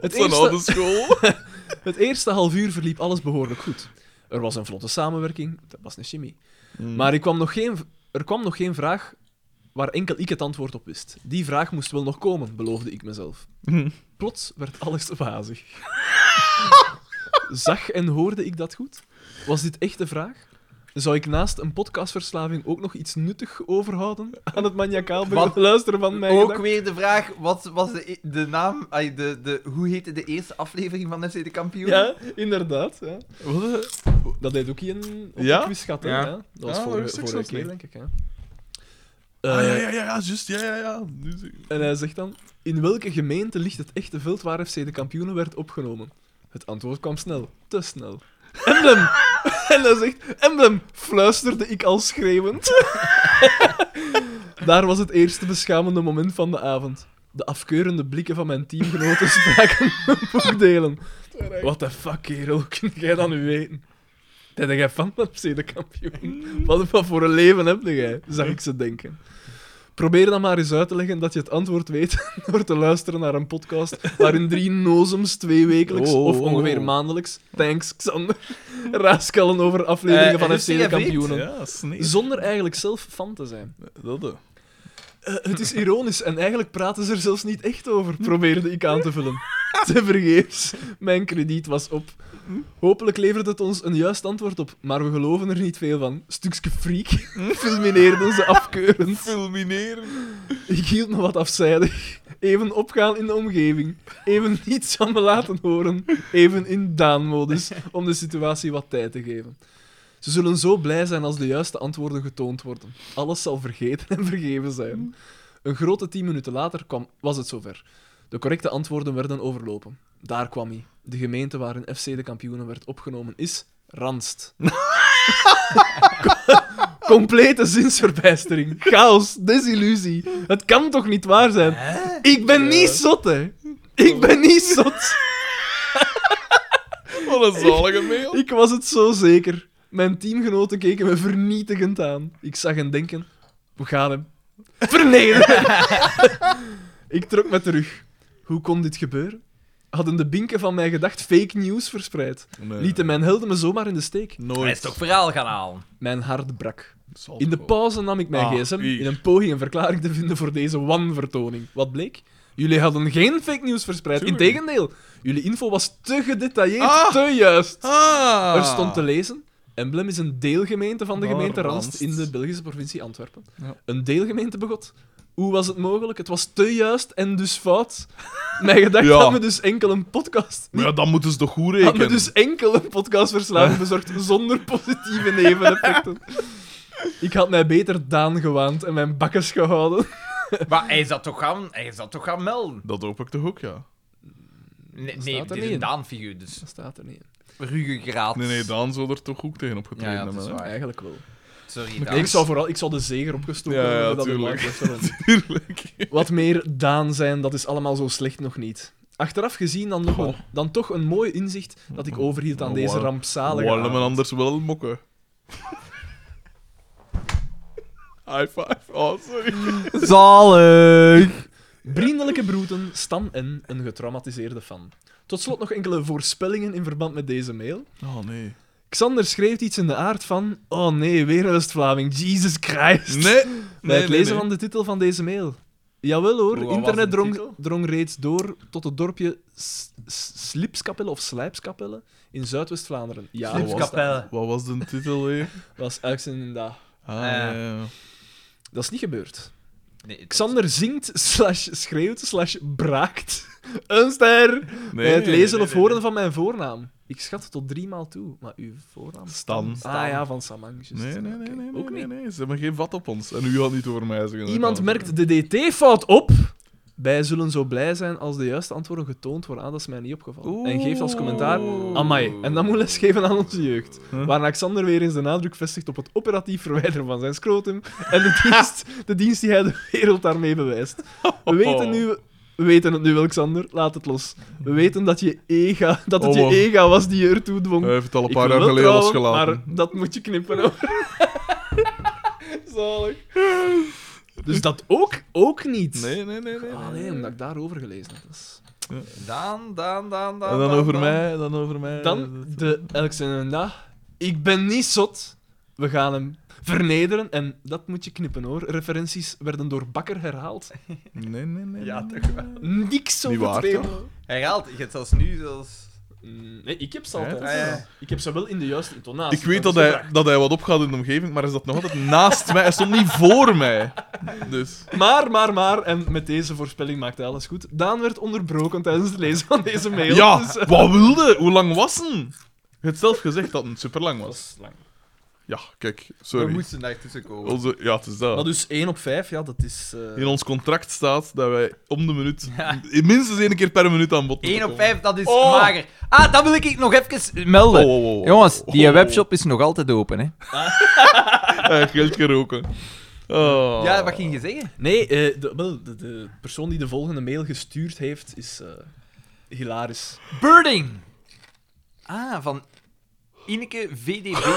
[SPEAKER 3] Het
[SPEAKER 2] Zijn
[SPEAKER 3] eerste,
[SPEAKER 2] oude school. (laughs)
[SPEAKER 3] het eerste half uur verliep alles behoorlijk goed. Er
[SPEAKER 2] Mm.
[SPEAKER 3] was een vlotte samenwerking, dat was een chemie. Maar ik kwam nog geen, er kwam nog geen vraag waar enkel ik het antwoord op wist. Die vraag moest wel nog komen, beloofde ik mezelf. Plots werd alles wazig. Zag en hoorde ik dat goed? Was dit echt de vraag? Zou ik naast een podcastverslaving ook nog iets nuttig overhouden aan het maniacaal
[SPEAKER 4] Wat
[SPEAKER 3] luisteren van mij?
[SPEAKER 4] Ook weer de vraag, wat was de, e- de naam, ay, de, de, hoe heette de eerste aflevering van FC De Kampioen?
[SPEAKER 3] Ja, inderdaad. Ja.
[SPEAKER 2] Wat, eh,
[SPEAKER 3] Dat deed ook een op
[SPEAKER 2] Ja?
[SPEAKER 3] de quizgat, hè?
[SPEAKER 4] Ja.
[SPEAKER 3] Ja. Dat was
[SPEAKER 2] Ah,
[SPEAKER 3] vorige,
[SPEAKER 2] dat wist ik
[SPEAKER 3] vorige
[SPEAKER 2] zelfs
[SPEAKER 3] keer,
[SPEAKER 2] niet.
[SPEAKER 3] denk ik. Hè?
[SPEAKER 2] ah, ja,
[SPEAKER 3] Eh,
[SPEAKER 2] ja, ja, ja, juist, ja, ja, ja. Nu zie ik-
[SPEAKER 3] En hij zegt dan: In welke gemeente ligt het echte veld waar FC de kampioenen werd opgenomen? Het antwoord kwam snel, te snel. Emblem! (laughs) en hij zegt: Emblem! fluisterde ik al schreeuwend. (laughs) Daar was het eerste beschamende moment van de avond. De afkeurende blikken van mijn teamgenoten (laughs) spraken mijn voordelen. What the fuck, kerel, hoe kun jij dat nu weten? Dat jij fan van FC de kampioen. Wat, wat voor een leven heb jij? Zag ik ze denken. Probeer dan maar eens uit te leggen dat je het antwoord weet (laughs) door te luisteren naar een podcast waarin drie nozems twee wekelijks
[SPEAKER 2] Oh, oh,
[SPEAKER 3] of
[SPEAKER 2] oh.
[SPEAKER 3] ongeveer maandelijks, thanks Xander, raaskellen over afleveringen
[SPEAKER 4] Eh,
[SPEAKER 3] van
[SPEAKER 4] dus
[SPEAKER 3] FC
[SPEAKER 4] jij
[SPEAKER 3] de
[SPEAKER 4] weet,
[SPEAKER 3] kampioenen.
[SPEAKER 2] Ja, snee.
[SPEAKER 3] Zonder eigenlijk zelf fan te zijn.
[SPEAKER 2] Dat, eh.
[SPEAKER 3] Eh, het is ironisch en eigenlijk praten ze er zelfs niet echt over, probeerde ik aan te (laughs) vullen. Te vergeefs. Mijn krediet was op. Hopelijk levert het ons een juist antwoord op, maar we geloven er niet veel van. Stukske freak, (laughs) fulmineerden ze afkeurend.
[SPEAKER 2] Fulmineren.
[SPEAKER 3] Ik hield me wat afzijdig. Even opgaan in de omgeving. Even niets van me laten horen. Even in Daan-modus, om de situatie wat tijd te geven. Ze zullen zo blij zijn als de juiste antwoorden getoond worden. Alles zal vergeten en vergeven zijn. Een grote tien minuten later kwam, was het zover. De correcte antwoorden werden overlopen. Daar kwam hij. De gemeente waarin FC de kampioenen werd opgenomen is Ranst. Complete zinsverbijstering, chaos, desillusie. Het kan toch niet waar zijn? Ik ben niet zot, hè? Ik ben niet zot.
[SPEAKER 2] (laughs) Wat een zalige mail.
[SPEAKER 3] Ik was het zo zeker. Mijn teamgenoten keken me vernietigend aan. Ik zag hen denken: we gaan hem vernederen. (laughs) ik trok me terug. Hoe kon dit gebeuren? Hadden de binken van mijn gedacht fake news verspreid?
[SPEAKER 2] Nee.
[SPEAKER 3] Lieten mijn helden me zomaar in de steek?
[SPEAKER 4] Hij is
[SPEAKER 2] Nooit.
[SPEAKER 4] toch verhaal gaan halen?
[SPEAKER 3] Mijn hart brak.
[SPEAKER 2] Zal
[SPEAKER 3] In de
[SPEAKER 2] gewoon.
[SPEAKER 3] pauze nam ik mijn
[SPEAKER 2] Ah,
[SPEAKER 3] gsm
[SPEAKER 2] hier.
[SPEAKER 3] in een poging een verklaring te vinden voor deze wanvertoning. Wat bleek? Jullie hadden geen fake news verspreid.
[SPEAKER 2] Tuurlijk.
[SPEAKER 3] Integendeel, jullie info was te gedetailleerd,
[SPEAKER 2] Ah.
[SPEAKER 3] te juist.
[SPEAKER 2] Ah.
[SPEAKER 3] Er stond te lezen: Emblem is een deelgemeente van de
[SPEAKER 2] Maar
[SPEAKER 3] gemeente
[SPEAKER 2] Ranst.
[SPEAKER 3] Ranst in de Belgische provincie Antwerpen.
[SPEAKER 2] Ja.
[SPEAKER 3] Een deelgemeente begot. Hoe was het mogelijk? Het was te juist en dus fout. Mijn gedacht
[SPEAKER 2] Ja.
[SPEAKER 3] had me dus enkel een podcast.
[SPEAKER 2] Maar ja, dan moeten ze toch goed
[SPEAKER 3] Had me
[SPEAKER 2] rekenen.
[SPEAKER 3] dus enkel een (laughs) podcastverslaving bezorgd zonder positieve neveneffecten. Ik had mij beter Daan gewaand en mijn bakkes gehouden.
[SPEAKER 4] Maar hij is dat toch gaan, hij is dat toch gaan melden?
[SPEAKER 2] Dat hoop ik toch ook, ja.
[SPEAKER 4] Nee,
[SPEAKER 3] Staat
[SPEAKER 4] nee
[SPEAKER 3] er
[SPEAKER 4] dit
[SPEAKER 3] niet
[SPEAKER 4] is
[SPEAKER 3] in.
[SPEAKER 4] een Daan-figuur, dus
[SPEAKER 3] Dat staat er niet in.
[SPEAKER 4] ruggengraat.
[SPEAKER 2] Nee, nee, Daan zou er toch ook tegen opgetreden
[SPEAKER 4] Ja, ja, dat
[SPEAKER 2] hebben.
[SPEAKER 4] is
[SPEAKER 2] hè.
[SPEAKER 4] waar.
[SPEAKER 3] Eigenlijk wel.
[SPEAKER 4] Sorry, Daan.
[SPEAKER 3] Nee, ik zou vooral ik zou de zeger opgestoken
[SPEAKER 2] Ja, ja,
[SPEAKER 3] hebben dat het
[SPEAKER 2] tuurlijk.
[SPEAKER 3] langs was.
[SPEAKER 2] (laughs) Tuurlijk.
[SPEAKER 3] Wat meer Daan zijn, dat is allemaal zo slecht nog niet. Achteraf gezien dan, nog
[SPEAKER 2] Goh.
[SPEAKER 3] een- dan toch een mooi inzicht dat ik overhield aan
[SPEAKER 2] Oh,
[SPEAKER 3] deze
[SPEAKER 2] wow.
[SPEAKER 3] rampzalige
[SPEAKER 2] Wallen
[SPEAKER 3] avond.
[SPEAKER 2] we anders wel mokken. (laughs) High five. Oh, sorry.
[SPEAKER 4] Zalig!
[SPEAKER 3] Vriendelijke broeten, Stan en een getraumatiseerde fan. Tot slot nog enkele voorspellingen in verband met deze mail.
[SPEAKER 2] Oh, nee.
[SPEAKER 3] Xander schreef iets in de aard van... Oh nee, weer een West-Vlaming, Jesus Christ.
[SPEAKER 2] Nee.
[SPEAKER 3] Bij
[SPEAKER 2] nee,
[SPEAKER 3] het lezen van de titel van deze mail. Jawel hoor,
[SPEAKER 4] Hoe, wat was
[SPEAKER 3] internet
[SPEAKER 4] de
[SPEAKER 3] drong,
[SPEAKER 4] titel?
[SPEAKER 3] drong reeds door tot het dorpje S- S- Slipskapelle of Slijpskapelle in Zuidwest-Vlaanderen. Ja,
[SPEAKER 2] Slipskapelle.
[SPEAKER 3] was dat.
[SPEAKER 2] Wat was de titel weer?
[SPEAKER 3] was uitzending daar.
[SPEAKER 2] Ah,
[SPEAKER 4] Eh.
[SPEAKER 2] ja, ja.
[SPEAKER 3] Dat is niet gebeurd.
[SPEAKER 4] Nee, het-
[SPEAKER 3] Xander zingt, slash schreeuwt, slash braakt. Een ster!
[SPEAKER 2] Nee,
[SPEAKER 3] bij het
[SPEAKER 2] nee,
[SPEAKER 3] lezen
[SPEAKER 2] nee,
[SPEAKER 3] of
[SPEAKER 2] nee,
[SPEAKER 3] horen van mijn voornaam. Ik schat tot drie maal toe, maar uw voornaam...
[SPEAKER 2] Stan.
[SPEAKER 3] Ah ja, van Samang.
[SPEAKER 2] Nee,
[SPEAKER 3] juist.
[SPEAKER 2] nee,
[SPEAKER 3] Oké,
[SPEAKER 2] nee, nee,
[SPEAKER 3] Ook
[SPEAKER 2] nee,
[SPEAKER 3] niet.
[SPEAKER 2] nee, nee. Ze hebben geen vat op ons. En u had niet over mij zeggen.
[SPEAKER 3] Iemand merkt de DT-fout op. Wij zullen zo blij zijn als de juiste antwoorden getoond worden. Ah, dat is mij niet opgevallen.
[SPEAKER 2] Oeh.
[SPEAKER 3] En geeft als commentaar... Amai, en dat moet lesgeven aan onze jeugd.
[SPEAKER 2] Huh?
[SPEAKER 3] Waarna Xander weer eens de nadruk vestigt op het operatief verwijderen van zijn scrotum en de
[SPEAKER 2] (laughs)
[SPEAKER 3] dienst, de dienst die hij de wereld daarmee bewijst. We weten, nu, we weten het nu wel, Xander. Laat het los. We weten dat, je ega, dat het
[SPEAKER 2] Oh, man.
[SPEAKER 3] je ega was die je ertoe
[SPEAKER 2] Hij
[SPEAKER 3] dwong.
[SPEAKER 2] heeft het al een
[SPEAKER 3] Ik
[SPEAKER 2] paar
[SPEAKER 3] wil
[SPEAKER 2] jaar
[SPEAKER 3] wel
[SPEAKER 2] geleden
[SPEAKER 3] trouwen,
[SPEAKER 2] losgelaten.
[SPEAKER 3] Maar dat moet je knippen, hoor. (laughs) Zalig. Dus dat ook, ook niet.
[SPEAKER 2] Nee, nee, nee, nee.
[SPEAKER 3] Ah, nee, omdat ik daarover gelezen heb. Dat is-
[SPEAKER 4] Daan, Daan, Daan, Daan.
[SPEAKER 2] En dan
[SPEAKER 4] Daan,
[SPEAKER 2] over
[SPEAKER 4] Daan.
[SPEAKER 2] mij, dan over mij.
[SPEAKER 3] Dan de Elks en een dag. Ik ben niet zot. We gaan hem Vernederen, en dat moet je knippen hoor. Referenties werden door Bakker herhaald.
[SPEAKER 2] Nee, nee, nee.
[SPEAKER 1] Ja,
[SPEAKER 2] nee.
[SPEAKER 1] toch wel.
[SPEAKER 3] Niks
[SPEAKER 2] Niet
[SPEAKER 3] over
[SPEAKER 2] waar,
[SPEAKER 3] het thema.
[SPEAKER 4] Herhaald, je hebt zelfs nu zelfs...
[SPEAKER 3] Mm, Nee, ik heb ze
[SPEAKER 2] Hè?
[SPEAKER 3] altijd.
[SPEAKER 4] Ah, ja.
[SPEAKER 3] Ik heb ze wel in de juiste intonatie.
[SPEAKER 2] Ik weet dat
[SPEAKER 3] is
[SPEAKER 2] hij,
[SPEAKER 3] raar.
[SPEAKER 2] dat hij wat opgaat in de omgeving, maar hij zat nog altijd naast mij. Hij stond niet voor mij. Dus.
[SPEAKER 3] Maar, maar, maar, en met deze voorspelling maakte alles goed. Daan werd onderbroken tijdens het lezen van deze mail.
[SPEAKER 2] Ja,
[SPEAKER 3] Dus, eh,
[SPEAKER 2] wat wilde? Hoe lang was het? Je hebt zelf gezegd dat het superlang
[SPEAKER 3] dat
[SPEAKER 2] was.
[SPEAKER 3] is lang.
[SPEAKER 2] Ja, kijk,
[SPEAKER 4] We
[SPEAKER 2] sorry.
[SPEAKER 4] moesten daar tussen komen.
[SPEAKER 2] Onze, ja, het is dat.
[SPEAKER 3] Maar dus 1 op 5, ja, dat is. eh,
[SPEAKER 2] In ons contract staat dat wij om de minuut minstens één keer per minuut aan bod moeten
[SPEAKER 4] 1 op
[SPEAKER 2] komen.
[SPEAKER 4] 5, dat is
[SPEAKER 3] Oh.
[SPEAKER 4] mager. Ah, dat wil ik nog even melden.
[SPEAKER 2] Oh, oh, oh, oh.
[SPEAKER 4] Jongens, die
[SPEAKER 2] Oh.
[SPEAKER 4] webshop is nog altijd open, hè?
[SPEAKER 2] Hij heeft (laughs) geld geroken. Oh.
[SPEAKER 4] Ja, wat ging je zeggen?
[SPEAKER 3] Nee, eh, de, wel, de, de persoon die de volgende mail gestuurd heeft is eh, hilarisch.
[SPEAKER 4] Birding. Ah, van Ineke
[SPEAKER 2] (laughs)
[SPEAKER 4] VDB.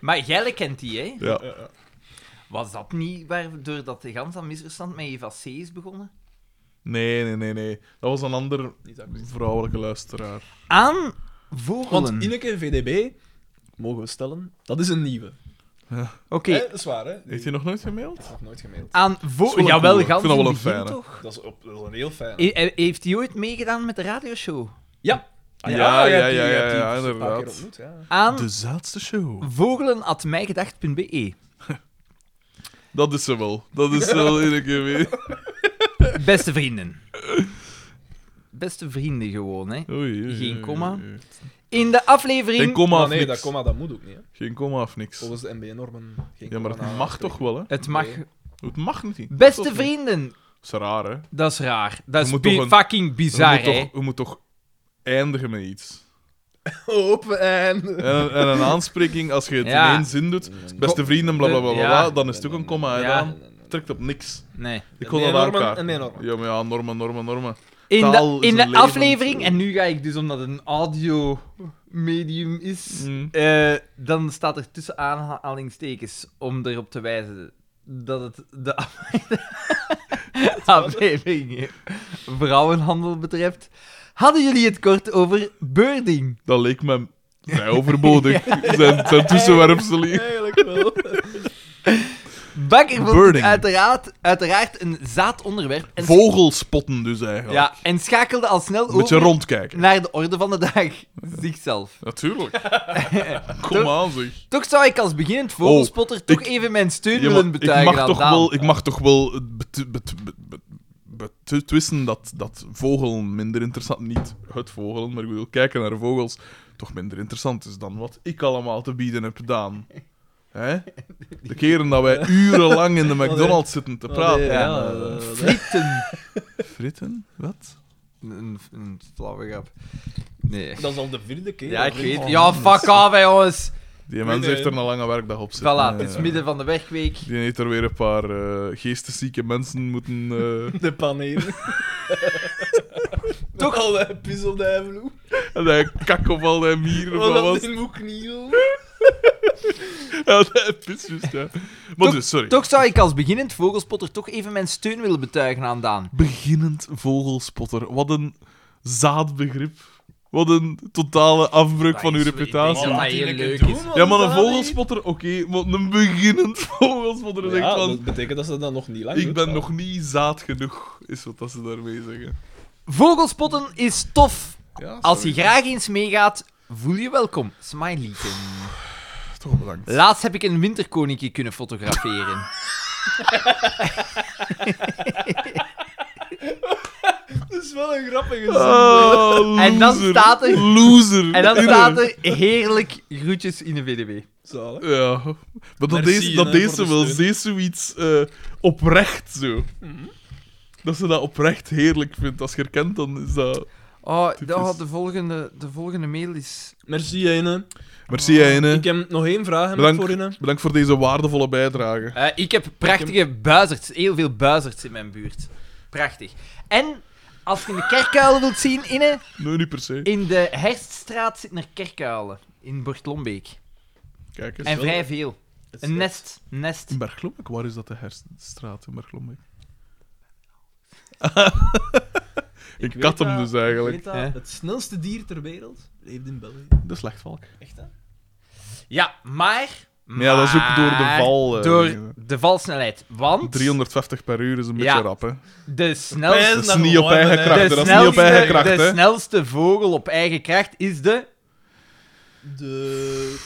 [SPEAKER 4] maar Jelle kent die, hè?
[SPEAKER 2] Ja.
[SPEAKER 4] Was dat niet waardoor dat de gans aan misverstand met Eva C is begonnen?
[SPEAKER 2] Nee, nee, nee, nee. Dat was een ander
[SPEAKER 3] Niet dat ik weet.
[SPEAKER 2] vrouwelijke luisteraar.
[SPEAKER 4] Aan vogelen.
[SPEAKER 3] Want Ineke VDB, mogen we stellen, dat is een nieuwe.
[SPEAKER 4] Oké,
[SPEAKER 3] Hè, dat is waar, hè? Die
[SPEAKER 2] Heeft hij nog nooit gemaild?
[SPEAKER 3] heb ik nog nooit gemaild.
[SPEAKER 4] aan
[SPEAKER 2] Zo een
[SPEAKER 4] vogelen. Jawel,
[SPEAKER 2] coole.
[SPEAKER 4] gans
[SPEAKER 2] Ik vind dat wel
[SPEAKER 4] in
[SPEAKER 2] een
[SPEAKER 4] het
[SPEAKER 2] fijne.
[SPEAKER 4] begin, toch?
[SPEAKER 3] Dat is, op, dat is een heel fijn.
[SPEAKER 4] He- he- heeft hij ooit meegedaan met de radioshow?
[SPEAKER 3] Ja.
[SPEAKER 2] Ja,
[SPEAKER 3] jij hebt
[SPEAKER 2] ja,
[SPEAKER 3] die-
[SPEAKER 2] ja,
[SPEAKER 3] jij hebt die
[SPEAKER 2] ja,
[SPEAKER 3] een paar
[SPEAKER 2] inderdaad.
[SPEAKER 3] keer ontmoet, ja.
[SPEAKER 4] Aan
[SPEAKER 2] De zaadste show.
[SPEAKER 4] vogelen.mijgedacht.be.
[SPEAKER 2] Dat is ze wel. Dat is ze wel iedere keer weer.
[SPEAKER 4] Beste vrienden. Beste vrienden gewoon, hè.
[SPEAKER 2] Oei, oei,
[SPEAKER 4] Geen
[SPEAKER 2] oei,
[SPEAKER 4] komma.
[SPEAKER 2] oei, oei.
[SPEAKER 4] In de aflevering...
[SPEAKER 2] Geen komma
[SPEAKER 3] Maar
[SPEAKER 2] of
[SPEAKER 3] Ah, nee,
[SPEAKER 2] niks.
[SPEAKER 3] dat comma dat moet ook niet. Hè.
[SPEAKER 2] Geen komma of niks.
[SPEAKER 3] Volgens de NB-normen geen
[SPEAKER 2] Ja, maar
[SPEAKER 3] comma
[SPEAKER 2] het
[SPEAKER 3] na-
[SPEAKER 2] mag toch wel, hè?
[SPEAKER 4] Het mag...
[SPEAKER 3] Nee.
[SPEAKER 2] Het mag niet. Dat
[SPEAKER 4] Beste
[SPEAKER 2] is-
[SPEAKER 4] vrienden,
[SPEAKER 2] Dat is raar, hè?
[SPEAKER 4] Dat is raar. Dat
[SPEAKER 2] Je
[SPEAKER 4] is
[SPEAKER 2] moet
[SPEAKER 4] bi-
[SPEAKER 2] toch een-
[SPEAKER 4] fucking bizar,
[SPEAKER 2] je, moet
[SPEAKER 4] hè?
[SPEAKER 2] toch, je moet toch eindigen met iets.
[SPEAKER 1] Open en...
[SPEAKER 2] En, een- en een aanspreking, als je het
[SPEAKER 4] Ja.
[SPEAKER 2] in één zin doet, beste vrienden, bla bla bla, bla,
[SPEAKER 4] Ja.
[SPEAKER 2] bla, dan is het ook een komma.
[SPEAKER 4] Ja.
[SPEAKER 2] En dan trekt op niks.
[SPEAKER 4] Nee.
[SPEAKER 2] Ik kon
[SPEAKER 3] Nee,
[SPEAKER 2] dat
[SPEAKER 3] normen
[SPEAKER 2] aankaarten.
[SPEAKER 3] en nee, normen.
[SPEAKER 2] Ja, maar ja, normen, normen, normen.
[SPEAKER 4] In
[SPEAKER 2] Taal
[SPEAKER 4] de,
[SPEAKER 2] is
[SPEAKER 4] in
[SPEAKER 2] een
[SPEAKER 4] de
[SPEAKER 2] levend-
[SPEAKER 4] aflevering, en nu ga ik dus omdat het een audio medium is,
[SPEAKER 2] Mm.
[SPEAKER 4] eh, dan staat er tussen aanhalingstekens om erop te wijzen dat het de (laughs) aflevering vrouwenhandel betreft. Hadden jullie het kort over birding?
[SPEAKER 2] Dat leek me vrij overbodig. zijn, zijn tussenwerpselen.
[SPEAKER 3] Eigenlijk (laughs) wel.
[SPEAKER 4] Bakker vond het
[SPEAKER 2] Birding.
[SPEAKER 4] uiteraard, uiteraard een zaadonderwerp. En,
[SPEAKER 2] Vogelspotten dus eigenlijk.
[SPEAKER 4] ja, en schakelde al snel
[SPEAKER 2] Een beetje
[SPEAKER 4] over
[SPEAKER 2] rondkijken.
[SPEAKER 4] naar de orde van de dag. Zichzelf.
[SPEAKER 2] Natuurlijk. Kom aan, zeg.
[SPEAKER 4] Toch zou ik als beginnend vogelspotter toch even mijn steun
[SPEAKER 2] Ja, maar
[SPEAKER 4] willen betuigen
[SPEAKER 2] ik, Oh, mag
[SPEAKER 4] aan
[SPEAKER 2] toch
[SPEAKER 4] Daan.
[SPEAKER 2] wel, ik mag toch wel het bet- bet- bet- bet- betwisten dat, dat vogelen minder interessant... Niet het vogelen, maar ik wil kijken naar vogels. Toch minder interessant is dan wat ik allemaal te bieden heb
[SPEAKER 4] (laughs)
[SPEAKER 2] gedaan. Hè? De keren dat wij urenlang
[SPEAKER 4] (laughs)
[SPEAKER 2] in de McDonald's zitten te praten.
[SPEAKER 3] ja,
[SPEAKER 2] en, eh,
[SPEAKER 3] eh,
[SPEAKER 4] Frieten.
[SPEAKER 2] Fritten? Wat?
[SPEAKER 4] een, een flauwe grap. Nee.
[SPEAKER 3] dat is al de vierde keer.
[SPEAKER 4] Ja,
[SPEAKER 3] dat
[SPEAKER 4] ik weet.
[SPEAKER 3] Oh,
[SPEAKER 4] Ja, Ah, fuck af, hè, jongens.
[SPEAKER 2] Die mens
[SPEAKER 3] nee.
[SPEAKER 2] heeft er een lange werkdag op
[SPEAKER 4] Voilà,
[SPEAKER 2] zitten.
[SPEAKER 4] het is
[SPEAKER 2] Eh,
[SPEAKER 4] midden van de werkweek.
[SPEAKER 2] Die heeft er weer een paar eh, geesteszieke mensen moeten... eh, (laughs)
[SPEAKER 3] De
[SPEAKER 4] (laughs)
[SPEAKER 3] panelen.
[SPEAKER 4] Toch
[SPEAKER 3] al de puzzeldijvelen.
[SPEAKER 2] En hij kak op al die
[SPEAKER 4] Oh,
[SPEAKER 2] mieren
[SPEAKER 3] Wat
[SPEAKER 2] van was.
[SPEAKER 3] dat in moet knielen.
[SPEAKER 2] (laughs) Ja, dat is juist, ja. Maar dus, sorry.
[SPEAKER 4] Toch zou ik als beginnend vogelspotter toch even mijn steun willen betuigen aan Daan.
[SPEAKER 2] Beginnend vogelspotter. Wat een zaadbegrip. Wat een totale afbreuk van uw
[SPEAKER 4] is- ik
[SPEAKER 2] reputatie.
[SPEAKER 4] denk dat heel leuk is.
[SPEAKER 2] Ja, maar een vogelspotter, oké. maar een beginnend (laughs) vogelspotter is echt
[SPEAKER 3] Ja,
[SPEAKER 2] van...
[SPEAKER 3] dat betekent dat ze dat nog niet lang
[SPEAKER 2] Ik
[SPEAKER 3] doet,
[SPEAKER 2] ben
[SPEAKER 3] hè.
[SPEAKER 2] nog niet zaad genoeg, is wat dat ze daarmee (laughs) zeggen.
[SPEAKER 4] Vogelspotten is tof.
[SPEAKER 2] Ja,
[SPEAKER 4] Als je
[SPEAKER 2] sorry.
[SPEAKER 4] graag eens meegaat, voel je welkom. Smileyken.
[SPEAKER 2] Toch bedankt.
[SPEAKER 4] Laatst heb ik een winterkoninkje kunnen fotograferen.
[SPEAKER 2] (laughs)
[SPEAKER 3] Dat is wel een grappige
[SPEAKER 2] Ah,
[SPEAKER 4] En dan
[SPEAKER 2] loser.
[SPEAKER 4] staat er-
[SPEAKER 2] Loser.
[SPEAKER 4] En dan
[SPEAKER 2] Irre.
[SPEAKER 4] staat er heerlijk groetjes in de VDB.
[SPEAKER 3] zaal. hè.
[SPEAKER 2] Ja, maar dat
[SPEAKER 3] Merci,
[SPEAKER 2] deze, dat
[SPEAKER 3] hè, voor
[SPEAKER 2] deze
[SPEAKER 3] de
[SPEAKER 2] wel
[SPEAKER 3] steun.
[SPEAKER 2] zeer zoiets eh, oprecht zo.
[SPEAKER 4] Mhm.
[SPEAKER 2] Dat ze dat oprecht heerlijk vindt. Als je herkent, dan is dat.
[SPEAKER 4] Oh,
[SPEAKER 2] Typisch.
[SPEAKER 4] oh, de, volgende, de volgende mail is...
[SPEAKER 3] Merci, Ene.
[SPEAKER 2] Merci, Heine.
[SPEAKER 3] Oh, Ik heb nog één vraag hè,
[SPEAKER 2] Bedankt.
[SPEAKER 3] voor Ene.
[SPEAKER 2] Bedankt voor deze waardevolle bijdrage.
[SPEAKER 4] Eh, ik heb prachtige buizerds, heel veel buizerds in mijn buurt. Prachtig. En als je een kerkuil wilt zien, Inne,
[SPEAKER 2] Nee, niet per se.
[SPEAKER 4] in de Herststraat zitten er kerkuilen. In Bortlombeek.
[SPEAKER 2] Kijk eens.
[SPEAKER 4] En vrij veel. Een nest. Nest.
[SPEAKER 2] In Berglombek, waar is dat de herstraat in
[SPEAKER 3] (laughs)
[SPEAKER 2] Berglombek? in
[SPEAKER 3] weet
[SPEAKER 2] Katem
[SPEAKER 3] dat,
[SPEAKER 2] dus
[SPEAKER 3] Ik weet
[SPEAKER 2] eigenlijk.
[SPEAKER 3] dat,
[SPEAKER 4] Ja.
[SPEAKER 3] Het snelste dier ter wereld leeft in België.
[SPEAKER 2] De slechtvalk.
[SPEAKER 3] Echt, hè?
[SPEAKER 4] Ja, maar...
[SPEAKER 2] Maar ja, dat is ook door de
[SPEAKER 4] maar
[SPEAKER 2] val. eh,
[SPEAKER 4] Door
[SPEAKER 2] dingen.
[SPEAKER 4] de valsnelheid. Want
[SPEAKER 2] 350 per uur is een beetje
[SPEAKER 4] Ja.
[SPEAKER 2] rap, hè.
[SPEAKER 4] de
[SPEAKER 2] Dat
[SPEAKER 4] snelste...
[SPEAKER 2] is niet op eigen kracht, hè.
[SPEAKER 4] De,
[SPEAKER 2] Dat is niet op eigen
[SPEAKER 4] snelste,
[SPEAKER 2] kracht,
[SPEAKER 4] de
[SPEAKER 2] hè.
[SPEAKER 4] snelste vogel op eigen kracht is de...
[SPEAKER 1] De...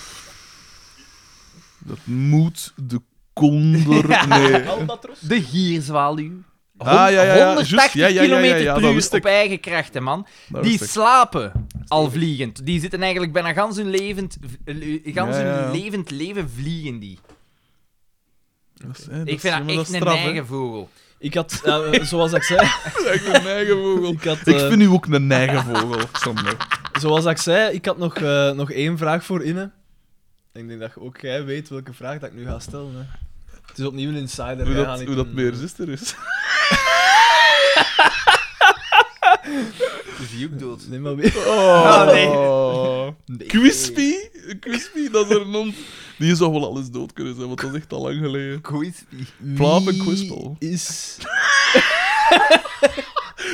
[SPEAKER 2] Dat moet de
[SPEAKER 4] (laughs)
[SPEAKER 2] konder... Nee.
[SPEAKER 1] Albatros?
[SPEAKER 4] De gierzwaluw.
[SPEAKER 2] Ah, ja, ja, ja, juist.
[SPEAKER 4] 180
[SPEAKER 2] Ja, ja, ja, ja,
[SPEAKER 4] km
[SPEAKER 2] ja,
[SPEAKER 4] per
[SPEAKER 2] dat
[SPEAKER 4] uur
[SPEAKER 2] wist ik.
[SPEAKER 4] op eigen krachten, man.
[SPEAKER 2] Dat
[SPEAKER 4] Die
[SPEAKER 2] wist ik.
[SPEAKER 4] slapen al vliegend. Die zitten eigenlijk bijna gans hun levend, v- le- gans
[SPEAKER 2] Ja, ja, ja.
[SPEAKER 4] hun levend leven vliegen die.
[SPEAKER 2] Dat is- hè, dat
[SPEAKER 4] ik
[SPEAKER 2] is
[SPEAKER 4] vind dat
[SPEAKER 2] helemaal
[SPEAKER 4] echt een
[SPEAKER 2] straf, hè.
[SPEAKER 4] eigen vogel.
[SPEAKER 3] Ik had, eh, eh, zoals ik zei,
[SPEAKER 2] Echt een eigen vogel.
[SPEAKER 3] ik had,
[SPEAKER 2] Ik
[SPEAKER 3] eh,
[SPEAKER 2] vind u ook een eigen (laughs) vogel, Sander.
[SPEAKER 3] zoals ik zei, ik had nog, eh, nog één vraag voor Inne. En ik denk dat ook jij weet welke vraag dat ik nu ga stellen. Hè. Het is opnieuw een insider.
[SPEAKER 2] Hoe
[SPEAKER 3] wij gaan
[SPEAKER 2] dat,
[SPEAKER 3] niet
[SPEAKER 2] hoe dat
[SPEAKER 3] een-
[SPEAKER 2] meer zuster
[SPEAKER 3] (laughs)
[SPEAKER 2] is.
[SPEAKER 4] Dus die ook dood.
[SPEAKER 3] Nee, maar weer. Ah,
[SPEAKER 2] Oh,
[SPEAKER 3] nee.
[SPEAKER 2] Quispy? Quispy, dat is er een hond. Die zou wel alles dood kunnen zijn, want dat is echt al lang geleden.
[SPEAKER 4] Quispy.
[SPEAKER 2] Vlaam en
[SPEAKER 3] Wie
[SPEAKER 2] kwispel.
[SPEAKER 3] Is...
[SPEAKER 2] Oh,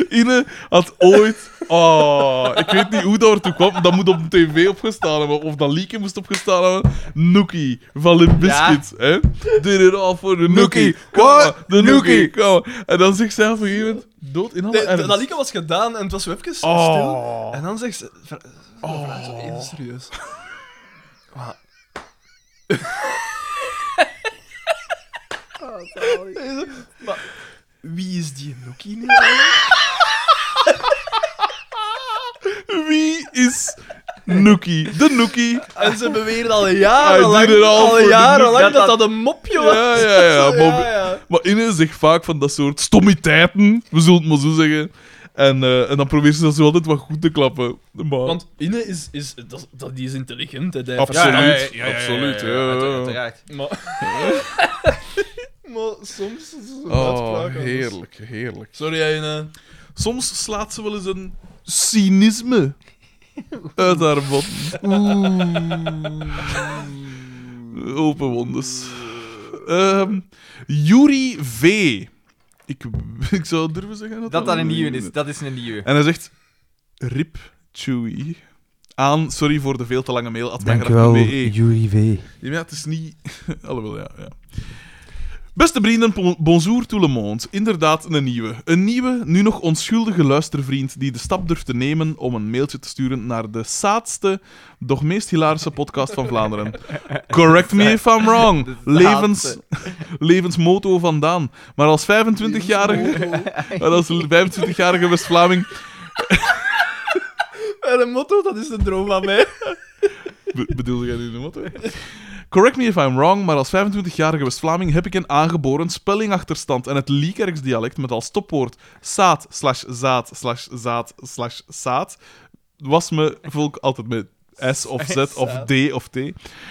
[SPEAKER 2] Ine had ooit... Oh, ik weet niet hoe dat ertoe kwam. Dat moet op de tv opgestaan hebben. Of dat liedje moest opgestaan hebben. Nookie van Limp Bizkit. hè? Did it all for the Nookie. Kom
[SPEAKER 4] What?
[SPEAKER 2] maar, De Nookie. Kom maar. En dan zegt zij op een gegeven moment... Dood in alle
[SPEAKER 3] Nee,
[SPEAKER 2] ernst.
[SPEAKER 3] dat liedje was gedaan en het was zo even stil.
[SPEAKER 2] Oh.
[SPEAKER 3] En Oh, dan zegt ze... vra- ze vraagt zo even serieus. Maar- Nee, zo, maar wie is die Nookie nu?
[SPEAKER 2] Wie is Nookie? De Nookie.
[SPEAKER 3] En ze beweren al
[SPEAKER 2] Hij
[SPEAKER 3] jaren
[SPEAKER 2] doet
[SPEAKER 3] lang,
[SPEAKER 2] het al
[SPEAKER 3] al
[SPEAKER 2] voor de
[SPEAKER 3] jaren
[SPEAKER 2] Nookie.
[SPEAKER 3] lang
[SPEAKER 2] Dat
[SPEAKER 3] dat dat een mopje was.
[SPEAKER 2] Ja, (laughs) ja, ja. Maar,
[SPEAKER 3] ja, ja.
[SPEAKER 2] maar Ine zegt vaak van dat soort stommiteiten, we zullen het maar zo zeggen. En, eh, en dan probeert ze dat zo altijd wat goed te klappen. Maar...
[SPEAKER 3] Want Inne is, is, dat, dat- die is intelligent. Hè, die heeft
[SPEAKER 2] absoluut,
[SPEAKER 3] verstand.
[SPEAKER 2] absoluut. Ja,
[SPEAKER 4] Uiteraard.
[SPEAKER 3] Maar... maar soms is het een
[SPEAKER 2] Oh,
[SPEAKER 3] uitspraak, anders.
[SPEAKER 2] heerlijk, heerlijk.
[SPEAKER 3] Sorry, Inne.
[SPEAKER 2] Soms slaat ze wel eens een cynisme uit haar bot. Open wondes. Ehm Yuri V. Ik, (laughs) ik zou durven zeggen dat
[SPEAKER 4] Dat dat een nieuwe is, dat is een nieuwe.
[SPEAKER 2] En hij zegt: Rip Chewy. Aan, sorry voor de veel te lange mail. At mijngracht.be.
[SPEAKER 4] Jury V.
[SPEAKER 2] Ja, maar het is niet. (laughs) Alhoewel, ja. ja. Beste vrienden, bon- bonjour tout le monde. Inderdaad, een nieuwe. Een nieuwe, nu nog onschuldige luistervriend die de stap durft te nemen om een mailtje te sturen naar de saadste, doch meest hilarische podcast van Vlaanderen. Correct me if I'm wrong. Levens, (laughs) levensmotto vandaan. Maar als 25-jarige... (laughs) Maar als 25-jarige West-Vlaming
[SPEAKER 3] En een motto, dat is de droom van mij.
[SPEAKER 2] Be- bedoelde jij nu de motto? Correct me if I'm wrong, maar als 25-jarige West-Vlaming heb ik een aangeboren spellingachterstand en het Liekerks-dialect met als stopwoord zaad slash zaad slash zaad slash zaad was me volk altijd met S of Z of D of T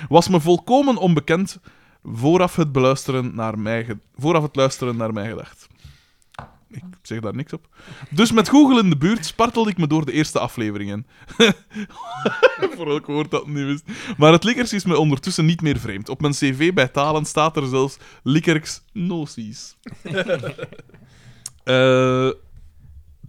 [SPEAKER 2] was me volkomen onbekend vooraf het beluisteren naar mij ge- vooraf het luisteren naar mij gedacht. Ik zeg daar niks op. Dus met Google in de buurt spartelde ik me door de eerste (laughs) afleveringen. Voor elk woord dat ik niet wist. Maar het Likkerks is me ondertussen niet meer vreemd. Op mijn cv bij talen staat er zelfs Likkerks
[SPEAKER 3] (laughs)
[SPEAKER 2] noties. Eh,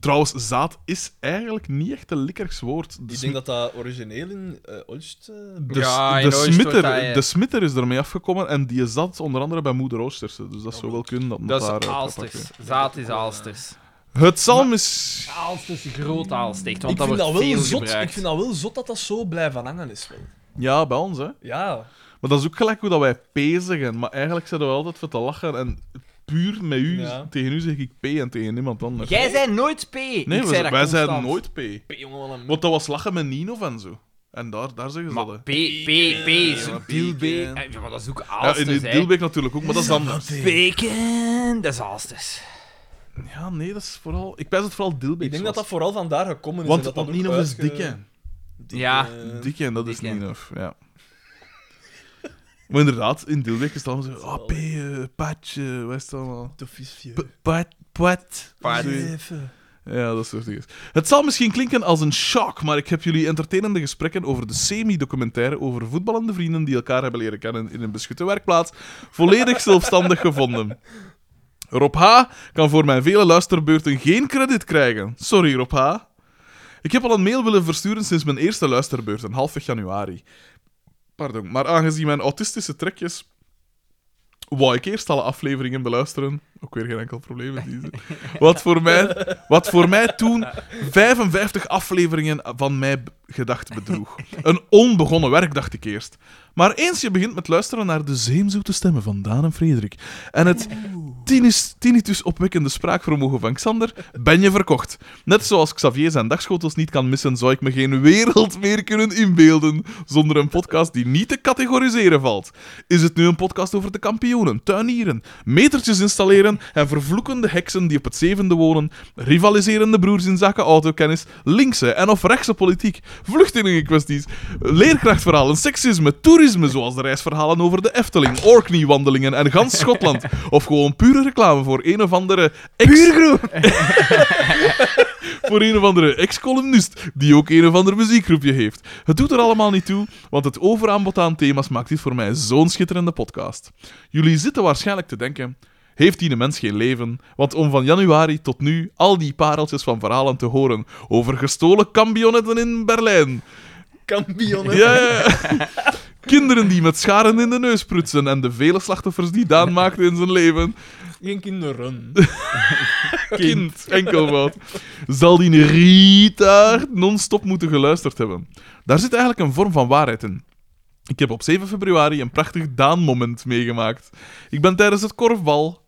[SPEAKER 2] trouwens, zaad is eigenlijk niet echt een Likkerks woord. De,
[SPEAKER 3] Ik
[SPEAKER 2] sm-
[SPEAKER 3] denk dat dat origineel in eh Oost... eh,
[SPEAKER 2] de,
[SPEAKER 4] Ja, in
[SPEAKER 2] de,
[SPEAKER 4] Oost wordt dat,
[SPEAKER 2] smitter,
[SPEAKER 4] eh.
[SPEAKER 2] de smitter is ermee afgekomen en die zat onder andere bij moeder Oosterse. Dus dat zou wel kunnen. Dat,
[SPEAKER 4] Dat
[SPEAKER 2] daar,
[SPEAKER 4] is
[SPEAKER 2] eh,
[SPEAKER 4] Aalsters.
[SPEAKER 2] apart
[SPEAKER 4] Zaad is Aalsters.
[SPEAKER 2] weer. Het zal misschien...
[SPEAKER 4] Aalsters, groot Aalsticht, want
[SPEAKER 3] ik,
[SPEAKER 4] dat
[SPEAKER 3] vind
[SPEAKER 4] wordt
[SPEAKER 3] dat wel
[SPEAKER 4] veel
[SPEAKER 3] zot, ik
[SPEAKER 4] gebruikt.
[SPEAKER 3] vind dat wel zot dat dat zo blijven hangen is. Wel.
[SPEAKER 2] Ja, bij ons, hè.
[SPEAKER 3] Ja.
[SPEAKER 2] Maar dat is ook gelijk hoe dat wij P zeggen. Maar eigenlijk zijn we altijd voor te lachen. En puur met u,
[SPEAKER 3] Ja.
[SPEAKER 2] tegen u zeg ik P en tegen niemand anders.
[SPEAKER 4] Jij zei nooit P.
[SPEAKER 2] Nee,
[SPEAKER 4] ik
[SPEAKER 2] we-
[SPEAKER 4] zei dat
[SPEAKER 2] wij zeiden
[SPEAKER 4] constant.
[SPEAKER 2] nooit P.
[SPEAKER 3] Jongen, wat een...
[SPEAKER 2] Want dat was lachen met Nino en zo. En daar, daar zeggen ze
[SPEAKER 4] Maar
[SPEAKER 2] dat.
[SPEAKER 4] P, P, P is
[SPEAKER 2] Ja,
[SPEAKER 4] Dilbeek.
[SPEAKER 2] bacon.
[SPEAKER 4] Eh, Ja, maar dat is ook
[SPEAKER 2] hè. Ja, in
[SPEAKER 4] Aalsters,
[SPEAKER 2] die
[SPEAKER 4] hè.
[SPEAKER 2] Dilbeek natuurlijk ook, maar dat is anders.
[SPEAKER 4] Bacon, dat is Aalsters.
[SPEAKER 2] Ja, nee, dat is vooral... Ik pijs het vooral Dilbeek
[SPEAKER 3] Ik denk dat
[SPEAKER 2] was.
[SPEAKER 3] dat vooral vandaar gekomen is. en
[SPEAKER 2] Want,
[SPEAKER 3] dat
[SPEAKER 2] want
[SPEAKER 3] dat
[SPEAKER 2] Nino
[SPEAKER 3] ook
[SPEAKER 2] is
[SPEAKER 3] uitge-
[SPEAKER 2] dikke.
[SPEAKER 4] Ja.
[SPEAKER 3] eh,
[SPEAKER 2] Dikke, dat is
[SPEAKER 4] Dikke.
[SPEAKER 2] Nino, ja. Maar inderdaad, in Dilbeek is het allemaal zo... Ah, P, eh, Patje, wat is het allemaal?
[SPEAKER 3] tof is vieux.
[SPEAKER 2] P- Pat, Pat.
[SPEAKER 4] Pat.
[SPEAKER 2] Zoiets.
[SPEAKER 3] Even.
[SPEAKER 2] Ja, dat soort dingen. Het zal misschien klinken als een shock, maar ik heb jullie entertainende gesprekken over de semi-documentaire over voetballende vrienden die elkaar hebben leren kennen in een beschutte werkplaats volledig zelfstandig gevonden. Rob H. kan voor mijn vele luisterbeurten geen credit krijgen. Sorry, Rob H. Ik heb al een mail willen versturen sinds mijn eerste luisterbeurt, een halfweg januari. Pardon, maar aangezien mijn autistische trekjes. wou ik eerst alle afleveringen beluisteren. Ook weer geen enkel probleem met deze. Wat voor mij, wat voor mij toen 55 afleveringen van mij b- gedacht bedroeg. Een onbegonnen werk, dacht ik eerst. Maar eens je begint met luisteren naar de zeemzoete stemmen van Daan en Frederik. en het tinnitus, tinnitus opwekkende spraakvermogen van Xander, ben je verkocht. Net zoals Xavier zijn dagschotels niet kan missen, zou ik me geen wereld meer kunnen inbeelden zonder een podcast die niet te categoriseren valt. Is het nu een podcast over de kampioenen, tuinieren, metertjes installeren en vervloekende heksen die op het zevende wonen, rivaliserende broers in zaken autokennis, linkse en of rechtse politiek, vluchtelingenkwesties, leerkrachtverhalen, seksisme, toerisme zoals de reisverhalen over de Efteling, Orkney-wandelingen en gans Schotland, of gewoon pure reclame voor een of andere ex... (laughs) voor een of andere ex-columnist die ook een of ander muziekgroepje heeft. Het doet er allemaal niet toe, want het overaanbod aan thema's maakt dit voor mij zo'n schitterende podcast. Jullie zitten waarschijnlijk te denken. Heeft die mens geen leven? Want om van januari tot nu al die pareltjes van verhalen te horen over gestolen kampionetten in Berlijn,
[SPEAKER 1] Kampioenen.
[SPEAKER 2] ja, ja, ja. Kinderen die met scharen in de neus prutsen en de vele slachtoffers die Daan maakte in zijn leven.
[SPEAKER 3] Geen
[SPEAKER 2] (laughs)
[SPEAKER 3] kinderen.
[SPEAKER 2] Kind, enkelvoud. Zal die Ritaard non-stop moeten geluisterd hebben. Daar zit eigenlijk een vorm van waarheid in. Ik heb op 7 februari een prachtig Daan-moment meegemaakt. Ik ben tijdens het korfbal...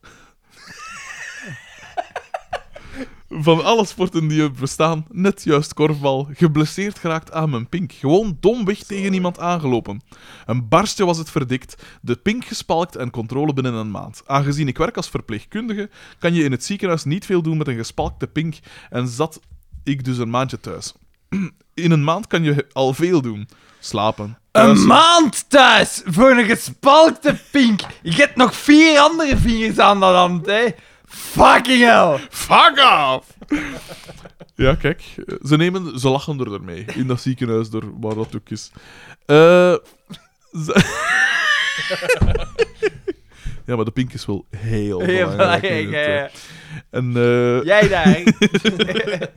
[SPEAKER 2] Van alle sporten die er bestaan, net juist korfbal, geblesseerd geraakt aan mijn pink. Gewoon domweg tegen iemand aangelopen. Een barstje was het verdikt, de pink gespalkt en controle binnen een maand. Aangezien ik werk als verpleegkundige, kan je in het ziekenhuis niet veel doen met een gespalkte pink en zat ik dus een maandje thuis. (clears throat) In een maand kan je al veel doen. Slapen.
[SPEAKER 4] Een maand thuis voor een gespalkte pink. Je hebt nog vier andere vingers aan dat hand, hè. Fucking hell.
[SPEAKER 2] Fuck off! Ja, kijk. Ze, nemen, ze lachen er mee. In dat ziekenhuis, er, waar dat ook is. Eh, ze- (laughs) ja, maar de pink is wel heel
[SPEAKER 4] Heel
[SPEAKER 2] belangrijk. in
[SPEAKER 4] belangrijk,
[SPEAKER 2] het,
[SPEAKER 4] ja,
[SPEAKER 2] eh.
[SPEAKER 4] ja.
[SPEAKER 2] En, eh,
[SPEAKER 4] Jij
[SPEAKER 2] (laughs)
[SPEAKER 4] daar.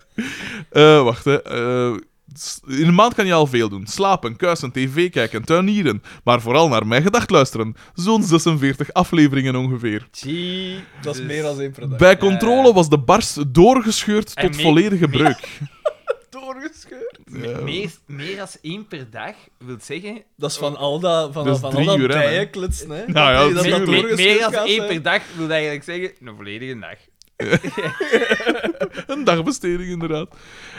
[SPEAKER 2] Eh, wacht, hè. Eh, s- in een maand kan je al veel doen. Slapen, kuisen, tv kijken, tuinieren. Maar vooral naar mijn gedacht luisteren. Zo'n 46 afleveringen ongeveer.
[SPEAKER 4] Gee.
[SPEAKER 1] Dat is meer dan één per dag.
[SPEAKER 2] Bij controle was de barst doorgescheurd
[SPEAKER 4] Eh. En
[SPEAKER 2] tot
[SPEAKER 4] mee-
[SPEAKER 2] volledige
[SPEAKER 4] (laughs)
[SPEAKER 2] breuk.
[SPEAKER 1] Doorgescheurd.
[SPEAKER 2] Ja.
[SPEAKER 4] Meer, meer dan één per dag wil zeggen.
[SPEAKER 1] Dat is van al dat, van,
[SPEAKER 2] Dat is
[SPEAKER 1] van
[SPEAKER 2] Dus drie
[SPEAKER 1] al dat
[SPEAKER 2] uur, hè, man.
[SPEAKER 1] bijen kletsen, hè.
[SPEAKER 2] (laughs) Nou ja,
[SPEAKER 1] je
[SPEAKER 2] drie
[SPEAKER 4] Meer-
[SPEAKER 2] uur.
[SPEAKER 4] meer, meer
[SPEAKER 1] doorgescheurd
[SPEAKER 4] dan
[SPEAKER 1] gaat
[SPEAKER 4] één
[SPEAKER 1] zijn.
[SPEAKER 4] per dag wil eigenlijk zeggen een volledige dag.
[SPEAKER 2] Een dagbesteding, inderdaad.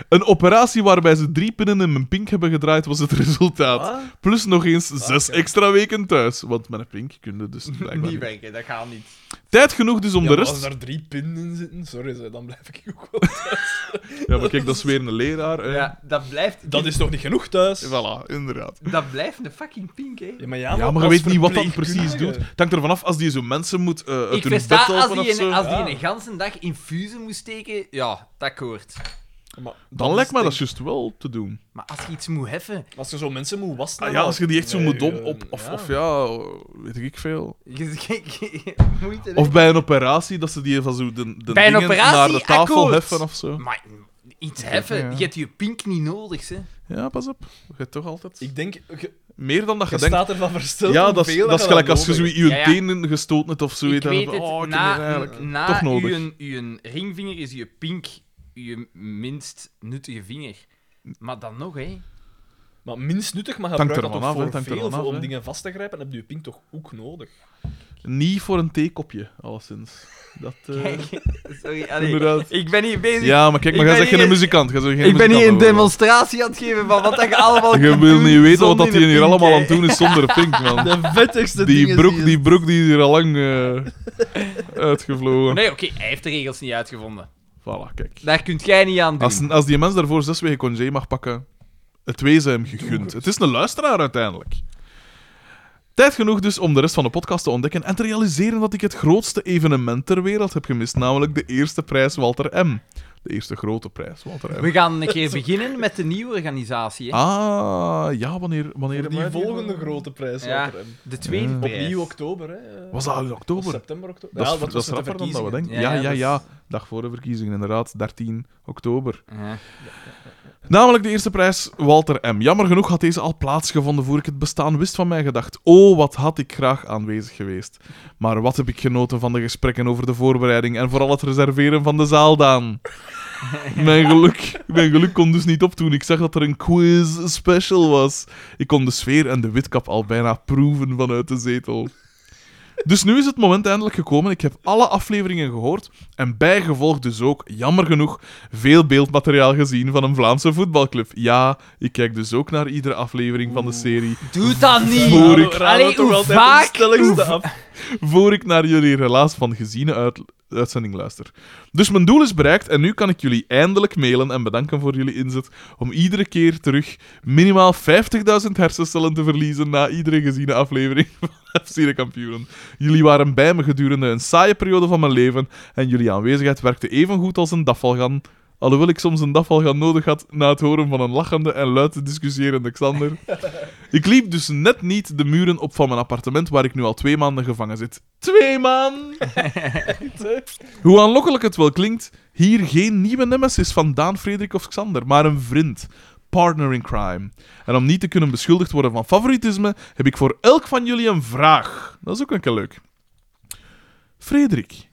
[SPEAKER 2] Een operatie waarbij ze drie pinnen in mijn pink hebben gedraaid was het resultaat. Plus nog eens zes extra weken thuis. Want met een pink kunnen
[SPEAKER 4] (laughs)
[SPEAKER 2] dus blijkbaar
[SPEAKER 4] Niet
[SPEAKER 2] niet.
[SPEAKER 4] werken, dat gaat niet.
[SPEAKER 2] Tijd genoeg dus om
[SPEAKER 1] Ja,
[SPEAKER 2] de
[SPEAKER 1] maar
[SPEAKER 2] rest...
[SPEAKER 1] Als daar drie pinnen in zitten, sorry, ze, dan blijf ik ook wel.
[SPEAKER 2] Ja, maar kijk, dat is weer een leraar. hè.
[SPEAKER 4] Ja, dat blijft,
[SPEAKER 1] Dat is toch niet genoeg thuis?
[SPEAKER 2] Voilà, inderdaad.
[SPEAKER 4] dat blijft een fucking pink, hè?
[SPEAKER 1] Ja, maar,
[SPEAKER 2] Ja, maar je
[SPEAKER 1] als
[SPEAKER 2] weet niet wat dat precies
[SPEAKER 1] verpleegkundige.
[SPEAKER 2] doet. Het hangt ervan af als die zo mensen moet eh uit
[SPEAKER 4] Ik
[SPEAKER 2] hun bed
[SPEAKER 4] versta als
[SPEAKER 2] helpen of
[SPEAKER 4] die,
[SPEAKER 2] zo.
[SPEAKER 4] een, als die
[SPEAKER 1] Ja.
[SPEAKER 4] een ganse dag infusen moest steken, ja, dat koort.
[SPEAKER 1] Maar
[SPEAKER 2] Dan lijkt mij
[SPEAKER 1] is
[SPEAKER 2] dat juist wel te doen.
[SPEAKER 4] Maar als je iets moet heffen,
[SPEAKER 1] denk- Als je zo mensen moet wassen...
[SPEAKER 2] Ah, ja, als je die echt zo
[SPEAKER 1] Nee,
[SPEAKER 2] moet dom
[SPEAKER 1] eh,
[SPEAKER 2] op... Of
[SPEAKER 1] ja.
[SPEAKER 2] ja, of ja weet ik veel.
[SPEAKER 4] je- je- je- moeite. hè.
[SPEAKER 2] Of bij een operatie, dat ze die van zo de, de
[SPEAKER 4] Bij een
[SPEAKER 2] dingen
[SPEAKER 4] operatie,
[SPEAKER 2] naar de tafel
[SPEAKER 4] akkoord.
[SPEAKER 2] heffen of zo.
[SPEAKER 4] Maar iets heffen,
[SPEAKER 2] Ja, ja.
[SPEAKER 4] je hebt je pink niet nodig, hè?
[SPEAKER 2] Ja, pas op. Je hebt toch altijd...
[SPEAKER 1] Ik denk, je,
[SPEAKER 2] Meer dan dat
[SPEAKER 1] je
[SPEAKER 2] je denkt.
[SPEAKER 1] staat ervan versteld.
[SPEAKER 2] Ja,
[SPEAKER 1] hoe
[SPEAKER 2] dat is,
[SPEAKER 1] veel
[SPEAKER 2] dat is
[SPEAKER 1] je
[SPEAKER 2] gelijk als je
[SPEAKER 1] nodig
[SPEAKER 2] zo
[SPEAKER 1] hebt.
[SPEAKER 2] je tenen
[SPEAKER 4] Ja, ja.
[SPEAKER 2] gestoten hebt of zo.
[SPEAKER 4] Ik
[SPEAKER 2] dan
[SPEAKER 4] weet
[SPEAKER 2] van,
[SPEAKER 4] het,
[SPEAKER 2] oh, ik heb hier
[SPEAKER 4] na,
[SPEAKER 2] eigenlijk
[SPEAKER 4] na
[SPEAKER 2] toch nodig.
[SPEAKER 4] Uw, uw ringvinger is je pink, je minst nuttige vinger. Maar dan nog, hè?
[SPEAKER 1] Maar minst nuttig, maar je
[SPEAKER 2] Hangt
[SPEAKER 1] gebruikt dat
[SPEAKER 2] ervan
[SPEAKER 1] toch
[SPEAKER 2] af, hè,
[SPEAKER 1] voor
[SPEAKER 2] het hangt
[SPEAKER 1] veel,
[SPEAKER 2] ervan
[SPEAKER 1] voor
[SPEAKER 2] af,
[SPEAKER 1] om
[SPEAKER 2] hè.
[SPEAKER 1] dingen vast te grijpen, dan heb je je pink toch ook nodig.
[SPEAKER 2] Niet voor een theekopje, alleszins. Dat... eh, (laughs)
[SPEAKER 4] Kijk, sorry, allee,
[SPEAKER 2] inderdaad.
[SPEAKER 4] ik ben hier bezig.
[SPEAKER 2] Ja, maar kijk, maar jij
[SPEAKER 4] Ik ben
[SPEAKER 2] zegt geen
[SPEAKER 4] hier-
[SPEAKER 2] muzikant. Jij bent geen
[SPEAKER 4] ik ben hier een
[SPEAKER 2] muzikant, hoor.
[SPEAKER 4] demonstratie aan het geven van wat dat je allemaal
[SPEAKER 2] (laughs) Je
[SPEAKER 4] kunt
[SPEAKER 2] wil
[SPEAKER 4] doen
[SPEAKER 2] niet weten wat
[SPEAKER 4] zonder
[SPEAKER 2] dat die
[SPEAKER 4] een
[SPEAKER 2] hier
[SPEAKER 4] pink,
[SPEAKER 2] allemaal
[SPEAKER 4] hè.
[SPEAKER 2] aan het
[SPEAKER 4] (laughs)
[SPEAKER 2] doen is zonder pink, man.
[SPEAKER 1] De vettigste
[SPEAKER 2] Die
[SPEAKER 1] dingen
[SPEAKER 2] broek, die broek die is hier al lang eh, (laughs) uitgevlogen.
[SPEAKER 4] Nee, oké, hij heeft de regels niet uitgevonden.
[SPEAKER 2] Voilà, kijk.
[SPEAKER 4] Daar kunt jij niet aan doen. (laughs)
[SPEAKER 2] Als, als die mens daarvoor zes weken congé mag pakken, het wezen hem gegund. Het is een luisteraar uiteindelijk. Tijd genoeg dus om de rest van de podcast te ontdekken en te realiseren dat ik het grootste evenement ter wereld heb gemist, namelijk de eerste prijs Walter M. De eerste grote prijs Walter M.
[SPEAKER 4] We gaan een keer beginnen met de nieuwe organisatie. Hè?
[SPEAKER 2] Ah, ja, wanneer... wanneer
[SPEAKER 1] Voor die volgende grote prijs.
[SPEAKER 4] Ja.
[SPEAKER 1] wat er hem-
[SPEAKER 2] Ah.
[SPEAKER 4] De tweede prijs.
[SPEAKER 1] Opnieuw oktober, hè. eh,
[SPEAKER 2] Was dat al in
[SPEAKER 1] of
[SPEAKER 2] oktober?
[SPEAKER 1] September, oktober.
[SPEAKER 2] Dat,
[SPEAKER 1] ja,
[SPEAKER 2] is, dat,
[SPEAKER 1] was
[SPEAKER 2] is
[SPEAKER 1] met de
[SPEAKER 2] rapper dan dat we
[SPEAKER 1] verkiezingen.
[SPEAKER 2] denken. Ja,
[SPEAKER 4] Ja,
[SPEAKER 2] ja,
[SPEAKER 4] ja,
[SPEAKER 2] ja,
[SPEAKER 4] dat
[SPEAKER 2] Dag voor de verkiezingen, inderdaad. 13 oktober.
[SPEAKER 4] Ja.
[SPEAKER 2] Namelijk de eerste prijs, Walter M. Jammer genoeg had deze al plaatsgevonden voor ik het bestaan wist van mij gedacht. Oh, wat had ik graag aanwezig geweest. Maar wat heb ik genoten van de gesprekken over de voorbereiding en vooral het reserveren van de zaaldaan. Mijn geluk, mijn geluk kon dus niet opdoen. Ik zag dat er een quiz special was. Ik kon de sfeer en de witkap al bijna proeven vanuit de zetel. Dus nu is het moment eindelijk gekomen. Ik heb alle afleveringen gehoord en bijgevolg dus ook, jammer genoeg, veel beeldmateriaal gezien van een Vlaamse voetbalclub. Ja, ik kijk dus ook naar iedere aflevering van de serie
[SPEAKER 4] Doe dat niet!
[SPEAKER 2] Voor ik-
[SPEAKER 4] Allee,
[SPEAKER 1] toch
[SPEAKER 4] hoe
[SPEAKER 1] altijd het
[SPEAKER 4] vaak...
[SPEAKER 1] stelligste af.
[SPEAKER 2] voor ik naar jullie relaas van geziene uit- uitzending luister. Dus mijn doel is bereikt en nu kan ik jullie eindelijk mailen en bedanken voor jullie inzet om iedere keer terug minimaal 50.000 hersencellen te verliezen na iedere geziene aflevering (laughs) van FC de Kampioenen. Jullie waren bij me gedurende een saaie periode van mijn leven en jullie aanwezigheid werkte even goed als een dafvalgan. Alhoewel ik soms een dafvalgan nodig had na het horen van een lachende en luid discussierende Xander. Ik liep dus net niet de muren op van mijn appartement waar ik nu al twee maanden gevangen zit. Twee maanden! Hoe aanlokkelijk het wel klinkt, hier geen nieuwe nemesis van Daan, Frederik of Xander, maar een vriend. Partner in crime. En om niet te kunnen beschuldigd worden van favoritisme, heb ik voor elk van jullie een vraag. Dat is ook een keer leuk. Frederik,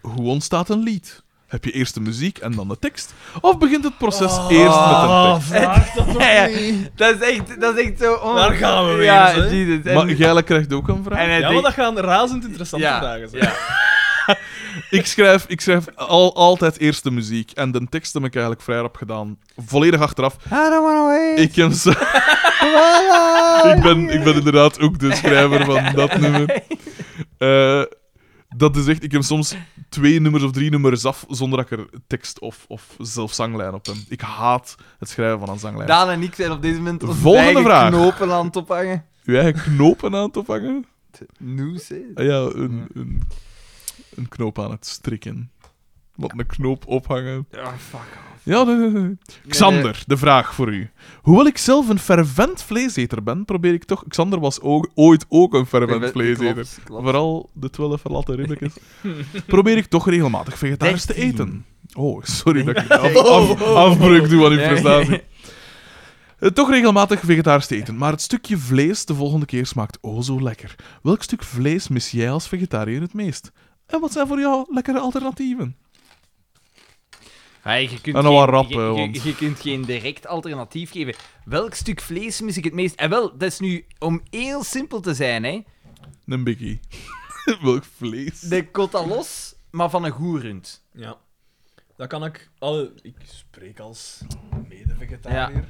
[SPEAKER 2] hoe ontstaat een lied? Heb je eerst de muziek en dan de tekst? Of begint het proces
[SPEAKER 4] Oh.
[SPEAKER 2] eerst met
[SPEAKER 3] Oh.
[SPEAKER 2] een tekst?
[SPEAKER 1] vraag Ah, dat toch
[SPEAKER 4] Ja, ja.
[SPEAKER 1] niet.
[SPEAKER 4] Dat is echt, dat is echt zo... on-
[SPEAKER 1] Daar gaan we weer
[SPEAKER 4] Ja,
[SPEAKER 1] eens, hè.
[SPEAKER 4] Jesus. En-
[SPEAKER 2] Maar jij krijgt ook een vraag?
[SPEAKER 4] en hij
[SPEAKER 1] Ja, maar
[SPEAKER 4] denkt-
[SPEAKER 1] dat gaan razend interessante
[SPEAKER 4] Ja,
[SPEAKER 1] vragen zijn.
[SPEAKER 4] ja.
[SPEAKER 2] ik schrijf, ik schrijf al, altijd eerst de muziek. En de teksten heb ik eigenlijk vrij rap gedaan. Volledig achteraf.
[SPEAKER 4] I don't wanna wait.
[SPEAKER 2] Ik, ken
[SPEAKER 4] (laughs)
[SPEAKER 2] ze- ik, ben, ik ben inderdaad ook de schrijver van dat nummer. Eh, dat is echt... Ik heb soms twee nummers of drie nummers af zonder dat ik er tekst of, of zelf zanglijn op heb. Ik haat het schrijven van een zanglijn.
[SPEAKER 4] Daan en ik zijn op dit moment onze
[SPEAKER 2] Volgende
[SPEAKER 4] eigen
[SPEAKER 2] vraag.
[SPEAKER 4] knopen aan het ophangen.
[SPEAKER 2] Uw eigen knopen aan te vangen?
[SPEAKER 4] Noes, hè.
[SPEAKER 2] Ah ja, een, een, een knoop aan het strikken. Wat een knoop ophangen.
[SPEAKER 4] Ja, fuck off.
[SPEAKER 2] Ja, nee, nee, nee. Xander, de vraag voor u. Hoewel ik zelf een fervent vleeseter ben, probeer ik toch... Xander was ook, ooit ook een fervent vleeseter.
[SPEAKER 4] Klopt, klopt.
[SPEAKER 2] Vooral de 12 verlatte ribbetjes. probeer ik toch regelmatig vegetarisch te eten. Oh, sorry dat ik af, af- afbreuk doe aan uw
[SPEAKER 4] Ja.
[SPEAKER 2] prestatie. Eh, Toch regelmatig vegetarisch te eten, maar het stukje vlees de volgende keer smaakt oh zo lekker. Welk stuk vlees mis jij als vegetariër het meest? En wat zijn voor jou lekkere alternatieven?
[SPEAKER 4] Hey, je kunt
[SPEAKER 2] En dan wat
[SPEAKER 4] geen-
[SPEAKER 2] rap,
[SPEAKER 4] je-
[SPEAKER 2] hè,
[SPEAKER 4] je-
[SPEAKER 2] want-
[SPEAKER 4] je kunt geen direct alternatief geven. Welk stuk vlees mis ik het meest? En wel, dat is nu, om heel simpel te zijn, hè.
[SPEAKER 2] Een biggie. (laughs) Welk vlees?
[SPEAKER 4] De cotalos, maar van een goerend.
[SPEAKER 1] Ja. Dat kan ik... Alle, ik spreek als mede-vegetariër.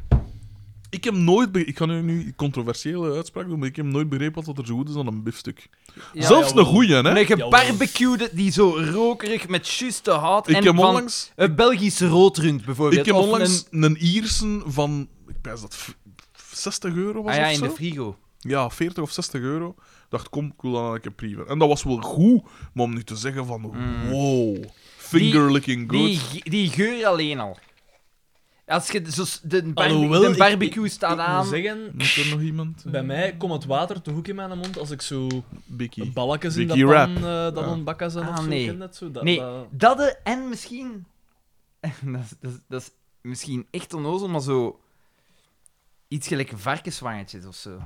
[SPEAKER 2] Ik heb nooit be- Ik kan nu- nu een controversiële uitspraak doen, maar ik heb nooit begrepen wat er zo goed is aan een biefstuk.
[SPEAKER 4] Ja.
[SPEAKER 2] Zelfs
[SPEAKER 1] jawel.
[SPEAKER 2] een goeie, hè?
[SPEAKER 4] Een gebarbecuede die zo rokerig met juste hout
[SPEAKER 2] ik
[SPEAKER 4] en
[SPEAKER 2] heb
[SPEAKER 4] van
[SPEAKER 2] onlangs,
[SPEAKER 4] een Belgisch roodrund bijvoorbeeld.
[SPEAKER 2] ik heb
[SPEAKER 4] Of
[SPEAKER 2] onlangs
[SPEAKER 4] een-
[SPEAKER 2] een... Iersen van. Ik prijs dat v- 60 euro was
[SPEAKER 4] Ah ja,
[SPEAKER 2] of
[SPEAKER 4] in de
[SPEAKER 2] zo.
[SPEAKER 4] frigo.
[SPEAKER 2] Ja, 40 of 60 euro. Ik dacht, kom, ik wil dan een keer prieven. En dat was wel goed, maar om nu te zeggen van. Wow, finger licking good.
[SPEAKER 4] Mm. Die, ge- die geur alleen al. Als je zo, s- de, bar-
[SPEAKER 1] Alhoewel,
[SPEAKER 4] de
[SPEAKER 1] ik-
[SPEAKER 4] barbecue
[SPEAKER 1] ik-
[SPEAKER 4] staat
[SPEAKER 1] ik moet
[SPEAKER 4] aan.
[SPEAKER 1] zeggen,
[SPEAKER 2] Moet er nog iemand? eh,
[SPEAKER 1] bij mij komt het water te hoek in mijn mond als ik zo
[SPEAKER 2] Bikkie.
[SPEAKER 1] balletjes in dat
[SPEAKER 2] Vicky
[SPEAKER 1] pan
[SPEAKER 2] Rap.
[SPEAKER 1] eh, dat
[SPEAKER 2] Ja.
[SPEAKER 1] ontbakken zijn
[SPEAKER 4] Ah,
[SPEAKER 1] of zo.
[SPEAKER 4] nee.
[SPEAKER 1] ken dat zo? Dat,
[SPEAKER 4] Nee,
[SPEAKER 1] dat-
[SPEAKER 4] dat eh, en misschien... (laughs) dat, is, dat, is, dat is misschien echt onnozel, maar zo... Iets gelijk varkenswangetjes of zo.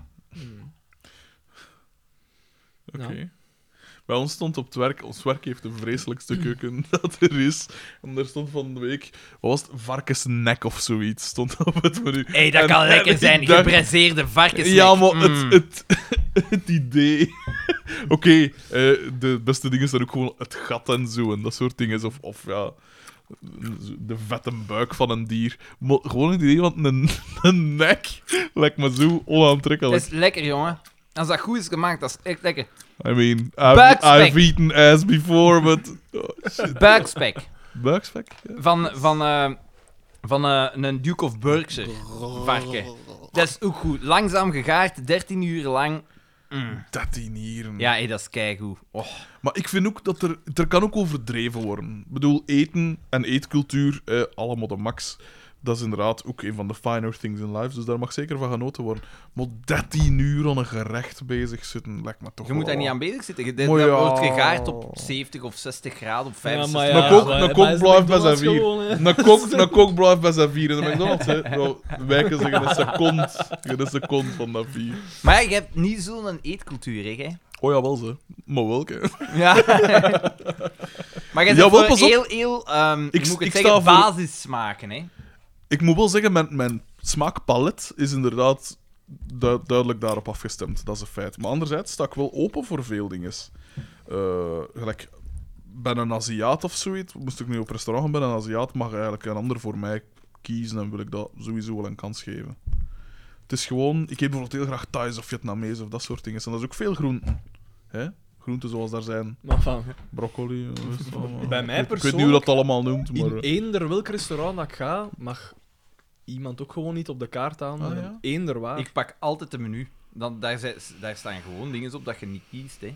[SPEAKER 2] Oké.
[SPEAKER 1] Ja.
[SPEAKER 2] Bij ons stond op het werk, ons werk heeft de
[SPEAKER 4] (clears throat)
[SPEAKER 2] vreselijkste keuken (laughs) dat er is. En daar stond van de week, wat was het, varkensnek of zoiets, stond (laughs) op het menu.
[SPEAKER 4] Hé, dat
[SPEAKER 2] En-
[SPEAKER 4] kan
[SPEAKER 2] (laughs)
[SPEAKER 4] lekker (laughs)
[SPEAKER 2] en
[SPEAKER 4] zijn.
[SPEAKER 2] ik dacht-
[SPEAKER 4] Gebraseerde varkensnek.
[SPEAKER 2] Ja, maar
[SPEAKER 4] Mm.
[SPEAKER 2] het, het, (laughs) het idee... (laughs) Oké, eh, de beste dingen zijn ook gewoon het gat en zo en dat soort dingen. Of, of ja, de vette buik van een dier. Maar gewoon het idee van een, (laughs) een nek lijkt me zo onaantrekkelijk.
[SPEAKER 4] Dat is lekker, jongen. Als dat goed is gemaakt, dat is echt lekker.
[SPEAKER 2] I mean, I've,
[SPEAKER 4] Buikspek.
[SPEAKER 2] I've eaten ass before, but... Oh, shit.
[SPEAKER 4] Buikspek.
[SPEAKER 2] Buikspek? ja.
[SPEAKER 4] Van, van, eh, van eh, een Duke of Berkshire varken. Dat is ook goed. Langzaam gegaard, 13 uur lang. Mm.
[SPEAKER 2] 13 hier.
[SPEAKER 4] Ja, hé, dat is keigoed. Och.
[SPEAKER 2] Maar ik vind ook dat er... Er kan ook overdreven worden. Ik bedoel, eten en eetcultuur, eh allemaal de max. Dat is inderdaad ook een van de finer things in life, dus daar mag zeker van genoten worden. Maar 13 uur aan een gerecht bezig zitten, lijkt me toch
[SPEAKER 4] Je moet daar
[SPEAKER 2] wel-
[SPEAKER 4] niet aan bezig zitten. Je- Dat
[SPEAKER 2] Maar ja.
[SPEAKER 4] wordt gegaard op 70 of 60 graden, op 65
[SPEAKER 2] ja, Een kok-
[SPEAKER 4] graden.
[SPEAKER 2] een kok blijft bij zijn vier.
[SPEAKER 4] (laughs)
[SPEAKER 2] Een kok, een kok blijft bij zijn vier in de McDonald's, hè. Nou, wijken ze in een seconde, in een seconde van dat vier.
[SPEAKER 4] Maar ja, je hebt niet zo'n eetcultuur,
[SPEAKER 2] (laughs)
[SPEAKER 4] hè?
[SPEAKER 2] Oh ja, wel ze. Maar welke?
[SPEAKER 4] Ja. maar
[SPEAKER 2] Jawel,
[SPEAKER 4] je hebt wel
[SPEAKER 2] pas op.
[SPEAKER 4] heel, heel, ehm
[SPEAKER 2] Ik-
[SPEAKER 4] moet ik
[SPEAKER 2] ik
[SPEAKER 4] het
[SPEAKER 2] sta
[SPEAKER 4] zeggen,
[SPEAKER 2] voor-
[SPEAKER 4] basissmaken, hè?
[SPEAKER 2] Ik moet wel zeggen, mijn, mijn smaakpalet is inderdaad du- duidelijk daarop afgestemd. Dat is een feit. Maar anderzijds sta ik wel open voor veel dingen. Eh, gelijk, bij een Aziat of zoiets, moest ik nu op restaurant gaan bij een Aziat, mag eigenlijk een ander voor mij kiezen en wil ik dat sowieso wel een kans geven. Het is gewoon, ik eet bijvoorbeeld heel graag Thais of Vietnamees of dat soort dingen. En dat is ook veel groenten. Hè? Groenten zoals daar zijn,
[SPEAKER 3] Maar van,
[SPEAKER 2] broccoli. eh, weet je wel.
[SPEAKER 3] Bij mij
[SPEAKER 2] ik, weet- ik weet niet hoe dat allemaal noemt, maar... eh.
[SPEAKER 3] in eender welk restaurant dat ik ga, mag iemand ook gewoon niet op de kaart aan.
[SPEAKER 2] Ah, ja?
[SPEAKER 3] Eender waar.
[SPEAKER 4] Ik pak altijd de menu. Dan, daar, zijn- daar staan gewoon dingen op dat je niet kiest, hè?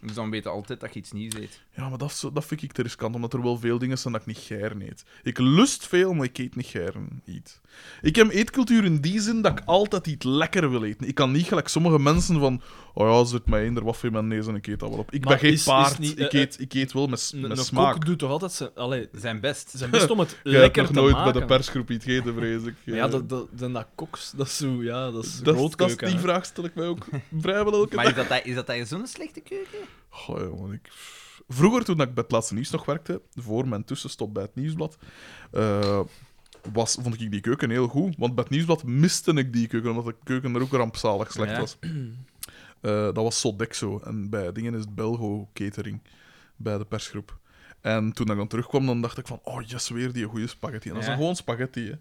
[SPEAKER 4] Dus dan weet je altijd dat je iets nieuws eet.
[SPEAKER 2] Ja, maar dat, is- dat vind ik te riskant, omdat er wel veel dingen zijn dat ik niet gern eet. Ik lust veel, maar ik eet niet gern eet. Ik heb eetcultuur in die zin dat ik altijd iets lekker wil eten. Ik kan niet gelijk sommige mensen van... Oh ja, zit mij in, er wat in mijn neus en ik eet dat wel op. Ik
[SPEAKER 3] Maar
[SPEAKER 2] ben geen
[SPEAKER 3] is- is
[SPEAKER 2] paard,
[SPEAKER 3] niet,
[SPEAKER 2] ik,
[SPEAKER 3] eh,
[SPEAKER 2] eet, ik eet wel met, s-
[SPEAKER 3] Een
[SPEAKER 2] met
[SPEAKER 3] een
[SPEAKER 2] smaak.
[SPEAKER 3] kok doet toch altijd zijn,
[SPEAKER 2] (laughs)
[SPEAKER 3] allee,
[SPEAKER 4] Zijn best.
[SPEAKER 3] zijn best om het
[SPEAKER 2] Jij hebt
[SPEAKER 3] lekker
[SPEAKER 2] nog
[SPEAKER 3] te
[SPEAKER 2] nooit
[SPEAKER 3] maken.
[SPEAKER 2] bij de persgroep iets gegeten, vrees ik.
[SPEAKER 3] Ja, dat, dat, dan dat koks, dat is zo, ja, dat is
[SPEAKER 2] dat, dat is
[SPEAKER 3] grootkeuken,
[SPEAKER 2] die
[SPEAKER 3] hè.
[SPEAKER 2] vraag stel ik mij
[SPEAKER 3] (laughs)
[SPEAKER 2] ook vrijwel elke
[SPEAKER 4] Maar is dat, dat- is dat daar zo'n slechte
[SPEAKER 2] (laughs)
[SPEAKER 4] keuken?
[SPEAKER 2] Goh, jongen, ik... Vroeger, toen ik bij het laatste nieuws nog werkte, voor mijn tussenstop bij het nieuwsblad, eh, was, vond ik die keuken heel goed. Want bij het nieuwsblad miste ik die keuken, omdat de keuken er ook rampzalig slecht
[SPEAKER 4] Ja.
[SPEAKER 2] was. Eh, dat was Sodexo. En bij dingen is het Belgo Catering, bij de persgroep. En toen ik dan terugkwam, dan dacht ik van, oh yes, weer die goede spaghetti. En dat is
[SPEAKER 4] Ja.
[SPEAKER 2] dan gewoon spaghetti, hè.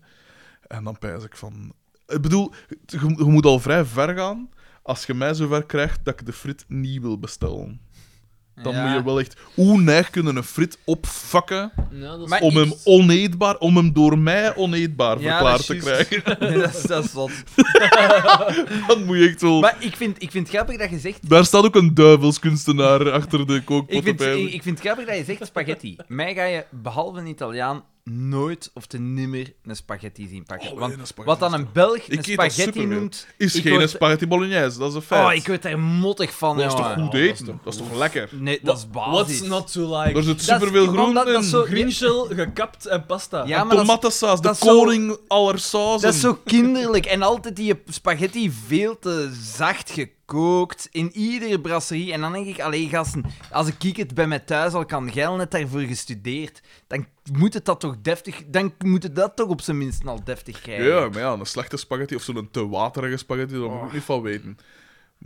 [SPEAKER 2] En dan pijs ik van... Ik bedoel, je, je moet al vrij ver gaan als je mij zover krijgt dat ik de frit niet wil bestellen. Dan
[SPEAKER 4] Ja.
[SPEAKER 2] moet je wel echt... Hoe neig kunnen een frit opvakken
[SPEAKER 3] Ja, dat is-
[SPEAKER 4] Maar
[SPEAKER 2] om hem
[SPEAKER 4] iets-
[SPEAKER 2] oneetbaar, om hem door mij oneetbaar
[SPEAKER 4] Ja,
[SPEAKER 2] verklaard
[SPEAKER 4] dat
[SPEAKER 2] te
[SPEAKER 4] is
[SPEAKER 2] krijgen? (laughs)
[SPEAKER 4] dat, is, dat is zot.
[SPEAKER 2] Dan moet je echt wel...
[SPEAKER 4] Maar ik vind, ik vind het grappig dat je zegt...
[SPEAKER 2] Daar staat ook een duivelskunstenaar achter de kookpot
[SPEAKER 4] Ik vind,
[SPEAKER 2] op eigenlijk.
[SPEAKER 4] ik, ik vind het grappig dat je zegt spaghetti. Mij ga je, behalve een Italiaan, nooit of te nimmer een spaghetti zien pakken.
[SPEAKER 2] Oh,
[SPEAKER 4] Want
[SPEAKER 2] nee, een spaghetti
[SPEAKER 4] wat dan
[SPEAKER 2] is
[SPEAKER 4] een Belg
[SPEAKER 2] Ik
[SPEAKER 4] een
[SPEAKER 2] eet dat
[SPEAKER 4] spaghetti
[SPEAKER 2] superveel.
[SPEAKER 4] noemt...
[SPEAKER 2] Is
[SPEAKER 4] ik
[SPEAKER 2] geen
[SPEAKER 4] word-
[SPEAKER 2] spaghetti bolognese, dat is een feit.
[SPEAKER 4] Oh, ik Oh, word daar mottig van,
[SPEAKER 2] dat is toch
[SPEAKER 4] jongen.
[SPEAKER 2] goed eten? Dat is toch lekker?
[SPEAKER 4] Nee, dat is basis.
[SPEAKER 3] What's not to like?
[SPEAKER 2] Er zit
[SPEAKER 4] Dat is-
[SPEAKER 2] superveel
[SPEAKER 4] want dat-
[SPEAKER 2] groenten
[SPEAKER 4] dat is zo-
[SPEAKER 2] in.
[SPEAKER 3] Grinchel, gekapt en pasta.
[SPEAKER 4] Ja, maar dat is,
[SPEAKER 2] Tomatensaus, de
[SPEAKER 4] dat is zo-
[SPEAKER 2] koning aller sauzen.
[SPEAKER 4] dat is zo kinderlijk. En altijd die spaghetti veel te zacht gekookt in iedere brasserie. En dan denk ik, allee gasten, als ik het bij mij thuis al kan, jij al net daarvoor gestudeerd, dan moet het dat toch deftig... Dan moet het dat toch op zijn minst al deftig krijgen.
[SPEAKER 2] Ja, maar ja, een slechte spaghetti of zo'n te waterige spaghetti, daar moet ik niet van weten.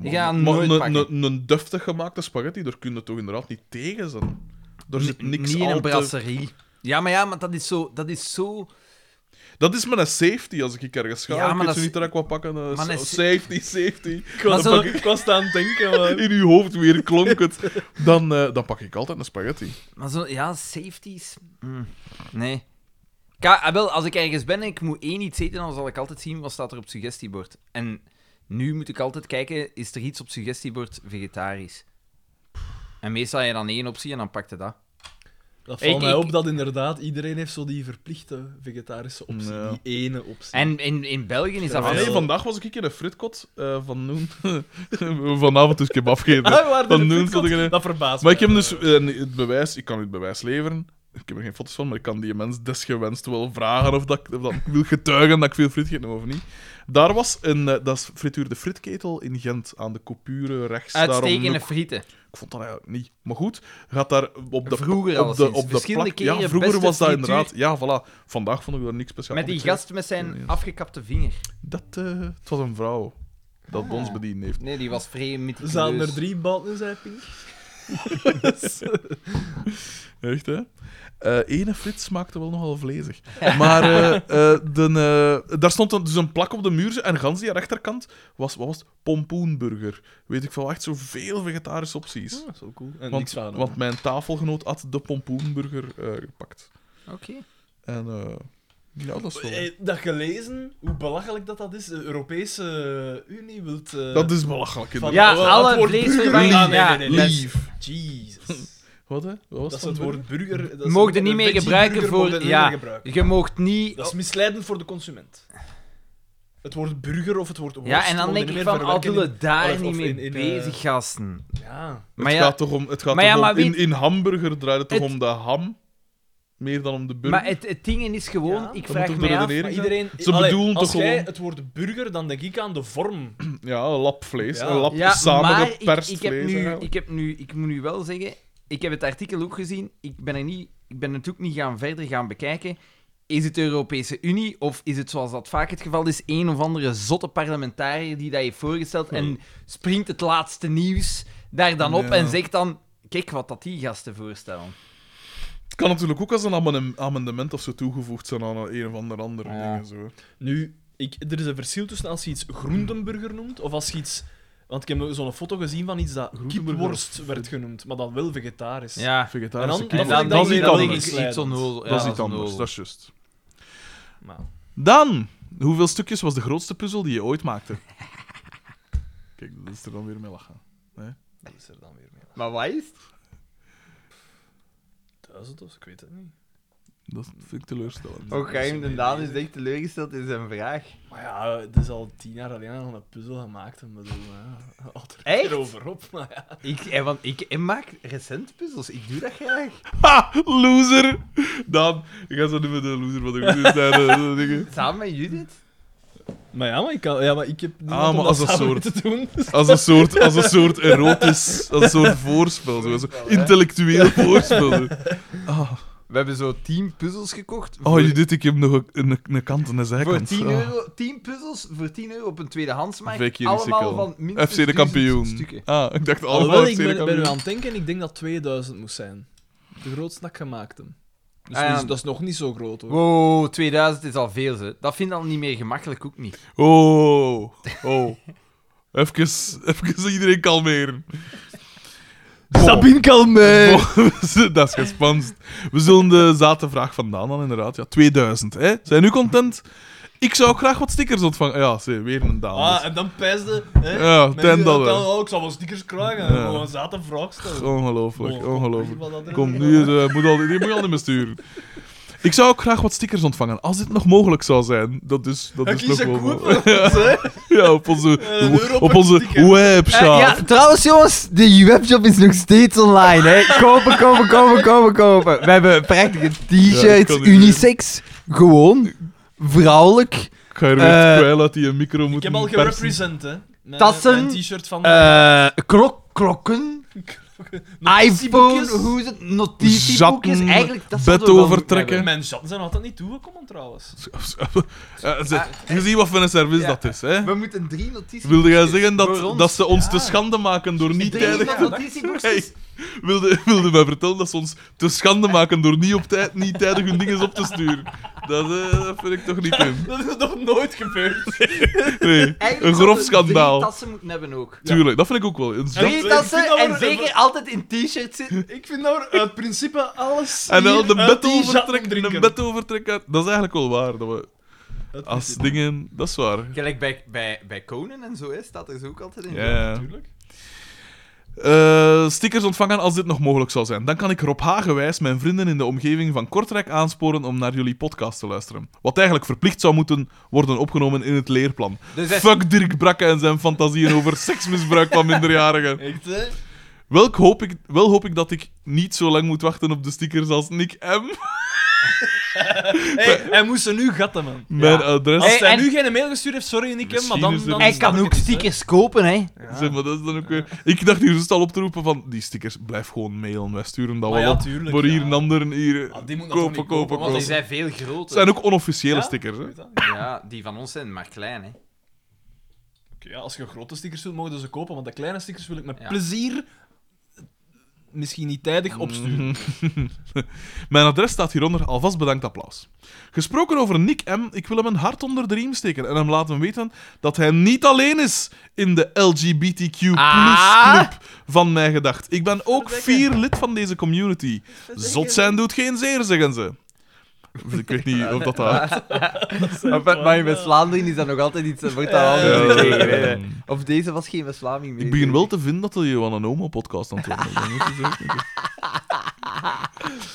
[SPEAKER 4] Ik ga hem Oh. nooit
[SPEAKER 2] een,
[SPEAKER 4] pakken.
[SPEAKER 2] een, een duftig gemaakte spaghetti, daar kun je toch inderdaad niet tegen zijn. Er zit
[SPEAKER 4] N-
[SPEAKER 2] niks
[SPEAKER 4] Niet in
[SPEAKER 2] al
[SPEAKER 4] een
[SPEAKER 2] te-
[SPEAKER 4] brasserie. Ja, maar ja, maar dat is zo... Dat is zo...
[SPEAKER 2] Dat is mijn safety als ik ergens ga.
[SPEAKER 4] Ja,
[SPEAKER 2] ik
[SPEAKER 4] maar
[SPEAKER 2] weet
[SPEAKER 4] dat
[SPEAKER 2] zo
[SPEAKER 4] is-
[SPEAKER 2] niet dat ik wat pakken. eh,
[SPEAKER 4] Maar
[SPEAKER 2] sa-
[SPEAKER 4] een sa-
[SPEAKER 2] safety,
[SPEAKER 4] (laughs)
[SPEAKER 2] safety.
[SPEAKER 3] Ik was,
[SPEAKER 4] Maar zo-
[SPEAKER 3] ik was aan het denken,
[SPEAKER 2] (laughs)
[SPEAKER 3] man.
[SPEAKER 2] In uw hoofd weer klonk het. Dan, eh, dan pak ik altijd een spaghetti.
[SPEAKER 4] Maar zo, ja, safeties. Mm, Nee. Ka ah, wel, als ik ergens ben en ik moet één iets eten, dan zal ik altijd zien wat staat er op het suggestiebord. En nu moet ik altijd kijken, is er iets op het suggestiebord vegetarisch? En meestal heb je dan één optie en dan pakte dat.
[SPEAKER 3] Dat
[SPEAKER 4] Ik-
[SPEAKER 3] valt mij
[SPEAKER 4] ik-
[SPEAKER 3] op dat inderdaad iedereen heeft zo die verplichte vegetarische optie,
[SPEAKER 2] Ja.
[SPEAKER 3] die ene optie.
[SPEAKER 4] En in, in België is
[SPEAKER 2] Ah,
[SPEAKER 4] dat wel...
[SPEAKER 2] nee, vandaag was ik in een fritkot eh, van noen. (laughs) Vanavond dus kebab gegeten.
[SPEAKER 3] Ah, (laughs) waar,
[SPEAKER 2] van
[SPEAKER 3] de
[SPEAKER 2] noen
[SPEAKER 3] fritkot?
[SPEAKER 2] zat ik in een-
[SPEAKER 3] Dat verbaast
[SPEAKER 2] Maar ik
[SPEAKER 3] mij.
[SPEAKER 2] heb dus eh, het bewijs, ik kan het bewijs leveren. Ik heb er geen foto's van, maar ik kan die mens desgewenst wel vragen of dat, ik- of dat ik wil getuigen dat ik veel friet gegeten heb of niet. Daar was een, eh, dat is frituur de Fritketel in Gent, aan de coupure rechts. daar om de
[SPEAKER 4] Uitstekende
[SPEAKER 2] hoek.
[SPEAKER 4] frieten.
[SPEAKER 2] Ik vond dat eigenlijk niet. Maar goed, gaat daar op de,
[SPEAKER 4] Vroeger
[SPEAKER 2] op de,
[SPEAKER 4] alleszins.
[SPEAKER 2] op de
[SPEAKER 4] Verschillende
[SPEAKER 2] plak... Ja,
[SPEAKER 4] keren
[SPEAKER 2] vroeger
[SPEAKER 4] beste
[SPEAKER 2] was dat
[SPEAKER 4] frituur.
[SPEAKER 2] inderdaad... Ja, voilà. Vandaag vond ik daar niks speciaals.
[SPEAKER 4] Met die
[SPEAKER 2] niks-
[SPEAKER 4] gast met zijn afgekapte vinger.
[SPEAKER 2] Dat, eh, het was een vrouw dat
[SPEAKER 4] Ah.
[SPEAKER 2] ons bediend heeft.
[SPEAKER 4] Nee, die was vrij mythisch. Dus-
[SPEAKER 3] Zaten er drie balten in zijn pink?
[SPEAKER 2] Echt, hè? Eh ene frit smaakte wel nogal vlezig. Maar eh, eh, de, eh, daar stond dan dus een plak op de muur en gans die aan de rechterkant was, wat was het? pompoenburger. Weet ik veel, echt zoveel vegetarische opties.
[SPEAKER 4] Hmm.
[SPEAKER 3] Dat is wel cool. En
[SPEAKER 2] want,
[SPEAKER 3] niks van.
[SPEAKER 2] want mijn tafelgenoot had de pompoenburger eh, gepakt.
[SPEAKER 4] Oké.
[SPEAKER 2] En eh, ja, dat is wel...
[SPEAKER 3] Eh, dat gelezen, hoe belachelijk dat dat is. De Europese Unie wilt... eh,
[SPEAKER 2] dat is belachelijk,
[SPEAKER 3] van-
[SPEAKER 2] inderdaad.
[SPEAKER 4] Ja,
[SPEAKER 3] oh,
[SPEAKER 4] alle
[SPEAKER 3] het woord burger-
[SPEAKER 4] vleesvervangers-
[SPEAKER 3] Ah, nee,
[SPEAKER 4] ja,
[SPEAKER 3] nee, nee, nee.
[SPEAKER 2] Lief.
[SPEAKER 3] Jesus.
[SPEAKER 2] Wat, hè? Wat was
[SPEAKER 1] Dat is
[SPEAKER 2] dan
[SPEAKER 1] het woord
[SPEAKER 2] weer?
[SPEAKER 1] burger. dat is
[SPEAKER 4] Mocht je
[SPEAKER 1] een-
[SPEAKER 4] Hm. niet
[SPEAKER 1] een
[SPEAKER 4] mee
[SPEAKER 1] veggie
[SPEAKER 4] gebruiken
[SPEAKER 1] burger
[SPEAKER 4] voor-
[SPEAKER 1] mocht je niet
[SPEAKER 4] ja.
[SPEAKER 1] meer gebruiken.
[SPEAKER 4] Je moogt niet...
[SPEAKER 1] Dat is misleidend voor de consument. Het woord burger of het woord worst
[SPEAKER 4] Ja, en dan
[SPEAKER 1] mogen
[SPEAKER 4] denk
[SPEAKER 1] niet
[SPEAKER 4] ik
[SPEAKER 1] meer
[SPEAKER 4] van, al
[SPEAKER 1] verwerken
[SPEAKER 4] doen
[SPEAKER 1] in-
[SPEAKER 4] we daar
[SPEAKER 1] of
[SPEAKER 4] niet mee
[SPEAKER 1] in- in, eh,
[SPEAKER 4] bezig, gasten.
[SPEAKER 1] Ja.
[SPEAKER 2] Het
[SPEAKER 4] Maar ja,
[SPEAKER 2] gaat toch om... Het gaat
[SPEAKER 4] maar
[SPEAKER 2] toch
[SPEAKER 4] ja,
[SPEAKER 2] om-
[SPEAKER 4] maar wie-
[SPEAKER 2] in, in hamburger draait het toch
[SPEAKER 4] Het-
[SPEAKER 2] om de ham? Meer dan om de burger?
[SPEAKER 4] maar het, het ding is gewoon,
[SPEAKER 1] Ja,
[SPEAKER 4] ik
[SPEAKER 2] dat
[SPEAKER 4] vraag
[SPEAKER 2] moet ook
[SPEAKER 4] me
[SPEAKER 2] de
[SPEAKER 4] af...
[SPEAKER 2] redenering
[SPEAKER 1] Iedereen,
[SPEAKER 2] Ze
[SPEAKER 1] Allee,
[SPEAKER 2] bedoelen
[SPEAKER 1] als
[SPEAKER 2] toch
[SPEAKER 1] jij
[SPEAKER 2] gewoon-
[SPEAKER 1] het woord burger, dan denk ik aan de vorm.
[SPEAKER 2] Ja, een lap vlees.
[SPEAKER 1] Ja.
[SPEAKER 2] Een lap
[SPEAKER 4] Ja, maar ik,
[SPEAKER 2] samengeperst
[SPEAKER 4] ik, heb
[SPEAKER 2] vlees.
[SPEAKER 4] nu,
[SPEAKER 2] eigenlijk.
[SPEAKER 4] ik heb nu... Ik moet nu wel zeggen, ik heb het artikel ook gezien, ik ben, er niet, ik ben het ook niet gaan verder gaan bekijken. Is het de Europese Unie, of is het zoals dat vaak het geval is, een of andere zotte parlementariër die dat heeft voorgesteld en springt het laatste nieuws daar dan op
[SPEAKER 2] Ja.
[SPEAKER 4] en zegt dan... Kijk wat dat die gasten voorstellen.
[SPEAKER 2] Het kan natuurlijk ook als een amendem- amendement of zo toegevoegd zijn aan een of ander andere
[SPEAKER 4] Ja.
[SPEAKER 2] dingen. Zo.
[SPEAKER 1] Nu, ik, er is een verschil tussen als je iets groentenburger noemt of als je iets. Want ik heb zo'n foto gezien van iets dat
[SPEAKER 2] Groentenburger
[SPEAKER 1] kipworst werd genoemd, maar dan wel vegetarisch.
[SPEAKER 4] Ja.
[SPEAKER 1] En
[SPEAKER 2] Vegetarische
[SPEAKER 1] dan,
[SPEAKER 2] kip.
[SPEAKER 4] En
[SPEAKER 1] dan,
[SPEAKER 4] dan
[SPEAKER 1] dan,
[SPEAKER 4] denk
[SPEAKER 1] dan,
[SPEAKER 4] je
[SPEAKER 1] weer
[SPEAKER 4] dat
[SPEAKER 1] wel
[SPEAKER 4] ik
[SPEAKER 1] iets
[SPEAKER 4] iets onnozel-
[SPEAKER 1] Ja,
[SPEAKER 2] dat is
[SPEAKER 4] dat
[SPEAKER 2] iets
[SPEAKER 4] is
[SPEAKER 2] anders,
[SPEAKER 4] nul.
[SPEAKER 2] dat is juist.
[SPEAKER 1] Maar,
[SPEAKER 2] Dan! Hoeveel stukjes was de grootste puzzel die je ooit
[SPEAKER 1] (laughs)
[SPEAKER 2] maakte? Kijk, dat is er dan weer mee lachen.
[SPEAKER 1] dat is er dan weer mee.
[SPEAKER 4] Maar wat is
[SPEAKER 1] Duizend of zo, ik weet het niet.
[SPEAKER 2] Dat vind ik teleurstellend.
[SPEAKER 4] Ook Geheim de Daan is echt teleurgesteld in zijn vraag.
[SPEAKER 1] Maar ja, het is al tien jaar alleen al een puzzel gemaakt. En bedoel, ja, altijd
[SPEAKER 4] Echt?
[SPEAKER 1] erover op. Maar ja.
[SPEAKER 4] Ik, eh, want ik, ik maak recent puzzels, ik doe dat graag.
[SPEAKER 2] (laughs) Ha! Loser! Dan, ik ga zo niet met de loser van de loser zijn. eh,
[SPEAKER 1] (laughs)
[SPEAKER 2] zo dingen.
[SPEAKER 4] Samen met Judith.
[SPEAKER 1] maar ja, maar ik, kan, ja, maar ik heb
[SPEAKER 4] Ah,
[SPEAKER 1] niemand
[SPEAKER 2] maar
[SPEAKER 1] om dat
[SPEAKER 2] als een
[SPEAKER 1] samen
[SPEAKER 2] soort-
[SPEAKER 1] te
[SPEAKER 4] (laughs)
[SPEAKER 1] doen. dus-
[SPEAKER 2] Als een soort, als een soort erotisch, als een soort voorspel. Zo, zo. Intellectueel voorspel. zo. Ah.
[SPEAKER 4] We hebben zo 10 puzzels gekocht.
[SPEAKER 2] Oh, Judith, ik heb nog een, een, een kant en een
[SPEAKER 4] voor
[SPEAKER 2] zijkant.
[SPEAKER 4] 10
[SPEAKER 2] Ah.
[SPEAKER 4] euro, 10 puzzels voor 10 euro op een tweedehandsmarkt.
[SPEAKER 2] Vicky Risico.
[SPEAKER 4] Allemaal van minstens
[SPEAKER 2] FC de
[SPEAKER 4] 1000
[SPEAKER 2] kampioen.
[SPEAKER 4] stukken.
[SPEAKER 2] Ah, ik dacht allemaal
[SPEAKER 1] Alhoewel,
[SPEAKER 2] FC
[SPEAKER 1] ik
[SPEAKER 2] de
[SPEAKER 1] ben, ben nu aan
[SPEAKER 2] kampioen.
[SPEAKER 1] het denken, ik denk dat 2000 moest zijn. De grootste dat ik gemaakt heb. Dus
[SPEAKER 4] Ah, ja.
[SPEAKER 1] dat is- dat is nog niet zo groot hoor.
[SPEAKER 4] Wow, 2000 is al veel, ze. Dat vind ik al niet meer gemakkelijk, ook niet.
[SPEAKER 2] Oh,
[SPEAKER 1] (laughs)
[SPEAKER 2] oh. Even, even iedereen kalmeren.
[SPEAKER 1] Sabine Kalmijn!
[SPEAKER 2] (laughs) Bon, dat is gespanst. We zullen de zate vraag vandaan dan, inderdaad. Ja, 2000, hè? Zijn u content? Ik zou ook graag wat stickers ontvangen. Ja, zie, weer een dame.
[SPEAKER 3] Ah, en dan pijsde. Hè?
[SPEAKER 2] ja,
[SPEAKER 3] Mensen
[SPEAKER 2] ten dat
[SPEAKER 3] dat dan,
[SPEAKER 2] wel.
[SPEAKER 3] oh, ik zal wel stickers krijgen.
[SPEAKER 2] Ja.
[SPEAKER 3] Gewoon een zate vraag stellen.
[SPEAKER 2] Ongelooflijk,
[SPEAKER 3] Bon,
[SPEAKER 2] ongelooflijk.
[SPEAKER 3] wat dat er-
[SPEAKER 2] Kom, nu is, eh, moet al, die moet je al niet meer sturen. Ik zou ook graag wat stickers ontvangen, als dit nog mogelijk zou zijn. Dat is, dat
[SPEAKER 3] Ja,
[SPEAKER 2] is nog
[SPEAKER 3] kies een
[SPEAKER 2] wel...
[SPEAKER 3] koe voor ons, hè.
[SPEAKER 2] (laughs) Ja, op onze,
[SPEAKER 3] Een euro
[SPEAKER 2] op
[SPEAKER 3] per
[SPEAKER 2] onze
[SPEAKER 3] sticker.
[SPEAKER 4] Eh,
[SPEAKER 2] webshop.
[SPEAKER 4] trouwens, jongens, de webshop is nog steeds online. Hè. Kopen, kopen, kopen, kopen, kopen. We hebben prachtige
[SPEAKER 2] Ja, ik kan niet unisex,
[SPEAKER 4] Gewoon. Vrouwelijk.
[SPEAKER 2] Ik ga er weer
[SPEAKER 4] Eh,
[SPEAKER 2] het kwijl uit die een micro
[SPEAKER 3] Ik
[SPEAKER 2] moeten
[SPEAKER 3] heb al
[SPEAKER 2] persen.
[SPEAKER 3] gerepresent, hè. Mijn-
[SPEAKER 4] Tassen.
[SPEAKER 3] Mijn t-shirt van...
[SPEAKER 4] Eh, klok, klokken. iPhone,
[SPEAKER 3] notitieboekjes.
[SPEAKER 4] hoe is het? Notitieboekjes.
[SPEAKER 2] Zatten,
[SPEAKER 4] Eigenlijk, dat
[SPEAKER 2] bed
[SPEAKER 4] zouden we wel moeten
[SPEAKER 2] overtrekken.
[SPEAKER 4] hebben.
[SPEAKER 3] Mijn chatten zijn altijd niet toegekomen, trouwens.
[SPEAKER 2] Eh, ze- Je ziet wat voor een service
[SPEAKER 4] Ah, Ja.
[SPEAKER 2] dat is, hè?
[SPEAKER 4] We moeten drie notitieboekjes.
[SPEAKER 2] Wilde jij zeggen dat,
[SPEAKER 4] Voor ons.
[SPEAKER 2] dat ze ons te schande maken door niet
[SPEAKER 4] Drie
[SPEAKER 2] tijdig... Hey,
[SPEAKER 4] notitieboekjes.
[SPEAKER 2] wilde, wilde mij vertellen dat ze ons te schande maken door niet op tijd, niet tijdig hun dingen op te sturen? Dat, eh, dat vind ik toch niet in.
[SPEAKER 3] (laughs) Dat is nog nooit gebeurd.
[SPEAKER 2] (laughs) Nee, een grof
[SPEAKER 4] Eigenlijk zouden we
[SPEAKER 2] schandaal.
[SPEAKER 4] Drie tassen moeten hebben ook.
[SPEAKER 2] Tuurlijk, dat vind ik ook wel. Een zat-
[SPEAKER 4] Drie
[SPEAKER 3] ik
[SPEAKER 4] tassen
[SPEAKER 3] vind dat
[SPEAKER 4] en
[SPEAKER 3] we-
[SPEAKER 4] zeker altijd in t-shirts zitten.
[SPEAKER 3] Ik vind nou uit principe alles
[SPEAKER 2] En dan
[SPEAKER 3] hier
[SPEAKER 2] de
[SPEAKER 3] uit
[SPEAKER 2] bed
[SPEAKER 3] die chatten
[SPEAKER 2] overtrekken. De
[SPEAKER 3] drinken.
[SPEAKER 2] bed overtrekken. Dat is eigenlijk wel waar. Dat we als dingen... Dat is waar.
[SPEAKER 4] Gelijk bij, bij, bij Conan en zo, hè, staat er zo ook altijd in.
[SPEAKER 2] Ja, ja.
[SPEAKER 3] Natuurlijk.
[SPEAKER 2] Eh, stickers ontvangen als dit nog mogelijk zou zijn. Dan kan ik Rob Hagenwijs mijn vrienden in de omgeving van Kortrijk aansporen om naar jullie podcast te luisteren. Wat eigenlijk verplicht zou moeten worden opgenomen in het leerplan.
[SPEAKER 4] Dus hij-
[SPEAKER 2] Fuck Dirk Brakke en zijn fantasieën over seksmisbruik van minderjarigen.
[SPEAKER 3] Echt, hè?
[SPEAKER 2] Welk hoop ik, wel hoop ik dat ik niet zo lang moet wachten op de stickers als Nick M. (laughs)
[SPEAKER 3] Hey, hij moest ze nu gatten, man.
[SPEAKER 2] Mijn
[SPEAKER 4] Ja.
[SPEAKER 2] adres.
[SPEAKER 3] Als
[SPEAKER 4] Hey,
[SPEAKER 3] hij
[SPEAKER 4] en-
[SPEAKER 3] nu geen mail gestuurd heeft, sorry Nick, hè, maar
[SPEAKER 2] Misschien is
[SPEAKER 3] dan...
[SPEAKER 2] er-
[SPEAKER 3] dan
[SPEAKER 2] Hij
[SPEAKER 4] Hij
[SPEAKER 3] snap
[SPEAKER 4] kan
[SPEAKER 3] ik
[SPEAKER 4] ook
[SPEAKER 3] het, hè.
[SPEAKER 4] stickers kopen, hè.
[SPEAKER 2] Zeg maar, dat is dan ook weer... Ik dacht hier just al op te roepen van... Die stickers, blijf gewoon mailen. Wij sturen dat
[SPEAKER 3] Maar
[SPEAKER 2] Ah, wel
[SPEAKER 3] Ah, ja,
[SPEAKER 2] op.
[SPEAKER 3] tuurlijk,
[SPEAKER 2] voor hier
[SPEAKER 3] ja.
[SPEAKER 2] een ander hier...
[SPEAKER 3] Ah, die moet nog
[SPEAKER 2] kopen,
[SPEAKER 3] niet
[SPEAKER 2] kopen,
[SPEAKER 3] kopen, want
[SPEAKER 2] kopen.
[SPEAKER 4] Want die
[SPEAKER 2] Het
[SPEAKER 4] zijn veel groter.
[SPEAKER 2] zijn ook onofficiële
[SPEAKER 3] Ja?
[SPEAKER 2] stickers, hè.
[SPEAKER 3] Weet dat? Oké,
[SPEAKER 4] Ja, die van ons zijn maar klein, hè.
[SPEAKER 3] ja, als je grote stickers wilt, mogen ze kopen, want de kleine stickers wil ik met
[SPEAKER 4] Ja. Mm.
[SPEAKER 3] plezier... eh, Misschien niet tijdig opsturen.
[SPEAKER 2] (laughs) Mijn adres staat hieronder. Alvast bedankt applaus. Gesproken over Nick M. Ik wil hem een hart onder de riem steken en hem laten weten dat hij niet alleen is in de LGBTQ
[SPEAKER 4] Ah.
[SPEAKER 2] club van mij gedacht. Ik ben ook vier lid van deze community. Zot zijn doet geen zeer, zeggen ze. Ik weet niet
[SPEAKER 3] (laughs)
[SPEAKER 2] of dat daar...
[SPEAKER 4] Maar, maar in West-Vlaanderen is dat nog altijd iets... dat Wordt dat
[SPEAKER 2] Ja.
[SPEAKER 4] altijd tegen, hè. Of deze was geen West-Vlaming meer.
[SPEAKER 2] Ik begin wel te vinden dat de Johan en Oma podcast aan het worden is. Dat moet je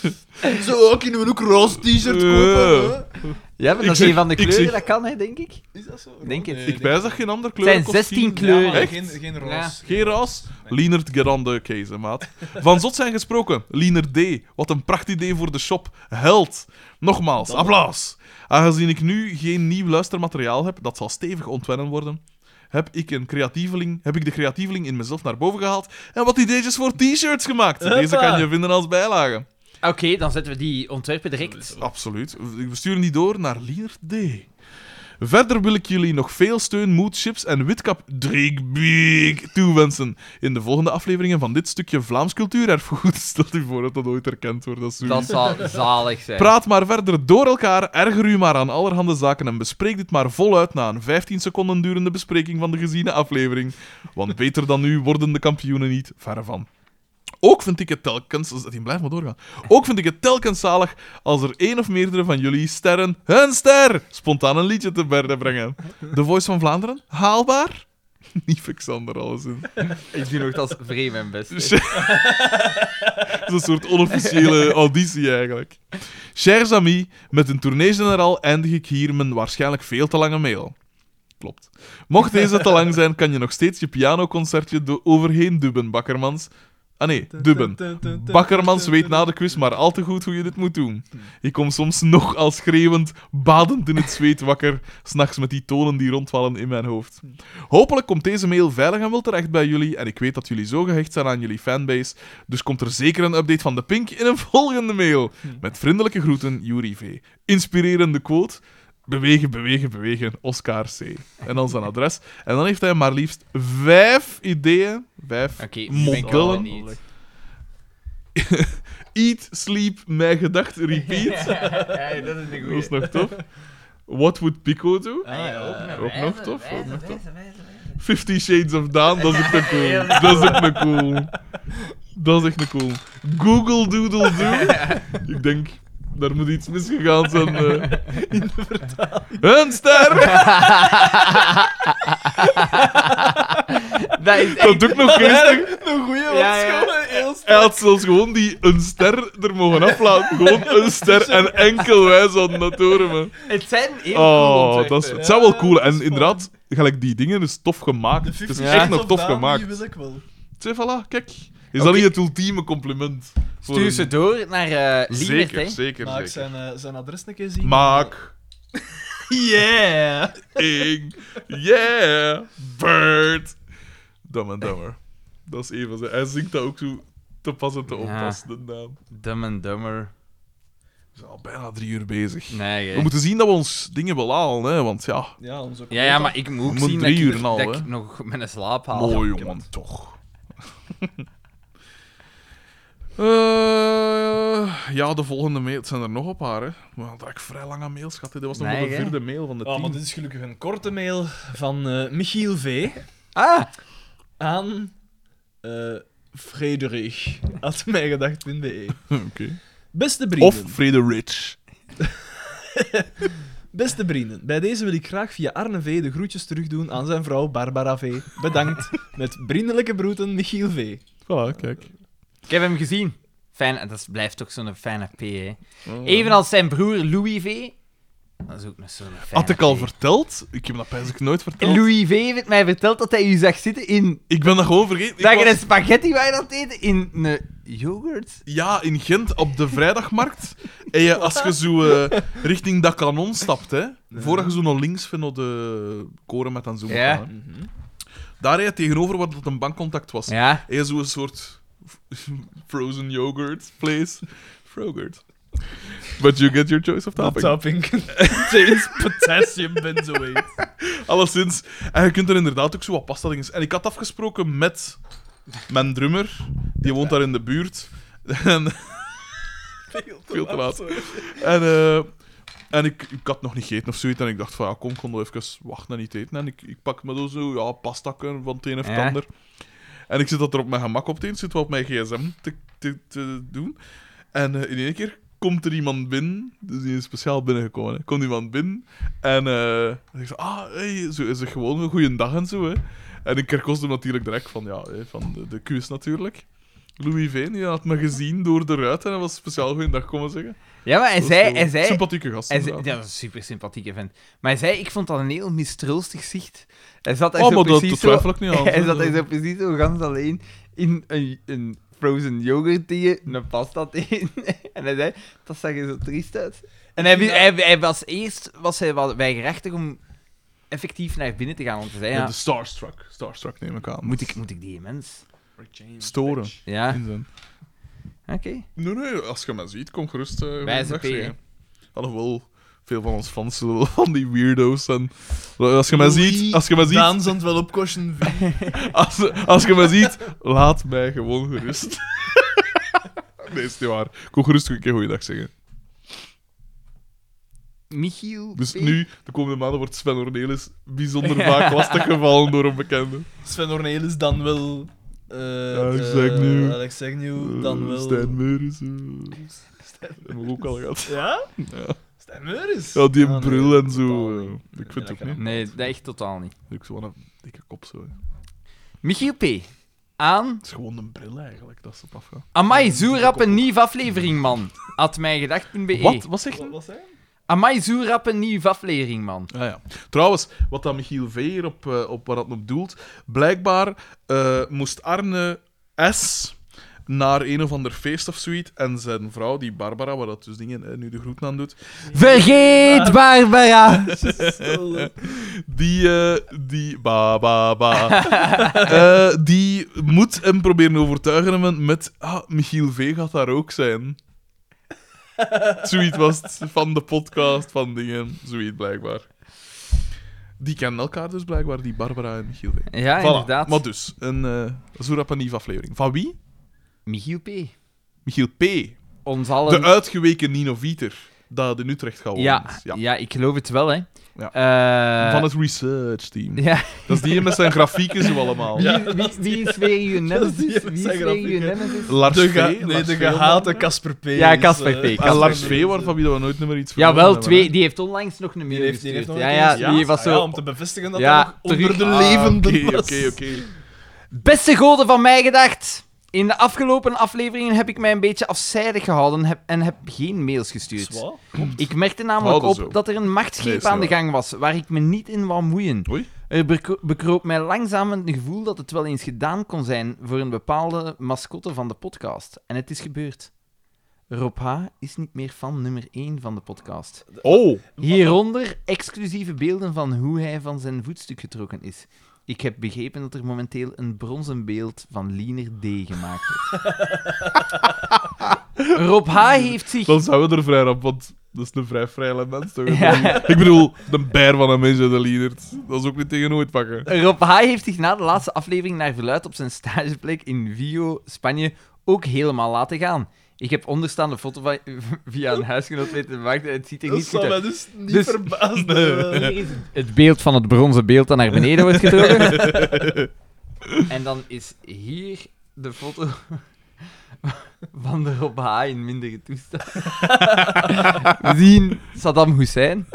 [SPEAKER 2] zeggen.
[SPEAKER 1] Zo oh, kunnen we ook roze t-shirt
[SPEAKER 2] Eh,
[SPEAKER 1] kopen. hè?
[SPEAKER 4] Ja, maar
[SPEAKER 2] Ik
[SPEAKER 4] dat is
[SPEAKER 2] zeg-
[SPEAKER 4] een van de
[SPEAKER 2] ik zeg-
[SPEAKER 4] kleuren, dat kan, hè, denk ik.
[SPEAKER 1] Is dat zo?
[SPEAKER 4] Denk het.
[SPEAKER 2] Ik wijs dat geen andere kleur.
[SPEAKER 4] Het zijn 16 kleuren.
[SPEAKER 2] Echt?
[SPEAKER 3] Geen, geen roos.
[SPEAKER 4] Ja.
[SPEAKER 2] Geen ras? Lienert Gerande Keizer, maat. Van zot zijn gesproken. Lienert D. Wat een pracht idee voor de shop. Held. Nogmaals, applaus. Aangezien ik nu geen nieuw luistermateriaal heb, dat zal stevig ontwennen worden, heb ik, een creatieveling, heb ik de creatieveling in mezelf naar boven gehaald en wat ideetjes voor t-shirts gemaakt. Deze
[SPEAKER 3] Huppa.
[SPEAKER 2] kan je vinden als bijlage.
[SPEAKER 4] Oké, dan zetten we die ontwerpen direct.
[SPEAKER 2] Absoluut. We sturen die door naar Lienert D. Verder wil ik jullie nog veel steun, moed, chips en witkap Drinkbeek toewensen. In de volgende afleveringen van dit stukje Vlaams cultuurerfgoed. (laughs) Stel u voor dat dat ooit herkend wordt. Dat is zoiets.
[SPEAKER 4] Dat (laughs) zal zalig zijn.
[SPEAKER 2] Praat maar verder door elkaar, erger u maar aan allerhande zaken en bespreek dit maar voluit na een 15 seconden durende bespreking van de geziene aflevering. Want beter dan nu worden de kampioenen niet, verre van. Ook vind ik het telkens... Die blijft maar doorgaan. Ook vind ik het telkens zalig als er één of meerdere van jullie sterren hun ster spontaan een liedje te berden brengen. De Voice van Vlaanderen? Haalbaar? (laughs) Niet Xander, alles in.
[SPEAKER 4] Ik doe nog dat vreemd mijn best. hè. (laughs)
[SPEAKER 2] Dus- (laughs) Dat is een soort onofficiële auditie eigenlijk. Chers amis, met een tournee-generaal eindig ik hier mijn waarschijnlijk veel te lange mail. Klopt. Mocht deze te lang zijn, kan je nog steeds je pianoconcertje do- overheen dubben, Bakkermans. Ah nee, dubben. Bakkermans weet na de quiz maar al te goed hoe je dit moet doen. Ik kom soms nog al schreeuwend, badend in het zweet wakker, s'nachts met die tonen die rondwallen in mijn hoofd. Hopelijk komt deze mail veilig en wel terecht bij jullie, en ik weet dat jullie zo gehecht zijn aan jullie fanbase, dus komt er zeker een update van de Pink in een (laughs) volgende mail. Met vriendelijke groeten, Jury V. Inspirerende quote... Bewegen, bewegen, bewegen, Oscar C. En dan zijn adres. En dan heeft hij maar liefst vijf ideeën, vijf
[SPEAKER 4] Oké, die ben ik wel
[SPEAKER 2] modellen.
[SPEAKER 4] niet.
[SPEAKER 2] Eat, sleep, mijn gedacht, (laughs) repeat.
[SPEAKER 4] (laughs) Ja, dat is een
[SPEAKER 2] Dat is
[SPEAKER 4] goeie.
[SPEAKER 2] nog tof. What would Pico do?
[SPEAKER 3] Ah, ja.
[SPEAKER 2] Ook nog tof, ook nog tof.
[SPEAKER 4] wijzen, wijzen, wijzen.
[SPEAKER 2] Fifty Shades of Down, dat is ook een cool. Dat is ook een cool. Dat is echt een cool. Google Doodle Do. Ik denk, daar moet iets misgegaan zijn eh, in de vertaling. Een ster!
[SPEAKER 4] Dat is echt...
[SPEAKER 2] Dat is ook nog geestig.
[SPEAKER 1] Een goeie wat
[SPEAKER 4] Ja, ja.
[SPEAKER 1] schoon, heel
[SPEAKER 2] Hij had zelfs gewoon die een ster er mogen aflaten. Gewoon een ster en enkel wij zouden dat horen, man.
[SPEAKER 4] Het zijn heel cool
[SPEAKER 2] Oh,
[SPEAKER 4] ontwerpen.
[SPEAKER 2] dat is, het zou wel
[SPEAKER 1] Ja,
[SPEAKER 2] cool.
[SPEAKER 1] dat is
[SPEAKER 2] En inderdaad, gelijk die dingen is tof gemaakt. Het is echt nog tof gemaakt.
[SPEAKER 1] Die wist ik wel.
[SPEAKER 2] Zeg, voilà, kijk. Is dat niet het ultieme compliment? voor
[SPEAKER 4] Stuur
[SPEAKER 2] een-
[SPEAKER 4] ze door naar eh Lienert,
[SPEAKER 2] Zeker,
[SPEAKER 4] hè.
[SPEAKER 2] zeker,
[SPEAKER 1] Maak
[SPEAKER 2] zeker.
[SPEAKER 1] zijn, eh, zijn adres een keer zien.
[SPEAKER 2] Maak.
[SPEAKER 1] Yeah!
[SPEAKER 2] Ing. Yeah. Bird. Dumb and Dumber. Dat is een van zijn. Hij zingt dat ook zo te pas en te onpas, de naam.
[SPEAKER 4] Dumb and Dumber.
[SPEAKER 2] We zijn al bijna drie uur bezig.
[SPEAKER 4] Nee, hè.
[SPEAKER 2] We moeten zien dat we ons dingen wel halen, hè. Want ja,
[SPEAKER 1] Ja, onze
[SPEAKER 4] Ja, ja, maar ik moet ook
[SPEAKER 2] Moet
[SPEAKER 4] zien dat,
[SPEAKER 2] drie
[SPEAKER 4] ik,
[SPEAKER 2] uur en al,
[SPEAKER 4] dat
[SPEAKER 2] hè.
[SPEAKER 4] ik nog mijn slaap haal.
[SPEAKER 2] mooi jongen, toch. (laughs) Eh, ja, de volgende mail. Het zijn er nog een paar, hè. We hadden eigenlijk vrij lange mails gehad. hè. Dit was nog
[SPEAKER 4] Nee,
[SPEAKER 2] maar de
[SPEAKER 4] hè.
[SPEAKER 2] vierde mail van de
[SPEAKER 3] Oh, maar
[SPEAKER 2] tien.
[SPEAKER 3] dit is gelukkig een korte mail van eh, Michiel V.
[SPEAKER 4] Ah,
[SPEAKER 3] aan eh Frederik. Had
[SPEAKER 1] E.
[SPEAKER 3] mijgedacht.be.
[SPEAKER 2] Oké.
[SPEAKER 3] Beste
[SPEAKER 2] Of
[SPEAKER 3] vrienden,
[SPEAKER 2] Frederich.
[SPEAKER 3] beste vrienden, bij deze wil ik graag via Arne V de groetjes terugdoen aan zijn vrouw Barbara V. Bedankt. Met vriendelijke groeten Michiel V.
[SPEAKER 2] Voilà, kijk.
[SPEAKER 4] ik heb hem gezien. Fijn, dat is- blijft toch zo'n fijne P, hè. Evenals zijn broer Louis V. Dat is ook nog zo'n fijne
[SPEAKER 2] Had ik al
[SPEAKER 4] P.
[SPEAKER 2] verteld? Ik heb dat eigenlijk nooit verteld.
[SPEAKER 4] Louis V heeft mij verteld dat hij u zag zitten in...
[SPEAKER 2] Ik ben dat gewoon vergeten. Ik
[SPEAKER 4] dat je
[SPEAKER 2] was-
[SPEAKER 4] een spaghetti wou dat eten in een yoghurt.
[SPEAKER 2] Ja, in Gent op de
[SPEAKER 4] (laughs)
[SPEAKER 2] vrijdagmarkt. en je, als je zo eh, richting dat kanon stapt, hè, voordat je zo naar links vindt op de koren met dan zo.
[SPEAKER 4] Ja.
[SPEAKER 2] gaan, hè. Daar rijd je tegenover waar dat een bankcontact was.
[SPEAKER 4] Ja.
[SPEAKER 2] En je zo'n soort frozen yogurt place. Frogurt. But you get your choice of topping. (laughs)
[SPEAKER 3] Mhm. Topping contains potassium benzoate.
[SPEAKER 2] Alleszins. En je kunt er inderdaad ook zo wat pasta dingen... En ik had afgesproken met mijn drummer. Die woont daar in de buurt. En... Veel te laat. En, eh, en ik, ik had nog niet gegeten of zoiets. En ik dacht van, ja, kom, ik kon nog even wachten en niet eten. En ik, ik pak me dan zo, ja, pastakken van het een of het
[SPEAKER 4] Ja.
[SPEAKER 2] ander. En ik zit dat er op mijn gemak op te eten. Zit wel op mijn gsm te, te, te doen. En eh, in één keer komt er iemand binnen. Dus die is speciaal binnengekomen. Hè. Komt iemand binnen. En eh, ik zeg, ah, hey, zo is het gewoon een goeie dag en zo, hè. En ik herkost hem natuurlijk direct van, ja, hè, van de, de kus natuurlijk. Louis Veen, die had me gezien door de ruit en hij was speciaal goed dag komen zeggen.
[SPEAKER 4] Ja, maar hij
[SPEAKER 2] Dat is
[SPEAKER 4] zei...
[SPEAKER 2] wel
[SPEAKER 4] Hij
[SPEAKER 2] een
[SPEAKER 4] zei
[SPEAKER 2] Sympathieke gast.
[SPEAKER 4] hij zei,
[SPEAKER 2] inderdaad.
[SPEAKER 4] dat is een super sympathieke vent. Maar hij zei, ik vond dat een heel mistroostig zicht. Hij zat daar
[SPEAKER 2] Oh,
[SPEAKER 4] zo
[SPEAKER 2] maar dat, dat
[SPEAKER 4] precies (laughs) zo-
[SPEAKER 2] twijfel ik niet aan.
[SPEAKER 4] Hij zat daar zo precies zo gans alleen in een, een frozen yoghurt thee, een pasta thee. (laughs) en hij zei, dat zag er zo triest uit. En hij, hij, hij was eerst was hij wel weigerachtig om effectief naar binnen te gaan. Want hij zei,
[SPEAKER 2] Ja,
[SPEAKER 4] ja, dus-
[SPEAKER 2] De Starstruck. Starstruck neem ik aan.
[SPEAKER 4] moet, ik, moet ik die mens?
[SPEAKER 2] Storen.
[SPEAKER 4] Ja,
[SPEAKER 2] in zijn.
[SPEAKER 4] oké.
[SPEAKER 2] Nee, nee, als je mij ziet, kom gerust. eh,
[SPEAKER 4] Wijze
[SPEAKER 2] goeiedag
[SPEAKER 4] P, hè.
[SPEAKER 2] zeggen. Alhoewel, veel van ons fans zullen (laughs) wel van die weirdo's zijn. Als je mij ziet, als je mij ziet,
[SPEAKER 3] Daan zal het wel opkosten.
[SPEAKER 2] als, als je mij ziet, laat mij gewoon gerust. (laughs) nee, is niet waar. Kom gerust een keer goeiedag zeggen.
[SPEAKER 4] Michiel
[SPEAKER 2] Dus
[SPEAKER 4] P.
[SPEAKER 2] nu, de komende maanden, wordt Sven Ornelis bijzonder vaak lastiggevallen door onbekenden.
[SPEAKER 3] Sven Ornelis dan wel... eh,
[SPEAKER 2] Alex
[SPEAKER 3] eh,
[SPEAKER 2] Agnew.
[SPEAKER 3] Alex Agnew, dan
[SPEAKER 2] Eh,
[SPEAKER 3] wel...
[SPEAKER 2] Stijn Meuris. eh, Dat heb ik ook al gehad.
[SPEAKER 3] Ja?
[SPEAKER 2] Ja.
[SPEAKER 3] Stijn Meuris?
[SPEAKER 2] Ja, die
[SPEAKER 3] Ah, nee,
[SPEAKER 2] bril en zo.
[SPEAKER 3] totaal
[SPEAKER 2] eh,
[SPEAKER 3] niet.
[SPEAKER 2] Ik vind het ook
[SPEAKER 3] Nee,
[SPEAKER 2] niet.
[SPEAKER 4] Nee, dat echt totaal niet.
[SPEAKER 2] Ik zo een dikke kop zo. hè.
[SPEAKER 4] Michiel P. Aan
[SPEAKER 2] Het is gewoon een bril eigenlijk dat ze op afgaan.
[SPEAKER 4] Amai, zo rap een nieuwe aflevering, man. At mijngedacht.be.
[SPEAKER 2] Wat? Wat zegt
[SPEAKER 3] Wat
[SPEAKER 2] hij?
[SPEAKER 3] was hij?
[SPEAKER 4] E. Amai, zo rap een nieuwe aflevering, man.
[SPEAKER 2] Ah, ja. Trouwens, wat dat Michiel V hier op, eh, op waar dat op doelt. Blijkbaar eh, moest Arne S. naar een of ander feest of zoiets. En zijn vrouw, die Barbara, waar dat dus dingen eh, nu de groeten aan doet.
[SPEAKER 4] Vergeet
[SPEAKER 2] (laughs)
[SPEAKER 4] Barbara!
[SPEAKER 2] Die, eh, die, ba, ba, ba. (laughs) Eh, die moet hem proberen overtuigen met- met, ah, Michiel V gaat daar ook zijn. Zoiets was het, van de podcast, van dingen, zoiets blijkbaar. Die kennen elkaar dus blijkbaar, die Barbara en Michiel V.
[SPEAKER 4] Ja,
[SPEAKER 2] Voilà,
[SPEAKER 4] inderdaad.
[SPEAKER 2] Maar dus, een eh Zoerapanief aflevering. Van wie?
[SPEAKER 4] Michiel P.
[SPEAKER 2] Michiel P.
[SPEAKER 4] Ons
[SPEAKER 2] De
[SPEAKER 4] allen...
[SPEAKER 2] uitgeweken Nino Vieter, dat in Utrecht gaat wonen
[SPEAKER 4] ja,
[SPEAKER 2] is.
[SPEAKER 4] ja. ik geloof het wel, hè.
[SPEAKER 2] Ja.
[SPEAKER 4] Eh,
[SPEAKER 2] Van het research team.
[SPEAKER 4] Ja,
[SPEAKER 2] Dat is die met zijn grafieken zo allemaal.
[SPEAKER 4] wie, wie, wie is weer
[SPEAKER 3] (laughs)
[SPEAKER 4] je
[SPEAKER 3] die
[SPEAKER 4] nemesis?
[SPEAKER 3] met
[SPEAKER 4] Wie is
[SPEAKER 3] zijn
[SPEAKER 4] weer
[SPEAKER 3] grafiek,
[SPEAKER 4] je
[SPEAKER 3] hè.
[SPEAKER 4] nemesis?
[SPEAKER 2] Lars
[SPEAKER 3] De,
[SPEAKER 2] Vee,
[SPEAKER 3] ge- nee,
[SPEAKER 2] Lars
[SPEAKER 3] de
[SPEAKER 2] Vee
[SPEAKER 3] gehate
[SPEAKER 2] onder
[SPEAKER 3] Casper P.
[SPEAKER 4] Ja,
[SPEAKER 3] is,
[SPEAKER 4] Casper
[SPEAKER 3] eh,
[SPEAKER 4] P.
[SPEAKER 2] andere. En Lars
[SPEAKER 3] P.
[SPEAKER 2] Vee, waarvan wie we nooit meer iets van
[SPEAKER 4] Jawel, twee. Die heeft onlangs nog een
[SPEAKER 3] Die
[SPEAKER 4] mail
[SPEAKER 3] heeft, die heeft nog
[SPEAKER 4] gestuurd.
[SPEAKER 3] een
[SPEAKER 4] Ja,
[SPEAKER 3] keer
[SPEAKER 4] ja,
[SPEAKER 3] gezien.
[SPEAKER 4] die was
[SPEAKER 3] Ah, ja,
[SPEAKER 4] zo...
[SPEAKER 3] om te bevestigen dat
[SPEAKER 4] Ja,
[SPEAKER 3] hij nog onder
[SPEAKER 4] terug.
[SPEAKER 3] de
[SPEAKER 4] Ah,
[SPEAKER 3] levenden
[SPEAKER 2] Oké,
[SPEAKER 3] was.
[SPEAKER 2] oké, oké.
[SPEAKER 4] Beste goden van mij gedacht. In de afgelopen afleveringen heb ik mij een beetje afzijdig gehouden heb- en heb geen mails gestuurd.
[SPEAKER 3] Zwaar.
[SPEAKER 4] Ik merkte namelijk
[SPEAKER 2] Houden zo.
[SPEAKER 4] op dat er een machtsgreep
[SPEAKER 2] Nee, is niet
[SPEAKER 4] aan de
[SPEAKER 2] waar.
[SPEAKER 4] gang was, waar ik me niet in wou moeien.
[SPEAKER 2] Oei.
[SPEAKER 4] Er beko- bekroop Eh, mij langzaam het gevoel dat het wel eens gedaan kon zijn voor een bepaalde mascotte van de podcast. En het is gebeurd. Rob H. is niet meer fan nummer 1 van de podcast.
[SPEAKER 2] Oh,
[SPEAKER 4] Hieronder exclusieve beelden van hoe hij van zijn voetstuk getrokken is. Ik heb begrepen dat er momenteel een bronzen beeld van Liener D. gemaakt wordt. Rob H. heeft zich...
[SPEAKER 2] dan zijn we er vrij op, want dat is een vrij vrij mens toch?
[SPEAKER 4] Ja.
[SPEAKER 2] Ik bedoel, de beer van een mens de liedert. Dat is ook niet tegen nooit pakken.
[SPEAKER 4] Rob H. heeft zich na de laatste aflevering naar verluid op zijn stageplek in Vigo, Spanje, ook helemaal laten gaan. Ik heb onderstaande foto van, (laughs) via een huisgenoot weten te maken en het ziet er
[SPEAKER 3] Dat
[SPEAKER 4] niet goed
[SPEAKER 3] zou
[SPEAKER 4] uit.
[SPEAKER 3] mij dus niet
[SPEAKER 4] Dus-
[SPEAKER 3] verbaasd
[SPEAKER 4] Hier is Het beeld van het bronzen beeld dat naar beneden wordt getrokken. en dan is hier de foto van de Rob H. in mindere toestand. We zien Saddam Hussein.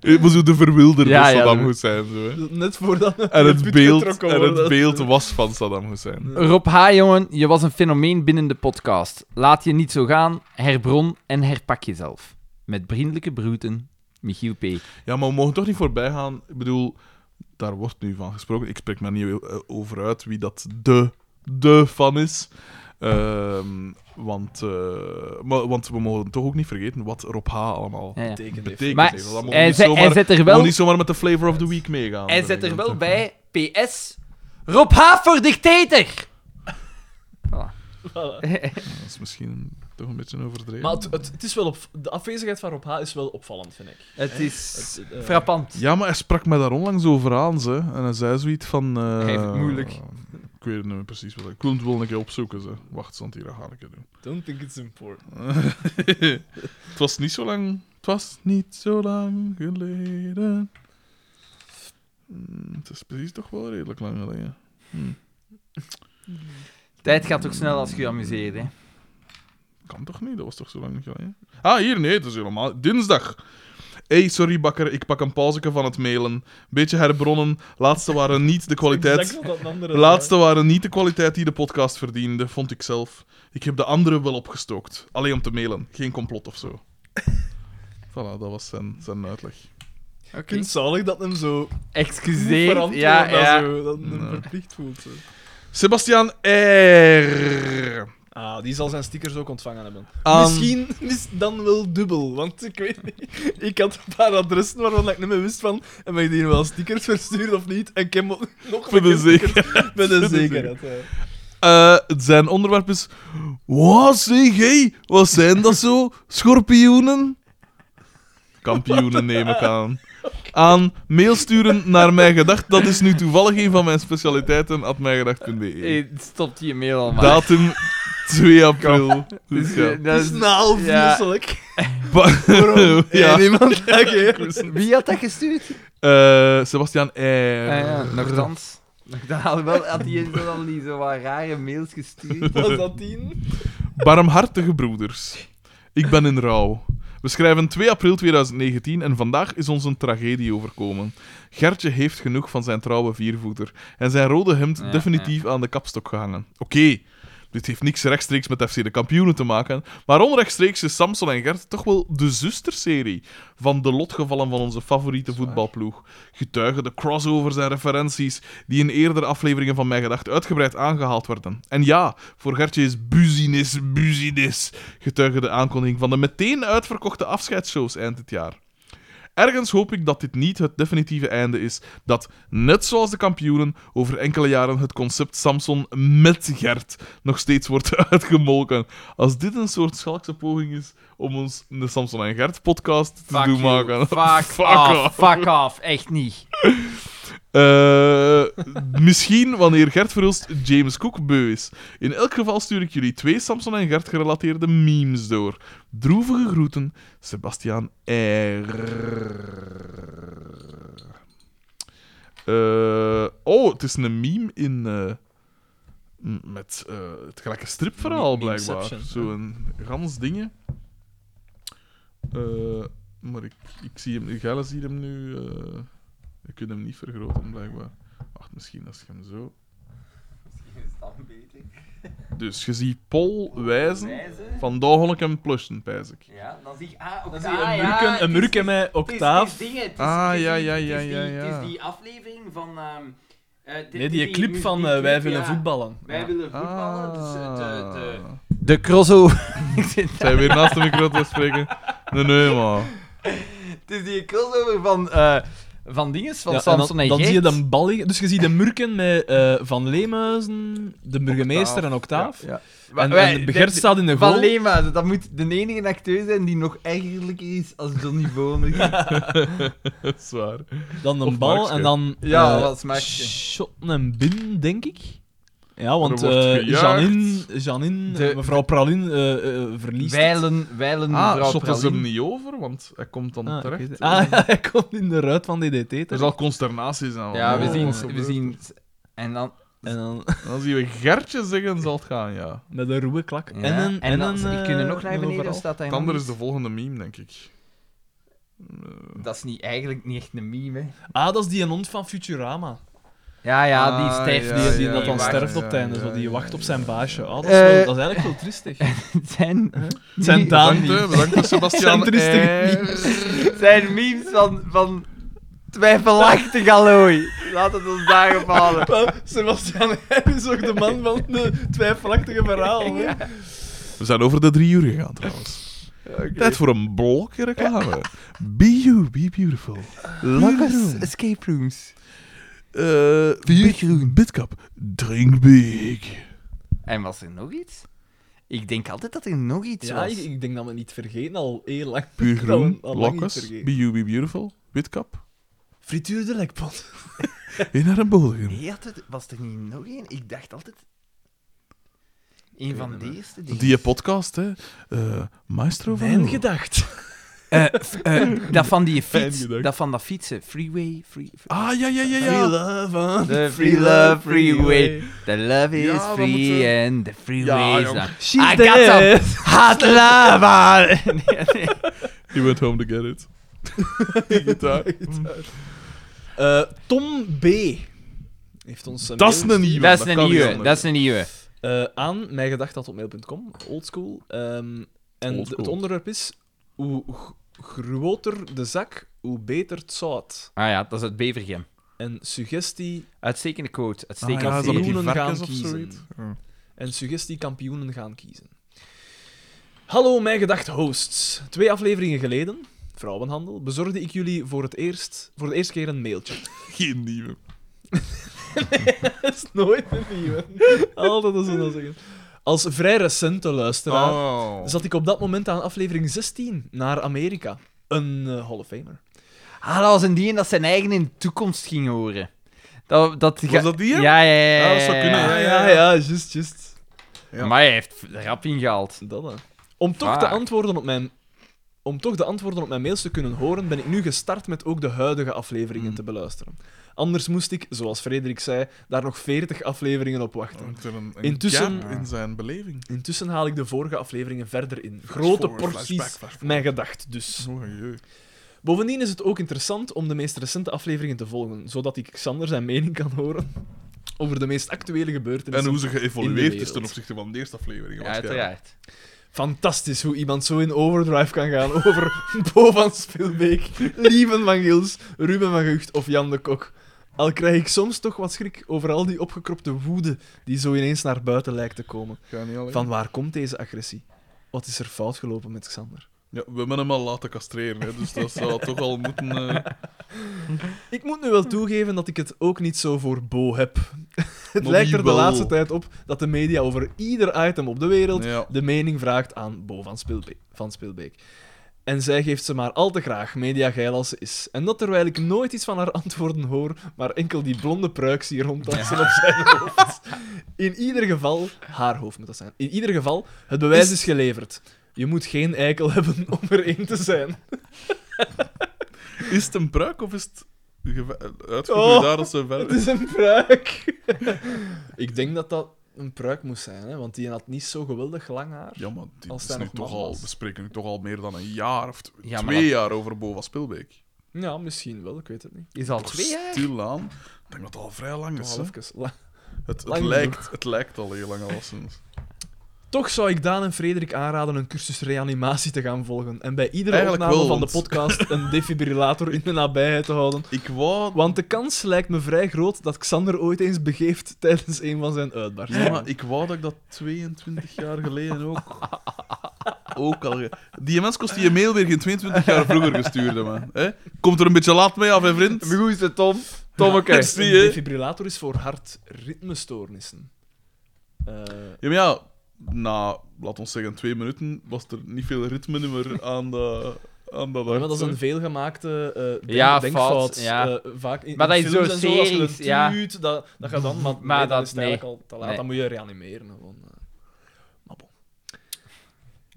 [SPEAKER 2] Het was zo de verwilderde
[SPEAKER 4] Ja, ja,
[SPEAKER 2] Saddam
[SPEAKER 4] dat-
[SPEAKER 2] Hussein. Zo,
[SPEAKER 3] (laughs)
[SPEAKER 4] Dus-
[SPEAKER 2] hè.
[SPEAKER 3] Net
[SPEAKER 4] (laughs)
[SPEAKER 3] voordat...
[SPEAKER 2] En, het
[SPEAKER 3] put
[SPEAKER 2] beeld,
[SPEAKER 3] getrokken
[SPEAKER 2] en het
[SPEAKER 3] worden. (laughs)
[SPEAKER 2] beeld was van Saddam Hussein.
[SPEAKER 4] Rob H., jongen, je was een fenomeen binnen de podcast. Laat je niet zo gaan, herbron en herpak jezelf. Met vriendelijke broeten, Michiel P.
[SPEAKER 2] Ja, maar we mogen toch niet voorbij gaan. Ik bedoel, daar wordt nu van gesproken. Ik spreek me niet eh, over uit wie dat de, de fan is. Ehm, want, eh, maar, want we mogen toch ook niet vergeten wat Rob H. allemaal
[SPEAKER 4] Ja, ja.
[SPEAKER 3] Betekent heeft.
[SPEAKER 2] betekent.
[SPEAKER 4] Maar
[SPEAKER 2] heeft. Dat mogen we
[SPEAKER 4] Hij,
[SPEAKER 2] niet
[SPEAKER 4] zet-
[SPEAKER 2] zomaar-
[SPEAKER 4] hij zet er
[SPEAKER 2] mogen
[SPEAKER 4] wel,
[SPEAKER 2] we niet zomaar met de flavor of the week meegaan. eh,
[SPEAKER 4] hij
[SPEAKER 2] vind
[SPEAKER 4] zet
[SPEAKER 2] ik
[SPEAKER 4] er
[SPEAKER 2] dan.
[SPEAKER 4] wel bij, PS, Rob H. voor (laughs) dictator! Voilà.
[SPEAKER 2] Dat is misschien toch een beetje overdreven.
[SPEAKER 3] Maar het, het, het is wel op, de afwezigheid van Rob H. is wel opvallend, vind ik.
[SPEAKER 4] Het is
[SPEAKER 3] Het, eh,
[SPEAKER 4] frappant.
[SPEAKER 2] Ja, maar hij sprak mij daar onlangs over aan, ze. En hij zei zoiets van... eh,
[SPEAKER 4] Hij heeft het moeilijk.
[SPEAKER 2] Ik weet het niet meer precies wat hij... Ik wil het wel een keer opzoeken, ze. Wacht, want hier dat ga ik het doen.
[SPEAKER 3] Don't think it's important.
[SPEAKER 2] het was niet zo lang... Het was niet zo lang geleden. Hmm, het is precies toch wel redelijk lang geleden.
[SPEAKER 4] Tijd gaat toch snel als je je amuseert, hè.
[SPEAKER 2] Kan toch niet? Dat was toch zo lang geleden? Ah, hier, nee. Het is helemaal... Dinsdag. Hey, sorry bakker, ik pak een pauzeke van het mailen. Beetje herbronnen. Laatste waren niet de kwaliteit...
[SPEAKER 3] Exact wat dat andere
[SPEAKER 2] De laatste waren niet de kwaliteit die de podcast verdiende, vond ik zelf. Ik heb de andere wel opgestookt. Alleen om te mailen. Geen complot of zo. voilà, dat was zijn, zijn uitleg.
[SPEAKER 3] Ik vind het zalig dat hem zo moet
[SPEAKER 4] Excuseer.
[SPEAKER 3] verantwoorden
[SPEAKER 4] Ja,
[SPEAKER 3] dat,
[SPEAKER 4] ja.
[SPEAKER 3] zo, dat hem
[SPEAKER 2] Nee.
[SPEAKER 3] verplicht voelt. Zo.
[SPEAKER 2] Sebastian R.
[SPEAKER 3] Ah, die zal zijn stickers ook ontvangen hebben.
[SPEAKER 2] Aan-
[SPEAKER 3] Misschien is het dan wel dubbel, want ik weet niet. Ik had een paar adressen waarvan ik niet meer wist van. En ben ik die nu wel stickers verstuurd of niet? En ik heb ook nog
[SPEAKER 2] Voor de
[SPEAKER 3] een keer stickers
[SPEAKER 2] zeker.
[SPEAKER 3] Met
[SPEAKER 2] Voor de
[SPEAKER 3] een zekerheid. ja.
[SPEAKER 2] Eh, zijn onderwerp is... Wat zeg jij? Wat zijn dat zo? Schorpioenen? Kampioenen neem ik aan. Aan mail sturen naar mijngedacht. Dat is nu toevallig een van mijn specialiteiten. At mijngedacht.be.
[SPEAKER 4] Eh, Stopt je mail al maar.
[SPEAKER 2] Datum 2 april. Dus
[SPEAKER 4] Dus,
[SPEAKER 2] ja.
[SPEAKER 4] eh,
[SPEAKER 3] Het
[SPEAKER 4] (laughs) dat
[SPEAKER 3] is
[SPEAKER 4] is-
[SPEAKER 3] na half vier,
[SPEAKER 4] ja.
[SPEAKER 3] zal ik.
[SPEAKER 2] (laughs) Ba- (laughs) ja.
[SPEAKER 3] En iemand. Oké.
[SPEAKER 4] Wie had dat gestuurd?
[SPEAKER 2] Eh, Sebastian R.
[SPEAKER 4] Ah ja, nogthans. Nogthans, wel had hij dat al niet zo wat rare mails gestuurd.
[SPEAKER 3] Was dat tien?
[SPEAKER 2] Barmhartige broeders. Ik ben in rouw. We schrijven 2 april 2019 en vandaag is ons een tragedie overkomen. Gertje heeft genoeg van zijn trouwe viervoeter en zijn rode hemd
[SPEAKER 4] Ja,
[SPEAKER 2] definitief aan de kapstok gehangen. Oké, dit heeft niks rechtstreeks met FC de kampioenen te maken, maar onrechtstreeks is Samson en Gert toch wel de zusterserie van de lotgevallen van onze favoriete voetbalploeg. Getuigen de crossovers en referenties die in eerdere afleveringen van Mijn Gedacht uitgebreid aangehaald werden. En ja, voor Gertje is buziness, buziness, getuigen de aankondiging van de meteen uitverkochte afscheidsshows eind dit jaar. Ergens hoop ik dat dit niet het definitieve einde is. Dat, net zoals de kampioenen, over enkele jaren het concept Samson met Gert nog steeds wordt (laughs) uitgemolken. Als dit een soort schalkse poging is om ons de Samson en Gert podcast te
[SPEAKER 4] Fuck
[SPEAKER 2] doen
[SPEAKER 4] you.
[SPEAKER 2] maken. (laughs)
[SPEAKER 4] Fuck,
[SPEAKER 2] off.
[SPEAKER 4] off. Fuck off. Echt niet.
[SPEAKER 2] Eh, misschien wanneer Gert Verhulst James Cook beu is. In elk geval stuur ik jullie twee Samson en Gert gerelateerde memes door. Droevige groeten, Sebastiaan R. Eh, oh, het is een meme in. eh, m- met eh, het gelijke stripverhaal
[SPEAKER 3] Meme-
[SPEAKER 2] blijkbaar.
[SPEAKER 3] memeception,
[SPEAKER 2] Zo'n gans dingen. Eh, maar ik, ik zie hem. Gelle ziet hem nu. eh je kunt hem niet vergroten, blijkbaar. Wacht, misschien als je hem zo. Dus je ziet Paul wijzen. Vandaag wil ik hem plushen, pijs ik.
[SPEAKER 4] (laughs) Ja, dan zie ik... Ah, ook,
[SPEAKER 3] Een murken, een murken met octaaf.
[SPEAKER 2] Ah, ja, ja, ja, ja, ja.
[SPEAKER 4] Het is die aflevering van... ehm, eh, dit-
[SPEAKER 3] Nee,
[SPEAKER 4] dit
[SPEAKER 3] die clip
[SPEAKER 4] mu-
[SPEAKER 3] van
[SPEAKER 4] die
[SPEAKER 3] eh,
[SPEAKER 4] clip,
[SPEAKER 3] Wij willen
[SPEAKER 4] ja.
[SPEAKER 3] voetballen.
[SPEAKER 4] Wij
[SPEAKER 3] Ja.
[SPEAKER 4] willen voetballen. Dus het, eh, de,
[SPEAKER 2] Ah.
[SPEAKER 4] de crossover. Ik zit-
[SPEAKER 2] Zijn weer naast de micro te spreken? Nee, nee, man.
[SPEAKER 4] het is die crossover van... eh, van dinges, van
[SPEAKER 3] Ja, en dan-
[SPEAKER 4] Samson en,
[SPEAKER 3] dan,
[SPEAKER 4] Gert.
[SPEAKER 3] zie je de bal liggen. Dus je ziet de murken met eh, Van Leemuizen, de burgemeester en Octaaf.
[SPEAKER 4] Ja.
[SPEAKER 3] En,
[SPEAKER 4] Wij-
[SPEAKER 3] en Gert staat in de
[SPEAKER 4] Van
[SPEAKER 3] goal.
[SPEAKER 4] Leema, dat moet de enige acteur zijn die nog ergerlijker is als Johnny Boner.
[SPEAKER 2] Dat is waar.
[SPEAKER 3] Dan
[SPEAKER 2] Of
[SPEAKER 3] een bal
[SPEAKER 2] Markske.
[SPEAKER 3] en dan...
[SPEAKER 4] Ja,
[SPEAKER 3] eh,
[SPEAKER 4] wat Markske.
[SPEAKER 3] Shotten en bin, denk ik. Ja, want
[SPEAKER 2] Er wordt
[SPEAKER 3] eh,
[SPEAKER 2] gejuicht.
[SPEAKER 3] Janine, Janine
[SPEAKER 4] De-
[SPEAKER 3] eh, mevrouw Pralin, eh, eh, verliest het.
[SPEAKER 4] Wijlen, wijlen
[SPEAKER 2] Ah,
[SPEAKER 4] mevrouw
[SPEAKER 2] shotten ze hem
[SPEAKER 4] Pralin.
[SPEAKER 2] niet over, want hij komt dan
[SPEAKER 3] Ah, ik
[SPEAKER 2] terecht.
[SPEAKER 3] weet het. Ah, (laughs) ja, hij komt in de ruit van DDT.
[SPEAKER 2] Er
[SPEAKER 4] Dus
[SPEAKER 3] terecht.
[SPEAKER 2] zal consternatie zijn. want-
[SPEAKER 4] Ja, we
[SPEAKER 2] oh, wat
[SPEAKER 4] zien... We
[SPEAKER 2] gebeurt
[SPEAKER 4] zien en dan...
[SPEAKER 3] En dan (laughs)
[SPEAKER 2] er? Dan zien we Gertje zeggen, zal het gaan, ja.
[SPEAKER 3] met een ruwe klak.
[SPEAKER 4] Ja,
[SPEAKER 3] En een... En
[SPEAKER 4] dan,
[SPEAKER 3] een,
[SPEAKER 4] ik kun er
[SPEAKER 3] eh,
[SPEAKER 4] nog naar
[SPEAKER 3] een
[SPEAKER 4] beneden,
[SPEAKER 3] overal.
[SPEAKER 4] of staat hij
[SPEAKER 2] Het
[SPEAKER 4] nog
[SPEAKER 2] andere is
[SPEAKER 4] niet?
[SPEAKER 2] de volgende meme, denk ik.
[SPEAKER 4] Dat is niet, eigenlijk niet echt een meme, hè.
[SPEAKER 3] Ah, dat is die hond van Futurama.
[SPEAKER 4] Ja, ja, die
[SPEAKER 2] Ah,
[SPEAKER 4] sterft.
[SPEAKER 2] Ja,
[SPEAKER 3] Die, die
[SPEAKER 2] ja,
[SPEAKER 3] dat dan
[SPEAKER 2] ja,
[SPEAKER 3] sterft op
[SPEAKER 2] ja,
[SPEAKER 3] het einde.
[SPEAKER 2] ja,
[SPEAKER 3] zo, die
[SPEAKER 2] ja,
[SPEAKER 3] wacht op
[SPEAKER 2] ja,
[SPEAKER 3] zijn
[SPEAKER 2] ja,
[SPEAKER 3] baasje.
[SPEAKER 2] ja.
[SPEAKER 3] Ah, dat, is wel-
[SPEAKER 4] Eh,
[SPEAKER 3] dat is eigenlijk wel (laughs) tristig.
[SPEAKER 4] zijn,
[SPEAKER 3] Het zijn Daan
[SPEAKER 2] Bedankt,
[SPEAKER 3] niet.
[SPEAKER 2] hè. Bedankt, Sebastian.
[SPEAKER 3] Centristische
[SPEAKER 2] R.
[SPEAKER 4] zijn memes van, van twijfelachtig allooi. Laat het ons daarop
[SPEAKER 2] (laughs)
[SPEAKER 3] (laughs)
[SPEAKER 4] halen.
[SPEAKER 3] Maar Sebastian hij is ook de man van de twijfelachtige (laughs) verhaal. hè.
[SPEAKER 2] We zijn over de drie uur gegaan, trouwens. Tijd voor een blokje reclame. Be you, be beautiful.
[SPEAKER 4] Lucas Escape Rooms.
[SPEAKER 2] Eh, Bit- Bitcap, drink big.
[SPEAKER 4] En was er nog iets? Ik denk altijd dat er nog iets
[SPEAKER 3] Ja,
[SPEAKER 4] was.
[SPEAKER 3] ik, ik denk dat we niet vergeten, al heel lang.
[SPEAKER 2] Puur
[SPEAKER 3] (laughs) dat we
[SPEAKER 2] groen,
[SPEAKER 3] al lang niet
[SPEAKER 2] lokkes,
[SPEAKER 3] vergeten.
[SPEAKER 2] be you, be beautiful, Bitcap,
[SPEAKER 3] Frituur de lekpot.
[SPEAKER 2] in haar bodem.
[SPEAKER 4] Nee, had het- was er niet nog één? Ik dacht altijd... Een van de eerste dingen.
[SPEAKER 2] Die podcast, hè. Eh, Maestro van
[SPEAKER 3] Mijn
[SPEAKER 2] Oel.
[SPEAKER 3] gedacht.
[SPEAKER 4] Eh, f- eh, dat van die
[SPEAKER 2] Fijn
[SPEAKER 4] fiets.
[SPEAKER 2] gedacht.
[SPEAKER 4] Dat van dat fietsen. Freeway, free...
[SPEAKER 2] Ah, ja, ja, ja,
[SPEAKER 3] Free
[SPEAKER 2] ja.
[SPEAKER 3] love on
[SPEAKER 4] The free love freeway. The love is
[SPEAKER 2] Ja, we
[SPEAKER 4] free
[SPEAKER 2] moeten-
[SPEAKER 4] and the
[SPEAKER 2] Ja,
[SPEAKER 4] freeway is
[SPEAKER 2] jong.
[SPEAKER 4] not.
[SPEAKER 3] She's
[SPEAKER 4] I got
[SPEAKER 3] dead.
[SPEAKER 4] Hot lava! (laughs) Nee, nee.
[SPEAKER 3] (laughs)
[SPEAKER 2] You went home to get it. Die gitaar.
[SPEAKER 3] Eh, Tom B. heeft ons een
[SPEAKER 2] Dat is
[SPEAKER 3] mail
[SPEAKER 2] een nieuwe.
[SPEAKER 4] Dat is
[SPEAKER 2] kan
[SPEAKER 4] een
[SPEAKER 2] niet
[SPEAKER 4] nieuwe.
[SPEAKER 2] anders.
[SPEAKER 4] Dat is een nieuwe.
[SPEAKER 3] Eh, aan mijgedacht.mail.com, oldschool. Ehm en
[SPEAKER 2] Oldschool.
[SPEAKER 3] het onderwerp is: hoe g- groter de zak, hoe beter het zout.
[SPEAKER 4] Ah ja, dat is het Bevergem.
[SPEAKER 3] En suggestie,
[SPEAKER 4] Uitstekende quote.
[SPEAKER 2] Ah,
[SPEAKER 4] Uitstekende
[SPEAKER 2] ja,
[SPEAKER 3] dat
[SPEAKER 4] serie.
[SPEAKER 3] is
[SPEAKER 2] die
[SPEAKER 3] Kampioenen gaan
[SPEAKER 2] varkens of
[SPEAKER 3] kiezen.
[SPEAKER 2] zoiets. Ja.
[SPEAKER 3] en suggestie kampioenen gaan kiezen. Hallo, mijn gedacht hosts. Twee afleveringen geleden, vrouwenhandel, bezorgde ik jullie voor, het eerst, voor de eerste keer een mailtje.
[SPEAKER 4] (laughs)
[SPEAKER 2] Geen nieuwe.
[SPEAKER 3] Dat is nooit een nieuwe. Altijd als we dat zeggen. Als vrij recente luisteraar
[SPEAKER 2] Oh.
[SPEAKER 3] zat ik op dat moment aan aflevering 16 naar Amerika. Een eh, Hall of Famer.
[SPEAKER 4] Ah, dat was een die en dat zijn eigen in de toekomst ging horen. Dat, dat
[SPEAKER 2] Was dat die?
[SPEAKER 4] Ja, ja, ja. ja,
[SPEAKER 2] Ah, dat zou
[SPEAKER 4] ja,
[SPEAKER 2] kunnen,
[SPEAKER 4] ja.
[SPEAKER 2] hè.
[SPEAKER 3] just, just.
[SPEAKER 2] Ja.
[SPEAKER 4] Maar hij heeft rap ingehaald.
[SPEAKER 3] Dat, hè. Om toch, de
[SPEAKER 4] Vaak.
[SPEAKER 3] antwoorden op mijn, om toch de antwoorden op mijn mails te kunnen horen, ben ik nu gestart met ook de huidige afleveringen
[SPEAKER 2] Mm.
[SPEAKER 3] te beluisteren. Anders moest ik, zoals Frederik zei, daar nog 40 afleveringen op wachten.
[SPEAKER 2] Want er een, een
[SPEAKER 3] Intussen-
[SPEAKER 2] gap in zijn beleving.
[SPEAKER 3] Intussen haal ik de vorige afleveringen verder in.
[SPEAKER 2] Flash
[SPEAKER 3] Grote
[SPEAKER 2] forward, flashback,
[SPEAKER 3] porties,
[SPEAKER 2] flash forward.
[SPEAKER 3] mijn gedacht dus.
[SPEAKER 2] Oh, jee.
[SPEAKER 3] Bovendien is het ook interessant om de meest recente afleveringen te volgen, zodat ik Xander zijn mening kan horen over de meest actuele
[SPEAKER 2] En
[SPEAKER 3] gebeurtenissen.
[SPEAKER 2] hoe ze geëvolueerd is ten
[SPEAKER 3] wereld.
[SPEAKER 2] opzichte van de eerste aflevering.
[SPEAKER 4] Ja,
[SPEAKER 2] waarschijnlijk.
[SPEAKER 4] uiteraard.
[SPEAKER 3] Fantastisch hoe iemand zo in overdrive kan gaan (laughs) over Bo van Spilbeek, Lieven van Gils, Ruben van Gucht of Jan de Kok. Al krijg ik soms toch wat schrik over al die opgekropte woede die zo ineens naar buiten lijkt te komen.
[SPEAKER 2] Ga niet alleen.
[SPEAKER 3] Van waar komt deze agressie? Wat is er fout gelopen met Xander?
[SPEAKER 2] Ja, we hebben hem al laten castreren, hè, dus dat zou toch al moeten... eh,
[SPEAKER 3] Ik moet nu wel toegeven dat ik het ook niet zo voor Bo heb. (laughs) Het
[SPEAKER 2] Maar
[SPEAKER 3] lijkt
[SPEAKER 2] wie
[SPEAKER 3] er de
[SPEAKER 2] wel?
[SPEAKER 3] laatste tijd op dat de media over ieder item op de wereld
[SPEAKER 2] Ja.
[SPEAKER 3] de mening vraagt aan Bo van, Spilbe van Spilbeek. En zij geeft ze maar al te graag, mediageil als ze is. En dat terwijl ik nooit iets van haar antwoorden hoor, maar enkel die blonde pruik zie ronddansen op zijn hoofd. In ieder geval, haar hoofd moet dat zijn. In ieder geval, het bewijs is geleverd. Je moet geen eikel hebben om er één te zijn.
[SPEAKER 2] Is het een pruik of is het geve- uitgegroeid
[SPEAKER 3] Oh.
[SPEAKER 2] daar als ze verder
[SPEAKER 3] Het is een pruik. ik denk dat dat een pruik moest zijn, hè? want die had niet zo geweldig lang haar.
[SPEAKER 2] Ja, maar dit
[SPEAKER 3] Als
[SPEAKER 2] is
[SPEAKER 3] zij
[SPEAKER 2] nu
[SPEAKER 3] nog
[SPEAKER 2] toch
[SPEAKER 3] man
[SPEAKER 2] al,
[SPEAKER 3] was.
[SPEAKER 2] we spreken nu toch al meer dan een jaar of t-
[SPEAKER 4] Ja, maar
[SPEAKER 2] twee
[SPEAKER 4] dat-
[SPEAKER 2] jaar over Bova Spilbeek.
[SPEAKER 3] Ja, misschien wel, ik weet het niet.
[SPEAKER 4] Is al
[SPEAKER 2] Toch
[SPEAKER 4] twee jaar?
[SPEAKER 2] Stilaan. Ik denk dat het al vrij lang is.
[SPEAKER 3] Toch,
[SPEAKER 2] hè.
[SPEAKER 3] al even la-
[SPEAKER 2] Het, het,
[SPEAKER 3] lang
[SPEAKER 2] lijkt, het lijkt al heel lang al sinds.
[SPEAKER 3] Toch zou ik Daan en Frederik aanraden een cursus reanimatie te gaan volgen. En bij iedere
[SPEAKER 2] Eigenlijk
[SPEAKER 3] opname
[SPEAKER 2] wel,
[SPEAKER 3] van de
[SPEAKER 2] want-
[SPEAKER 3] podcast
[SPEAKER 2] (laughs)
[SPEAKER 3] een defibrillator in de nabijheid te houden.
[SPEAKER 2] Ik wou...
[SPEAKER 3] Want de kans lijkt me vrij groot dat Xander ooit eens begeeft tijdens een van zijn uitbarstingen.
[SPEAKER 2] Ja, maar ik wou dat ik dat 22 jaar geleden ook... (laughs) Ook al... ge- Die mens kost die je mail weer geen 22 jaar vroeger gestuurd hebben. Hè? Komt er een beetje laat mee af, hè, vriend?
[SPEAKER 4] Maar goed is het, Tom. Tommeke.
[SPEAKER 2] Ja, zie
[SPEAKER 3] Een
[SPEAKER 2] je.
[SPEAKER 3] defibrillator is voor hartritmestoornissen. Eh,
[SPEAKER 2] Ja, maar ja, na, laat ons zeggen, twee minuten was er niet veel ritme meer aan, de, aan dat
[SPEAKER 3] Ja, maar
[SPEAKER 2] hart,
[SPEAKER 3] dat is
[SPEAKER 2] hè.
[SPEAKER 3] een veelgemaakte eh denk-
[SPEAKER 4] Hm? Ja,
[SPEAKER 3] denkfout.
[SPEAKER 4] fout, ja.
[SPEAKER 3] eh, vaak in,
[SPEAKER 4] Maar
[SPEAKER 3] in
[SPEAKER 4] dat is
[SPEAKER 3] films
[SPEAKER 4] zo
[SPEAKER 3] en zo, als je
[SPEAKER 4] series,
[SPEAKER 3] een
[SPEAKER 4] ja.
[SPEAKER 3] tuut, dat, dat gaat dan, maar,
[SPEAKER 4] Maar
[SPEAKER 3] nee, dan
[SPEAKER 4] dat-
[SPEAKER 3] is het eigenlijk al te laat.
[SPEAKER 4] nee.
[SPEAKER 3] Dan moet je reanimeren. Gewoon. eh. Maar bon.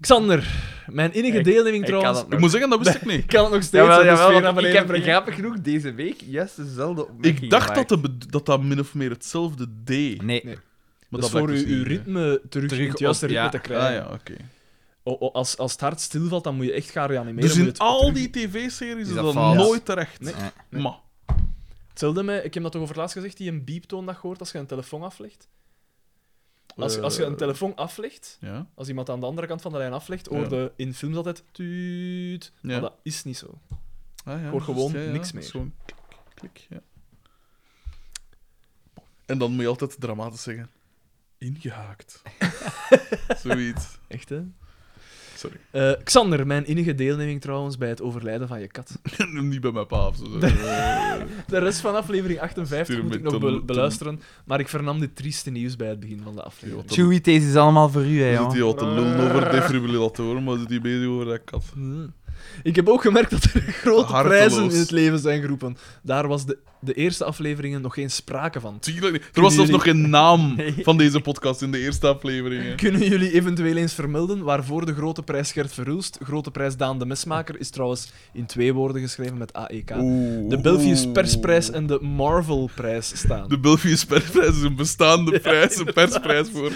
[SPEAKER 3] Xander, mijn innige
[SPEAKER 4] Ik-
[SPEAKER 3] deelneming
[SPEAKER 4] ik
[SPEAKER 3] trouwens.
[SPEAKER 4] kan
[SPEAKER 2] Ik moet zeggen, dat wist ik niet.
[SPEAKER 3] Ik kan het nog steeds
[SPEAKER 4] Jawel,
[SPEAKER 3] de
[SPEAKER 4] jawel,
[SPEAKER 3] sfeer
[SPEAKER 4] want
[SPEAKER 3] naar
[SPEAKER 4] ik
[SPEAKER 3] beneden
[SPEAKER 4] heb
[SPEAKER 3] brengen.
[SPEAKER 4] grappig genoeg deze week juist dezelfde opmerking
[SPEAKER 2] Ik dacht dat,
[SPEAKER 4] gemaakt.
[SPEAKER 2] de bed- dat dat min of meer hetzelfde deed.
[SPEAKER 4] Nee.
[SPEAKER 3] Nee.
[SPEAKER 2] Maar
[SPEAKER 3] dat is
[SPEAKER 2] blijkt
[SPEAKER 3] voor
[SPEAKER 2] dus
[SPEAKER 3] uw,
[SPEAKER 2] niet,
[SPEAKER 3] uw
[SPEAKER 2] hè.
[SPEAKER 3] ritme terug,
[SPEAKER 4] Terug
[SPEAKER 3] in het juiste
[SPEAKER 4] op-
[SPEAKER 3] ritme
[SPEAKER 4] ja.
[SPEAKER 3] te
[SPEAKER 2] Ah
[SPEAKER 3] krijgen.
[SPEAKER 2] ja, oké.
[SPEAKER 3] O- o- als, als het hart stilvalt, dan moet je echt gaan reanimeren.
[SPEAKER 2] Dus
[SPEAKER 3] moet je
[SPEAKER 2] in
[SPEAKER 3] het
[SPEAKER 2] al
[SPEAKER 3] terug-
[SPEAKER 2] die tv-series
[SPEAKER 4] Is
[SPEAKER 2] is
[SPEAKER 4] dat
[SPEAKER 2] dat
[SPEAKER 4] vals?
[SPEAKER 2] nooit terecht.
[SPEAKER 3] Nee.
[SPEAKER 2] Maar,
[SPEAKER 3] Hetzelfde met, ik heb dat toch over het laatst gezegd, die een bieptoon dat je hoort als je een telefoon aflegt. Als, als je een
[SPEAKER 2] Eh.
[SPEAKER 3] telefoon aflegt,
[SPEAKER 2] ja.
[SPEAKER 3] als iemand aan de andere kant van de lijn aflegt,
[SPEAKER 2] Ja.
[SPEAKER 3] hoorde in films altijd tuut.
[SPEAKER 2] Ja.
[SPEAKER 3] Maar dat is niet zo.
[SPEAKER 2] Ah, ja,
[SPEAKER 3] hoor gewoon
[SPEAKER 2] juist,
[SPEAKER 3] niks meer.
[SPEAKER 2] Zo'n klik, klik, ja. En dan moet je altijd dramatisch zeggen...
[SPEAKER 3] (laughs)
[SPEAKER 2] Ingehaakt. Zoiets.
[SPEAKER 3] Echt, hè?
[SPEAKER 2] Sorry. (laughs)
[SPEAKER 3] Eh, Xander, mijn innige deelneming trouwens bij het overlijden van je
[SPEAKER 2] (laughs)
[SPEAKER 3] kat.
[SPEAKER 2] niet bij mijn pa of
[SPEAKER 3] (laughs)
[SPEAKER 2] zo. Eh,
[SPEAKER 3] De rest van aflevering 58
[SPEAKER 2] Stuur
[SPEAKER 3] moet ik
[SPEAKER 2] met
[SPEAKER 3] nog
[SPEAKER 2] Tom-
[SPEAKER 3] be-
[SPEAKER 2] Tom.
[SPEAKER 3] beluisteren, maar ik vernam dit trieste nieuws bij het begin van de aflevering.
[SPEAKER 2] Ja,
[SPEAKER 4] Chewie, deze is allemaal voor u, hè,
[SPEAKER 2] Dan zit
[SPEAKER 4] jongen.
[SPEAKER 2] hij al te
[SPEAKER 3] (laughs)
[SPEAKER 2] lullen over defibrillatoren, maar zit hij bezig over dat kat.
[SPEAKER 3] Hmm. Hm. Ik heb ook gemerkt dat er (laughs) grote
[SPEAKER 2] Harteloos.
[SPEAKER 3] prijzen in het leven zijn geroepen. Daar was de de eerste afleveringen nog geen sprake van.
[SPEAKER 2] Tuurlijk niet. Er was zelfs nog
[SPEAKER 3] jullie-
[SPEAKER 2] geen naam
[SPEAKER 3] (laughs)
[SPEAKER 4] Nee.
[SPEAKER 2] van deze podcast in de eerste afleveringen.
[SPEAKER 3] Kunnen jullie eventueel eens vermelden waarvoor de grote prijs Gert Verhulst, grote prijs Daan de Mesmaker, is trouwens in twee woorden geschreven met E AEK.
[SPEAKER 2] Oeh.
[SPEAKER 3] De Belgius
[SPEAKER 2] Oeh.
[SPEAKER 3] Persprijs en de Marvel-prijs staan.
[SPEAKER 2] De Belgius persprijs is een
[SPEAKER 3] (laughs)
[SPEAKER 2] bestaande prijs, een persprijs voor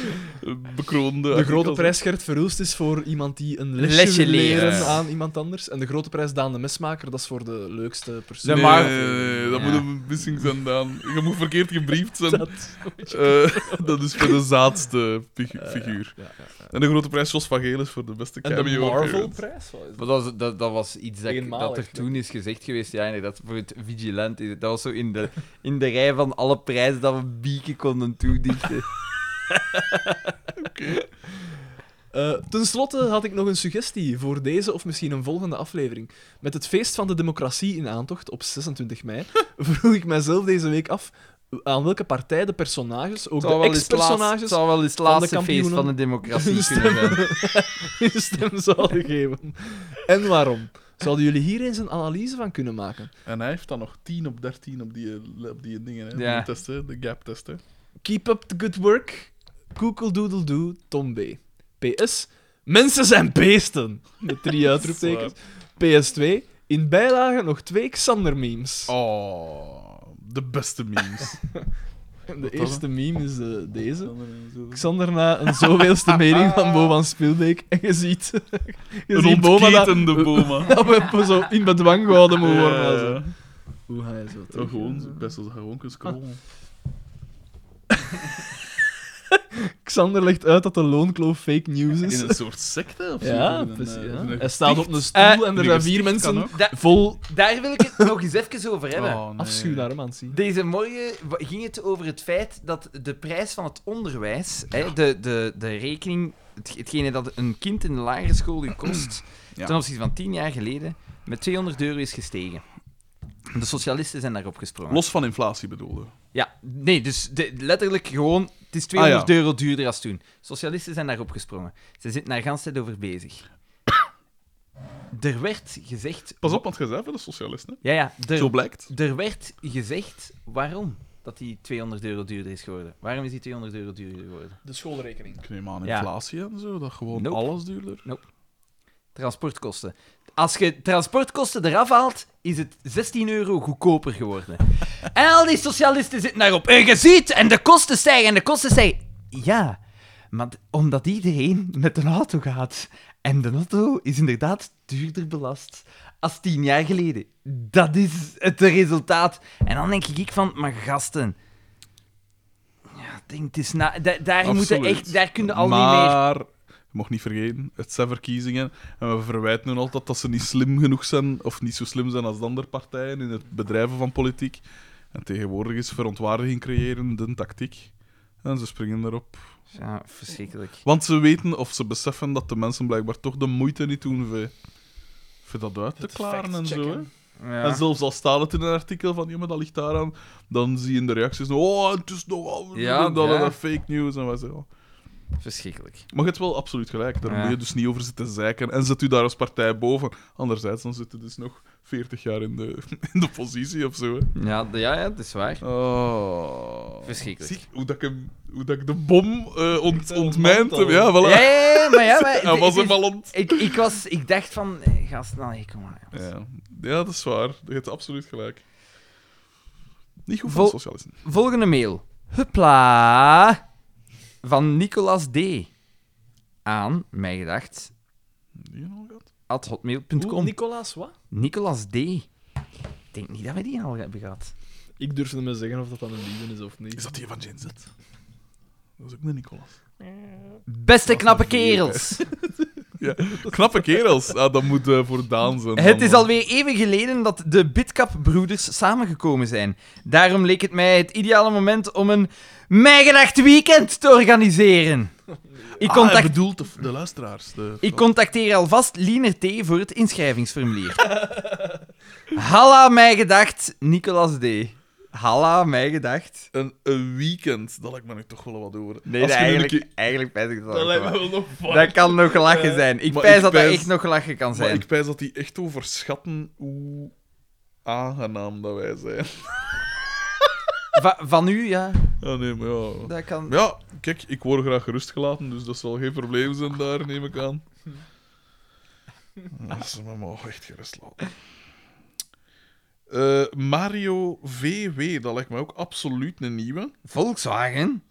[SPEAKER 2] eh, bekroonde...
[SPEAKER 3] De grote
[SPEAKER 2] artikels.
[SPEAKER 3] prijs Gert Verhulst is voor iemand die een lesje,
[SPEAKER 4] Lesje
[SPEAKER 3] wil leren
[SPEAKER 4] leren.
[SPEAKER 3] aan iemand anders. En de grote prijs Daan de Mesmaker, dat is voor de leukste persoon.
[SPEAKER 4] De
[SPEAKER 2] Nee,
[SPEAKER 4] Marvel.
[SPEAKER 2] nee, dat
[SPEAKER 4] Ja.
[SPEAKER 2] moet een missing zijn, Daan. Je moet verkeerd gebriefd zijn. Dat, (laughs) dat is voor de zaadste figu- figuur.
[SPEAKER 3] Ja, ja.
[SPEAKER 2] En de grote prijs Jos van Geel is voor de beste
[SPEAKER 3] En
[SPEAKER 2] cameo.
[SPEAKER 3] de
[SPEAKER 2] appearance.
[SPEAKER 3] Marvel-prijs? Wat is dat?
[SPEAKER 4] Maar dat, was- dat, dat was iets dat, ik-
[SPEAKER 3] Eenmalig,
[SPEAKER 4] dat er
[SPEAKER 3] denk
[SPEAKER 4] toen is gezegd geweest. Ja, nee, dat voor het Vigilant. is- Dat was zo in de, in de rij van alle prijzen dat we bieken konden toedichten.
[SPEAKER 3] Eh, ten slotte had ik nog een suggestie voor deze of misschien een volgende aflevering. Met het feest van de democratie in aantocht op 26 mei (laughs) vroeg ik mijzelf deze week af aan welke partij de personages, ook
[SPEAKER 4] Het zou
[SPEAKER 3] de
[SPEAKER 4] wel eens laatst- het
[SPEAKER 3] ex-personages,
[SPEAKER 4] zou wel eens het
[SPEAKER 3] de
[SPEAKER 4] laatste feest
[SPEAKER 3] kampioenen.
[SPEAKER 4] van de
[SPEAKER 2] (laughs)
[SPEAKER 4] democratie kunnen zijn.
[SPEAKER 3] (laughs) hun stem zouden geven. En waarom? Zouden jullie hier eens een analyse van kunnen maken?
[SPEAKER 2] En hij heeft dan nog 10 op 13 op die, eh, op die dingen, hè.
[SPEAKER 4] Ja.
[SPEAKER 2] Die testen, de gap testen.
[SPEAKER 3] Keep up the good work. Koekeldoedeldoe, Tom B. PS. Mensen zijn beesten.
[SPEAKER 2] (laughs)
[SPEAKER 3] Met drie uitroeptekens. PS2. In bijlage nog twee Xander-memes.
[SPEAKER 2] Oh, de beste (laughs) memes.
[SPEAKER 3] de eerste meme is eh, deze.
[SPEAKER 2] Een
[SPEAKER 3] Xander na een zoveelste mening van Bo van Spielbeek. (laughs) En je ziet... Je ziet Boma dat,
[SPEAKER 2] ontketende Boma.
[SPEAKER 3] (laughs) dat we zo in bedwang gehouden moeten worden.
[SPEAKER 2] Ja, ja,
[SPEAKER 3] also.
[SPEAKER 2] ja.
[SPEAKER 3] Hoe ga je zo
[SPEAKER 2] Zo
[SPEAKER 3] terug?
[SPEAKER 2] Oh, gewoon, best als je gewoon
[SPEAKER 3] Ah.
[SPEAKER 2] kunt scrollen.
[SPEAKER 3] Xander legt uit dat de loonkloof fake news is.
[SPEAKER 2] In
[SPEAKER 3] (laughs)
[SPEAKER 2] een soort secte of zo.
[SPEAKER 3] Ja,
[SPEAKER 2] In een,
[SPEAKER 3] precies.
[SPEAKER 2] eh,
[SPEAKER 3] ja.
[SPEAKER 2] in een
[SPEAKER 3] Hij staat
[SPEAKER 2] gesticht.
[SPEAKER 3] op een stoel
[SPEAKER 2] In
[SPEAKER 3] en
[SPEAKER 2] een
[SPEAKER 3] er zijn
[SPEAKER 2] gesticht
[SPEAKER 3] vier
[SPEAKER 2] kan
[SPEAKER 3] mensen
[SPEAKER 2] ook.
[SPEAKER 4] Da-
[SPEAKER 3] vol
[SPEAKER 4] daar wil ik het nog eens even over hebben.
[SPEAKER 2] Oh, nee.
[SPEAKER 3] afschuw naar hem aan het zien.
[SPEAKER 4] Deze morgen w- ging het over het feit dat de prijs van het onderwijs, hè, de, de, de rekening, het- hetgene dat een kind in de lagere school u
[SPEAKER 2] (clears throat)
[SPEAKER 4] kost,
[SPEAKER 2] Ja.
[SPEAKER 4] ten opzichte van tien jaar geleden, met 200 euro is gestegen. De socialisten zijn daarop gesprongen.
[SPEAKER 2] Los van inflatie bedoelde.
[SPEAKER 4] Ja, nee, dus de- letterlijk gewoon, het is 200
[SPEAKER 2] Ah, ja.
[SPEAKER 4] euro duurder als toen. Socialisten zijn daarop gesprongen. Ze zitten daar gans tijd over
[SPEAKER 2] (coughs)
[SPEAKER 4] bezig. er werd gezegd...
[SPEAKER 2] Pas op, want jij zei van de socialisten.
[SPEAKER 4] Ja, ja,
[SPEAKER 2] hè.
[SPEAKER 4] er
[SPEAKER 2] Zo blijkt.
[SPEAKER 4] er werd gezegd waarom dat die 200 euro duurder is geworden. Waarom is die 200 euro duurder geworden?
[SPEAKER 3] De schoolrekening.
[SPEAKER 2] Ik neem aan
[SPEAKER 4] Ja.
[SPEAKER 2] inflatie en zo, dat gewoon
[SPEAKER 4] Nope.
[SPEAKER 2] alles duurder.
[SPEAKER 4] Transportkosten. Als je transportkosten eraf haalt, is het 16 euro goedkoper geworden. En al die socialisten zitten daarop. En je ziet, en de kosten stijgen, en de kosten stijgen. Ja, maar d- omdat iedereen met een auto gaat. En de auto is inderdaad duurder belast als 10 jaar geleden. Dat is het resultaat. En dan denk ik van, maar gasten... Ja, denk, het is na... da- daar, moeten
[SPEAKER 2] Absoluut.
[SPEAKER 4] echt, daar kunnen al niet meer...
[SPEAKER 2] maar, je mag niet vergeten, het zijn verkiezingen. En we verwijten hun altijd dat ze niet slim genoeg zijn, of niet zo slim zijn als de andere partijen in het bedrijven van politiek. En tegenwoordig is verontwaardiging creëren de tactiek. En ze springen erop.
[SPEAKER 4] Ja, verschrikkelijk.
[SPEAKER 2] Want ze weten of ze beseffen dat de mensen blijkbaar toch de moeite niet doen voor, voor dat uit te
[SPEAKER 3] Het
[SPEAKER 2] klaren en zo.
[SPEAKER 3] factchecken.
[SPEAKER 2] hè.
[SPEAKER 4] Ja.
[SPEAKER 2] En zelfs al staat het in een artikel van, ja, maar dat ligt daaraan, dan zie je in de reacties, oh, het is nogal,
[SPEAKER 4] Ja,
[SPEAKER 2] dat,
[SPEAKER 4] ja.
[SPEAKER 2] dat fake news en wat zo.
[SPEAKER 4] Verschrikkelijk.
[SPEAKER 2] Maar je hebt wel absoluut gelijk, daar
[SPEAKER 4] Ja.
[SPEAKER 2] moet je dus niet over zitten zeiken en zet u daar als partij boven. Anderzijds, dan zit je dus nog 40 jaar in de, (laughs) in de positie of zo. Hè.
[SPEAKER 4] Ja, d- ja, ja, dat is waar.
[SPEAKER 2] Oh.
[SPEAKER 4] Verschrikkelijk.
[SPEAKER 2] Zie hoe, dat ik hem- hoe dat ik de bom eh ont, ontmijnd heb. Ja, (laughs) voilà.
[SPEAKER 4] Ja, ja, ja, maar ja, maar...
[SPEAKER 2] (laughs) Hij was
[SPEAKER 4] het
[SPEAKER 2] hem
[SPEAKER 4] is- dus-
[SPEAKER 2] al ont...
[SPEAKER 4] ik, ik, was, ik dacht van, eh, gast, nou, hey, kom maar. jongens.
[SPEAKER 2] Ja. ja, dat is waar. Je hebt absoluut gelijk. Niet goed voor
[SPEAKER 4] Vol-
[SPEAKER 2] de socialisten.
[SPEAKER 4] Volgende mail. Hupla. Van Nicolas D. Aan, mij gedacht,
[SPEAKER 2] Die nog gehad?
[SPEAKER 4] at hotmail.com.
[SPEAKER 3] Nicolaas, wat?
[SPEAKER 4] Nicolas D. Ik denk niet dat we die al hebben gehad.
[SPEAKER 3] Ik durf niet meer zeggen of dat dan een liefde is of
[SPEAKER 2] Is
[SPEAKER 3] niet.
[SPEAKER 2] dat die van Gen Z? Dat is ook de
[SPEAKER 4] (laughs)
[SPEAKER 2] Nicolas.
[SPEAKER 4] Beste knappe
[SPEAKER 2] een vier, hè. (laughs)
[SPEAKER 4] kerels.
[SPEAKER 2] Knappe kerels. Ah, dat moet eh, voor Daan zijn.
[SPEAKER 4] Het
[SPEAKER 2] dan,
[SPEAKER 4] is
[SPEAKER 2] man.
[SPEAKER 4] alweer even geleden dat de Bitcap-broeders samengekomen zijn. Daarom leek het mij het ideale moment om een Mijgedacht Weekend te organiseren. Ik,
[SPEAKER 2] Ah, hij
[SPEAKER 4] contact-
[SPEAKER 2] bedoelt de, de luisteraars. De,
[SPEAKER 4] ik contacteer alvast Liener T. voor het inschrijvingsformulier. (laughs) Halla Mijgedacht, Nicolas D. Halla Mijgedacht.
[SPEAKER 2] een, een weekend, dat lijkt me nu toch wel wat over.
[SPEAKER 4] Nee,
[SPEAKER 2] Als
[SPEAKER 4] dat
[SPEAKER 2] je nu een
[SPEAKER 4] eigenlijk,
[SPEAKER 2] keer-
[SPEAKER 4] eigenlijk pijs ik dat
[SPEAKER 3] Dat
[SPEAKER 4] ook
[SPEAKER 3] lijkt
[SPEAKER 4] wel.
[SPEAKER 3] me wel nog
[SPEAKER 4] Dat kan nog lachen zijn.
[SPEAKER 2] Eh,
[SPEAKER 4] Ik
[SPEAKER 2] maar
[SPEAKER 4] pijs
[SPEAKER 2] ik
[SPEAKER 4] dat dat
[SPEAKER 2] pijs-
[SPEAKER 4] echt nog lachen kan
[SPEAKER 2] Maar
[SPEAKER 4] zijn.
[SPEAKER 2] ik pijs dat die echt overschatten hoe aangenaam dat wij zijn. (laughs)
[SPEAKER 4] Va- van u, ja.
[SPEAKER 2] Ja, nee, maar ja.
[SPEAKER 4] Dat kan...
[SPEAKER 2] Maar ja, kijk, ik word graag gerustgelaten, dus dat zal geen probleem zijn daar, neem ik aan. Ja, Ze me mogen echt gerust laten. Eh, Mario VW, dat lijkt me ook absoluut een nieuwe.
[SPEAKER 4] Volkswagen?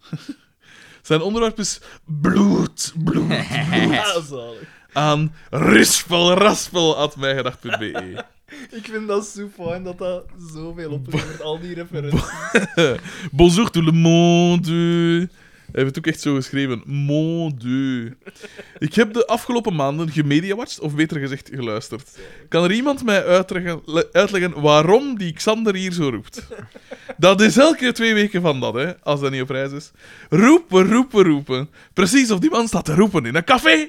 [SPEAKER 2] Zijn onderwerp is bloed, bloed
[SPEAKER 3] (laughs)
[SPEAKER 1] Ja, zalig.
[SPEAKER 2] aan rispel, raspel, at mijgedacht.be.
[SPEAKER 1] Ik vind dat zo fijn dat dat zoveel oplevert, al die referenties.
[SPEAKER 2] Bonjour tout le monde. Hij heeft het ook echt zo geschreven. Mon dieu. Ik heb de afgelopen maanden gemediawatcht, of beter gezegd geluisterd. Kan er iemand mij uitleggen, le- uitleggen waarom die Xander hier zo roept? Dat is elke keer twee weken van dat, hè, als dat niet op reis is. Roepen, roepen, roepen. Precies of die man staat te roepen in een café.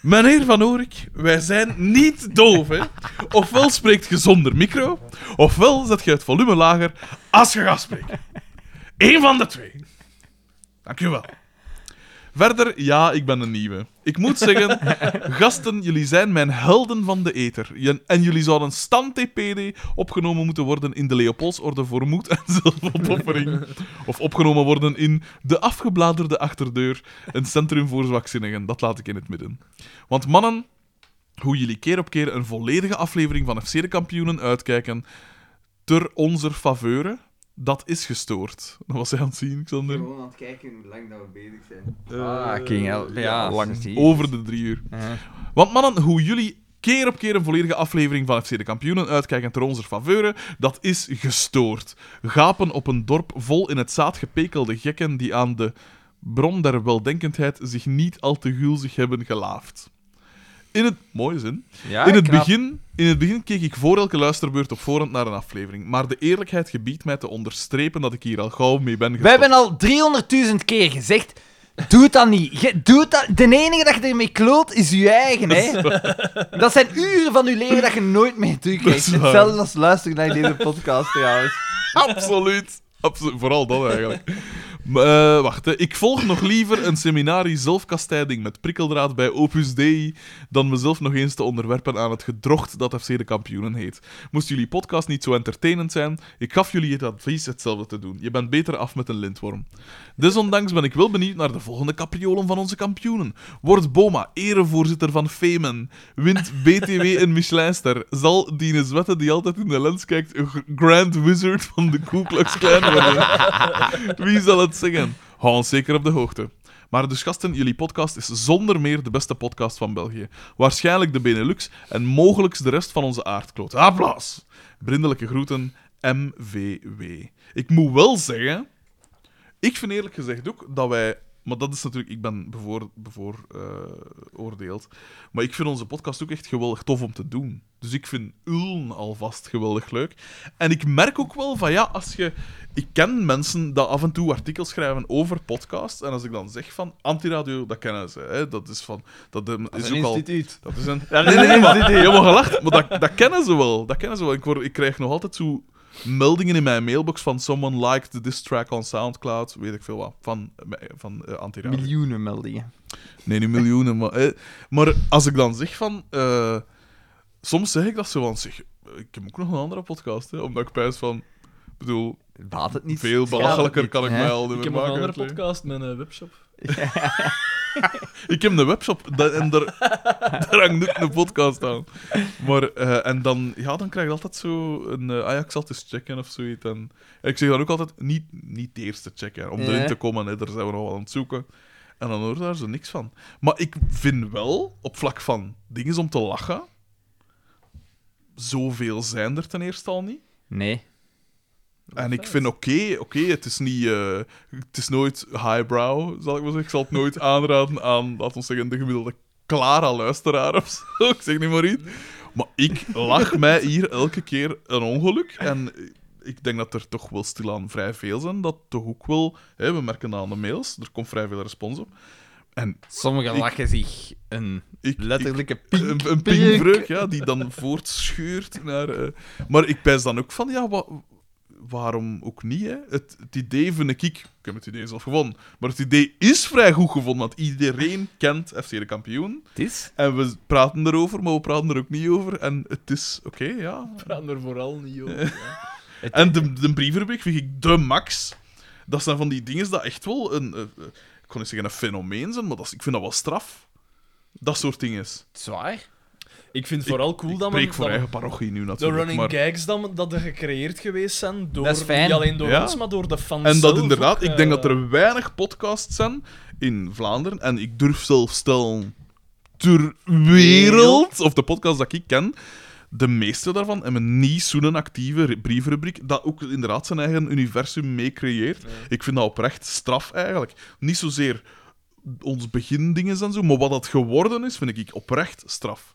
[SPEAKER 2] Meneer Van Oorik, wij zijn niet doof, hè. Ofwel spreekt je zonder micro, ofwel zet je het volume lager als je gaat spreken. Eén van de twee. Dank u wel. Verder, ja, ik ben een nieuwe. Ik moet zeggen, gasten, jullie zijn mijn helden van de eter. Je- En jullie zouden stand TPD opgenomen moeten worden in de Leopoldsorde voor moed en (laughs) zelfopoffering. Of opgenomen worden in de afgebladerde achterdeur, een centrum voor zwakzinnigen. Dat laat ik in het midden. Want mannen, hoe jullie keer op keer een volledige aflevering van FC de Kampioenen uitkijken, ter onze faveur, dat is gestoord. Dat was hij aan het zien, Xander.
[SPEAKER 5] aan het kijken hoe lang dat we bezig zijn.
[SPEAKER 4] ah, King Hell. Ja, lang
[SPEAKER 2] Over de drie uur. Want mannen, hoe jullie keer op keer een volledige aflevering van FC de Kampioenen uitkijken ter onze faveuren, dat is gestoord. Gapen op een dorp vol in het zaad gepekelde gekken die aan de bron der weldenkendheid zich niet al te gulzig hebben gelaafd. In het... Mooie zin.
[SPEAKER 4] Ja,
[SPEAKER 2] In het,
[SPEAKER 4] knap.
[SPEAKER 2] begin, in het begin keek ik voor elke luisterbeurt op voorhand naar een aflevering, maar de eerlijkheid gebiedt mij te onderstrepen dat ik hier al gauw mee ben gestopt.
[SPEAKER 4] We hebben al 300.000 keer gezegd. Doe dat niet. Je, doe dat. De enige dat je ermee kloot is je eigen. Hè? Dat zijn uren van je leven dat je nooit meer terugkrijgt.
[SPEAKER 2] (laughs) Dat is waar.
[SPEAKER 4] Hetzelfde als luisteren naar deze podcast trouwens.
[SPEAKER 2] (laughs) Absoluut. Absolu- Vooral dat eigenlijk. Maar, eh, wacht, hè. ik volg nog liever een seminarie zelfkastijding met prikkeldraad bij Opus Dei dan mezelf nog eens te onderwerpen aan het gedrocht dat FC de kampioenen heet. Moest jullie podcast niet zo entertainend zijn, ik gaf jullie het advies hetzelfde te doen. Je bent beter af met een lintworm. Desondanks ben ik wel benieuwd naar de volgende capriolen van onze kampioenen. Wordt Boma erevoorzitter van Femen? Wint BTW een Michelinster? Zal Dine Zwette, die altijd in de lens kijkt, een gr- Grand Wizard van de Ku Klux Klan worden? Wie zal het zeggen? Hou ons zeker op de hoogte. Maar dus gasten, jullie podcast is zonder meer de beste podcast van België. Waarschijnlijk de Benelux en mogelijk de rest van onze aardkloot. Applaus! Brindelijke groeten, MVW. Ik moet wel zeggen... Ik vind eerlijk gezegd ook dat wij. Maar dat is natuurlijk. Ik ben bevoor, bevooroordeeld. maar ik vind onze podcast ook echt geweldig tof om te doen. Dus ik vind Uln alvast geweldig leuk. En ik merk ook wel van ja, als je. Ik ken mensen die af en toe artikels schrijven over podcasts. En als ik dan zeg van. Antiradio, dat kennen ze. Hè? Dat is van. Dat, eh, is ook al. Dat is een. nee, nee, nee, maar, helemaal gelacht. Maar dat, dat kennen ze wel. Dat kennen ze wel. Ik, word, ik krijg nog altijd zo meldingen in mijn mailbox van someone liked this track on SoundCloud, weet ik veel wat, van, van eh Antiradio.
[SPEAKER 4] Miljoenen meldingen.
[SPEAKER 2] Nee, niet miljoenen, maar... eh, maar als ik dan zeg van... eh, soms zeg ik dat zo van... Zeg, ik heb ook nog een andere podcast, hè, omdat ik pijs van... Ik bedoel,
[SPEAKER 4] Baat het niet.
[SPEAKER 2] veel
[SPEAKER 4] Schaadt het
[SPEAKER 2] belachelijker
[SPEAKER 4] niet,
[SPEAKER 2] kan ik
[SPEAKER 4] hè?
[SPEAKER 2] mij al
[SPEAKER 1] Ik
[SPEAKER 2] niet meer
[SPEAKER 1] heb nog een
[SPEAKER 2] maken.
[SPEAKER 1] andere
[SPEAKER 2] uitleggen.
[SPEAKER 1] podcast, mijn eh, webshop.
[SPEAKER 2] Ik heb een webshop da- en daar, daar hangt ook een podcast aan. Maar, eh, en dan, ja, dan krijg je altijd zo een eh, ah ja, ik zal het eens checken of zoiets. En, ik zeg dan ook altijd, niet, niet de eerste checken, hè, om
[SPEAKER 4] Ja.
[SPEAKER 2] erin te komen, hè, daar zijn we nog wel aan het zoeken. En dan hoor je daar zo niks van. Maar ik vind wel, op vlak van dingen om te lachen, zoveel zijn er ten eerste al niet.
[SPEAKER 4] Nee.
[SPEAKER 2] En ik vind oké, oké, het is niet, eh, het is nooit highbrow, zal ik maar zeggen. Ik zal het nooit (laughs) aanraden aan, laten we zeggen, de gemiddelde Clara luisteraar of zo. (laughs) Ik zeg niet maar iets. Maar ik lach mij hier elke keer een ongeluk. En ik denk dat er toch wel stilaan vrij veel zijn. Dat toch ook wel, hè, we merken aan de mails, er komt vrij veel respons op. En
[SPEAKER 4] Sommigen
[SPEAKER 2] Ik-
[SPEAKER 4] lachen zich een
[SPEAKER 2] ik, ik-
[SPEAKER 4] letterlijke pink.
[SPEAKER 2] een, een pingvreuk, ja, die dan voortschuurt naar... eh, maar ik pijs dan ook van, ja, wa- waarom ook niet, hè? Het, het idee vind ik... Ik heb het idee zelf gewonnen. Maar het idee is vrij goed gevonden, want iedereen kent FC de kampioen.
[SPEAKER 4] Het is.
[SPEAKER 2] En we praten erover, maar we praten er ook niet over. En het is... Oké, ja.
[SPEAKER 1] Praat er vooral niet over. ja.
[SPEAKER 2] En de, de brievenrubriek vind ik de max. Dat zijn van die dingen dat echt wel een... eh, eh, ik kon niet zeggen een fenomeen zijn, maar dat is, ik vind dat wel straf. Dat soort dingen.
[SPEAKER 4] Zwaar.
[SPEAKER 3] Ik vind het vooral cool
[SPEAKER 2] ik
[SPEAKER 3] dat men...
[SPEAKER 2] spreek voor
[SPEAKER 3] dat men-
[SPEAKER 2] eigen parochie nu
[SPEAKER 3] de
[SPEAKER 2] natuurlijk.
[SPEAKER 3] running
[SPEAKER 2] maar...
[SPEAKER 3] gags dan, dat er gecreëerd geweest zijn, door,
[SPEAKER 4] Dat is fijn.
[SPEAKER 3] niet alleen door
[SPEAKER 2] Ja.
[SPEAKER 3] ons, maar door de fans
[SPEAKER 2] En dat
[SPEAKER 3] zelf
[SPEAKER 2] inderdaad,
[SPEAKER 3] ook,
[SPEAKER 2] ik denk
[SPEAKER 3] eh,
[SPEAKER 2] dat er weinig podcasts zijn in Vlaanderen. En ik durf zelf stellen, ter wereld, of de podcasts dat ik ken, de meeste daarvan hebben niet zo'n actieve re- brievenrubriek, dat ook inderdaad zijn eigen universum mee creëert. Ik vind dat oprecht straf eigenlijk. Niet zozeer ons begindingen en zo, maar wat dat geworden is, vind ik oprecht straf.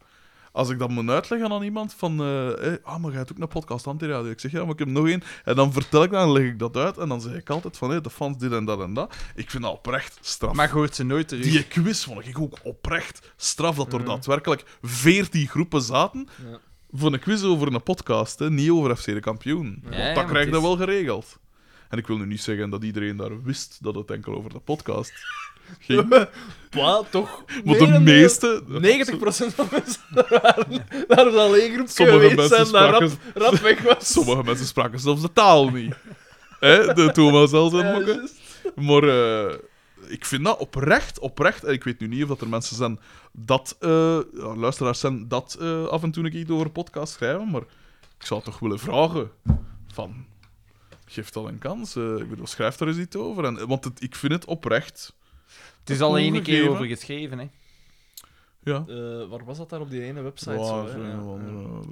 [SPEAKER 2] Als ik dat moet uitleggen aan iemand van... eh, eh, ah, maar jij hebt ook een podcast aan radio. Ik zeg, ja, maar ik heb nog één. En dan vertel ik dat en leg ik dat uit. En dan zeg ik altijd van, hé, de fans dit en dat en dat. Ik vind dat oprecht straf.
[SPEAKER 4] Maar je hoort ze nooit terug.
[SPEAKER 2] Die quiz vond ik ook oprecht straf dat er daadwerkelijk veertien groepen zaten
[SPEAKER 3] Ja.
[SPEAKER 2] voor een quiz over een podcast, hè, niet over FC de kampioen.
[SPEAKER 4] Ja, ja,
[SPEAKER 2] Want dat
[SPEAKER 4] maar
[SPEAKER 2] krijg je
[SPEAKER 4] het is-
[SPEAKER 2] wel geregeld. En ik wil nu niet zeggen dat iedereen daar wist dat het enkel over de
[SPEAKER 4] (laughs)
[SPEAKER 2] podcast ging.
[SPEAKER 3] Pwa, toch?
[SPEAKER 2] Want
[SPEAKER 3] meer
[SPEAKER 2] de
[SPEAKER 3] en meer-
[SPEAKER 2] meeste...
[SPEAKER 3] 90% van mensen (laughs) waren naar een alleengroep
[SPEAKER 2] Sommige
[SPEAKER 3] geweest
[SPEAKER 2] mensen
[SPEAKER 3] en daar rap,
[SPEAKER 2] spraken-
[SPEAKER 3] rap weg was.
[SPEAKER 2] Sommige mensen spraken zelfs de taal niet. Hè, de Thomas zelfs en
[SPEAKER 3] Ja,
[SPEAKER 2] mokken.
[SPEAKER 3] juist.
[SPEAKER 2] Maar eh, ik vind dat oprecht, oprecht. En ik weet nu niet of dat er mensen zijn dat, eh, ja, luisteraars zijn dat eh, af en toe ik over podcast schrijven. Maar ik zou toch willen vragen: van, geef dat een kans. eh, ik bedoel, schrijf daar eens iets over. En, want het- ik vind het oprecht.
[SPEAKER 4] Het is al één keer
[SPEAKER 2] Toegegeven.
[SPEAKER 4] over geschreven, hè.
[SPEAKER 2] Ja.
[SPEAKER 3] Eh, waar was dat daar op die ene website?
[SPEAKER 2] Ja,
[SPEAKER 3] zo,
[SPEAKER 2] zo
[SPEAKER 3] hè?
[SPEAKER 2] een
[SPEAKER 3] Ja.
[SPEAKER 2] of andere-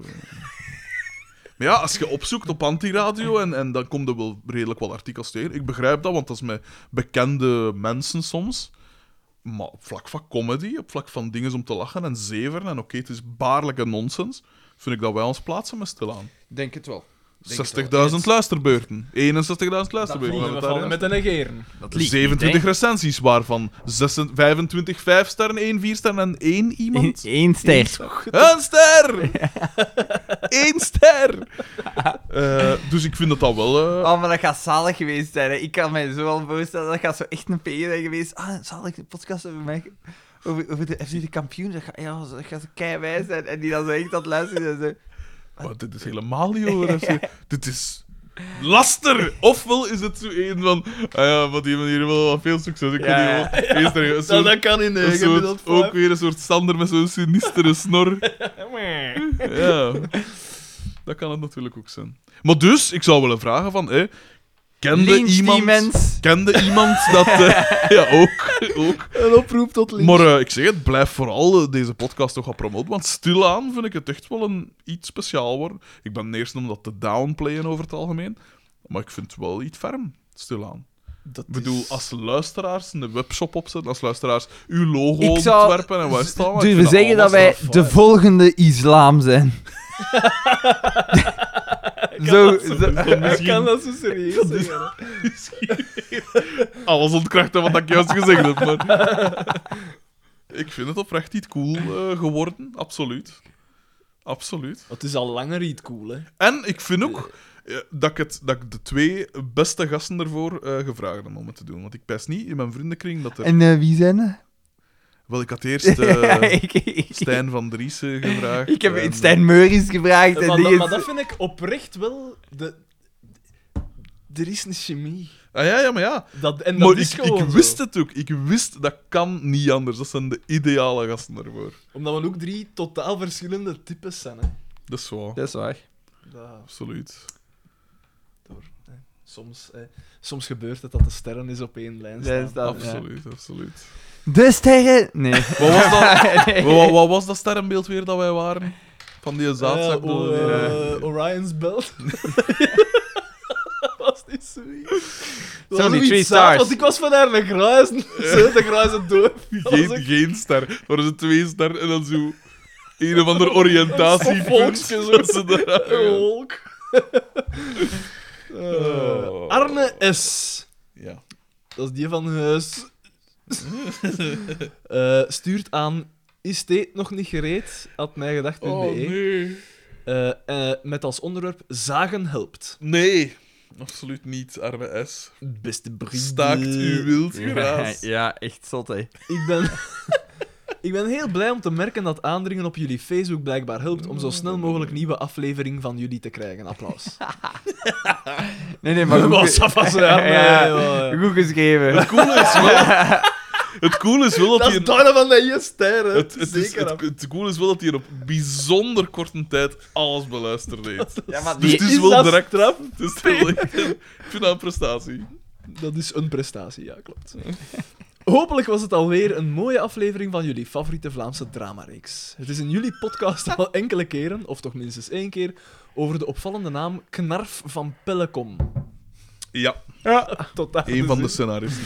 [SPEAKER 2] Maar ja, als je opzoekt op antiradio en, en dan komt er wel redelijk wat artikels tegen. Ik begrijp dat, want dat is met bekende mensen soms. Maar op vlak van comedy, op vlak van dingen om te lachen en zeveren en oké, het is baarlijke nonsens, vind ik dat wij ons plaatsen met stilaan.
[SPEAKER 4] Denk het wel. Denk het wel.
[SPEAKER 2] 60.000 luisterbeurten. 61.000
[SPEAKER 3] Dat
[SPEAKER 2] luisterbeurten.
[SPEAKER 3] vliegen
[SPEAKER 2] gaan
[SPEAKER 3] we
[SPEAKER 2] het
[SPEAKER 3] van
[SPEAKER 2] daarin
[SPEAKER 3] met een negeren.
[SPEAKER 4] Dat liegt niet,
[SPEAKER 2] 27
[SPEAKER 4] hè.
[SPEAKER 2] recensies, waarvan 26 25 5 sterren, 1 4 sterren en 1 iemand.
[SPEAKER 4] Eén ster.
[SPEAKER 2] Een (laughs) ster! Eén ster! Eh, dus ik vind dat dat wel... eh,
[SPEAKER 4] Oh, maar dat gaat zalig geweest zijn. Hè. Ik kan mij zo wel voorstellen, dat gaat zo echt een periode zijn geweest. Ah, zalig, de podcast over mij. Over, over de FC de kampioen. Dat gaat, ja, dat gaat zo keiwijs zijn. En die dan zo echt dat luisteren. en Zo.
[SPEAKER 2] maar dit is helemaal niet over FC. Dit is laster! Ofwel is het zo een van... Ah ja, op die manier wel wat veel succes. Ik wil
[SPEAKER 4] Ja,
[SPEAKER 2] die
[SPEAKER 4] ja.
[SPEAKER 2] wel eerst er- een soort-
[SPEAKER 3] dat kan in
[SPEAKER 2] een
[SPEAKER 3] de
[SPEAKER 2] soort-
[SPEAKER 3] gemiddeld
[SPEAKER 2] ook weer een soort Sander met zo'n sinistere snor. Ja. Dat kan het natuurlijk ook zijn. Maar dus, ik zou willen vragen van... eh, kende
[SPEAKER 4] Lynch
[SPEAKER 2] iemand...
[SPEAKER 4] die mens.
[SPEAKER 2] Kende iemand dat... eh, (laughs) ja, ook. ook.
[SPEAKER 3] Een oproep tot link.
[SPEAKER 2] Maar eh, ik zeg het, blijf vooral eh, deze podcast toch gaan promoten, want stilaan vind ik het echt wel een iets speciaal worden. Ik ben de eerste om dat te downplayen over het algemeen, maar ik vind het wel iets ferm, stilaan.
[SPEAKER 3] Dat
[SPEAKER 2] Ik bedoel,
[SPEAKER 3] is-
[SPEAKER 2] als luisteraars een webshop opzetten, als luisteraars uw logo
[SPEAKER 4] Ik zou
[SPEAKER 2] ontwerpen en waar staan... maar Oh, ik
[SPEAKER 4] we
[SPEAKER 2] vind
[SPEAKER 4] zeggen dat
[SPEAKER 2] allemaal
[SPEAKER 4] wij de volgende islam zijn. zo, zo-
[SPEAKER 2] straf. Dan
[SPEAKER 3] (laughs) Ik kan
[SPEAKER 2] Misschien
[SPEAKER 3] dat zo serieus zeggen, hè.
[SPEAKER 2] alles ontkrachten wat ik juist gezegd heb, maar...
[SPEAKER 4] (laughs)
[SPEAKER 2] Ik vind het oprecht iets cool eh, geworden, absoluut. Absoluut.
[SPEAKER 3] Het is al langer iets cool, hè.
[SPEAKER 2] En ik vind ook eh, dat, ik het, dat ik de twee beste gasten ervoor eh, gevraagd heb om het te doen. Want ik pijs niet in mijn vriendenkring dat er...
[SPEAKER 4] en eh, wie zijn er?
[SPEAKER 2] Wel, ik had eerst eh,
[SPEAKER 4] (laughs) ik, ik-
[SPEAKER 2] Stijn van Driessen gevraagd. ehm,
[SPEAKER 4] ik heb
[SPEAKER 2] en-
[SPEAKER 4] Stijn Meuris gevraagd.
[SPEAKER 3] Maar,
[SPEAKER 4] en die
[SPEAKER 3] dat,
[SPEAKER 4] is-
[SPEAKER 3] maar dat vind ik oprecht wel... De... Er is een chemie.
[SPEAKER 2] Ah, ja, ja, maar ja.
[SPEAKER 3] Dat, en dat
[SPEAKER 2] Maar
[SPEAKER 3] is
[SPEAKER 2] ik,
[SPEAKER 3] gewoon
[SPEAKER 2] ik
[SPEAKER 3] zo.
[SPEAKER 2] wist het ook. Ik wist, dat kan niet anders. Dat zijn de ideale gasten ervoor.
[SPEAKER 3] Omdat we ook drie totaal verschillende types zijn, hè.
[SPEAKER 2] Dat is waar.
[SPEAKER 4] Dat is waar.
[SPEAKER 3] Dat-
[SPEAKER 2] Absoluut.
[SPEAKER 3] soms, eh, soms gebeurt het dat de sterren is op één lijn staan.
[SPEAKER 4] Dat is dat, ja.
[SPEAKER 2] absoluut, absoluut.
[SPEAKER 4] De sterren? Nee.
[SPEAKER 2] Wat was dat, wa-
[SPEAKER 4] (laughs)
[SPEAKER 2] wa- wat was dat sterrenbeeld weer dat wij waren? Van die zaadzak?
[SPEAKER 3] Eh,
[SPEAKER 4] oh,
[SPEAKER 3] o-
[SPEAKER 2] door die-
[SPEAKER 3] eh, Orion's Belt. (laughs) Dat was niet zoiets. Dat was
[SPEAKER 4] Zo, die
[SPEAKER 3] zoiets
[SPEAKER 4] three
[SPEAKER 3] zaad,
[SPEAKER 4] stars.
[SPEAKER 3] Want ik was van haar de gruizen. (laughs) De gruizen door.
[SPEAKER 2] Geen, geen ster. Maar er zijn twee ster en dan zo... Een of ander oriëntatie. (laughs)
[SPEAKER 3] Volksje zo.
[SPEAKER 2] Dat ze daar-
[SPEAKER 3] Een wolk. Eh,
[SPEAKER 2] Oh.
[SPEAKER 3] Arne S.
[SPEAKER 2] Ja.
[SPEAKER 3] Dat is die van Huis. Eh, stuurt aan is dit nog niet gereed? At mijgedacht.be.
[SPEAKER 2] Oh, nee.
[SPEAKER 3] E. Eh, eh, met als onderwerp zagen helpt.
[SPEAKER 2] Nee. Absoluut niet, arme S.
[SPEAKER 3] Beste brief.
[SPEAKER 1] (laughs)
[SPEAKER 2] Staakt uw wild geraas.
[SPEAKER 4] Ja, echt zot, hè.
[SPEAKER 3] Ik ben... (laughs) Ik ben heel blij om te merken dat aandringen op jullie Facebook blijkbaar helpt om zo snel mogelijk nieuwe aflevering van jullie te krijgen.
[SPEAKER 2] (laughs)
[SPEAKER 3] Applaus.
[SPEAKER 4] Nee, nee, maar
[SPEAKER 2] Ah,
[SPEAKER 4] goed,
[SPEAKER 3] Was (laughs) dat van zo, ja, nee,
[SPEAKER 4] Ja.
[SPEAKER 3] ja, ja.
[SPEAKER 4] goed geschreven.
[SPEAKER 2] Het coole is wel... Het coole is wel dat,
[SPEAKER 1] Dat
[SPEAKER 2] hij...
[SPEAKER 1] is Donovan de Jester, hè.
[SPEAKER 2] Het, het, is,
[SPEAKER 1] Zeker.
[SPEAKER 2] het, het coole is wel dat hij er op bijzonder korte tijd alles beluisterd heeft.
[SPEAKER 4] Ja, maar
[SPEAKER 2] Dus
[SPEAKER 4] die,
[SPEAKER 2] het is
[SPEAKER 3] is
[SPEAKER 2] wel
[SPEAKER 3] dat
[SPEAKER 2] direct eraf. Het is wel (laughs) echt een- ik vind dat een prestatie.
[SPEAKER 3] Dat is een prestatie, ja, klopt. (laughs) Hopelijk was het alweer een mooie aflevering van jullie favoriete Vlaamse dramareeks. Het is in jullie podcast al (laughs) enkele keren, of toch minstens één keer, over de opvallende naam Knarf van Pellekom.
[SPEAKER 2] Ja,
[SPEAKER 3] (laughs)
[SPEAKER 2] Dus
[SPEAKER 3] Tot daar.
[SPEAKER 2] een van de scenaristen.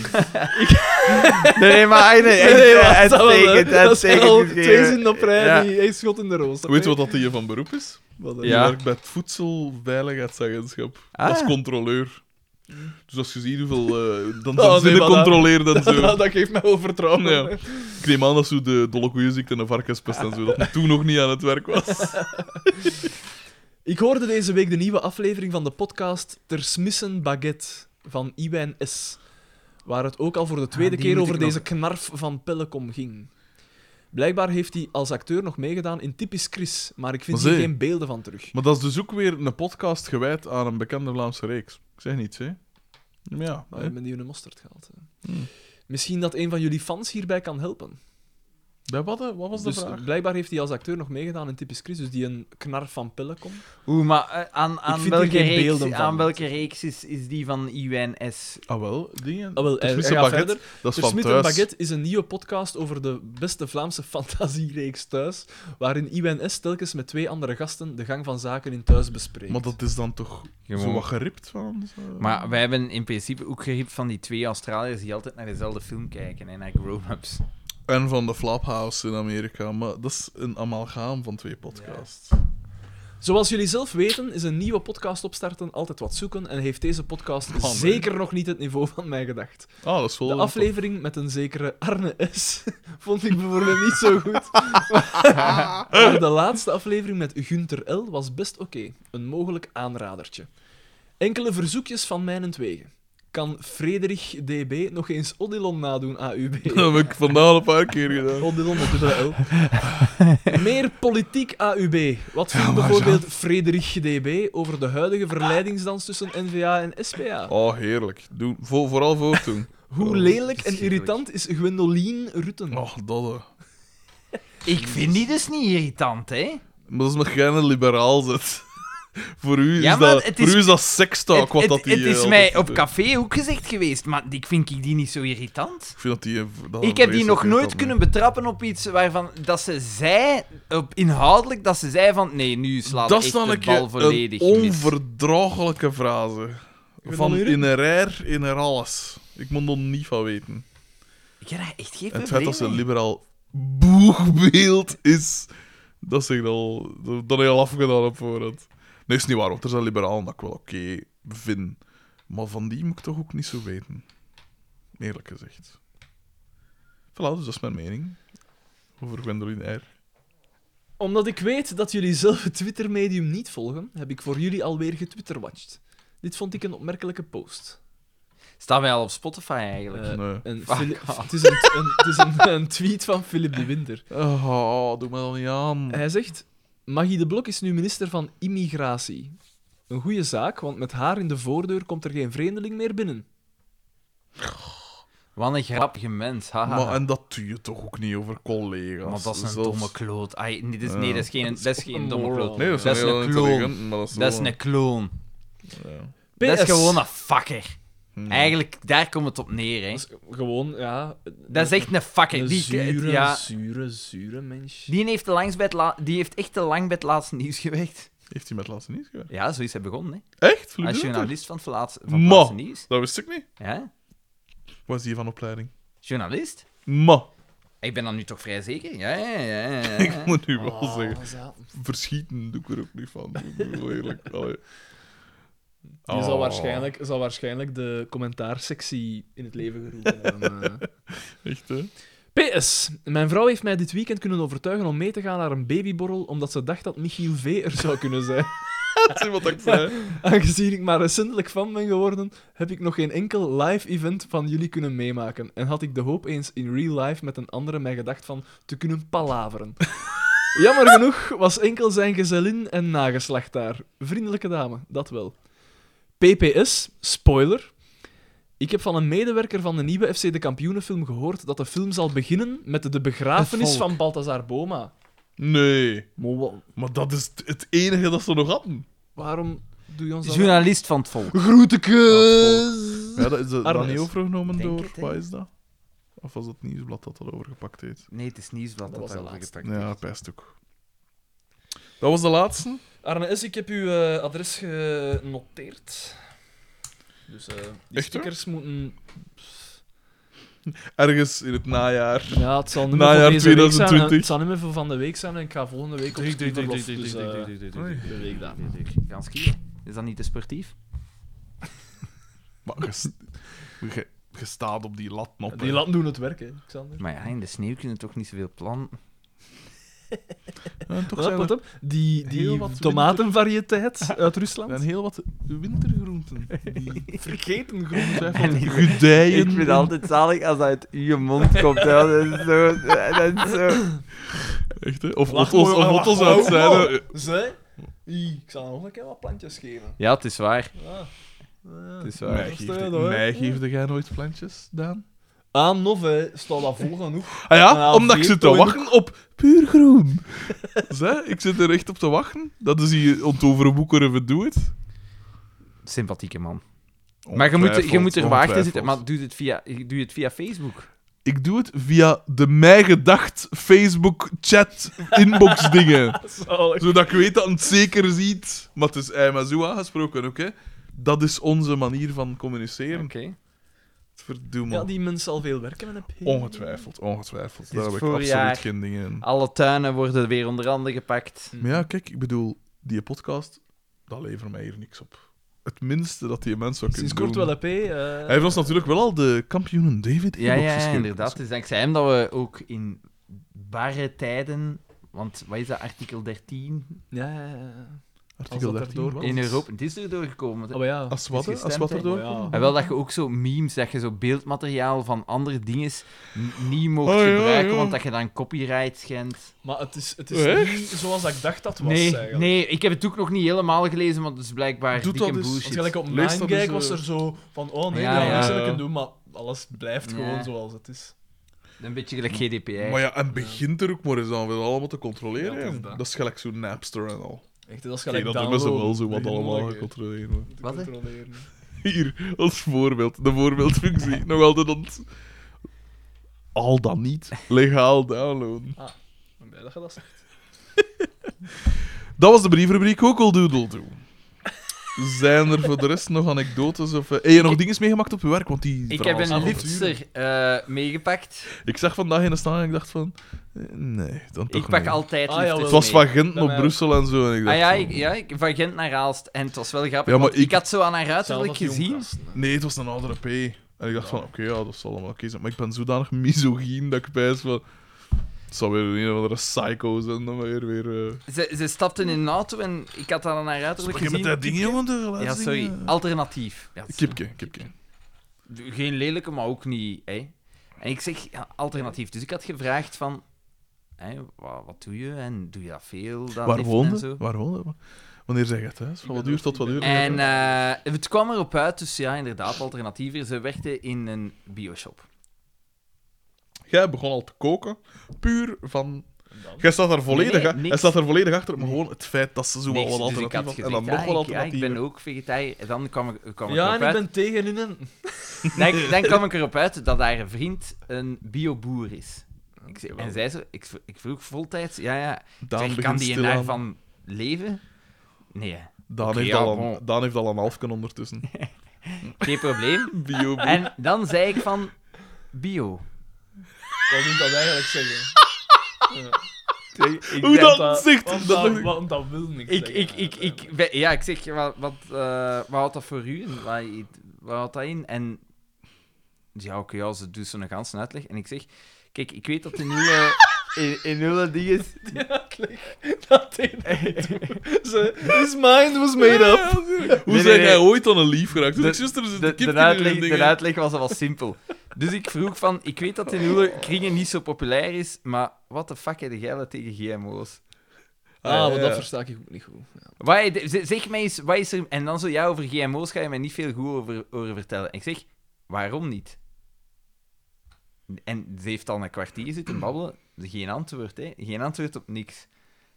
[SPEAKER 4] nee, nee, maar nee, nee,
[SPEAKER 3] Nee, nee, maar
[SPEAKER 4] echt, eh,
[SPEAKER 3] dat is wel,
[SPEAKER 4] uitstekend,
[SPEAKER 3] hè. Dat zijn
[SPEAKER 4] uitstekend
[SPEAKER 3] al
[SPEAKER 4] geschreven.
[SPEAKER 3] twee zinnen op rij,
[SPEAKER 4] Ja.
[SPEAKER 3] die één schot in de roos.
[SPEAKER 2] Weet je wat dat hij van beroep is?
[SPEAKER 3] Wat
[SPEAKER 2] Die
[SPEAKER 4] Ja.
[SPEAKER 2] werkt bij het voedselveiligheidsagentschap.
[SPEAKER 4] Ah.
[SPEAKER 2] Als controleur. Dus als je ziet hoeveel eh (laughs) dan zijn
[SPEAKER 3] Oh, nee,
[SPEAKER 2] zinnen
[SPEAKER 3] maar dat-
[SPEAKER 2] controleert en (laughs) zo.
[SPEAKER 3] (laughs) dat geeft mij wel vertrouwen.
[SPEAKER 2] Ja. Ik neem aan dat zo de dolokkoeieziekte en de varkenspest en zo, dat hij toen nog niet aan het werk was.
[SPEAKER 3] Ik hoorde deze week de nieuwe aflevering van de podcast Ter Smissen Baguette van Iwijn S. Waar het ook al voor de tweede
[SPEAKER 4] Ah, die
[SPEAKER 3] keer
[SPEAKER 4] moet
[SPEAKER 3] over
[SPEAKER 4] ik
[SPEAKER 3] deze
[SPEAKER 4] nog-
[SPEAKER 3] knarf van Pellekom ging. Blijkbaar heeft hij als acteur nog meegedaan in Typisch Chris, maar ik vind
[SPEAKER 2] Maar
[SPEAKER 3] hier
[SPEAKER 2] zie.
[SPEAKER 3] geen beelden van terug.
[SPEAKER 2] (laughs) Maar dat is dus ook weer een podcast gewijd aan een bekende Vlaamse reeks. Ik zeg niets, hè. Maar ja,
[SPEAKER 3] Maar we
[SPEAKER 2] hè.
[SPEAKER 3] hebben die een mosterd gehaald. hè.
[SPEAKER 2] Hmm.
[SPEAKER 3] Misschien dat een van jullie fans hierbij kan helpen.
[SPEAKER 2] Bij wat, hè? wat was de
[SPEAKER 3] Dus
[SPEAKER 2] vraag?
[SPEAKER 3] blijkbaar heeft hij als acteur nog meegedaan in Typisch Chris, dus die een knarf van Pellekom.
[SPEAKER 4] Oeh, maar eh, aan, aan,
[SPEAKER 3] vind hier
[SPEAKER 4] welke
[SPEAKER 3] geen
[SPEAKER 4] reeks,
[SPEAKER 3] beelden van.
[SPEAKER 4] aan welke reeks is, is die van Iwijn S?
[SPEAKER 2] Ah, wel, dingen.
[SPEAKER 3] Ah, wel,
[SPEAKER 2] Ter
[SPEAKER 3] hij- hij
[SPEAKER 2] Smissen
[SPEAKER 3] gaat
[SPEAKER 2] Baguette,
[SPEAKER 3] verder.
[SPEAKER 2] Dat is
[SPEAKER 3] Ter
[SPEAKER 2] van
[SPEAKER 3] Smit en
[SPEAKER 2] thuis.
[SPEAKER 3] Baguette is een nieuwe podcast over de beste Vlaamse (laughs) fantasiereeks thuis, waarin Iwan S. telkens met twee andere gasten de gang van zaken in thuis bespreekt.
[SPEAKER 2] Maar dat is dan toch zo wat geript van? zo?
[SPEAKER 4] Maar wij hebben in principe ook geript van die twee Australiërs die altijd naar dezelfde film kijken en naar grown-ups.
[SPEAKER 2] En van de Flaphouse in Amerika. Maar dat is een amalgaam van twee podcasts.
[SPEAKER 3] Zoals jullie zelf weten, is een nieuwe podcast opstarten altijd wat zoeken en heeft deze podcast
[SPEAKER 2] man.
[SPEAKER 3] zeker nog niet het niveau van mij gedacht.
[SPEAKER 2] Ah, dat is wel...
[SPEAKER 3] De
[SPEAKER 2] een
[SPEAKER 3] aflevering met een zekere Arne S. (laughs) vond ik bijvoorbeeld niet zo goed. maar de laatste aflevering met Gunther L. was best oké. Een mogelijk aanradertje. Enkele verzoekjes van mijnentwege. Kan Frederik DB nog eens Odilon nadoen, AUB?
[SPEAKER 2] (laughs) top. (laughs) Dat heb ik vandaag een paar keer gedaan.
[SPEAKER 4] (laughs)
[SPEAKER 3] Odilon met dubbele L. Meer politiek AUB. Wat vindt
[SPEAKER 2] maar
[SPEAKER 3] bijvoorbeeld Frederik DB over de huidige verleidingsdans tussen NVA en SPA?
[SPEAKER 2] Oh, heerlijk. Doe, vo- vooral voor toen.
[SPEAKER 4] (laughs)
[SPEAKER 3] Hoe lelijk en irritant is Gwendoline Rutten?
[SPEAKER 2] Oh, dat hè.
[SPEAKER 4] Ik vind die dus niet irritant, hè?
[SPEAKER 2] Maar dat is nog geen liberaal zit. (laughs) voor u is,
[SPEAKER 4] Ja, maar
[SPEAKER 2] dat,
[SPEAKER 4] het
[SPEAKER 2] voor
[SPEAKER 4] is-
[SPEAKER 2] u is dat sekstalk. Wat
[SPEAKER 4] het
[SPEAKER 2] dat
[SPEAKER 4] het-
[SPEAKER 2] die,
[SPEAKER 4] het
[SPEAKER 2] eh,
[SPEAKER 4] is
[SPEAKER 2] altijd
[SPEAKER 4] mij op
[SPEAKER 2] doet.
[SPEAKER 4] café ook gezegd geweest, maar ik vind ik die niet zo irritant.
[SPEAKER 2] Ik vind dat die... eh, dat
[SPEAKER 4] Ik heb die nog
[SPEAKER 2] vreselijk
[SPEAKER 4] nooit
[SPEAKER 2] irritant,
[SPEAKER 4] kunnen betrappen op iets waarvan dat ze zei, op, inhoudelijk, dat ze zei van nee, nu slaat
[SPEAKER 2] Dat
[SPEAKER 4] ik
[SPEAKER 2] is
[SPEAKER 4] de
[SPEAKER 2] dan een
[SPEAKER 4] bal
[SPEAKER 2] keer een
[SPEAKER 4] volledig mis.
[SPEAKER 2] onverdraaglijke frase.
[SPEAKER 3] ben
[SPEAKER 2] Van
[SPEAKER 3] al
[SPEAKER 2] in een raar, in een alles. Ik moet er niet van weten.
[SPEAKER 4] Ik heb daar echt geen
[SPEAKER 2] En het feit dat ze een
[SPEAKER 4] probleem mee.
[SPEAKER 2] liberaal boegbeeld is, dat zeg ik al, dat dat heb ik al afgedaan op voorhand. Nee, is niet waar, want er zijn liberalen dat ik wel oké vind. Maar van die moet ik toch ook niet zo weten. Eerlijk gezegd. Voilà, dus dat is mijn mening. Over Gwendoline R.
[SPEAKER 3] Omdat ik weet dat jullie zelf het Twitter-medium niet volgen, heb ik voor jullie alweer getwitterwatcht. Dit vond ik een opmerkelijke post.
[SPEAKER 4] Staan wij al op Spotify eigenlijk?
[SPEAKER 3] Eh,
[SPEAKER 2] Nee.
[SPEAKER 3] Een
[SPEAKER 4] Fuck
[SPEAKER 3] Philip-
[SPEAKER 4] off.
[SPEAKER 3] het is, een, een- het is een, een tweet van Philip de
[SPEAKER 4] (laughs)
[SPEAKER 3] Winter.
[SPEAKER 4] eh.
[SPEAKER 2] Oh, doe me dan niet aan.
[SPEAKER 3] Hij zegt: Magie de Blok is nu minister van Immigratie. Een goede zaak, want met haar in de voordeur komt er geen vreemdeling meer binnen.
[SPEAKER 4] Wat een grappige mens, haha.
[SPEAKER 2] Maar, en dat doe je toch ook niet over collega's.
[SPEAKER 4] ah. Maar dat is een
[SPEAKER 2] Zelfs-
[SPEAKER 4] domme kloot. Ai, nee, dat is,
[SPEAKER 2] Ja.
[SPEAKER 4] nee, dat is geen, dat is geen domme
[SPEAKER 3] moral.
[SPEAKER 4] kloot.
[SPEAKER 2] Nee, dat is,
[SPEAKER 4] Dat
[SPEAKER 2] een
[SPEAKER 4] is
[SPEAKER 2] heel
[SPEAKER 4] een kloon.
[SPEAKER 2] intelligent, maar dat is,
[SPEAKER 4] Dat is
[SPEAKER 2] wel-
[SPEAKER 4] een kloon.
[SPEAKER 2] ja.
[SPEAKER 4] Dat is
[SPEAKER 3] PS.
[SPEAKER 4] gewoon een fucker.
[SPEAKER 2] Hm.
[SPEAKER 4] Eigenlijk, daar komt het op neer, hè.
[SPEAKER 3] Dat is gewoon, ja.
[SPEAKER 4] Dat is echt een fucker.
[SPEAKER 3] een
[SPEAKER 4] Die,
[SPEAKER 3] zure,
[SPEAKER 4] ja,
[SPEAKER 3] zure, zure mens.
[SPEAKER 4] die, heeft te langs bij het la- die heeft echt te lang bij het laatste nieuws gewerkt.
[SPEAKER 2] Heeft hij met laatste nieuws gewerkt?
[SPEAKER 4] Ja, zo is hij begonnen, hè.
[SPEAKER 2] Echt?
[SPEAKER 4] Als
[SPEAKER 2] Flubberend?
[SPEAKER 4] journalist van het laatste, van het
[SPEAKER 2] Ma.
[SPEAKER 4] laatste nieuws.
[SPEAKER 2] Dat wist ik niet.
[SPEAKER 4] Ja,
[SPEAKER 2] Was die van opleiding?
[SPEAKER 4] journalist.
[SPEAKER 2] Ma.
[SPEAKER 4] Ik ben dan nu toch vrij zeker? Ja, ja, ja. ja, ja.
[SPEAKER 3] (laughs)
[SPEAKER 2] Ik moet nu wel
[SPEAKER 4] Oh,
[SPEAKER 3] Ah,
[SPEAKER 2] zeggen.
[SPEAKER 3] wat is dat?
[SPEAKER 2] Verschieten doe ik er ook niet van. Ik bedoel,
[SPEAKER 4] (laughs)
[SPEAKER 2] Eerlijk. Allee. Oh,
[SPEAKER 3] Die zal, waarschijnlijk, zal waarschijnlijk de commentaarsectie in het leven geroepen hebben. eh. (laughs)
[SPEAKER 2] Echt, hè?
[SPEAKER 3] PS. Mijn vrouw heeft mij dit weekend kunnen overtuigen om mee te gaan naar een babyborrel, omdat ze dacht dat Michiel V. er zou kunnen zijn.
[SPEAKER 2] Zie wat ik zei.
[SPEAKER 3] Aangezien ik maar recentelijk fan ben geworden, heb ik nog geen enkel live event van jullie kunnen meemaken. En had ik de hoop eens in real life met een andere mij gedacht van te kunnen palaveren. Jammer genoeg was enkel zijn gezellin en nageslacht daar. Vriendelijke dame, dat wel. PPS, spoiler. Ik heb van een medewerker van de nieuwe FC de Kampioenenfilm gehoord dat de film zal beginnen met de begrafenis
[SPEAKER 4] Het volk.
[SPEAKER 3] van Balthazar Boma.
[SPEAKER 2] Nee.
[SPEAKER 3] Maar wa-
[SPEAKER 2] Maar dat is t- het enige dat ze nog hadden.
[SPEAKER 3] waarom doe je ons dat aan?
[SPEAKER 4] Journalist van het volk.
[SPEAKER 2] Groetekes! Ja, dat is eh, dat
[SPEAKER 3] Armes.
[SPEAKER 2] dan niet overgenomen
[SPEAKER 4] Denk
[SPEAKER 2] door...
[SPEAKER 4] het, hè.
[SPEAKER 2] Wat is dat? Of was het nieuwsblad dat dat overgepakt heeft?
[SPEAKER 4] Nee, het is nieuwsblad
[SPEAKER 3] Dat
[SPEAKER 4] dat,
[SPEAKER 3] was de
[SPEAKER 4] daarover
[SPEAKER 3] laatste.
[SPEAKER 4] gepakt
[SPEAKER 2] Ja,
[SPEAKER 4] is.
[SPEAKER 2] pest ook. Dat was de laatste.
[SPEAKER 3] Arne S., ik heb uw eh, adres genoteerd. Dus eh, die
[SPEAKER 2] Echt,
[SPEAKER 3] stickers moeten...
[SPEAKER 2] Ergens in het najaar.
[SPEAKER 3] Ja, het zal niet meer
[SPEAKER 2] Najaar
[SPEAKER 3] voor deze week zijn.
[SPEAKER 2] 2020.
[SPEAKER 3] hè. Het zal niet meer voor van de week zijn en ik ga volgende week op studieverlof. Dus, eh, de week daarna.
[SPEAKER 4] Gaan skiën. Is dat niet te sportief?
[SPEAKER 2] Maar ges- (laughs) ge- ge staat op die lat nog.
[SPEAKER 3] Die
[SPEAKER 2] hè.
[SPEAKER 3] laten doen het werk, hè, Xander.
[SPEAKER 4] Maar ja, in de sneeuw kunnen toch niet zoveel planten.
[SPEAKER 2] Ja, en toch
[SPEAKER 3] Let
[SPEAKER 2] zijn
[SPEAKER 3] op,
[SPEAKER 2] er
[SPEAKER 3] let op. Die,
[SPEAKER 2] heel
[SPEAKER 3] die
[SPEAKER 2] wat
[SPEAKER 3] tomatenvariëteit uit
[SPEAKER 2] er zijn
[SPEAKER 3] Rusland.
[SPEAKER 2] heel wat
[SPEAKER 4] (laughs)
[SPEAKER 2] wintergroenten. Die
[SPEAKER 3] Vergeten groen. (laughs)
[SPEAKER 4] En ik-
[SPEAKER 2] gedijen.
[SPEAKER 4] Ik vind het altijd zalig als dat uit uw mond komt. hè. Dat is zo... Dat is zo...
[SPEAKER 2] Echt, hè? Of
[SPEAKER 3] Wacht,
[SPEAKER 2] otters,
[SPEAKER 3] mooi,
[SPEAKER 2] of
[SPEAKER 3] wacht,
[SPEAKER 2] otters
[SPEAKER 3] wacht,
[SPEAKER 2] uit
[SPEAKER 3] wacht,
[SPEAKER 2] zijn.
[SPEAKER 3] wacht. Zij? Ie, Ik zal nog een keer wat plantjes geven.
[SPEAKER 4] Ja, het is waar.
[SPEAKER 3] Ja.
[SPEAKER 4] Het is waar.
[SPEAKER 2] Mij
[SPEAKER 3] dat is
[SPEAKER 2] geeft-
[SPEAKER 3] het, hoor.
[SPEAKER 2] Mij geefde jij nooit plantjes, Daan?
[SPEAKER 3] Ah, nog, hè. Staat dat vol genoeg?
[SPEAKER 2] Ah ja,
[SPEAKER 3] Nou,
[SPEAKER 2] omdat ik
[SPEAKER 3] vier
[SPEAKER 2] zit te
[SPEAKER 3] ton.
[SPEAKER 2] wachten op puur groen. (laughs) Zij, ik zit er echt op te wachten. Dat is hier ontoverboekeren, we doen het.
[SPEAKER 4] Sympathieke man. Maar je moet, je moet er
[SPEAKER 2] Ongetwijfeld,
[SPEAKER 4] waard in zitten. Maar
[SPEAKER 2] ongetwijfeld.
[SPEAKER 4] doe het via, doe het via Facebook.
[SPEAKER 2] Ik doe het via de mij gedacht Facebook chat inbox dingen.
[SPEAKER 3] Zalig.
[SPEAKER 2] Zodat ik weet dat het zeker ziet. Maar het is eigenlijk maar zo aangesproken, oké? Dat is onze manier van communiceren. Verdomme.
[SPEAKER 3] Ja, die mens zal veel werken met een P.
[SPEAKER 2] Ongetwijfeld, ongetwijfeld.
[SPEAKER 4] Het is
[SPEAKER 2] Daar heb ik absoluut
[SPEAKER 4] voorjaar.
[SPEAKER 2] geen dingen in.
[SPEAKER 4] Alle tuinen worden weer onder handen gepakt.
[SPEAKER 3] Hm.
[SPEAKER 2] Maar ja, kijk, ik bedoel, die podcast, dat levert mij hier niks op. Het minste dat die mensen zou kunnen
[SPEAKER 3] Sinds kort
[SPEAKER 2] doen.
[SPEAKER 3] wel een P. eh,
[SPEAKER 2] Hij heeft ons natuurlijk wel al de kampioenen David
[SPEAKER 4] Ja,
[SPEAKER 2] inbox
[SPEAKER 4] ja, ja,
[SPEAKER 2] geschreven.
[SPEAKER 4] inderdaad. Het is dankzij hem dat we ook in barre tijden... Want wat is dat, artikel 13?
[SPEAKER 3] Ja, ja, ja.
[SPEAKER 2] Artikel
[SPEAKER 3] Als dat
[SPEAKER 2] 13.
[SPEAKER 3] erdoor
[SPEAKER 2] wat?
[SPEAKER 4] In Europa. Het is er doorgekomen.
[SPEAKER 3] Oh ja.
[SPEAKER 2] Als wat,
[SPEAKER 4] is
[SPEAKER 2] hè? als wat
[SPEAKER 4] gestemd, hè?
[SPEAKER 2] erdoor?
[SPEAKER 3] Ja.
[SPEAKER 4] En wel dat je ook zo memes, dat je zo beeldmateriaal van andere dingen n- niet mocht
[SPEAKER 2] Oh, ja,
[SPEAKER 4] gebruiken,
[SPEAKER 2] ja.
[SPEAKER 4] want dat je dan copyright schendt.
[SPEAKER 3] Maar het is, het
[SPEAKER 2] Echt?
[SPEAKER 3] is niet zoals dat ik dacht dat was.
[SPEAKER 4] Nee,
[SPEAKER 3] eigenlijk.
[SPEAKER 4] nee, ik heb het ook nog niet helemaal gelezen, want het is blijkbaar
[SPEAKER 2] Doet
[SPEAKER 4] dikke
[SPEAKER 2] dat eens.
[SPEAKER 3] Want
[SPEAKER 4] bullshit.
[SPEAKER 3] gelijk op
[SPEAKER 2] Lees dat
[SPEAKER 3] Nine Gag
[SPEAKER 2] eens,
[SPEAKER 3] was
[SPEAKER 2] eh.
[SPEAKER 3] er zo van: oh nee,
[SPEAKER 4] Ja,
[SPEAKER 3] ja,
[SPEAKER 4] ja,
[SPEAKER 3] niks
[SPEAKER 2] ja.
[SPEAKER 3] dat ik kan doen, maar alles blijft
[SPEAKER 4] Nee.
[SPEAKER 3] gewoon zoals het is.
[SPEAKER 4] Een beetje gelijk GDPR.
[SPEAKER 2] Maar ja, en begint er ook maar eens aan weer allemaal te controleren.
[SPEAKER 3] Ja, het is
[SPEAKER 2] hè.
[SPEAKER 3] dat.
[SPEAKER 2] dat is gelijk zo'n Napster en al.
[SPEAKER 3] Echt, dat is
[SPEAKER 2] Kijk,
[SPEAKER 3] gelijk
[SPEAKER 2] dat
[SPEAKER 3] downloaden.
[SPEAKER 2] hebben ze wel zo wat
[SPEAKER 3] Begin
[SPEAKER 2] allemaal
[SPEAKER 3] nog een keer
[SPEAKER 2] gecontroleerd. worden.
[SPEAKER 3] te
[SPEAKER 4] Wat, hè?
[SPEAKER 3] controleren.
[SPEAKER 2] (laughs) Hier, als voorbeeld. De
[SPEAKER 4] (laughs)
[SPEAKER 2] voorbeeldfunctie. Nog altijd ont... Al dan niet legaal downloaden.
[SPEAKER 3] Ik ben blij dat je dat zegt.
[SPEAKER 2] Dat was de brievenrubriek Kokeldoedeldoe. Zijn er voor de rest nog anekdotes? Of, eh, Heb je nog dingen meegemaakt op je werk? Want die
[SPEAKER 4] Ik heb
[SPEAKER 2] verhalen
[SPEAKER 4] een
[SPEAKER 2] zijn
[SPEAKER 4] liftster eh, meegepakt.
[SPEAKER 2] wel- Ik zag vandaag in de staan en ik dacht van... eh, Nee, dan toch
[SPEAKER 4] ik pak
[SPEAKER 2] niet.
[SPEAKER 4] altijd
[SPEAKER 3] Ah, ja,
[SPEAKER 2] Het
[SPEAKER 4] lifters mee.
[SPEAKER 2] was van Gent
[SPEAKER 3] Bij
[SPEAKER 2] naar
[SPEAKER 3] mij
[SPEAKER 2] Brussel en zo. En ik
[SPEAKER 4] Ah
[SPEAKER 2] dacht
[SPEAKER 4] ja,
[SPEAKER 2] van-
[SPEAKER 4] ik, ja ik, van Gent naar Aalst. En het was wel grappig,
[SPEAKER 2] Ja, maar
[SPEAKER 4] want ik...
[SPEAKER 2] ik-
[SPEAKER 4] had zo aan haar
[SPEAKER 3] Zelfs
[SPEAKER 4] uiterlijk
[SPEAKER 3] als die
[SPEAKER 4] gezien.
[SPEAKER 3] omkast, hè.
[SPEAKER 2] Nee, het was een oudere P. En ik dacht van, oké, ja, dat zal allemaal oké zijn. Maar ik ben zodanig misogyn dat ik bijs van... Het zal weer een of andere psycho zijn, dan weer weer... eh.
[SPEAKER 4] Ze, ze stapte in een auto en ik had haar aan haar uiterlijk
[SPEAKER 2] Begin met dat
[SPEAKER 4] gezien.
[SPEAKER 2] ding, jongen, de
[SPEAKER 4] Ja, sorry.
[SPEAKER 2] geluidsdingen.
[SPEAKER 4] Alternatief. Ja, het is-
[SPEAKER 2] Kipke, kipke.
[SPEAKER 4] Geen lelijke, maar ook niet. Hè? En ik zeg ja, alternatief. Dus ik had gevraagd van. Hè, wat, wat doe je en doe je dat veel? Dat
[SPEAKER 2] Waar
[SPEAKER 4] liften En,
[SPEAKER 2] woonde?
[SPEAKER 4] zo.
[SPEAKER 2] Waar woonde? Wanneer zeg je het, hè? Van wat duurt tot wat duurt?
[SPEAKER 4] en eh, het kwam erop uit, dus ja, inderdaad, alternatiever. Ze werkte in een bioshop.
[SPEAKER 2] Jij begon al te koken, puur van...
[SPEAKER 3] En dan?
[SPEAKER 2] Jij staat daar volledig,
[SPEAKER 4] Nee,
[SPEAKER 2] hè?
[SPEAKER 4] nee, niks.
[SPEAKER 2] Hij staat daar volledig achter, maar gewoon het feit dat ze zo wel
[SPEAKER 4] Niks,
[SPEAKER 2] wat
[SPEAKER 4] dus ik
[SPEAKER 2] alternatief
[SPEAKER 4] had
[SPEAKER 2] had.
[SPEAKER 4] gezegd,
[SPEAKER 2] En dan nog
[SPEAKER 4] ah,
[SPEAKER 2] wel
[SPEAKER 4] ik, ja, ik
[SPEAKER 2] alternatief.
[SPEAKER 4] ben ook vegetariër. En dan kwam ik, kwam ik
[SPEAKER 3] Ja,
[SPEAKER 4] erop
[SPEAKER 3] en ik
[SPEAKER 4] uit.
[SPEAKER 3] ben tegen in een.
[SPEAKER 4] Dan, dan kwam ik erop uit dat haar vriend een bioboer is. Ik zei- en zij zo, ik, v- ik vroeg voltijds, ja, ja. Ik zeg, kan die daarvan leven? Nee, hè.
[SPEAKER 2] Daan,
[SPEAKER 4] Oké,
[SPEAKER 2] heeft
[SPEAKER 4] ja,
[SPEAKER 2] al
[SPEAKER 4] bon.
[SPEAKER 2] een, Daan heeft al een halfken
[SPEAKER 4] (laughs)
[SPEAKER 2] ondertussen.
[SPEAKER 4] geen
[SPEAKER 2] (laughs)
[SPEAKER 4] probleem.
[SPEAKER 2] Bio.
[SPEAKER 4] En dan zei ik van bio.
[SPEAKER 3] Wat moet dat eigenlijk zeggen? (laughs)
[SPEAKER 4] Ik,
[SPEAKER 2] Hoe
[SPEAKER 4] ben-
[SPEAKER 2] dan?
[SPEAKER 3] dat-
[SPEAKER 2] Zegt
[SPEAKER 3] Want
[SPEAKER 2] dat-
[SPEAKER 3] dat, want dat wil niks
[SPEAKER 4] Ik,
[SPEAKER 3] zeggen,
[SPEAKER 4] ik, ik,
[SPEAKER 2] eh,
[SPEAKER 4] ik, ben- ja, ik zeg, wat, wat, eh, wat houdt dat voor u in? Wat, wat houdt dat in? En ja, oké, ja, ze doet zo'n ganse uitleg. En ik zeg, kijk, ik weet dat de nieuwe... in, in
[SPEAKER 2] (laughs)
[SPEAKER 4] hele dingen.
[SPEAKER 1] Dat deed hij (laughs) toen. Ze- His mind was made up.
[SPEAKER 2] Hoe
[SPEAKER 4] nee,
[SPEAKER 2] zijn
[SPEAKER 4] nee.
[SPEAKER 2] jij ooit aan een lief geraakt?
[SPEAKER 4] De-
[SPEAKER 2] De, zuster zit
[SPEAKER 4] De,
[SPEAKER 2] een
[SPEAKER 4] de,
[SPEAKER 2] kipje
[SPEAKER 4] uitleg,
[SPEAKER 2] in
[SPEAKER 4] de uitleg was al wat simpel. Dus ik vroeg van, ik weet dat in uw kringen niet zo populair is, maar wat de fuck heb jij wel tegen GMO's?
[SPEAKER 1] Ah,
[SPEAKER 2] ja,
[SPEAKER 1] maar
[SPEAKER 2] ja.
[SPEAKER 1] dat versta ik ook niet goed.
[SPEAKER 4] Wat, heb- z- zeg mij eens, wat is er... En dan zo, ja, over GMO's ga je mij niet veel goed over, over vertellen. En ik zeg, waarom niet? En ze heeft al een kwartier zitten babbelen, geen antwoord, hè. Geen antwoord op niks.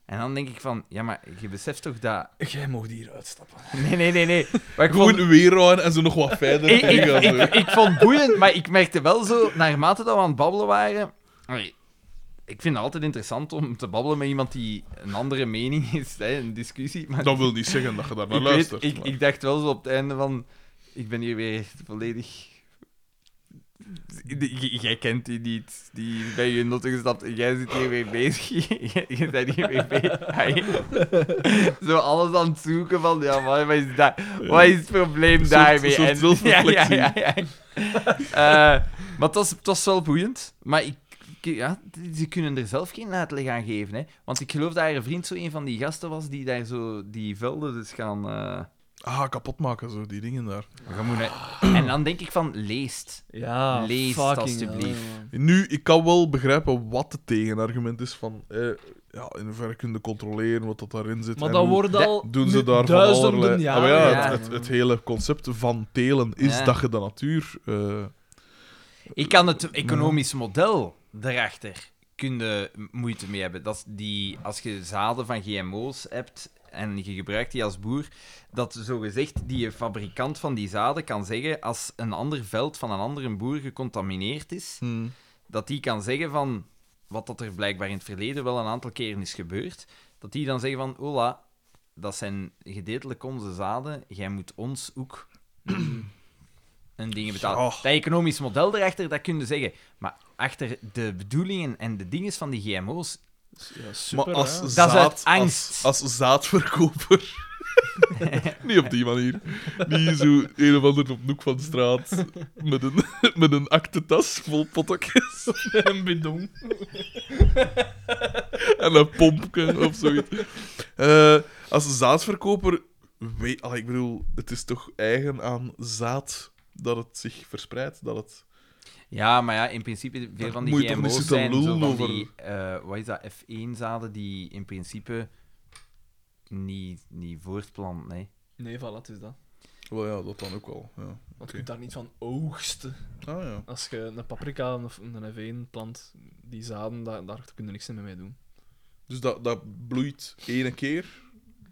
[SPEAKER 4] En dan denk ik van, ja, maar je beseft toch dat...
[SPEAKER 1] Jij mag hier uitstappen.
[SPEAKER 4] Nee, nee, nee, nee. Maar ik vond,
[SPEAKER 2] Gewoon weer houden en zo nog wat verder. (laughs)
[SPEAKER 4] ik, ik,
[SPEAKER 2] gaan, zo.
[SPEAKER 4] ik, ik vond het boeiend, maar ik merkte wel zo, naarmate dat we aan het babbelen waren... Allee, ik vind het altijd interessant om te babbelen met iemand die een andere mening is, hè, een discussie. Maar
[SPEAKER 2] Dat wil niet zeggen dat je daar naar
[SPEAKER 4] ik, weet-
[SPEAKER 2] luistert.
[SPEAKER 4] ik,
[SPEAKER 2] maar-
[SPEAKER 4] ik dacht wel zo op het einde van... Ik ben hier weer volledig... De- j- Jij kent die niet. Die is bij je notte gestapt. en Jij zit hier weer bezig. (laughs) Jij- Je bent hier weer bezig. Ai. Zo alles aan het zoeken van... Ja, maar wat is, dat? wat is het probleem
[SPEAKER 2] Een soort-
[SPEAKER 4] daarmee?
[SPEAKER 2] een soort zelfreflectie.
[SPEAKER 4] (laughs) ja. Eh, maar het was, het was wel boeiend. Maar ik, ik- ja, ze kunnen er zelf geen uitleg aan geven. Hè? Want ik geloof dat haar vriend zo een van die gasten was die daar zo die velden dus gaan... eh,
[SPEAKER 2] Ah, kapot maken, zo, die dingen daar.
[SPEAKER 4] gaan moeten- En dan denk ik van, leest.
[SPEAKER 1] Ja,
[SPEAKER 4] Lees het
[SPEAKER 1] fucking
[SPEAKER 4] alstublieft.
[SPEAKER 1] hell, man.
[SPEAKER 2] Nu, ik kan wel begrijpen wat het tegenargument is van... Eh, ja, in hoeverre kun je controleren wat dat daarin zit.
[SPEAKER 1] Maar
[SPEAKER 2] en
[SPEAKER 1] dat
[SPEAKER 2] hoe
[SPEAKER 1] wordt
[SPEAKER 4] dat
[SPEAKER 1] al
[SPEAKER 2] Doen
[SPEAKER 1] nu
[SPEAKER 2] ze daar van
[SPEAKER 1] duizenden
[SPEAKER 2] allerlei... Ah,
[SPEAKER 1] jaren.
[SPEAKER 2] maar ja,
[SPEAKER 4] ja.
[SPEAKER 2] Het, het, het hele concept van telen is
[SPEAKER 4] Ja.
[SPEAKER 2] dat je de natuur... eh,
[SPEAKER 4] Ik kan het economisch model daarachter kunnen moeite mee hebben. Dat is die, als je zaden van GMO's hebt en je gebruikt die als boer, dat zogezegd die fabrikant van die zaden kan zeggen als een ander veld van een andere boer gecontamineerd is,
[SPEAKER 2] hmm.
[SPEAKER 4] dat die kan zeggen van wat dat er blijkbaar in het verleden wel een aantal keren is gebeurd, dat die dan zeggen van, hola, dat zijn gedeeltelijk onze zaden, jij moet ons
[SPEAKER 2] (clears throat)
[SPEAKER 4] ook een dingen betalen.
[SPEAKER 2] Ja.
[SPEAKER 4] Dat economisch model erachter, dat kun je zeggen. Maar achter de bedoelingen en de dingen van die GMO's,
[SPEAKER 1] Ja,
[SPEAKER 2] Maar
[SPEAKER 1] super,
[SPEAKER 2] als
[SPEAKER 1] hè.
[SPEAKER 4] Dat
[SPEAKER 2] zaad...
[SPEAKER 4] is uit angst.
[SPEAKER 2] Als, als
[SPEAKER 4] (laughs)
[SPEAKER 2] zaadverkoper... niet op die manier. Niet zo een of ander op de hoek van de straat met een, (laughs) met een aktentas vol
[SPEAKER 1] (laughs)
[SPEAKER 2] pottekjes.
[SPEAKER 1] een bidon.
[SPEAKER 2] (laughs) en een pompje of zoiets. Eh, als zaadverkoper, weet, allee, ik bedoel, het is toch eigen aan zaad dat het zich verspreidt, dat het...
[SPEAKER 4] ja, maar ja, in principe, veel
[SPEAKER 2] Daar
[SPEAKER 4] van die
[SPEAKER 2] moet je toch niet
[SPEAKER 4] GMO's
[SPEAKER 2] zitten
[SPEAKER 4] zijn zo
[SPEAKER 2] lullen
[SPEAKER 4] van
[SPEAKER 2] over.
[SPEAKER 4] die, eh, wat is dat, F1-zaden die in principe niet, niet voortplant, nee.
[SPEAKER 1] Nee, voilà, het is dat.
[SPEAKER 2] Wel ja, dat dan ook wel. Ja.
[SPEAKER 1] Want
[SPEAKER 2] Oké.
[SPEAKER 1] je kunt daar niet van oogsten.
[SPEAKER 2] Ah ja.
[SPEAKER 1] Als je een paprika of een F1 plant, die zaden, daar, daar kun je niks mee doen.
[SPEAKER 2] Dus dat, dat bloeit één keer.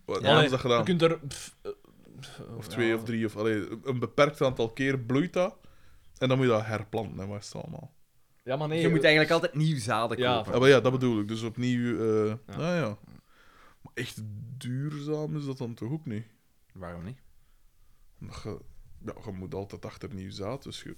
[SPEAKER 2] Wat
[SPEAKER 4] Ja.
[SPEAKER 2] ja, is dat
[SPEAKER 1] Je
[SPEAKER 2] gedaan?
[SPEAKER 1] kunt er... pff, eh, pff,
[SPEAKER 2] Of
[SPEAKER 1] ja,
[SPEAKER 2] twee of drie, of allee, een beperkt aantal keer bloeit dat. En dan moet je dat herplanten, hè, wat is het allemaal.
[SPEAKER 1] Ja, maar nee.
[SPEAKER 4] Je moet
[SPEAKER 1] eh,
[SPEAKER 4] eigenlijk altijd nieuw zaden
[SPEAKER 1] Ja,
[SPEAKER 4] kopen.
[SPEAKER 2] Ja, maar ja, dat bedoel ik. Dus opnieuw... eh
[SPEAKER 1] Ja.
[SPEAKER 2] Ah ja. Maar echt duurzaam is dat dan toch ook niet?
[SPEAKER 4] Waarom niet?
[SPEAKER 2] Omdat je, ja, je moet altijd achter nieuw zaad, dus je,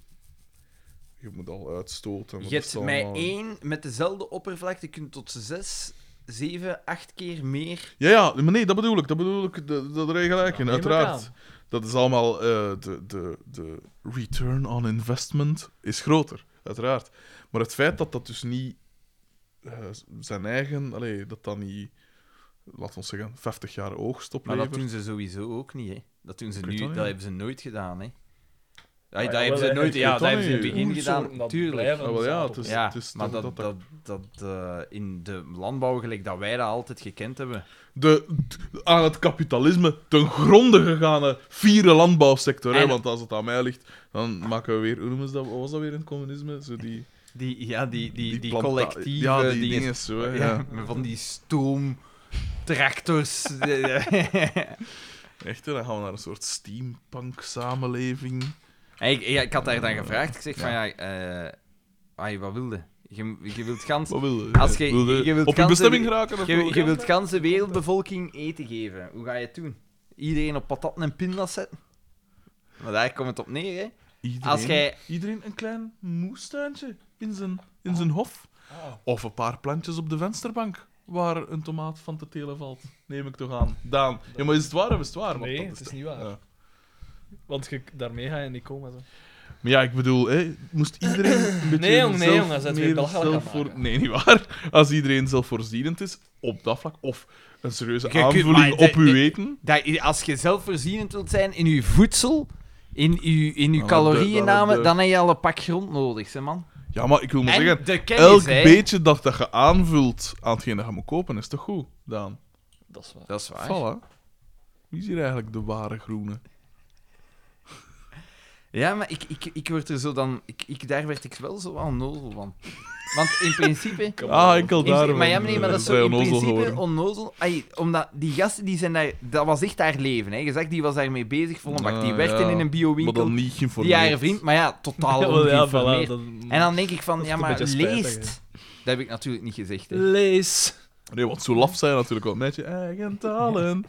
[SPEAKER 2] je moet al uitstoten. want
[SPEAKER 4] Je
[SPEAKER 2] dat is
[SPEAKER 4] hebt
[SPEAKER 2] allemaal-
[SPEAKER 4] mij één met dezelfde oppervlakte kunt tot zes, zeven, acht keer meer.
[SPEAKER 2] Ja, ja, maar nee, dat bedoel ik. Dat bedoel ik, dat, dat er gelijk in,
[SPEAKER 1] neem ik
[SPEAKER 2] uiteraard.
[SPEAKER 1] aan.
[SPEAKER 2] Dat is allemaal... eh, de, de, de return on investment is groter, uiteraard. Maar het feit dat dat dus niet eh, zijn eigen... Allee, dat dat niet, laten we zeggen, 50 jaar oogst
[SPEAKER 4] Maar dat
[SPEAKER 2] oplevert...
[SPEAKER 4] doen ze sowieso ook niet, hè? Dat doen ze
[SPEAKER 2] Ik
[SPEAKER 4] nu,
[SPEAKER 2] weet
[SPEAKER 4] dat
[SPEAKER 2] dat niet.
[SPEAKER 4] hebben ze nooit gedaan, hè? Ja,
[SPEAKER 1] ja,
[SPEAKER 4] dat hebben
[SPEAKER 1] wel,
[SPEAKER 4] ze
[SPEAKER 1] hè,
[SPEAKER 4] nooit,
[SPEAKER 1] ik
[SPEAKER 4] ja,
[SPEAKER 2] weet dat
[SPEAKER 4] dat hebben ze in het
[SPEAKER 2] niet.
[SPEAKER 4] begin
[SPEAKER 1] oersoorten,
[SPEAKER 4] gedaan,
[SPEAKER 1] eh, dat
[SPEAKER 4] tuurlijk.
[SPEAKER 1] blijven
[SPEAKER 2] Ah, wel, ja,
[SPEAKER 1] zaad
[SPEAKER 2] het
[SPEAKER 1] op-
[SPEAKER 2] is-
[SPEAKER 4] Ja, maar
[SPEAKER 2] dan
[SPEAKER 4] dat,
[SPEAKER 2] dat-
[SPEAKER 4] dat, dat eh, in de landbouw, gelijk dat wij dat altijd gekend hebben.
[SPEAKER 2] de, t- aan het kapitalisme ten gronde gegaane vierde landbouwsector. Hè?
[SPEAKER 4] En-
[SPEAKER 2] Want als het aan mij ligt, dan maken we weer... Hoe noemen ze dat? Wat was dat weer in het communisme? Zo die,
[SPEAKER 4] Die, ja, die, die, die,
[SPEAKER 2] planta-
[SPEAKER 4] collectieve
[SPEAKER 2] Ja, die
[SPEAKER 4] dingen.
[SPEAKER 2] dingen zo, hè,
[SPEAKER 4] Ja,
[SPEAKER 2] ja.
[SPEAKER 4] maar van die stoomtractors. (laughs) eh,
[SPEAKER 2] Echt, hè, dan gaan we naar een soort steampunk-samenleving.
[SPEAKER 4] En ik, ja, ik had daar dan gevraagd. Ik zeg van Oh. ja, eh, ai, wat wilde? Je, je wilt gans,
[SPEAKER 2] Wat wil je?
[SPEAKER 4] Als je-
[SPEAKER 2] Wil
[SPEAKER 4] je wilt
[SPEAKER 2] op je
[SPEAKER 4] kansen-
[SPEAKER 2] bestemming geraken? Of wil
[SPEAKER 4] je, je wilt gans de wereldbevolking eten geven. Hoe ga je het doen? Iedereen op patatten en pindas zetten? Maar daar komt het op neer, hè?
[SPEAKER 2] iedereen,
[SPEAKER 4] Als jij,
[SPEAKER 2] iedereen een klein moestuintje in zijn, in zijn hof. Of een paar plantjes op de vensterbank. Waar een tomaat van te telen valt, neem ik toch aan. Daan, ja, maar is het waar of is het waar? Want
[SPEAKER 1] Nee,
[SPEAKER 2] dat
[SPEAKER 1] het is
[SPEAKER 2] toch-
[SPEAKER 1] niet waar.
[SPEAKER 2] Ja.
[SPEAKER 1] Want je, daarmee ga je niet komen. Zo.
[SPEAKER 2] Maar ja, ik bedoel, hè, moest
[SPEAKER 4] (laughs)
[SPEAKER 2] iedereen een beetje
[SPEAKER 6] Nee, jong, nee,
[SPEAKER 2] zelf
[SPEAKER 6] jong, dat is het weer
[SPEAKER 2] meer
[SPEAKER 6] belachelijk
[SPEAKER 2] zelf
[SPEAKER 6] aan het maken.
[SPEAKER 2] Nee, niet waar. Als iedereen zelfvoorzienend is, op dat vlak, of een serieuze
[SPEAKER 4] Je kunt- maar
[SPEAKER 2] aanvulling
[SPEAKER 4] de-
[SPEAKER 2] op uw
[SPEAKER 4] de-
[SPEAKER 2] eten...
[SPEAKER 4] Dat, je- als je zelfvoorzienend wilt zijn in je voedsel, in je, in je
[SPEAKER 2] Dan heb je- dan heb
[SPEAKER 4] calorieënname,
[SPEAKER 2] je-
[SPEAKER 4] dan heb je al een pak grond nodig, hè, man.
[SPEAKER 2] Ja, maar ik wil maar
[SPEAKER 4] En
[SPEAKER 2] zeggen,
[SPEAKER 4] de kennis,
[SPEAKER 2] elk
[SPEAKER 4] hè.
[SPEAKER 2] beetje dat, dat je aanvult aan hetgeen dat je moet kopen, is toch goed, Daan?
[SPEAKER 6] Dat is waar.
[SPEAKER 4] Dat is waar.
[SPEAKER 2] Voilà. Wie is hier eigenlijk de ware groene?
[SPEAKER 4] Ja, maar ik, ik, ik word er zo dan... Ik, ik, daar werd ik wel zo wel nozel van. Want in principe...
[SPEAKER 2] Ah, enkel
[SPEAKER 4] In-
[SPEAKER 2] daarom.
[SPEAKER 4] maar ja, meneer, maar dat is
[SPEAKER 2] eh,
[SPEAKER 4] zo in
[SPEAKER 2] zijn onnozel
[SPEAKER 4] principe
[SPEAKER 2] geworden.
[SPEAKER 4] onnozel. Ai, omdat die gasten, die zijn daar, dat was echt haar leven. Hè. Je zag, die was daarmee bezig, volle bak. Die
[SPEAKER 2] Ah,
[SPEAKER 4] werkte
[SPEAKER 2] ja.
[SPEAKER 4] in een
[SPEAKER 2] Maar
[SPEAKER 4] biowinkel,
[SPEAKER 2] dan niet
[SPEAKER 4] die
[SPEAKER 2] geïnformeerd.
[SPEAKER 4] haar vriend, maar ja, totaal
[SPEAKER 3] wel, (laughs) ja, voilà,
[SPEAKER 4] ongeïnformeerd.
[SPEAKER 3] dan-
[SPEAKER 4] En dan denk ik van,
[SPEAKER 3] Dat
[SPEAKER 4] ja,
[SPEAKER 3] is
[SPEAKER 4] maar
[SPEAKER 3] een beetje spijtig,
[SPEAKER 4] leest. Dat heb ik natuurlijk niet gezegd. Hè.
[SPEAKER 3] Lees.
[SPEAKER 2] Nee, want zo laf zijn natuurlijk wel met je
[SPEAKER 4] (laughs)
[SPEAKER 2] eigen talen.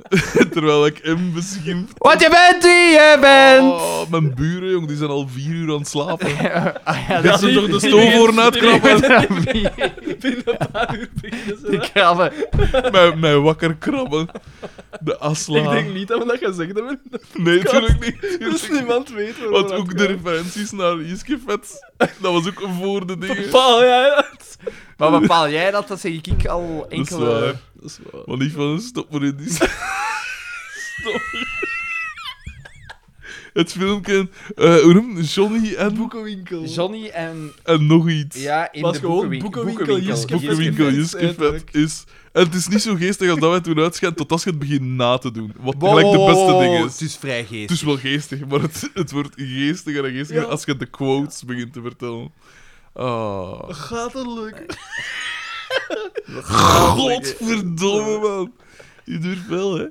[SPEAKER 2] (laughs) Terwijl ik hem beschimp.
[SPEAKER 4] Wat je bent, wie je
[SPEAKER 2] (laughs)
[SPEAKER 4] bent!
[SPEAKER 2] Oh, mijn buren, jong, die zijn al vier uur aan het slapen.
[SPEAKER 4] (laughs) Ah, ja,
[SPEAKER 2] Dit
[SPEAKER 4] dat
[SPEAKER 2] ze
[SPEAKER 4] is
[SPEAKER 2] toch de
[SPEAKER 4] (laughs)
[SPEAKER 2] stoofhoorn (laughs) uitkrabben?
[SPEAKER 4] de krabben.
[SPEAKER 2] Mij, mij wakker krabben. De
[SPEAKER 3] Ik
[SPEAKER 2] asla.
[SPEAKER 3] denk niet dat we dat gezegd hebben.
[SPEAKER 2] Nee, natuurlijk niet.
[SPEAKER 3] Dus niemand weet waar
[SPEAKER 2] Want
[SPEAKER 3] we
[SPEAKER 2] ook de referenties naar Jiske Vets, dat was ook voor de dingen.
[SPEAKER 3] Paal, ja, ja.
[SPEAKER 4] Maar bepaal jij dat? Dat zeg ik, ik al
[SPEAKER 2] Dat is
[SPEAKER 4] enkele...
[SPEAKER 2] waar.
[SPEAKER 3] Dat is waar.
[SPEAKER 2] Maar niet van een stop maar in die Stop. Het filmpje, eh, hoe noem je het? Johnny en,
[SPEAKER 3] Boekenwinkel.
[SPEAKER 4] Johnny en...
[SPEAKER 2] en nog iets.
[SPEAKER 4] Ja, in
[SPEAKER 3] Was
[SPEAKER 4] de
[SPEAKER 3] gewoon
[SPEAKER 4] boekenwinkel.
[SPEAKER 3] boekenwinkel, Jiske
[SPEAKER 4] Jiske
[SPEAKER 2] Boekenwinkel,
[SPEAKER 3] Vets,
[SPEAKER 2] Jiske Vet
[SPEAKER 3] uiterlijk.
[SPEAKER 2] is... En het is niet zo geestig als dat wij toen uitschijnt, tot als je het begint na te doen. Wat gelijk de beste ding is.
[SPEAKER 4] Oh, Het is vrij
[SPEAKER 2] Het is wel geestig, maar het, het wordt geestiger en geestiger als je de quotes begint te vertellen. Ah.
[SPEAKER 3] Gaat dat lukken?
[SPEAKER 2] Godverdomme, man. Je durft wel, hè?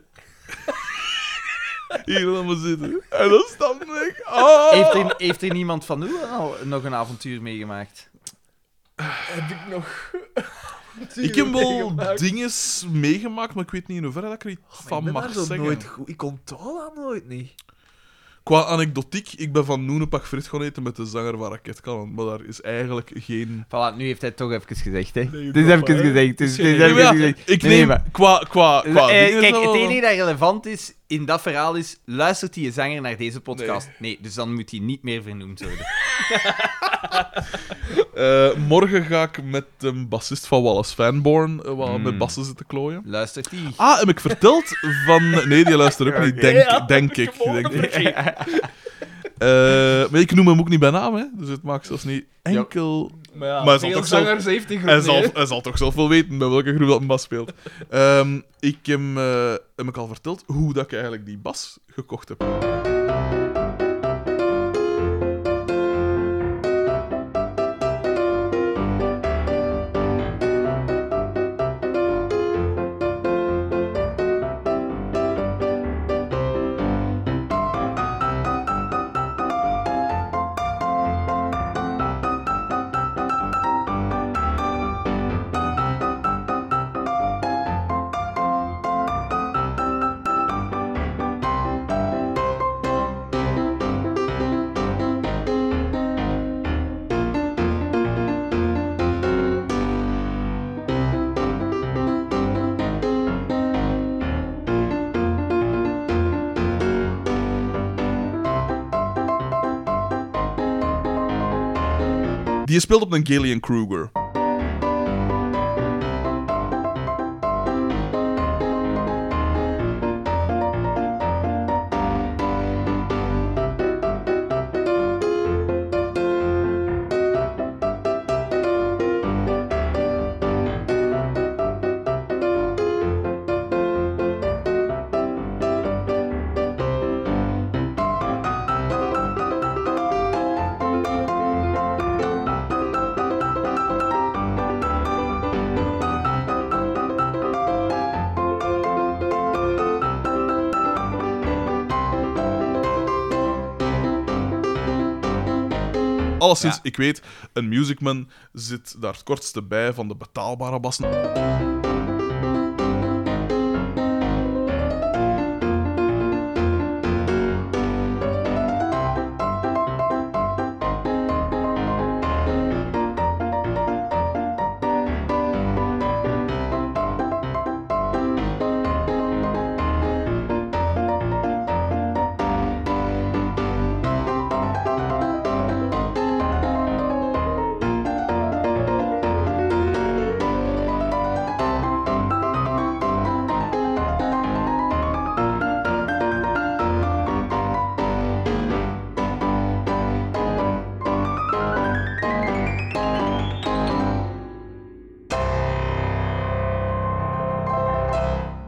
[SPEAKER 2] Hier, laat maar zitten. En dan stapt ik. Ah.
[SPEAKER 4] Heeft er, heeft er niemand van u al nog een avontuur meegemaakt?
[SPEAKER 3] Heb ik nog...
[SPEAKER 2] Ik heb wel
[SPEAKER 3] meegemaakt.
[SPEAKER 2] dingen meegemaakt, maar ik weet niet in hoeverre dat ik er iets
[SPEAKER 3] Ik
[SPEAKER 2] van
[SPEAKER 3] ben
[SPEAKER 2] mag
[SPEAKER 3] daar zo
[SPEAKER 2] zeggen.
[SPEAKER 3] nooit goed. Ik onthoud dat nooit niet.
[SPEAKER 2] Qua anekdotiek, ik ben van Noen een pak frit gaan eten met de zanger van Raketkanon, maar daar is eigenlijk geen...
[SPEAKER 4] Voilà, nu heeft hij het toch even gezegd, hè?
[SPEAKER 3] Nee,
[SPEAKER 4] Het is even
[SPEAKER 3] papa, hè.
[SPEAKER 4] gezegd. dus Het
[SPEAKER 3] Nee,
[SPEAKER 4] is
[SPEAKER 2] Nee,
[SPEAKER 4] het is even
[SPEAKER 2] maar ja,
[SPEAKER 4] gezegd.
[SPEAKER 2] ik
[SPEAKER 4] Nee, nee,
[SPEAKER 2] neem...
[SPEAKER 4] maar-
[SPEAKER 2] Qua, qua, qua
[SPEAKER 4] Eh,
[SPEAKER 2] dingen
[SPEAKER 4] kijk, het
[SPEAKER 2] wel-
[SPEAKER 4] enige dat relevant is in dat verhaal is... Luistert die zanger naar deze podcast? Nee, dus dan moet hij niet meer vernoemd worden.
[SPEAKER 2] Eh, morgen ga ik met de bassist van Wallace Fanborn eh, wat
[SPEAKER 4] Hmm.
[SPEAKER 2] met bassen zitten klooien.
[SPEAKER 4] Luistert die?
[SPEAKER 2] Ah, heb ik verteld van... Nee, die luistert ook niet, denk,
[SPEAKER 3] Ja,
[SPEAKER 2] denk ik. Denk ik. (laughs) Eh, maar ik noem hem ook niet bij naam, hè. Dus het maakt zelfs niet enkel...
[SPEAKER 3] Maar ja,
[SPEAKER 2] Maar hij zal
[SPEAKER 3] veel
[SPEAKER 2] toch zo-
[SPEAKER 3] zangers heeft die groep
[SPEAKER 2] Hij
[SPEAKER 3] niet,
[SPEAKER 2] zal,
[SPEAKER 3] hè.
[SPEAKER 2] hij zal toch zelf wel weten bij welke groep dat een bas speelt. Ehm, ik heb, eh, heb ik al verteld hoe dat ik eigenlijk die bas gekocht heb. Die speelt op een Gillian Kruger. Alleszins, ik weet, een Musicman zit daar het kortste bij van de betaalbare bassen.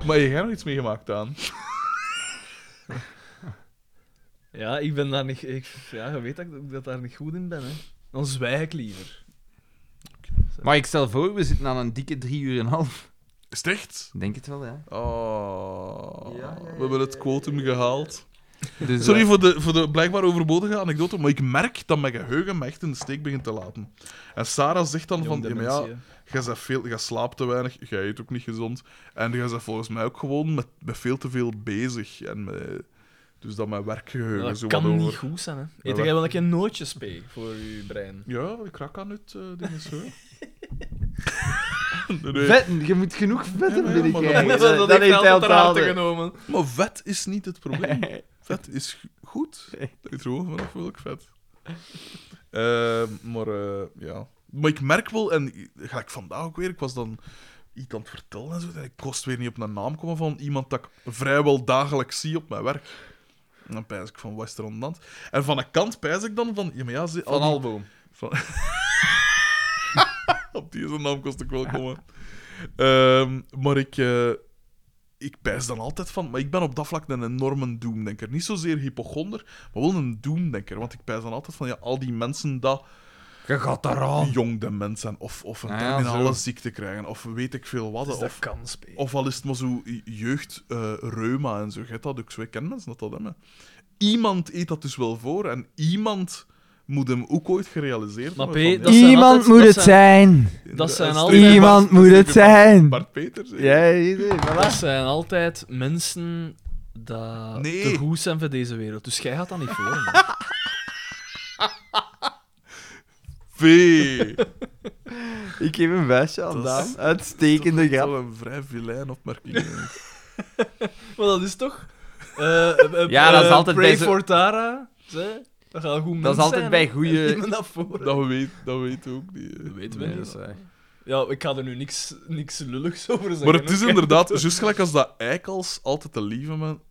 [SPEAKER 2] Maar je hebt nog iets meegemaakt aan.
[SPEAKER 3] Ja, ik ben daar niet... Ik, ja, je weet dat ik dat daar niet goed in ben, hè. Dan zwijg ik liever.
[SPEAKER 4] Maar ik stel voor, we zitten aan een dikke drie uur en een half.
[SPEAKER 2] Is het echt?
[SPEAKER 4] Denk het wel, ja.
[SPEAKER 2] Oh,
[SPEAKER 5] Ja, ja, ja,
[SPEAKER 2] we hebben het
[SPEAKER 5] ja,
[SPEAKER 2] quotum
[SPEAKER 5] ja, ja.
[SPEAKER 2] gehaald.
[SPEAKER 4] Dus,
[SPEAKER 2] Sorry
[SPEAKER 4] eh,
[SPEAKER 2] voor de, voor de blijkbaar overbodige anekdote, maar ik merk dat mijn geheugen me echt in de steek begint te laten. En Sarah zegt dan van,
[SPEAKER 3] Jong
[SPEAKER 2] ja, maar
[SPEAKER 3] dementie,
[SPEAKER 2] ja,
[SPEAKER 3] hè.
[SPEAKER 2] jij, bent veel, jij slaapt te weinig, jij eet ook niet gezond. En jij bent volgens mij ook gewoon met, met veel te veel bezig. En met- dus dat mijn werkgeheugen
[SPEAKER 3] Dat
[SPEAKER 2] zo
[SPEAKER 3] kan
[SPEAKER 2] wat
[SPEAKER 3] niet
[SPEAKER 2] over...
[SPEAKER 3] goed zijn, hè.
[SPEAKER 2] Dat
[SPEAKER 3] Eet jij wel een keer nootjes mee voor je (laughs) brein?
[SPEAKER 2] Ja, ik krak aan het eh ding is zo.
[SPEAKER 3] (laughs)
[SPEAKER 2] Nee, nee.
[SPEAKER 4] Vetten, je moet genoeg vetten
[SPEAKER 2] Ja, maar ja,
[SPEAKER 4] binnen
[SPEAKER 2] maar
[SPEAKER 4] krijgen.
[SPEAKER 2] dat-
[SPEAKER 4] Dat heeft hij
[SPEAKER 3] altijd
[SPEAKER 4] al
[SPEAKER 3] genomen.
[SPEAKER 2] Maar vet is niet het probleem. Vet is g- goed. Dat is gewoon vanaf welk vet. Eh, maar eh, ja. Maar ik merk wel, en i- ga ik vandaag ook weer, ik was dan iets aan het vertellen en zo, en ik kost weer niet op een naam komen van iemand dat ik vrijwel dagelijks zie op mijn werk. En dan pijs ik van, wat is er aan de hand? En van een kant pijs ik dan van, ja, maar ja, ze, al
[SPEAKER 3] Van
[SPEAKER 2] die-
[SPEAKER 3] Alboom.
[SPEAKER 2] van... (laughs) Op die zijn naam kost ik wel komen. Ehm, maar ik, eh ik pijs dan altijd van... Maar ik ben op dat vlak een enorme doemdenker. Niet zozeer hypochonder, maar wel een doemdenker. Want ik pijs dan altijd van ja, al die mensen dat
[SPEAKER 4] Je gaat eraan.
[SPEAKER 2] jong dement zijn. Of, of een
[SPEAKER 4] Ah ja,
[SPEAKER 2] terminale
[SPEAKER 4] zo.
[SPEAKER 2] ziekte krijgen. Of weet ik veel wat.
[SPEAKER 3] Dus dat
[SPEAKER 2] Of,
[SPEAKER 3] kan spelen.
[SPEAKER 2] of al is het maar zo jeugd, eh, reuma en zo. Je hebt dat ook zo. Ik ken mensen dat dat hebben. Iemand eet dat dus wel voor. En iemand... Moet hem ook ooit gerealiseerd
[SPEAKER 3] Maar
[SPEAKER 2] hebben
[SPEAKER 3] P,
[SPEAKER 2] van,
[SPEAKER 3] dat zijn
[SPEAKER 4] Iemand
[SPEAKER 3] altijd-
[SPEAKER 4] moet
[SPEAKER 3] dat
[SPEAKER 4] het zijn.
[SPEAKER 3] Dat zijn
[SPEAKER 2] Streep-
[SPEAKER 3] altijd-
[SPEAKER 4] Iemand
[SPEAKER 2] Bart-
[SPEAKER 4] moet
[SPEAKER 2] streep-
[SPEAKER 4] het zijn.
[SPEAKER 2] Bart Peters. hè.
[SPEAKER 4] Ja, iedereen,
[SPEAKER 3] Dat
[SPEAKER 4] voilà.
[SPEAKER 3] zijn altijd mensen dat
[SPEAKER 2] Nee.
[SPEAKER 3] te goed zijn voor deze wereld. Dus jij gaat dat niet (laughs) voor. man.
[SPEAKER 2] V.
[SPEAKER 4] (laughs) Ik geef een vuistje aan
[SPEAKER 2] Dat
[SPEAKER 4] Daan.
[SPEAKER 2] is-
[SPEAKER 4] Uitstekende
[SPEAKER 2] Dat is
[SPEAKER 4] grap.
[SPEAKER 2] wel een vrij vilijn opmerking.
[SPEAKER 3] maar dat is toch... eh, eh,
[SPEAKER 4] Ja, dat is
[SPEAKER 3] eh,
[SPEAKER 4] altijd
[SPEAKER 3] Pray
[SPEAKER 4] bij zo-
[SPEAKER 3] for Tara. Ze, dat gaat een goed
[SPEAKER 4] Dat
[SPEAKER 3] mens
[SPEAKER 4] is altijd
[SPEAKER 3] zijn,
[SPEAKER 4] bij
[SPEAKER 3] hè.
[SPEAKER 4] goeie-
[SPEAKER 3] (laughs) Neem me dat voor. hè.
[SPEAKER 2] dat weet dat weet ook niet. hè.
[SPEAKER 3] Dat weten we
[SPEAKER 4] Nee,
[SPEAKER 3] niet.
[SPEAKER 4] dat is waar.
[SPEAKER 3] Ja, ik ga er nu niks, niks lulligs over zeggen.
[SPEAKER 2] Maar het is
[SPEAKER 3] oké.
[SPEAKER 2] inderdaad, juist gelijk als dat eikels altijd te lieve man,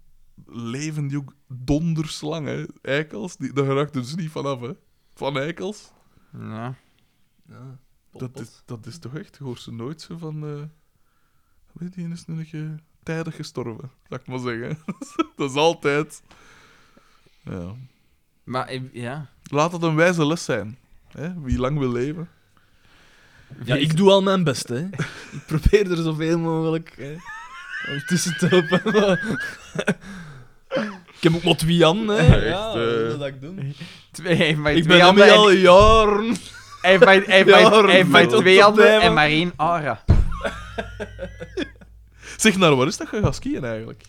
[SPEAKER 2] leven die ook donderslang, hè. Eikels, die, daar raakt dus niet vanaf, hè. Van eikels.
[SPEAKER 4] Ja.
[SPEAKER 3] Ja,
[SPEAKER 2] Dat is, dat is toch echt, je hoort ze nooit zo van... eh, weet je, die is nu een keer tijdig gestorven, zou ik maar zeggen. (laughs) dat is altijd... Ja.
[SPEAKER 4] Maar eh, ja.
[SPEAKER 2] Laat het een wijze les zijn. Hè? Wie lang wil leven.
[SPEAKER 3] Ja, ik doe al mijn best, hè. (laughs) Ik probeer er zoveel mogelijk hè, om tussen te helpen. maar- (laughs) ik heb ook Motwian, hè.
[SPEAKER 2] Echt,
[SPEAKER 3] ja,
[SPEAKER 2] eh.
[SPEAKER 3] dat wil dat ik doen.
[SPEAKER 4] Twee, hij heeft maar
[SPEAKER 3] Ik
[SPEAKER 4] twee
[SPEAKER 3] ben
[SPEAKER 4] handen
[SPEAKER 3] ermee
[SPEAKER 4] en-
[SPEAKER 3] al jaren.
[SPEAKER 4] Hij heeft maar- hij heeft maar-
[SPEAKER 3] Ja,
[SPEAKER 4] hij heeft maar
[SPEAKER 2] Rob.
[SPEAKER 4] twee handen en
[SPEAKER 3] Blijven.
[SPEAKER 4] maar één ah, aura.
[SPEAKER 2] Zeg, naar waar is dat je gaat skiën eigenlijk?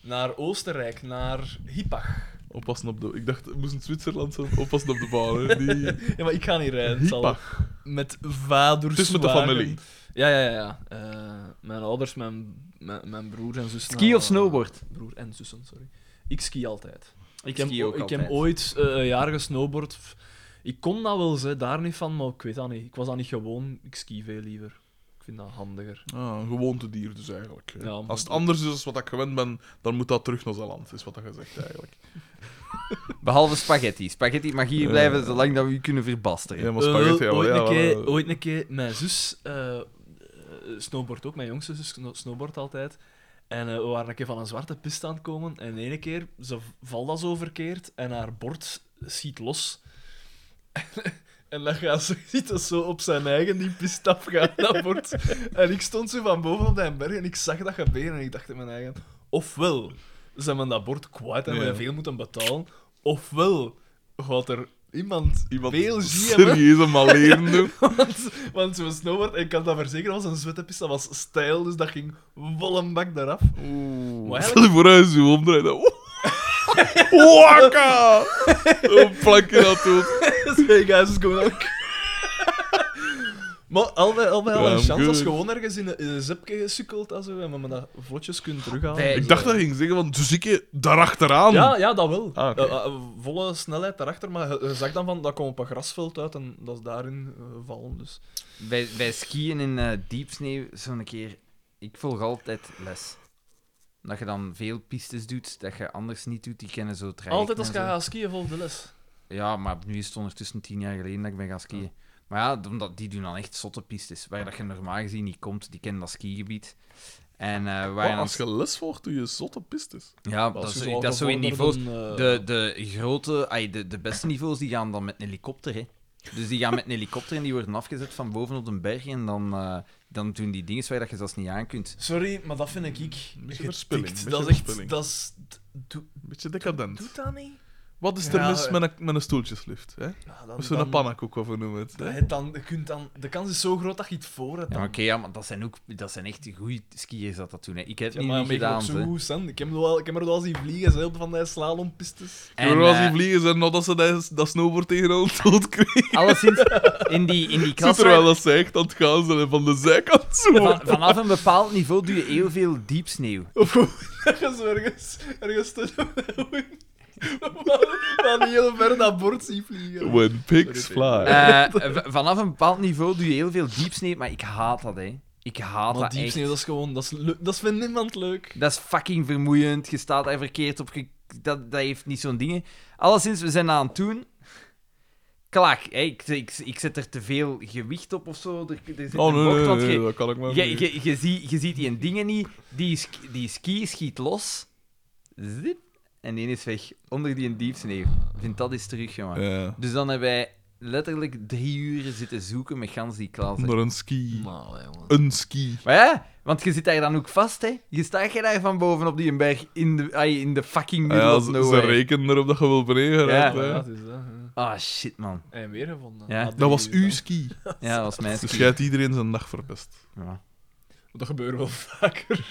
[SPEAKER 3] Naar Oostenrijk, naar Hippach.
[SPEAKER 2] Oppassen op de... Ik dacht, het moest in Zwitserland zijn. Oppassen op de baan, hè. Die...
[SPEAKER 3] (laughs) Ja, maar ik ga niet rijden. het zal-
[SPEAKER 2] Hippach.
[SPEAKER 3] Met vaders.
[SPEAKER 2] Het is met de
[SPEAKER 3] wagen.
[SPEAKER 2] familie.
[SPEAKER 3] Ja, ja, ja. ja. Eh, mijn ouders, mijn, mijn, mijn broer en zussen.
[SPEAKER 4] Ski of
[SPEAKER 3] eh,
[SPEAKER 4] snowboard?
[SPEAKER 3] Broer en zussen, sorry. Ik ski altijd.
[SPEAKER 4] Ik
[SPEAKER 3] heb,
[SPEAKER 4] ski ook
[SPEAKER 3] ik heb
[SPEAKER 4] altijd.
[SPEAKER 3] ooit eh, een jaar gesnowboard. F- Ik kon dat wel, ze, daar niet van, maar ik weet dat niet. Ik was dat niet gewoon. Ik ski veel liever. Ik vind dat handiger.
[SPEAKER 2] Ah, een gewoontedier dus eigenlijk. hè.
[SPEAKER 3] Ja.
[SPEAKER 2] Als het anders is dan wat ik gewend ben, dan moet dat terug naar Zeeland, is wat dat gezegd eigenlijk.
[SPEAKER 4] Behalve spaghetti. Spaghetti mag hier
[SPEAKER 2] Eh.
[SPEAKER 4] blijven zolang dat we u kunnen verbasteren.
[SPEAKER 2] Ja, maar
[SPEAKER 3] Eh,
[SPEAKER 2] spaghetti, ja,
[SPEAKER 3] ooit,
[SPEAKER 2] maar ja, eh.
[SPEAKER 3] een keer,
[SPEAKER 2] maar-
[SPEAKER 3] ooit een keer, mijn zus eh, eh, snowboardt ook, mijn jongste zus sno- snowboardt altijd. En eh, we waren een keer van een zwarte piste aan het komen. En de ene keer, ze v- valt dat zo verkeerd en haar bord schiet los. (laughs) En dan gaat ze, (laughs) ziet dat zo op zijn eigen die pist afgaan, dat bord. En ik stond zo van boven op die berg en ik zag dat gebeuren en ik dacht in mijn eigen... Ofwel zijn we dat bord kwijt en we
[SPEAKER 2] Ja.
[SPEAKER 3] veel moeten betalen, ofwel gaat er iemand,
[SPEAKER 2] Iemand
[SPEAKER 3] veel zien hebben.
[SPEAKER 2] serieus een maleren doen.
[SPEAKER 3] Want, want zo'n snowboard, ik kan dat verzekeren, was een zwettenpist, dat was stijl, dus dat ging vol een bak eraf. Maar
[SPEAKER 2] Oeh.
[SPEAKER 3] eigenlijk-
[SPEAKER 2] Stel je voor als je zo omdraait. dan- (laughs) Oeh. Wakka! Een plankje dat doet.
[SPEAKER 3] (laughs) Hey guys, what's going on? maar al bij al, bij al
[SPEAKER 2] Ja,
[SPEAKER 3] een
[SPEAKER 2] I'm
[SPEAKER 3] chance, als
[SPEAKER 2] good.
[SPEAKER 3] gewoon ergens in een, in een zipje gesukkeld en zo, en we me dat vlotjes kunnen terughalen.
[SPEAKER 4] Nee,
[SPEAKER 2] Ik dacht dat je ging zeggen, want dus ik je daarachteraan.
[SPEAKER 3] Ja, ja, dat wel.
[SPEAKER 2] Ah, oké.
[SPEAKER 3] Eh, eh, volle snelheid daarachter, maar je, je zag dan van, dat komt op een grasveld uit en dat is daarin eh, vallen. Dus.
[SPEAKER 4] Bij, bij skiën in eh diep sneeuw, zo'n keer... Ik volg altijd les. Dat je dan veel pistes doet, dat je anders niet doet, die kennen zo trajecten
[SPEAKER 3] Altijd als je
[SPEAKER 4] en nou zo.
[SPEAKER 3] gaat skiën, volg de les.
[SPEAKER 4] Ja, maar nu is het ondertussen tien jaar geleden dat ik ben gaan skiën. Maar ja, omdat die doen dan echt zotte pistes, waar dat je normaal gezien niet komt. Die kennen dat skigebied. En eh, we
[SPEAKER 2] Maar
[SPEAKER 4] waren aan
[SPEAKER 2] Oh, als je les volgt, doe je zotte pistes.
[SPEAKER 4] Ja, dat,
[SPEAKER 3] dus
[SPEAKER 4] is, dat is zo in niveaus.
[SPEAKER 3] eh,
[SPEAKER 4] De, de grote, ai, de, de beste niveaus die gaan dan met een helikopter. Hè. Dus die gaan met een helikopter en die worden afgezet van boven op een berg. En dan, eh, dan doen die dingen waar dat je zelfs niet aan kunt.
[SPEAKER 3] Sorry, maar dat vind ik ik.
[SPEAKER 2] Een beetje
[SPEAKER 3] getikt.
[SPEAKER 2] verspilling, een beetje
[SPEAKER 3] Dat is echt.
[SPEAKER 2] verspilling.
[SPEAKER 3] Dat is, d- doe,
[SPEAKER 2] Een beetje decadent.
[SPEAKER 3] doet dat niet?
[SPEAKER 2] Wat is er
[SPEAKER 3] Ja,
[SPEAKER 2] mis
[SPEAKER 3] eh.
[SPEAKER 2] met een, met een stoeltjeslift? Hè?
[SPEAKER 3] Ja, dan,
[SPEAKER 2] Of zo'n
[SPEAKER 3] dan-
[SPEAKER 2] pannenkoek, of hoe noemen we het?
[SPEAKER 3] dat
[SPEAKER 2] Hè?
[SPEAKER 3] het dan, je kunt dan, de kans is zo groot dat je het voor hebt.
[SPEAKER 4] Ja, maar
[SPEAKER 3] dan.
[SPEAKER 4] oké, ja, maar dat zijn, ook, dat zijn echt goede skiers dat dat doen. Hè. Ik heb het
[SPEAKER 3] Ja,
[SPEAKER 4] niet,
[SPEAKER 3] maar
[SPEAKER 4] niet
[SPEAKER 3] ik ben ook
[SPEAKER 4] gedaan.
[SPEAKER 3] zo
[SPEAKER 4] ze.
[SPEAKER 3] goed, hè. Ik heb er wel, ik heb er wel zien vliegen, ze op van die slalompistes.
[SPEAKER 2] En,
[SPEAKER 4] En,
[SPEAKER 2] als die
[SPEAKER 4] eh,
[SPEAKER 2] vliegen zijn, nadat ze dat, dat snowboard tegen een (laughs) dood kreeg.
[SPEAKER 4] alleszins, in die, in die
[SPEAKER 2] Zit
[SPEAKER 4] klas
[SPEAKER 2] er
[SPEAKER 4] waar-
[SPEAKER 2] wel als zij echt aan het gaan zijn en van de zijkant zo.
[SPEAKER 4] van, vanaf een bepaald niveau doe je heel veel diepsneeuw.
[SPEAKER 3] Of (laughs) ergens, ergens, ergens te (laughs)
[SPEAKER 1] Van heel ver dat bord zien vliegen.
[SPEAKER 2] When pigs
[SPEAKER 1] Sorry,
[SPEAKER 2] fly.
[SPEAKER 4] Eh, v- vanaf een bepaald niveau doe je heel veel diepsneeuw, maar ik haat dat, hè. Ik haat
[SPEAKER 3] Maar
[SPEAKER 4] dat echt.
[SPEAKER 3] diepsneeuw, dat is gewoon, dat, is leuk- dat vindt niemand leuk.
[SPEAKER 4] Dat is fucking vermoeiend. Je staat daar verkeerd op. je- Dat, dat heeft niet zo'n dingen. Alleszins, we zijn aan het doen. Klaar. hè. Ik, ik, ik zet er te veel gewicht op of zo. Er, er zit
[SPEAKER 2] oh
[SPEAKER 4] een
[SPEAKER 2] nee,
[SPEAKER 4] bocht,
[SPEAKER 2] nee,
[SPEAKER 4] want
[SPEAKER 2] nee,
[SPEAKER 4] je-
[SPEAKER 2] dat kan ik maar
[SPEAKER 4] je,
[SPEAKER 2] niet.
[SPEAKER 4] je, je, ziet- je ziet die dingen niet. Die, sk- die ski schiet los. Zip. En die is weg. Onder die diepsneeuw. Ik Vind dat is terug, jongen.
[SPEAKER 2] Ja.
[SPEAKER 4] Dus dan hebben wij letterlijk drie uren zitten zoeken met gans die klas. hè.
[SPEAKER 2] Naar een ski.
[SPEAKER 3] Nou, jongen.
[SPEAKER 2] Een ski.
[SPEAKER 4] Maar ja, want je zit daar dan ook vast, hè. Je staat je daar van boven op die berg in de, ai, in de fucking
[SPEAKER 2] Ah
[SPEAKER 4] middle
[SPEAKER 2] Ja,
[SPEAKER 4] of
[SPEAKER 2] ze, ze
[SPEAKER 4] nowhere.
[SPEAKER 2] rekenen erop dat je wil beneden geraakt,
[SPEAKER 4] Ja.
[SPEAKER 2] hè.
[SPEAKER 3] Ja, het is dat. hè.
[SPEAKER 4] Ah, shit, man.
[SPEAKER 3] En weer gevonden.
[SPEAKER 4] Ja.
[SPEAKER 3] Ah,
[SPEAKER 2] Dat
[SPEAKER 3] drie
[SPEAKER 2] was
[SPEAKER 3] uur, hè.
[SPEAKER 2] uw ski.
[SPEAKER 4] Ja, dat was mijn
[SPEAKER 2] Dus
[SPEAKER 4] ski.
[SPEAKER 2] jij hebt iedereen zijn dag verpest.
[SPEAKER 4] Ja.
[SPEAKER 3] Dat gebeurt wel (laughs) vaker.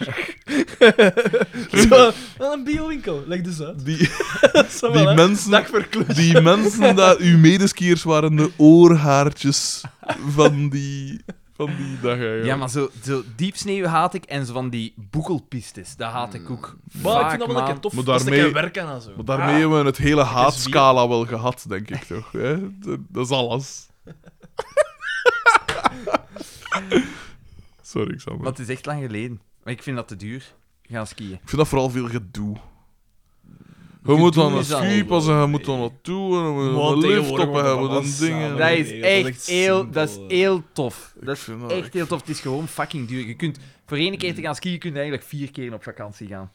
[SPEAKER 3] Zo, wel een biowinkel, leg dus
[SPEAKER 4] (laughs)
[SPEAKER 3] uit. (laughs)
[SPEAKER 2] Die,
[SPEAKER 3] Dat is wel,
[SPEAKER 2] die,
[SPEAKER 3] hè.
[SPEAKER 2] mensen,
[SPEAKER 3] Dag verkloot.
[SPEAKER 2] die mensen, dat uw medeskiers waren de oorhaartjes van die, van die dag eigenlijk.
[SPEAKER 4] ja, maar zo, zo diep sneeuw haat ik en zo van die boekelpistes, dat haat ik ook.
[SPEAKER 3] Mm. Maar ik
[SPEAKER 4] Vaak,
[SPEAKER 3] vind dat wel een keer
[SPEAKER 4] man.
[SPEAKER 3] tof.
[SPEAKER 2] Maar
[SPEAKER 3] dat is een
[SPEAKER 2] daarmee-
[SPEAKER 3] keer werken aan zo.
[SPEAKER 2] Maar daarmee hebben we het hele
[SPEAKER 4] Ah,
[SPEAKER 2] haatscala wel gehad, denk ik toch. Hè? Dat, dat is
[SPEAKER 4] (laughs)
[SPEAKER 2] alles. Sorry, Xander.
[SPEAKER 4] Maar het is echt lang geleden. Maar ik vind dat te duur. Gaan skiën.
[SPEAKER 2] Ik vind dat vooral veel gedoe. Je moet dan
[SPEAKER 4] is
[SPEAKER 2] een
[SPEAKER 4] dat
[SPEAKER 2] ski
[SPEAKER 4] wel
[SPEAKER 2] passen, je moet dan naartoe, en je moet
[SPEAKER 3] Want
[SPEAKER 2] een lift op,
[SPEAKER 3] tegenwoordig
[SPEAKER 2] en je
[SPEAKER 3] wordt dat
[SPEAKER 2] moet
[SPEAKER 3] wel
[SPEAKER 2] een
[SPEAKER 3] samen.
[SPEAKER 2] ding...
[SPEAKER 4] Dat
[SPEAKER 2] en-
[SPEAKER 3] nee, dat
[SPEAKER 4] is
[SPEAKER 3] is
[SPEAKER 4] echt
[SPEAKER 3] echt simpel,
[SPEAKER 4] heel,
[SPEAKER 3] eh. Oh,
[SPEAKER 4] dat is
[SPEAKER 3] hè.
[SPEAKER 4] heel tof. Dat is
[SPEAKER 2] vind dat
[SPEAKER 4] echt
[SPEAKER 2] echt-
[SPEAKER 4] heel tof. Het is gewoon fucking duur. Je kunt voor één keer
[SPEAKER 3] Mm.
[SPEAKER 4] te gaan skiën, je kunt eigenlijk vier keer op vakantie gaan.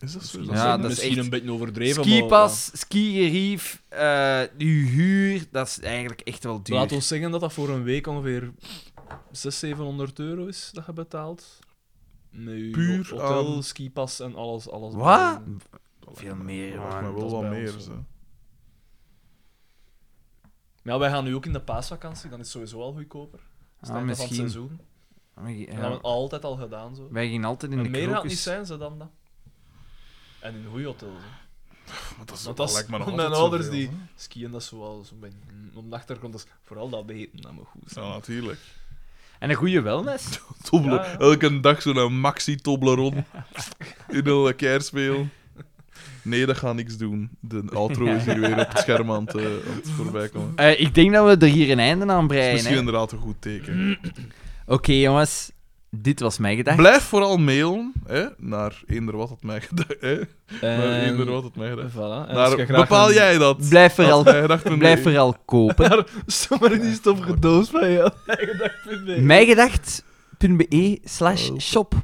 [SPEAKER 2] Is dat zo?
[SPEAKER 4] Ja, dat is
[SPEAKER 3] misschien
[SPEAKER 4] echt-
[SPEAKER 3] een beetje overdreven.
[SPEAKER 4] Skipas, skigerief, eh uw huur, dat is eigenlijk echt wel
[SPEAKER 3] Maar,
[SPEAKER 4] duur.
[SPEAKER 3] ja. Laat ons zeggen dat dat voor een week ongeveer 600, 700 euro is dat je betaalt. Nee,
[SPEAKER 2] Puur
[SPEAKER 3] hotel,
[SPEAKER 2] aan-
[SPEAKER 3] skipas en alles. alles
[SPEAKER 4] Wat?
[SPEAKER 3] bij.
[SPEAKER 4] Veel meer,
[SPEAKER 2] Maar
[SPEAKER 4] man.
[SPEAKER 2] wel
[SPEAKER 3] dat
[SPEAKER 2] wat
[SPEAKER 3] is bij
[SPEAKER 2] meer,
[SPEAKER 3] ons,
[SPEAKER 2] zo.
[SPEAKER 3] hè. Maar ja, wij gaan nu ook in de paasvakantie, dan is het sowieso al goedkoper. Is
[SPEAKER 4] Ah,
[SPEAKER 3] het einde van het
[SPEAKER 4] misschien.
[SPEAKER 3] seizoen.
[SPEAKER 4] Wij gi-
[SPEAKER 3] En dat
[SPEAKER 4] ja,
[SPEAKER 3] hebben we altijd al gedaan. Zo.
[SPEAKER 4] Wij gingen altijd in de
[SPEAKER 3] En meer gaat het niet
[SPEAKER 4] krokus.
[SPEAKER 3] zijn ze dan dat. En in een goede hotel. Zo.
[SPEAKER 2] Maar dat is
[SPEAKER 3] Want
[SPEAKER 2] ook
[SPEAKER 3] dat is-
[SPEAKER 2] lijkt me nog
[SPEAKER 3] mijn
[SPEAKER 2] altijd
[SPEAKER 3] ouders
[SPEAKER 2] zoveel,
[SPEAKER 3] die-
[SPEAKER 2] hè.
[SPEAKER 3] Skiën, dat is wel zo bij, om de achtergrond. Dat is vooral dat eten, dat moet goed zijn.
[SPEAKER 2] Ja, natuurlijk.
[SPEAKER 4] En een goede
[SPEAKER 3] (laughs)
[SPEAKER 4] wellness.
[SPEAKER 2] Tobler,
[SPEAKER 3] Ja, ja.
[SPEAKER 2] Elke dag zo'n maxi Toblerone in een kerspeel. Nee, dat gaat niks doen. De outro is hier weer op het scherm aan het, eh, aan het voorbij komen.
[SPEAKER 4] Eh, ik denk dat we er hier een einde aan
[SPEAKER 2] Dat is
[SPEAKER 4] breien.
[SPEAKER 2] misschien
[SPEAKER 4] hè.
[SPEAKER 2] inderdaad een goed teken.
[SPEAKER 4] Oké, jongens. Dit was mijn gedachte.
[SPEAKER 2] Blijf vooral mailen hè, naar eender wat het mij (laughs) gedacht. hè, Naar eender wat het mij gedacht.
[SPEAKER 3] Ehm, Voilà. En eh, als
[SPEAKER 2] Naar,
[SPEAKER 3] je graag
[SPEAKER 2] bepaal
[SPEAKER 3] een-
[SPEAKER 2] jij (laughs) dat?
[SPEAKER 4] Blijf vooral,
[SPEAKER 2] Wat mij gedacht en
[SPEAKER 4] (laughs) blijf
[SPEAKER 2] nee.
[SPEAKER 4] vooral
[SPEAKER 3] (laughs)
[SPEAKER 4] kopen.
[SPEAKER 3] Zomaar in die stof gedoos van jou.
[SPEAKER 4] Mijgedacht.be E slash
[SPEAKER 3] Oh.
[SPEAKER 4] shop.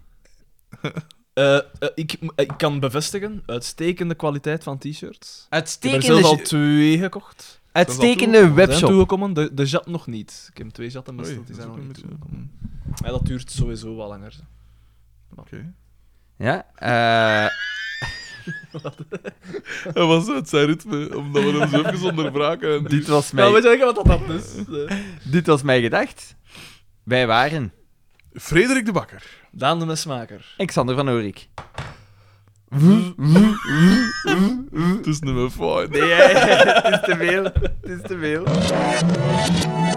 [SPEAKER 3] Eh, eh, ik, m- ik kan bevestigen, uitstekende kwaliteit van t-shirts. Ik heb er zelfs al
[SPEAKER 4] Uitstekende,
[SPEAKER 3] twee gekocht.
[SPEAKER 4] uitstekende
[SPEAKER 3] Ze zijn
[SPEAKER 4] webshop.
[SPEAKER 3] toegekomen, de, de jat nog niet. Ik heb twee jatten
[SPEAKER 2] Oei,
[SPEAKER 3] besteld,
[SPEAKER 2] dat is
[SPEAKER 3] die zijn
[SPEAKER 2] ook
[SPEAKER 3] nog
[SPEAKER 2] een
[SPEAKER 3] niet
[SPEAKER 2] beetje-
[SPEAKER 3] toegekomen.
[SPEAKER 2] mm,
[SPEAKER 3] Maar dat duurt sowieso wel langer. zo.
[SPEAKER 2] Oké. (laughs)
[SPEAKER 4] Ja, eh,
[SPEAKER 2] Hij was uit zijn ritme, omdat we hem zo even (laughs) onderbraken. en nu-
[SPEAKER 4] dit, was
[SPEAKER 3] Nou, weet
[SPEAKER 4] mijn,
[SPEAKER 3] je eigenlijk wat dat dan is? Eh,
[SPEAKER 4] dit was mijn gedacht. Wij waren
[SPEAKER 2] Frederik de Bakker.
[SPEAKER 3] (laughs) Daan de Mesmaker.
[SPEAKER 4] Alexander van Oorik.
[SPEAKER 2] Het is nummer 5.
[SPEAKER 4] (laughs) Nee, het is te veel. Het is te veel.